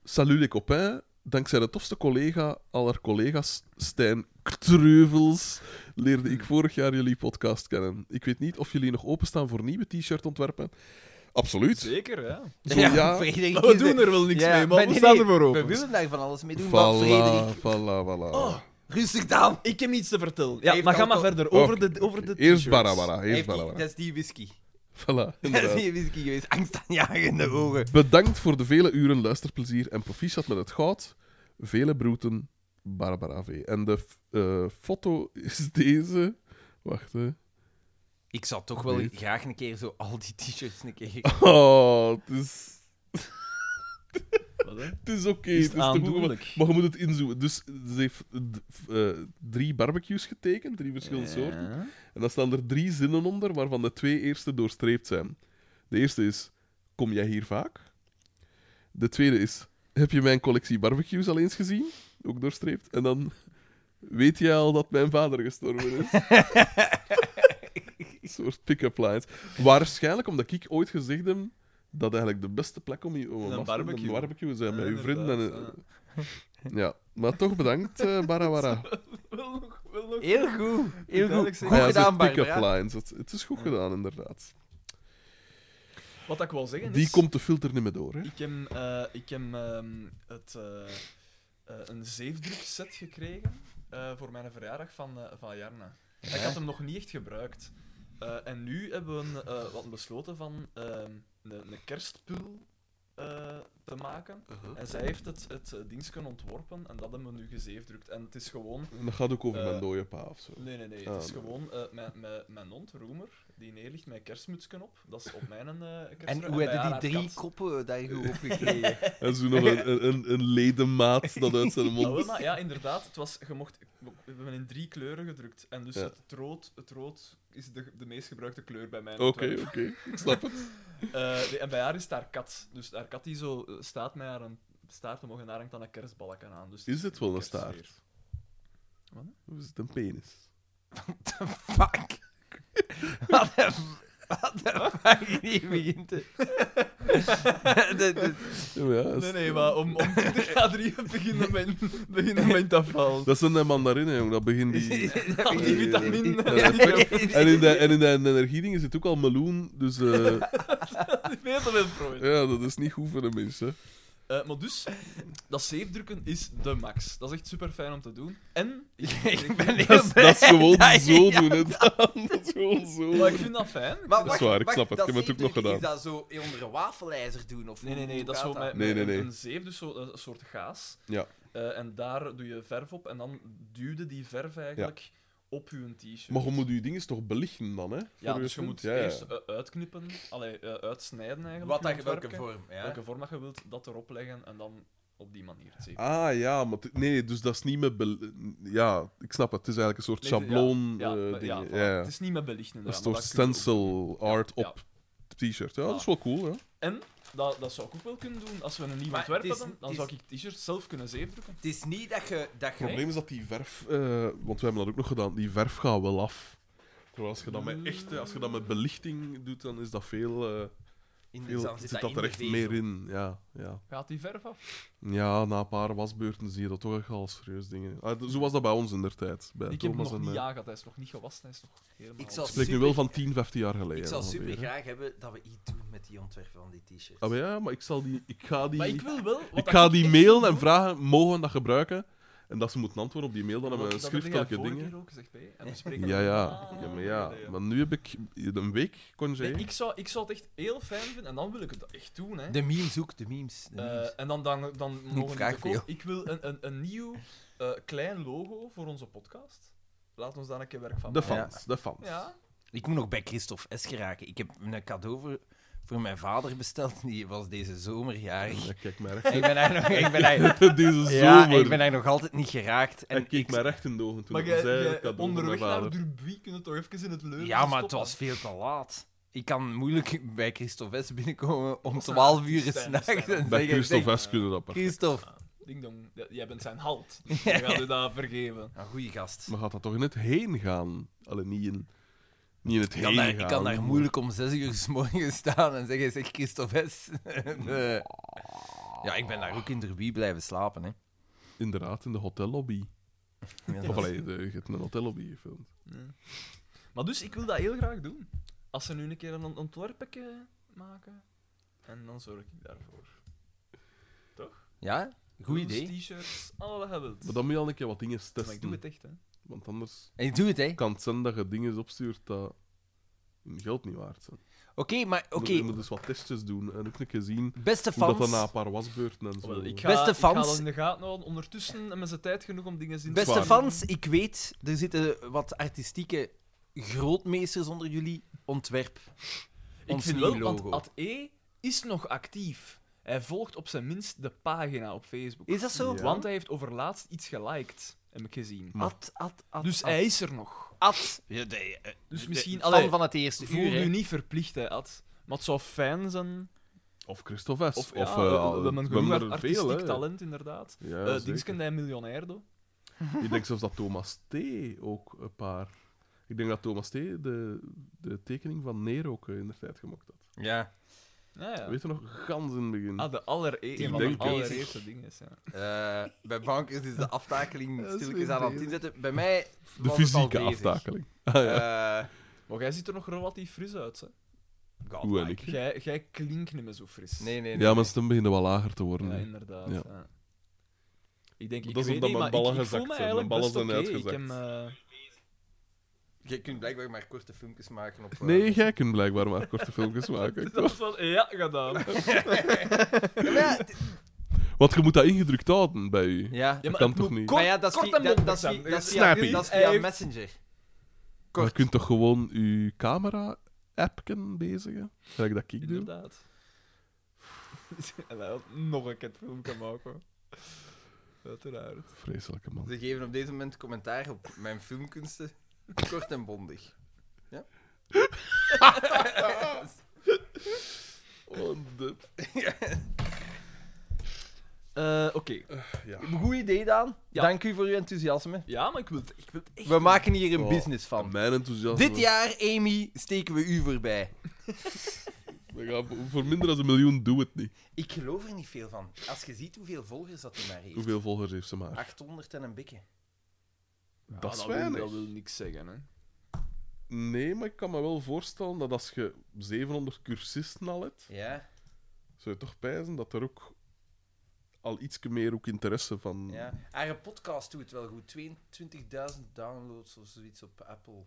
[SPEAKER 4] Salut, ik op. Hè? Dankzij de tofste collega aller collega's, Stijn Treuvels, leerde ik vorig jaar jullie podcast kennen. Ik weet niet of jullie nog openstaan voor nieuwe t-shirt ontwerpen. Absoluut.
[SPEAKER 3] Zeker, ja.
[SPEAKER 4] Zo ja.
[SPEAKER 1] Frederik
[SPEAKER 3] We
[SPEAKER 1] is
[SPEAKER 3] doen
[SPEAKER 1] de-
[SPEAKER 3] er wel niks
[SPEAKER 1] Ja,
[SPEAKER 3] mee,
[SPEAKER 1] maar
[SPEAKER 3] maar we
[SPEAKER 1] nee,
[SPEAKER 3] staan
[SPEAKER 1] nee,
[SPEAKER 3] er voor
[SPEAKER 1] We
[SPEAKER 3] open.
[SPEAKER 1] willen daar van alles mee doen, maar Frederik...
[SPEAKER 4] Voilà, voilà, voilà.
[SPEAKER 1] Rustig dan!
[SPEAKER 3] Ik heb niets te vertellen.
[SPEAKER 1] Hij
[SPEAKER 3] Ja,
[SPEAKER 1] heeft
[SPEAKER 3] maar ga
[SPEAKER 1] al-
[SPEAKER 3] maar verder. Over
[SPEAKER 4] Oké,
[SPEAKER 3] de, over de
[SPEAKER 4] oké. Oh, Eerst
[SPEAKER 3] t-shirts.
[SPEAKER 1] Hij
[SPEAKER 4] Barbara, eerst
[SPEAKER 1] heeft die-
[SPEAKER 4] Barbara.
[SPEAKER 1] dat is die whisky.
[SPEAKER 4] Voilà,
[SPEAKER 1] Dat is
[SPEAKER 4] inderdaad. Mm.
[SPEAKER 1] die whisky geweest. Angstaanjagende ogen.
[SPEAKER 4] Bedankt voor de vele uren luisterplezier en proficiat met het goud. Vele broeten, Barbara V. En de f- eh, foto is deze. Wacht, hè.
[SPEAKER 5] Ik zou toch
[SPEAKER 4] wel
[SPEAKER 5] wel
[SPEAKER 4] Weet.
[SPEAKER 5] graag een keer zo al die t-shirts een keer...
[SPEAKER 4] Oh, het is,
[SPEAKER 3] Wat, hè?
[SPEAKER 4] het is oké.
[SPEAKER 3] Is
[SPEAKER 4] het is te
[SPEAKER 3] het
[SPEAKER 4] goed.
[SPEAKER 3] aandoenlijk?
[SPEAKER 4] Maar, maar je moet het inzoomen. Dus ze heeft d- f- eh, drie barbecues getekend, drie verschillende soorten. En dan staan er drie zinnen onder, waarvan de twee eerste doorstreept zijn. De eerste is: Kom jij hier vaak? De tweede is: Heb je mijn collectie barbecues al eens gezien? Ook doorstreept. En dan: Weet jij al dat mijn vader gestorven is? Een soort pick-up lines. Waarschijnlijk omdat ik ooit gezegd heb dat eigenlijk de beste plek om je om
[SPEAKER 3] Een
[SPEAKER 4] een
[SPEAKER 3] barbecue.
[SPEAKER 4] barbecue. barbecue zijn met
[SPEAKER 3] Ja,
[SPEAKER 4] je vrienden. En,
[SPEAKER 3] inderdaad,
[SPEAKER 4] ja, maar toch bedankt, eh Barbara.
[SPEAKER 3] Wil nog, wil nog.
[SPEAKER 1] Heel goed. Heel goed.
[SPEAKER 3] Duidelijk zeggen.
[SPEAKER 1] Goed
[SPEAKER 4] Ah ja,
[SPEAKER 1] gedaan,
[SPEAKER 4] zo'n pick-up
[SPEAKER 1] Barbara.
[SPEAKER 4] lines. Het, het is goed gedaan, inderdaad.
[SPEAKER 3] Wat ik wil zeggen
[SPEAKER 4] Die
[SPEAKER 3] is...
[SPEAKER 4] komt de filter niet meer door, hè?
[SPEAKER 3] Ik heb, eh, ik heb ehm, het, eh, eh, een zeefdrukset gekregen eh, voor mijn verjaardag van, eh, van Jarna. Ik had hem nog niet echt gebruikt. Eh, en nu hebben we een, eh, wat besloten van ehm, een, een kerstpul eh, te maken.
[SPEAKER 1] Uh-huh.
[SPEAKER 3] En zij heeft het, het eh, dienstje ontworpen en dat hebben we nu gezeefdrukt. En het is gewoon
[SPEAKER 4] En dat gaat ook over
[SPEAKER 3] Eh,
[SPEAKER 4] mijn dode pa of zo.
[SPEAKER 3] Nee, nee, nee.
[SPEAKER 4] Ah,
[SPEAKER 3] Het is
[SPEAKER 4] nee.
[SPEAKER 3] gewoon eh, mijn, mijn, mijn hond, Roemer, die neerligt met een kerstmutsken op. Dat is op mijn eh kerstmuts.
[SPEAKER 1] En hoe
[SPEAKER 3] bij
[SPEAKER 1] hebben
[SPEAKER 3] haar
[SPEAKER 1] die drie
[SPEAKER 3] kat.
[SPEAKER 1] koppen daar goed opgekregen?
[SPEAKER 4] En zo nog een, een- een, een ledemaat dat uit zijn
[SPEAKER 3] Ah, wel,
[SPEAKER 4] mond.
[SPEAKER 3] maar ja, inderdaad. Het was, je mocht, we hebben in drie kleuren gedrukt. En dus
[SPEAKER 4] Ja.
[SPEAKER 3] het, rood, het rood is de, de meest gebruikte kleur bij mijn
[SPEAKER 4] Oké,
[SPEAKER 3] ontwerp.
[SPEAKER 4] oké, ik snap het.
[SPEAKER 3] Eh, nee, en bij haar is het haar kat. Dus haar kat die zo eh, staat met haar een staart omhoog en haar hangt dan een kerstbalken aan. Dus
[SPEAKER 4] Is het wel een
[SPEAKER 3] kerstsfeer.
[SPEAKER 4] staart? Of is het een penis?
[SPEAKER 1] Fuck. Wat de Wat de fuck? Die begint te... De- de-
[SPEAKER 4] Ja, maar ja, dat is-
[SPEAKER 3] Nee, nee, maar om, om 20 na 3 beginnen mijn, beginnen mijn afval.
[SPEAKER 4] Dat zijn de mandarinen, jong. Dat begint die...
[SPEAKER 3] Al die vitamine.
[SPEAKER 4] Ja, dat effect. En in de, en in de energiedingen zit ook al meloen, dus... eh,
[SPEAKER 3] Veel te veel prooi.
[SPEAKER 4] ja, dat is niet goed voor de mensen.
[SPEAKER 3] Eh, maar dus, dat zeefdrukken is de max. Dat is echt super fijn om te doen. En ik, ik
[SPEAKER 1] ben heel
[SPEAKER 4] Dat is, dat
[SPEAKER 1] blij
[SPEAKER 4] is gewoon
[SPEAKER 1] dat je
[SPEAKER 4] zo
[SPEAKER 1] dat
[SPEAKER 4] doen, hè, Daan. Dat is gewoon zo.
[SPEAKER 3] Maar ik vind dat fijn. Ik
[SPEAKER 5] Maar
[SPEAKER 3] vind
[SPEAKER 4] wacht,
[SPEAKER 3] dat-
[SPEAKER 4] waar, ik snap het. Ik heb het ook
[SPEAKER 5] zeefdruk,
[SPEAKER 4] nog gedaan.
[SPEAKER 5] Is dat zo onder een wafelijzer doen? Of
[SPEAKER 3] Nee, nee, nee,
[SPEAKER 5] hoe
[SPEAKER 3] dat is
[SPEAKER 5] gaat
[SPEAKER 3] zo met,
[SPEAKER 4] Nee,
[SPEAKER 3] met
[SPEAKER 4] nee,
[SPEAKER 3] een-
[SPEAKER 4] nee.
[SPEAKER 3] een zeef, dus zo, een soort gaas.
[SPEAKER 4] Ja.
[SPEAKER 3] Eh, en daar doe je verf op en dan duwde die verf eigenlijk op uw t-shirt.
[SPEAKER 4] Maar je moet je dingen toch belichten dan, hè?
[SPEAKER 3] ja,
[SPEAKER 4] voor
[SPEAKER 3] dus je
[SPEAKER 4] punt?
[SPEAKER 3] moet
[SPEAKER 4] Ja, ja.
[SPEAKER 3] eerst eh, uitknippen, allee, eh, uitsnijden eigenlijk.
[SPEAKER 1] Wat
[SPEAKER 3] uw
[SPEAKER 1] dat, welke
[SPEAKER 3] ontwerpje.
[SPEAKER 1] vorm? Ja.
[SPEAKER 3] Welke vorm dat je wilt, dat erop leggen en dan op die manier. het zeker.
[SPEAKER 4] Ah ja, maar t- nee, dus dat is niet met. bel- Ja, ik snap het. Het is eigenlijk een soort
[SPEAKER 3] Ligt- ja,
[SPEAKER 4] schabloon. eh
[SPEAKER 3] ja, maar- ja,
[SPEAKER 4] dingen.
[SPEAKER 3] voilà.
[SPEAKER 4] Ja, ja.
[SPEAKER 3] Het is niet met belichten.
[SPEAKER 4] Dat is
[SPEAKER 3] inderdaad,
[SPEAKER 4] toch
[SPEAKER 3] maar dat kun je ook-
[SPEAKER 4] stencil art
[SPEAKER 3] Ja.
[SPEAKER 4] op t-shirt. Ja, dat is wel cool, hè?
[SPEAKER 3] En dat, dat zou ik ook wel kunnen doen. Als we een nieuw
[SPEAKER 1] Maar
[SPEAKER 3] ontwerp
[SPEAKER 1] het is-
[SPEAKER 3] hebben, dan
[SPEAKER 1] het is-
[SPEAKER 3] zou ik t-shirts zelf kunnen zeefdrukken.
[SPEAKER 1] Het is niet dat je... Dat
[SPEAKER 4] Het
[SPEAKER 1] je
[SPEAKER 4] probleem is dat die verf, eh, want we hebben dat ook nog gedaan, die verf gaat wel af. Terwijl als je dat
[SPEAKER 3] Mm.
[SPEAKER 4] met echte, als je dat met belichting doet, dan is dat veel, eh,
[SPEAKER 3] Mm,
[SPEAKER 1] in de
[SPEAKER 4] veel
[SPEAKER 1] zand
[SPEAKER 4] zit dat
[SPEAKER 1] in
[SPEAKER 4] er
[SPEAKER 1] de
[SPEAKER 4] echt
[SPEAKER 1] vezel.
[SPEAKER 4] meer in. Ja, ja.
[SPEAKER 3] Gaat die verf af?
[SPEAKER 4] ja, na een paar wasbeurten zie je dat toch echt al serieus dingen. Ah, d- zo was dat bij ons in der tijd, bij
[SPEAKER 3] ik heb hem
[SPEAKER 4] Thomas
[SPEAKER 3] nog
[SPEAKER 4] en eh,
[SPEAKER 3] niet
[SPEAKER 4] mij.
[SPEAKER 3] jagen, hij is nog niet gewassen, hij is nog helemaal...
[SPEAKER 1] Ik zal
[SPEAKER 4] Ik spreek nu wel van 10, 15 jaar geleden.
[SPEAKER 1] Ik zou
[SPEAKER 4] ongeveer,
[SPEAKER 1] super
[SPEAKER 4] hè.
[SPEAKER 1] graag hebben dat we iets doen met die ontwerpen van die t-shirts.
[SPEAKER 4] Ah, maar ja, maar ik, zal die, ik ga die,
[SPEAKER 3] Maar
[SPEAKER 4] ik
[SPEAKER 3] ik wil wel... wat
[SPEAKER 4] ga
[SPEAKER 3] ik
[SPEAKER 4] die
[SPEAKER 3] echt
[SPEAKER 4] mailen
[SPEAKER 3] wil
[SPEAKER 4] en
[SPEAKER 3] doen-
[SPEAKER 4] vragen, mogen we dat gebruiken? En dat ze moeten antwoorden op die mail, dan
[SPEAKER 3] Dat
[SPEAKER 4] hebben we een
[SPEAKER 3] heb jij
[SPEAKER 4] eh, schriftelijke
[SPEAKER 3] vorige
[SPEAKER 4] dingen.
[SPEAKER 3] keer ook gezegd, hè, en we spreken
[SPEAKER 4] Ja,
[SPEAKER 3] er-
[SPEAKER 4] ja.
[SPEAKER 3] Ah,
[SPEAKER 4] ja, maar ja.
[SPEAKER 3] nee,
[SPEAKER 4] Maar nu heb ik een week congé.
[SPEAKER 3] Nee, ik, zou, ik zou het echt heel fijn vinden en dan wil ik het echt doen. Hè.
[SPEAKER 1] De memes ook, de memes. de
[SPEAKER 3] Eh,
[SPEAKER 1] memes.
[SPEAKER 3] en dan, dan, dan mogen we
[SPEAKER 1] vraag
[SPEAKER 3] te koop.
[SPEAKER 1] veel.
[SPEAKER 3] Ik wil een, een, een nieuw eh, klein logo voor onze podcast. Laat ons daar een keer werk van
[SPEAKER 4] De
[SPEAKER 3] maken.
[SPEAKER 4] fans, de fans.
[SPEAKER 3] Ja,
[SPEAKER 1] Ik moet nog bij Christophe S. geraken. Ik heb een cadeau voor, voor mijn vader besteld. Die was deze zomer jarig.
[SPEAKER 4] Ja, kijk mij recht.
[SPEAKER 1] En Ik ben daar nog, ik ben daar,
[SPEAKER 4] Deze zomer.
[SPEAKER 1] ja, en ik ben daar nog altijd niet geraakt.
[SPEAKER 4] En
[SPEAKER 1] En
[SPEAKER 4] keek
[SPEAKER 1] ik,
[SPEAKER 4] mij recht in de ogen toen
[SPEAKER 3] maar
[SPEAKER 4] ik zei dat
[SPEAKER 3] jij,
[SPEAKER 4] ik dat
[SPEAKER 3] jij
[SPEAKER 4] doe voor
[SPEAKER 3] onderweg
[SPEAKER 4] mijn
[SPEAKER 3] naar
[SPEAKER 4] vader.
[SPEAKER 3] Durbuy kunnen toch even in het leuren
[SPEAKER 1] ja, maar het
[SPEAKER 3] stoppen?
[SPEAKER 1] was veel te laat. Ik kan moeilijk bij Christophe S. binnenkomen om 12 uur
[SPEAKER 3] Stijn,
[SPEAKER 1] s'nachts en
[SPEAKER 3] Stijn.
[SPEAKER 1] zeggen...
[SPEAKER 4] Bij Christophe
[SPEAKER 1] zeg, eh,
[SPEAKER 4] S. kunnen we dat perfect.
[SPEAKER 1] Christophe.
[SPEAKER 3] Ding dong, Ja, jij bent zijn halt. Dus je gaat u dat vergeven.
[SPEAKER 1] Een goede gast.
[SPEAKER 4] Maar gaat dat toch in het heen gaan? Allee, niet in, niet in het
[SPEAKER 1] Ik
[SPEAKER 4] heen
[SPEAKER 1] kan, daar,
[SPEAKER 4] gaan.
[SPEAKER 1] ik kan daar moeilijk om 6 uur s morgens staan en zeggen, zeg Christophe S. Nee. Ja, ik ben daar ook in Derby blijven slapen, hè.
[SPEAKER 4] Inderdaad, in de hotellobby.
[SPEAKER 1] Ja, dat is-
[SPEAKER 4] Of allee, de, je hebt een hotellobby gefilmd.
[SPEAKER 3] Maar dus, ik wil dat heel graag doen. Als ze nu een keer een ont- ontwerpje maken, en dan zorg ik daarvoor.
[SPEAKER 1] Ja, goed
[SPEAKER 3] Hoes,
[SPEAKER 1] idee.
[SPEAKER 3] t-shirts, alles wat je wilt.
[SPEAKER 4] Maar dan moet je al een keer wat dingen
[SPEAKER 3] Maar ik
[SPEAKER 4] testen.
[SPEAKER 3] doe het echt, hè.
[SPEAKER 4] Want anders
[SPEAKER 1] En ik doe het, hè. Oké,
[SPEAKER 4] kan het zijn dat je dingen opstuurt dat hun geld niet waard zijn.
[SPEAKER 1] maar oké.
[SPEAKER 4] Je moet dus wat testjes doen en ook een keer zien
[SPEAKER 1] Beste
[SPEAKER 4] Hoe dat dan
[SPEAKER 1] fans,
[SPEAKER 4] na een paar wasbeurten en zo.
[SPEAKER 3] Oh, Wel, ik ga,
[SPEAKER 1] Beste
[SPEAKER 3] Ik ga
[SPEAKER 1] fans.
[SPEAKER 3] dat in de gaten houden. Ondertussen hebben ze tijd genoeg om dingen in te
[SPEAKER 4] Zwaar.
[SPEAKER 1] beste
[SPEAKER 3] steken.
[SPEAKER 1] fans, ik weet, er zitten wat artistieke grootmeesters onder jullie. Ontwerp.
[SPEAKER 3] Ik
[SPEAKER 1] ons
[SPEAKER 3] vind
[SPEAKER 1] nieuw
[SPEAKER 3] wel, want
[SPEAKER 1] logo.
[SPEAKER 3] Ad E is nog actief. Hij volgt op zijn minst de pagina op Facebook.
[SPEAKER 1] Is dat zo?
[SPEAKER 4] Ja.
[SPEAKER 3] Want hij heeft overlaatst iets geliked, heb ik gezien.
[SPEAKER 4] Maar-
[SPEAKER 1] At, at, at.
[SPEAKER 3] Dus
[SPEAKER 1] at,
[SPEAKER 3] hij is er nog.
[SPEAKER 1] At. Ja, de- eh,
[SPEAKER 3] Dus
[SPEAKER 1] de-
[SPEAKER 3] misschien-
[SPEAKER 1] fan
[SPEAKER 3] allee,
[SPEAKER 1] van het eerste
[SPEAKER 3] Voel
[SPEAKER 1] uur,
[SPEAKER 3] u
[SPEAKER 1] hè.
[SPEAKER 3] niet verplicht, hè, Ad. Maar het zou fijn zijn...
[SPEAKER 4] Of Christophe S.
[SPEAKER 3] Of,
[SPEAKER 4] Of, eh,
[SPEAKER 3] ja, we- we hebben
[SPEAKER 4] we
[SPEAKER 3] genoeg
[SPEAKER 4] hebben er
[SPEAKER 3] artistiek
[SPEAKER 4] veel, hè.
[SPEAKER 3] talent, inderdaad.
[SPEAKER 4] Ja,
[SPEAKER 3] Eh
[SPEAKER 4] zeker.
[SPEAKER 3] Dingsken, hij miljonair, doe.
[SPEAKER 4] Ik denk zelfs dat Thomas T. ook een paar... Ik denk dat Thomas T. de, de tekening van Nero ook eh, in de tijd gemokt had.
[SPEAKER 1] Ja.
[SPEAKER 3] Ja, ja.
[SPEAKER 4] Weet je nog? Gans in het begin.
[SPEAKER 3] Ah, de aller een van de
[SPEAKER 4] denk Hm. ik.
[SPEAKER 3] allereerste dingen. is, Ja.
[SPEAKER 1] Eh, bij bankers is de aftakeling
[SPEAKER 4] Dat is
[SPEAKER 1] stilletjes aan het
[SPEAKER 4] weer
[SPEAKER 1] inzetten. Bij mij
[SPEAKER 4] de
[SPEAKER 1] was
[SPEAKER 4] fysieke
[SPEAKER 1] het al bezig.
[SPEAKER 4] aftakeling. Ah, ja.
[SPEAKER 1] Eh,
[SPEAKER 3] Maar jij ziet er nog relatief fris uit, hè.
[SPEAKER 1] God,
[SPEAKER 4] Hoe en
[SPEAKER 1] Mike.
[SPEAKER 4] ik.
[SPEAKER 3] Jij, jij klinkt niet meer zo fris.
[SPEAKER 1] Nee, nee, nee.
[SPEAKER 4] ja, mijn stem beginnen wel lager te worden.
[SPEAKER 3] Ja,
[SPEAKER 4] hè.
[SPEAKER 3] inderdaad.
[SPEAKER 4] Ja.
[SPEAKER 3] ja. Ik denk, ik
[SPEAKER 4] Dat is
[SPEAKER 3] weet
[SPEAKER 4] omdat mijn
[SPEAKER 3] niet, maar
[SPEAKER 4] ballen
[SPEAKER 3] ik, ik voel
[SPEAKER 4] gezakt zijn.
[SPEAKER 3] me
[SPEAKER 4] Mijn
[SPEAKER 3] eigenlijk
[SPEAKER 4] ballen
[SPEAKER 3] best
[SPEAKER 4] zijn
[SPEAKER 3] oké. Ik
[SPEAKER 4] uitgezakt.
[SPEAKER 3] heb, eh,
[SPEAKER 1] Je kunt blijkbaar maar korte filmpjes maken op... eh,
[SPEAKER 4] Nee, jij kunt blijkbaar maar korte filmpjes maken.
[SPEAKER 3] dat was wel ja gedaan.
[SPEAKER 1] Ja, maar ja, het-
[SPEAKER 4] Want je moet dat ingedrukt houden bij u.
[SPEAKER 1] ja.
[SPEAKER 3] Ja, maar
[SPEAKER 4] kan
[SPEAKER 3] het
[SPEAKER 4] toch
[SPEAKER 3] moet
[SPEAKER 4] niet?
[SPEAKER 3] kort-
[SPEAKER 1] maar ja, dat is,
[SPEAKER 3] kort
[SPEAKER 1] via-
[SPEAKER 3] en
[SPEAKER 1] dat, dat
[SPEAKER 3] bondig
[SPEAKER 1] is,
[SPEAKER 3] zijn.
[SPEAKER 1] via- dat is
[SPEAKER 4] Snap
[SPEAKER 1] via,
[SPEAKER 4] ik.
[SPEAKER 1] dat is via
[SPEAKER 3] Hij-
[SPEAKER 1] Messenger.
[SPEAKER 4] Maar
[SPEAKER 1] Kort.
[SPEAKER 4] je kunt toch gewoon je camera-appen bezigen? Gelijk dat ik doe?
[SPEAKER 3] Inderdaad. En hij had nog een keer het filmpje maken. Uiteraard.
[SPEAKER 4] Vreselijke man.
[SPEAKER 1] Ze geven op dit moment commentaar op mijn filmkunsten. Kort en bondig. Ja?
[SPEAKER 4] Oh, de...
[SPEAKER 3] Eh, Oké.
[SPEAKER 1] Goed idee, Daan.
[SPEAKER 3] Ja.
[SPEAKER 1] Dank u voor uw enthousiasme.
[SPEAKER 3] Ja, maar ik wil, het- ik wil het echt...
[SPEAKER 1] We maken hier een
[SPEAKER 4] Oh,
[SPEAKER 1] business van.
[SPEAKER 4] Mijn enthousiasme.
[SPEAKER 1] Dit jaar, Amy, steken we u voorbij.
[SPEAKER 4] We gaan voor- voor minder dan een miljoen doe het niet.
[SPEAKER 1] Ik geloof er niet veel van. Als je ziet hoeveel volgers dat hij maar heeft.
[SPEAKER 4] Hoeveel volgers heeft ze maar?
[SPEAKER 1] 800 en een bikke.
[SPEAKER 3] Ja,
[SPEAKER 4] dat is
[SPEAKER 3] wil-
[SPEAKER 4] weinig.
[SPEAKER 3] Dat wil niks zeggen, hè.
[SPEAKER 4] Nee, maar ik kan me wel voorstellen dat als je 700 cursisten al hebt,
[SPEAKER 1] Ja,
[SPEAKER 4] zou je toch pijzen dat er ook al iets meer ook interesse van...
[SPEAKER 1] ja. Haar podcast doet het wel goed. 22.000 downloads of zoiets op Apple.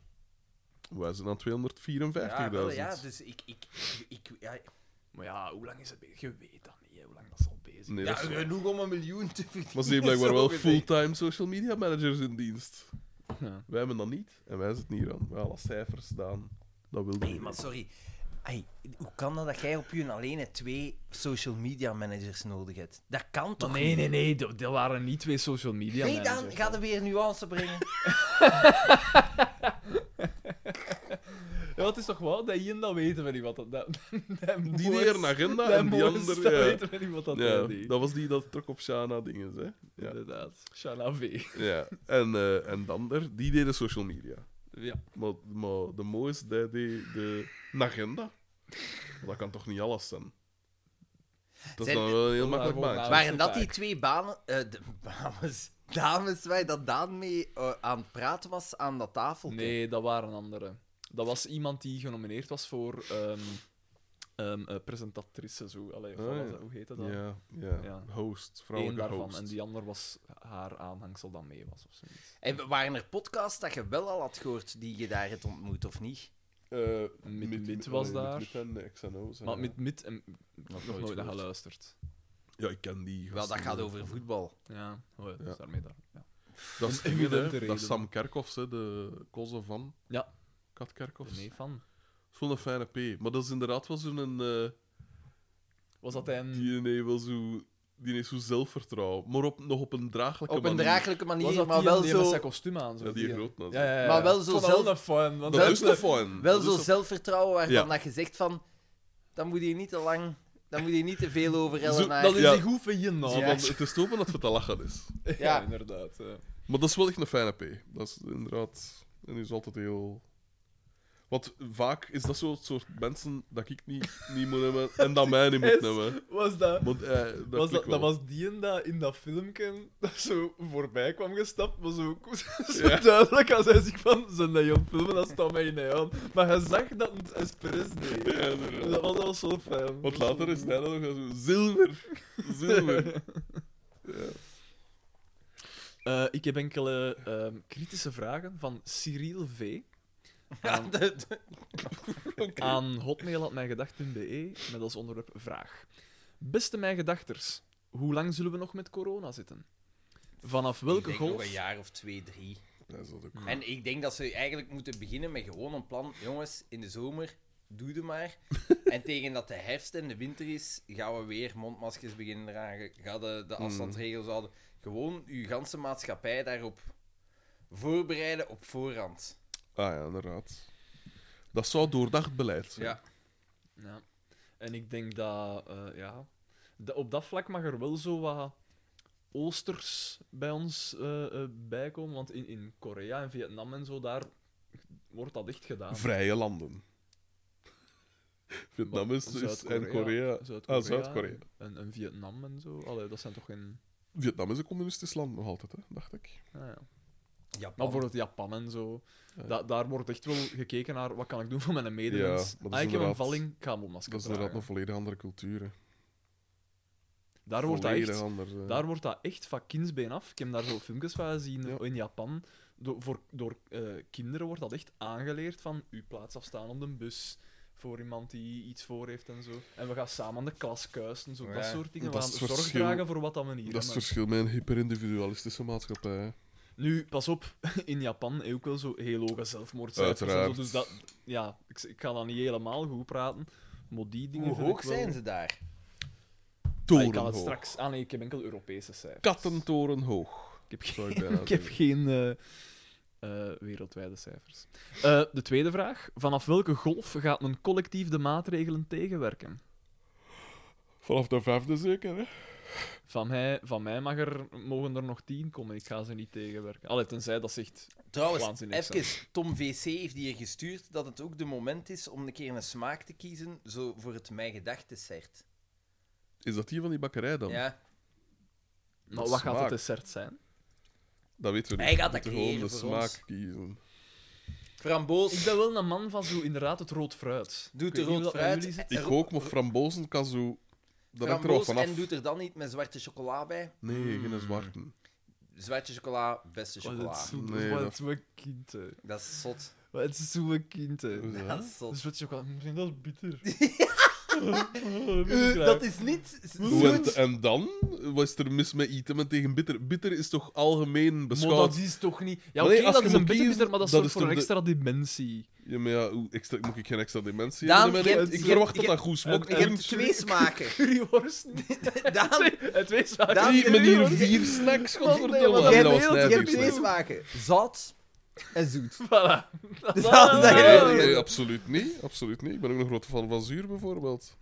[SPEAKER 4] Wij zijn aan 254.000.
[SPEAKER 1] Ja, wel, ja, dus ik... ik, ik, ik- ja,
[SPEAKER 3] Maar ja, hoe lang is het bezig? Je weet dat niet, hè, hoe lang dat al bezig is.
[SPEAKER 4] Nee,
[SPEAKER 1] ja,
[SPEAKER 4] dat is waar.
[SPEAKER 1] genoeg om een miljoen te verdienen.
[SPEAKER 4] Maar ze hebben blijkbaar
[SPEAKER 1] zo
[SPEAKER 4] wel
[SPEAKER 1] gezegd.
[SPEAKER 4] fulltime social media managers in dienst.
[SPEAKER 3] Ja.
[SPEAKER 4] Wij hebben dat niet en wij zitten hier aan. Wel, als cijfers staan, dat wilde
[SPEAKER 1] Nee, maar sorry. Ai, hoe kan dat dat jij op je alleen twee social media managers nodig hebt? Dat kan toch
[SPEAKER 3] nee, nee,
[SPEAKER 1] niet?
[SPEAKER 3] nee, dat, dat waren niet twee social media
[SPEAKER 1] Nee, dan
[SPEAKER 3] managers.
[SPEAKER 1] gaat er weer nuance brengen.
[SPEAKER 3] Ja, het is toch wel dat Ian dat weten we niet wat dat... dat, dat
[SPEAKER 4] Die
[SPEAKER 3] Moors-
[SPEAKER 4] neer een agenda
[SPEAKER 3] dat
[SPEAKER 4] en die
[SPEAKER 3] Moors,
[SPEAKER 4] andere...
[SPEAKER 3] Dat
[SPEAKER 4] ja.
[SPEAKER 3] weten we niet wat dat
[SPEAKER 4] Ja,
[SPEAKER 3] ja, deed.
[SPEAKER 4] dat was die dat trok op Shana dingen, hè? Ja.
[SPEAKER 3] Inderdaad. Shana V.
[SPEAKER 4] ja. En, eh, en dan er, die deden social media.
[SPEAKER 3] Ja.
[SPEAKER 4] Maar, maar de mooiste deed die de een agenda. Dat kan toch niet alles zijn? Dat is
[SPEAKER 1] Zijn-
[SPEAKER 4] dan wel een heel
[SPEAKER 3] Waarvoor
[SPEAKER 4] makkelijk maatje.
[SPEAKER 3] nou-
[SPEAKER 1] Waren dat die
[SPEAKER 3] vaak.
[SPEAKER 1] twee banen, eh, de, dames, dames waar dat Daan mee eh, aan het praten was aan dat tafeltje?
[SPEAKER 3] Nee, dat waren anderen. Dat was iemand die genomineerd was voor ehm ehm, eh, presentatrice. Zo. Allee, of
[SPEAKER 4] Ah,
[SPEAKER 3] wat was
[SPEAKER 4] ja.
[SPEAKER 3] dat? hoe heette dat?
[SPEAKER 4] Ja, ja,
[SPEAKER 3] Ja.
[SPEAKER 4] Host,
[SPEAKER 3] Eén
[SPEAKER 4] vrouwelijke
[SPEAKER 3] daarvan.
[SPEAKER 4] host.
[SPEAKER 3] En die ander was haar aanhangsel dat mee was of zoiets.
[SPEAKER 1] En waren er podcasts dat je wel al had gehoord die je daar hebt ontmoet, of niet?
[SPEAKER 4] Eh,
[SPEAKER 3] Mit- Mit was
[SPEAKER 4] allee,
[SPEAKER 3] daar.
[SPEAKER 4] Mit en de XNO's. en
[SPEAKER 3] Maar
[SPEAKER 4] ja.
[SPEAKER 3] met Mit en, ik heb nog
[SPEAKER 1] nooit
[SPEAKER 3] nooit naar
[SPEAKER 1] gehoord.
[SPEAKER 3] geluisterd.
[SPEAKER 4] Ja, ik ken die.
[SPEAKER 1] Wel, dat
[SPEAKER 4] gasten
[SPEAKER 1] gaat
[SPEAKER 4] wel.
[SPEAKER 1] over voetbal.
[SPEAKER 3] Ja, oh, ja, dat
[SPEAKER 4] Ja.
[SPEAKER 3] is daarmee daar. Ja.
[SPEAKER 4] Dat is,
[SPEAKER 3] Om
[SPEAKER 4] dingen,
[SPEAKER 3] evidente
[SPEAKER 4] hè. dat
[SPEAKER 3] redenen.
[SPEAKER 4] is Sam Kerkhoffs, hè, de kozen van
[SPEAKER 3] Ja.
[SPEAKER 4] Kat Kerkhoffs.
[SPEAKER 3] Nee, van.
[SPEAKER 4] Dat is wel een fijne P. Maar dat is inderdaad wel zo'n. eh,
[SPEAKER 3] Was dat hij een...
[SPEAKER 4] die
[SPEAKER 1] Hmm.
[SPEAKER 4] heeft wel zo. Die heeft zo zelfvertrouwen. Maar op, nog op een draaglijke
[SPEAKER 1] Op een
[SPEAKER 4] manier.
[SPEAKER 1] draaglijke
[SPEAKER 3] was
[SPEAKER 1] manier,
[SPEAKER 3] dat
[SPEAKER 1] maar
[SPEAKER 3] die
[SPEAKER 1] wel
[SPEAKER 3] die met
[SPEAKER 1] zo,
[SPEAKER 3] zijn kostuum aan? Zo,
[SPEAKER 4] Ja, die groot
[SPEAKER 3] ja,
[SPEAKER 4] nou.
[SPEAKER 3] ja, ja,
[SPEAKER 1] Maar wel
[SPEAKER 3] ja.
[SPEAKER 1] zo
[SPEAKER 3] Ik vond
[SPEAKER 1] zelf-
[SPEAKER 3] Dat is fun. want
[SPEAKER 4] Dat is
[SPEAKER 3] dat-
[SPEAKER 4] de fun.
[SPEAKER 1] wel
[SPEAKER 4] Dat is
[SPEAKER 1] zo
[SPEAKER 4] de-
[SPEAKER 1] zelfvertrouwen waarvan
[SPEAKER 4] Ja.
[SPEAKER 1] dat je zegt van... Dan moet je niet te lang... Dan moet je niet te veel over
[SPEAKER 4] Zo-
[SPEAKER 1] Ellen
[SPEAKER 3] dat is
[SPEAKER 4] Ja.
[SPEAKER 3] die goed van je
[SPEAKER 4] Zo
[SPEAKER 3] naam.
[SPEAKER 4] van, Nou, het is te hopen dat het te lachen is.
[SPEAKER 3] Ja,
[SPEAKER 1] Ja.
[SPEAKER 3] inderdaad. ja.
[SPEAKER 4] Maar dat is wel echt een fijne P. Dat is inderdaad. En die is altijd heel. Want vaak is dat zo'n soort mensen dat ik niet, niet moet hebben en dat mij niet moet
[SPEAKER 3] Yes.
[SPEAKER 4] nemen.
[SPEAKER 3] Was dat...
[SPEAKER 4] Want, eh, dat,
[SPEAKER 3] was
[SPEAKER 4] klikt
[SPEAKER 3] dat, dat
[SPEAKER 4] wel.
[SPEAKER 3] was die en dat in dat filmpje dat zo voorbij kwam gestapt, maar zo, zo
[SPEAKER 4] Ja.
[SPEAKER 3] duidelijk als hij zich van zijn dat je aan het filmen, dat staat mij in hij aan. Maar hij zag dat het expres deed.
[SPEAKER 4] Ja, inderdaad.
[SPEAKER 3] Dat was, dat was zo fijn.
[SPEAKER 4] Want later is hij dan nog zo zilver. Zilver.
[SPEAKER 3] Eh, ik heb enkele ehm, kritische vragen van Cyril V. Aan, aan hotmail.mijngedacht.be met als onderwerp vraag. Beste mijngedachters, hoe lang zullen we nog met corona zitten? Vanaf welke golf...
[SPEAKER 1] een jaar of twee, drie.
[SPEAKER 4] Ja, dat is ook
[SPEAKER 3] Hm.
[SPEAKER 4] goed.
[SPEAKER 1] En ik denk dat ze eigenlijk moeten beginnen met gewoon een plan. Jongens, in de zomer, doe het maar. en tegen dat de herfst en de winter is, gaan we weer mondmaskers beginnen dragen. Gaan de,
[SPEAKER 3] Hm.
[SPEAKER 1] de afstandsregels houden. Gewoon uw ganse maatschappij daarop voorbereiden op voorhand.
[SPEAKER 4] Ah ja, inderdaad. Dat zou doordacht beleid zijn.
[SPEAKER 1] Ja.
[SPEAKER 3] Ja. En ik denk dat, eh, ja... da- op dat vlak mag er wel zo wat oosters bij ons eh, eh, bij komen. Want in, in Korea en Vietnam en zo, daar wordt dat echt gedaan.
[SPEAKER 4] Vrije landen. Vietnam is, is- en Korea.
[SPEAKER 3] Eh, Zuid-Korea.
[SPEAKER 4] Ah, Zuid-Korea.
[SPEAKER 3] En, en Vietnam en zo. Allee, dat zijn toch geen...
[SPEAKER 4] Vietnam is een communistisch land nog altijd, hè, dacht ik.
[SPEAKER 3] Ah, ja. Maar
[SPEAKER 1] Japan.
[SPEAKER 3] voor het Japan en zo.
[SPEAKER 4] Ja.
[SPEAKER 3] Da- daar wordt echt wel gekeken naar wat kan ik doen voor mijn medemens.
[SPEAKER 4] Ja, maar dat is
[SPEAKER 3] ah, ik heb een
[SPEAKER 4] inderdaad-
[SPEAKER 3] valling, ik ga een mondmasker
[SPEAKER 4] Dat is
[SPEAKER 3] dragen.
[SPEAKER 4] inderdaad een volledig andere cultuur. hè.
[SPEAKER 3] Daar wordt dat
[SPEAKER 4] Volledig
[SPEAKER 3] echt...
[SPEAKER 4] anders. hè.
[SPEAKER 3] Daar wordt dat echt van kindsbeen af. Ik heb daar zo filmpjes van gezien
[SPEAKER 4] Ja.
[SPEAKER 3] in Japan. Do- voor, door eh, kinderen wordt dat echt aangeleerd van uw plaats afstaan op de bus voor iemand die iets voor heeft en zo. En we gaan samen aan de klas kuisen, zo dat
[SPEAKER 1] Ja.
[SPEAKER 3] soort dingen. We
[SPEAKER 4] Dat
[SPEAKER 3] gaan
[SPEAKER 4] is
[SPEAKER 3] zorg
[SPEAKER 4] het verschil-
[SPEAKER 3] dragen voor wat dat we niet
[SPEAKER 4] Dat is het
[SPEAKER 3] hebben.
[SPEAKER 4] verschil met een hyperindividualistische maatschappij.
[SPEAKER 1] Ah,
[SPEAKER 4] hè.
[SPEAKER 3] Nu, pas op, in Japan heb ook wel zo heel hoge zelfmoordcijfers. en zo,
[SPEAKER 4] Uiteraard.
[SPEAKER 3] dus dat, ja, ik, ik ga dat niet helemaal goed praten. Maar die dingen
[SPEAKER 1] Hoe
[SPEAKER 3] vind
[SPEAKER 1] hoog
[SPEAKER 3] ik wel...
[SPEAKER 1] zijn ze daar?
[SPEAKER 3] Ah, ik kan het
[SPEAKER 4] Torenhoog.
[SPEAKER 3] straks... Ah nee, ik heb enkel Europese cijfers.
[SPEAKER 4] Kattentorenhoog.
[SPEAKER 3] Ik heb
[SPEAKER 4] Zou ik bijna
[SPEAKER 3] Ik heb
[SPEAKER 4] zeggen.
[SPEAKER 3] geen eh, eh, wereldwijde cijfers. Eh, de tweede vraag. Vanaf welke golf gaat men collectief de maatregelen tegenwerken?
[SPEAKER 4] Vanaf de vijfde zeker, hè?
[SPEAKER 3] Van mij, van mij mag er, mogen er nog tien komen. Ik ga ze niet tegenwerken. Allee, tenzij dat zegt...
[SPEAKER 1] Trouwens,
[SPEAKER 3] Waanzinnig,
[SPEAKER 1] even, Tom VC heeft hier gestuurd dat het ook de moment is om een keer een smaak te kiezen zo voor het Mijn Gedachtdessert.
[SPEAKER 4] Is dat die van die bakkerij dan?
[SPEAKER 1] Ja.
[SPEAKER 3] Maar wat gaat het
[SPEAKER 4] smaak.
[SPEAKER 3] dessert zijn?
[SPEAKER 4] Dat weten we niet.
[SPEAKER 1] Hij gaat
[SPEAKER 4] We
[SPEAKER 1] dat
[SPEAKER 4] moeten gewoon
[SPEAKER 1] creëren
[SPEAKER 4] de
[SPEAKER 1] voor
[SPEAKER 4] smaak
[SPEAKER 1] ons.
[SPEAKER 4] kiezen.
[SPEAKER 1] Framboos.
[SPEAKER 3] Ik ben wel een man van zo inderdaad het rood fruit.
[SPEAKER 1] Doet
[SPEAKER 3] Ik weet
[SPEAKER 1] er
[SPEAKER 3] niet
[SPEAKER 1] rood
[SPEAKER 3] hoe dat bij jullie
[SPEAKER 1] fruit.
[SPEAKER 3] zit.
[SPEAKER 4] Ik ook, maar frambozen kan zo... Dat hangt er wel
[SPEAKER 1] Framboos
[SPEAKER 4] vanaf.
[SPEAKER 1] en doet er dan niet met zwarte chocola bij.
[SPEAKER 4] Nee, geen zwarte.
[SPEAKER 1] Zwarte chocola, beste
[SPEAKER 3] Wat het
[SPEAKER 1] chocola.
[SPEAKER 3] zoet-
[SPEAKER 4] Nee,
[SPEAKER 3] Wat
[SPEAKER 4] dat-
[SPEAKER 3] zo'n kind, hè.
[SPEAKER 1] Dat is zot.
[SPEAKER 3] Wat zo'n kind, hè.
[SPEAKER 4] Hoe is dat?
[SPEAKER 1] Dat is zot.
[SPEAKER 3] Mm, Dus wat je ook al... Misschien dat is bitter.
[SPEAKER 1] Eh, dat is niet
[SPEAKER 4] Hoe en,
[SPEAKER 1] zoet.
[SPEAKER 4] en dan? Wat is er mis met eten en tegen bitter? Bitter is toch algemeen
[SPEAKER 3] Maar
[SPEAKER 4] beschouwd?
[SPEAKER 3] dat is toch niet... Ja,
[SPEAKER 4] Maar
[SPEAKER 3] oké,
[SPEAKER 4] nee, als
[SPEAKER 3] dat
[SPEAKER 4] je
[SPEAKER 3] is
[SPEAKER 4] moet
[SPEAKER 3] een beetje
[SPEAKER 4] kiezen,
[SPEAKER 3] minder, maar
[SPEAKER 4] dat
[SPEAKER 3] dat zorgt
[SPEAKER 4] is
[SPEAKER 3] voor
[SPEAKER 4] toch
[SPEAKER 3] een
[SPEAKER 4] de-
[SPEAKER 3] extra dimensie.
[SPEAKER 4] Ja, maar ja, hoe extra, moet ik geen extra dimensie
[SPEAKER 1] Daan,
[SPEAKER 4] hebben?
[SPEAKER 1] je
[SPEAKER 4] in mijn
[SPEAKER 1] hebt-
[SPEAKER 4] eten? Ik
[SPEAKER 1] je
[SPEAKER 4] verwacht
[SPEAKER 1] hebt-
[SPEAKER 4] dat dat goed smaakt.
[SPEAKER 1] Je hebt twee smaken.
[SPEAKER 3] Currywurst niet.
[SPEAKER 1] Daan,
[SPEAKER 3] Het wees waar.
[SPEAKER 1] Daan,
[SPEAKER 4] Drie,
[SPEAKER 1] je
[SPEAKER 4] maar
[SPEAKER 1] hebt-
[SPEAKER 4] hier vier snacks, godverdomme.
[SPEAKER 1] jij
[SPEAKER 4] Ja, dat was
[SPEAKER 1] hebt-
[SPEAKER 4] net
[SPEAKER 1] je hebt
[SPEAKER 4] vier
[SPEAKER 1] twee
[SPEAKER 4] snacks.
[SPEAKER 1] smaken. Zout en zoet.
[SPEAKER 3] Voilà. Ah
[SPEAKER 1] Dat is
[SPEAKER 4] Nee,
[SPEAKER 1] echt-
[SPEAKER 4] nee, nee, absoluut niet. Absoluut niet. Ik ben ook een grote fan van zuur, bijvoorbeeld.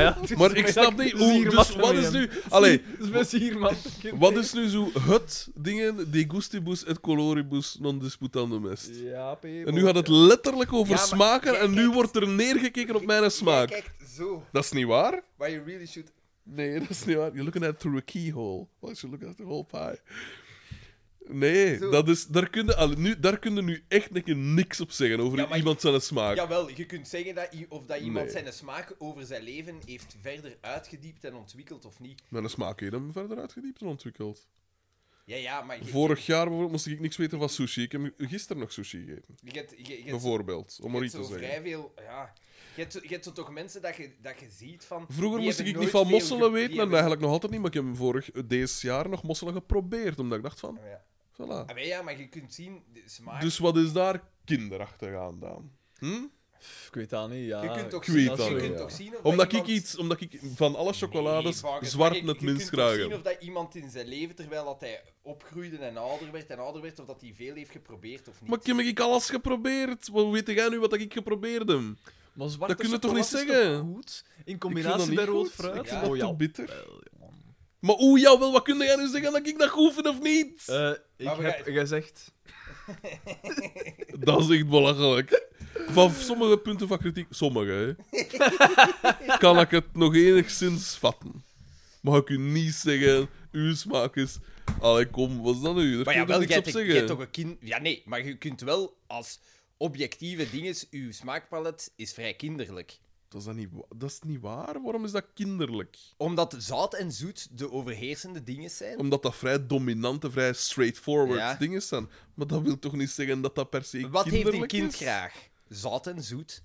[SPEAKER 3] ja, het is-
[SPEAKER 4] Maar ik snap
[SPEAKER 3] ja,
[SPEAKER 4] niet
[SPEAKER 3] het is
[SPEAKER 4] hoe...
[SPEAKER 3] hier
[SPEAKER 4] Dus
[SPEAKER 3] wat
[SPEAKER 4] wat is
[SPEAKER 3] van
[SPEAKER 4] nu...
[SPEAKER 3] je.
[SPEAKER 4] Allee,
[SPEAKER 3] Het is best hier, man.
[SPEAKER 4] wat is nu zo het dingen? De gustibus et coloribus non disputandum est.
[SPEAKER 3] Ja, P.
[SPEAKER 4] En nu gaat het letterlijk over
[SPEAKER 1] Ja, maar
[SPEAKER 4] smaken
[SPEAKER 1] jij
[SPEAKER 4] en nu
[SPEAKER 1] kijkt-
[SPEAKER 4] wordt er neergekeken op mijn
[SPEAKER 1] Jij
[SPEAKER 4] smaak.
[SPEAKER 1] kijkt zo,
[SPEAKER 4] Dat is niet waar.
[SPEAKER 1] waar je really should...
[SPEAKER 4] Nee, dat is niet waar. You're looking at through a keyhole. Why should you look at the whole pie? Nee,
[SPEAKER 1] Zo.
[SPEAKER 4] dat is, daar kun je al- nu, daar kun je nu echt een keer niks op zeggen over
[SPEAKER 1] Ja, maar-
[SPEAKER 4] iemand zijn smaak.
[SPEAKER 1] Jawel, je kunt zeggen dat, i- of dat iemand
[SPEAKER 4] Nee.
[SPEAKER 1] zijn smaak over zijn leven heeft verder uitgediept en ontwikkeld of niet.
[SPEAKER 4] Mijn smaak heeft hem verder uitgediept en ontwikkeld.
[SPEAKER 1] Ja, ja, maar je,
[SPEAKER 4] Vorig jaar bijvoorbeeld moest ik niks weten van sushi. Ik heb gisteren nog sushi gegeten,
[SPEAKER 1] je, hebt- je, je hebt
[SPEAKER 4] bijvoorbeeld. Om maar
[SPEAKER 1] Je
[SPEAKER 4] iets
[SPEAKER 1] hebt
[SPEAKER 4] te
[SPEAKER 1] zo
[SPEAKER 4] zeggen.
[SPEAKER 1] vrij veel... Ja. Je hebt, zo- je hebt zo toch mensen dat je, dat je ziet van...
[SPEAKER 4] Vroeger
[SPEAKER 1] die
[SPEAKER 4] moest
[SPEAKER 1] hebben
[SPEAKER 4] ik
[SPEAKER 1] nooit
[SPEAKER 4] niet van
[SPEAKER 1] veel
[SPEAKER 4] mosselen
[SPEAKER 1] ge-
[SPEAKER 4] weten
[SPEAKER 1] die
[SPEAKER 4] en
[SPEAKER 1] hebben-
[SPEAKER 4] eigenlijk nog altijd niet, maar ik heb vorig, deze jaar nog mosselen geprobeerd, omdat ik dacht van,
[SPEAKER 1] Ah, ja.
[SPEAKER 4] voilà.
[SPEAKER 1] Ah, maar ja, maar je kunt zien, de smaak...
[SPEAKER 4] Dus wat is daar kinderachtig aan dan? Hm?
[SPEAKER 3] Ik weet dat niet, ja.
[SPEAKER 1] je kunt toch
[SPEAKER 4] ik weet
[SPEAKER 1] zien,
[SPEAKER 4] dat
[SPEAKER 1] je
[SPEAKER 4] wel,
[SPEAKER 1] kunt
[SPEAKER 4] ja.
[SPEAKER 1] toch zien of
[SPEAKER 4] Omdat
[SPEAKER 1] dat
[SPEAKER 4] ik
[SPEAKER 1] iemand-
[SPEAKER 4] iets, omdat ik van alle chocolades
[SPEAKER 1] Nee, Varkens, maar
[SPEAKER 4] zwart
[SPEAKER 1] je-
[SPEAKER 4] het
[SPEAKER 1] je
[SPEAKER 4] minst
[SPEAKER 1] kunt toch
[SPEAKER 4] graag
[SPEAKER 1] zien
[SPEAKER 4] heb.
[SPEAKER 1] of dat iemand in zijn leven, terwijl dat hij opgroeide en ouder werd en ouder werd, of dat hij veel heeft geprobeerd of niet.
[SPEAKER 4] Maar Kim, ik heb alles geprobeerd. Wat weet jij nu wat ik geprobeerd heb? Ik
[SPEAKER 3] Maar zwarte
[SPEAKER 4] Dat kun je toch niet
[SPEAKER 3] chocolade is
[SPEAKER 4] zeggen?
[SPEAKER 3] goed? In
[SPEAKER 4] vind dat
[SPEAKER 3] combinatie
[SPEAKER 4] niet
[SPEAKER 3] met rood
[SPEAKER 4] goed.
[SPEAKER 3] fruit?
[SPEAKER 4] Ik
[SPEAKER 1] Ja.
[SPEAKER 4] vind dat
[SPEAKER 3] Oh,
[SPEAKER 4] te
[SPEAKER 3] ja.
[SPEAKER 4] bitter. Maar oeh, jawel, wat kun jij nu zeggen dat ik dat goed vind of niet?
[SPEAKER 3] Eh, ik
[SPEAKER 1] Maar we
[SPEAKER 3] heb
[SPEAKER 1] gaan-
[SPEAKER 3] gezegd...
[SPEAKER 4] Dat is echt belachelijk. Van sommige punten van kritiek, sommige, hè, kan ik het nog enigszins vatten. Maar ik u niet zeggen, uw smaak is... Allee, kom, wat is dat nu?
[SPEAKER 1] Maar
[SPEAKER 4] Daar kun je
[SPEAKER 1] ja,
[SPEAKER 4] toch
[SPEAKER 1] wel,
[SPEAKER 4] niks
[SPEAKER 1] jij
[SPEAKER 4] op
[SPEAKER 1] hebt- jij hebt toch
[SPEAKER 4] zeggen.
[SPEAKER 1] een kind... Ja, nee, maar je kunt wel als objectieve dinges... Uw smaakpalet is vrij kinderlijk.
[SPEAKER 4] Dat is, dat, niet, wa- dat is niet waar. Waarom is dat kinderlijk?
[SPEAKER 1] Omdat zout en zoet de overheersende dingen zijn.
[SPEAKER 4] Omdat dat vrij dominante, vrij straightforward
[SPEAKER 1] Ja.
[SPEAKER 4] dingen zijn. Maar dat wil toch niet zeggen dat dat per se
[SPEAKER 1] Wat heeft een
[SPEAKER 4] kinderlijk
[SPEAKER 1] kind
[SPEAKER 4] is?
[SPEAKER 1] graag? Zout en zoet.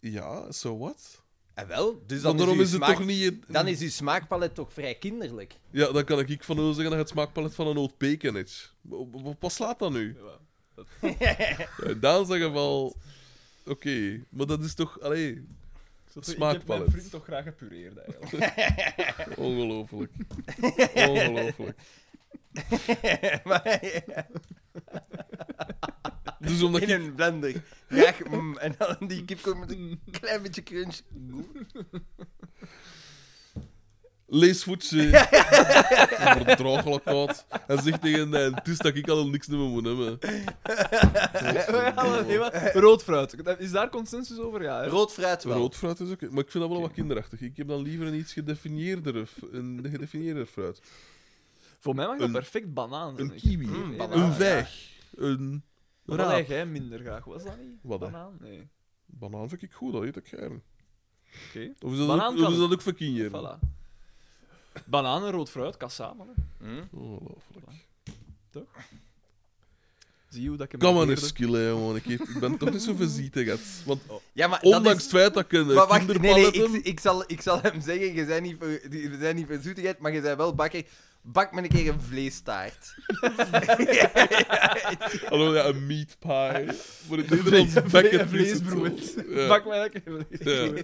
[SPEAKER 4] Ja, so what?
[SPEAKER 1] En wel, dus dan
[SPEAKER 4] Dan daarom
[SPEAKER 1] is, uw
[SPEAKER 4] is het
[SPEAKER 1] smaak-
[SPEAKER 4] toch niet...
[SPEAKER 1] Dan is uw smaakpalet toch vrij kinderlijk.
[SPEAKER 4] Ja, dan kan ik van zeggen dat het smaakpalet van een oud bacon is. Wa- wa- Wat slaat dat nu? Ja, in dat geval... Oké, maar dat is toch... Allee,
[SPEAKER 3] Ik heb
[SPEAKER 4] Smaakpalet.
[SPEAKER 3] mijn vriend toch graag gepureerd, eigenlijk.
[SPEAKER 4] ongelooflijk. ongelooflijk. Dus omdat
[SPEAKER 1] In
[SPEAKER 4] ik...
[SPEAKER 1] een blender. Graag, mm, en dan die kip komt met een klein beetje crunch.
[SPEAKER 4] Lees voetje. Wordt draaglijk oud. En zegt tegen mij, het is dat ik al niks meer moet hebben.
[SPEAKER 3] Nee, maar- Rood fruit. Dat- Is daar consensus over? Ja, hè?
[SPEAKER 1] Rood fruit wel.
[SPEAKER 4] Rood fruit is ook... Maar ik vind dat wel wat kinderachtig. Ik heb dan liever een iets gedefinieerder, een gedefinieerder fruit.
[SPEAKER 3] Voor mij mag dat
[SPEAKER 4] Een-
[SPEAKER 3] perfect banaan zijn.
[SPEAKER 4] een
[SPEAKER 3] Ik-
[SPEAKER 4] kiwi.
[SPEAKER 3] Mm,
[SPEAKER 1] Een
[SPEAKER 3] banaan,
[SPEAKER 4] Een
[SPEAKER 3] ja.
[SPEAKER 4] vijg. Een
[SPEAKER 3] Maar dat leg
[SPEAKER 4] raap.
[SPEAKER 3] jij minder graag. Was dat niet?
[SPEAKER 4] Wat, hè?
[SPEAKER 3] Banaan? Nee.
[SPEAKER 4] Banaan vind ik goed, dat eet ik graag.
[SPEAKER 3] Oké.
[SPEAKER 4] Of is dat
[SPEAKER 3] Banaan
[SPEAKER 4] ook, of
[SPEAKER 3] kan
[SPEAKER 4] is
[SPEAKER 3] ik.
[SPEAKER 4] dat ook voor kinderen?
[SPEAKER 3] Voilà. Banaan en rood fruit, kan samen. hè.
[SPEAKER 1] Mm.
[SPEAKER 4] Ongelooflijk.
[SPEAKER 3] Zie je hoe dat ik hem dus.
[SPEAKER 4] Kan maar
[SPEAKER 3] leerde?
[SPEAKER 4] eens skillen, jongen. Ik, eet- ik ben toch niet zo verzieten, gats. Want
[SPEAKER 1] Ja, maar dat
[SPEAKER 4] ondanks
[SPEAKER 1] is...
[SPEAKER 4] het feit dat ik een
[SPEAKER 1] Maar
[SPEAKER 4] eh,
[SPEAKER 1] wacht, nee, nee, ik,
[SPEAKER 4] kinderpalet heb...
[SPEAKER 1] ik, zal, ik zal hem zeggen, je bent niet voor, je bent niet voor zoetigheid, maar je bent wel bakker. Bak me een keer een vleestaart.
[SPEAKER 4] Hallo, ja, een meat pie. Voor het
[SPEAKER 3] Vlees-
[SPEAKER 4] Nederlands
[SPEAKER 3] vle-
[SPEAKER 4] bakken
[SPEAKER 3] vleesbrood. Pak mij lekker.
[SPEAKER 4] Ja.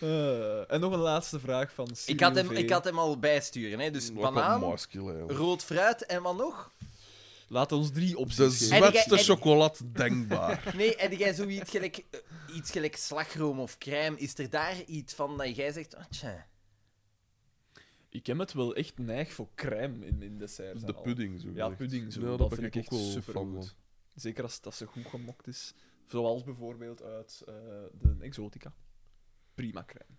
[SPEAKER 3] Eh, en nog een laatste vraag van Simon
[SPEAKER 1] Ik had, hem,
[SPEAKER 3] V.
[SPEAKER 1] ik had hem al bijsturen, hè. Dus banaan, rood fruit en wat nog?
[SPEAKER 3] Laat ons drie
[SPEAKER 4] De
[SPEAKER 3] opties geven.
[SPEAKER 1] En ik-
[SPEAKER 4] zwartste
[SPEAKER 1] en ik-
[SPEAKER 4] chocolade denkbaar.
[SPEAKER 1] Nee, heb jij zoiets gelijk, eh, iets gelijk slagroom of crème? Is er daar iets van dat jij zegt... Oh, tja.
[SPEAKER 3] Ik heb het wel echt neig voor crème in, in desserts. en
[SPEAKER 4] De
[SPEAKER 3] al.
[SPEAKER 4] pudding, zo.
[SPEAKER 3] Ja,
[SPEAKER 4] gezegd.
[SPEAKER 3] pudding. Zo.
[SPEAKER 4] Ja,
[SPEAKER 3] dat,
[SPEAKER 4] ben
[SPEAKER 3] vind ik echt
[SPEAKER 4] wel
[SPEAKER 3] super
[SPEAKER 4] fan
[SPEAKER 3] goed. Zeker als dat ze goed gemokt is. Zoals bijvoorbeeld uit eh, de Exotica. Prima crème.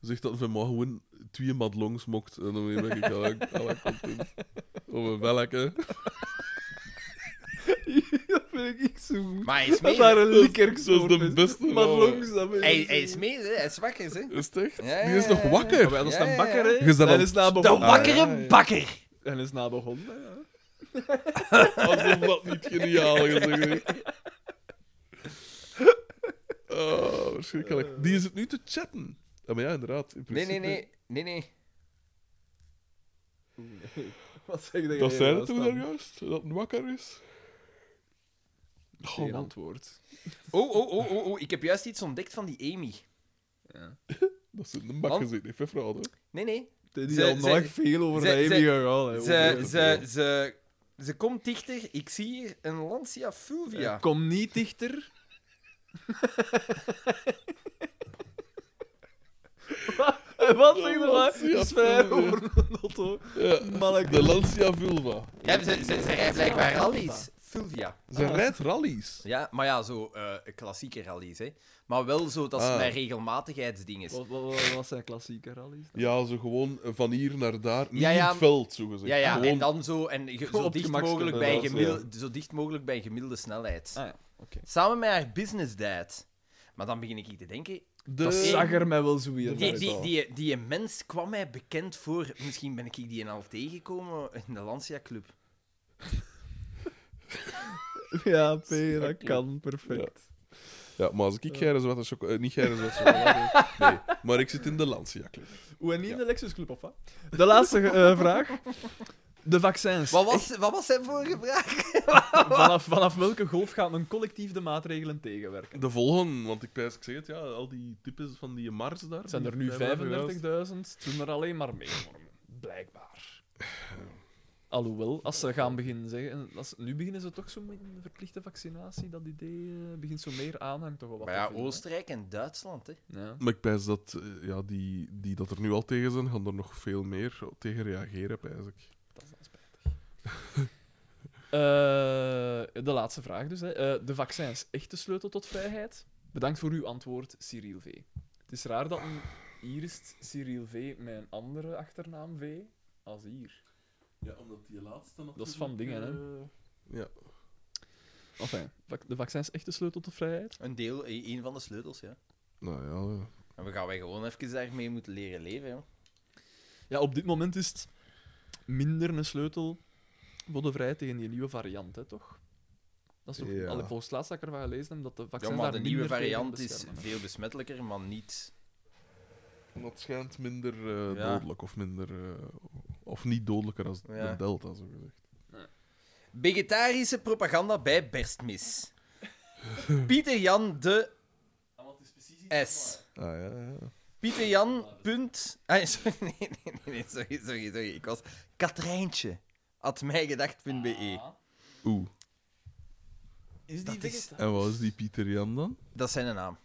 [SPEAKER 4] Zeg dat van maar gewoon twee matlongs mokt en dan ben ik al al content. Of een welke.
[SPEAKER 3] dat vind ik zo goed.
[SPEAKER 1] Maar hij is
[SPEAKER 3] Dat
[SPEAKER 1] mee.
[SPEAKER 3] daar
[SPEAKER 1] hè.
[SPEAKER 3] een likkerk
[SPEAKER 4] Dat is de beste.
[SPEAKER 3] Maar
[SPEAKER 4] wel, hè.
[SPEAKER 3] langzaam. hè.
[SPEAKER 1] Hij, hij is mee, hè. hij is wakker, hè.
[SPEAKER 4] Is het echt?
[SPEAKER 1] Ja,
[SPEAKER 4] Die is
[SPEAKER 1] ja,
[SPEAKER 4] nog
[SPEAKER 1] ja, ja.
[SPEAKER 4] wakker.
[SPEAKER 3] Maar ja, dat is
[SPEAKER 1] Ja,
[SPEAKER 3] een
[SPEAKER 1] ja,
[SPEAKER 3] bakker,
[SPEAKER 1] ja.
[SPEAKER 3] hè?
[SPEAKER 4] Je bent
[SPEAKER 3] En
[SPEAKER 4] al-
[SPEAKER 3] is na
[SPEAKER 1] De
[SPEAKER 3] begonnen.
[SPEAKER 4] Ah, ja,
[SPEAKER 1] wakkere
[SPEAKER 4] ja.
[SPEAKER 1] bakker!
[SPEAKER 3] En is na begonnen. ja.
[SPEAKER 4] Alsof dat niet geniaal is. hè. Oh, verschrikkelijk. Die is het nu te chatten. Ah, maar ja, inderdaad. in
[SPEAKER 1] Nee, nee,
[SPEAKER 4] principe-
[SPEAKER 1] nee. Nee, nee.
[SPEAKER 3] Wat zeg je
[SPEAKER 4] Dat zijn het toen daar juist, dat het wakker is.
[SPEAKER 3] Geen antwoord.
[SPEAKER 1] Oh, oh, oh, oh, oh. Ik heb juist iets ontdekt van die Amy.
[SPEAKER 4] Dat ze in de bak
[SPEAKER 1] Want-
[SPEAKER 4] gezeten heeft, hè, vrouw, hè.
[SPEAKER 1] Nee, nee.
[SPEAKER 3] Die
[SPEAKER 1] Ze-
[SPEAKER 3] is al
[SPEAKER 1] ze-
[SPEAKER 3] nog veel over
[SPEAKER 1] ze-
[SPEAKER 3] de Amy
[SPEAKER 1] ze-
[SPEAKER 3] gegaan.
[SPEAKER 4] Eh,
[SPEAKER 3] hè,
[SPEAKER 4] oh,
[SPEAKER 1] Ze,
[SPEAKER 3] over-
[SPEAKER 1] ze, ze, ze komt dichter. Ik zie hier een Lancia
[SPEAKER 3] Ja.
[SPEAKER 4] Eh,
[SPEAKER 1] Fulvia.
[SPEAKER 3] Kom niet dichter. Wat? Wat zeg je
[SPEAKER 4] Wat?
[SPEAKER 3] daar?
[SPEAKER 4] Ja,
[SPEAKER 3] Is mij
[SPEAKER 4] sorry.
[SPEAKER 3] over een auto.
[SPEAKER 4] Ja.
[SPEAKER 3] Manneke.
[SPEAKER 4] De Lancia Vulva.
[SPEAKER 1] Ja, ze, ze, ze rijdt blijkbaar rallies. Fulvia.
[SPEAKER 4] Ze rijdt rallies.
[SPEAKER 1] Ja, maar ja, zo eh, klassieke rallies, hè. Maar wel zo dat ze
[SPEAKER 4] Ah. Oh,
[SPEAKER 1] met regelmatigheidsdingen.
[SPEAKER 3] Wat, wat, wat, wat zijn klassieke rallies?
[SPEAKER 4] Ja, zo gewoon van hier naar daar. Niet
[SPEAKER 1] Ja, ja.
[SPEAKER 4] in het veld, zo gezegd.
[SPEAKER 1] Ja, ja,
[SPEAKER 4] gewoon...
[SPEAKER 1] en dan zo, en ge- zo,
[SPEAKER 3] Op
[SPEAKER 1] dicht
[SPEAKER 3] gemakske
[SPEAKER 1] mogelijk bij
[SPEAKER 4] plaats,
[SPEAKER 1] gemiddel, zo dicht mogelijk bij gemiddelde snelheid.
[SPEAKER 3] Ah ja, oké.
[SPEAKER 1] Samen met haar business dad. Maar dan begin ik te denken...
[SPEAKER 4] de...
[SPEAKER 3] Dat zag er mij wel zo
[SPEAKER 4] de-
[SPEAKER 3] weer
[SPEAKER 1] Die,
[SPEAKER 3] uit.
[SPEAKER 1] die, die, die mens kwam mij bekend voor... Misschien ben ik die al tegengekomen in de Lancia Club.
[SPEAKER 3] Ja, P, dat kan perfect.
[SPEAKER 4] Ja, maar als ik geire zwarte chocolade... niet geire zwarte chocolade... nee, maar ik zit in de Lancia Club.
[SPEAKER 3] Hoe en niet in de Lexus Club, of wat? De laatste eh, vraag. De vaccins.
[SPEAKER 1] Wat was, wat was zijn vorige vraag?
[SPEAKER 3] Vanaf, vanaf welke golf gaat men collectief de maatregelen tegenwerken?
[SPEAKER 4] De volgende, want ik, pijs- ik zeg het, ja, al die types van die Mars daar...
[SPEAKER 3] Het zijn er nu 35.000, toen er alleen maar meer worden. Blijkbaar. Alhoewel, als ze gaan beginnen zeggen... Als, nu beginnen ze toch zo met een verplichte vaccinatie. Dat idee eh, begint zo meer aanhang toch al wat
[SPEAKER 1] Maar
[SPEAKER 3] te
[SPEAKER 1] ja,
[SPEAKER 3] vinden, hè.
[SPEAKER 1] Oostenrijk en Duitsland, hè.
[SPEAKER 3] Ja.
[SPEAKER 4] Maar ik pijs dat eh, ja, die, die dat er nu al tegen zijn, gaan er nog veel meer tegen reageren, pijs ik.
[SPEAKER 3] Dat is dan spijtig. Eh, de laatste vraag dus. Hè. Eh, de vaccins, echt de sleutel tot vrijheid? Bedankt voor uw antwoord, Cyril V. Het is raar dat een hier is Cyril V met een andere achternaam V als hier.
[SPEAKER 4] Ja, omdat die laatste
[SPEAKER 3] Dat is van dingen, hè.
[SPEAKER 4] eh, Ja.
[SPEAKER 3] Enfin, vac- de vaccins, echt de sleutel tot vrijheid?
[SPEAKER 1] Een deel, e- een van de sleutels, ja.
[SPEAKER 4] Nou ja,
[SPEAKER 1] En we gaan wij gewoon even daarmee moeten leren leven, joh.
[SPEAKER 3] Ja, op dit moment is het minder een sleutel voor de vrijheid tegen die nieuwe variant, hè, toch? Dat is toch,
[SPEAKER 4] Ja.
[SPEAKER 3] al, volgens het laatste dat ik ervan gelezen heb, dat de
[SPEAKER 1] Ja,
[SPEAKER 3] vaccins
[SPEAKER 1] maar de
[SPEAKER 3] daar
[SPEAKER 1] nieuwe
[SPEAKER 3] minder tegen
[SPEAKER 1] variant is
[SPEAKER 3] beschermen.
[SPEAKER 1] veel besmettelijker, maar niet...
[SPEAKER 4] dat schijnt minder eh,
[SPEAKER 1] Ja.
[SPEAKER 4] dodelijk of minder... eh, of niet dodelijker als
[SPEAKER 1] Ja.
[SPEAKER 4] de Delta, zo gezegd.
[SPEAKER 1] Vegetarische propaganda bij Berstmis. Pieter Jan de S.
[SPEAKER 4] Ah ja, ja.
[SPEAKER 1] Pieter Jan, punt. Ah, sorry, nee, nee, nee, nee, sorry, sorry, sorry. Ik was Katrijntje, at mijgedacht.be.
[SPEAKER 4] Oeh.
[SPEAKER 3] Ah, Is die
[SPEAKER 1] Eh, Dat is,
[SPEAKER 4] En wat is die Pieter Jan dan?
[SPEAKER 1] dat zijn een naam.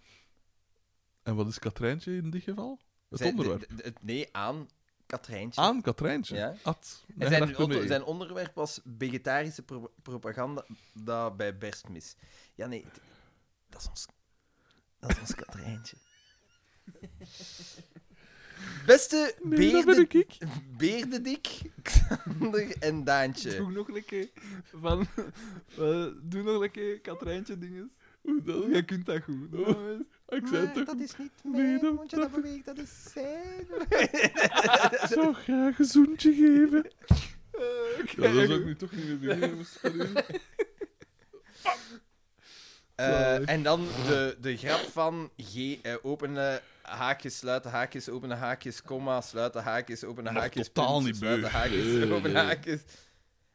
[SPEAKER 4] En wat is Katrijntje in dit geval? Het
[SPEAKER 1] Zij-
[SPEAKER 4] onderwerp.
[SPEAKER 1] de- de- het- nee, aan Katrijntje.
[SPEAKER 4] Aan Katrijntje.
[SPEAKER 1] Ja.
[SPEAKER 4] At.
[SPEAKER 1] En zijn,
[SPEAKER 4] Mijgedacht.be.
[SPEAKER 1] onder- zijn onderwerp was vegetarische pro- propaganda da- bij Berstmis. Ja, nee, het- dat is ons, dat is ons Katrijntje. Beste
[SPEAKER 4] Nee, dat ben
[SPEAKER 1] beerde,
[SPEAKER 4] ik ik.
[SPEAKER 1] Beerdedik, Xander en Daantje.
[SPEAKER 3] Doe nog een keer. Van, eh, doe nog een keer Katrijntje dinges.
[SPEAKER 4] Hoe dat?
[SPEAKER 3] Jij kunt dat goed.
[SPEAKER 4] Oh.
[SPEAKER 3] jongens.
[SPEAKER 4] Ik zei het toch
[SPEAKER 1] dat is niet
[SPEAKER 4] Nee,
[SPEAKER 1] mijn
[SPEAKER 4] dat-
[SPEAKER 1] mondje, dat beweegt, dat is zijn.
[SPEAKER 4] Ik zou graag een zoentje geven. Ja, dat zou ik nu toch niet meer doen. jongens.
[SPEAKER 1] Eh, en dan de, de grap van G, eh, openen haakjes, sluiten haakjes, openen haakjes, komma, sluiten haakjes, openen
[SPEAKER 4] Nog
[SPEAKER 1] haakjes,
[SPEAKER 4] totaal
[SPEAKER 1] punt,
[SPEAKER 4] niet beu.
[SPEAKER 1] sluiten haakjes,
[SPEAKER 4] Nee,
[SPEAKER 1] openen
[SPEAKER 4] nee.
[SPEAKER 1] haakjes.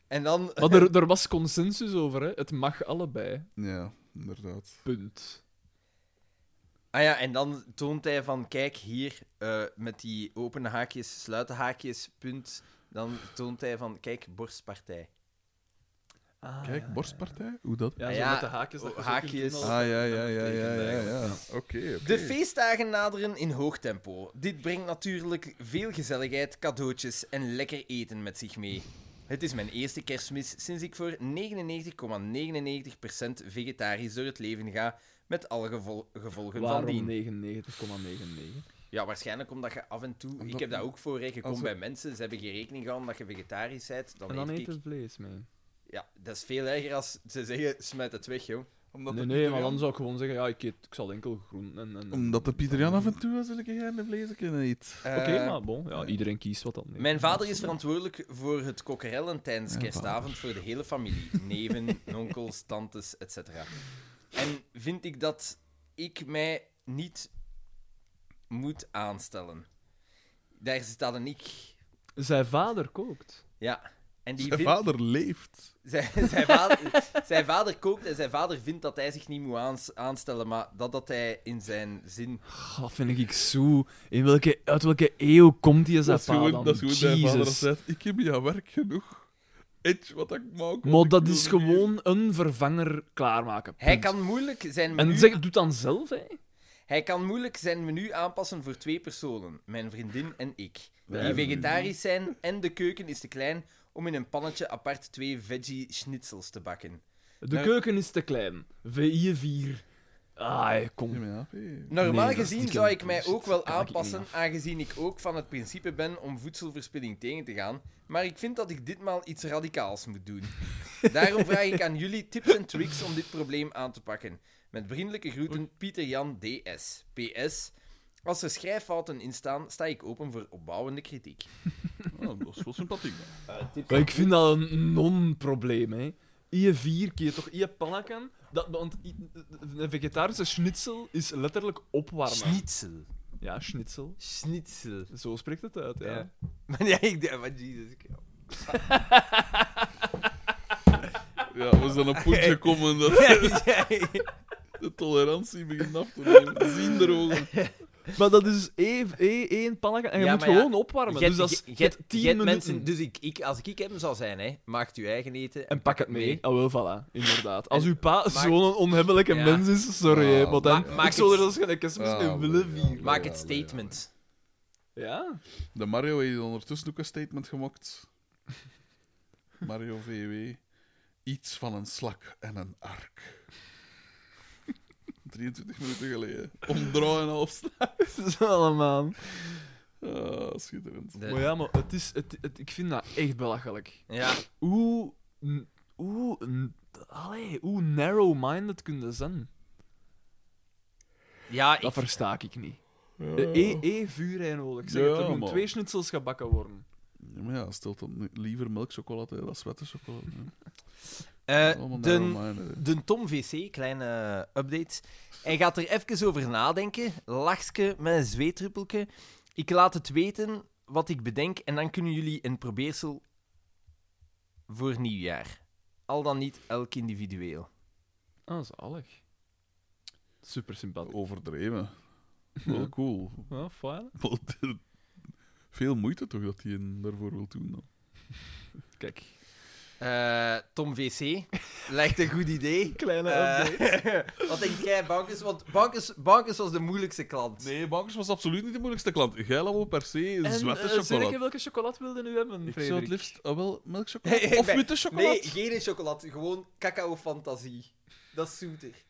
[SPEAKER 1] En dan...
[SPEAKER 3] Maar er, er was consensus over, hè. Het mag allebei.
[SPEAKER 4] Ja, inderdaad.
[SPEAKER 3] Punt.
[SPEAKER 1] Ah ja, en dan toont hij van, kijk hier, eh, met die openen haakjes, sluiten haakjes, punt. Dan toont hij van, kijk, borstpartij.
[SPEAKER 4] Kijk, borstpartij. Hoe dat?
[SPEAKER 3] Ah. Ja,
[SPEAKER 1] Ah,
[SPEAKER 3] zo
[SPEAKER 1] ja,
[SPEAKER 3] met de haakjes. Dat je zo
[SPEAKER 1] haakjes.
[SPEAKER 3] kunt doen
[SPEAKER 4] Ah,
[SPEAKER 3] als-
[SPEAKER 4] ja, ja, ja, ja, ja. ja. Oké, oké.
[SPEAKER 1] De feestdagen naderen in hoog tempo. Dit brengt natuurlijk veel gezelligheid, cadeautjes en lekker eten met zich mee. Het is mijn eerste kerstmis sinds ik voor 99,99% vegetarisch door het leven ga, met alle gevol- gevolgen van
[SPEAKER 3] Waarom
[SPEAKER 1] dien.
[SPEAKER 3] 99,99?
[SPEAKER 1] Ja, waarschijnlijk omdat je af en toe... Ik
[SPEAKER 4] Omdat-
[SPEAKER 1] heb dat ook voor, hè. je komt
[SPEAKER 4] Als we-
[SPEAKER 1] bij mensen, ze hebben geen rekening gehouden dat je vegetarisch bent, dan,
[SPEAKER 3] En dan
[SPEAKER 1] eet
[SPEAKER 3] eet
[SPEAKER 1] ik...
[SPEAKER 3] het vlees mee.
[SPEAKER 1] Ja, dat is veel erger als ze zeggen, smijt het weg, joh.
[SPEAKER 4] Omdat
[SPEAKER 3] nee,
[SPEAKER 4] de
[SPEAKER 3] nee,
[SPEAKER 4] Pieter
[SPEAKER 3] maar dan
[SPEAKER 4] Jan-
[SPEAKER 3] zou ik gewoon zeggen, ja, ik, eet, ik zal enkel groenten en... en-
[SPEAKER 4] Omdat de Pieter Jan af en toe als ik geen vlees kunnen eet.
[SPEAKER 3] Oké,
[SPEAKER 1] Eh,
[SPEAKER 3] maar bon, ja, iedereen kiest wat dan.
[SPEAKER 1] Mijn vader is verantwoordelijk voor het kokerellen tijdens
[SPEAKER 4] Mijn
[SPEAKER 1] kerstavond voor de hele familie. Neven, onkels, tantes, etc. En vind ik dat ik mij niet moet aanstellen. Daar zit dat een ik.
[SPEAKER 3] Zijn vader kookt.
[SPEAKER 1] Ja. En die
[SPEAKER 4] Zijn
[SPEAKER 1] vindt-
[SPEAKER 4] vader leeft.
[SPEAKER 1] Zijn, zijn, vader, zijn vader kookt en zijn vader vindt dat hij zich niet moet aans- aanstellen, maar dat dat hij in zijn zin...
[SPEAKER 3] Gaf vind ik zo. In welke, uit welke eeuw komt die zijn
[SPEAKER 4] Dat is
[SPEAKER 3] vader
[SPEAKER 4] gewoon,
[SPEAKER 3] dan?
[SPEAKER 4] dat is gewoon mijn vader dat
[SPEAKER 3] Jezus.
[SPEAKER 4] zegt, ik heb jouw werk genoeg. Eet wat ik maak.
[SPEAKER 3] Maar dat is gewoon een vervanger klaarmaken.
[SPEAKER 1] Hij
[SPEAKER 3] punt.
[SPEAKER 1] kan moeilijk zijn menu,
[SPEAKER 3] En zeg, doe het dan zelf, hè.
[SPEAKER 1] hij kan moeilijk zijn menu aanpassen voor twee personen, mijn vriendin en ik. Die
[SPEAKER 4] hebben
[SPEAKER 1] vegetarisch zijn en de keuken is te klein om in een pannetje apart twee veggie schnitzels te bakken.
[SPEAKER 3] De
[SPEAKER 1] Nee.
[SPEAKER 3] keuken is te klein. VI4. Ah,
[SPEAKER 4] Ja,
[SPEAKER 3] kom.
[SPEAKER 4] maar ja, hey.
[SPEAKER 1] Normaal
[SPEAKER 3] Nee, dat is
[SPEAKER 1] gezien
[SPEAKER 3] niet
[SPEAKER 1] zou
[SPEAKER 3] leuk.
[SPEAKER 1] ik mij
[SPEAKER 3] Dat
[SPEAKER 1] ook wel
[SPEAKER 3] kan ik niet
[SPEAKER 1] aanpassen,
[SPEAKER 3] af.
[SPEAKER 1] aangezien ik ook van het principe ben om voedselverspilling tegen te gaan. Maar ik vind dat ik ditmaal iets radicaals moet doen. Daarom vraag ik aan jullie tips en tricks om dit probleem aan te pakken. Met vriendelijke groeten, Pieter Jan DS. PS. Als er schrijffouten in staan, sta ik open voor opbouwende kritiek.
[SPEAKER 6] Ah, dat is wel sympathiek. man.
[SPEAKER 3] Maar ik vind dat een non-probleem, hè. Je vier keer toch je pannenkan? Dat, want i- een vegetarische schnitzel is letterlijk opwarmen.
[SPEAKER 1] Schnitzel.
[SPEAKER 3] ja, schnitzel.
[SPEAKER 1] Schnitzel.
[SPEAKER 3] Zo spreekt het uit, ja.
[SPEAKER 1] Ja. Maar ja, ik dacht, maar Jesus. ik-
[SPEAKER 4] Ja, we zijn een puntje komen dat de tolerantie begint af te nemen. Zien er ogen.
[SPEAKER 3] Maar dat is één, één, één pannenkan en je
[SPEAKER 1] Ja,
[SPEAKER 3] moet
[SPEAKER 1] maar ja,
[SPEAKER 3] gewoon opwarmen.
[SPEAKER 1] Jij-
[SPEAKER 3] dus dat is
[SPEAKER 1] jij-
[SPEAKER 3] je
[SPEAKER 1] jij-
[SPEAKER 3] hebt tien
[SPEAKER 1] jij hebt
[SPEAKER 3] minuten.
[SPEAKER 1] mensen- dus ik, ik, als ik hem zou zijn, hè, maakt u eigen eten en,
[SPEAKER 3] En pak het mee. Ah, wel, voilà. Inderdaad. Als
[SPEAKER 1] En-
[SPEAKER 3] uw pa
[SPEAKER 1] maak-
[SPEAKER 3] zo'n onhebbelijke
[SPEAKER 1] Ja.
[SPEAKER 3] mens is, sorry, hè,
[SPEAKER 4] Ah,
[SPEAKER 3] maar dan...
[SPEAKER 1] ma- maak
[SPEAKER 3] ik zou er
[SPEAKER 1] het- Oh,
[SPEAKER 3] dus als gelijk kerstmis
[SPEAKER 4] Ah,
[SPEAKER 3] in willen
[SPEAKER 4] wel, ja.
[SPEAKER 3] vieren.
[SPEAKER 1] Maak
[SPEAKER 4] Ja,
[SPEAKER 1] het
[SPEAKER 4] ja, ja.
[SPEAKER 1] statement.
[SPEAKER 3] Ja.
[SPEAKER 4] De Mario heeft ondertussen ook een statement gemaakt. Mario VW. Iets van een slak en een ark. 23 minuten geleden. Omdraaien en half slag.
[SPEAKER 3] Dat is allemaal...
[SPEAKER 4] Ah, schitterend.
[SPEAKER 1] De-
[SPEAKER 3] Maar ja, maar het is, het, het- ik vind dat echt belachelijk.
[SPEAKER 1] ja.
[SPEAKER 3] Hoe... n- Hoe... n- Allee, hoe narrow-minded kun je zijn?
[SPEAKER 1] Ja, ik,
[SPEAKER 3] Dat versta ik niet. Eén e vuur hij nodig. Ik Zeg, het,
[SPEAKER 4] Ja,
[SPEAKER 3] er moeten
[SPEAKER 4] man.
[SPEAKER 3] twee schnitzels gebakken worden.
[SPEAKER 4] Ja, maar ja, stel dan nu liever melkchocolade hè, dan sweaterchocolade. hè.
[SPEAKER 1] eh,
[SPEAKER 4] Allemaal
[SPEAKER 1] de,
[SPEAKER 4] narrow-minded, hè.
[SPEAKER 1] de Tom VC, kleine eh, update. Hij gaat er even over nadenken. Lachske met een zweetruppelke. Ik laat het weten wat ik bedenk en dan kunnen jullie een probeersel voor nieuwjaar. Al dan niet elk individueel.
[SPEAKER 3] Ah, zalig. Super sympathiek.
[SPEAKER 4] Overdreven. Wel cool.
[SPEAKER 3] Ah, fijn.
[SPEAKER 4] Wel, Veel moeite toch dat hij een daarvoor wil doen. Dan.
[SPEAKER 3] Kijk.
[SPEAKER 1] Eh, Tom VC, lijkt een goed idee.
[SPEAKER 3] Kleine
[SPEAKER 1] Eh, wat denk jij, Bankers? Want Bankers, Bankers was de moeilijkste klant.
[SPEAKER 4] Nee, Bankers was absoluut niet de moeilijkste klant. Jij wou per se een
[SPEAKER 3] En
[SPEAKER 4] zwarte
[SPEAKER 3] eh,
[SPEAKER 4] chocolade.
[SPEAKER 3] Zinneke, welke chocolade wilde nu hebben,
[SPEAKER 4] Ik
[SPEAKER 3] Frederik?
[SPEAKER 4] zou het liefst ah, wel melkchocolade of
[SPEAKER 1] Nee,
[SPEAKER 4] witte chocolade.
[SPEAKER 1] Nee, geen chocolade. Gewoon cacao fantasie. Dat is zoeter.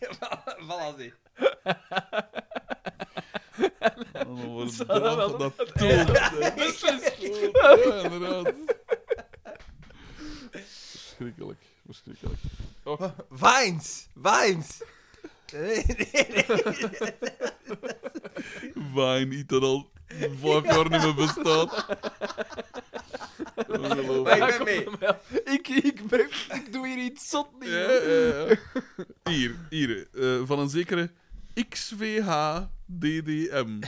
[SPEAKER 1] voilà, zie.
[SPEAKER 4] Dan wordt
[SPEAKER 3] Zou
[SPEAKER 4] dat,
[SPEAKER 3] Oh, dat wel
[SPEAKER 4] dat dood, hè. Ja, inderdaad. Verschrikkelijk. Verschrikkelijk.
[SPEAKER 1] Vines! Vines! Nee, nee, nee.
[SPEAKER 4] Wijn, niet dat al vijf jaar niet meer bestaat.
[SPEAKER 1] Maar
[SPEAKER 4] Ongelooflijk.
[SPEAKER 1] ik ben mee.
[SPEAKER 3] ik, ik, ben, ik doe hier iets zot niet.
[SPEAKER 4] Ja, ja, ja. Hier, hier. eh, van een zekere XVHDDM.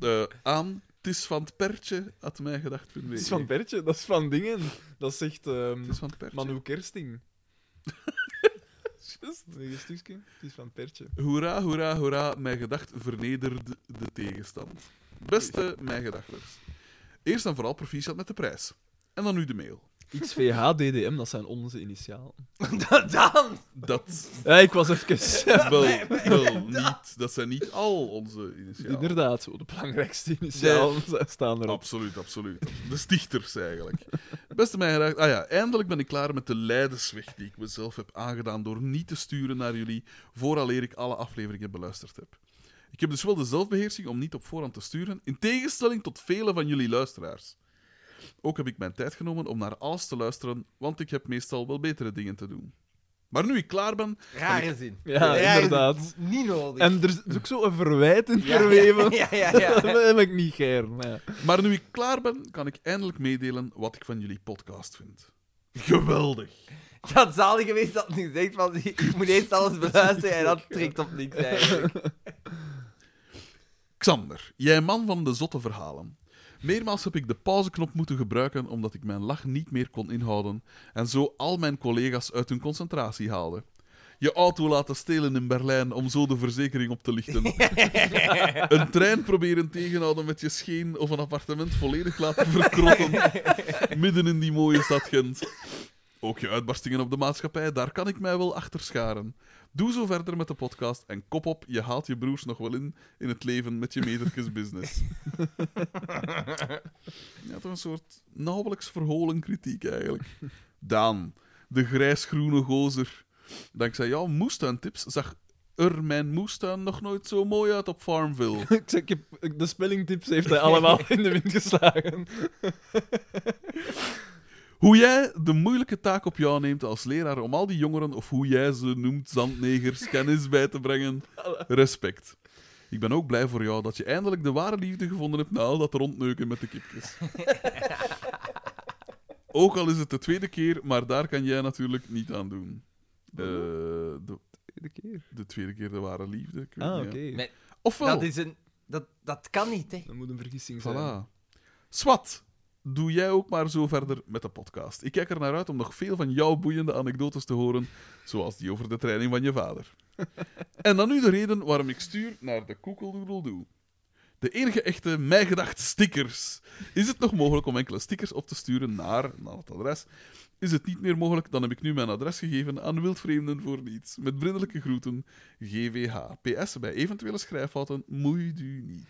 [SPEAKER 4] Eh aan tis van het pertje, had mij gedacht.
[SPEAKER 3] Dat is van Bertje, dat is van dingen. Dat zegt ehm
[SPEAKER 4] Tis van het pertje.
[SPEAKER 3] Manu Kersting. Just. Nog een stukje. Het is van Pertje.
[SPEAKER 4] Hoera, hoera, hoera, mijn gedacht vernederde de tegenstand. Beste mijn gedachters. Eerst en vooral proficiat met de prijs. En dan nu de mail.
[SPEAKER 3] XVHDDM, dat zijn onze initialen.
[SPEAKER 1] Dat dan!
[SPEAKER 4] Dat
[SPEAKER 3] Ja, ik was even...
[SPEAKER 4] wel, wel niet. Dat zijn niet al onze initialen.
[SPEAKER 3] Inderdaad, zo, de belangrijkste initialen staan erop.
[SPEAKER 4] Absoluut, absoluut. De stichters eigenlijk. Beste mij gedacht. Ah ja, eindelijk ben ik klaar met de lijdensweg die ik mezelf heb aangedaan door niet te sturen naar jullie vooraleer ik alle afleveringen beluisterd heb. Ik heb dus wel de zelfbeheersing om niet op voorhand te sturen, in tegenstelling tot vele van jullie luisteraars. Ook heb ik mijn tijd genomen om naar alles te luisteren, want ik heb meestal wel betere dingen te doen. Maar nu ik klaar ben,
[SPEAKER 1] Rare zin.
[SPEAKER 3] Ja,
[SPEAKER 1] Rare zin.
[SPEAKER 3] inderdaad.
[SPEAKER 1] Niet nodig.
[SPEAKER 3] En er is ook zo een verwijt in
[SPEAKER 1] Ja,
[SPEAKER 3] verweven.
[SPEAKER 1] Ja, ja, ja.
[SPEAKER 3] Dat heb ik niet geir.
[SPEAKER 4] Maar nu ik klaar ben, kan ik eindelijk meedelen wat ik van jullie podcast vind. Geweldig.
[SPEAKER 2] Het had zalig geweest dat hij zegt van, ik moet eerst alles beluisteren en dat trekt op niks eigenlijk.
[SPEAKER 4] Xander, jij man van de zotte verhalen. Meermaals heb ik de pauzeknop moeten gebruiken omdat ik mijn lach niet meer kon inhouden en zo al mijn collega's uit hun concentratie haalde. Je auto laten stelen in Berlijn om zo de verzekering op te lichten. een trein proberen tegenhouden met je scheen of een appartement volledig laten verkrotten midden in die mooie stad Gent. Ook je uitbarstingen op de maatschappij, daar kan ik mij wel achter scharen. Doe zo verder met de podcast en kop op, je haalt je broers nog wel in in het leven met je metertjes business. ja, toch een soort nauwelijks verholen kritiek eigenlijk. Daan, de grijsgroene gozer. Dankzij jouw moestuintips zag er mijn moestuin nog nooit zo mooi uit op Farmville.
[SPEAKER 3] Ik zeg, ik heb- de spellingtips heeft hij allemaal in de wind geslagen.
[SPEAKER 4] Hoe jij de moeilijke taak op jou neemt als leraar om al die jongeren, of hoe jij ze noemt, zandnegers, kennis bij te brengen. Respect. Ik ben ook blij voor jou dat je eindelijk de ware liefde gevonden hebt na al dat rondneuken met de kipjes. ook al is het de tweede keer, maar daar kan jij natuurlijk niet aan doen. Eh, de,
[SPEAKER 2] Tweede keer.
[SPEAKER 4] de tweede keer de ware liefde. ik weet
[SPEAKER 3] Ah,
[SPEAKER 4] niet,
[SPEAKER 3] oké.
[SPEAKER 4] ja.
[SPEAKER 2] Nee.
[SPEAKER 4] Ofwel.
[SPEAKER 2] Dat is een... Dat, dat kan niet, hè.
[SPEAKER 3] Dat moet een vergissing zijn.
[SPEAKER 4] Voilà. Swat, doe jij ook maar zo verder met de podcast. Ik kijk er naar uit om nog veel van jouw boeiende anekdotes te horen, zoals die over de training van je vader. en dan nu de reden waarom ik stuur naar de koekeldoedeldoe. De enige echte mijgedacht stickers. Is het nog mogelijk om enkele stickers op te sturen naar, naar het adres? Is het niet meer mogelijk, dan heb ik nu mijn adres gegeven aan wildvreemden voor niets. Met vriendelijke groeten, GVH. PS, bij eventuele schrijffouten, moeit u niet.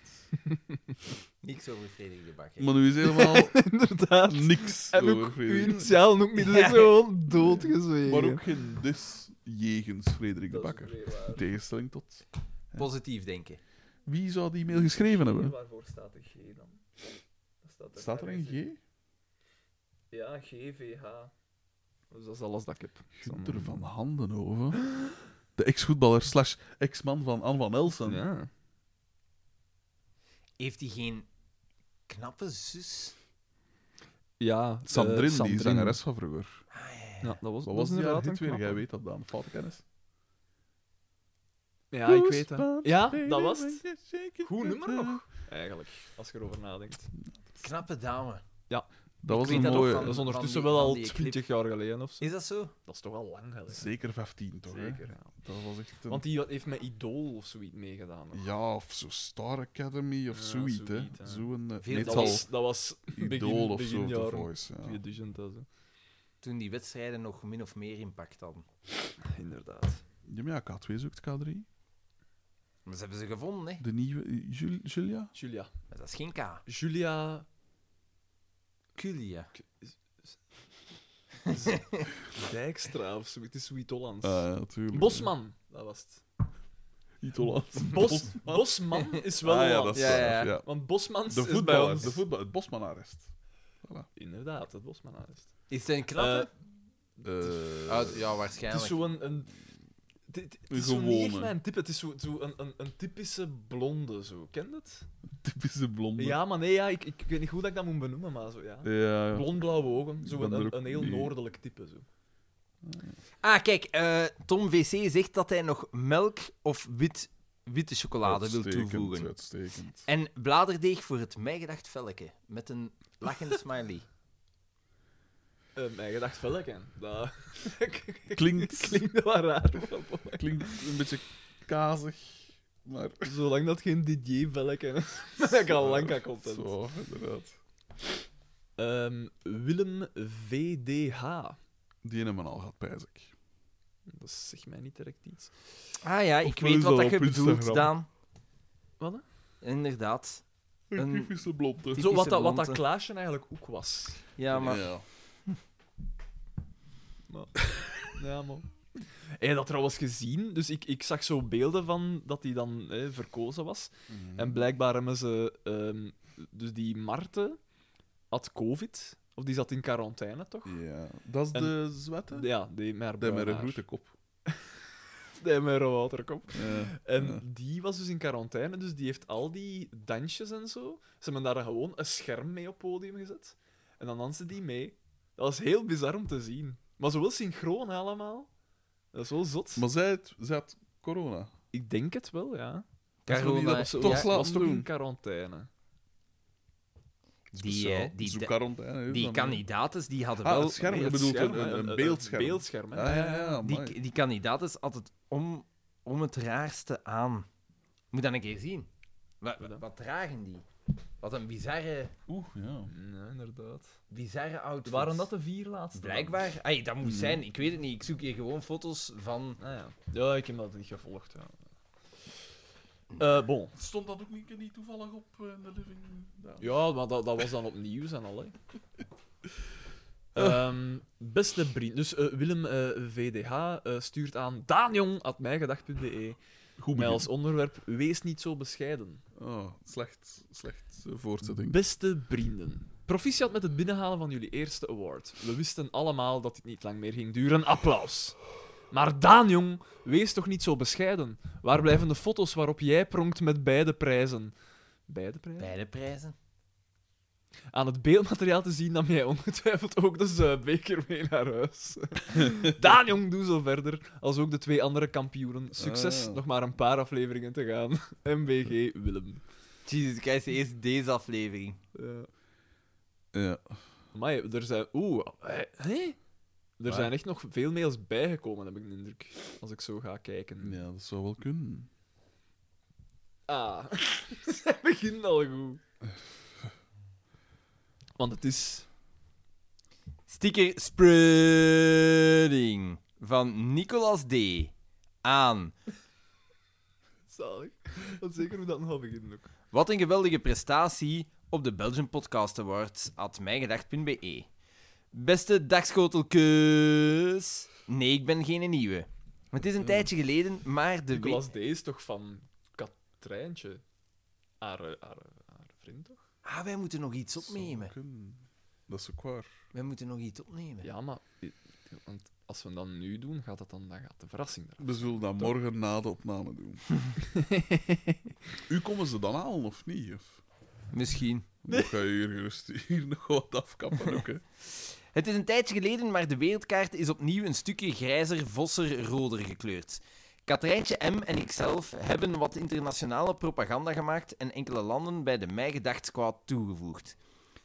[SPEAKER 1] Niks over Frederik de Bakker.
[SPEAKER 4] Maar nu is helemaal
[SPEAKER 3] Inderdaad.
[SPEAKER 4] niks
[SPEAKER 3] En
[SPEAKER 4] over
[SPEAKER 3] ook uw
[SPEAKER 4] Frederik.
[SPEAKER 3] initialen ook niet. Dat is gewoon doodgezwegen.
[SPEAKER 4] Maar ook geen dis jegens Frederik de
[SPEAKER 3] Dat is
[SPEAKER 4] Bakker.
[SPEAKER 3] weer waar.
[SPEAKER 4] In tegenstelling tot...
[SPEAKER 1] Positief denken.
[SPEAKER 4] Wie zou die mail geschreven hebben?
[SPEAKER 3] Waarvoor staat de G dan? Dat
[SPEAKER 4] Staat er een G?
[SPEAKER 3] Ja, GVH. Dus dat is alles dat ik heb.
[SPEAKER 4] Gunter van Handenhoven. De ex-voetballer slash ex-man van Anne van Elsen.
[SPEAKER 2] Ja.
[SPEAKER 1] Heeft hij geen knappe zus?
[SPEAKER 3] Ja, eh,
[SPEAKER 4] Sandrine, die zangeres van vroeger.
[SPEAKER 3] Ja, dat was,
[SPEAKER 4] Wat was
[SPEAKER 3] dat
[SPEAKER 4] die haar
[SPEAKER 3] inderdaad
[SPEAKER 4] hit
[SPEAKER 3] een
[SPEAKER 4] weer? Jij
[SPEAKER 3] knappe.
[SPEAKER 4] weet dat, Daan. Foutkennis.
[SPEAKER 3] Ja, ik weet Ah, dat. Ja, dat was het. Goed nummer nog. Eigenlijk, als je erover nadenkt.
[SPEAKER 1] Knappe dame.
[SPEAKER 4] Dat was
[SPEAKER 1] weet
[SPEAKER 4] een
[SPEAKER 1] dat ook
[SPEAKER 4] mooie...
[SPEAKER 1] van-
[SPEAKER 3] Dat is ondertussen
[SPEAKER 1] die-
[SPEAKER 3] wel
[SPEAKER 1] van
[SPEAKER 3] al
[SPEAKER 1] die clip.
[SPEAKER 3] 20 jaar geleden of zo.
[SPEAKER 1] Is dat zo?
[SPEAKER 3] Dat is toch al lang geleden.
[SPEAKER 4] Zeker 15, toch? hè?
[SPEAKER 3] Zeker, ja.
[SPEAKER 4] Dat was echt een...
[SPEAKER 3] Want die heeft met Idol of zoiets meegedaan. nog.
[SPEAKER 4] Ja, of zo Star Academy of
[SPEAKER 3] Ja,
[SPEAKER 4] zoiets, hè.
[SPEAKER 3] zoiets, ja.
[SPEAKER 4] Zo'n... eh,
[SPEAKER 1] Veel
[SPEAKER 4] net
[SPEAKER 3] Dat
[SPEAKER 1] zal-
[SPEAKER 3] was, dat was begin,
[SPEAKER 4] Idool of zo,
[SPEAKER 3] begin
[SPEAKER 4] of The
[SPEAKER 3] jaren
[SPEAKER 4] Voice. Ja.
[SPEAKER 3] 2000. dat zo.
[SPEAKER 1] Toen die wedstrijden nog min of meer impact hadden.
[SPEAKER 3] Inderdaad.
[SPEAKER 4] Ja, maar ja, K2 zoekt K3.
[SPEAKER 1] Maar ze hebben ze gevonden, hè.
[SPEAKER 4] De nieuwe... eh, Jul- Julia?
[SPEAKER 3] Julia.
[SPEAKER 1] Maar dat is geen K.
[SPEAKER 3] Julia...
[SPEAKER 1] Culia.
[SPEAKER 3] Dijkstra of zo. Het is zoiets Hollands.
[SPEAKER 4] Ah, ja, natuurlijk.
[SPEAKER 3] Bosman, dat was het.
[SPEAKER 4] Niet Hollands.
[SPEAKER 3] Bos, Bosman is wel
[SPEAKER 4] Ah, ja, dat
[SPEAKER 3] Hollands.
[SPEAKER 4] is
[SPEAKER 1] Ja, ja,
[SPEAKER 4] waar,
[SPEAKER 1] ja.
[SPEAKER 4] ja.
[SPEAKER 3] Want Bosmans
[SPEAKER 4] De
[SPEAKER 3] is bij
[SPEAKER 4] voetballer,
[SPEAKER 3] ons.
[SPEAKER 4] de voetbal, het Bosmanarrest.
[SPEAKER 3] Inderdaad, het Bosmanarrest.
[SPEAKER 1] Is het een knappe?
[SPEAKER 4] Eh,
[SPEAKER 1] Ah, ja,
[SPEAKER 3] Het
[SPEAKER 1] waarschijnlijk.
[SPEAKER 3] is zo'n... Een, het- het, het
[SPEAKER 4] Een
[SPEAKER 3] is zo niet echt
[SPEAKER 4] gewone.
[SPEAKER 3] mijn type. Het is zo'n zo een, een, een typische blonde, zo. Ken je het?
[SPEAKER 4] typische blonde.
[SPEAKER 3] Ja, maar nee, ja, ik, ik weet niet hoe dat ik dat moet benoemen, maar zo, ja.
[SPEAKER 4] Ja, ja.
[SPEAKER 3] Blondblauwe ogen. Zo
[SPEAKER 4] Ik ben
[SPEAKER 3] een,
[SPEAKER 4] er
[SPEAKER 3] een,
[SPEAKER 4] ook
[SPEAKER 3] een heel
[SPEAKER 4] niet-
[SPEAKER 3] noordelijk type, zo.
[SPEAKER 1] Ah, kijk. eh, Tom VC zegt dat hij nog melk of wit, witte chocolade wil
[SPEAKER 4] Uitstekend,
[SPEAKER 1] toevoegen.
[SPEAKER 4] Uitstekend.
[SPEAKER 1] En bladerdeeg voor het mijgedacht velken. Met een lachende smiley.
[SPEAKER 3] Eh, mijn gedacht velken. Dat
[SPEAKER 4] Klinkt,
[SPEAKER 3] klinkt wel raar.
[SPEAKER 4] klinkt een beetje kazig, maar...
[SPEAKER 3] Zolang dat geen DJ velken is, ben ik al lang aan content.
[SPEAKER 4] Zo, inderdaad.
[SPEAKER 3] Ehm, Willem VDH.
[SPEAKER 4] Die hebben we al gehad, pijs ik.
[SPEAKER 3] Dat zegt mij niet direct iets.
[SPEAKER 1] Ah ja,
[SPEAKER 4] Of
[SPEAKER 1] ik
[SPEAKER 4] wil je
[SPEAKER 1] weet wat
[SPEAKER 4] dat
[SPEAKER 1] dat je
[SPEAKER 4] op
[SPEAKER 1] bedoelt,
[SPEAKER 4] Instagram?
[SPEAKER 1] Daan.
[SPEAKER 3] Wat? hè?
[SPEAKER 1] Inderdaad.
[SPEAKER 4] Een
[SPEAKER 1] Een-
[SPEAKER 3] Mm.
[SPEAKER 4] typische blonde.
[SPEAKER 1] Typische
[SPEAKER 3] Zo, wat, dat, wat dat
[SPEAKER 1] blonde.
[SPEAKER 3] Klaasje eigenlijk ook was.
[SPEAKER 1] Ja, maar...
[SPEAKER 4] Ja.
[SPEAKER 3] Ja, man. Hij had dat trouwens gezien, dus ik, ik zag zo beelden van dat hij dan hè, verkozen was. En blijkbaar hebben ze... ehm, dus die Marte had covid, of die zat in quarantaine, toch?
[SPEAKER 4] Ja. Dat is
[SPEAKER 3] En-
[SPEAKER 4] de zwette?
[SPEAKER 3] Ja, die met
[SPEAKER 4] Die met
[SPEAKER 3] haar bruin
[SPEAKER 4] een
[SPEAKER 3] haar.
[SPEAKER 4] grote kop.
[SPEAKER 3] Die met haar waterkop.
[SPEAKER 4] Ja.
[SPEAKER 3] En
[SPEAKER 4] Ja.
[SPEAKER 3] die was dus in quarantaine, dus die heeft al die dansjes en zo. Ze hebben daar gewoon een scherm mee op podium gezet. En dan dansen die mee. Dat was heel bizar om te zien. Maar zo wel synchroon allemaal. Dat is wel zot.
[SPEAKER 4] Maar zij had, zij had corona.
[SPEAKER 3] Ik denk het wel, ja.
[SPEAKER 4] Carona.
[SPEAKER 3] Dat
[SPEAKER 4] Toch
[SPEAKER 3] was,
[SPEAKER 4] laten
[SPEAKER 3] was toch
[SPEAKER 4] doen.
[SPEAKER 3] in quarantaine.
[SPEAKER 4] dus
[SPEAKER 7] Die, eh, die,
[SPEAKER 4] Zo'n
[SPEAKER 7] de-
[SPEAKER 4] quarantaine, hè,
[SPEAKER 7] die
[SPEAKER 4] dan-
[SPEAKER 7] kandidaten die hadden
[SPEAKER 4] Ah,
[SPEAKER 7] wel...
[SPEAKER 4] het scherm.
[SPEAKER 3] Nee,
[SPEAKER 4] je
[SPEAKER 3] het
[SPEAKER 4] bedoelt
[SPEAKER 3] scherm,
[SPEAKER 4] een-
[SPEAKER 3] hè.
[SPEAKER 4] een beeldscherm.
[SPEAKER 3] Een beeldscherm, hè.
[SPEAKER 4] Ah, ja, ja, ja, amai.
[SPEAKER 7] Die, die kandidaten hadden het om, om het raarste aan. Moet dat een keer zien. Wat,
[SPEAKER 3] Wat dan?
[SPEAKER 7] wat dragen die? Wat een bizarre,
[SPEAKER 4] Oeh, ja.
[SPEAKER 3] Ja, inderdaad.
[SPEAKER 7] bizarre outfit.
[SPEAKER 3] Waren dat de vier laatste? dan?
[SPEAKER 7] Blijkbaar. Ai, dat moet zijn. Ik weet het niet. Ik zoek hier gewoon foto's van...
[SPEAKER 3] Ah, ja. ja, ik heb dat niet gevolgd. Ja. Eh, bon.
[SPEAKER 4] Stond dat ook niet, niet toevallig op eh, in de living? Ja.
[SPEAKER 3] Ja, maar dat, dat was dan opnieuw en al. hè. Ehm, beste vriend. Dus eh, Willem eh, VDH eh, stuurt aan danjong.mijgedacht.be
[SPEAKER 4] Goed
[SPEAKER 3] met
[SPEAKER 4] begin.
[SPEAKER 3] E. als onderwerp Wees niet zo bescheiden.
[SPEAKER 4] Oh, slecht, slecht eh, voortzetting.
[SPEAKER 3] Beste vrienden. Proficiat met het binnenhalen van jullie eerste award. We wisten allemaal dat dit niet lang meer ging duren. Applaus. Maar Daan, jong, wees toch niet zo bescheiden. Waar blijven de foto's waarop jij pronkt met beide prijzen? Beide prijzen?
[SPEAKER 7] Beide prijzen.
[SPEAKER 3] Aan het beeldmateriaal te zien nam jij ongetwijfeld ook de Zuidbeker mee naar huis. Daan, jong, doe zo verder. Als ook de twee andere kampioenen. Succes,
[SPEAKER 4] Ah.
[SPEAKER 3] nog maar een paar afleveringen te gaan. MBG Willem.
[SPEAKER 1] Jesus Christ, eerst deze aflevering.
[SPEAKER 3] Ja.
[SPEAKER 4] Ja.
[SPEAKER 3] Maar er zijn. Oeh, hé? hé? Er
[SPEAKER 4] Waar?
[SPEAKER 3] zijn echt nog veel mails bijgekomen, heb ik de indruk. Als ik zo ga kijken.
[SPEAKER 4] ja, dat zou wel kunnen.
[SPEAKER 3] Ah, het begint al goed. Want het is.
[SPEAKER 1] Sticker spreading van Nicolas D. aan.
[SPEAKER 3] Zalig. Want zeker hoe dat nogal begint ook.
[SPEAKER 1] Wat een geweldige prestatie op de Belgian Podcast Awards at mijgedacht.be. E. Beste dagschotelkeus. Nee, ik ben geen nieuwe. Het is een tijdje geleden, maar de week...
[SPEAKER 3] Nicolas D is toch van Katrijntje? Haar, eh, haar, haar vriend toch?
[SPEAKER 1] Ah, wij moeten nog iets
[SPEAKER 4] Dat zou
[SPEAKER 1] opnemen.
[SPEAKER 4] kunnen. Dat is ook waar.
[SPEAKER 1] Wij moeten nog iets opnemen.
[SPEAKER 3] Ja, maar. i- Want als we dat nu doen, gaat dat dan, dan gaat de verrassing er.
[SPEAKER 4] Dus We zullen dat morgen na de opname doen. U komen ze dan halen, of niet? Of?
[SPEAKER 1] Misschien.
[SPEAKER 4] Dan ga je hier gerust hier nog wat afkappen ook, hè?
[SPEAKER 1] Het is een tijdje geleden, maar de wereldkaart is opnieuw een stukje grijzer, vosser, roder gekleurd. Katrijntje M. en ikzelf hebben wat internationale propaganda gemaakt en enkele landen bij de Mij Gedacht Squad toegevoegd.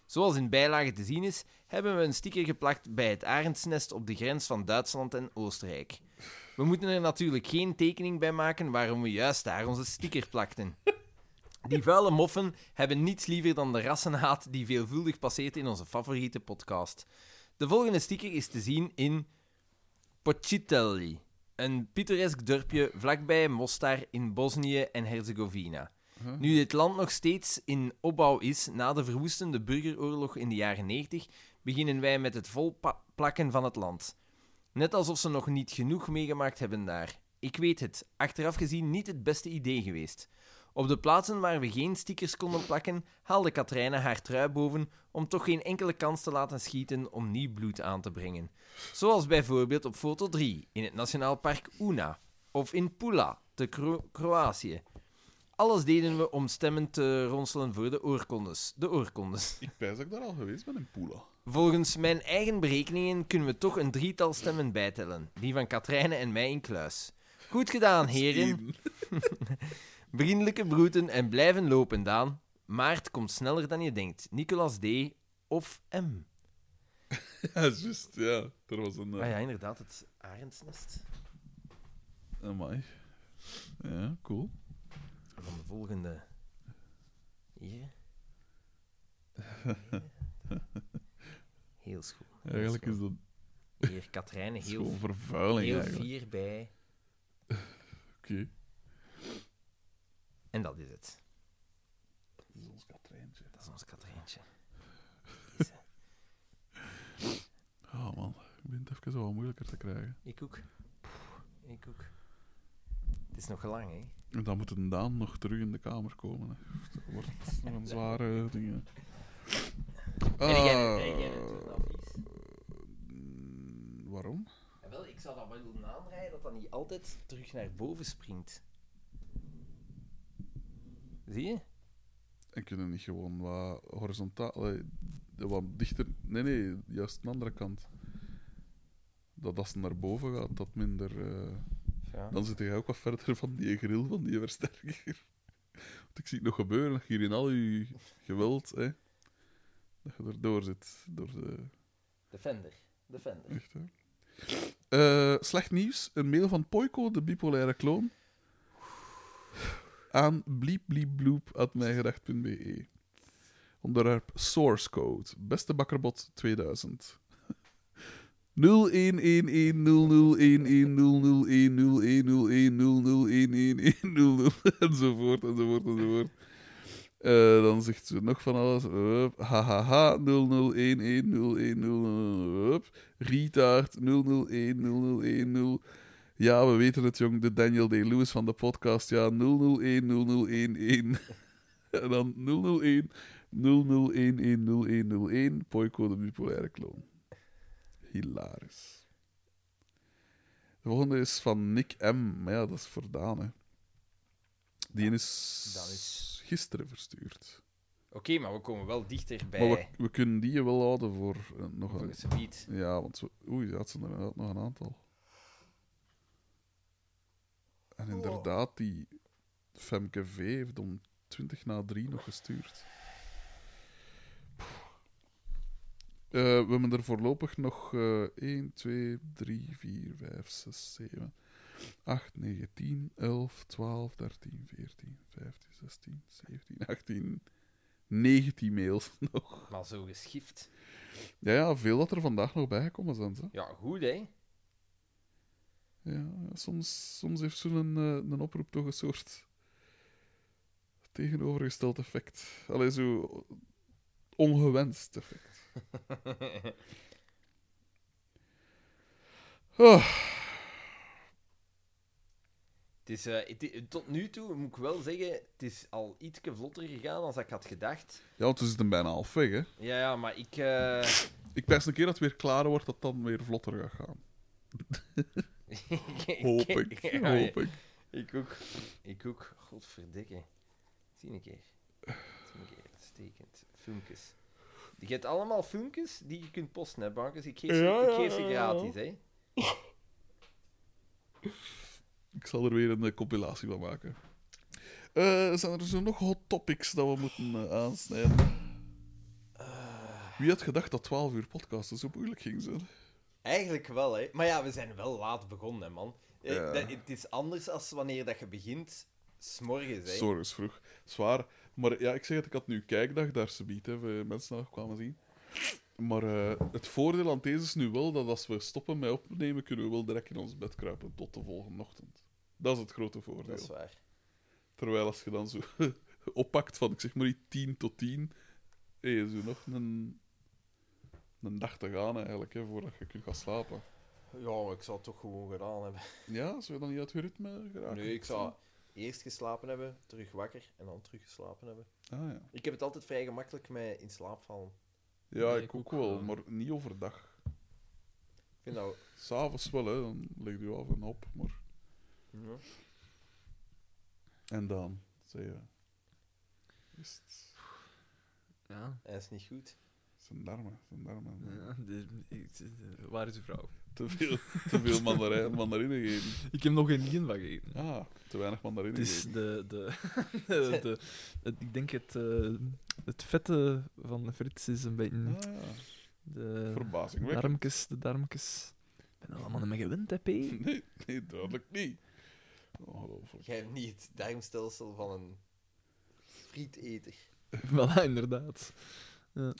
[SPEAKER 1] Zoals in bijlage te zien is, hebben we een sticker geplakt bij het arendsnest op de grens van Duitsland en Oostenrijk. We moeten er natuurlijk geen tekening bij maken waarom we juist daar onze sticker plakten. Die vuile moffen hebben niets liever dan de rassenhaat die veelvuldig passeert in onze favoriete podcast. De volgende sticker is te zien in Pocitelli, een pittoresk dorpje vlakbij Mostar in Bosnië en Herzegovina.
[SPEAKER 4] Huh?
[SPEAKER 1] Nu dit land nog steeds in opbouw is na de verwoestende burgeroorlog in de jaren 90, beginnen wij met het volplakken van het land. Net alsof ze nog niet genoeg meegemaakt hebben daar. Ik weet het, achteraf gezien niet het beste idee geweest. Op de plaatsen waar we geen stickers konden plakken, haalde Katrijne haar trui boven om toch geen enkele kans te laten schieten om nieuw bloed aan te brengen. Zoals bijvoorbeeld op foto 3 in het Nationaal Park Una of in Pula, te Kro- Kroatië. Alles deden we om stemmen te ronselen voor de oorkondes. De oorkondes.
[SPEAKER 4] Ik pijs dat ik daar al geweest ben in Pula.
[SPEAKER 1] Volgens mijn eigen berekeningen kunnen we toch een drietal stemmen bijtellen. Die van Katrijne en mij in kluis. Goed gedaan, heren.
[SPEAKER 4] Eén.
[SPEAKER 1] Vriendelijke broeten en blijven lopen, Daan. Maart komt sneller dan je denkt. Nicolas D. of M.
[SPEAKER 4] Ja, juist, ja. Er was een...
[SPEAKER 1] Ah
[SPEAKER 4] eh,
[SPEAKER 1] ja, inderdaad, het arendsnest.
[SPEAKER 4] Amai. Ja, cool.
[SPEAKER 1] En dan de volgende. Hier. Heel schoon. heel
[SPEAKER 4] Eigenlijk
[SPEAKER 1] schoon.
[SPEAKER 4] is dat
[SPEAKER 1] Hier, Katrijne,
[SPEAKER 4] is gewoon
[SPEAKER 1] heel,
[SPEAKER 4] vervuiling,
[SPEAKER 1] heel
[SPEAKER 4] eigenlijk.
[SPEAKER 1] fier bij.
[SPEAKER 4] Oké.
[SPEAKER 1] En dat is het.
[SPEAKER 4] Dat is ons katreintje.
[SPEAKER 1] Dat is ons Katrijntje.
[SPEAKER 4] Oh man, ik ben het even wat moeilijker te krijgen.
[SPEAKER 1] Ik ook. Ik ook. Het is nog lang, hè?
[SPEAKER 4] En dan moet een Daan nog terug in de kamer komen. Hè. Dat wordt nog een zware ding. hè.
[SPEAKER 1] Ben jij
[SPEAKER 4] Ah,
[SPEAKER 1] ben jij natuurlijk wel vies?
[SPEAKER 4] mm, waarom?
[SPEAKER 1] En wel, ik zou dat wel willen aandraaien dat dat niet altijd terug naar boven springt. Zie je?
[SPEAKER 4] En kunnen niet gewoon wat horizontaal... eh, wat dichter. Nee, nee, juist aan de andere kant. Dat als het naar boven gaat, dat minder. eh,
[SPEAKER 1] Ja.
[SPEAKER 4] Dan zit je ook wat verder van die grill van die versterker. Want ik zie het nog gebeuren, dat je hier in al je geweld, hè, dat je erdoor zit. Door de,
[SPEAKER 1] Defender. Defender.
[SPEAKER 4] echt, hè. Eh, slecht nieuws: een mail van Poiko, de bipolaire kloon. Aan bliepbliepbloep.mijgedacht.be. E. Onderwerp source code. Beste bakkerbot 2000. 011100101010101010101010 enzovoort enzovoort enzovoort. Eh, dan zegt ze nog van alles. Hup, hahaha 00110110 hup. Rietaard 00100110. Ja, we weten het jong, de Daniel Day Lewis van de podcast. Ja 00100111. en dan 001 00110101 Poico de bipolaire kloon. Hilarisch. De volgende is van Nick M. Maar ja, dat is voor Daan, hè. Die is,
[SPEAKER 1] dat is-
[SPEAKER 4] gisteren verstuurd.
[SPEAKER 1] Oké, maar we komen wel dichterbij.
[SPEAKER 4] Maar we, we kunnen die wel houden voor eh, nog
[SPEAKER 1] Voor
[SPEAKER 4] een...
[SPEAKER 1] het gebied.
[SPEAKER 4] Ja, want zo, oei, ze had ze er inderdaad nog een aantal. En inderdaad, die Femke V heeft om 20 na 3 nog gestuurd. Eh, we hebben er voorlopig nog eh 1, 2, 3, 4, 5, 6, 7, 8, 9, 10, 11, 12, 13, 14, 15, 16, 17, 18, 19 mails nog.
[SPEAKER 1] Maar zo geschift.
[SPEAKER 4] Ja, ja, veel dat er vandaag nog bijgekomen zijn. Hè?
[SPEAKER 1] Ja, goed, hè?
[SPEAKER 4] Ja, ja, soms, soms heeft zo'n eh, een oproep toch een soort tegenovergesteld effect. Allee, zo ongewenst effect. Ah,
[SPEAKER 1] Het is, eh, het i- tot nu toe moet ik wel zeggen, het is al iets vlotter gegaan dan ik had gedacht.
[SPEAKER 4] Ja, want we zitten bijna half weg, hè.
[SPEAKER 1] Ja, ja, maar ik... eh,
[SPEAKER 4] Ik pijs een keer dat het weer klaar wordt, dat het dan weer vlotter gaat gaan. Hoop ik,
[SPEAKER 1] Ja,
[SPEAKER 4] hoop ik.
[SPEAKER 1] Ik ook. Ik ook. Godverdikke. Zie een keer. Zie een keer. Uitstekend. Filmpjes. Je hebt allemaal filmpjes die je kunt posten, hè, Bankers? Ik geef ze,
[SPEAKER 4] Ja,
[SPEAKER 1] ik
[SPEAKER 4] ja,
[SPEAKER 1] geef ze
[SPEAKER 4] ja, ja.
[SPEAKER 1] gratis, hè?
[SPEAKER 4] Ik zal er weer een eh, compilatie van maken. Eh, zijn er zo nog hot topics dat we moeten eh, aansnijden? Wie had gedacht dat 12 uur podcasten zo moeilijk ging zijn?
[SPEAKER 1] Eigenlijk wel, hè. Maar ja, we zijn wel laat begonnen, hè, man. Eh,
[SPEAKER 4] Ja.
[SPEAKER 1] dat- het is anders als wanneer dat je begint, s'morgens, hè.
[SPEAKER 4] Sorgens vroeg. Zwaar. Maar ja, ik zeg het, ik had nu kijkdag daar ze biedt, hè, we mensen nog kwamen zien. Maar eh, het voordeel aan deze is nu wel dat als we stoppen met opnemen, kunnen we wel direct in ons bed kruipen tot de volgende ochtend. Dat is het grote voordeel.
[SPEAKER 1] Dat is waar.
[SPEAKER 4] Terwijl als je dan zo oppakt van, ik zeg maar niet 10 tot 10, hey, is er nog een, een dag te gaan eigenlijk, hè, voordat je kunt gaan slapen.
[SPEAKER 1] Ja, ik zou het toch gewoon gedaan hebben.
[SPEAKER 4] Ja, zou je dan niet uit je ritme geraken? Ah,
[SPEAKER 1] Nee, ik zou eerst geslapen hebben, terug wakker en dan terug geslapen hebben.
[SPEAKER 4] Ah, ja.
[SPEAKER 1] Ik heb het altijd vrij gemakkelijk met in slaap vallen.
[SPEAKER 4] ja,
[SPEAKER 3] Nee,
[SPEAKER 4] ik
[SPEAKER 3] ik
[SPEAKER 4] ook
[SPEAKER 3] ook
[SPEAKER 4] wel,
[SPEAKER 3] wel.
[SPEAKER 4] maar niet overdag.
[SPEAKER 1] Ik vind dat...
[SPEAKER 4] S'avonds wel, hè, dan leg je af en op. Maar...
[SPEAKER 1] Ja.
[SPEAKER 4] En dan, zei je. Is het
[SPEAKER 3] Ja.
[SPEAKER 1] Hij is niet goed.
[SPEAKER 4] zijn darmen, zijn darmen.
[SPEAKER 3] ja de- ik- de- waar is uw vrouw?
[SPEAKER 4] Te veel, te veel mandarijn, mandarine geven.
[SPEAKER 3] Ik heb nog geen yin van gegeten.
[SPEAKER 4] Ah, te weinig mandarine
[SPEAKER 3] Het is
[SPEAKER 4] geven.
[SPEAKER 3] de, de, de, de- het- ik denk het, eh, het vette van Frits is een beetje
[SPEAKER 4] Ah, ja.
[SPEAKER 3] de
[SPEAKER 4] Verbazingwekkend.
[SPEAKER 3] darmkes, de darmkes. Ik ben er allemaal niet mee gewend, hè, P.
[SPEAKER 4] Nee, nee, duidelijk niet. Ongelooflijk.
[SPEAKER 1] Jij hebt niet het darmstelsel van een frieteter.
[SPEAKER 3] voilà, inderdaad. Ja.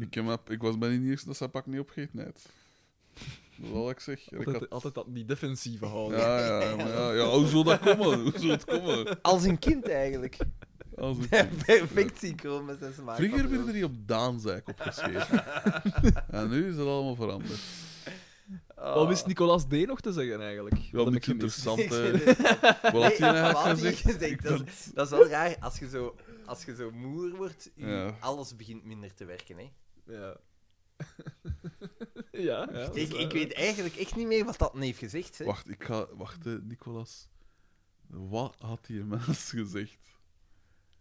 [SPEAKER 4] Ik, heb, maar- ik was bij die eerste dat ze pak niet opgegeten heeft. Dat is al wat ik zeg. En ik
[SPEAKER 3] Altijd,
[SPEAKER 4] had-
[SPEAKER 3] altijd dat die defensieve houden.
[SPEAKER 4] Ja, ja, ja, maar ja, ja. Hoe zou dat komen? Hoe zou het komen?
[SPEAKER 1] Als een kind eigenlijk.
[SPEAKER 4] Als ik-
[SPEAKER 1] Perfect synchroon met zijn smaak.
[SPEAKER 4] Vroeger werden die op Daanzijk opgeschreven. en nu is dat allemaal veranderd.
[SPEAKER 1] Oh.
[SPEAKER 3] Wat wist Nicolas D. nog te zeggen, eigenlijk?
[SPEAKER 4] Wel
[SPEAKER 3] Dat
[SPEAKER 4] een
[SPEAKER 3] heb ik
[SPEAKER 4] beetje
[SPEAKER 3] gemist.
[SPEAKER 4] interessant, hè.
[SPEAKER 1] Nee,
[SPEAKER 4] Wat had hij
[SPEAKER 1] wat
[SPEAKER 4] eigenlijk
[SPEAKER 1] had hij
[SPEAKER 4] gezegd?
[SPEAKER 1] gezegd?
[SPEAKER 4] Ik
[SPEAKER 1] Dat,
[SPEAKER 4] dacht-
[SPEAKER 1] is, dat is wel raar. Als je zo, als je zo moer wordt, je-
[SPEAKER 4] Ja.
[SPEAKER 1] alles begint minder te werken. Hè.
[SPEAKER 3] Ja. ja, ja. dat is
[SPEAKER 1] Ik,
[SPEAKER 3] waar.
[SPEAKER 1] ik weet eigenlijk echt niet meer wat dat heeft gezegd. Hè.
[SPEAKER 4] Wacht, eh, ik ga... Wacht, hè, Nicolas. Wat had die mens gezegd?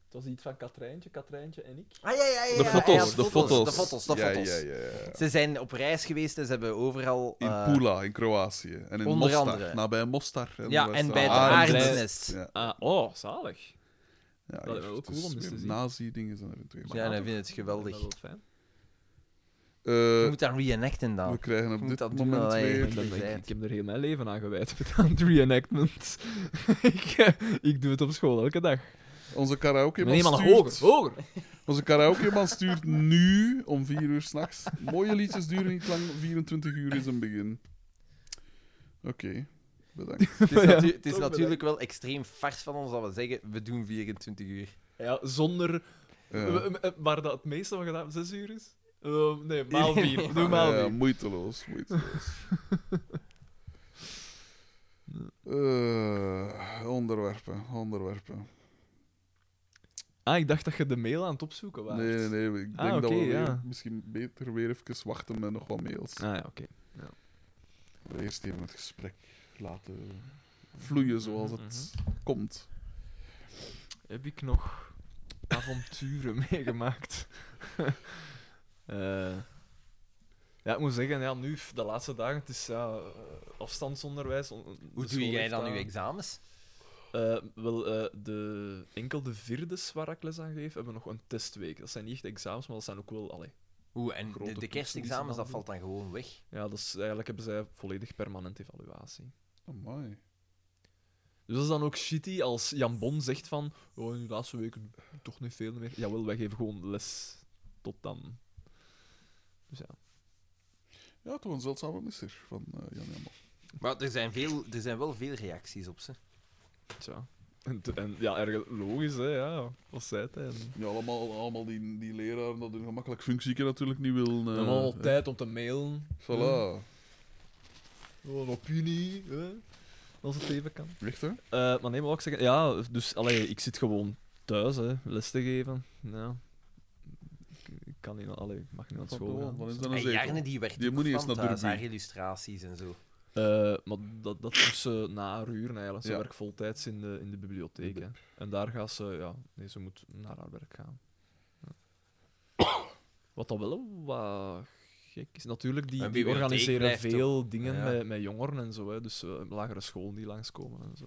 [SPEAKER 3] Het was iets van Katrijntje, Katrijntje en ik.
[SPEAKER 1] Ah, ja, ja, ja.
[SPEAKER 4] De
[SPEAKER 1] ja,
[SPEAKER 4] foto's,
[SPEAKER 1] ja,
[SPEAKER 4] de foto's.
[SPEAKER 1] De foto's, de
[SPEAKER 4] Ja,
[SPEAKER 1] foto's.
[SPEAKER 4] ja, ja, ja.
[SPEAKER 1] Ze zijn op reis geweest en ze hebben overal...
[SPEAKER 4] In
[SPEAKER 1] eh,
[SPEAKER 4] Pula, in Kroatië. En in
[SPEAKER 1] onder
[SPEAKER 4] Mostar,
[SPEAKER 1] andere.
[SPEAKER 4] nabij Mostar.
[SPEAKER 1] Ja,
[SPEAKER 4] daar
[SPEAKER 1] en
[SPEAKER 4] staan
[SPEAKER 1] bij het
[SPEAKER 4] arenden.
[SPEAKER 3] arenden.
[SPEAKER 1] arendsnest.
[SPEAKER 4] Ja.
[SPEAKER 3] Ah, oh, zalig.
[SPEAKER 4] Ja,
[SPEAKER 3] Dat is wel
[SPEAKER 4] juist.
[SPEAKER 3] cool
[SPEAKER 4] Dus
[SPEAKER 3] om eens te
[SPEAKER 4] meer
[SPEAKER 3] zien.
[SPEAKER 4] Nazi-dingen zijn eventueel.
[SPEAKER 1] Ja, en hij vindt het geweldig.
[SPEAKER 3] Dat is wel fijn.
[SPEAKER 1] Je
[SPEAKER 4] Eh,
[SPEAKER 1] moet dat reenacten dan.
[SPEAKER 4] we krijgen op
[SPEAKER 1] moet
[SPEAKER 4] dit
[SPEAKER 1] dat doen,
[SPEAKER 4] moment
[SPEAKER 1] allee.
[SPEAKER 4] weer...
[SPEAKER 3] Ik, ben-
[SPEAKER 1] Gezegd.
[SPEAKER 3] ik heb er heel mijn leven aan gewijd, aan het reenactment. ik, eh, ik doe het op school elke dag.
[SPEAKER 4] Onze
[SPEAKER 3] Ik
[SPEAKER 4] karaokeman
[SPEAKER 3] ben helemaal
[SPEAKER 4] stuurt...
[SPEAKER 3] hoger, hoger.
[SPEAKER 4] Onze karaokeman stuurt nu om 4 uur s'nachts. Mooie liedjes duren niet lang, 24 uur is een begin. Oké, bedankt.
[SPEAKER 1] Het is,
[SPEAKER 3] Ja,
[SPEAKER 1] natu- het is
[SPEAKER 3] toch
[SPEAKER 1] natuurlijk wel extreem fars van ons dat we zeggen, we doen 24 uur.
[SPEAKER 3] Ja, zonder...
[SPEAKER 4] Ja.
[SPEAKER 3] Eh, eh, Waar dat het meeste van gedaan 6 uur is? Eh, nee, maal 4. Doe maal
[SPEAKER 4] Ja,
[SPEAKER 3] 4.
[SPEAKER 4] eh, moeiteloos, moeiteloos. Eh, onderwerpen, onderwerpen.
[SPEAKER 3] Ah, ik dacht dat je de mail aan het opzoeken was.
[SPEAKER 4] Nee, nee, nee. Ik denk dat
[SPEAKER 3] Ah,
[SPEAKER 4] we
[SPEAKER 3] oké,
[SPEAKER 4] weer-
[SPEAKER 3] ja.
[SPEAKER 4] misschien beter weer even wachten met nog wat mails.
[SPEAKER 3] Ah, ja, oké.
[SPEAKER 4] Eerst even het gesprek laten
[SPEAKER 3] Mhm,
[SPEAKER 4] vloeien zoals het komt.
[SPEAKER 3] Heb ik nog avonturen meegemaakt? Eh, ja, ik moet zeggen, ja, nu, f- de laatste dagen, het is ja, eh, afstandsonderwijs. on- de
[SPEAKER 1] Dus Hoe
[SPEAKER 3] school
[SPEAKER 1] doe jij
[SPEAKER 3] heeft
[SPEAKER 1] dan
[SPEAKER 3] dat-
[SPEAKER 1] uw examens?
[SPEAKER 3] Eh, wel, eh, de, enkel de vierdes waar ik les aan geef, hebben nog een testweek. Dat zijn niet echt examens, maar dat zijn ook wel... Allee,
[SPEAKER 1] Oeh, en
[SPEAKER 3] Grote
[SPEAKER 1] de, de
[SPEAKER 3] toetsen die
[SPEAKER 1] kerstexamens,
[SPEAKER 3] ze dan
[SPEAKER 1] dat valt dan gewoon weg.
[SPEAKER 3] ja, dat is, eigenlijk hebben zij volledig permanent evaluatie.
[SPEAKER 4] Amai.
[SPEAKER 3] Dus dat is dan ook shitty als Jan Bon zegt van... Oh, in de laatste weken toch niet veel meer. Jawel, wij geven gewoon les tot dan. Dus ja.
[SPEAKER 4] Ja, toch een zeldzame misser van eh, Jan Jammer.
[SPEAKER 1] Maar er zijn, veel, er zijn wel veel reacties op ze.
[SPEAKER 3] Tja. En, te- en ja, erg logisch, hè, ja. Wat zei het, hè. En-
[SPEAKER 4] Ja, allemaal, allemaal die, die leraren dat hun gemakkelijk functieke natuurlijk niet willen. eh,
[SPEAKER 3] Allemaal tijd om te mailen.
[SPEAKER 4] Voilà.
[SPEAKER 3] Oh, een opinie, hè. Als het even kan.
[SPEAKER 4] Echt, hè?
[SPEAKER 3] Eh, maar nee, maar wat ik zeggen... Ja, dus allee, ik zit gewoon thuis, hè, les te geven. Ja. Ik- Ik kan niet, naar- allee, ik mag niet naar school
[SPEAKER 4] Wat-
[SPEAKER 3] gaan. dus.
[SPEAKER 4] Wat is dat
[SPEAKER 1] En
[SPEAKER 4] een
[SPEAKER 1] Jarne,
[SPEAKER 4] zetel?
[SPEAKER 1] die werkt
[SPEAKER 4] Die
[SPEAKER 1] ook
[SPEAKER 4] moet niet
[SPEAKER 1] van
[SPEAKER 4] eens naar
[SPEAKER 1] thuis,
[SPEAKER 4] Derby.
[SPEAKER 1] haar illustraties en zo.
[SPEAKER 3] Eh, maar dat, dat is eh, na haar uur eigenlijk. Ze
[SPEAKER 4] Ja.
[SPEAKER 3] werkt voltijds in de, in de bibliotheek. Hè. En daar gaat ze, ja, nee, ze moet naar haar werk gaan. Ja. Wat dan wel wat gek is. Natuurlijk, die,
[SPEAKER 1] Een
[SPEAKER 3] die
[SPEAKER 1] bibliotheek
[SPEAKER 3] organiseren
[SPEAKER 1] blijft
[SPEAKER 3] veel dingen
[SPEAKER 1] ja.
[SPEAKER 3] met, met jongeren en zo. Hè. Dus eh, lagere scholen die langskomen en zo.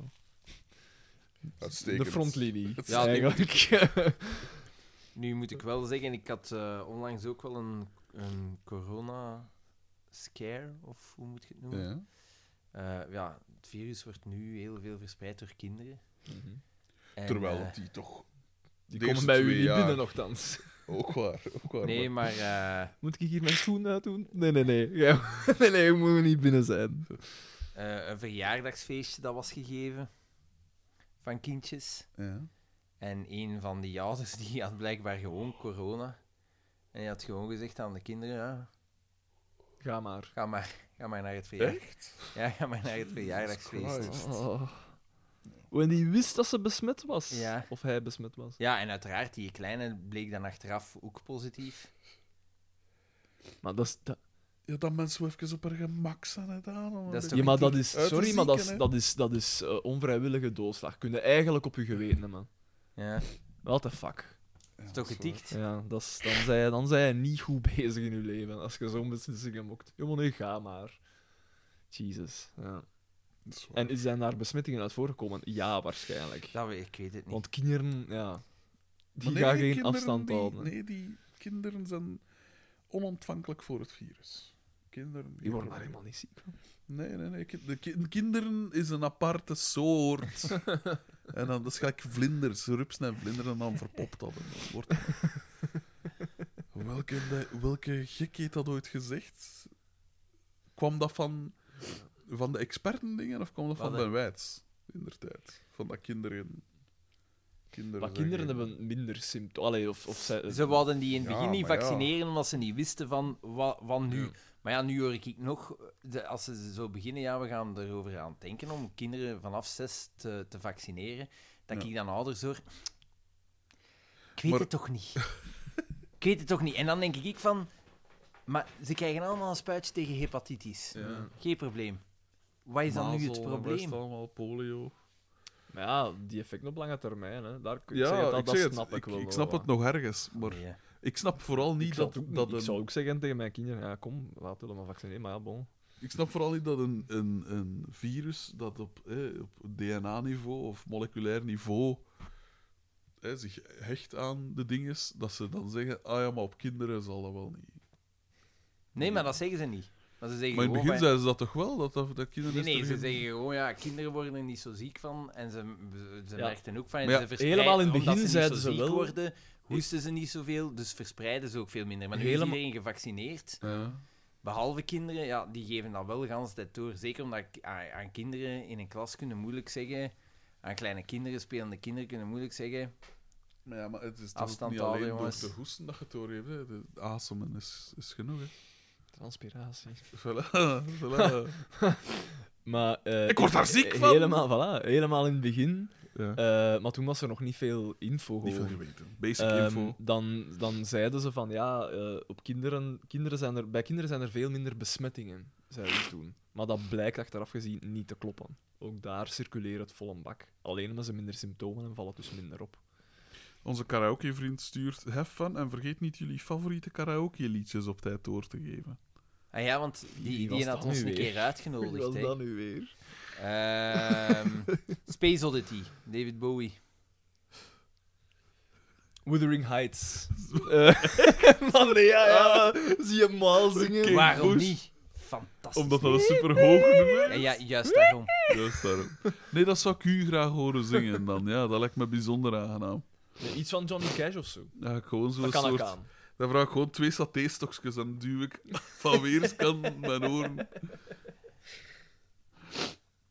[SPEAKER 4] Uitstekend.
[SPEAKER 3] De frontlinie. Ja,
[SPEAKER 4] Uitstekend.
[SPEAKER 3] eigenlijk.
[SPEAKER 1] Nu moet ik wel zeggen, ik had eh, onlangs ook wel een, een corona-scare, of hoe moet je het noemen?
[SPEAKER 4] Ja.
[SPEAKER 1] Eh, ja, het virus wordt nu heel veel verspreid door kinderen.
[SPEAKER 3] Mhm.
[SPEAKER 1] En,
[SPEAKER 4] Terwijl
[SPEAKER 1] eh,
[SPEAKER 4] dat die toch
[SPEAKER 3] Die
[SPEAKER 4] De
[SPEAKER 3] komen
[SPEAKER 4] eerste
[SPEAKER 3] bij u
[SPEAKER 4] twee
[SPEAKER 3] niet
[SPEAKER 4] jaar.
[SPEAKER 3] binnen, nogthans.
[SPEAKER 4] ook waar. Ook waar
[SPEAKER 1] nee,
[SPEAKER 4] maar-
[SPEAKER 1] maar eh,
[SPEAKER 3] Moet ik hier mijn schoen uit doen? Nee, nee, nee. Ja, nee, nee, we moeten niet binnen zijn.
[SPEAKER 1] eh, een verjaardagsfeestje dat was gegeven van kindjes.
[SPEAKER 4] Ja.
[SPEAKER 1] En een van die ouders die had blijkbaar gewoon corona. En die had gewoon gezegd aan de kinderen, ja,
[SPEAKER 3] Ga maar.
[SPEAKER 1] ga, maar, ga maar naar het verjaardag. Ja, ga maar naar het verjaardagsfeest.
[SPEAKER 4] Christ.
[SPEAKER 3] Oh. When die wist dat ze besmet was.
[SPEAKER 1] Ja.
[SPEAKER 3] Of hij besmet was.
[SPEAKER 1] Ja, en uiteraard, die kleine bleek dan achteraf ook positief.
[SPEAKER 3] Maar dat is... dat-
[SPEAKER 4] Ja, dat mensen wel even op haar gemak zijn gedaan. om een
[SPEAKER 1] Dat is
[SPEAKER 4] beetje-
[SPEAKER 1] toch
[SPEAKER 3] Ja, maar dat
[SPEAKER 1] niet
[SPEAKER 3] is...
[SPEAKER 4] uit te
[SPEAKER 3] Sorry, maar dat is,
[SPEAKER 4] zieken,
[SPEAKER 3] dat is, dat is eh, onvrijwillige doodslag. Kun je eigenlijk op je geweten hebben, man.
[SPEAKER 1] Ja,
[SPEAKER 3] What the fuck.
[SPEAKER 4] Ja,
[SPEAKER 1] is toch
[SPEAKER 4] dat is waar.
[SPEAKER 1] getikt?
[SPEAKER 3] Ja, dat is, dan, zijn dan zij niet goed bezig in je leven. Als je zo'n beslissing mokt. Jongen, nee, ga maar. Jesus. Ja.
[SPEAKER 4] Dat is waar.
[SPEAKER 3] En zijn daar besmettingen uit voorgekomen? Ja, waarschijnlijk.
[SPEAKER 1] dat we, ik weet het niet.
[SPEAKER 3] Want kinderen, ja... Die
[SPEAKER 4] Maar nee,
[SPEAKER 3] gaan geen
[SPEAKER 4] kinderen
[SPEAKER 3] afstand
[SPEAKER 4] die-
[SPEAKER 3] houden.
[SPEAKER 4] Nee, die kinderen zijn onontvankelijk voor het virus. Kinderen...
[SPEAKER 3] Die worden daar helemaal niet ziek van.
[SPEAKER 4] Nee, nee, nee. ki- De ki- kinderen is een aparte soort. en dan, dat is gelijk vlinders, rupsen en vlinders, en dan verpopt dat. En dat wordt... welke, de- welke gek heeft dat ooit gezegd? Kwam dat van, van de expertendingen of kwam dat van
[SPEAKER 1] Wat,
[SPEAKER 4] Ben Wijts? In der tijd. Van dat kinderen... kinderen
[SPEAKER 3] Maar
[SPEAKER 4] zijn
[SPEAKER 3] kinderen
[SPEAKER 4] geen-
[SPEAKER 3] hebben minder symptomen. Allee, of, of zij...
[SPEAKER 1] Ze wilden die in het
[SPEAKER 4] Ja,
[SPEAKER 1] begin niet
[SPEAKER 4] maar ja.
[SPEAKER 1] vaccineren, omdat ze niet wisten van wat, wat nu.
[SPEAKER 3] Ja.
[SPEAKER 1] Maar ja, nu hoor ik nog, de, als ze zo beginnen, ja, we gaan erover aan denken om kinderen vanaf zes te, te vaccineren, dat
[SPEAKER 4] Ja.
[SPEAKER 1] ik dan ouders hoor, ik weet
[SPEAKER 4] Maar-
[SPEAKER 1] het toch niet. ik weet het toch niet. En dan denk ik van, maar ze krijgen allemaal een spuitje tegen hepatitis.
[SPEAKER 4] Ja.
[SPEAKER 1] Geen probleem. Wat is dan nu het
[SPEAKER 4] Mazel en
[SPEAKER 1] probleem?
[SPEAKER 4] rest allemaal polio.
[SPEAKER 3] Maar ja, die effect op lange termijn, hè. Daar, ik
[SPEAKER 4] Ja,
[SPEAKER 3] zeg het al,
[SPEAKER 4] ik
[SPEAKER 3] dat
[SPEAKER 4] zeg het,
[SPEAKER 3] snap ik, wel.
[SPEAKER 4] ik
[SPEAKER 3] wel
[SPEAKER 4] snap
[SPEAKER 3] wat.
[SPEAKER 4] het nog ergens, maar
[SPEAKER 8] Nee, hè.
[SPEAKER 4] ik snap vooral niet
[SPEAKER 3] Ik zou,
[SPEAKER 4] dat,
[SPEAKER 3] het ook,
[SPEAKER 4] dat
[SPEAKER 3] niet- ik
[SPEAKER 4] een-
[SPEAKER 3] zou ook zeggen tegen mijn kinderen, ja, kom, laten we dan maar vaccineren. Maar ja, bon.
[SPEAKER 4] Ik snap vooral niet dat een, een, een virus dat op, eh, op DNA-niveau of moleculair niveau eh, zich hecht aan de dingen, dat ze dan zeggen: ah ja, maar op kinderen zal dat wel niet.
[SPEAKER 1] Nee, maar dat zeggen ze niet. Maar ze zeggen
[SPEAKER 4] Maar in het
[SPEAKER 1] gewoon
[SPEAKER 4] begin
[SPEAKER 1] van-
[SPEAKER 4] zeiden ze dat toch wel? Dat, dat, dat kinderen
[SPEAKER 3] dus
[SPEAKER 1] Nee, nee,
[SPEAKER 4] is
[SPEAKER 1] ze
[SPEAKER 4] er geen-
[SPEAKER 1] zeggen gewoon, ja, kinderen worden er niet zo ziek van. En ze, ze- ze
[SPEAKER 3] Ja.
[SPEAKER 1] merkten ook van,
[SPEAKER 4] Maar ja,
[SPEAKER 1] ze verspreiden-
[SPEAKER 3] helemaal in het
[SPEAKER 1] omdat
[SPEAKER 3] begin
[SPEAKER 1] ze niet
[SPEAKER 3] zeiden
[SPEAKER 1] zo
[SPEAKER 3] ze
[SPEAKER 1] ziek
[SPEAKER 3] wel-
[SPEAKER 1] worden, hoesten ze niet zoveel, dus verspreiden ze ook veel minder. Maar nu
[SPEAKER 3] Helemaal-
[SPEAKER 1] is iedereen gevaccineerd,
[SPEAKER 4] Ja.
[SPEAKER 1] behalve kinderen, ja, die geven dat wel de hele tijd door. Zeker omdat k- aan, aan kinderen in een klas kunnen moeilijk zeggen, aan kleine kinderen, spelende kinderen kunnen moeilijk zeggen,
[SPEAKER 4] Maar ja, maar het is toch
[SPEAKER 1] Afstand
[SPEAKER 4] niet
[SPEAKER 1] houden,
[SPEAKER 4] alleen door
[SPEAKER 1] jongens.
[SPEAKER 4] te hoesten dat je het doorheeft. hè. De asemen is, is genoeg, hè.
[SPEAKER 3] Transpiratie.
[SPEAKER 4] Voilà, voilà.
[SPEAKER 3] Maar, eh,
[SPEAKER 4] Ik word daar ziek van!
[SPEAKER 3] Helemaal, voilà, helemaal in het begin.
[SPEAKER 4] Ja.
[SPEAKER 3] Eh, maar toen was er nog niet veel info
[SPEAKER 4] Niet veel
[SPEAKER 3] over.
[SPEAKER 4] geweten. Basic
[SPEAKER 3] Ehm,
[SPEAKER 4] info.
[SPEAKER 3] dan, dan zeiden ze van ja, eh, op kinderen, kinderen zijn er, bij kinderen zijn er veel minder besmettingen, zeiden ze toen. Maar dat blijkt achteraf gezien niet te kloppen. Ook daar circuleert het vol een bak. Alleen omdat ze minder symptomen en vallen dus minder op.
[SPEAKER 4] Onze karaoke-vriend stuurt hef van en vergeet niet jullie favoriete karaoke-liedjes op tijd door te geven.
[SPEAKER 1] ah ja, want
[SPEAKER 3] Wie
[SPEAKER 1] die,
[SPEAKER 3] was
[SPEAKER 1] die had
[SPEAKER 3] dat
[SPEAKER 1] ons
[SPEAKER 3] nu
[SPEAKER 1] een
[SPEAKER 3] weer?
[SPEAKER 1] keer
[SPEAKER 4] Oh,
[SPEAKER 1] uitgenodigd. hè.
[SPEAKER 3] nu weer?
[SPEAKER 1] Ehm, Space Oddity, David Bowie.
[SPEAKER 3] Wuthering Heights. Ah. Eh, maar nee, ja, ja, zie je maal zingen.
[SPEAKER 4] Kate
[SPEAKER 1] Waarom
[SPEAKER 4] Bush,
[SPEAKER 1] niet? Fantastisch.
[SPEAKER 4] Omdat dat een superhoog nummer
[SPEAKER 3] Oh,
[SPEAKER 1] Ja,
[SPEAKER 4] is.
[SPEAKER 1] ja, juist daarom.
[SPEAKER 4] Juist daarom. Nee, dat zou ik u graag horen zingen dan. Ja, dat lijkt me bijzonder aangenaam.
[SPEAKER 3] Nee, iets van Johnny Cash of zo.
[SPEAKER 4] Ja, ik gewoon zo'n
[SPEAKER 3] Dat kan ook
[SPEAKER 4] soort...
[SPEAKER 3] aan.
[SPEAKER 4] Dan vraag ik gewoon twee satéstokjes en duw ik van weerskant mijn oren.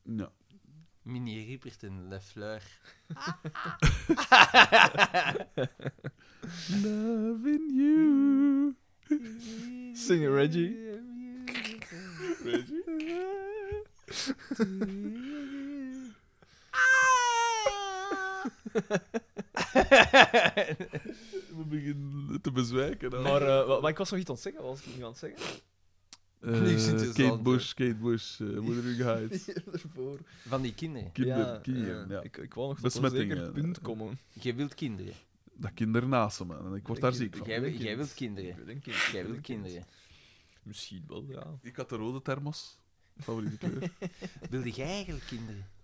[SPEAKER 4] Ja.
[SPEAKER 1] Mini Rieperton, Le Fleur.
[SPEAKER 4] Loving you.
[SPEAKER 3] Zingen Reggie.
[SPEAKER 4] We beginnen te bezwijken. nou.
[SPEAKER 3] Maar, eh, wa- maar ik was nog iets aan het zeggen. Wat was ik nu aan het zeggen?
[SPEAKER 4] Eh,
[SPEAKER 1] Nu zit je zo aan
[SPEAKER 4] Kate
[SPEAKER 1] het-
[SPEAKER 4] Bush, Kate Bush, eh, Wuthering Heights.
[SPEAKER 3] Ervoor.
[SPEAKER 1] Van die kinderen.
[SPEAKER 4] Kinderen, kinderen, ja.
[SPEAKER 3] eh, Ik, ik wou nog tot een
[SPEAKER 4] Besmettingen, eh.
[SPEAKER 3] zeker
[SPEAKER 4] ja.
[SPEAKER 3] punt komen.
[SPEAKER 1] Jij wilt kinderen.
[SPEAKER 4] Dat kinderen naast me. En ik word daar ziek van.
[SPEAKER 1] Jij,
[SPEAKER 3] wil een
[SPEAKER 1] jij
[SPEAKER 3] kind.
[SPEAKER 1] wilt kinderen.
[SPEAKER 3] Ik wil een kind, ik
[SPEAKER 1] Jij
[SPEAKER 3] wil
[SPEAKER 1] wilt
[SPEAKER 3] een kind.
[SPEAKER 1] kinderen.
[SPEAKER 3] Misschien wel, ja.
[SPEAKER 4] Ik had de rode thermos. Favoriete kleur.
[SPEAKER 1] Wilde jij eigenlijk kinderen?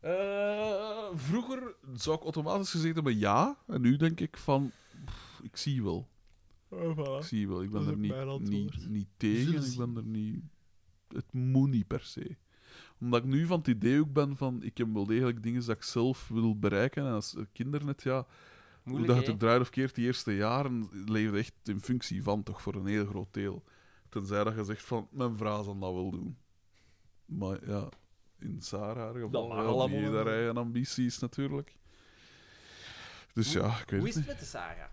[SPEAKER 4] Eh, vroeger zou ik automatisch gezegd hebben ja. En nu denk ik van... pff, ik zie wel. Ik zie wel. Ik ben
[SPEAKER 3] Dat is
[SPEAKER 4] er
[SPEAKER 3] mijn
[SPEAKER 4] niet,
[SPEAKER 3] antwoord.
[SPEAKER 4] niet, niet
[SPEAKER 3] Zullen
[SPEAKER 4] tegen. Ik
[SPEAKER 3] zien.
[SPEAKER 4] ben er niet... Het moet niet per se. Omdat ik nu van het idee ook ben van... Ik heb wel degelijk dingen dat ik zelf wil bereiken. En als kindernet, ja... Hoe
[SPEAKER 1] Moeilijk,
[SPEAKER 4] dat je het
[SPEAKER 1] hè?
[SPEAKER 4] ook draait of keert, die eerste jaren leefde echt in functie van, toch voor een heel groot deel. Tenzij dat je zegt van, mijn vrouw zal dat wel doen. Maar ja, in Sarah haar
[SPEAKER 3] Dat
[SPEAKER 4] geval,
[SPEAKER 3] mag
[SPEAKER 4] ja, die
[SPEAKER 3] allemaal
[SPEAKER 4] heeft
[SPEAKER 3] wel.
[SPEAKER 4] haar eigen ambities natuurlijk. Dus ja, ik weet
[SPEAKER 1] Hoe
[SPEAKER 4] het
[SPEAKER 1] is het
[SPEAKER 4] niet.
[SPEAKER 1] met de Sarah?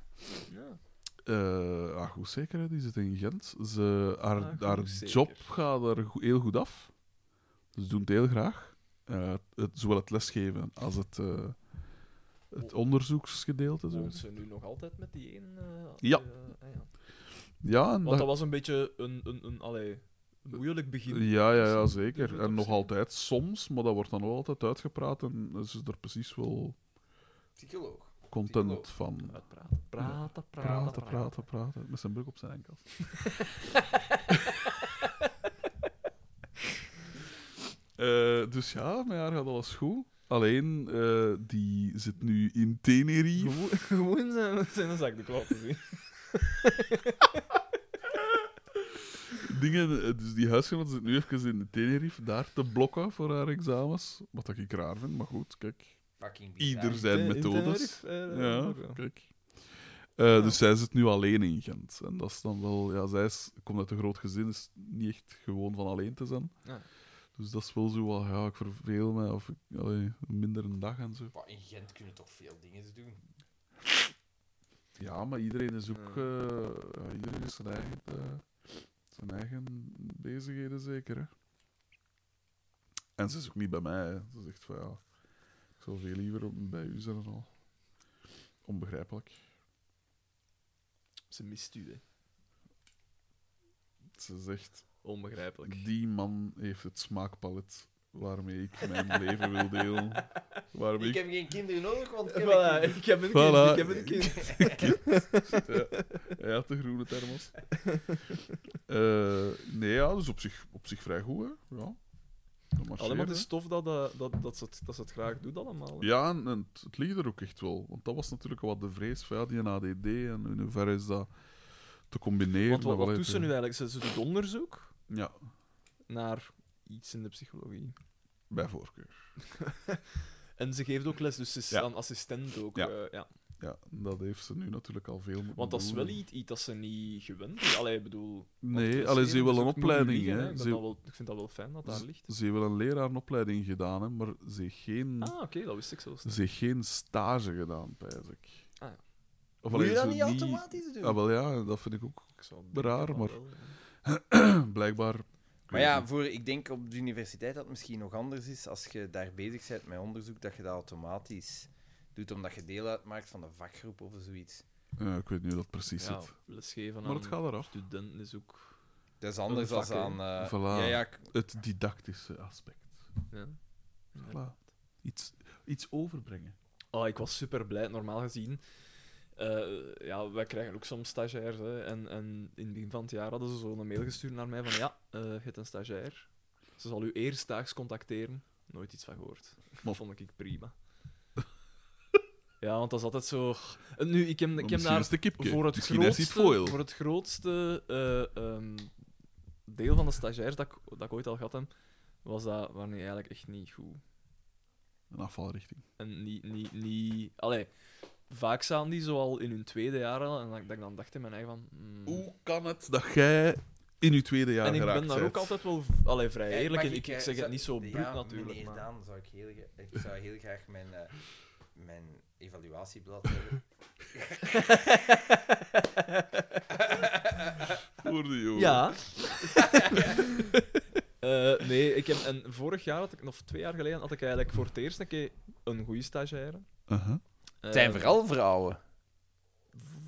[SPEAKER 3] Ja.
[SPEAKER 4] Eh, ah, goed zeker, hè, die zit in Gent. Ze, haar
[SPEAKER 3] Ah, goed
[SPEAKER 4] haar
[SPEAKER 3] zeker.
[SPEAKER 4] job gaat er go- heel goed af. Ze doen het heel graag. Eh, het, zowel het lesgeven als het, eh, het onderzoeksgedeelte. zo.
[SPEAKER 3] Woont ze nu nog altijd met die één? eh,
[SPEAKER 4] Ja.
[SPEAKER 3] eh, ah ja.
[SPEAKER 4] Ja, en
[SPEAKER 3] Want
[SPEAKER 4] dat-
[SPEAKER 3] dat was een beetje een, een, een, allee, een moeilijk begin.
[SPEAKER 4] Ja, ja, ja
[SPEAKER 3] Soms durf
[SPEAKER 4] zeker.
[SPEAKER 3] het
[SPEAKER 4] En
[SPEAKER 3] op
[SPEAKER 4] nog
[SPEAKER 3] zich.
[SPEAKER 4] altijd soms, maar dat wordt dan wel altijd uitgepraat en ze is er precies wel
[SPEAKER 1] Psycholoog.
[SPEAKER 4] content van.
[SPEAKER 3] Uitpraten. Praten, praten,
[SPEAKER 4] Praten,
[SPEAKER 3] praten.
[SPEAKER 4] praten, praten. Met zijn broek op zijn enkels. Eh, dus ja, met haar gaat alles goed. Alleen, eh, die zit nu in Tenerife.
[SPEAKER 3] Gewoon- Gewoon zijn, zijn zakdoek laten zien.
[SPEAKER 4] dingen, eh, dus die huisgenoot zit nu even in Tenerife, daar te blokken voor haar examens. Wat ik raar vind, maar goed, kijk.
[SPEAKER 1] Fucking bizar.
[SPEAKER 4] Ieder zijn
[SPEAKER 3] In
[SPEAKER 4] methodes.
[SPEAKER 3] Tenerife, eh,
[SPEAKER 4] Ja,
[SPEAKER 3] ook wel.
[SPEAKER 4] kijk. Eh, Dus zij zit nu alleen in Gent. En dat is dan wel... Ja, zij is, komt uit een groot gezin, is niet echt gewoon van alleen te zijn.
[SPEAKER 3] Ja.
[SPEAKER 4] Dus dat is wel zo wat, ja, ik verveel me, of ik, allee, minder een dag en zo.
[SPEAKER 1] Bah, In Gent kunnen toch veel dingen doen.
[SPEAKER 4] Ja, maar iedereen is ook... eh, ja, iedereen is zijn eigen, eh, zijn eigen bezigheden, zeker, hè. En ze is ook niet bij mij, hè. Ze zegt van, ja, ik zou veel liever bij u zijn en al. Onbegrijpelijk.
[SPEAKER 3] Ze mist u, hè.
[SPEAKER 4] Ze zegt,
[SPEAKER 3] Onbegrijpelijk.
[SPEAKER 4] Die man heeft het smaakpalet waarmee ik mijn leven wil delen. Waarmee
[SPEAKER 9] Ik
[SPEAKER 4] ik...
[SPEAKER 9] heb geen kinderen nodig, want ik heb een
[SPEAKER 3] Voilà,
[SPEAKER 9] kind.
[SPEAKER 3] ik heb een kind,
[SPEAKER 4] Voilà.
[SPEAKER 3] ik heb een kind.
[SPEAKER 4] Hij had de groene thermos. Eh, nee, ja, dus op zich, op zich vrij goed, hè. Ja. Dat marcheert,
[SPEAKER 3] Alleen maar het
[SPEAKER 4] hè.
[SPEAKER 3] is tof dat, eh, dat, dat, ze, het, dat ze het graag doet allemaal. hè.
[SPEAKER 4] Ja, en, en het, het ligt er ook echt wel. Want dat was natuurlijk wat de vrees van ja, die ADD en in hoeverre is dat te combineren.
[SPEAKER 3] Want wat,
[SPEAKER 4] met
[SPEAKER 3] wat
[SPEAKER 4] wat
[SPEAKER 3] doet ze nu
[SPEAKER 4] uit-
[SPEAKER 3] eigenlijk? Ze, ze doet onderzoek
[SPEAKER 4] Ja,
[SPEAKER 3] naar iets in de psychologie.
[SPEAKER 4] bij voorkeur.
[SPEAKER 3] En ze geeft ook les, dus ze is
[SPEAKER 4] Ja.
[SPEAKER 3] dan assistent ook.
[SPEAKER 4] Ja.
[SPEAKER 3] Ja. ja.
[SPEAKER 4] Ja, dat heeft ze nu natuurlijk al veel moeten
[SPEAKER 3] Want dat is
[SPEAKER 4] doen.
[SPEAKER 3] wel iets, iets dat ze niet gewend is. Allee, ik bedoel...
[SPEAKER 4] Nee, allee, ze heeft wel een opleiding.
[SPEAKER 3] Liggen,
[SPEAKER 4] hè.
[SPEAKER 3] Ik, ben
[SPEAKER 4] Ze,
[SPEAKER 3] dat wel, ik vind dat wel fijn dat daar
[SPEAKER 4] ze-
[SPEAKER 3] ligt.
[SPEAKER 4] ze heeft wel een leraaropleiding gedaan, hè, maar ze heeft geen,
[SPEAKER 3] Ah, oké, dat wist ik zelfs niet.
[SPEAKER 4] ze heeft geen stage gedaan, pijs ik.
[SPEAKER 3] Ah, ja.
[SPEAKER 4] Of
[SPEAKER 9] Moet je
[SPEAKER 4] allee,
[SPEAKER 9] dat
[SPEAKER 4] zo
[SPEAKER 9] niet automatisch
[SPEAKER 4] Ah,
[SPEAKER 9] doen?
[SPEAKER 4] wel ja, dat vind ik ook
[SPEAKER 3] Ik zou
[SPEAKER 4] raar,
[SPEAKER 3] denken van
[SPEAKER 4] maar-
[SPEAKER 3] wel, ja.
[SPEAKER 4] blijkbaar.
[SPEAKER 1] Maar ja, voor, ik denk op de universiteit dat het misschien nog anders is als je daar bezig bent met onderzoek, dat je dat automatisch doet, omdat je deel uitmaakt van de vakgroep of zoiets.
[SPEAKER 4] Ja, ik weet niet hoe dat precies
[SPEAKER 3] Ja, nou, eh,
[SPEAKER 4] zit.
[SPEAKER 3] lesgeven
[SPEAKER 4] Maar
[SPEAKER 3] aan
[SPEAKER 4] het gaat eraf.
[SPEAKER 3] studenten is ook...
[SPEAKER 1] Dat is anders
[SPEAKER 3] Een
[SPEAKER 1] dan
[SPEAKER 3] vak, hè?
[SPEAKER 1] aan... eh,
[SPEAKER 4] Voilà.
[SPEAKER 1] ja, ja, k-
[SPEAKER 4] Het didactische aspect.
[SPEAKER 3] Ja.
[SPEAKER 4] Voilà. Iets, iets overbrengen.
[SPEAKER 3] Oh, ik was super blij. Normaal gezien, eh, ja, wij krijgen ook soms stagiairs. Hè, en, en in het begin van het jaar hadden ze zo'n mail gestuurd naar mij van ja, eh, je hebt een stagiair. Ze zal u eerstdaags contacteren. Nooit iets van gehoord.
[SPEAKER 4] Maar-
[SPEAKER 3] Dat vond ik prima. ja, want dat is altijd zo... En Nu, ik heb, ik heb daar
[SPEAKER 4] de kipje.
[SPEAKER 3] voor het
[SPEAKER 4] Misschien
[SPEAKER 3] grootste,
[SPEAKER 4] is hij foil.
[SPEAKER 3] Voor het grootste eh, ehm, deel van de stagiairs dat ik, dat ik ooit al gehad heb, was dat wanneer eigenlijk echt niet goed.
[SPEAKER 4] Een afvalrichting.
[SPEAKER 3] En niet, niet, niet... Allee, vaak zaten die zo al in hun tweede jaar al, en dat ik dat ik dan dacht in mijn eigen van... hmm.
[SPEAKER 4] Hoe kan het dat jij in je tweede jaar
[SPEAKER 3] en ik ben
[SPEAKER 4] geraakt
[SPEAKER 3] daar
[SPEAKER 4] bent?
[SPEAKER 3] ook altijd wel v- allee, vrij
[SPEAKER 1] Kijk,
[SPEAKER 3] eerlijk
[SPEAKER 1] mag
[SPEAKER 3] in. Ik, ik
[SPEAKER 1] eh,
[SPEAKER 3] zeg het
[SPEAKER 1] zou-
[SPEAKER 3] niet zo
[SPEAKER 1] ja,
[SPEAKER 3] bruut natuurlijk,
[SPEAKER 1] Meneer
[SPEAKER 3] maar...
[SPEAKER 1] Daan, zou ik, heel, ge- ik zou heel graag mijn, eh, mijn evaluatieblad hebben.
[SPEAKER 4] Voor de jongen.
[SPEAKER 3] Ja. Eh, nee, ik heb... En vorig jaar, had ik, of twee jaar geleden, had ik eigenlijk voor het eerst een keer een goede stagiaire.
[SPEAKER 4] Uh-huh.
[SPEAKER 3] Eh,
[SPEAKER 1] Het zijn vooral vrouwen.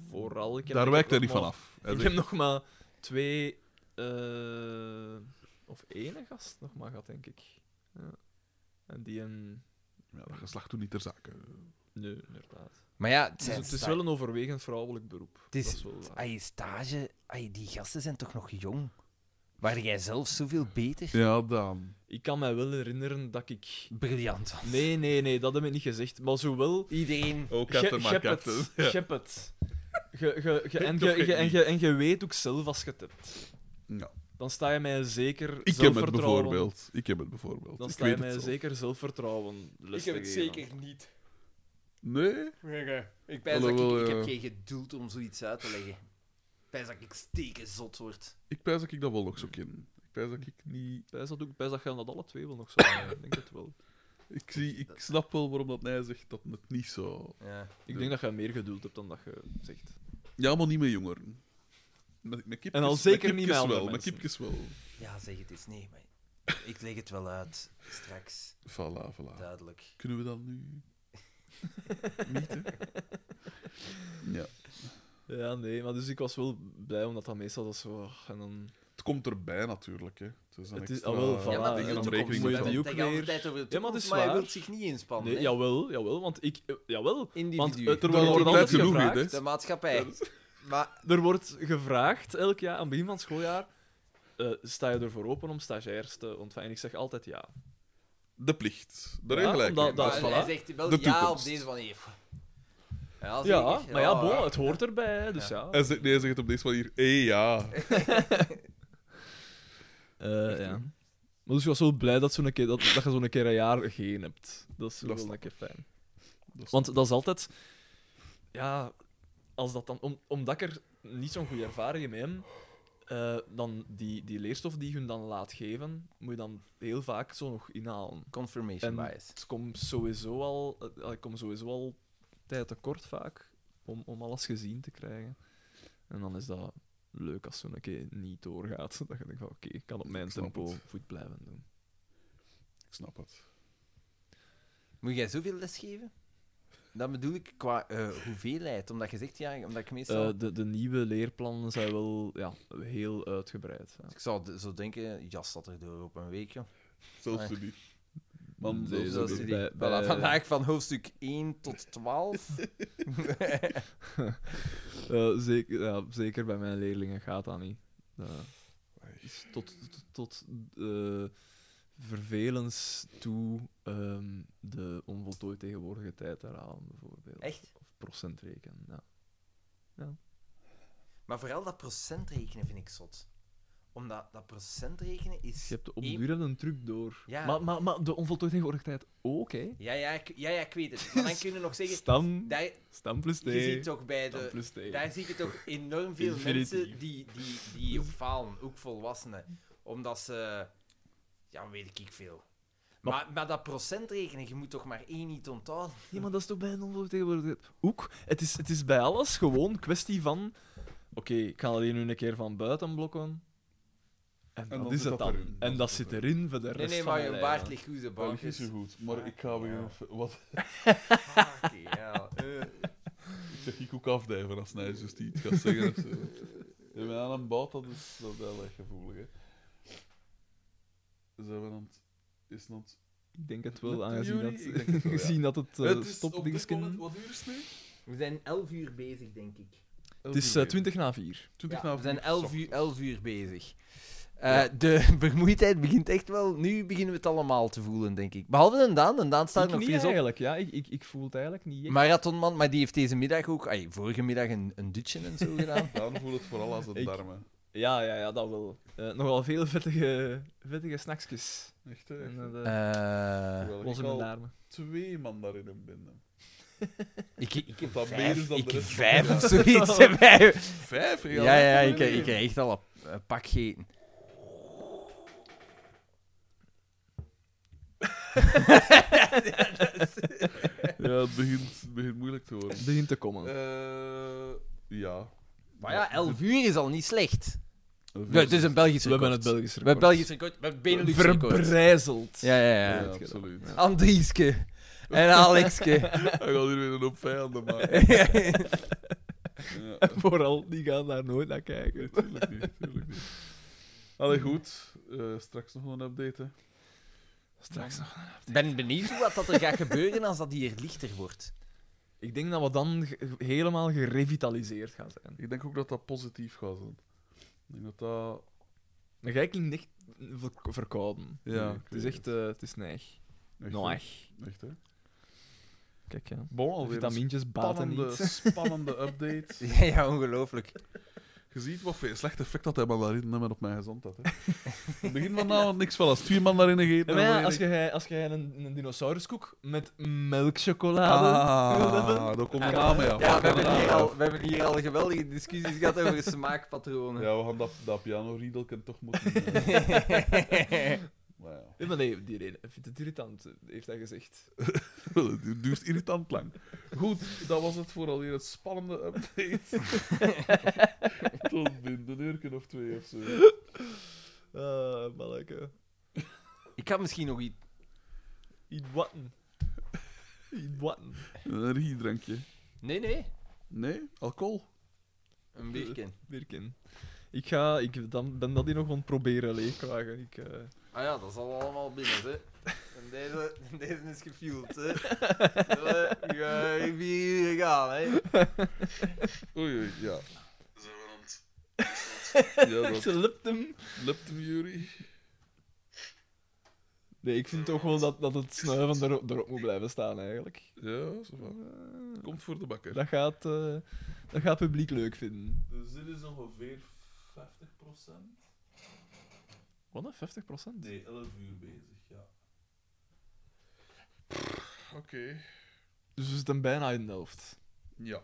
[SPEAKER 3] Vooral... Ik heb
[SPEAKER 4] Daar
[SPEAKER 3] ik
[SPEAKER 4] wijkt hij
[SPEAKER 3] ook
[SPEAKER 4] niet dus.
[SPEAKER 3] maar-
[SPEAKER 4] van af. Hij
[SPEAKER 3] Ik
[SPEAKER 4] zegt,
[SPEAKER 3] heb nog maar twee... eh, of één gast nog maar gehad, denk ik. Ja. En die een...
[SPEAKER 4] ja, dat geslacht doet niet ter zake.
[SPEAKER 3] Nee, inderdaad.
[SPEAKER 1] Maar ja, het,
[SPEAKER 3] Dus
[SPEAKER 1] zijn
[SPEAKER 3] het is
[SPEAKER 1] sta-
[SPEAKER 3] wel een overwegend vrouwelijk beroep.
[SPEAKER 1] Het is-
[SPEAKER 3] Dat is wel waar.
[SPEAKER 1] Ai, stage... Ai, die gasten zijn toch nog jong? Waar jij zelf zoveel beter?
[SPEAKER 4] Ja, dan.
[SPEAKER 3] Ik kan mij wel herinneren dat ik...
[SPEAKER 1] Briljant was.
[SPEAKER 3] Nee, nee, nee, dat heb ik niet gezegd. Maar zowel...
[SPEAKER 1] Iedereen...
[SPEAKER 4] Ook
[SPEAKER 3] Ge-
[SPEAKER 4] katten, maar
[SPEAKER 3] Gep het.
[SPEAKER 4] katten.
[SPEAKER 3] Gep het. Ge- ge- ge- en
[SPEAKER 4] Of
[SPEAKER 3] je
[SPEAKER 4] gek
[SPEAKER 3] en
[SPEAKER 4] niet.
[SPEAKER 3] ge- en ge weet ook zelf als je het hebt.
[SPEAKER 4] Ja.
[SPEAKER 3] Dan sta je mij zeker
[SPEAKER 4] Ik heb het
[SPEAKER 3] zelfvertrouwen...
[SPEAKER 4] bijvoorbeeld. Ik heb het bijvoorbeeld.
[SPEAKER 3] Dan
[SPEAKER 4] Ik
[SPEAKER 3] sta je
[SPEAKER 4] weet het
[SPEAKER 3] mij
[SPEAKER 4] zelf.
[SPEAKER 3] zeker zelfvertrouwen les
[SPEAKER 9] Ik heb
[SPEAKER 3] te
[SPEAKER 9] het
[SPEAKER 3] geven.
[SPEAKER 9] zeker niet.
[SPEAKER 4] Nee?
[SPEAKER 1] Ik
[SPEAKER 4] pijs
[SPEAKER 1] ben
[SPEAKER 4] dat ik- Alhoewel,
[SPEAKER 1] ik,
[SPEAKER 4] ik ja.
[SPEAKER 1] heb geen
[SPEAKER 4] heb
[SPEAKER 1] geduld om zoiets uit te leggen. Pijs dat ik steken zot word.
[SPEAKER 4] Ik pijs dat ik dat wel nog zo ken. Ik pijs dat ik niet...
[SPEAKER 3] Best dat, ook- best dat je dat alle twee wel nog zo Ik denk het wel.
[SPEAKER 4] Ik, zie, ik snap wel waarom dat hij zegt dat het niet zo...
[SPEAKER 1] Ja.
[SPEAKER 3] Ik denk dat je meer geduld hebt dan dat je zegt.
[SPEAKER 4] Ja, maar niet met jongeren. Met, met kipjes,
[SPEAKER 3] En al
[SPEAKER 4] met
[SPEAKER 3] zeker niet
[SPEAKER 4] kipjes
[SPEAKER 3] met andere
[SPEAKER 4] wel. Met
[SPEAKER 3] mensen.
[SPEAKER 4] kipjes wel.
[SPEAKER 1] ja, zeg het eens. Nee, maar ik leg het wel uit. Straks.
[SPEAKER 4] Voilà, voilà.
[SPEAKER 3] Ah.
[SPEAKER 1] Duidelijk.
[SPEAKER 4] Kunnen we dat nu? niet, hè? Ja.
[SPEAKER 3] Ja, nee, maar dus ik was wel blij omdat dat meestal dat zo. ah, En dan...
[SPEAKER 4] Het komt erbij natuurlijk, hè. Het is een
[SPEAKER 3] Het is-
[SPEAKER 4] extra...
[SPEAKER 3] ah, wel, voilà.
[SPEAKER 4] Ja,
[SPEAKER 3] maar
[SPEAKER 4] maar
[SPEAKER 3] de
[SPEAKER 4] dan
[SPEAKER 3] toekomst
[SPEAKER 4] rekening
[SPEAKER 3] moet je
[SPEAKER 4] mee houden.
[SPEAKER 3] die ook
[SPEAKER 1] Hij gaat
[SPEAKER 3] weer-
[SPEAKER 1] altijd over de
[SPEAKER 3] Ja, maar dat
[SPEAKER 1] toekomst,
[SPEAKER 3] is
[SPEAKER 1] maar hij
[SPEAKER 3] waar.
[SPEAKER 1] wil zich niet inspannen.
[SPEAKER 3] Nee,
[SPEAKER 1] hè.
[SPEAKER 3] jawel, jawel, want ik. eh, Jawel. Want
[SPEAKER 1] Individu.
[SPEAKER 3] eh, er
[SPEAKER 4] Terwijl
[SPEAKER 3] wordt
[SPEAKER 4] er
[SPEAKER 3] altijd
[SPEAKER 4] tijd genoeg in,
[SPEAKER 3] gevraagd.
[SPEAKER 1] De maatschappij. Maar
[SPEAKER 3] Er wordt gevraagd elk jaar, aan het begin van het schooljaar. eh, sta je ervoor open om stagiairs te ontvangen? Ik zeg altijd ja.
[SPEAKER 4] De plicht. Daar
[SPEAKER 3] Ja,
[SPEAKER 4] heb je
[SPEAKER 3] omdat-
[SPEAKER 4] gelijk. in.
[SPEAKER 3] dat-
[SPEAKER 1] maar
[SPEAKER 3] voilà.
[SPEAKER 1] hij zegt wel
[SPEAKER 4] De
[SPEAKER 1] ja op
[SPEAKER 4] toekomst.
[SPEAKER 1] deze manier. Ja, zeker.
[SPEAKER 3] Ja, maar Oh, ja, bon,
[SPEAKER 1] ja.
[SPEAKER 3] het hoort erbij, hè, dus ja.
[SPEAKER 4] Hij zegt, nee, hij zegt op deze manier, hé, ja.
[SPEAKER 3] Eh, ja. Maar dus ik was wel blij dat, zo'n keer, dat, dat je zo'n keer een jaar geen hebt. Dat is
[SPEAKER 4] Dat
[SPEAKER 3] wel
[SPEAKER 4] snap
[SPEAKER 3] een keer fijn.
[SPEAKER 4] snap
[SPEAKER 3] Want dat is altijd... Ja, als dat dan, om, omdat ik er niet zo'n goede ervaring mee heb, eh, dan die, die leerstof die je hun dan laat geven, moet je dan heel vaak zo nog inhalen.
[SPEAKER 1] Confirmation
[SPEAKER 3] En-
[SPEAKER 1] bias.
[SPEAKER 3] Het komt sowieso al... eh, Ik kom sowieso al tijd tekort vaak om, om alles gezien te krijgen. En dan is dat leuk als zo'n keer niet doorgaat. Dat je denkt van, oké, ik kan op mijn
[SPEAKER 4] Ik snap
[SPEAKER 3] tempo
[SPEAKER 4] het.
[SPEAKER 3] goed blijven doen.
[SPEAKER 4] Ik snap het.
[SPEAKER 1] Moet jij zoveel les geven? Dat bedoel ik qua eh, hoeveelheid. Omdat je zegt, ja, omdat ik meestal...
[SPEAKER 3] Eh, de, de nieuwe leerplannen zijn wel ja, heel uitgebreid. Ja.
[SPEAKER 1] ik zou d- zo denken, jas dat er door op een week, joh.
[SPEAKER 4] Zelfs niet. Man,
[SPEAKER 1] Dus
[SPEAKER 4] dat
[SPEAKER 1] dat
[SPEAKER 4] is
[SPEAKER 1] is
[SPEAKER 4] een-
[SPEAKER 1] die-
[SPEAKER 3] bij-
[SPEAKER 1] voilà,
[SPEAKER 3] bij-
[SPEAKER 1] vandaag van hoofdstuk 1 tot 12.
[SPEAKER 3] Eh, zeker, ja, zeker bij mijn leerlingen gaat dat niet. Dat is tot tot, tot eh, vervelens toe ehm, de onvoltooid tegenwoordige tijd herhalen, bijvoorbeeld.
[SPEAKER 1] Echt?
[SPEAKER 3] Of procentrekenen, ja.
[SPEAKER 1] Maar vooral dat procentrekenen vind ik zot. Omdat dat procentrekenen is...
[SPEAKER 3] Je hebt op de
[SPEAKER 1] één-
[SPEAKER 3] duur een truc door.
[SPEAKER 1] Ja.
[SPEAKER 3] Maar, maar, maar de onvoltooid tegenwoordige tijd ook, hè?
[SPEAKER 1] Ja, ja, ik, ja, ja, ik weet het. Maar dan kun je nog zeggen...
[SPEAKER 3] Stam,
[SPEAKER 1] Daar,
[SPEAKER 3] stam plus T.
[SPEAKER 1] je ziet toch bij
[SPEAKER 3] Stam
[SPEAKER 1] de...
[SPEAKER 3] plus T.
[SPEAKER 1] Daar zie je toch enorm veel
[SPEAKER 3] Infinitief.
[SPEAKER 1] mensen die, die, die op falen. Ook volwassenen. Omdat ze... Ja, weet ik veel.
[SPEAKER 3] Maar-
[SPEAKER 1] Maar, maar dat procentrekenen, je moet toch maar één niet onthouden.
[SPEAKER 3] Ja, maar dat is toch bij een onvertegenwoordigd ook. Het is, het is bij alles gewoon kwestie van... Oké, ik ga dat hier nu een keer van buiten blokken. En,
[SPEAKER 4] dan
[SPEAKER 3] dat is
[SPEAKER 4] zit
[SPEAKER 3] het
[SPEAKER 4] dat
[SPEAKER 3] dan.
[SPEAKER 4] erin.
[SPEAKER 3] En
[SPEAKER 4] Dat
[SPEAKER 3] dat
[SPEAKER 4] zit
[SPEAKER 3] zit
[SPEAKER 4] erin.
[SPEAKER 3] erin voor de rest
[SPEAKER 1] Nee, nee,
[SPEAKER 3] van
[SPEAKER 1] maar je
[SPEAKER 3] mijn leven.
[SPEAKER 1] baard ligt goed, de
[SPEAKER 4] dat is niet
[SPEAKER 1] bankjes.
[SPEAKER 4] zo goed, maar ik ga weer... even- Wat
[SPEAKER 1] Fuck, Ah, ja. Eh.
[SPEAKER 4] zeg ik ook afdijven als hij dus die iets gaat zeggen of zo. Ja, maar aan een bout, dat is dat is wel echt gevoelig, hè. Zijn we aan het... Is het aan het...
[SPEAKER 3] Ik denk het
[SPEAKER 4] Met
[SPEAKER 3] wel,
[SPEAKER 4] de
[SPEAKER 3] aangezien
[SPEAKER 4] jury?
[SPEAKER 3] dat,
[SPEAKER 4] Ik denk het wel, ja.
[SPEAKER 3] gezien dat het, eh,
[SPEAKER 4] Het is op dit
[SPEAKER 3] stopdingesken-
[SPEAKER 4] moment... Wat uur is het nu?
[SPEAKER 1] We zijn 11 uur bezig, denk ik.
[SPEAKER 3] Het is eh, 20 na 4.
[SPEAKER 4] 20
[SPEAKER 1] Ja, we zijn 11 uur, 11 uur bezig. Eh, De vermoeidheid begint echt wel. Nu beginnen we het allemaal te voelen, denk ik. Behalve een Daan. Een Daan staat
[SPEAKER 3] Ik
[SPEAKER 1] er nog
[SPEAKER 3] niet
[SPEAKER 1] fris op.
[SPEAKER 3] eigenlijk, ja. Ik, ik, ik voel het eigenlijk niet echt.
[SPEAKER 1] Marathonman, maar die heeft deze middag ook, ay, vorige middag, een, een dutje en zo gedaan.
[SPEAKER 4] Dan voel het vooral als een
[SPEAKER 3] Ik-
[SPEAKER 4] darmen.
[SPEAKER 3] Ja, ja, ja, dat wel. Eh, nogal veel vettige, vettige snacksjes.
[SPEAKER 4] Echt, hè?
[SPEAKER 3] En, eh, dat
[SPEAKER 1] Eh,
[SPEAKER 4] Terwijl
[SPEAKER 3] was
[SPEAKER 4] ik
[SPEAKER 3] in mijn
[SPEAKER 4] al
[SPEAKER 3] darmen.
[SPEAKER 4] twee mandarinnen binnen.
[SPEAKER 1] ik, ik heb
[SPEAKER 4] Dat meer is
[SPEAKER 1] vijf,
[SPEAKER 4] dan de
[SPEAKER 1] ik
[SPEAKER 4] rest van
[SPEAKER 1] vijf
[SPEAKER 4] de
[SPEAKER 1] of zoiets. erbij.
[SPEAKER 4] Vijf, hè?
[SPEAKER 1] Ja, ja, ja, ik, ik heb echt al een, een pak gegeten.
[SPEAKER 4] Ja, het begint, het begint moeilijk te worden.
[SPEAKER 3] Het begint te komen.
[SPEAKER 4] Eh ja.
[SPEAKER 1] Maar ja, 11 uur is al niet slecht.
[SPEAKER 4] Een
[SPEAKER 1] Het is een Belgisch
[SPEAKER 3] we hebben
[SPEAKER 1] record.
[SPEAKER 3] het Belgisch
[SPEAKER 1] We hebben
[SPEAKER 3] record.
[SPEAKER 1] Belgisch record, we hebben Benelux record.
[SPEAKER 3] Verbrijzeld.
[SPEAKER 1] Ja, ja,
[SPEAKER 4] Ja,
[SPEAKER 1] ja.
[SPEAKER 4] absoluut.
[SPEAKER 1] Andrieske. En Alexke.
[SPEAKER 4] Hij gaat hier weer een hoop vijanden maken. Ja,
[SPEAKER 3] Vooral, die gaan daar nooit naar kijken.
[SPEAKER 4] natuurlijk niet, natuurlijk niet. Allee, goed. Eh, straks nog een update, hè.
[SPEAKER 3] Straks nog.
[SPEAKER 1] ben benieuwd wat dat er gaat gebeuren als dat hier lichter wordt.
[SPEAKER 3] Ik denk dat we dan ge- helemaal gerevitaliseerd gaan zijn.
[SPEAKER 4] Ik denk ook dat dat positief gaat zijn. Ik denk dat dat...
[SPEAKER 3] Maar jij klinkt echt ver- verkouden.
[SPEAKER 4] Ja, ik
[SPEAKER 3] Het is
[SPEAKER 4] weet
[SPEAKER 3] echt... eh, het is neig.
[SPEAKER 4] Echt, hè?
[SPEAKER 3] Noig.
[SPEAKER 4] Echt, hè?
[SPEAKER 3] Kijk, ja.
[SPEAKER 4] Bon,
[SPEAKER 3] De
[SPEAKER 4] alweer een
[SPEAKER 3] vitamintjes baten
[SPEAKER 4] spannende,
[SPEAKER 3] niet.
[SPEAKER 4] spannende update.
[SPEAKER 1] Ja, ja ongelooflijk.
[SPEAKER 4] Je ziet wat voor slecht effect dat hij mandarinnen hebben op mijn gezondheid, hè. In het begin van nou niks van als twee mandarinnen
[SPEAKER 3] Ja,
[SPEAKER 4] gegeten...
[SPEAKER 3] maar ja,
[SPEAKER 4] dan
[SPEAKER 3] als
[SPEAKER 4] weet ik-
[SPEAKER 3] jij als jij een, een dinosauruskoek met melkchocolade... wil hebben,
[SPEAKER 4] Ah, daar komt een naam mee af.
[SPEAKER 1] Ja, we hebben, hier al, we hebben hier al geweldige discussies gehad over smaakpatronen.
[SPEAKER 4] Ja, we gaan dat, dat pianoriedelken toch moeten... eh, maar ja.
[SPEAKER 3] Ja, maar nee, die reden. Vindt het irritant, heeft hij gezegd.
[SPEAKER 4] Het duurt irritant lang. Goed, dat was het voor alweer het spannende update. Tot binnen een uur of twee of zo.
[SPEAKER 3] Ah, manneke.
[SPEAKER 1] Ik had misschien nog iets.
[SPEAKER 3] Eat watten. Eat watten.
[SPEAKER 4] Een energiedrankje.
[SPEAKER 1] Nee, nee.
[SPEAKER 4] Nee, alcohol.
[SPEAKER 1] Een bierken.
[SPEAKER 3] Birkin. Ik, ga, ik dan, ben dat hier nog aan het proberen leegkragen. Ik, eh,
[SPEAKER 1] Ah ja, dat zal allemaal binnen, hè. En deze, deze is gefueld, hè. Zullen we vier uur gaan, hè.
[SPEAKER 4] Oei, oei, ja. Zijn we aan het... Ja, dat
[SPEAKER 3] Ze lupt hem.
[SPEAKER 4] lukt hem, Jury.
[SPEAKER 3] Nee, ik vind toch wel dat, dat het snuiven er, erop moet blijven staan, eigenlijk.
[SPEAKER 4] Ja, zo van. Komt voor de bakker.
[SPEAKER 3] Dat gaat, eh, dat gaat het publiek leuk vinden.
[SPEAKER 4] Dus dit is ongeveer 50%.
[SPEAKER 3] Wat, een 50 procent?
[SPEAKER 4] Nee, 11 uur bezig, ja. Oké.
[SPEAKER 3] Dus we zitten bijna in de helft.
[SPEAKER 4] Ja.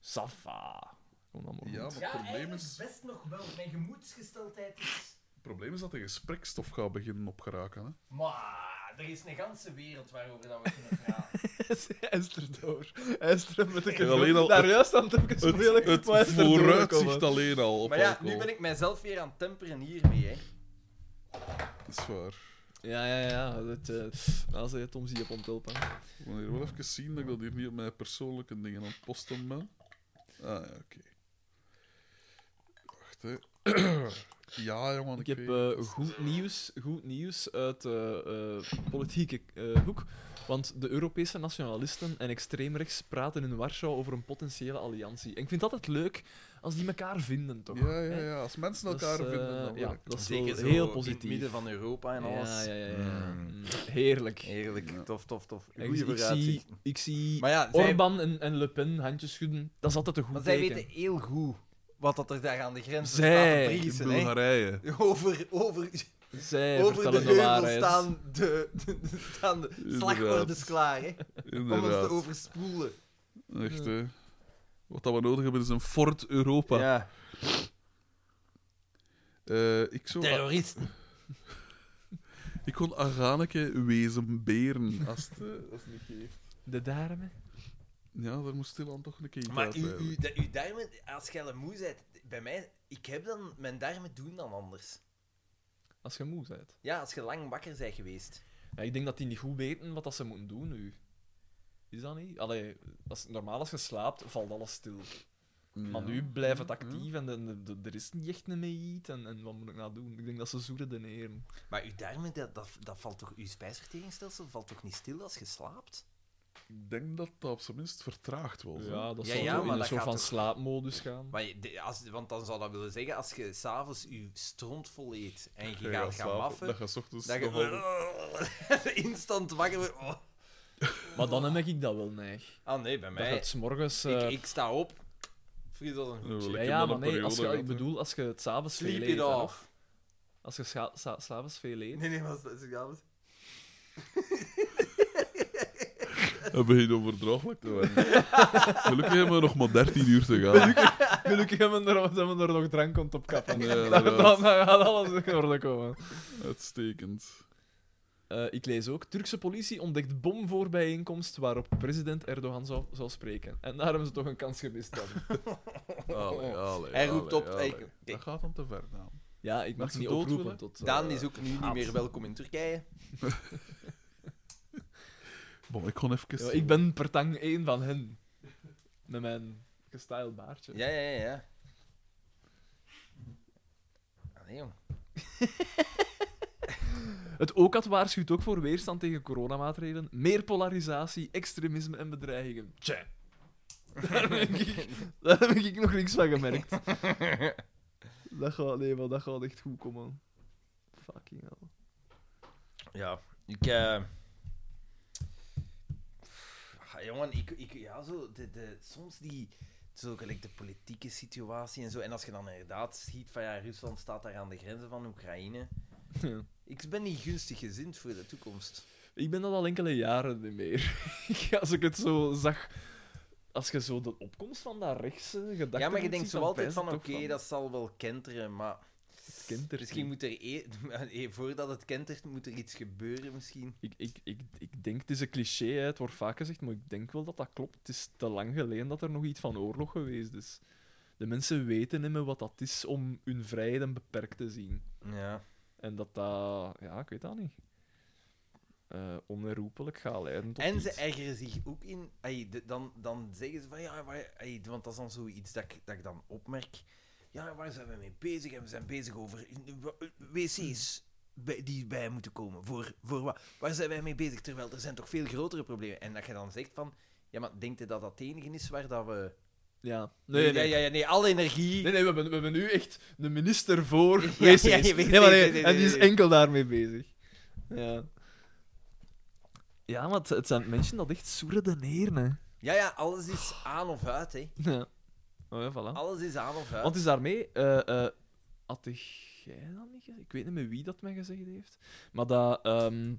[SPEAKER 3] Safa. Kom dan maar
[SPEAKER 4] Ja,
[SPEAKER 3] goed.
[SPEAKER 4] maar het probleem is...
[SPEAKER 1] best nog wel. Mijn gemoedsgesteldheid is...
[SPEAKER 4] Het probleem is dat de gesprekstof gaat beginnen op geraken. Hè?
[SPEAKER 1] Maar er is een ganse wereld waarover dat we kunnen praten.
[SPEAKER 3] Hij is erdoor. Hij is er met de
[SPEAKER 4] En alleen al
[SPEAKER 3] Daar
[SPEAKER 4] het-
[SPEAKER 3] juist aan het even
[SPEAKER 4] Het,
[SPEAKER 3] spelen,
[SPEAKER 4] het
[SPEAKER 3] maar hij is erdoor
[SPEAKER 4] vooruitzicht
[SPEAKER 3] gekomen.
[SPEAKER 4] alleen al op
[SPEAKER 1] maar ja,
[SPEAKER 4] alcohol.
[SPEAKER 1] nu ben ik mijzelf weer aan het temperen hiermee, hè.
[SPEAKER 4] Dat is waar.
[SPEAKER 3] Ja, ja, ja. Dat, eh als je Tom zie op onthelpen.
[SPEAKER 4] Ik wil hier wel even zien dat ik dat hier niet op mijn persoonlijke dingen aan het posten ben. Ah, ja, oké. Wacht, hè. Ja, jongen.
[SPEAKER 3] Ik heb
[SPEAKER 4] weet-
[SPEAKER 3] eh, goed, nieuws, goed nieuws uit de politieke eh, hoek. Want de Europese nationalisten en extreemrechts praten in Warschau over een potentiële alliantie. En ik vind het altijd leuk als die elkaar vinden, toch?
[SPEAKER 4] Ja, ja,
[SPEAKER 3] Hè?
[SPEAKER 4] ja. Als mensen
[SPEAKER 3] Dat is,
[SPEAKER 4] elkaar
[SPEAKER 3] eh,
[SPEAKER 4] vinden, dan
[SPEAKER 3] ja,
[SPEAKER 4] werkt het.
[SPEAKER 3] dat is
[SPEAKER 1] Zeker
[SPEAKER 3] wel
[SPEAKER 1] zo
[SPEAKER 3] heel
[SPEAKER 1] in het midden
[SPEAKER 3] positief.
[SPEAKER 1] van Europa en alles.
[SPEAKER 3] Ja, ja, ja, ja.
[SPEAKER 2] Mm.
[SPEAKER 3] Heerlijk.
[SPEAKER 2] Heerlijk, tof, tof, tof.
[SPEAKER 3] En
[SPEAKER 2] Goeie
[SPEAKER 3] ik, ik zie,
[SPEAKER 2] vooruitzichten.
[SPEAKER 3] ik zie
[SPEAKER 2] Maar ja, zij,
[SPEAKER 3] Orbán en, en Le Pen handjes schudden. Dat is altijd een goed
[SPEAKER 2] maar zij
[SPEAKER 3] teken.
[SPEAKER 2] weten heel goed wat dat er daar aan de grens
[SPEAKER 3] Zij-
[SPEAKER 2] staat te priesen, hè.
[SPEAKER 4] Bulgarije.
[SPEAKER 2] Over, over,
[SPEAKER 3] Zij
[SPEAKER 2] over de
[SPEAKER 3] vertellen de,
[SPEAKER 2] heuvel
[SPEAKER 3] waarheid.
[SPEAKER 2] staan de, de, de- staan de slagordes klaar, hè. Om ons te
[SPEAKER 4] Inderdaad.
[SPEAKER 2] overspoelen.
[SPEAKER 4] Echt, hè. Wat dat we nodig hebben is een Fort Europa.
[SPEAKER 2] Ja.
[SPEAKER 4] Eh, ik, zou,
[SPEAKER 2] Terroristen.
[SPEAKER 4] ik kon Aganeke wezen beren. Als het, eh, als het niet geeft.
[SPEAKER 3] De darmen.
[SPEAKER 4] Ja, daar moest stilaan toch een keer
[SPEAKER 1] Maar
[SPEAKER 4] uit,
[SPEAKER 1] u, u,
[SPEAKER 4] eigenlijk.
[SPEAKER 1] dat, uw darmen, als je moe bent, bij mij, ik heb dan, mijn darmen doen dan anders.
[SPEAKER 3] Als je moe bent.
[SPEAKER 1] Ja, als je lang wakker bent geweest.
[SPEAKER 3] Ja, ik denk dat die niet goed weten wat dat ze moeten doen nu. Is dat niet? Allee, als, normaal als je slaapt, valt alles stil. Maar nu blijft het actief en de, de, de- er is niet echt een mee iets. En, en wat moet ik nou doen? Ik denk dat ze zoeren de heren.
[SPEAKER 1] Maar uw darmen, dat, dat, dat valt toch, uw spijsverteringsstelsel valt toch niet stil als je slaapt?
[SPEAKER 4] Ik denk dat dat op zijn minst vertraagd was. hè.
[SPEAKER 3] Ja, dat
[SPEAKER 1] Ja,
[SPEAKER 3] zal
[SPEAKER 1] ja,
[SPEAKER 3] zo in
[SPEAKER 1] maar
[SPEAKER 3] een
[SPEAKER 1] dat
[SPEAKER 3] soort
[SPEAKER 1] gaat
[SPEAKER 3] van
[SPEAKER 1] toch-
[SPEAKER 3] slaapmodus gaan.
[SPEAKER 1] Maar je- de- als, want dan zou dat willen zeggen, als je s'avonds je stront vol eet en je
[SPEAKER 4] Ja,
[SPEAKER 1] gaat gaan
[SPEAKER 4] slapen,
[SPEAKER 1] maffen,
[SPEAKER 4] Dat je 's ochtends
[SPEAKER 1] dat
[SPEAKER 4] nog wel-
[SPEAKER 1] je instant wakker wordt. Oh.
[SPEAKER 3] Maar dan heb ik dat wel neig.
[SPEAKER 1] Ah nee, bij
[SPEAKER 3] Dat
[SPEAKER 1] mij,
[SPEAKER 3] je het 's morgens... eh,
[SPEAKER 1] ik, ik sta op, fris als een hoedje.
[SPEAKER 3] ja,
[SPEAKER 4] ik heb
[SPEAKER 3] ja,
[SPEAKER 4] dan
[SPEAKER 3] maar
[SPEAKER 4] een
[SPEAKER 3] nee, als je,
[SPEAKER 4] periode
[SPEAKER 3] ik
[SPEAKER 4] gehad, hè.
[SPEAKER 3] bedoel, als je het s'avonds veel
[SPEAKER 1] Sleep
[SPEAKER 3] eet.
[SPEAKER 1] it
[SPEAKER 3] hè,
[SPEAKER 1] off.
[SPEAKER 3] Als je scha- sa- s'avonds veel eet.
[SPEAKER 1] Nee, nee, maar dat is gaaf.
[SPEAKER 4] Dat begint onverdraaglijk te worden. Gelukkig hebben we nog maar 13 uur te gaan.
[SPEAKER 3] Gelukkig hebben we er, hebben we er nog drank komt op kappen.
[SPEAKER 4] Ja,
[SPEAKER 3] dan, dan
[SPEAKER 4] inderdaad.
[SPEAKER 3] gaat alles in orde komen.
[SPEAKER 4] Uitstekend.
[SPEAKER 3] Eh, ik lees ook. Turkse politie ontdekt bom voor bijeenkomst waarop president Erdogan zou, zou spreken. En daar hebben ze toch een kans gemist dan.
[SPEAKER 4] Allee, allee,
[SPEAKER 1] Hij roept
[SPEAKER 4] allee,
[SPEAKER 1] op,
[SPEAKER 4] allee.
[SPEAKER 1] hij-
[SPEAKER 4] Dat gaat dan te ver, Daan.
[SPEAKER 3] ja,
[SPEAKER 4] Mag
[SPEAKER 3] ik mag
[SPEAKER 4] ze
[SPEAKER 3] niet
[SPEAKER 4] dood
[SPEAKER 3] oproepen
[SPEAKER 4] willen?
[SPEAKER 3] tot... eh,
[SPEAKER 1] Daan is ook nu niet meer welkom in Turkije.
[SPEAKER 4] Bon, ik kon even...
[SPEAKER 3] ja, ik ben per tang één van hen. Met mijn gestyled baardje.
[SPEAKER 1] Ja, ja, ja. ja. Ah, nee, jong.
[SPEAKER 3] Het OCAT waarschuwt ook voor weerstand tegen coronamaatregelen, meer polarisatie, extremisme en bedreigingen. Tja. Daar, ben ik- daar heb ik nog niks van gemerkt. Dat gaat, nee, maar dat gaat echt goed komen. Fucking hell.
[SPEAKER 1] Ja, ik... eh, ah, jongen, ik, ik... Ja, zo... De, de, soms die... Zo gelijk de politieke situatie en zo. En als je dan inderdaad ziet van... Ja, Rusland staat daar aan de grenzen van Oekraïne.
[SPEAKER 3] Ja.
[SPEAKER 1] Ik ben niet gunstig gezind voor de toekomst.
[SPEAKER 3] Ik ben dat al enkele jaren niet meer. Als ik het zo zag. Als je zo de opkomst van dat rechtse gedachte.
[SPEAKER 1] ja, maar je denkt zo altijd van... Oké, dat zal wel kenteren, maar... Misschien moet er... e- eh, voordat het kentert, moet er iets gebeuren misschien.
[SPEAKER 3] Ik, ik, ik, ik denk, het is een cliché, hè, het wordt vaak gezegd, maar ik denk wel dat dat klopt. Het is te lang geleden dat er nog iets van oorlog geweest is. De mensen weten niet meer wat dat is om hun vrijheden beperkt te zien.
[SPEAKER 1] Ja.
[SPEAKER 3] En dat dat, ja, ik weet dat niet, Eh onherroepelijk gaat leiden tot
[SPEAKER 1] En ze
[SPEAKER 3] iets.
[SPEAKER 1] ergeren zich ook in. ai, de- dan, dan zeggen ze van ja, waar, ai, want dat is dan zoiets dat ik, dat ik dan opmerk. Ja, waar zijn we mee bezig? En we zijn bezig over wc's bij- die bij moeten komen. Voor, voor wat? Waar zijn wij mee bezig? Terwijl er zijn toch veel grotere problemen. En dat je dan zegt van ja, maar denkt je dat dat het enige is waar dat we.
[SPEAKER 3] Ja. Nee, nee,
[SPEAKER 1] ja, ja, ja, nee alle energie.
[SPEAKER 3] Nee, nee, we hebben, we hebben nu echt de minister voor
[SPEAKER 1] Ja,
[SPEAKER 3] wc's.
[SPEAKER 1] ja, ja,
[SPEAKER 3] nee,
[SPEAKER 1] weet
[SPEAKER 3] maar nee,
[SPEAKER 1] ik, weet ik,
[SPEAKER 3] en die is
[SPEAKER 1] weet ik.
[SPEAKER 3] enkel daarmee bezig. Ja. Ja, maar het, het zijn mensen dat echt soeren de neer, hè.
[SPEAKER 1] Ja, ja, alles is aan of uit. Hè.
[SPEAKER 3] Ja. Oh ja, voilà.
[SPEAKER 1] Alles is aan of uit.
[SPEAKER 3] Want is daarmee... eh eh had jij dat niet gezegd? Ik weet niet meer wie dat mij gezegd heeft. Maar dat... ehm,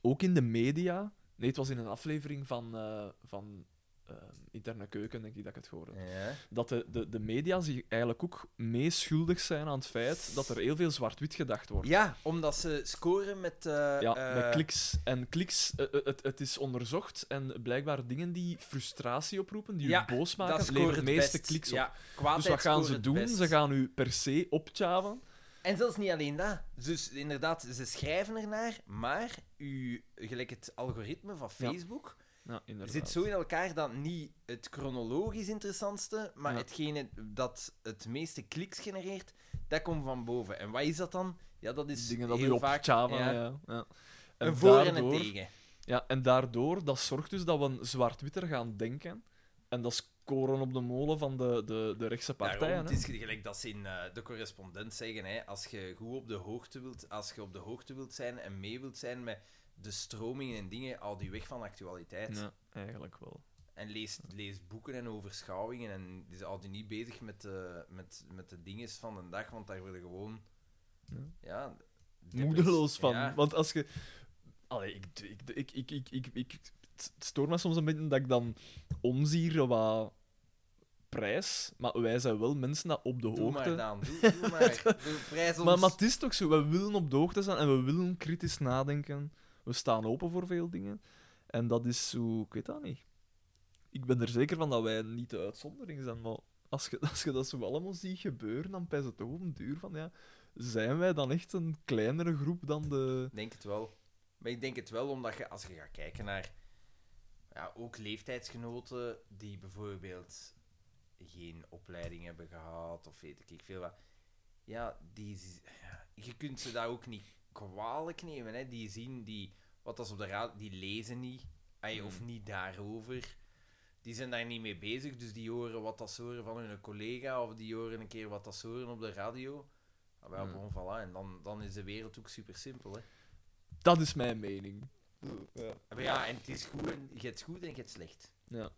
[SPEAKER 3] ook in de media... Nee, het was in een aflevering van... eh, van ehm, Interne Keuken, denk ik, dat ik het hoorde
[SPEAKER 1] Ja.
[SPEAKER 3] dat de, de, de media zich eigenlijk ook meeschuldig zijn aan het feit dat er heel veel zwart-wit gedacht wordt.
[SPEAKER 1] ja, omdat ze scoren met. eh,
[SPEAKER 3] Ja,
[SPEAKER 1] eh,
[SPEAKER 3] met kliks. En kliks, eh, eh, het, het is onderzocht en blijkbaar dingen die frustratie oproepen, die
[SPEAKER 1] Ja,
[SPEAKER 3] u boos
[SPEAKER 1] dat
[SPEAKER 3] maken,
[SPEAKER 1] scoort
[SPEAKER 3] leveren
[SPEAKER 1] het
[SPEAKER 3] het meeste
[SPEAKER 1] best.
[SPEAKER 3] kliks op.
[SPEAKER 1] Ja, kwaadheid
[SPEAKER 3] dus wat gaan
[SPEAKER 1] scoort
[SPEAKER 3] ze
[SPEAKER 1] het
[SPEAKER 3] doen?
[SPEAKER 1] best.
[SPEAKER 3] Ze gaan u per se optjaven.
[SPEAKER 1] En zelfs niet alleen dat. Dus inderdaad, ze schrijven ernaar, maar u, gelijk het algoritme van
[SPEAKER 3] Ja,
[SPEAKER 1] Facebook
[SPEAKER 3] Ja, inderdaad.
[SPEAKER 1] zit zo in elkaar dat niet het chronologisch interessantste, maar
[SPEAKER 3] Ja.
[SPEAKER 1] hetgene dat het meeste kliks genereert, dat komt van boven. En wat is dat dan? Ja, dat is
[SPEAKER 3] Dingen dat u
[SPEAKER 1] heel
[SPEAKER 3] op
[SPEAKER 1] vaak
[SPEAKER 3] Java,
[SPEAKER 1] ja,
[SPEAKER 3] ja. ja, En,
[SPEAKER 1] een voor en een
[SPEAKER 3] daardoor-
[SPEAKER 1] tegen.
[SPEAKER 3] Ja, en daardoor, dat zorgt dus dat we zwart-witter gaan denken. En dat is koren op de molen van de, de, de rechtse
[SPEAKER 1] Daarom,
[SPEAKER 3] partijen.
[SPEAKER 1] het
[SPEAKER 3] hè.
[SPEAKER 1] is gelijk dat ze in eh, de correspondent zeggen, hè, als je goed op de hoogte wilt, als je op de hoogte wilt zijn en mee wilt zijn met de stromingen en dingen, al die weg van actualiteit.
[SPEAKER 3] Ja, eigenlijk wel.
[SPEAKER 1] En lees, lees boeken en overschouwingen en dus al die niet bezig met de, met, met de dingen van de dag, want daar worden gewoon...
[SPEAKER 3] Ja.
[SPEAKER 1] Ja. deppers.
[SPEAKER 3] moedeloos van.
[SPEAKER 1] Ja.
[SPEAKER 3] Want als je. Allee, ik, ik, ik, ik, ik, ik, ik- het stoort me soms een beetje dat ik dan omzier wat prijs. Maar wij zijn wel mensen dat op de
[SPEAKER 1] Doe
[SPEAKER 3] hoogte.
[SPEAKER 1] maar, Daan. Doe, doe maar. Doe, prijs ons.
[SPEAKER 3] maar, maar het is toch zo, we willen op de hoogte zijn en we willen kritisch nadenken. We staan open voor veel dingen. En dat is zo, ik weet dat niet. Ik ben er zeker van dat wij niet de uitzondering zijn, maar als je, als je dat zo allemaal ziet gebeuren, dan pijs het toch op een duur van, ja, zijn wij dan echt een kleinere groep dan de...
[SPEAKER 1] Ik denk het wel. Maar ik denk het wel omdat je, als je gaat kijken naar ja, ook leeftijdsgenoten die bijvoorbeeld geen opleiding hebben gehad of weet ik veel wat. Ja, die, z- ja, je kunt ze daar ook niet kwalijk nemen. Hè. Die zien die, wat als op de raad, die lezen niet ay, of niet daarover. Die zijn daar niet mee bezig, dus die horen wat dat ze horen van hun collega of die horen een keer wat dat ze horen op de radio. Ah, wel,
[SPEAKER 3] Hmm.
[SPEAKER 1] bon, voilà. En dan, dan is de wereld ook super simpel. Hè.
[SPEAKER 3] Dat is mijn mening.
[SPEAKER 1] Maar ja, en het is goed en je hebt goed en je hebt slecht.
[SPEAKER 3] Ja.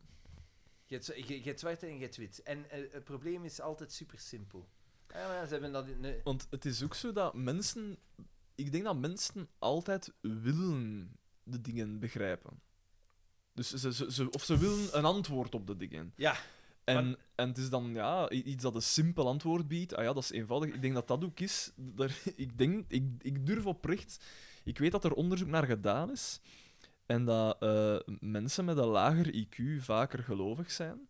[SPEAKER 1] Je hebt, z- je, je hebt zwart en je hebt wit. En eh, het probleem is altijd super simpel. Ja, maar ze hebben dat in, nee.
[SPEAKER 3] Want het is ook zo dat mensen... Ik denk dat mensen altijd willen de dingen begrijpen. Dus ze, ze, ze- of ze willen een antwoord op de dingen.
[SPEAKER 1] Ja,
[SPEAKER 3] En, en het is dan ja, i- iets dat een simpel antwoord biedt. Ah ja, dat is eenvoudig. Ik denk dat dat ook is. Daar, ik, denk, ik, ik durf oprecht... Ik weet dat er onderzoek naar gedaan is. En dat eh, mensen met een lager IQ vaker gelovig zijn.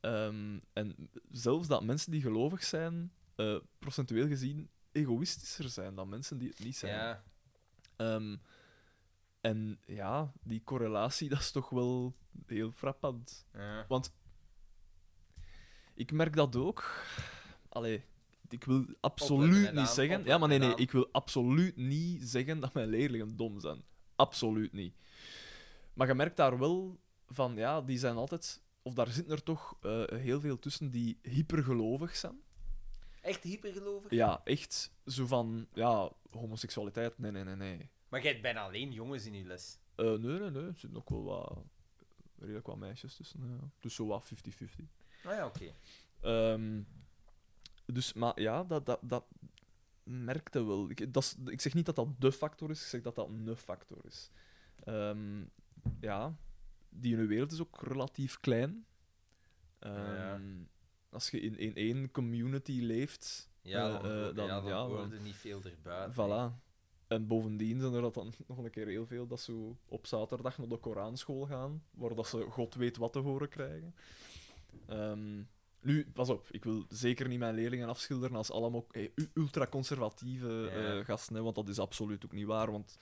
[SPEAKER 3] Ehm, en zelfs dat mensen die gelovig zijn, eh, procentueel gezien, egoïstischer zijn dan mensen die het niet zijn.
[SPEAKER 1] Ja,
[SPEAKER 3] Ehm, en ja, die correlatie, dat is toch wel heel frappant.
[SPEAKER 1] ja.
[SPEAKER 3] Ik merk dat ook. Allee, ik wil absoluut
[SPEAKER 1] Daan,
[SPEAKER 3] niet zeggen... Ja,
[SPEAKER 1] opletten,
[SPEAKER 3] maar nee, nee,
[SPEAKER 1] Daan.
[SPEAKER 3] ik wil absoluut niet zeggen dat mijn leerlingen dom zijn. Absoluut niet. Maar je merkt daar wel van, ja, die zijn altijd... Of daar zitten er toch eh, heel veel tussen die hypergelovig zijn.
[SPEAKER 1] Echt hypergelovig?
[SPEAKER 3] Ja, echt zo van, ja, homoseksualiteit, nee, nee, nee, nee.
[SPEAKER 1] Maar jij hebt bijna alleen jongens in je les.
[SPEAKER 3] Eh, nee, nee, nee, er zitten ook wel wat, redelijk wat meisjes tussen. Ja. Dus zo wat 50-50.
[SPEAKER 1] Ah ja, oké.
[SPEAKER 3] Ehm, dus, maar ja, dat, dat, dat merkte wel. Ik, dat is- ik zeg niet dat dat de factor is, ik zeg dat dat een factor is. Ehm, ja, die in wereld is ook relatief klein. Ehm,
[SPEAKER 1] Ja.
[SPEAKER 3] Als je in, in één community leeft,
[SPEAKER 1] Ja,
[SPEAKER 3] eh,
[SPEAKER 1] dan,
[SPEAKER 3] eh,
[SPEAKER 1] hoor-
[SPEAKER 3] dan-
[SPEAKER 1] ja, dan
[SPEAKER 3] ja,
[SPEAKER 1] hoorde
[SPEAKER 3] dan-
[SPEAKER 1] niet veel erbuiten.
[SPEAKER 3] Voilà. En bovendien zijn er dat dan nog een keer heel veel dat ze op zaterdag naar de Koranschool gaan, waar dat ze god weet wat te horen krijgen. Ehm, nu, pas op, ik wil zeker niet mijn leerlingen afschilderen als allemaal eh, u- ultraconservatieve
[SPEAKER 1] Ja.
[SPEAKER 3] eh, gasten, hè, want dat is absoluut ook niet waar, want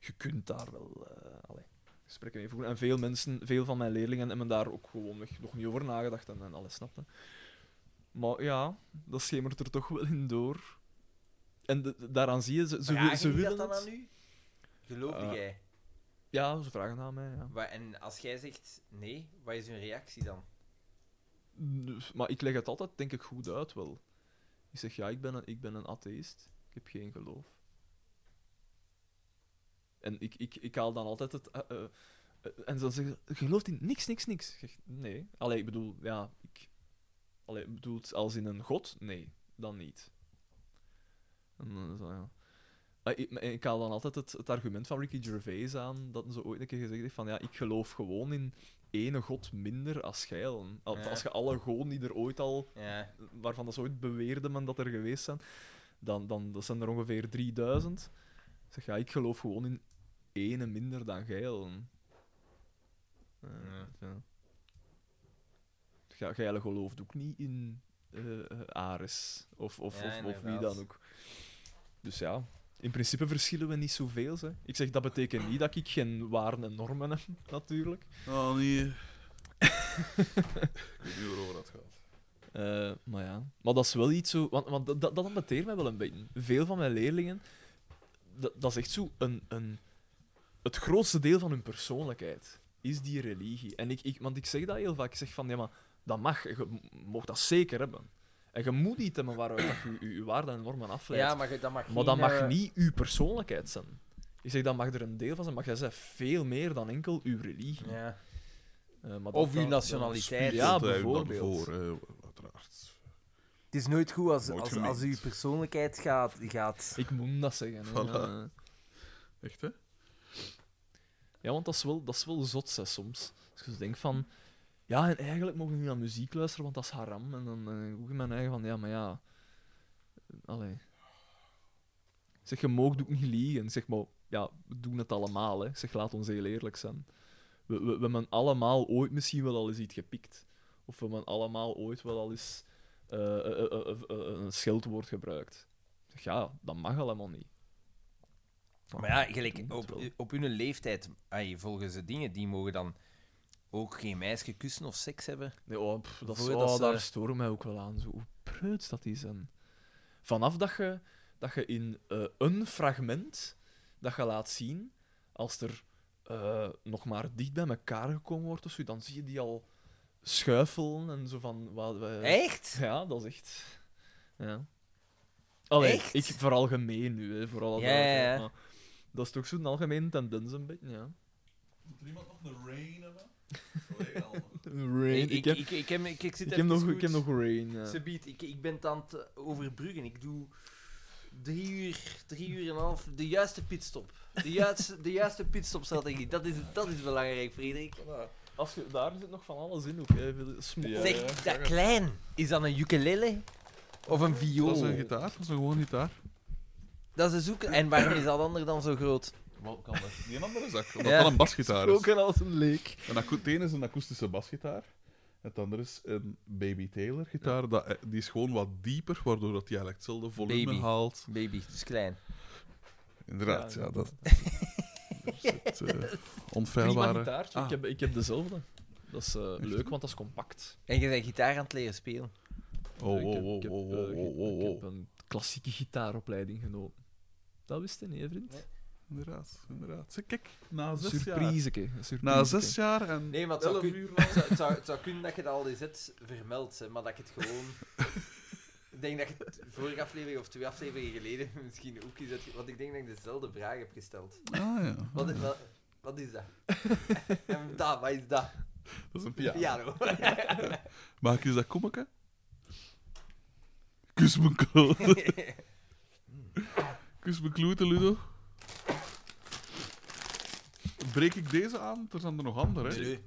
[SPEAKER 3] je kunt daar wel eh allee, gesprekken mee voeren. En veel mensen, veel van mijn leerlingen hebben daar ook gewoon nog- nog niet over nagedacht en, en alles snapte. Maar ja, dat schemert er toch wel in door. En de- de- daaraan zie je, ze, ze, wi-
[SPEAKER 1] Vragen
[SPEAKER 3] ze
[SPEAKER 1] die
[SPEAKER 3] willen
[SPEAKER 1] dat dan
[SPEAKER 3] het.
[SPEAKER 1] aan u? Geloofde
[SPEAKER 3] Eh.
[SPEAKER 1] jij?
[SPEAKER 3] Ja, ze vragen aan mij, ja.
[SPEAKER 1] Wa- en als jij zegt nee, wat is hun reactie dan?
[SPEAKER 3] Dus- Maar ik leg het altijd, denk ik, goed uit wel. Ik zeg, ja, ik ben een, ik ben een atheïst. Ik heb geen geloof. En ik, ik, ik haal dan altijd het... eh, eh, eh, en dan zeggen ze, gelooft in niks, niks, niks. Ik zeg, nee. Allee, ik bedoel, ja, ik... Allee, ik bedoel het als in een god? Nee, dan niet. En dan is dat, ja. Maar ik, maar ik haal dan altijd het, het argument van Ricky Gervais aan, dat ze ooit een keer gezegd heeft van, ja, ik geloof gewoon in ene god minder als jij. allen. Al-
[SPEAKER 1] Ja.
[SPEAKER 3] Als je alle goden die er ooit al
[SPEAKER 1] Ja,
[SPEAKER 3] waarvan dat ze ooit beweerden men dat er geweest zijn, dan, dan dat zijn er ongeveer 3000. Ik zeg, ja, ik geloof gewoon in ene minder dan geil.
[SPEAKER 1] Ja.
[SPEAKER 3] ja. Ja, geil gelooft ook niet in eh, eh, Ares of, of,
[SPEAKER 1] Ja,
[SPEAKER 3] of, of wie
[SPEAKER 1] inderdaad.
[SPEAKER 3] dan ook. Dus ja, in principe verschillen we niet zoveel. Hè. Ik zeg, dat betekent niet dat ik geen waarden en normen heb, natuurlijk.
[SPEAKER 4] Oh nee. ik weet niet waarover dat gaat.
[SPEAKER 3] Eh, Eh, maar ja, maar dat is wel iets zo... Want, want dat, dat dat ambeteert mij wel een beetje. Veel van mijn leerlingen, dat, dat is echt zo een, een... Het grootste deel van hun persoonlijkheid is die religie. En ik, ik, want ik zeg dat heel vaak. Ik zeg van, ja, maar dat mag. Je mocht dat zeker hebben. En je moet niet hebben waaruit dat je je- je waarden en normen afleidt.
[SPEAKER 1] Ja, maar ge- dat mag
[SPEAKER 3] Maar dat
[SPEAKER 1] geen,
[SPEAKER 3] mag
[SPEAKER 1] eh,
[SPEAKER 3] niet uw persoonlijkheid zijn. Ik zeg, dat mag er een deel van zijn, maar jij zegt veel meer dan enkel uw religie.
[SPEAKER 1] Ja.
[SPEAKER 3] Eh, maar dat-
[SPEAKER 1] Of uw
[SPEAKER 3] dat-
[SPEAKER 1] nationaliteit.
[SPEAKER 3] Ja,
[SPEAKER 10] Dat, eh,
[SPEAKER 3] bijvoorbeeld.
[SPEAKER 10] dan Voor, eh, uiteraard.
[SPEAKER 1] Het is nooit goed als,
[SPEAKER 10] Nooit
[SPEAKER 1] als,
[SPEAKER 10] gemeend.
[SPEAKER 1] als uw persoonlijkheid gaat. gaat...
[SPEAKER 3] Ik moet dat zeggen. hè.
[SPEAKER 10] Voilà.
[SPEAKER 3] Eh,
[SPEAKER 10] Echt, hè?
[SPEAKER 3] Ja, want dat is wel, dat is wel zot, hè, soms. Als je zo denkt van... Ja, en eigenlijk mogen we niet naar muziek luisteren, want dat is haram. En dan eh hoek ik mijn eigen van, ja, maar ja... Allee. Ik zeg, je moogt ook niet liegen. Ik zeg, maar ja, we doen het allemaal, hè. Ik zeg, laat ons heel eerlijk zijn. We, we, we hebben allemaal ooit misschien wel al eens iets gepikt. Of we hebben allemaal ooit wel al eens eh, eh, eh, eh, eh, een scheldwoord gebruikt. Ik zeg, ja, dat mag allemaal niet.
[SPEAKER 1] Maar ja, gelijk,
[SPEAKER 3] Doe het
[SPEAKER 1] op,
[SPEAKER 3] wel.
[SPEAKER 1] op hun leeftijd, ai, volgens de dingen, die mogen dan ook geen meisje kussen of seks hebben.
[SPEAKER 3] Nee, oh, pff, dat is,
[SPEAKER 1] Voor
[SPEAKER 3] oh,
[SPEAKER 1] dat ze-
[SPEAKER 3] daar stoor ik mij ook wel aan. Zo, hoe preuts dat is. En vanaf dat je, dat je in eh, een fragment dat je laat zien, als er eh, nog maar dicht bij elkaar gekomen wordt, of zo, dan zie je die al schuifelen en zo van... Wat, we-
[SPEAKER 1] Echt?
[SPEAKER 3] Ja, dat is echt... Ja. Allee,
[SPEAKER 1] Echt?
[SPEAKER 3] ik vooral gemeen nu, hè, vooral
[SPEAKER 1] Ja, ja, ja.
[SPEAKER 3] Dat is toch zo'n algemene tendens een beetje, ja.
[SPEAKER 4] Moet er iemand nog een rain hebben? Oh, ik al.
[SPEAKER 1] Ik,
[SPEAKER 3] Rain,
[SPEAKER 1] ik, ik, ik, heb- ik, ik zit
[SPEAKER 3] ik heb nog,
[SPEAKER 1] even
[SPEAKER 3] ik heb
[SPEAKER 1] goed.
[SPEAKER 3] nog rain, ja.
[SPEAKER 1] Subiet, ik, ik ben het aan het overbruggen. Ik doe drie uur, drie uur en een half, de juiste pitstop. De juiste, de juiste pitstopstrategie. Dat is, dat is belangrijk, Frederik.
[SPEAKER 3] Als je, daar zit nog van alles in ook. Hè. Veel smoel.
[SPEAKER 10] Ja, ja.
[SPEAKER 1] zeg, dat klein, is dat een ukulele? Of een viool?
[SPEAKER 4] Dat is een gitaar, dat is een gewoon gitaar.
[SPEAKER 1] Dat is een zoeken. En waarom is dat ander dan zo groot?
[SPEAKER 4] Wel, kan dat niet een andere zak. Omdat
[SPEAKER 1] Ja.
[SPEAKER 4] dat een basgitaar is.
[SPEAKER 3] Ook en als een leek.
[SPEAKER 4] Een akoe- het ene is een akoestische basgitaar. Het andere is een Baby Taylor gitaar. Dat, eh, die is gewoon wat dieper, waardoor dat die eigenlijk hetzelfde volume
[SPEAKER 1] Baby.
[SPEAKER 4] haalt.
[SPEAKER 1] Baby, dus klein.
[SPEAKER 4] Inderdaad, ja.
[SPEAKER 3] Ja,
[SPEAKER 4] dat is het eh,
[SPEAKER 3] Prima
[SPEAKER 4] onfeilbare.
[SPEAKER 3] gitaartje.
[SPEAKER 4] Ah.
[SPEAKER 3] Ik, heb, ik heb dezelfde. Dat is eh, leuk, want dat is compact.
[SPEAKER 1] En je bent gitaar aan het leren spelen.
[SPEAKER 4] Oh,
[SPEAKER 3] Ik heb-
[SPEAKER 4] oh, oh,
[SPEAKER 3] ik heb,
[SPEAKER 4] oh,
[SPEAKER 3] eh,
[SPEAKER 4] oh,
[SPEAKER 3] ge-
[SPEAKER 4] oh, oh,
[SPEAKER 3] Ik
[SPEAKER 4] oh.
[SPEAKER 3] heb een klassieke gitaaropleiding genomen. Dat wist je niet, hè, vriend?
[SPEAKER 4] Inderdaad, inderdaad. Zeg, Kijk, na zes jaar.
[SPEAKER 3] Surpriseke. een
[SPEAKER 4] Na
[SPEAKER 3] surpriseke.
[SPEAKER 4] zes jaar en
[SPEAKER 1] Nee, maar het zou,
[SPEAKER 4] elf
[SPEAKER 1] kun-
[SPEAKER 4] uur
[SPEAKER 1] het zou, het zou, het zou kunnen dat je dat al eens hebt vermeld, hè, maar dat ik het gewoon... ik denk dat je het vorige aflevering of twee afleveringen geleden misschien ook is... Dat, want ik denk dat ik dezelfde vraag heb gesteld.
[SPEAKER 4] Ah ja.
[SPEAKER 1] Wat, is- wat, wat is dat? en dat, wat is dat?
[SPEAKER 4] Dat is een piano.
[SPEAKER 1] Piano.
[SPEAKER 4] Maak eens dat kommetje. Kus mijn kloot. Kus mijn kloten, Ludo. Breek ik deze aan? Er zijn er nog andere, hè?
[SPEAKER 1] Nee,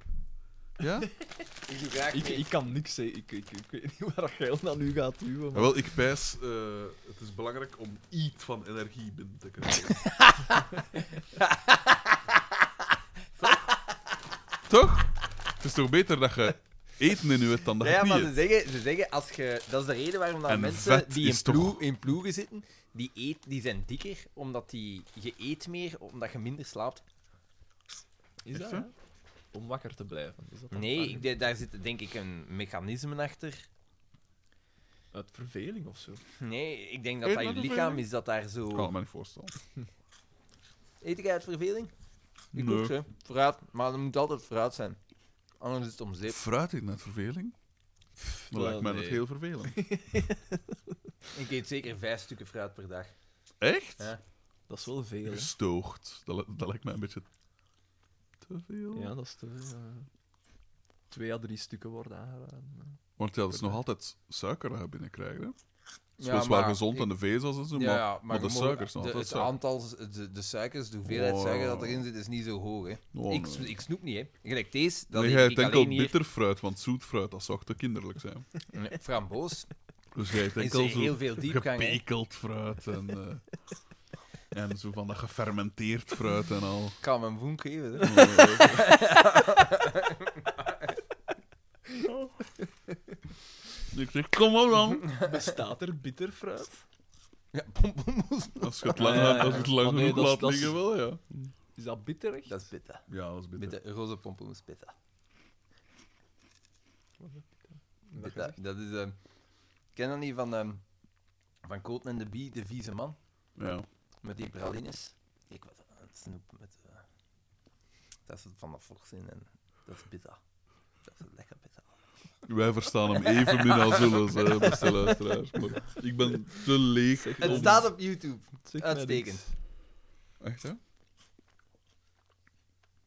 [SPEAKER 4] Ja?
[SPEAKER 1] ik doe graag
[SPEAKER 3] Ik,
[SPEAKER 1] mee.
[SPEAKER 3] ik kan niks zeggen. Ik, ik, ik weet niet waar geil naar nu gaat duwen.
[SPEAKER 4] Ja,
[SPEAKER 3] maar-
[SPEAKER 4] wel, ik pijs, eh, het is belangrijk om iets van energie binnen te krijgen. toch? Het is toch beter dat je eten in je hebt dan dat je
[SPEAKER 1] Ja, maar
[SPEAKER 4] pieën?
[SPEAKER 1] ze zeggen, ze zeggen als je, dat is de reden waarom dat
[SPEAKER 4] En
[SPEAKER 1] mensen
[SPEAKER 4] vet
[SPEAKER 1] die in,
[SPEAKER 4] is toch-
[SPEAKER 1] ploeg- in ploegen zitten, die, eet, die zijn dikker, omdat die, je eet meer, omdat je minder slaapt.
[SPEAKER 3] Is dat,
[SPEAKER 4] Oh, Echt, hè?
[SPEAKER 3] ja? Om wakker te blijven. Is dat dan
[SPEAKER 1] Nee,
[SPEAKER 3] waar?
[SPEAKER 1] ik, denk- daar zit denk ik een mechanisme achter.
[SPEAKER 3] Uit verveling of zo.
[SPEAKER 1] Nee, ik denk dat
[SPEAKER 4] Eet
[SPEAKER 1] dat je
[SPEAKER 4] uit de
[SPEAKER 1] lichaam
[SPEAKER 4] verveling?
[SPEAKER 1] is dat daar
[SPEAKER 4] Ik kan
[SPEAKER 1] zo...
[SPEAKER 4] het me niet voorstellen.
[SPEAKER 1] Eet ik uit verveling? Ik
[SPEAKER 4] Nee.
[SPEAKER 1] ook, hè. Fruit, maar het moet altijd fruit zijn. Anders is het om zeep.
[SPEAKER 4] Fruit in net verveling? Dat
[SPEAKER 3] wel,
[SPEAKER 4] lijkt mij net
[SPEAKER 3] nee.
[SPEAKER 4] heel vervelend.
[SPEAKER 1] Ik eet zeker vijf stukken fruit per dag.
[SPEAKER 4] Echt?
[SPEAKER 1] Ja.
[SPEAKER 3] Dat is wel veel. hè.
[SPEAKER 4] Gestoogd. Dat, li- dat lijkt mij een beetje te veel.
[SPEAKER 3] Ja, dat is te veel. ja. Twee à drie stukken worden aangeraden. ja.
[SPEAKER 4] Want ja, dat is nog altijd suiker dat je binnenkrijgt. Hè? Het is
[SPEAKER 1] Ja,
[SPEAKER 4] wel zwaar
[SPEAKER 1] maar-
[SPEAKER 4] gezond en de vezels en zo, maar, maar de
[SPEAKER 1] je mag-
[SPEAKER 4] suikers nog
[SPEAKER 1] de,
[SPEAKER 4] altijd
[SPEAKER 1] Het
[SPEAKER 4] suiker.
[SPEAKER 1] aantal, de, de suikers, de hoeveelheid
[SPEAKER 4] Oh.
[SPEAKER 1] suiker dat erin zit, is niet zo hoog, hè.
[SPEAKER 4] Oh,
[SPEAKER 1] ik,
[SPEAKER 4] nee.
[SPEAKER 1] s- ik snoep niet, hè. Gelijk deze, dat
[SPEAKER 4] nee,
[SPEAKER 1] eet
[SPEAKER 4] jij
[SPEAKER 1] ik
[SPEAKER 4] hebt enkel
[SPEAKER 1] alleen hier.
[SPEAKER 4] bitterfruit, want zoetfruit, dat zou te kinderlijk zijn.
[SPEAKER 1] Nee, Framboos.
[SPEAKER 4] Dus jij hebt
[SPEAKER 1] Is
[SPEAKER 4] enkel
[SPEAKER 1] heel
[SPEAKER 4] zo
[SPEAKER 1] veel diepgang, hè.
[SPEAKER 4] gepekeld fruit en, eh, en zo van dat gefermenteerd fruit en al.
[SPEAKER 1] Ik kan hem een voem geven, hè.
[SPEAKER 4] ik zeg, kom maar dan.
[SPEAKER 3] Bestaat er bitterfruit?
[SPEAKER 1] Ja, pompoenmoes.
[SPEAKER 4] Als je het lang,
[SPEAKER 3] Ja, ja, ja.
[SPEAKER 4] Als je het lang
[SPEAKER 3] Maar nee,
[SPEAKER 4] genoeg
[SPEAKER 3] dat is-
[SPEAKER 4] laat
[SPEAKER 3] dat is-
[SPEAKER 4] liggen, wel, ja.
[SPEAKER 3] Is dat bitterig?
[SPEAKER 1] Dat is bitter.
[SPEAKER 4] Ja, dat is bitter.
[SPEAKER 1] Bitter, roze pompoenmoes, bitter.
[SPEAKER 3] dat
[SPEAKER 1] dat, dat is... ehm, ken je dat niet van, ehm van Koten en de Bie, de vieze man?
[SPEAKER 4] Ja.
[SPEAKER 1] Met die pralines. Ik was aan het snoepen met... eh, dat is het van dat vocht in en dat is bitter. Dat is lekker bitter.
[SPEAKER 4] Wij verstaan hem even min als zullen ze, beste luisteraars. Maar ik ben te leeg.
[SPEAKER 1] Het
[SPEAKER 4] om-
[SPEAKER 1] staat op YouTube.
[SPEAKER 3] Zeg mij
[SPEAKER 1] Uitstekend.
[SPEAKER 4] Echt, hè?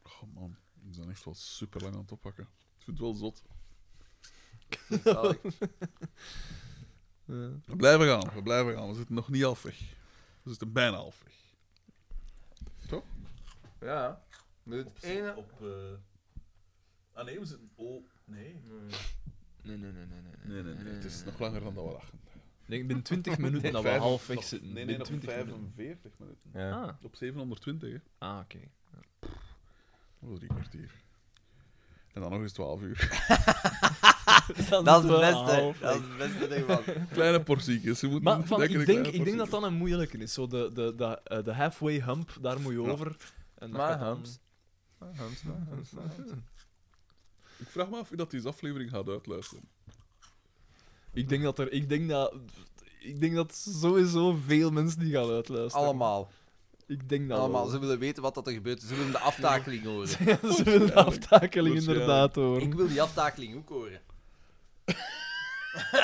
[SPEAKER 4] Oh man, ik ben echt wel super lang aan het oppakken. Ik vind het wel zot.
[SPEAKER 1] Zalig.
[SPEAKER 3] niks. Ja.
[SPEAKER 4] We blijven gaan, we blijven gaan. We zitten nog niet halfweg. We zitten bijna halfweg.
[SPEAKER 1] Ja. Moet één.
[SPEAKER 4] Op, eh, Ah nee, we zitten... Oh, nee.
[SPEAKER 3] Nee, nee, nee, nee, nee.
[SPEAKER 4] Nee, nee, nee. Het is nog langer dan dat we dachten.
[SPEAKER 3] Ik denk binnen 20 minuten dat we
[SPEAKER 4] Vijf-
[SPEAKER 3] half weg
[SPEAKER 4] nog-
[SPEAKER 3] zitten.
[SPEAKER 4] Nee, nee,
[SPEAKER 3] Binnen
[SPEAKER 4] nog
[SPEAKER 3] 20 minuten.
[SPEAKER 4] 45 minuten.
[SPEAKER 1] Ja.
[SPEAKER 3] Ah,
[SPEAKER 4] Op 720, hè.
[SPEAKER 3] ah oké.
[SPEAKER 4] Dat is drie kwartier. En dan nog eens 12 uur.
[SPEAKER 1] Dat is het
[SPEAKER 3] wel
[SPEAKER 1] beste.
[SPEAKER 3] half
[SPEAKER 1] Dat is het beste ervan.
[SPEAKER 4] Kleine portiekjes. Ze moeten
[SPEAKER 3] Maar van,
[SPEAKER 4] lekkere
[SPEAKER 3] ik, denk,
[SPEAKER 4] kleine
[SPEAKER 3] ik denk dat
[SPEAKER 4] portiekjes.
[SPEAKER 3] dat een moeilijke is. Zo de, de, de, eh, de halfway hump, daar moet je
[SPEAKER 4] Ja.
[SPEAKER 3] over. En dat
[SPEAKER 1] Maar
[SPEAKER 3] gaat dan-
[SPEAKER 1] humps.
[SPEAKER 4] Ik vraag me af wie dat deze aflevering gaat uitluisteren.
[SPEAKER 3] Ik denk dat er... Ik denk dat... Ik denk dat sowieso veel mensen die gaan uitluisteren.
[SPEAKER 1] Allemaal.
[SPEAKER 3] Ik denk dat
[SPEAKER 1] Allemaal.
[SPEAKER 3] wel.
[SPEAKER 1] Ze willen weten wat dat er gebeurt. Ze willen de aftakeling horen.
[SPEAKER 3] Ze willen de aftakeling
[SPEAKER 4] Waarschijnlijk.
[SPEAKER 3] inderdaad horen.
[SPEAKER 1] Ik wil die aftakeling ook horen.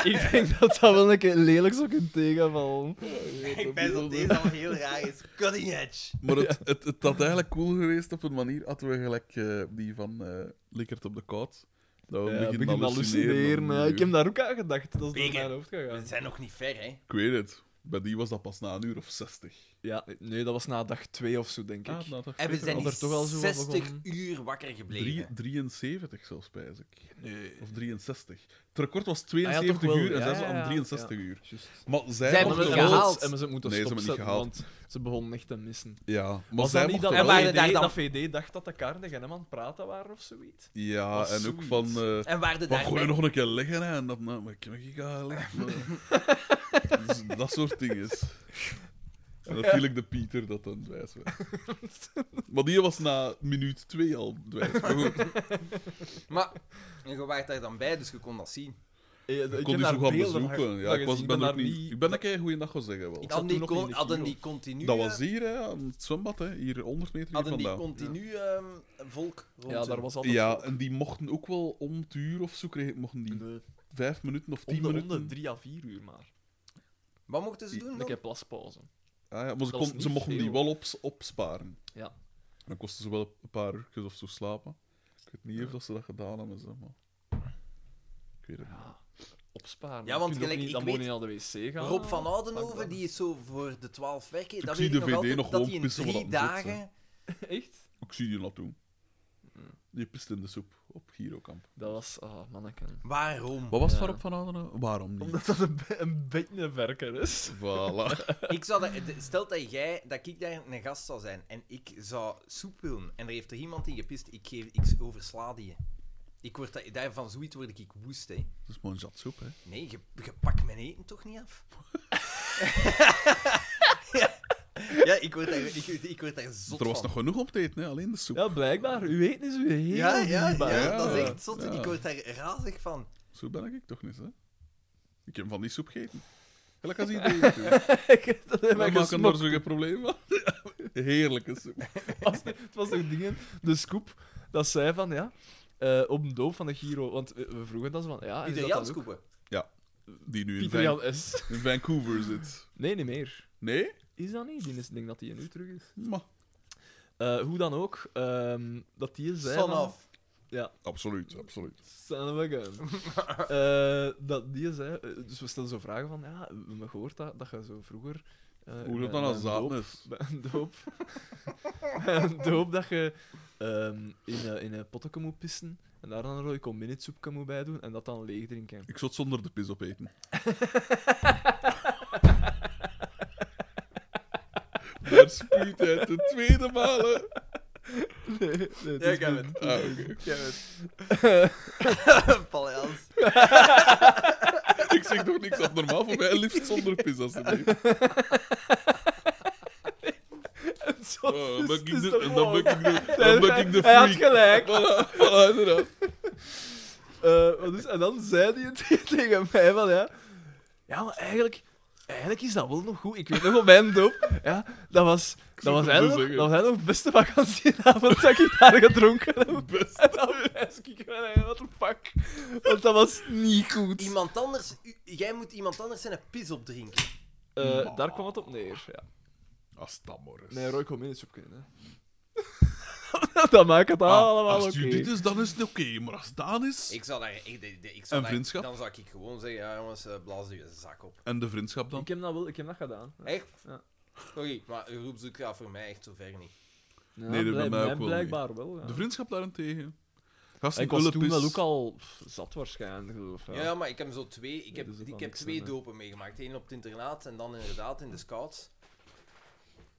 [SPEAKER 3] Ik denk dat dat wel een keer lelijk zou kunnen tegenvallen.
[SPEAKER 1] Ik ben op deze al heel raar is. Cutting edge.
[SPEAKER 4] Maar het, het, het had eigenlijk cool geweest op een manier. Hadden we gelijk eh, die van eh Likert op de koud. Dat we
[SPEAKER 3] Ja,
[SPEAKER 4] beginnen
[SPEAKER 3] begin hallucineren.
[SPEAKER 4] hallucineren.
[SPEAKER 3] ja. ik heb daar ook aan gedacht. Dat is door
[SPEAKER 1] Bacon.
[SPEAKER 3] mijn hoofd gegaan.
[SPEAKER 1] We zijn nog niet ver, hè?
[SPEAKER 4] Ik weet het. Bij die was dat pas na een uur of zestig. nou,
[SPEAKER 3] Ja, nee, dat was na dag 2 of zo, denk ik.
[SPEAKER 4] Ah,
[SPEAKER 1] En we zijn
[SPEAKER 3] Had er
[SPEAKER 1] hier
[SPEAKER 3] toch wel zo wat
[SPEAKER 1] 60
[SPEAKER 3] begonnen.
[SPEAKER 1] uur wakker
[SPEAKER 4] Drie-
[SPEAKER 1] gebleven.
[SPEAKER 4] 73 zelfs, spijs ik.
[SPEAKER 3] nee.
[SPEAKER 4] Of 63. Het record was
[SPEAKER 3] Ah, ja,
[SPEAKER 4] 72
[SPEAKER 3] toch wel.
[SPEAKER 4] uur en
[SPEAKER 3] Ja,
[SPEAKER 4] zij
[SPEAKER 3] ja,
[SPEAKER 4] waren
[SPEAKER 3] ja.
[SPEAKER 4] 63 uur.
[SPEAKER 3] Juist.
[SPEAKER 4] Maar zij,
[SPEAKER 1] Zij
[SPEAKER 4] mochten
[SPEAKER 1] hebben
[SPEAKER 4] wel-
[SPEAKER 1] het gehaald.
[SPEAKER 3] En we ze moeten
[SPEAKER 4] Nee, ze hebben het niet
[SPEAKER 3] stopzetten,
[SPEAKER 4] gehaald.
[SPEAKER 3] want ze begonnen echt te missen.
[SPEAKER 4] Ja, maar
[SPEAKER 3] was
[SPEAKER 4] zij
[SPEAKER 3] dat niet
[SPEAKER 4] mochten
[SPEAKER 1] En
[SPEAKER 4] wel-
[SPEAKER 3] dat,
[SPEAKER 1] waren
[SPEAKER 3] VD,
[SPEAKER 1] daar dan-
[SPEAKER 3] dat VD dacht dat de Kaarten en hem aan het praten waren of zoiets?
[SPEAKER 4] Ja,
[SPEAKER 3] was
[SPEAKER 4] en ook
[SPEAKER 3] Oh, zoiets.
[SPEAKER 4] van... eh,
[SPEAKER 1] En waar de
[SPEAKER 4] Maar gooi
[SPEAKER 1] daarbij...
[SPEAKER 4] je nog een keer liggen hè, en dat, nou, maar ik heb ik ga liggen. maar- Dus dat soort dingen. En natuurlijk de Pieter dat dan dwijs werd. Maar die was na minuut twee al dwijs. Maar goed,
[SPEAKER 1] Maar je waart daar dan bij, dus je kon dat zien.
[SPEAKER 4] ik kon die zo gaan bezoeken. Ja, ik, was, ben ook niet... ik ben een keer goeiedag gaan zeggen wel.
[SPEAKER 3] Ik
[SPEAKER 1] Hadden
[SPEAKER 3] zat
[SPEAKER 1] die,
[SPEAKER 3] toen nog
[SPEAKER 1] con-
[SPEAKER 3] in de
[SPEAKER 1] hadden
[SPEAKER 3] Giro.
[SPEAKER 1] die continu...
[SPEAKER 4] Dat
[SPEAKER 1] eh,
[SPEAKER 4] was hier, hè, aan het zwembad, hè, hier 100 meter hier
[SPEAKER 1] Hadden die
[SPEAKER 4] vandaan.
[SPEAKER 1] continu ehm, volk rond
[SPEAKER 3] Ja,
[SPEAKER 1] hun?
[SPEAKER 3] daar was altijd...
[SPEAKER 4] Ja,
[SPEAKER 3] volk.
[SPEAKER 4] en die mochten ook wel om het uur of zo, kregen, mochten die
[SPEAKER 3] Nee,
[SPEAKER 4] vijf minuten of
[SPEAKER 3] om
[SPEAKER 4] tien
[SPEAKER 3] de, om de
[SPEAKER 4] minuten.
[SPEAKER 3] drie à vier uur maar.
[SPEAKER 1] Wat mochten ze doen
[SPEAKER 3] Een
[SPEAKER 1] dan?
[SPEAKER 3] keer plaspauze.
[SPEAKER 4] Ah, ja, maar ze,
[SPEAKER 3] Dat
[SPEAKER 4] kon-
[SPEAKER 3] is
[SPEAKER 4] ze
[SPEAKER 3] niet
[SPEAKER 4] mochten die
[SPEAKER 3] veel.
[SPEAKER 4] wel ops- opsparen.
[SPEAKER 3] Ja.
[SPEAKER 4] En dan kostte ze wel een paar uurtjes of zo slapen. Ik weet niet of dat ze dat gedaan hebben, zeg maar. Ik weet het niet.
[SPEAKER 3] Ja, opsparen.
[SPEAKER 1] Ja, want
[SPEAKER 3] Kun je ook
[SPEAKER 1] gelijk,
[SPEAKER 3] niet-
[SPEAKER 1] ik
[SPEAKER 3] dan moet je
[SPEAKER 1] weet-
[SPEAKER 3] niet naar de wc gaan.
[SPEAKER 1] Rob van
[SPEAKER 3] Fuck dat.
[SPEAKER 1] Oudenhoven, die is zo voor de 12 werken. Dat
[SPEAKER 4] zie
[SPEAKER 1] weet ik
[SPEAKER 4] de
[SPEAKER 1] nog
[SPEAKER 4] VD
[SPEAKER 1] altijd,
[SPEAKER 4] nog
[SPEAKER 1] dat
[SPEAKER 4] gewoon
[SPEAKER 1] hij in
[SPEAKER 4] pissen wat
[SPEAKER 1] drie
[SPEAKER 4] dat hem zit,
[SPEAKER 1] dagen...
[SPEAKER 3] Echt?
[SPEAKER 4] Ik zie die naartoe. Die pist in de soep op Girokamp.
[SPEAKER 3] Dat was... Ah, manneken.
[SPEAKER 1] Waarom?
[SPEAKER 4] Wat was
[SPEAKER 3] Ja.
[SPEAKER 4] het waarop van Ouderen? Waarom niet?
[SPEAKER 3] Omdat dat een, be- een bekkenwerker is.
[SPEAKER 4] Voilà.
[SPEAKER 1] Ik zou dat, de- stel dat jij, dat ik daar een gast zou zijn en ik zou soep willen en er heeft er iemand in gepist, ik, geef, ik oversla die. Ik word da- daarvan zoiets word ik woest, hè.
[SPEAKER 4] Dat is maar een jatsoep, hè.
[SPEAKER 1] Nee, je, je pakt mijn eten toch niet af? ja, ja, ik word daar, ik, ik word daar zot
[SPEAKER 4] Want er was
[SPEAKER 1] van.
[SPEAKER 4] nog genoeg op te eten, hè. alleen de soep.
[SPEAKER 3] Ja, blijkbaar. U weet is u heel
[SPEAKER 1] ja, ja, ja,
[SPEAKER 3] dierbaar.
[SPEAKER 1] dat is
[SPEAKER 4] Ja,
[SPEAKER 1] echt zot.
[SPEAKER 4] ja.
[SPEAKER 1] Ik word daar razig van.
[SPEAKER 4] Zo ben ik toch niet, hè. Ik heb van die soep gegeten. Gelijk als iedereen. natuurlijk.
[SPEAKER 3] dat heb
[SPEAKER 4] Wij
[SPEAKER 3] ik
[SPEAKER 4] maken daar
[SPEAKER 3] gesmokt.
[SPEAKER 4] zo'n probleem van. Heerlijke soep.
[SPEAKER 3] was, het was toch dingen, de scoop, dat zei van ja. eh, op een doop van de Giro, want eh, we we vroegen dat ze van ja. Ah, is
[SPEAKER 1] Pieter
[SPEAKER 3] dat dan
[SPEAKER 1] Jans
[SPEAKER 3] ook?
[SPEAKER 1] koepen.
[SPEAKER 4] Die nu in,
[SPEAKER 3] Pieter
[SPEAKER 4] Van-
[SPEAKER 3] Jan S.
[SPEAKER 4] in Vancouver zit.
[SPEAKER 3] Nee, niet meer.
[SPEAKER 4] Nee?
[SPEAKER 3] Is dat niet? Die is- Ik denk dat die nu terug is.
[SPEAKER 4] Maar,
[SPEAKER 3] Eh, hoe dan ook, ehm, dat die zei.
[SPEAKER 1] Son
[SPEAKER 3] van-
[SPEAKER 1] of.
[SPEAKER 4] absoluut, absoluut.
[SPEAKER 3] Son of a gun. Eh, dat die zei. eh, Dus we stelden zo vragen van ja, we hebben gehoord dat, dat je zo vroeger. eh,
[SPEAKER 4] Hoe
[SPEAKER 3] bij-
[SPEAKER 4] dat dan
[SPEAKER 3] bij
[SPEAKER 4] als
[SPEAKER 3] een
[SPEAKER 4] zaad
[SPEAKER 3] doop-
[SPEAKER 4] is?
[SPEAKER 3] bij een doop. bij een doop dat je ehm, in, een- in een potje moet pissen. En daar dan een rode comminitsoepje moet bij doen. En dat dan leeg drinken.
[SPEAKER 4] Ik zou het zonder de pis opeten. Daar spuut hij de tweede malen.
[SPEAKER 3] Nee, nee, het
[SPEAKER 1] Ja,
[SPEAKER 3] is
[SPEAKER 1] ik heb het.
[SPEAKER 3] niet-
[SPEAKER 4] Ah, oké.
[SPEAKER 1] Ik heb het. Paul Jans.
[SPEAKER 4] Ik zeg toch niks abnormaal voor mij. Liefst zonder pis, alsjeblieft.
[SPEAKER 3] Zo
[SPEAKER 4] Oh,
[SPEAKER 3] is-
[SPEAKER 4] dan ben ik
[SPEAKER 3] het is
[SPEAKER 4] de-
[SPEAKER 3] toch
[SPEAKER 4] en dan ben
[SPEAKER 3] mooi?
[SPEAKER 4] ik de, dan ben ik de
[SPEAKER 3] Hij had
[SPEAKER 4] freak.
[SPEAKER 3] gelijk.
[SPEAKER 4] Voilà, voilà, inderdaad.
[SPEAKER 3] Eh, Eh, wat is, en dan zei hij het tegen mij van, ja... Ja, maar eigenlijk... Eigenlijk is dat wel nog goed. Ik weet nog op mijn doop. Ja, dat was, dat was,
[SPEAKER 10] het
[SPEAKER 3] eigenlijk, nog-
[SPEAKER 10] zo
[SPEAKER 3] dat
[SPEAKER 10] zeggen.
[SPEAKER 3] was eigenlijk nog de beste vakantieavond dat ik daar gedronken heb. En dan wijs ik van, hey, what the fuck. Want dat was niet goed.
[SPEAKER 1] Iemand anders, u- jij moet iemand anders zijn een pis opdrinken.
[SPEAKER 3] Eh, daar kwam het op neer, ja.
[SPEAKER 10] Als dat maar is.
[SPEAKER 3] Nee, Roy kon minisoep kunnen. hè. dat maakt het allemaal
[SPEAKER 4] Ah, als het
[SPEAKER 3] oké.
[SPEAKER 4] u dit is, dan is het oké. Maar als het dat is...
[SPEAKER 1] Ik zou daar... Ik, de- de- ik zou
[SPEAKER 4] Een
[SPEAKER 1] daar-
[SPEAKER 4] vriendschap?
[SPEAKER 1] Dan zou ik gewoon zeggen, ja jongens, eh, blaas je zak op.
[SPEAKER 4] En de vriendschap dan?
[SPEAKER 3] Ik heb dat wel, ik heb dat gedaan.
[SPEAKER 1] Echt?
[SPEAKER 3] Ja.
[SPEAKER 1] Sorry, maar een roepzoek gaat voor mij echt zo ver niet.
[SPEAKER 3] Ja,
[SPEAKER 4] Nee, dat bij
[SPEAKER 3] blij-
[SPEAKER 4] mij ook wel
[SPEAKER 3] Blijkbaar wel, ja.
[SPEAKER 4] De vriendschap daarentegen. Gasten,
[SPEAKER 3] Ik was
[SPEAKER 4] uilenpis.
[SPEAKER 3] toen wel ook al pff, zat waarschijnlijk. Of,
[SPEAKER 1] Ja,
[SPEAKER 3] ja.
[SPEAKER 1] ja, maar ik heb zo twee, ik
[SPEAKER 3] Ja,
[SPEAKER 1] heb,
[SPEAKER 3] dat is ook
[SPEAKER 1] ik
[SPEAKER 3] wel
[SPEAKER 1] heb
[SPEAKER 3] niks
[SPEAKER 1] twee
[SPEAKER 3] aan, hè.
[SPEAKER 1] dopen meegemaakt. Eén op het internaat en dan inderdaad in de scouts.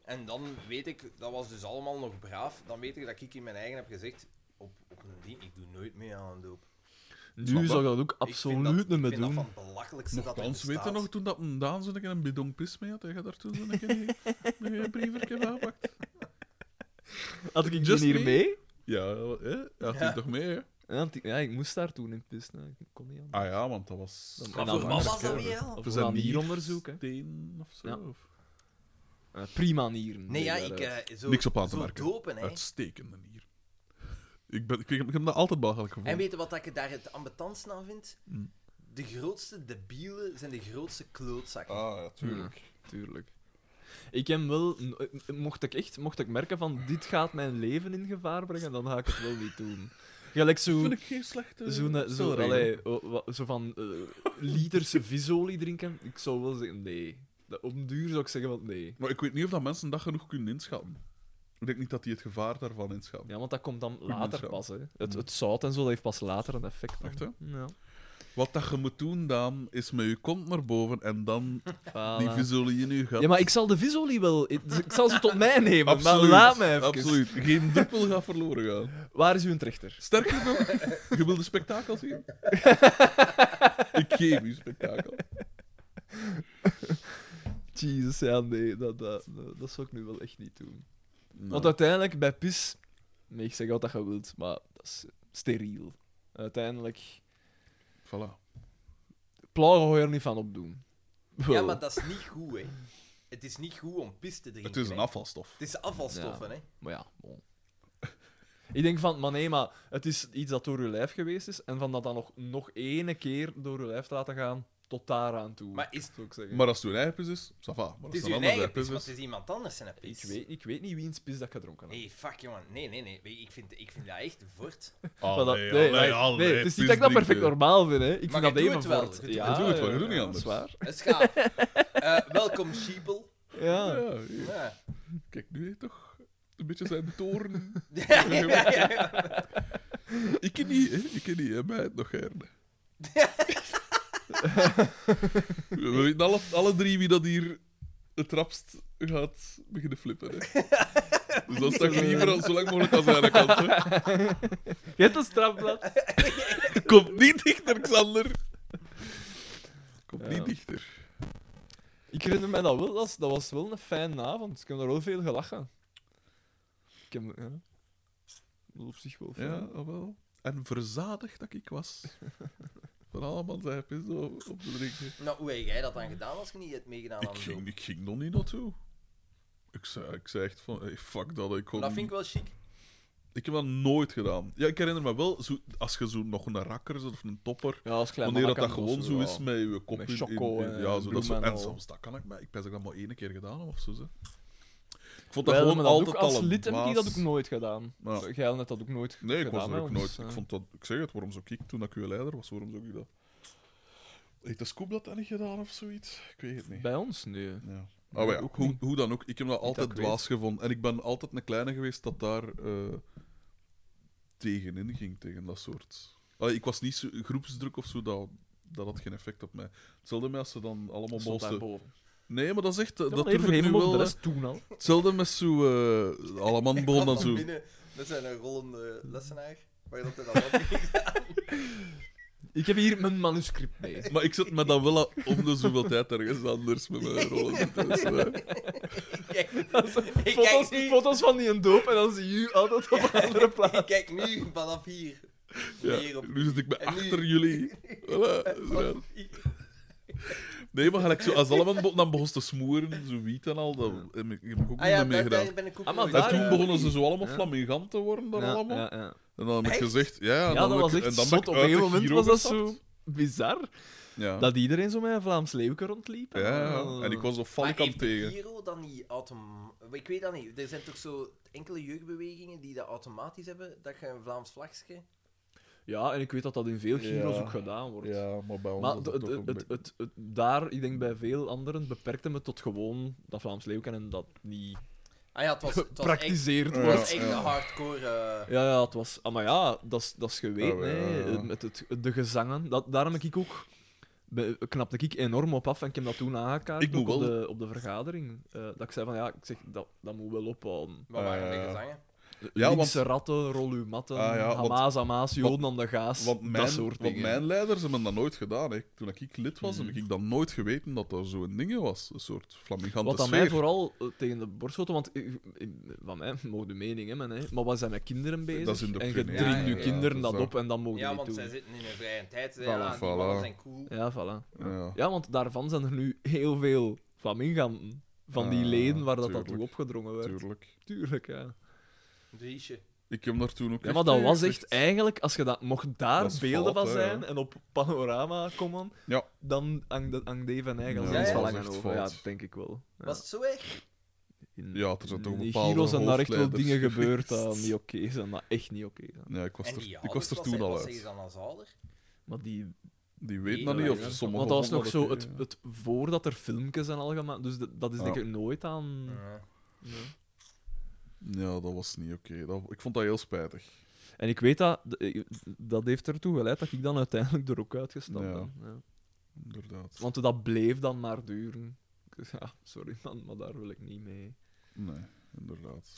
[SPEAKER 1] En dan weet ik, dat was dus allemaal nog braaf, dan weet ik dat ik in mijn eigen heb gezegd, op, op een ding, ik doe nooit meer aan een doop.
[SPEAKER 3] Nu zou ik dat ook
[SPEAKER 1] ik vind
[SPEAKER 3] absoluut
[SPEAKER 1] dat,
[SPEAKER 3] niet meer
[SPEAKER 1] ik vind
[SPEAKER 3] doen.
[SPEAKER 1] dat van het belachelijkste dat er
[SPEAKER 4] Nogthans, weet
[SPEAKER 1] bestaat.
[SPEAKER 4] je nog, toen dat een Daan zo'n keer een bidon pis mee had, hij gaat daar toen zo'n keer een- een brievertje van gepakt.
[SPEAKER 3] Had ik
[SPEAKER 4] Just
[SPEAKER 3] die hier
[SPEAKER 4] me?
[SPEAKER 3] mee?
[SPEAKER 4] Ja, hè? Hij had die
[SPEAKER 1] Ja.
[SPEAKER 4] toch mee, hè?
[SPEAKER 3] Ja, want ik- ja, ik moest daar toen in pissen. hè. Ik kon niet aan.
[SPEAKER 4] Ah ja, want dat was...
[SPEAKER 3] Dan-
[SPEAKER 1] Maar
[SPEAKER 3] en dan
[SPEAKER 1] voor
[SPEAKER 3] was
[SPEAKER 1] wat
[SPEAKER 3] ik,
[SPEAKER 1] was
[SPEAKER 3] hè,
[SPEAKER 1] dat weer al?
[SPEAKER 3] Of
[SPEAKER 4] We
[SPEAKER 3] we
[SPEAKER 4] zijn
[SPEAKER 3] gaan
[SPEAKER 4] hier.
[SPEAKER 3] hier onderzoeken.
[SPEAKER 4] Steen of zo.
[SPEAKER 3] Ja.
[SPEAKER 4] of-
[SPEAKER 3] Primanieren.
[SPEAKER 1] Nee, ja, ik... eh, zo,
[SPEAKER 4] Niks op aan te
[SPEAKER 1] zo
[SPEAKER 4] merken.
[SPEAKER 1] dopen, hè.
[SPEAKER 4] Uitstekende hier. Ik, ben, ik, ik heb dat altijd belachelijk gevonden.
[SPEAKER 1] En weet je wat ik daar het ambetantst aan vind?
[SPEAKER 4] Hm.
[SPEAKER 1] De grootste debielen zijn de grootste klootzakken.
[SPEAKER 4] Ah, ja, tuurlijk.
[SPEAKER 3] Tuurlijk. Ik heb wel... Mocht ik echt mocht ik merken van dit gaat mijn leven in gevaar brengen, dan ga ik het wel niet doen. Gelijk zo...
[SPEAKER 4] Vind ik geen slechte...
[SPEAKER 3] Zo'n, eh, zo,
[SPEAKER 4] stelregel.
[SPEAKER 3] allee, o- wa- zo van eh, liters visolie drinken, ik zou wel zeggen nee. Dat- Op den duur zou ik zeggen van nee.
[SPEAKER 4] Maar ik weet niet of dat mensen dat genoeg kunnen inschatten. Ik denk niet dat die het gevaar daarvan inschatten.
[SPEAKER 3] Ja, want dat komt dan
[SPEAKER 4] zo.
[SPEAKER 3] later pas. Hè. Het, het zout en zo, dat heeft pas later een effect. dan.
[SPEAKER 4] Echt, hè?
[SPEAKER 3] Mm. Ja.
[SPEAKER 4] Wat dat je moet doen, Daan, is met je kont naar boven en dan die
[SPEAKER 3] Voilà.
[SPEAKER 4] visolie in je gat.
[SPEAKER 3] Ja, maar ik zal de visolie wel... Ik, ik zal ze tot mij nemen,
[SPEAKER 4] Absoluut.
[SPEAKER 3] maar laat mij even.
[SPEAKER 4] Absoluut. Geen druppel gaat verloren gaan.
[SPEAKER 3] Waar is uw trechter?
[SPEAKER 4] Sterker nog, je wil de spektakel zien? ik geef u spektakel.
[SPEAKER 3] Jezus, ja, nee, dat, dat, dat, dat zou ik nu wel echt niet doen.
[SPEAKER 4] Nou,
[SPEAKER 3] Want uiteindelijk, bij pis... Nee, ik zeg wat dat je wilt, maar dat is steriel. Uiteindelijk...
[SPEAKER 4] voilà.
[SPEAKER 3] Plagen ga je er niet van opdoen.
[SPEAKER 1] Ja,
[SPEAKER 3] Wel.
[SPEAKER 1] maar dat is niet goed, hè. Het is niet goed om pis te drinken.
[SPEAKER 4] Het is een
[SPEAKER 1] hè.
[SPEAKER 4] afvalstof.
[SPEAKER 1] Het is afvalstoffen, hè.
[SPEAKER 3] Maar ja, bon. Ik denk van, maar nee, maar het is iets dat door uw lijf geweest is. En van dat dan nog, nog ene keer door uw lijf te laten gaan, tot daaraan toe.
[SPEAKER 1] Maar is-
[SPEAKER 3] zou ik zeggen.
[SPEAKER 4] Maar als het uw eigen pis is, ça va. Maar als
[SPEAKER 1] Het is
[SPEAKER 4] een
[SPEAKER 1] je
[SPEAKER 4] ander dus.
[SPEAKER 1] eigen pis,
[SPEAKER 4] pis
[SPEAKER 1] want
[SPEAKER 4] is...
[SPEAKER 1] het is iemand anders zijn
[SPEAKER 3] ik,
[SPEAKER 1] pis.
[SPEAKER 3] weet, ik weet niet wiens pis dat ik gedronken heb.
[SPEAKER 1] Nee, fuck, jongen. Nee, nee, nee. Ik vind, ik vind dat echt voort.
[SPEAKER 3] Maar dat-
[SPEAKER 4] Allee,
[SPEAKER 3] nee,
[SPEAKER 4] allee,
[SPEAKER 3] maar-
[SPEAKER 4] allee,
[SPEAKER 3] nee, het is niet
[SPEAKER 4] pis
[SPEAKER 3] dat ik dat perfect
[SPEAKER 4] drinken.
[SPEAKER 3] normaal vind, hè. Ik
[SPEAKER 1] Maar
[SPEAKER 3] vind dat
[SPEAKER 1] je doet
[SPEAKER 3] even
[SPEAKER 1] het wel,
[SPEAKER 3] voort.
[SPEAKER 1] je doet
[SPEAKER 3] ja,
[SPEAKER 4] het wel. Je doet het wel, je
[SPEAKER 3] ja,
[SPEAKER 4] doet niet
[SPEAKER 3] ja,
[SPEAKER 4] anders.
[SPEAKER 3] Dat is waar.
[SPEAKER 1] Het gaat. Eh, welkom, sheeple.
[SPEAKER 3] Ja.
[SPEAKER 4] Ja, ja.
[SPEAKER 1] Ja.
[SPEAKER 4] Kijk, nu heeft toch een beetje zijn toren.
[SPEAKER 1] Ja, ja, ja.
[SPEAKER 4] ik ken niet, hè. Ik ken niet, hè. Mij het nog herne. We weten alle, alle drie wie dat hier het rapst gaat beginnen flippen, hè. Dus dan sta ik liever al zo lang mogelijk aan zijn kant, hè.
[SPEAKER 3] Je hebt een strafblad.
[SPEAKER 4] Kom niet dichter, Xander. Kom
[SPEAKER 3] Ja.
[SPEAKER 4] niet dichter.
[SPEAKER 3] Ik herinner mij dat wel. Dat was, dat was wel een fijne avond. Ik heb er wel veel gelachen. Ik heb... Ja. Dat op zich wel fijn.
[SPEAKER 4] Ja, ah, wel. En verzadigd dat ik was. Van allemaal zijn pis op, op te drinken.
[SPEAKER 1] Nou, hoe heb jij dat dan gedaan als je niet hebt meegedaan aan
[SPEAKER 4] Ik
[SPEAKER 1] de doop?
[SPEAKER 4] ging, ik ging nog niet naartoe. Ik zei, ik zei echt van, hey, fuck dat, ik kon...
[SPEAKER 1] Dat vind ik wel chic.
[SPEAKER 4] Ik heb dat nooit gedaan. Ja, ik herinner me wel, zo, als je zo nog een rakker zet of een topper,
[SPEAKER 3] Ja, als klein
[SPEAKER 4] wanneer dat, dat
[SPEAKER 3] manneke
[SPEAKER 4] gewoon
[SPEAKER 3] was,
[SPEAKER 4] zo
[SPEAKER 3] ja.
[SPEAKER 4] is met je kop
[SPEAKER 3] Met
[SPEAKER 4] in, in-
[SPEAKER 3] choco
[SPEAKER 4] in-
[SPEAKER 3] en
[SPEAKER 4] ja, zo, dat zo,
[SPEAKER 3] bloemen
[SPEAKER 4] En
[SPEAKER 3] al.
[SPEAKER 4] soms, dat kan ik, maar ik ben dat maar één keer gedaan heb of zo. Zeg. Ik vond dat
[SPEAKER 3] Wel, maar
[SPEAKER 4] gewoon
[SPEAKER 3] dat
[SPEAKER 4] altijd
[SPEAKER 3] ook,
[SPEAKER 4] al
[SPEAKER 3] als
[SPEAKER 4] een
[SPEAKER 3] lid heb ik die
[SPEAKER 4] dwaas-
[SPEAKER 3] dat ook nooit gedaan.
[SPEAKER 4] Ja.
[SPEAKER 3] Jij had net dat ook nooit
[SPEAKER 4] Nee, ik
[SPEAKER 3] gedaan.
[SPEAKER 4] was er
[SPEAKER 3] hè,
[SPEAKER 4] ook
[SPEAKER 3] ons,
[SPEAKER 4] nooit.
[SPEAKER 3] eh.
[SPEAKER 4] Ik, vond dat, ik zeg het, waarom zou ik toen ik uw leider was, waarom zou ik dat... Heeft de Scoop dat dan niet gedaan of zoiets? Ik weet het niet.
[SPEAKER 3] Bij ons? Nee.
[SPEAKER 4] Ja. Ah, maar ja,
[SPEAKER 3] ook
[SPEAKER 4] hoe,
[SPEAKER 3] niet.
[SPEAKER 4] hoe dan ook, ik heb dat altijd
[SPEAKER 3] dat ik
[SPEAKER 4] dwaas gevonden. En ik ben altijd een kleine geweest dat daar eh, tegenin ging, tegen dat soort. Allee, ik was niet zo, groepsdruk of zo, dat, dat had geen effect op mij. Hetzelfde met als ze dan allemaal
[SPEAKER 3] Stond daar
[SPEAKER 4] bolsten.
[SPEAKER 3] boven.
[SPEAKER 4] Nee, maar dat is echt. eh, dat
[SPEAKER 3] Dat
[SPEAKER 4] durf
[SPEAKER 3] even
[SPEAKER 4] ik nu
[SPEAKER 3] even
[SPEAKER 4] wel.
[SPEAKER 3] de
[SPEAKER 4] hè.
[SPEAKER 3] rest toen al.
[SPEAKER 4] Hetzelfde met zo. eh alle manbollen dan
[SPEAKER 1] Van
[SPEAKER 4] zo.
[SPEAKER 1] binnen, dat zijn een rollende lessenaar. Waar dat hij dan op
[SPEAKER 3] Ik heb hier mijn manuscript mee.
[SPEAKER 4] Maar ik zit me dan wel a- om de zoveel tijd ergens anders met mijn rollen. Dus, eh,
[SPEAKER 1] Kijk, ik kijk
[SPEAKER 3] Foto's,
[SPEAKER 1] nu,
[SPEAKER 3] foto's van die een doop en dan zie je u altijd op een andere plaats.
[SPEAKER 1] ik kijk nu vanaf hier Oh,
[SPEAKER 4] Ja, nu zit ik me achter jullie. Voilà.
[SPEAKER 3] Oh,
[SPEAKER 4] zo.
[SPEAKER 1] Ah
[SPEAKER 4] Nee, maar gelijk zo, als allemaal be- dan begon ze te smoeren, zo wiet en al, dat heb ik, heb ik ook
[SPEAKER 11] Ah ja,
[SPEAKER 4] niet meer
[SPEAKER 11] daar,
[SPEAKER 4] gedaan.
[SPEAKER 11] daar ben ik ook
[SPEAKER 3] Ah,
[SPEAKER 11] nooit
[SPEAKER 3] maar
[SPEAKER 4] En
[SPEAKER 3] daar-
[SPEAKER 4] toen
[SPEAKER 3] ja.
[SPEAKER 4] begonnen ze zo allemaal
[SPEAKER 3] Ja.
[SPEAKER 4] flamingant te worden, dan allemaal.
[SPEAKER 3] ja, ja.
[SPEAKER 4] En dan heb ik
[SPEAKER 11] Echt?
[SPEAKER 4] gezegd, ja, ja,
[SPEAKER 3] Ja,
[SPEAKER 4] dan
[SPEAKER 3] dat
[SPEAKER 4] heb
[SPEAKER 3] was
[SPEAKER 4] ik- en
[SPEAKER 3] echt
[SPEAKER 4] dan ben ik
[SPEAKER 3] zot. Op een
[SPEAKER 4] uit de
[SPEAKER 3] gegeven moment
[SPEAKER 4] Giro
[SPEAKER 3] was dat
[SPEAKER 4] gestapt.
[SPEAKER 3] zo bizar.
[SPEAKER 4] Ja.
[SPEAKER 3] Dat iedereen zo met een Vlaams leeuwke rondliep. Ah.
[SPEAKER 4] Ja, ja, en ik was op
[SPEAKER 1] Maar
[SPEAKER 4] valkamp
[SPEAKER 1] heeft de
[SPEAKER 4] tegen.
[SPEAKER 1] Giro dan niet autom... Ik weet dat niet. Er zijn toch zo enkele jeugdbewegingen die dat automatisch hebben, dat je een Vlaams vlagje...
[SPEAKER 3] Ja, en ik weet dat dat in veel gyros
[SPEAKER 4] Ja.
[SPEAKER 3] ook gedaan wordt.
[SPEAKER 4] Ja, maar bij ons
[SPEAKER 3] Maar
[SPEAKER 4] was
[SPEAKER 3] d-
[SPEAKER 4] het
[SPEAKER 3] d-
[SPEAKER 4] toch een
[SPEAKER 3] het, het,
[SPEAKER 4] beetje-
[SPEAKER 3] het, daar, ik denk bij veel anderen, beperkte me tot gewoon dat Vlaams leeuwken en dat niet
[SPEAKER 1] Ah ja, het was, het was echt,
[SPEAKER 3] gepraktiseerd
[SPEAKER 1] het
[SPEAKER 4] Ja,
[SPEAKER 1] was
[SPEAKER 3] wordt.
[SPEAKER 1] echt
[SPEAKER 4] ja.
[SPEAKER 1] een hardcore... eh,
[SPEAKER 3] Ja, ja, het was... Ah, maar ja, dat is- dat is geweten,
[SPEAKER 4] Ah, ja,
[SPEAKER 3] hè.
[SPEAKER 4] ja.
[SPEAKER 3] Met het, de gezangen. Dat, daarom heb ik ook... be- Knapte ik enorm op af en ik heb dat toen aangekaart
[SPEAKER 4] Ik moet
[SPEAKER 3] ook op,
[SPEAKER 4] wel-
[SPEAKER 3] de, op de vergadering. eh, dat ik zei van, ja, ik zeg, dat, dat moet wel ophouden.
[SPEAKER 1] Wat waren
[SPEAKER 4] Eh,
[SPEAKER 1] de gezangen?
[SPEAKER 4] Ja,
[SPEAKER 3] Linkse ratten, rol uw matten,
[SPEAKER 4] Ah, ja, want-
[SPEAKER 3] Hamaas, Hamaas, Joden aan de gaas,
[SPEAKER 4] Want mijn,
[SPEAKER 3] dat soort
[SPEAKER 4] want
[SPEAKER 3] dingen. Mm.
[SPEAKER 4] mijn leiders hebben dat nooit gedaan. Hè. Toen ik lid was, heb ik dan nooit geweten dat er zo'n ding was. Een soort flamingante
[SPEAKER 3] Wat aan
[SPEAKER 4] sfeer.
[SPEAKER 3] mij vooral eh, tegen de borst schoten, want eh, eh, van mij mogen de mening hebben, hè, maar we zijn met kinderen bezig.
[SPEAKER 4] Dat is in de
[SPEAKER 3] en je
[SPEAKER 4] opwinding,
[SPEAKER 3] drinkt
[SPEAKER 1] ja,
[SPEAKER 3] je
[SPEAKER 1] ja,
[SPEAKER 3] kinderen
[SPEAKER 4] ja,
[SPEAKER 3] dat
[SPEAKER 4] dat is
[SPEAKER 3] op en dan mogen
[SPEAKER 1] Ja,
[SPEAKER 3] die
[SPEAKER 1] want
[SPEAKER 3] doen.
[SPEAKER 1] zij zitten in hun vrije tijd. Ze-
[SPEAKER 3] Voilà,
[SPEAKER 1] ja, die
[SPEAKER 4] voilà.
[SPEAKER 1] mannen zijn cool.
[SPEAKER 3] Ja, voilà.
[SPEAKER 4] Ja.
[SPEAKER 3] Ja, want daarvan zijn er nu heel veel flaminganten. Van die
[SPEAKER 4] Ah,
[SPEAKER 3] leden waar dat, dat
[SPEAKER 4] tuurlijk.
[SPEAKER 3] toe opgedrongen werd. Tuurlijk,
[SPEAKER 4] Tuurlijk.
[SPEAKER 3] ja.
[SPEAKER 1] Driesje.
[SPEAKER 4] Ik heb daar toen ook
[SPEAKER 3] Ja, maar dat was echt...
[SPEAKER 4] Ja,
[SPEAKER 3] Eigenlijk, als je dat... Mocht daar
[SPEAKER 4] Dat is
[SPEAKER 3] beelden
[SPEAKER 4] fout,
[SPEAKER 3] van
[SPEAKER 4] hè,
[SPEAKER 3] zijn
[SPEAKER 4] ja.
[SPEAKER 3] en op panorama komen,
[SPEAKER 4] Ja.
[SPEAKER 3] dan hangt de- hangt Dave en eigen
[SPEAKER 4] Ja,
[SPEAKER 3] als
[SPEAKER 1] dat
[SPEAKER 3] iets
[SPEAKER 1] is
[SPEAKER 3] van
[SPEAKER 4] echt
[SPEAKER 3] over. Ja,
[SPEAKER 4] fout.
[SPEAKER 3] dat denk ik wel. Ja.
[SPEAKER 1] Was het zo erg?
[SPEAKER 3] In-
[SPEAKER 4] Ja, er zijn toch
[SPEAKER 3] in
[SPEAKER 4] bepaalde
[SPEAKER 3] Giro zijn daar echt wel
[SPEAKER 4] hoofdleiders
[SPEAKER 3] dingen gebeurd
[SPEAKER 4] geweest.
[SPEAKER 3] dat niet oké zijn, dat echt niet oké zijn.
[SPEAKER 4] ik was
[SPEAKER 1] En
[SPEAKER 4] er,
[SPEAKER 1] die
[SPEAKER 4] ik was
[SPEAKER 1] ouders,
[SPEAKER 4] er
[SPEAKER 1] wat
[SPEAKER 4] toen
[SPEAKER 1] ze-
[SPEAKER 4] al
[SPEAKER 1] Wat zeggen
[SPEAKER 4] uit.
[SPEAKER 1] ze dan als ouder?
[SPEAKER 3] Maar die...
[SPEAKER 4] Die weten
[SPEAKER 1] Nee,
[SPEAKER 4] dat Nou, niet,
[SPEAKER 1] ja,
[SPEAKER 4] of
[SPEAKER 1] ja.
[SPEAKER 4] sommigen
[SPEAKER 3] Want dat was
[SPEAKER 4] vonden
[SPEAKER 3] nog zo,
[SPEAKER 4] oké,
[SPEAKER 3] het, het, voordat er filmpjes en al gemaakt... Dus dat, dat is denk
[SPEAKER 4] Ja.
[SPEAKER 3] ik nooit aan...
[SPEAKER 1] Ja.
[SPEAKER 3] Nee.
[SPEAKER 4] ja. Ja, dat was niet oké. Dat- Ik vond dat heel spijtig.
[SPEAKER 3] En ik weet dat, d- dat heeft ertoe geleid dat ik dan uiteindelijk er ook uitgestapt
[SPEAKER 4] Ja.
[SPEAKER 3] ben. Ja.
[SPEAKER 4] Inderdaad.
[SPEAKER 3] Want dat bleef dan maar duren. Ik zeg, Ja, sorry man, maar daar wil ik niet mee.
[SPEAKER 4] Nee, inderdaad.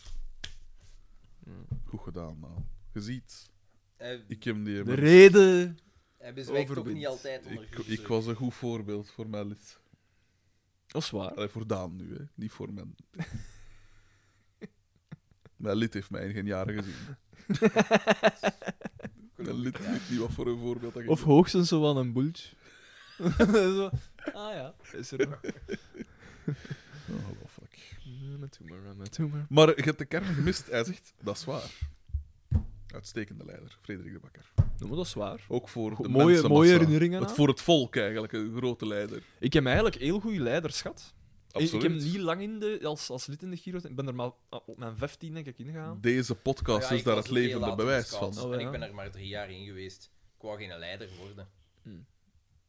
[SPEAKER 3] Ja.
[SPEAKER 4] Goed gedaan, nou. Je ziet,
[SPEAKER 1] Eh,
[SPEAKER 4] ik heb die...
[SPEAKER 3] De reden.
[SPEAKER 1] Hebben ze mij toch
[SPEAKER 3] overwint.
[SPEAKER 1] niet altijd onder
[SPEAKER 4] ik,
[SPEAKER 1] vuur
[SPEAKER 4] ik
[SPEAKER 1] terug?
[SPEAKER 4] was een goed voorbeeld voor mijn lid.
[SPEAKER 3] Dat is waar.
[SPEAKER 4] Allee, voor Daan nu, hè. niet voor mijn. mijn lid heeft mij in geen jaren gezien. mijn lid weet niet wat voor een voorbeeld dat ik
[SPEAKER 3] Of
[SPEAKER 4] ben.
[SPEAKER 3] hoogstens zo van een boeltje. Zo, ah ja, is er nog.
[SPEAKER 4] Ongelooflijk.
[SPEAKER 3] I'm a tumor, I'm a tumor.
[SPEAKER 4] Maar je hebt de kern gemist. Hij zegt, dat is waar. Uitstekende leider, Frederik de Bakker.
[SPEAKER 3] Nee, maar dat is waar.
[SPEAKER 4] Ook voor de
[SPEAKER 3] Mooie,
[SPEAKER 4] mensenmassa.
[SPEAKER 3] mooie herinneringen.
[SPEAKER 4] Het,
[SPEAKER 3] aan.
[SPEAKER 4] voor het volk eigenlijk, een grote leider.
[SPEAKER 3] Ik heb eigenlijk heel goede leiders gehad. Ik-
[SPEAKER 4] Absoluut.
[SPEAKER 3] Ik heb niet lang in de, als, als lid in de Giro... Ik ben er maar op mijn 15 denk ik ingegaan.
[SPEAKER 4] Deze
[SPEAKER 1] Ja,
[SPEAKER 4] podcast
[SPEAKER 1] ik
[SPEAKER 4] is daar
[SPEAKER 1] was
[SPEAKER 4] het
[SPEAKER 1] ook heel
[SPEAKER 4] levende
[SPEAKER 1] laat op
[SPEAKER 4] bewijs
[SPEAKER 1] scout.
[SPEAKER 4] van.
[SPEAKER 3] Oh,
[SPEAKER 1] En
[SPEAKER 3] ja.
[SPEAKER 1] ik ben er maar drie jaar in geweest. Ik wou geen leider worden.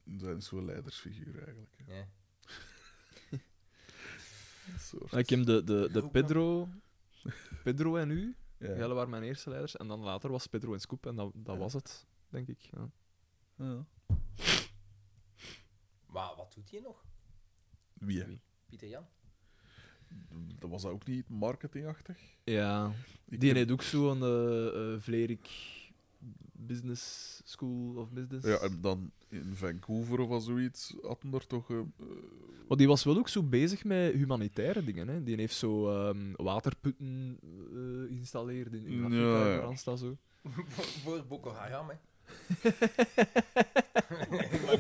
[SPEAKER 4] Dat zijn zo'n leidersfiguur eigenlijk. hè.
[SPEAKER 1] Ja.
[SPEAKER 4] Een soort-
[SPEAKER 3] Ik heb de, de, de
[SPEAKER 1] Groepen.
[SPEAKER 3] Pedro, Pedro en u.
[SPEAKER 4] Ja.
[SPEAKER 3] Jullie waren mijn eerste leiders. En dan later was Pedro en Scoop. En dat, dat was het, denk ik. Ja.
[SPEAKER 4] Ja.
[SPEAKER 1] Maar wat doet hij nog?
[SPEAKER 4] Wie? hè?
[SPEAKER 3] Wie?
[SPEAKER 1] Pieter Jan?
[SPEAKER 4] Dat was dat ook niet marketingachtig? Ik
[SPEAKER 3] Die
[SPEAKER 4] heb-
[SPEAKER 3] heeft ook zo'n eh, eh, Vlerik Business School of Business.
[SPEAKER 4] Ja, eh, en dan in Vancouver of zoiets hadden er toch. eh, eh,
[SPEAKER 3] Maar die was wel ook zo bezig met humanitaire dingen. Hè. Die heeft zo ehm, waterputten eh geïnstalleerd in, in
[SPEAKER 4] Ja,
[SPEAKER 3] Afrika,
[SPEAKER 4] ja.
[SPEAKER 3] in Randstad, zo.
[SPEAKER 1] Voor- Voor Boko Haram, hè.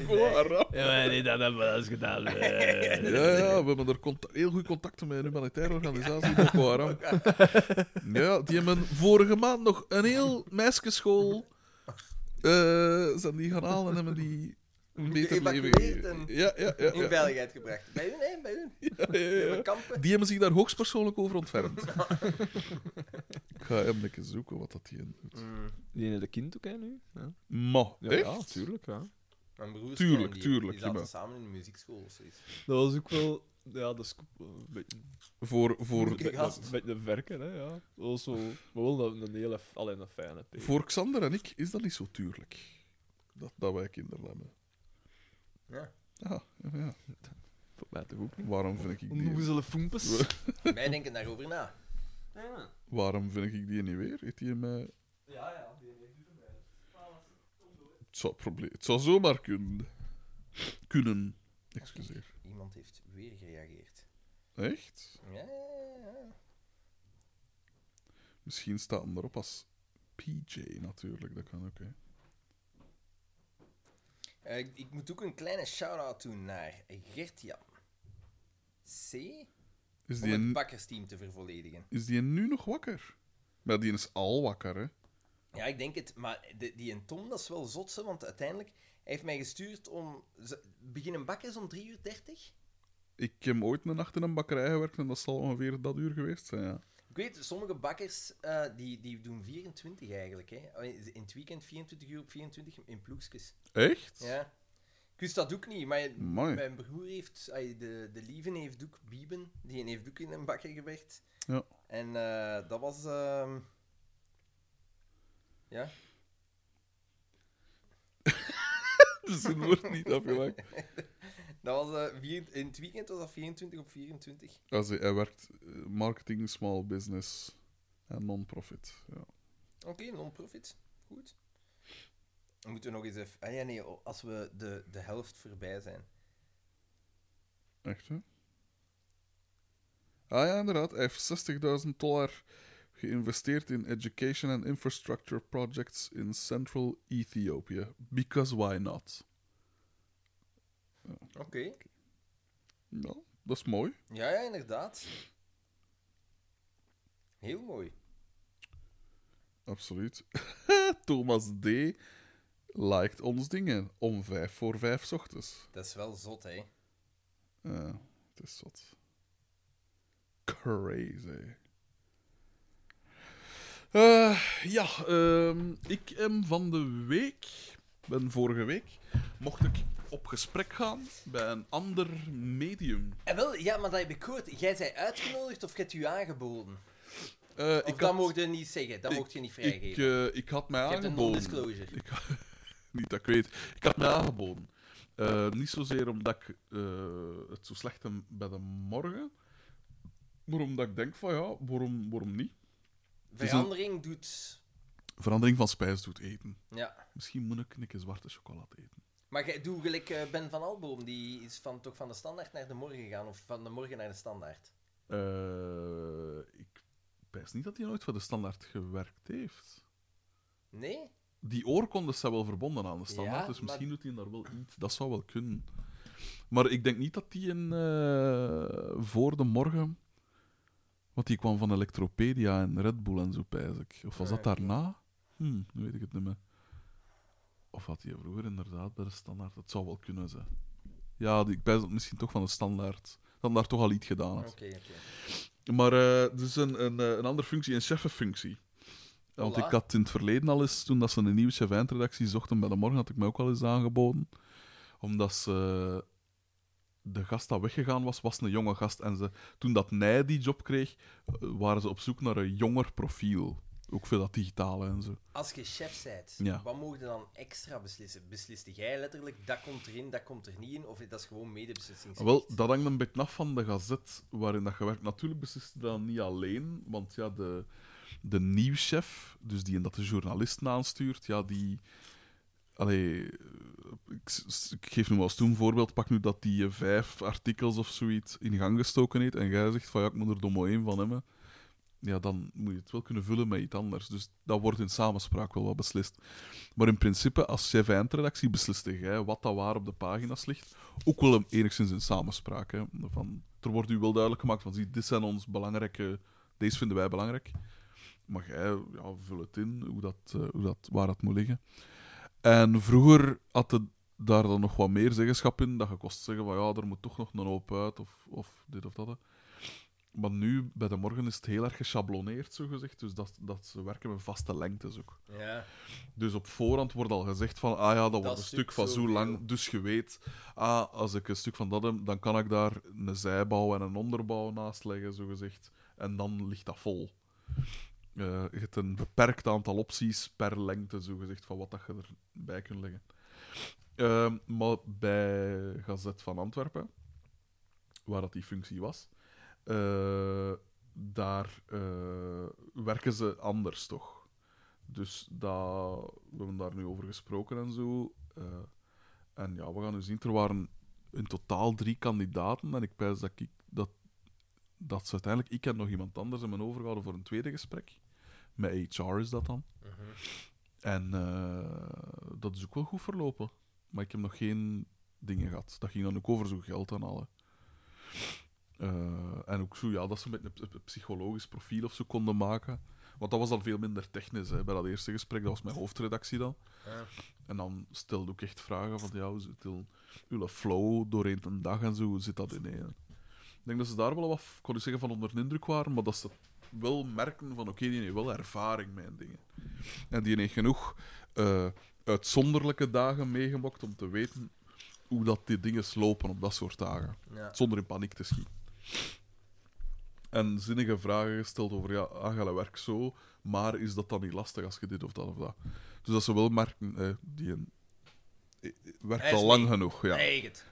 [SPEAKER 4] Boko Haram.
[SPEAKER 3] Ja, nee, dat hebben we eens gedaan. eh.
[SPEAKER 4] Ja, ja, we hebben er contact, heel goed contacten met een humanitaire organisatie, Boko Haram. Ja, die hebben vorige maand nog een heel meisjesschool eh, zijn die gaan halen en hebben die een beter leven
[SPEAKER 1] Geëvacueerd
[SPEAKER 4] gegeven.
[SPEAKER 1] en-
[SPEAKER 4] Ja, ja, ja.
[SPEAKER 1] In
[SPEAKER 4] ja.
[SPEAKER 1] veiligheid gebracht. Bij hun, hè? Bij hun.
[SPEAKER 4] Ja, ja,
[SPEAKER 1] Die
[SPEAKER 4] ja.
[SPEAKER 1] hebben kampen.
[SPEAKER 4] Die hebben zich daar hoogstpersoonlijk over ontfermd. Ik ga hem een keer zoeken wat dat hier doet.
[SPEAKER 1] Hmm.
[SPEAKER 3] Die heeft een kind ook, hè, nu. Ja,
[SPEAKER 4] Ma,
[SPEAKER 3] ja,
[SPEAKER 4] echt?
[SPEAKER 3] ja tuurlijk, ja.
[SPEAKER 1] Mijn broers
[SPEAKER 4] Tuurlijk,
[SPEAKER 1] kennen die,
[SPEAKER 4] tuurlijk,
[SPEAKER 1] Die zaten
[SPEAKER 4] prima.
[SPEAKER 1] samen in de muziekschool of zoiets.
[SPEAKER 3] Dat was ook wel... Ja, dat is ook wel een beetje...
[SPEAKER 4] Voor, voor,
[SPEAKER 1] Kijk, gast.
[SPEAKER 3] Een beetje een verker, hè, ja. Dat was zo... Maar wel een, een hele... f- Alleen een fijne P.
[SPEAKER 4] Voor Xander en ik is dat niet zo tuurlijk. Dat, dat wij kinderen hebben.
[SPEAKER 1] Ja.
[SPEAKER 4] Ja, Ah, ja, ja.
[SPEAKER 3] Voor mij toch ook niet.
[SPEAKER 4] Waarom vind ik die,
[SPEAKER 3] Onnoezele foempes.
[SPEAKER 1] Wij denken daarover na.
[SPEAKER 3] Ja,
[SPEAKER 4] waarom vind ik die niet weer? Heeft die mij...
[SPEAKER 3] ja.
[SPEAKER 4] Het zou, proble- het zou zomaar kunnen. Kunnen. Excuseer.
[SPEAKER 1] Iemand heeft weer gereageerd.
[SPEAKER 4] Echt?
[SPEAKER 1] Ja, ja, ja.
[SPEAKER 4] Misschien staat hem erop als PJ natuurlijk, dat kan ook. Hè.
[SPEAKER 1] Eh, ik, ik moet ook een kleine shout-out doen naar Gert-Jan C.
[SPEAKER 4] Is,
[SPEAKER 1] Om
[SPEAKER 4] die
[SPEAKER 1] het
[SPEAKER 4] een-
[SPEAKER 1] bakkersteam te vervolledigen.
[SPEAKER 4] is die nu nog wakker? Maar die is al wakker, hè?
[SPEAKER 1] Ja, ik denk het. Maar de- die en Tom, dat is wel zotse, want uiteindelijk... Hij heeft mij gestuurd om... ze- Beginnen bakkers om 3 uur 30?
[SPEAKER 4] Ik heb ooit een nacht in een bakkerij gewerkt en dat zal ongeveer dat uur geweest zijn. Ja.
[SPEAKER 1] Ik weet, sommige bakkers eh, die, die doen 24 eigenlijk. Hè. In het weekend 24 uur op 24 in ploegjes.
[SPEAKER 4] Echt?
[SPEAKER 1] Ja. Ik wist dat ook niet, maar
[SPEAKER 4] Mooi.
[SPEAKER 1] mijn broer heeft, ay, de, de lieven heeft ook Bieben, die heeft ook in een bakker gewerkt.
[SPEAKER 4] Ja.
[SPEAKER 1] En eh, dat was. ehm, Ja,
[SPEAKER 4] Dus het wordt niet afgemaakt.
[SPEAKER 1] dat was, eh, vier, in het weekend was dat 24 op 24.
[SPEAKER 4] Also, hij werkt eh, marketing, small business en non-profit. Ja.
[SPEAKER 1] Oké, non-profit. Goed. Dan moeten we nog eens even. Ah ja, nee, oh, als we de, de helft voorbij zijn.
[SPEAKER 4] Echt, hè? Ah ja, inderdaad. Hij heeft 60.000 dollar geïnvesteerd in education and infrastructure projects in Central Ethiopië. Because why not?
[SPEAKER 1] Oké.
[SPEAKER 4] Nou, dat is mooi.
[SPEAKER 1] Ja, ja, inderdaad. Heel mooi.
[SPEAKER 4] Absoluut. Thomas D. liked ons dingen om vijf voor vijf 's ochtends.
[SPEAKER 1] Dat is wel zot, hè?
[SPEAKER 4] Ja, het is wat. Crazy. Eh, ja, ehm, ik em van de week, ben vorige week, mocht ik op gesprek gaan bij een ander medium.
[SPEAKER 1] En wel, ja, maar dat heb ik gehoord. Jij zei uitgenodigd of je hebt u aangeboden?
[SPEAKER 4] Eh,
[SPEAKER 1] Of dat mocht je niet zeggen, dat mocht je niet vrijgeven.
[SPEAKER 4] Ik, eh, ik had mij
[SPEAKER 1] je hebt een
[SPEAKER 4] aangeboden.
[SPEAKER 1] non-disclosure.
[SPEAKER 4] Ik, niet dat ik weet. Ik had mij aangeboden. Eh, niet zozeer omdat ik eh, het zo slecht heb bij de morgen, maar omdat ik denk van ja, waarom, waarom niet? is een-
[SPEAKER 1] Verandering doet...
[SPEAKER 4] Verandering van spijs doet eten.
[SPEAKER 1] Ja.
[SPEAKER 4] Misschien moet ik een keer zwarte chocolade eten.
[SPEAKER 1] Maar jij doe gelijk eh, Ben van Alboom, die is van, toch van de standaard naar de morgen gegaan, of van de morgen naar de standaard.
[SPEAKER 4] Eh, ik pijs niet dat hij nooit voor de standaard gewerkt heeft.
[SPEAKER 1] Nee?
[SPEAKER 4] Die oorkondes zijn wel verbonden aan de standaard,
[SPEAKER 1] Ja,
[SPEAKER 4] dus
[SPEAKER 1] maar-
[SPEAKER 4] misschien doet hij daar wel iets. Dat zou wel kunnen. Maar ik denk niet dat die in, eh, voor de morgen... Want die kwam van Electropedia en Red Bull en zo, pijs ik. Of was dat
[SPEAKER 1] Ja, oké.
[SPEAKER 4] daarna? Hm, nu weet ik het niet meer. Of had hij vroeger inderdaad bij de standaard? Dat zou wel kunnen zijn. Ja, die, ik pijs dat het misschien toch van de standaard. Dat daar toch al iets gedaan
[SPEAKER 1] Oké,
[SPEAKER 4] had.
[SPEAKER 1] oké.
[SPEAKER 4] Maar eh dus een, een, eh, een andere functie, een cheffenfunctie. Want
[SPEAKER 1] Voilà.
[SPEAKER 4] ik had in het verleden al eens, toen dat ze een nieuwe chef eindredactie zochten bij de morgen, had ik mij ook al eens aangeboden. Omdat ze, eh, de gast dat weggegaan was, was een jonge gast. En ze, toen dat Nij die job kreeg, eh, waren ze op zoek naar een jonger profiel. Ook voor dat digitale en zo.
[SPEAKER 1] Als je chef bent,
[SPEAKER 4] Ja.
[SPEAKER 1] wat mogen je dan extra beslissen? Besliste jij letterlijk, dat komt erin, dat komt er niet in, of dat is gewoon medebeslissingsrecht?
[SPEAKER 4] Wel, dat hangt een beetje af van de gazet waarin dat je werkt. Natuurlijk beslist je dat niet alleen, want ja, de, de nieuwschef, dus die en dat de journalisten aanstuurt, ja, die... Allee, ik, s- ik geef nu maar als toen voorbeeld, pak nu dat die eh, vijf artikels of zoiets in gang gestoken heeft en jij zegt van ja, ik moet er dan maar één van hebben. Ja, dan moet je het wel kunnen vullen met iets anders. Dus dat wordt in samenspraak wel wat beslist. Maar in principe, als chef eindredactie beslist jij wat dat waar op de pagina's ligt. Ook wel een- enigszins in samenspraak. Hè. Van, er wordt u wel duidelijk gemaakt van, zie, dit zijn ons belangrijke... Deze vinden wij belangrijk. Maar jij, ja, vul het in, hoe dat, eh, hoe dat, waar dat moet liggen. En vroeger had je daar dan nog wat meer zeggenschap in. Dat je kost zeggen van, ja, er moet toch nog een hoop uit, of, of dit of dat. hè. Maar nu, bij de morgen, is het heel erg geschabloneerd, zogezegd. Dus dat, dat ze werken met vaste lengtes ook.
[SPEAKER 1] Ja.
[SPEAKER 4] Dus op voorhand wordt al gezegd van, ah ja, dat wordt een
[SPEAKER 1] is
[SPEAKER 4] stuk van zo
[SPEAKER 1] natuurlijk
[SPEAKER 4] lang,
[SPEAKER 1] zoveel.
[SPEAKER 4] dus je weet, ah, als ik een stuk van dat heb, dan kan ik daar een zijbouw en een onderbouw naast leggen, zogezegd. En dan ligt dat vol. Eh, je hebt een beperkt aantal opties per lengte, zogezegd, van wat dat je erbij kunt leggen. Ehm, maar bij Gazet van Antwerpen, waar dat die functie was, eh, daar eh, werken ze anders toch. Dus dat, we hebben daar nu over gesproken en zo. Eh, en ja, we gaan nu zien. Er waren in totaal drie kandidaten. En ik pijs dat, ik, dat, dat ze uiteindelijk... Ik en nog iemand anders hebben overgehouden voor een tweede gesprek. Met HR is dat dan. En eh, dat is ook wel goed verlopen. Maar ik heb nog geen dingen gehad. Dat ging dan ook over zo'n geld aanhalen. Eh en ook zo, ja, dat ze met een p- psychologisch profiel of zo konden maken. Want dat was dan veel minder technisch. Hè. Bij dat eerste gesprek, dat was mijn hoofdredactie dan.
[SPEAKER 1] Ja.
[SPEAKER 4] En dan stelde ik echt vragen van, ja, hoe zit uw- uw flow doorheen de dag en zo, hoe zit dat in? hè? Ik denk dat ze daar wel wat, kon ik zeggen, van onder de indruk waren, maar dat ze wel merken van, oké, die heeft wel ervaring met dingen. En die heeft genoeg eh, uitzonderlijke dagen meegemaakt om te weten hoe dat die dingen lopen op dat soort dagen
[SPEAKER 1] Ja.
[SPEAKER 4] zonder in paniek te schieten. En zinnige vragen gesteld over, ja, ah, je werkt zo, maar is dat dan niet lastig als je dit of dat of dat? Dus dat ze wel merken, eh, die een- eh, eh, werkt
[SPEAKER 1] Hij is
[SPEAKER 4] al lang
[SPEAKER 1] mee.
[SPEAKER 4] genoeg. Ja.
[SPEAKER 1] Nee, het.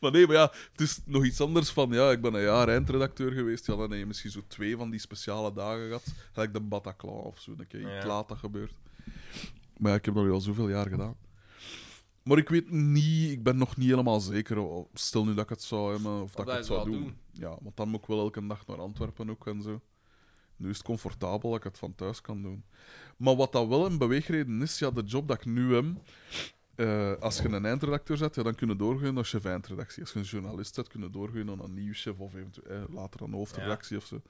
[SPEAKER 4] Maar nee, maar ja, het is nog iets anders van, ja, ik ben een jaar eindredacteur geweest, ja, dan heb je misschien zo twee van die speciale dagen gehad, gelijk de Bataclan of zo, een keer iets
[SPEAKER 1] Ja.
[SPEAKER 4] laat dat gebeurt. Maar ja, ik heb dat nu al zoveel jaar gedaan. Maar ik weet niet, ik ben nog niet helemaal zeker, oh, stel nu dat ik het zou hebben, of dat ik
[SPEAKER 2] hij
[SPEAKER 4] het
[SPEAKER 2] het
[SPEAKER 4] zou
[SPEAKER 2] wel
[SPEAKER 4] doen.
[SPEAKER 2] doen.
[SPEAKER 4] Ja, want dan moet ik wel elke dag naar Antwerpen ook en zo. Nu is het comfortabel dat ik het van thuis kan doen. Maar wat dat wel een beweegreden is, ja, de job dat ik nu heb... eh, als je een eindredacteur zet, ja, dan kunnen doorgaan naar chef-eindredactie. Als je een journalist zet, kunnen doorgaan naar een nieuwschef of eventueel eh, later een hoofdredactie of zo.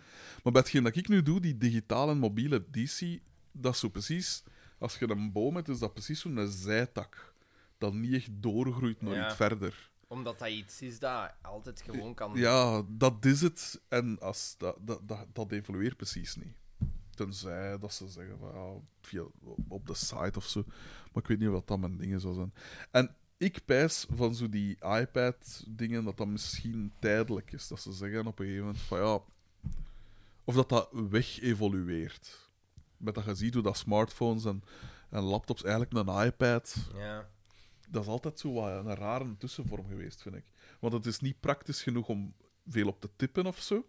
[SPEAKER 4] Maar bij hetgeen dat ik nu doe, die digitale en mobiele editie, dat is zo precies... Als je een boom hebt, is dat precies zo'n zijtak. Dat niet echt doorgroeit naar
[SPEAKER 1] Ja.
[SPEAKER 4] iets verder.
[SPEAKER 1] Omdat dat iets is dat altijd gewoon kan.
[SPEAKER 4] Ja, dat is het. En als dat, dat, dat, dat evolueert precies niet. Tenzij dat ze zeggen van ja, via, op de site of zo. Maar ik weet niet of dat mijn dingen zou zijn. En ik pijs van zo die iPad-dingen dat dat misschien tijdelijk is. Dat ze zeggen op een gegeven moment van ja. Of dat dat weg evolueert. Met dat je ziet hoe dat smartphones en, en laptops eigenlijk een iPad
[SPEAKER 1] Ja.
[SPEAKER 4] dat is altijd zo wat een rare tussenvorm geweest, vind ik. Want het is niet praktisch genoeg om veel op te tippen of zo.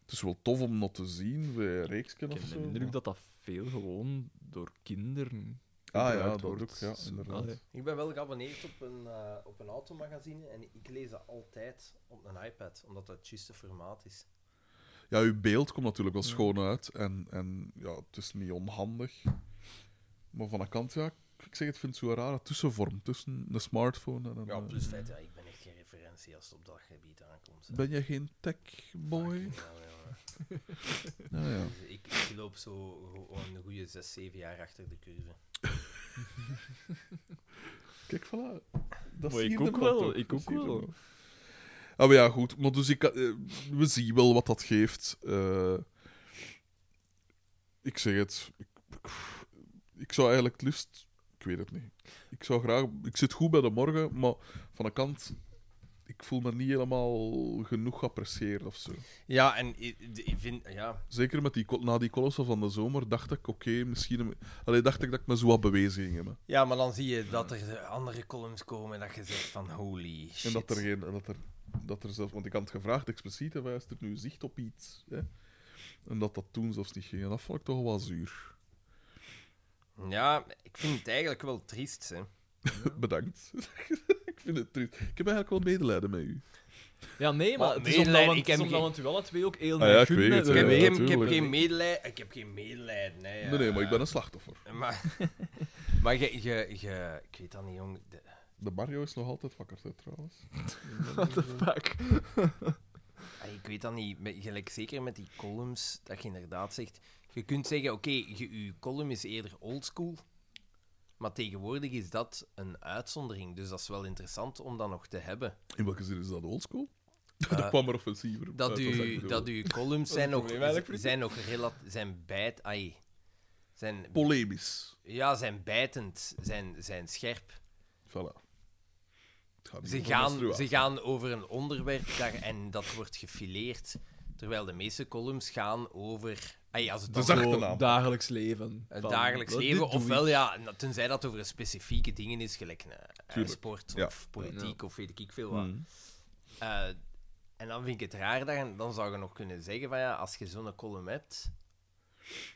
[SPEAKER 4] Het is wel tof om nog te zien, bij reeksken
[SPEAKER 3] Ik
[SPEAKER 4] of
[SPEAKER 3] heb de
[SPEAKER 4] zo.
[SPEAKER 3] indruk dat dat veel gewoon door kinderen.
[SPEAKER 4] Ah ja, dat
[SPEAKER 3] gebruikt wordt.
[SPEAKER 4] ook, ja,
[SPEAKER 3] Zo,
[SPEAKER 4] inderdaad.
[SPEAKER 3] allee.
[SPEAKER 1] Ik ben wel geabonneerd op een, eh, op een automagazine en ik lees dat altijd op een iPad, omdat dat het juiste formaat is.
[SPEAKER 4] Ja, uw beeld komt natuurlijk wel schoon uit en, en ja, het is niet onhandig. Maar van de kant, ja, ik zeg het, vind het zo'n rare tussenvorm tussen een smartphone en een...
[SPEAKER 1] Ja,
[SPEAKER 4] eh,
[SPEAKER 1] plus het feit, ja, ik ben echt geen referentie als het op dat gebied aankomt. hè.
[SPEAKER 4] Ben jij geen techboy?
[SPEAKER 1] Ja, ja, ja.
[SPEAKER 4] Ja, ja.
[SPEAKER 1] Dus ik, ik loop zo gewoon een goede 6, 7 jaar achter de curve.
[SPEAKER 4] Kijk, voilà. Dat
[SPEAKER 3] Maar
[SPEAKER 4] zie
[SPEAKER 3] ik
[SPEAKER 4] je
[SPEAKER 3] ook
[SPEAKER 4] dan
[SPEAKER 3] wel,
[SPEAKER 4] toch.
[SPEAKER 3] ik
[SPEAKER 4] Dat
[SPEAKER 3] ook
[SPEAKER 4] zie je dan
[SPEAKER 3] wel.
[SPEAKER 4] Ah, maar ja, goed. Maar dus ik, eh, we zien wel wat dat geeft. Eh, ik zeg het. Ik, ik, ik zou eigenlijk het liefst... Ik weet het niet. Ik zou graag... Ik zit goed bij de morgen, maar van de kant... Ik voel me niet helemaal genoeg geapprecieerd of zo.
[SPEAKER 1] Ja, en ik, ik vind, ja,
[SPEAKER 4] Zeker met die, col- na die colossal van de zomer dacht ik, oké, misschien... Allee, dacht ik dat ik me zo wat bewezen ging hebben.
[SPEAKER 1] Ja, maar dan zie je dat er eh, andere columns komen en dat je zegt van holy shit.
[SPEAKER 4] En dat er geen. en Dat er, dat er zelfs, want ik had het gevraagd expliciet, hè, wijst er nu zicht op iets. Hè? En dat dat toen zelfs niet ging. En dat vond ik toch wel zuur.
[SPEAKER 1] Ja, ik vind het eigenlijk wel triest, hè.
[SPEAKER 4] Bedankt. ik vind het triest. Ik heb eigenlijk wel medelijden met u.
[SPEAKER 3] Ja, nee, maar
[SPEAKER 1] Maar
[SPEAKER 3] het is
[SPEAKER 1] nee,
[SPEAKER 3] omdat,
[SPEAKER 1] Lijn,
[SPEAKER 3] want,
[SPEAKER 1] ik
[SPEAKER 3] het is
[SPEAKER 1] heb
[SPEAKER 3] omdat
[SPEAKER 1] geen-
[SPEAKER 3] want u alle twee ook heel
[SPEAKER 4] Ah
[SPEAKER 3] erg
[SPEAKER 4] ja, ik
[SPEAKER 3] gunnen,
[SPEAKER 4] weet het,
[SPEAKER 1] Ik
[SPEAKER 3] dus-
[SPEAKER 1] heb,
[SPEAKER 4] ja,
[SPEAKER 1] ik heb- ik heb
[SPEAKER 4] tuurlijk.
[SPEAKER 1] geen medelijden, ik heb geen medelijden, hè. ja.
[SPEAKER 4] Nee, nee, maar ik ben een slachtoffer.
[SPEAKER 1] Maar, maar je, je, je, ik weet dat niet, jong. De-
[SPEAKER 4] De Mario is nog altijd wakker, hè, trouwens.
[SPEAKER 3] What the fuck?
[SPEAKER 1] ah, ik weet dat niet, met- gelijk zeker met die columns, dat je inderdaad zegt... Je kunt zeggen, oké, je, je column is eerder oldschool, maar tegenwoordig is dat een uitzondering. Dus dat is wel interessant om dat nog te hebben.
[SPEAKER 4] In welke zin is dat oldschool?
[SPEAKER 1] Eh,
[SPEAKER 4] dat kwam er offensiever.
[SPEAKER 1] dat,
[SPEAKER 4] uit
[SPEAKER 1] u,
[SPEAKER 4] bedoelde.
[SPEAKER 1] dat uw columns zijn nog,
[SPEAKER 3] probleem eigenlijk, vriend?
[SPEAKER 1] zijn nog relat- zijn bijt, ai, zijn,
[SPEAKER 4] Polemisch.
[SPEAKER 1] ja, zijn bijtend, zijn, zijn scherp.
[SPEAKER 4] Voilà. Het gaat niet
[SPEAKER 1] Ze
[SPEAKER 4] over
[SPEAKER 1] gaan,
[SPEAKER 4] menstruatie.
[SPEAKER 1] ze gaan over een onderwerp daar, en dat wordt gefileerd, terwijl de meeste columns gaan over, ai, als het
[SPEAKER 4] De
[SPEAKER 1] dan
[SPEAKER 4] zachte
[SPEAKER 3] Gewoon
[SPEAKER 4] naam.
[SPEAKER 3] Dagelijks leven.
[SPEAKER 1] het
[SPEAKER 3] Van,
[SPEAKER 1] dagelijks
[SPEAKER 3] wat, dit
[SPEAKER 1] leven,
[SPEAKER 3] doe ik.
[SPEAKER 1] ofwel ja, na- tenzij dat over specifieke dingen is, gelijk eh,
[SPEAKER 4] Tuurlijk,
[SPEAKER 1] sport
[SPEAKER 4] ja.
[SPEAKER 1] of politiek of weet ik veel wat.
[SPEAKER 4] Hmm.
[SPEAKER 1] Eh, en dan vind ik het raar, dan, dan zou je nog kunnen zeggen van ja, als je zo'n column hebt,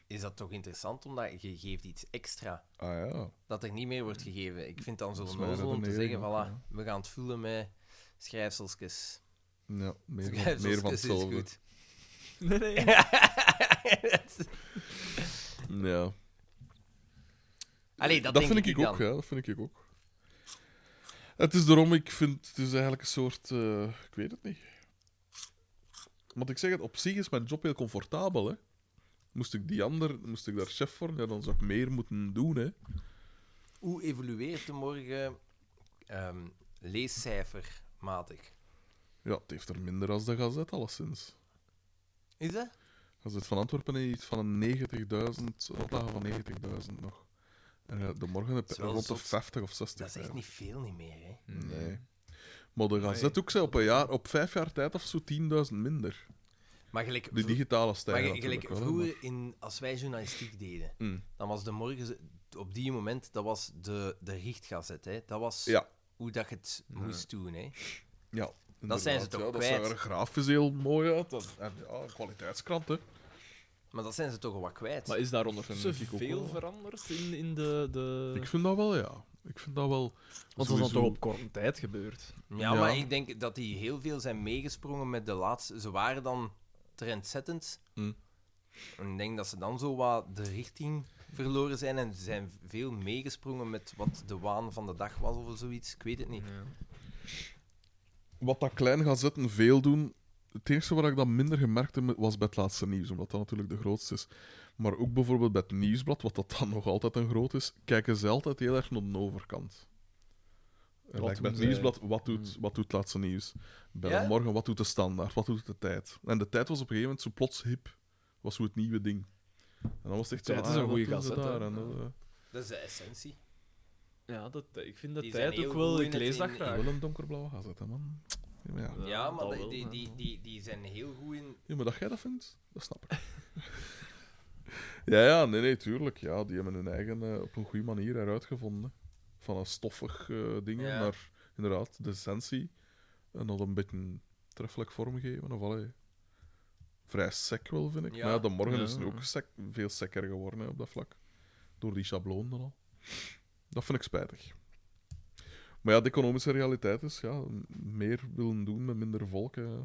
[SPEAKER 1] is dat toch interessant, omdat je geeft iets extra
[SPEAKER 4] Ah ja.
[SPEAKER 1] dat er niet meer wordt gegeven. Ik vind dan
[SPEAKER 4] Dat
[SPEAKER 1] zo'n
[SPEAKER 4] is mijn
[SPEAKER 1] nozel om te zeggen, voilà,
[SPEAKER 4] redenering ook, ja.
[SPEAKER 1] we gaan het vullen met schrijfselskes.
[SPEAKER 4] ja meer, van- meer
[SPEAKER 1] Schrijfselskes
[SPEAKER 4] van
[SPEAKER 1] is
[SPEAKER 4] hetzelfde.
[SPEAKER 1] goed.
[SPEAKER 3] Nee, nee.
[SPEAKER 4] Ja.
[SPEAKER 1] Allee, dat,
[SPEAKER 4] dat
[SPEAKER 1] denk
[SPEAKER 4] vind ik,
[SPEAKER 1] dan.
[SPEAKER 4] ook, ja. Dat vind ik ook. Het is daarom, ik vind het is eigenlijk een soort. eh, ik weet het niet. Want ik zeg het, op zich is mijn job heel comfortabel. Hè. Moest ik die ander, moest ik daar chef voor, ja, dan zou ik meer moeten doen. Hè.
[SPEAKER 1] Hoe evolueert de morgen ehm, leescijfermatig?
[SPEAKER 4] Ja, het heeft er minder als de gazet, alleszins.
[SPEAKER 1] Is dat?
[SPEAKER 4] Gazet van Antwerpen heeft iets van een 90.000, een oplage van 90.000 nog. En eh, de morgen heb
[SPEAKER 1] Dat
[SPEAKER 4] je
[SPEAKER 1] is wel
[SPEAKER 4] rond de
[SPEAKER 1] zot.
[SPEAKER 4] 50 of 60.
[SPEAKER 1] Dat is echt
[SPEAKER 4] eigenlijk.
[SPEAKER 1] niet veel niet meer, hè.
[SPEAKER 4] Nee. Maar de gazet ook zei op een jaar, op vijf jaar tijd of zo 10.000 minder.
[SPEAKER 1] Maar gelijk,
[SPEAKER 4] De
[SPEAKER 1] vro-
[SPEAKER 4] digitale
[SPEAKER 1] maar
[SPEAKER 4] stijl.
[SPEAKER 1] gelijk
[SPEAKER 4] natuurlijk wel, hè, maar-
[SPEAKER 1] vroeger, in, als wij journalistiek deden,
[SPEAKER 4] Mm.
[SPEAKER 1] dan was de morgen... z- Op die moment, dat was de, de richtgazet, hè. Dat was
[SPEAKER 4] Ja.
[SPEAKER 1] hoe dat je het moest doen, hè.
[SPEAKER 4] Ja.
[SPEAKER 1] Dat zijn ze
[SPEAKER 4] inderdaad,
[SPEAKER 1] toch
[SPEAKER 4] ja, dat
[SPEAKER 1] kwijt.
[SPEAKER 4] zag er grafisch heel mooi uit. Dat- en ja, kwaliteitskrant, hè.
[SPEAKER 1] Maar dat zijn ze toch al wat kwijt.
[SPEAKER 3] Maar is daar ondertussen
[SPEAKER 4] vind ik ook
[SPEAKER 3] veel
[SPEAKER 4] wel.
[SPEAKER 3] veranderd in, in de... de...
[SPEAKER 4] Ik vind dat wel, ja. Ik vind dat wel...
[SPEAKER 3] Want dat is dan
[SPEAKER 4] sowieso-
[SPEAKER 3] toch op korte tijd gebeurd.
[SPEAKER 1] ja,
[SPEAKER 4] ja.
[SPEAKER 1] maar ik denk dat die heel veel zijn meegesprongen met de laatste... Ze waren dan trendzettend.
[SPEAKER 4] Mm.
[SPEAKER 1] En ik denk dat ze dan zo wat de richting verloren zijn en ze zijn veel meegesprongen met wat de waan van de dag was of zoiets. Ik weet het niet.
[SPEAKER 4] Wat dat klein gazetten veel doen... Het enige waar ik dat minder gemerkt heb, was bij het laatste nieuws, omdat dat natuurlijk de grootste is. Maar ook bijvoorbeeld bij het nieuwsblad, wat dat dan nog altijd een groot is, kijken ze altijd heel erg naar de overkant. En
[SPEAKER 3] Wat eh, hmm.
[SPEAKER 4] like bij het
[SPEAKER 3] doen zij?
[SPEAKER 4] nieuwsblad, wat doet, wat doet het laatste nieuws? Bij
[SPEAKER 1] Ja?
[SPEAKER 4] de morgen, wat doet de standaard? Wat doet de tijd? En de tijd was op een gegeven moment zo plots hip. Was zo het nieuwe ding. En dan was het echt zo...
[SPEAKER 3] Tijd is
[SPEAKER 4] ah,
[SPEAKER 3] een
[SPEAKER 4] wat
[SPEAKER 3] goeie
[SPEAKER 4] doen ze
[SPEAKER 3] gazette,
[SPEAKER 4] daar?
[SPEAKER 3] hè.
[SPEAKER 4] En, eh,
[SPEAKER 1] Dat is de essentie.
[SPEAKER 3] Ja, dat, ik vind dat
[SPEAKER 1] Die zijn
[SPEAKER 3] tijd ook
[SPEAKER 1] heel
[SPEAKER 3] wel...
[SPEAKER 1] goed in
[SPEAKER 3] Ik
[SPEAKER 1] het-
[SPEAKER 3] lees dat
[SPEAKER 1] in-
[SPEAKER 3] graag.
[SPEAKER 4] Wel een donkerblauwe gazette, man. Ja,
[SPEAKER 3] Ja,
[SPEAKER 1] Ja, maar
[SPEAKER 3] dat
[SPEAKER 1] die,
[SPEAKER 3] wel,
[SPEAKER 1] die,
[SPEAKER 3] ja.
[SPEAKER 1] die, die, die zijn heel goed in...
[SPEAKER 4] ja maar dat jij dat vindt, dat snap ik. ja, ja, nee, nee, tuurlijk. Ja, die hebben hun eigen eh, op een goede manier eruit gevonden. Van een stoffig eh, ding
[SPEAKER 1] Ja.
[SPEAKER 4] naar inderdaad de essentie. En dat een beetje treffelijk vormgeven. Of allee, vrij sec wel, vind ik.
[SPEAKER 1] Ja.
[SPEAKER 4] Maar ja, de morgen
[SPEAKER 3] Ja.
[SPEAKER 4] is nu ook sec, veel sekker geworden hè, op dat vlak. Door die schabloon dan al. Dat vind ik spijtig. Maar ja, de economische realiteit is ja, m- meer willen doen met minder volk. hè.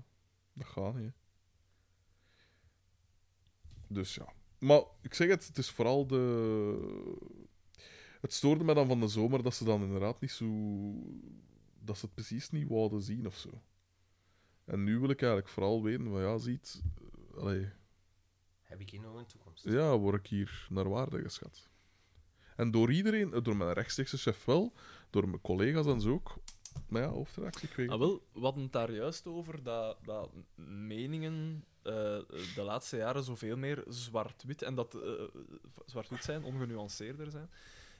[SPEAKER 4] Dat gaat niet. hè. Dus ja. Maar ik zeg het, het is vooral de. Het stoorde me dan van de zomer dat ze dan inderdaad niet zo. dat ze het precies niet wouden zien of zo. En nu wil ik eigenlijk vooral weten van ja, ziet. eh, Allee,
[SPEAKER 1] Heb ik hier nog een toekomst?
[SPEAKER 4] ja, word ik hier naar waarde geschat. En door iedereen, eh, door mijn rechtstreekse chef wel, door mijn collega's en zo ook. Maar ja, hoofdreactie, ik weet
[SPEAKER 3] Ah, wel, we hadden het daar juist over dat, dat meningen eh, de laatste jaren zoveel meer zwart-wit en dat eh, zwart-wit zijn, ongenuanceerder zijn.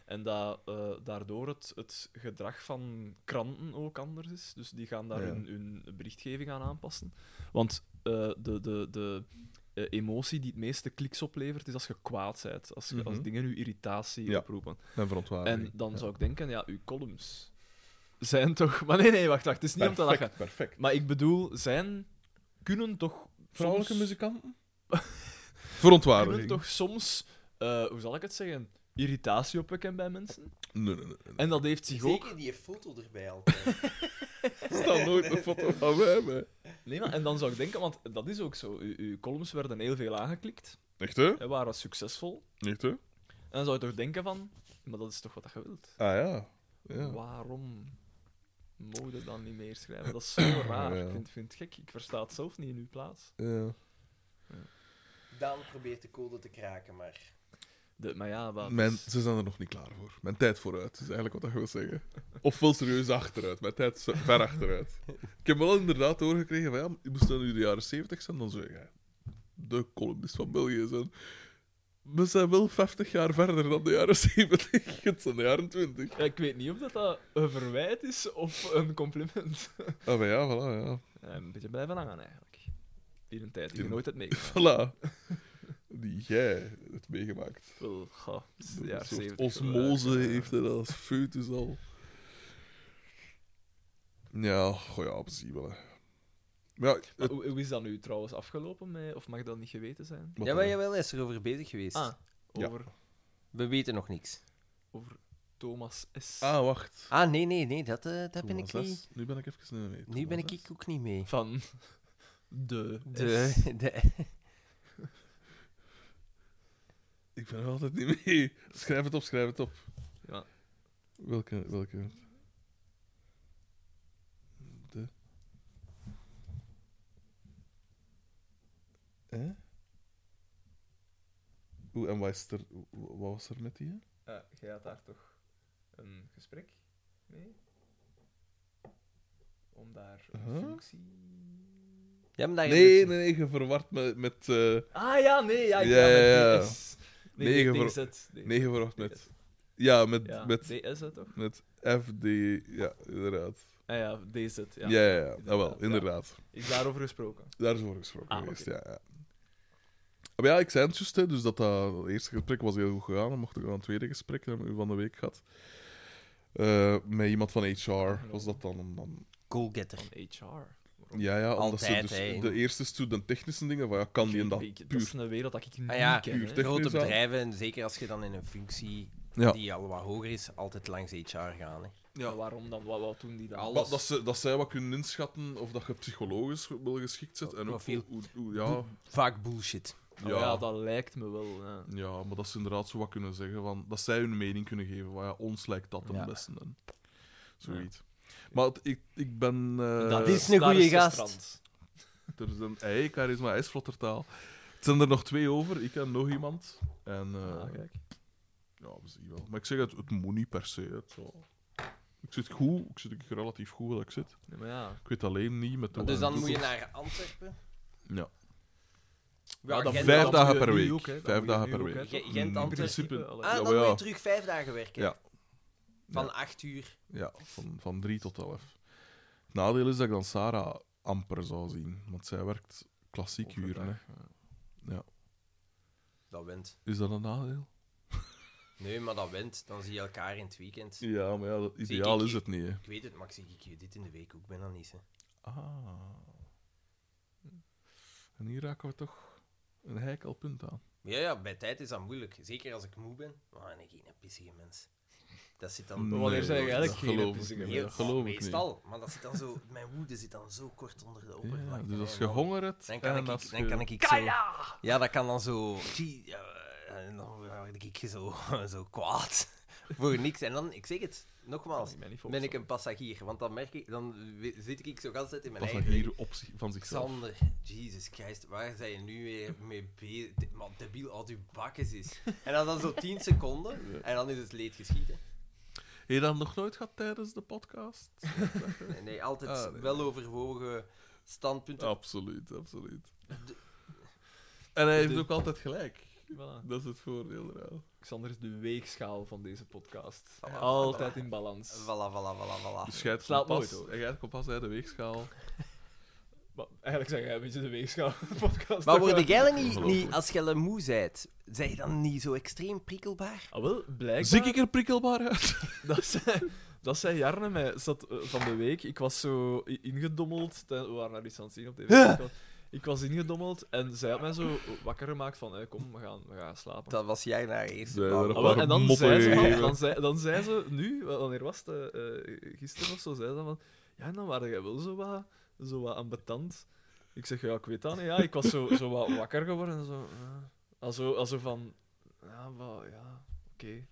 [SPEAKER 3] En dat eh, daardoor het, het gedrag van kranten ook anders is. Dus die gaan daar
[SPEAKER 4] Ja.
[SPEAKER 3] hun, hun berichtgeving aan aanpassen. Want eh, de, de, de eh, emotie die het meeste kliks oplevert, is als je kwaad bent. Als, je- als
[SPEAKER 4] Mhm.
[SPEAKER 3] dingen je irritatie
[SPEAKER 4] Ja.
[SPEAKER 3] oproepen.
[SPEAKER 4] En verontwaardiging.
[SPEAKER 3] En dan zou ik denken, ja, uw columns zijn toch... Maar nee, nee, wacht, wacht. Het is niet om te lachen.
[SPEAKER 4] Perfect, perfect.
[SPEAKER 3] Maar ik bedoel, zijn kunnen toch
[SPEAKER 4] Vrouwelijke
[SPEAKER 3] soms,
[SPEAKER 4] muzikanten?
[SPEAKER 3] kunnen
[SPEAKER 4] Verontwaardiging.
[SPEAKER 3] toch soms, eh, hoe zal ik het zeggen, irritatie opwekken bij mensen.
[SPEAKER 4] Nee, nee, nee. nee.
[SPEAKER 3] En dat heeft zich ook...
[SPEAKER 1] Zeker die foto erbij altijd.
[SPEAKER 4] Er staat nooit een foto van mij bij.
[SPEAKER 3] Nee, maar, en dan zou ik denken, want dat is ook zo. U, uw columns werden heel veel aangeklikt
[SPEAKER 4] Echt, hè?
[SPEAKER 3] en waren succesvol.
[SPEAKER 4] Echt, hè?
[SPEAKER 3] En dan zou je toch denken van, maar dat is toch wat je wilt.
[SPEAKER 4] Ah, ja. ja.
[SPEAKER 3] Waarom mogen we dan niet meer schrijven? Dat is zo raar.
[SPEAKER 4] Ja.
[SPEAKER 3] Ik vind, vind het gek. Ik versta het zelf niet in uw plaats.
[SPEAKER 4] ja.
[SPEAKER 1] Daan probeert de code te kraken, maar...
[SPEAKER 3] De, maar ja, wat...
[SPEAKER 4] Mijn, ze zijn er nog niet klaar voor. Mijn tijd vooruit, is eigenlijk wat ik wil zeggen. Of wel serieus achteruit. Mijn tijd is ver achteruit. Ik heb wel inderdaad doorgekregen van, ja, je moest dan nu de jaren 70 zijn, dan zou je de columnist van België zijn. We zijn wel 50 jaar verder dan de jaren 70. Het zijn de jaren 20.
[SPEAKER 3] Ja, ik weet niet of dat, dat een verwijt is of een compliment.
[SPEAKER 4] Ah, maar ja, voilà, ja.
[SPEAKER 3] Ja, Eh, een beetje blijven hangen eigenlijk. Hier een tijd die je
[SPEAKER 4] Ja.
[SPEAKER 3] nooit hebt meegemaakt.
[SPEAKER 4] Voilà. Die jij hebt meegemaakt.
[SPEAKER 3] Wel, goh, het is de
[SPEAKER 4] Een
[SPEAKER 3] jaren
[SPEAKER 4] soort
[SPEAKER 3] 70
[SPEAKER 4] osmose
[SPEAKER 3] vooruit, ja.
[SPEAKER 4] heeft hij dat als foetus al. Ja, goh ja, we zien wel. Hè. Maar Ja,
[SPEAKER 3] Maar
[SPEAKER 4] het,
[SPEAKER 3] hoe, hoe is dat nu trouwens afgelopen? Met, of mag dat niet geweten zijn?
[SPEAKER 4] wat
[SPEAKER 1] jawel,
[SPEAKER 4] dan?
[SPEAKER 1] jawel, hij is erover bezig geweest.
[SPEAKER 3] Ah,
[SPEAKER 4] Ja.
[SPEAKER 3] over,
[SPEAKER 1] We weten nog niks.
[SPEAKER 3] over Thomas S.
[SPEAKER 4] Ah, wacht.
[SPEAKER 1] Ah, nee, nee, nee, dat, eh, dat ben ik
[SPEAKER 4] Thomas
[SPEAKER 1] niet...
[SPEAKER 4] S. Nu ben ik even in de weet.
[SPEAKER 1] Nu ben
[SPEAKER 4] Thomas
[SPEAKER 1] ik
[SPEAKER 4] S.
[SPEAKER 1] ik ook niet mee.
[SPEAKER 4] Dus-
[SPEAKER 3] Van de,
[SPEAKER 1] De,
[SPEAKER 3] S.
[SPEAKER 1] de,
[SPEAKER 4] Ik ben er altijd niet mee. Schrijf het op, schrijf het op.
[SPEAKER 3] Ja.
[SPEAKER 4] Welke, welke? De. Hè? Hoe en wat, is er, wa- wat was er met die? hè?
[SPEAKER 3] Ja, jij had daar toch een gesprek mee? Om daar een
[SPEAKER 4] Huh?
[SPEAKER 3] functie...
[SPEAKER 1] Ah, Ja, maar daar
[SPEAKER 4] Nee, nee, nee, je verward met. met eh,
[SPEAKER 3] Ah ja, nee, ja, ik
[SPEAKER 4] Ja,
[SPEAKER 3] ga met
[SPEAKER 4] ja, ja.
[SPEAKER 3] DS.
[SPEAKER 4] Nee,
[SPEAKER 3] Nee, nee,
[SPEAKER 4] je
[SPEAKER 3] DZ.
[SPEAKER 4] nee, je verward met. Ja, met,
[SPEAKER 3] Ja,
[SPEAKER 4] met,
[SPEAKER 3] DS hè, toch?
[SPEAKER 4] met FD. Ja, inderdaad.
[SPEAKER 3] Ah ja, DZ,
[SPEAKER 4] Ja,
[SPEAKER 3] ja.
[SPEAKER 4] ja, ja.
[SPEAKER 3] inderdaad,
[SPEAKER 4] Jawel,
[SPEAKER 3] ja.
[SPEAKER 4] inderdaad.
[SPEAKER 3] Is daarover gesproken.
[SPEAKER 4] Daar is over gesproken
[SPEAKER 3] Ah,
[SPEAKER 4] geweest,
[SPEAKER 3] oké.
[SPEAKER 4] ja, ja. Maar ja, ik zei het juist, hè, dus dat, dat, dat eerste gesprek was heel goed gegaan. Dan mocht ik aan een tweede gesprek dat hebben we van de week gehad. Eh, met iemand van HR was dat dan. om dan
[SPEAKER 1] Goalgetter.
[SPEAKER 3] Van HR.
[SPEAKER 4] ja, ja, omdat ze
[SPEAKER 1] Altijd,
[SPEAKER 4] dus
[SPEAKER 1] hè.
[SPEAKER 4] de eerste student technische dingen, van ja, kan die en dat
[SPEAKER 3] Ik- Dat is
[SPEAKER 4] puur.
[SPEAKER 3] een wereld dat ik niet
[SPEAKER 1] Ah ja,
[SPEAKER 3] ken.
[SPEAKER 4] puur
[SPEAKER 3] hè.
[SPEAKER 4] tech.
[SPEAKER 1] Grote
[SPEAKER 4] Technisch aan.
[SPEAKER 1] bedrijven, en zeker als je dan in een functie
[SPEAKER 4] Ja.
[SPEAKER 1] die al wat hoger is, altijd langs HR gaan. Hè.
[SPEAKER 4] Ja.
[SPEAKER 3] Maar Waarom dan? Wat, wat doen die dan?
[SPEAKER 4] Wat- Dat, ze, dat zij wat kunnen inschatten of dat je psychologisch wel geschikt zit. En ook
[SPEAKER 1] Profiel.
[SPEAKER 4] hoe, hoe, hoe- ja,
[SPEAKER 1] Oh, Vaak bullshit.
[SPEAKER 4] ja,
[SPEAKER 3] Oh ja. dat lijkt me wel. Ja.
[SPEAKER 4] ja, maar dat ze inderdaad zo wat kunnen zeggen. Van, dat zij hun mening kunnen geven. Van, ja, ons lijkt dat het
[SPEAKER 1] Ja.
[SPEAKER 4] beste. En zoiets. Maar het- ik, ik ben... eh,
[SPEAKER 3] Dat
[SPEAKER 1] is een
[SPEAKER 3] daar
[SPEAKER 1] goeie
[SPEAKER 3] de
[SPEAKER 1] gast.
[SPEAKER 3] strand.
[SPEAKER 4] Er is een ei, charisma, hij is vlottertaal. Het zijn er nog twee over, ik en nog iemand. En eh,
[SPEAKER 3] Ah, kijk.
[SPEAKER 4] ja, we zien wel. Maar ik zeg het, het moet niet per se. Het, zo. Ik zit goed, ik zit ook relatief goed waar ik zit.
[SPEAKER 3] Nee, maar ja.
[SPEAKER 4] Ik weet alleen niet met de
[SPEAKER 1] Dus dan
[SPEAKER 4] de-
[SPEAKER 1] moet je naar Antwerpen.
[SPEAKER 4] Ja.
[SPEAKER 1] Ja,
[SPEAKER 3] dat
[SPEAKER 1] Gent-
[SPEAKER 3] moet je-
[SPEAKER 4] Vijf
[SPEAKER 3] dat
[SPEAKER 4] dagen
[SPEAKER 3] moet je
[SPEAKER 4] per
[SPEAKER 3] nu
[SPEAKER 4] week.
[SPEAKER 3] ook, hè. Dat
[SPEAKER 4] Vijf
[SPEAKER 3] moet je
[SPEAKER 4] dagen
[SPEAKER 3] nu
[SPEAKER 4] per
[SPEAKER 3] ook, hè,
[SPEAKER 4] week.
[SPEAKER 3] toch?
[SPEAKER 1] Ge- Gent,
[SPEAKER 4] In
[SPEAKER 1] Antwerpen.
[SPEAKER 4] principe,
[SPEAKER 3] Allee.
[SPEAKER 1] Ah, dan
[SPEAKER 4] Jawel.
[SPEAKER 1] moet je terug vijf dagen werken.
[SPEAKER 4] Ja.
[SPEAKER 1] Van
[SPEAKER 4] Ja.
[SPEAKER 1] acht uur.
[SPEAKER 4] Ja, van, van drie tot elf. Het nadeel is dat ik dan Sarah amper zou zien. Want zij werkt klassiek uren. hè.
[SPEAKER 3] Overdag, ja.
[SPEAKER 1] Dat wint.
[SPEAKER 4] Is dat een nadeel?
[SPEAKER 1] Nee, maar dat wint. Dan zie je elkaar in het weekend.
[SPEAKER 4] Ja, maar ja, dat
[SPEAKER 1] Zie
[SPEAKER 4] ideaal
[SPEAKER 1] ik-
[SPEAKER 4] is het niet. Hè.
[SPEAKER 1] Ik weet het, Max, ik je dit in de week ook bijna niet. Hè.
[SPEAKER 4] Ah. En hier raken we toch een heikel punt aan.
[SPEAKER 1] Maar ja, ja, bij tijd is dat moeilijk. Zeker als ik moe ben. Maar ik ben geen pissige mens. Dat zit dan...
[SPEAKER 3] Maar wanneer
[SPEAKER 4] Nee,
[SPEAKER 3] zijn je
[SPEAKER 4] dat
[SPEAKER 3] eigenlijk geen
[SPEAKER 4] geloof ik
[SPEAKER 3] pissige
[SPEAKER 4] niet,
[SPEAKER 1] Heel-
[SPEAKER 4] dat geloof ik niet.
[SPEAKER 1] meestal, maar dat zit dan zo, mijn woede zit dan zo kort onder de oppervlakte.
[SPEAKER 4] Ja, dus als je
[SPEAKER 1] En dan-
[SPEAKER 4] honger hebt...
[SPEAKER 1] dan kan
[SPEAKER 4] en
[SPEAKER 1] ik,
[SPEAKER 4] als
[SPEAKER 1] dan
[SPEAKER 4] je-
[SPEAKER 1] kan ik, ik zo... Ja, dat kan dan zo... Gee, eh, en dan word ik zo, zo kwaad voor niks. En dan, ik zeg het, nogmaals,
[SPEAKER 3] Ik ben niet
[SPEAKER 1] ben
[SPEAKER 3] volgens-
[SPEAKER 1] ik een passagier. Want dan merk ik, dan we- zit ik zo gans uit in mijn
[SPEAKER 4] Pas dat
[SPEAKER 1] eigen...
[SPEAKER 4] hier op zich- van zichzelf.
[SPEAKER 1] Xander, Jesus Christ, waar zijn je nu weer mee bezig? De- Man, debiel, al die bakkes is. En dan, dan zo 10 seconden, en dan is het leed geschieden.
[SPEAKER 4] Heb je dat nog nooit gehad tijdens de podcast?
[SPEAKER 1] Nee, nee altijd
[SPEAKER 4] Ah, nee.
[SPEAKER 1] weloverwogen standpunten.
[SPEAKER 4] Absoluut, absoluut. En hij heeft
[SPEAKER 3] De-
[SPEAKER 4] ook altijd gelijk.
[SPEAKER 3] Voilà.
[SPEAKER 4] Dat is het voordeel eraan.
[SPEAKER 3] Xander is de weegschaal van deze podcast.
[SPEAKER 1] Voilà.
[SPEAKER 3] Altijd in
[SPEAKER 4] Ah.
[SPEAKER 3] balans.
[SPEAKER 1] Voilà, voilà, voilà, voilà.
[SPEAKER 4] Dus jij hebt
[SPEAKER 3] Slaat
[SPEAKER 4] kompas,
[SPEAKER 3] nooit, hoor.
[SPEAKER 4] jij hebt kompas, hij heeft de weegschaal.
[SPEAKER 3] Maar eigenlijk zeg jij een beetje de weegschaal van de podcast.
[SPEAKER 1] Maar word jij niet,
[SPEAKER 4] Ongelooflijk.
[SPEAKER 1] niet, als jij moe bent, zijn je dan niet zo extreem prikkelbaar?
[SPEAKER 3] Ah, wel, blijkbaar.
[SPEAKER 4] Zie ik er prikkelbaar uit?
[SPEAKER 3] Dat zei, dat zei Jarne mij zat, eh, van de week. Ik was zo i- ingedommeld. ten- We waren naar iets aan het zien op tv. Ik was ingedommeld en zij had mij zo wakker gemaakt van, eh, kom, we gaan, we gaan slapen.
[SPEAKER 1] Dat was jij naar eerst.
[SPEAKER 4] Zijn er een
[SPEAKER 3] Ah, wel,
[SPEAKER 4] paar
[SPEAKER 3] en dan
[SPEAKER 4] moppen
[SPEAKER 3] zei, ze van,
[SPEAKER 4] gegeven.
[SPEAKER 3] dan, zei, dan zei ze nu, wa- wanneer was het? eh, eh, gisteren of zo, zei ze dan van... Ja, en dan waren jij wel zo wat, zo wat ambetant. Ik zeg, ja, ik weet dat niet. Ja, ik was zo, zo wat wakker geworden. en Zo, ja. also, also van... Ja, wat, ja, oké.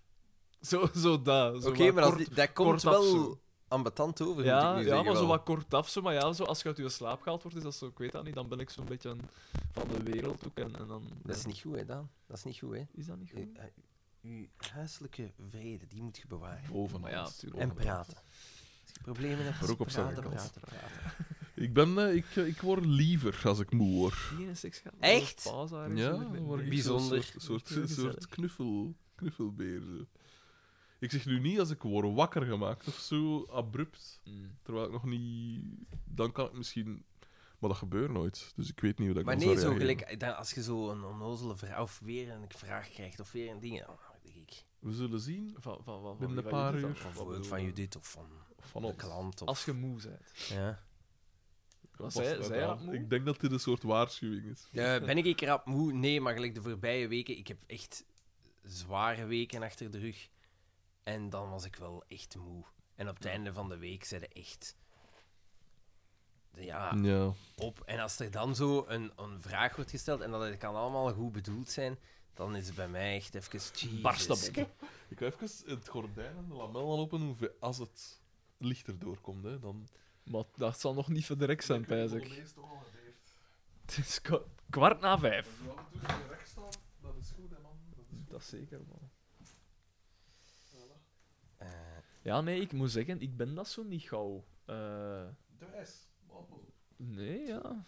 [SPEAKER 3] Zo, zo dat. zo
[SPEAKER 1] Oké,
[SPEAKER 3] wat
[SPEAKER 1] maar als
[SPEAKER 3] kort-
[SPEAKER 1] die- dat komt
[SPEAKER 3] kort af zo.
[SPEAKER 1] wel ambetant over, moet ik
[SPEAKER 3] Ja,
[SPEAKER 1] nu
[SPEAKER 3] ja
[SPEAKER 1] zeggen.
[SPEAKER 3] maar zo
[SPEAKER 1] wel.
[SPEAKER 3] wat kort af. Zo, maar ja, zo, als je uit je slaap gehaald wordt, is dat zo, ik weet dat niet. Dan ben ik zo'n beetje een- van de wereld ook. En, en dan,
[SPEAKER 1] Dat is niet goed, hè, Daan? Dat is niet goed, hè?
[SPEAKER 3] Is dat niet goed?
[SPEAKER 1] Eh, eh, Uw huiselijke vrede, die moet je bewaren.
[SPEAKER 4] Boven
[SPEAKER 3] Maar ja,
[SPEAKER 4] alles.
[SPEAKER 3] tuurlijk.
[SPEAKER 1] En praten. Als je problemen hebt,
[SPEAKER 4] Maar ook op zijn
[SPEAKER 1] praten,
[SPEAKER 4] kant.
[SPEAKER 1] praten, praten.
[SPEAKER 4] Ik, ben, eh, ik, eh, ik word liever als ik moe word.
[SPEAKER 3] Die een seks gaat.
[SPEAKER 1] Echt?
[SPEAKER 4] Ja, dan word ik zo'n
[SPEAKER 1] Bijzonder.
[SPEAKER 4] soort, soort,
[SPEAKER 3] Heel gezellig.
[SPEAKER 4] soort knuffel, knuffelbeer. zo. Ik zeg nu niet als ik word wakker gemaakt of zo, abrupt.
[SPEAKER 3] Mm.
[SPEAKER 4] Terwijl ik nog niet... Dan kan ik misschien... Maar dat gebeurt nooit, dus ik weet niet hoe dat ik
[SPEAKER 1] Maar
[SPEAKER 4] dan
[SPEAKER 1] nee,
[SPEAKER 4] zou
[SPEAKER 1] zo
[SPEAKER 4] reageren.
[SPEAKER 1] gelijk, dan als je zo een onnozele vraag of weer een vraag krijgt of weer een ding, dan denk ik.
[SPEAKER 4] We zullen zien
[SPEAKER 3] Van, van, van,
[SPEAKER 4] Binnen
[SPEAKER 3] wie
[SPEAKER 4] een paar
[SPEAKER 3] was dat?
[SPEAKER 4] uur.
[SPEAKER 3] Van- van-
[SPEAKER 1] Bijvoorbeeld van Judith of van
[SPEAKER 4] van
[SPEAKER 1] de
[SPEAKER 4] ons.
[SPEAKER 1] klant. Of,
[SPEAKER 3] Als je moe bent.
[SPEAKER 1] ja.
[SPEAKER 3] Was
[SPEAKER 4] Was
[SPEAKER 3] zij,
[SPEAKER 4] dat
[SPEAKER 3] zij
[SPEAKER 4] dan?
[SPEAKER 3] dat moe?
[SPEAKER 4] Ik denk dat dit een soort waarschuwing is.
[SPEAKER 1] Ja, Eh, ben ik rap moe? Nee, maar gelijk de voorbije weken, ik heb echt zware weken achter de rug. En dan was ik wel echt moe. En op het einde van de week zeiden echt. Ja,
[SPEAKER 4] Ja.
[SPEAKER 1] op. En als er dan zo een, een vraag wordt gesteld en dat het kan allemaal goed bedoeld zijn, dan is het bij mij echt even cheese.
[SPEAKER 3] Barst dat op.
[SPEAKER 4] Ik ga even het gordijn en de lamellen open doen, voor als het lichter doorkomt. Hè, dan...
[SPEAKER 3] Maar dat zal nog niet voor direct zijn, pijs
[SPEAKER 4] De
[SPEAKER 3] ik.
[SPEAKER 4] meeste toch al gedeerd.
[SPEAKER 3] Het is kwa- kwart na vijf.
[SPEAKER 4] Als we tussen rechts staan, dat is goed, hè, man. Dat is goed.
[SPEAKER 3] Dat zeker, man.
[SPEAKER 1] Eh,
[SPEAKER 3] Ja, nee, ik moet zeggen, ik ben dat zo niet gauw. Eh,
[SPEAKER 4] De wijs. Man, pas op.
[SPEAKER 3] nee, ja.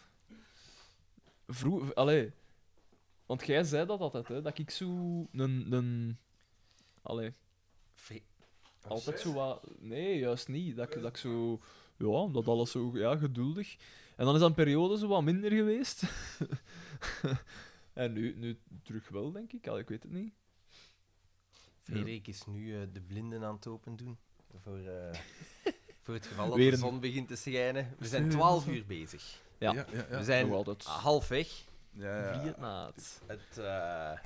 [SPEAKER 3] Vroeger, allee. Want jij zei dat altijd, hè, dat ik zo een... een allee,
[SPEAKER 1] fri-
[SPEAKER 3] altijd zo wat... Nee, juist niet. Dat, ik- dat ik zo... Ja, dat alles zo... Ja, geduldig. En dan is dat een periode zo wat minder geweest. en nu, nu terug wel, denk ik. Allee, ik weet het niet.
[SPEAKER 1] Frederik is nu eh, de blinden aan het open doen. Voor, eh, voor het geval dat
[SPEAKER 3] Weer
[SPEAKER 1] de
[SPEAKER 3] een-
[SPEAKER 1] zon begint te schijnen. We zijn 12 uur bezig.
[SPEAKER 3] Ja.
[SPEAKER 4] ja, ja.
[SPEAKER 1] We
[SPEAKER 4] ja.
[SPEAKER 1] zijn
[SPEAKER 3] Nog altijd.
[SPEAKER 1] half weg.
[SPEAKER 4] ja, ja.
[SPEAKER 3] Vietnaat.
[SPEAKER 1] Ah, Het eh,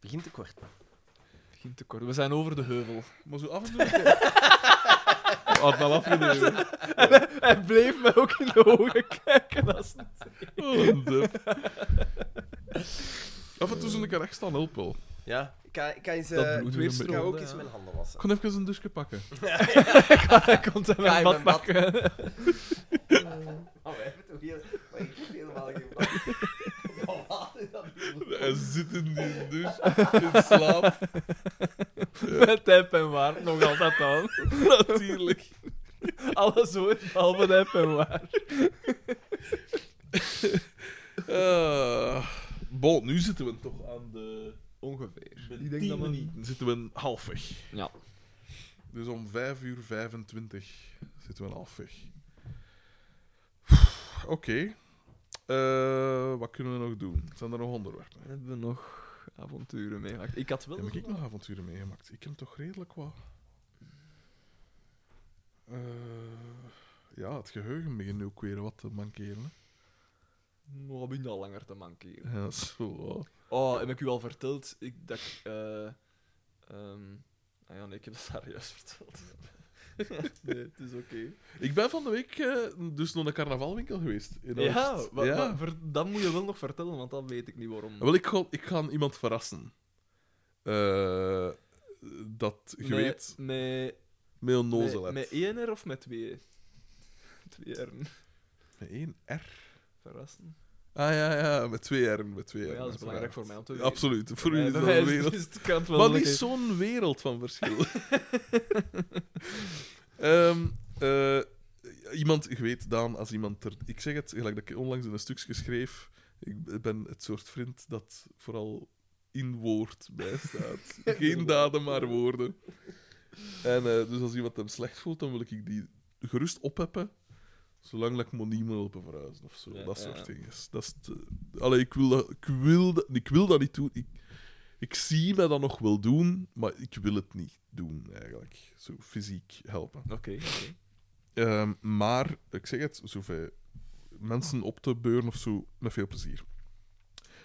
[SPEAKER 1] begint te kort.
[SPEAKER 3] Begint te kort. We zijn over de heuvel.
[SPEAKER 4] Maar zo af en toe... Had maar afgenomen.
[SPEAKER 3] Hij bleef mij ook in de ogen kijken. Als...
[SPEAKER 4] Oh, een dup. Af en toe zo'n keer rechts staan, help wel.
[SPEAKER 1] Ja, ik ga, ik ga eens, eh,
[SPEAKER 3] Dat bloed
[SPEAKER 1] ik
[SPEAKER 3] weer
[SPEAKER 1] ga ook
[SPEAKER 3] stroomde,
[SPEAKER 1] eens
[SPEAKER 3] ja.
[SPEAKER 1] mijn handen wassen.
[SPEAKER 4] Ik kon even een dusje pakken.
[SPEAKER 3] Hij komt hem
[SPEAKER 1] Ga
[SPEAKER 3] mijn
[SPEAKER 1] in
[SPEAKER 3] bad
[SPEAKER 1] mijn bad.
[SPEAKER 3] pakken.
[SPEAKER 1] Oh, wij hebben toch heel... Maar ik heb helemaal geen bad. Wat laat dat
[SPEAKER 4] Hij zit in die douche, in slaap,
[SPEAKER 3] Met tep en waar. Nog altijd aan.
[SPEAKER 4] natuurlijk.
[SPEAKER 3] Alles hoort, behalve tep en waar.
[SPEAKER 4] Eh, bon, nu zitten we toch aan de...
[SPEAKER 3] Ongeveer.
[SPEAKER 4] met
[SPEAKER 3] Ik denk
[SPEAKER 4] tien
[SPEAKER 3] dat we-
[SPEAKER 4] minuten zitten we halfweg.
[SPEAKER 3] Ja.
[SPEAKER 4] Dus om 5 uur 25 zitten we halfweg. Oké. Eh, wat kunnen we nog doen? Zijn er nog onderwerpen?
[SPEAKER 3] We hebben nog avonturen meegemaakt. Ik had wel...
[SPEAKER 4] Heb ik nog avonturen meegemaakt? Ik heb toch redelijk wat. Eh, ja, het geheugen begint nu ook weer wat te mankeren. hè.
[SPEAKER 3] nog heb Oh, ik al langer te mankeren.
[SPEAKER 4] Ja, dat is wel waar.
[SPEAKER 3] Oh, heb ik u al verteld ik, dat ik... eh, ehm, ah ja, nee, ik heb het daar juist verteld. nee, het is oké.
[SPEAKER 4] Ik ben van de week eh, dus naar een carnavalwinkel geweest. In
[SPEAKER 3] Ja,
[SPEAKER 4] Oost.
[SPEAKER 3] maar,
[SPEAKER 4] ja.
[SPEAKER 3] maar ver- dat moet je wel nog vertellen, want dat weet ik niet waarom.
[SPEAKER 4] Wel, ik ga, ik ga iemand verrassen. Eh, dat je
[SPEAKER 3] Met-
[SPEAKER 4] weet,
[SPEAKER 3] met-
[SPEAKER 4] met een
[SPEAKER 3] met,
[SPEAKER 4] nozelet.
[SPEAKER 3] met één R of met twee? Twee R'en.
[SPEAKER 4] Met één R.
[SPEAKER 3] Verrassen.
[SPEAKER 4] Ah ja, ja, met twee R'en. Met twee
[SPEAKER 3] Maar
[SPEAKER 4] R'en,
[SPEAKER 3] ja, dat is belangrijk voor mij om te weten.
[SPEAKER 4] Absoluut, voor u
[SPEAKER 3] Ja,
[SPEAKER 4] is
[SPEAKER 3] bij
[SPEAKER 4] dat
[SPEAKER 3] mij
[SPEAKER 4] een wereld.
[SPEAKER 3] is het kant wel
[SPEAKER 4] Maar
[SPEAKER 3] nog
[SPEAKER 4] niet
[SPEAKER 3] even-
[SPEAKER 4] zo'n wereld van verschil. Ehm, eh, iemand, je weet, Daan, als iemand er... Ik zeg het, gelijk dat ik onlangs in een stukje schreef, ik ben het soort vriend dat vooral in woord bijstaat. Geen daden, maar woorden. En eh, dus als iemand hem slecht voelt, dan wil ik die gerust opheppen, zolang dat ik me niet moet helpen verhuizen of zo.
[SPEAKER 3] Ja,
[SPEAKER 4] dat
[SPEAKER 3] ja,
[SPEAKER 4] soort
[SPEAKER 3] ja.
[SPEAKER 4] dingen. Dat is het- Allee, ik wil dat, ik wil dat, ik wil dat niet doen. Ik, ik zie mij dat nog wel doen, maar ik wil het niet doen, eigenlijk. Zo fysiek helpen.
[SPEAKER 3] Oké, oké.
[SPEAKER 4] Ehm, maar, ik zeg het, zoveel mensen op te beuren of zo, met veel plezier.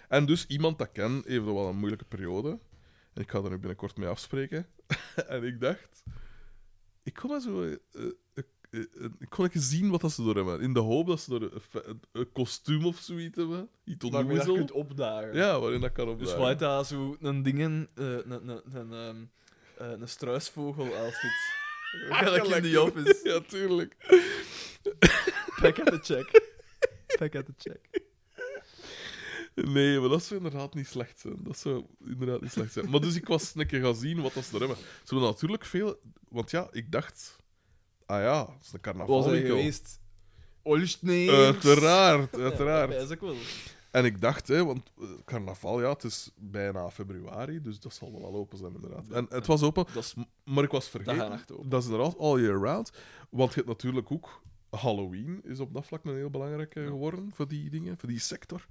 [SPEAKER 4] En dus iemand dat ik ken, heeft wel een moeilijke periode. En ik ga daar nu binnenkort mee afspreken. en ik dacht, ik kon maar zo... eh, eh, eh, eh, ik kon even zien wat dat ze door hebben. In de hoop dat ze er een, fe- een- een kostuum of zoiets hebben. Iets
[SPEAKER 3] Waarmee dat je
[SPEAKER 4] onnoezel.
[SPEAKER 3] kunt opdagen.
[SPEAKER 4] Ja, waarin dat kan
[SPEAKER 3] Dus
[SPEAKER 4] opdragen.
[SPEAKER 3] wat dat zo een dingen, eh, een, een, een, ehm, eh, een struisvogel outfit. Gelijk in the office.
[SPEAKER 4] Ja, tuurlijk.
[SPEAKER 3] Back at the check. Back at the check.
[SPEAKER 4] Nee, maar dat zou inderdaad niet slecht zijn. Dat zou inderdaad niet slecht zijn. Maar dus ik was een keer gaan zien wat dat ze er hebben. Ze hebben natuurlijk veel... Want ja, ik dacht... Ah ja, het is een
[SPEAKER 3] Was hij
[SPEAKER 4] carnaval.
[SPEAKER 3] geweest? Olstneers.
[SPEAKER 4] Uiteraard,
[SPEAKER 3] Ja,
[SPEAKER 4] uiteraard.
[SPEAKER 3] dat is ook wel.
[SPEAKER 4] En ik dacht, hè, want eh, carnaval, ja, het is bijna februari, dus dat zal wel al open zijn, inderdaad. En het was open,
[SPEAKER 3] Dat is
[SPEAKER 4] m- maar ik was
[SPEAKER 3] Dat
[SPEAKER 4] vergeten.
[SPEAKER 3] gaat echt open.
[SPEAKER 4] Dat is inderdaad all year round. Want je hebt natuurlijk ook... Halloween is op dat vlak een heel belangrijke geworden voor die dingen, voor die sector.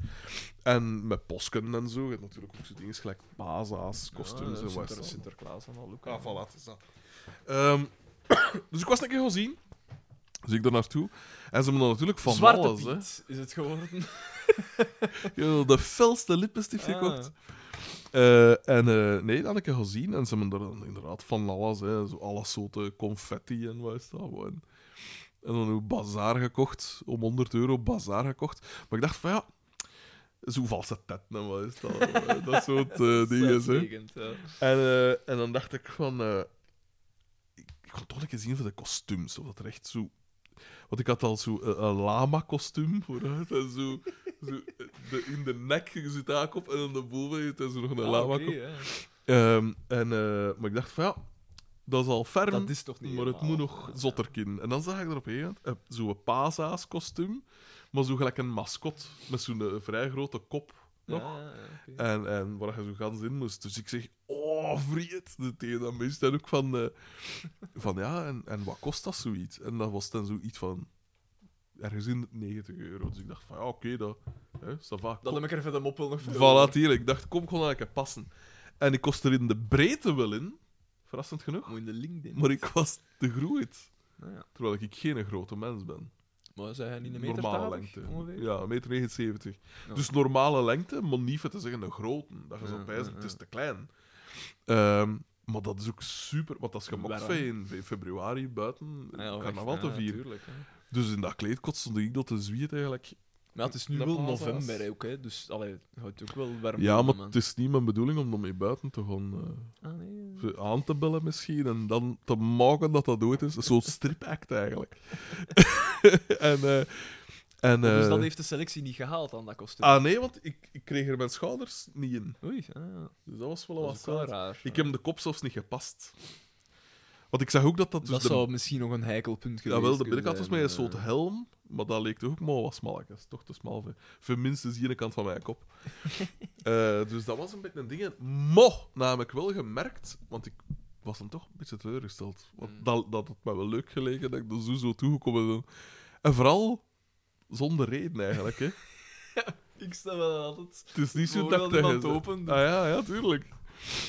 [SPEAKER 4] En met posken en zo, je hebt natuurlijk ook zo dingen gelijk baza's, kostuums en wat.
[SPEAKER 3] Sinter- Sinterklaas en al ook.
[SPEAKER 4] Ah, voilà, het is dat. Ehm, dus ik was een keer gaan zien. Dus ik daar naartoe. En ze hebben dan natuurlijk van
[SPEAKER 3] Zwarte
[SPEAKER 4] alles, hè.
[SPEAKER 3] Piet is het geworden.
[SPEAKER 4] Yo, de felste lippenstift
[SPEAKER 3] Ah.
[SPEAKER 4] gekocht. Eh, en eh, nee, dat had ik er gezien. En ze hebben er dan inderdaad van alles. Hè, zo alle soorten confetti en wat is dat. wat. En, en dan een bazaar gekocht. Om 100 euro bazaar gekocht. Maar ik dacht van ja... Zo valse tet, nou, wat is dat? dat soort eh dingen, hè.
[SPEAKER 3] Uitstekend, ja.
[SPEAKER 4] En, eh, en dan dacht ik van... eh, ik, ik kon toch een keer zien van de kostuums, of dat er echt zo... Want ik had al zo eh, een, een lama-kostuum vooruit, en zo... zo eh, de, in de nek zit de haak op, en aan de boven zit er zo nog een
[SPEAKER 3] Ah,
[SPEAKER 4] lama-kop.
[SPEAKER 3] oké, ja.
[SPEAKER 4] Ehm, en, eh, maar ik dacht van ja, dat is al ferm,
[SPEAKER 3] Dat is toch niet
[SPEAKER 4] maar het moet
[SPEAKER 3] helemaal,
[SPEAKER 4] nog zotter kunnen. En dan zag ik er op een gegeven moment, eh, zo'n pasa's kostuum, maar zo gelijk een mascot met zo'n eh, vrij grote kop nog. Eh,
[SPEAKER 3] Ah, oké.
[SPEAKER 4] En, en waar je zo gans in moest. Dus ik zeg, oh, vriend. De tegen dat mensen dan ook van, eh, van ja, en, en wat kost dat zoiets? En dat was dan zoiets van ergens in de 90 euro. Dus ik dacht van ja, oké, dat, hè, ça va.
[SPEAKER 3] Dan
[SPEAKER 4] Kom.
[SPEAKER 3] heb ik er even de moppel nog voor.
[SPEAKER 4] Voilà, hier. Ik dacht, kom gewoon lekker passen. En ik was er in de breedte wel in, verrassend genoeg.
[SPEAKER 3] Moet in de LinkedIn.
[SPEAKER 4] Maar ik was te groeit.
[SPEAKER 3] Nou ja.
[SPEAKER 4] Terwijl ik geen grote mens ben.
[SPEAKER 3] Maar zijn hij niet een meter
[SPEAKER 4] Normale
[SPEAKER 3] 80
[SPEAKER 4] lengte.
[SPEAKER 3] ongeveer?
[SPEAKER 4] Ja, 1,79 meter.
[SPEAKER 3] Ja.
[SPEAKER 4] Dus normale lengte, maar niet van te zeggen een grote. Dat je zo
[SPEAKER 3] Ja,
[SPEAKER 4] bij zegt,
[SPEAKER 3] ja,
[SPEAKER 4] het is te klein. Ehm, maar dat is ook super, want dat is gemokt
[SPEAKER 3] Waarom?
[SPEAKER 4] in fe- februari buiten
[SPEAKER 3] Ah, ja,
[SPEAKER 4] carnaval
[SPEAKER 3] echt,
[SPEAKER 4] te
[SPEAKER 3] ja,
[SPEAKER 4] vieren.
[SPEAKER 3] tuurlijk, hè.
[SPEAKER 4] Dus in dat kleedkot stond ik dat te zwiet eigenlijk.
[SPEAKER 3] Maar ja, het is nu
[SPEAKER 4] Dat
[SPEAKER 3] wel
[SPEAKER 4] paas was.
[SPEAKER 3] november hè, ook, hè, dus allee, het houdt ook wel warm.
[SPEAKER 4] Ja,
[SPEAKER 3] aan,
[SPEAKER 4] maar
[SPEAKER 3] man.
[SPEAKER 4] het is niet mijn bedoeling om ermee buiten te gaan. eh,
[SPEAKER 3] Ah, nee.
[SPEAKER 4] ze aan te bellen misschien en dan te maken dat dat dood is. Zo'n stripact eigenlijk. en, eh, en,
[SPEAKER 3] Dus
[SPEAKER 4] eh,
[SPEAKER 3] dat heeft de selectie niet gehaald aan dat kostuum.
[SPEAKER 4] Ah nee, want ik, ik kreeg er mijn schouders niet in.
[SPEAKER 3] Oei, ah,
[SPEAKER 4] Dus dat was wel
[SPEAKER 3] dat
[SPEAKER 4] wat
[SPEAKER 3] is ook wel
[SPEAKER 4] saai.
[SPEAKER 3] raar.
[SPEAKER 4] Ik heb hem de kop zelfs niet gepast. Want ik zag ook dat dat... Dus
[SPEAKER 3] dat
[SPEAKER 4] de,
[SPEAKER 3] zou misschien nog een heikelpunt
[SPEAKER 4] jawel,
[SPEAKER 3] geweest
[SPEAKER 4] de
[SPEAKER 3] kunnen
[SPEAKER 4] binnenkant was
[SPEAKER 3] zijn,
[SPEAKER 4] met een
[SPEAKER 3] eh.
[SPEAKER 4] soort helm, maar dat leek toch ook maar wat smal. Dat is toch te smal. voor- Voor minstens hier de kant van mijn kop. Eh, dus dat was een beetje een ding. En Mo, namelijk wel gemerkt, want ik was dan toch een beetje teleurgesteld. Want
[SPEAKER 3] Mm.
[SPEAKER 4] dat, dat had mij wel leuk gelegen dat ik er zo, zo toegekomen ben. En vooral zonder reden eigenlijk. Hè.
[SPEAKER 3] Ik sta wel altijd.
[SPEAKER 4] Het is niet zo
[SPEAKER 3] Voordat
[SPEAKER 4] dat ik tegen
[SPEAKER 3] iemand
[SPEAKER 4] ze-
[SPEAKER 3] open dus- doet.
[SPEAKER 4] Ah ja, ja, tuurlijk.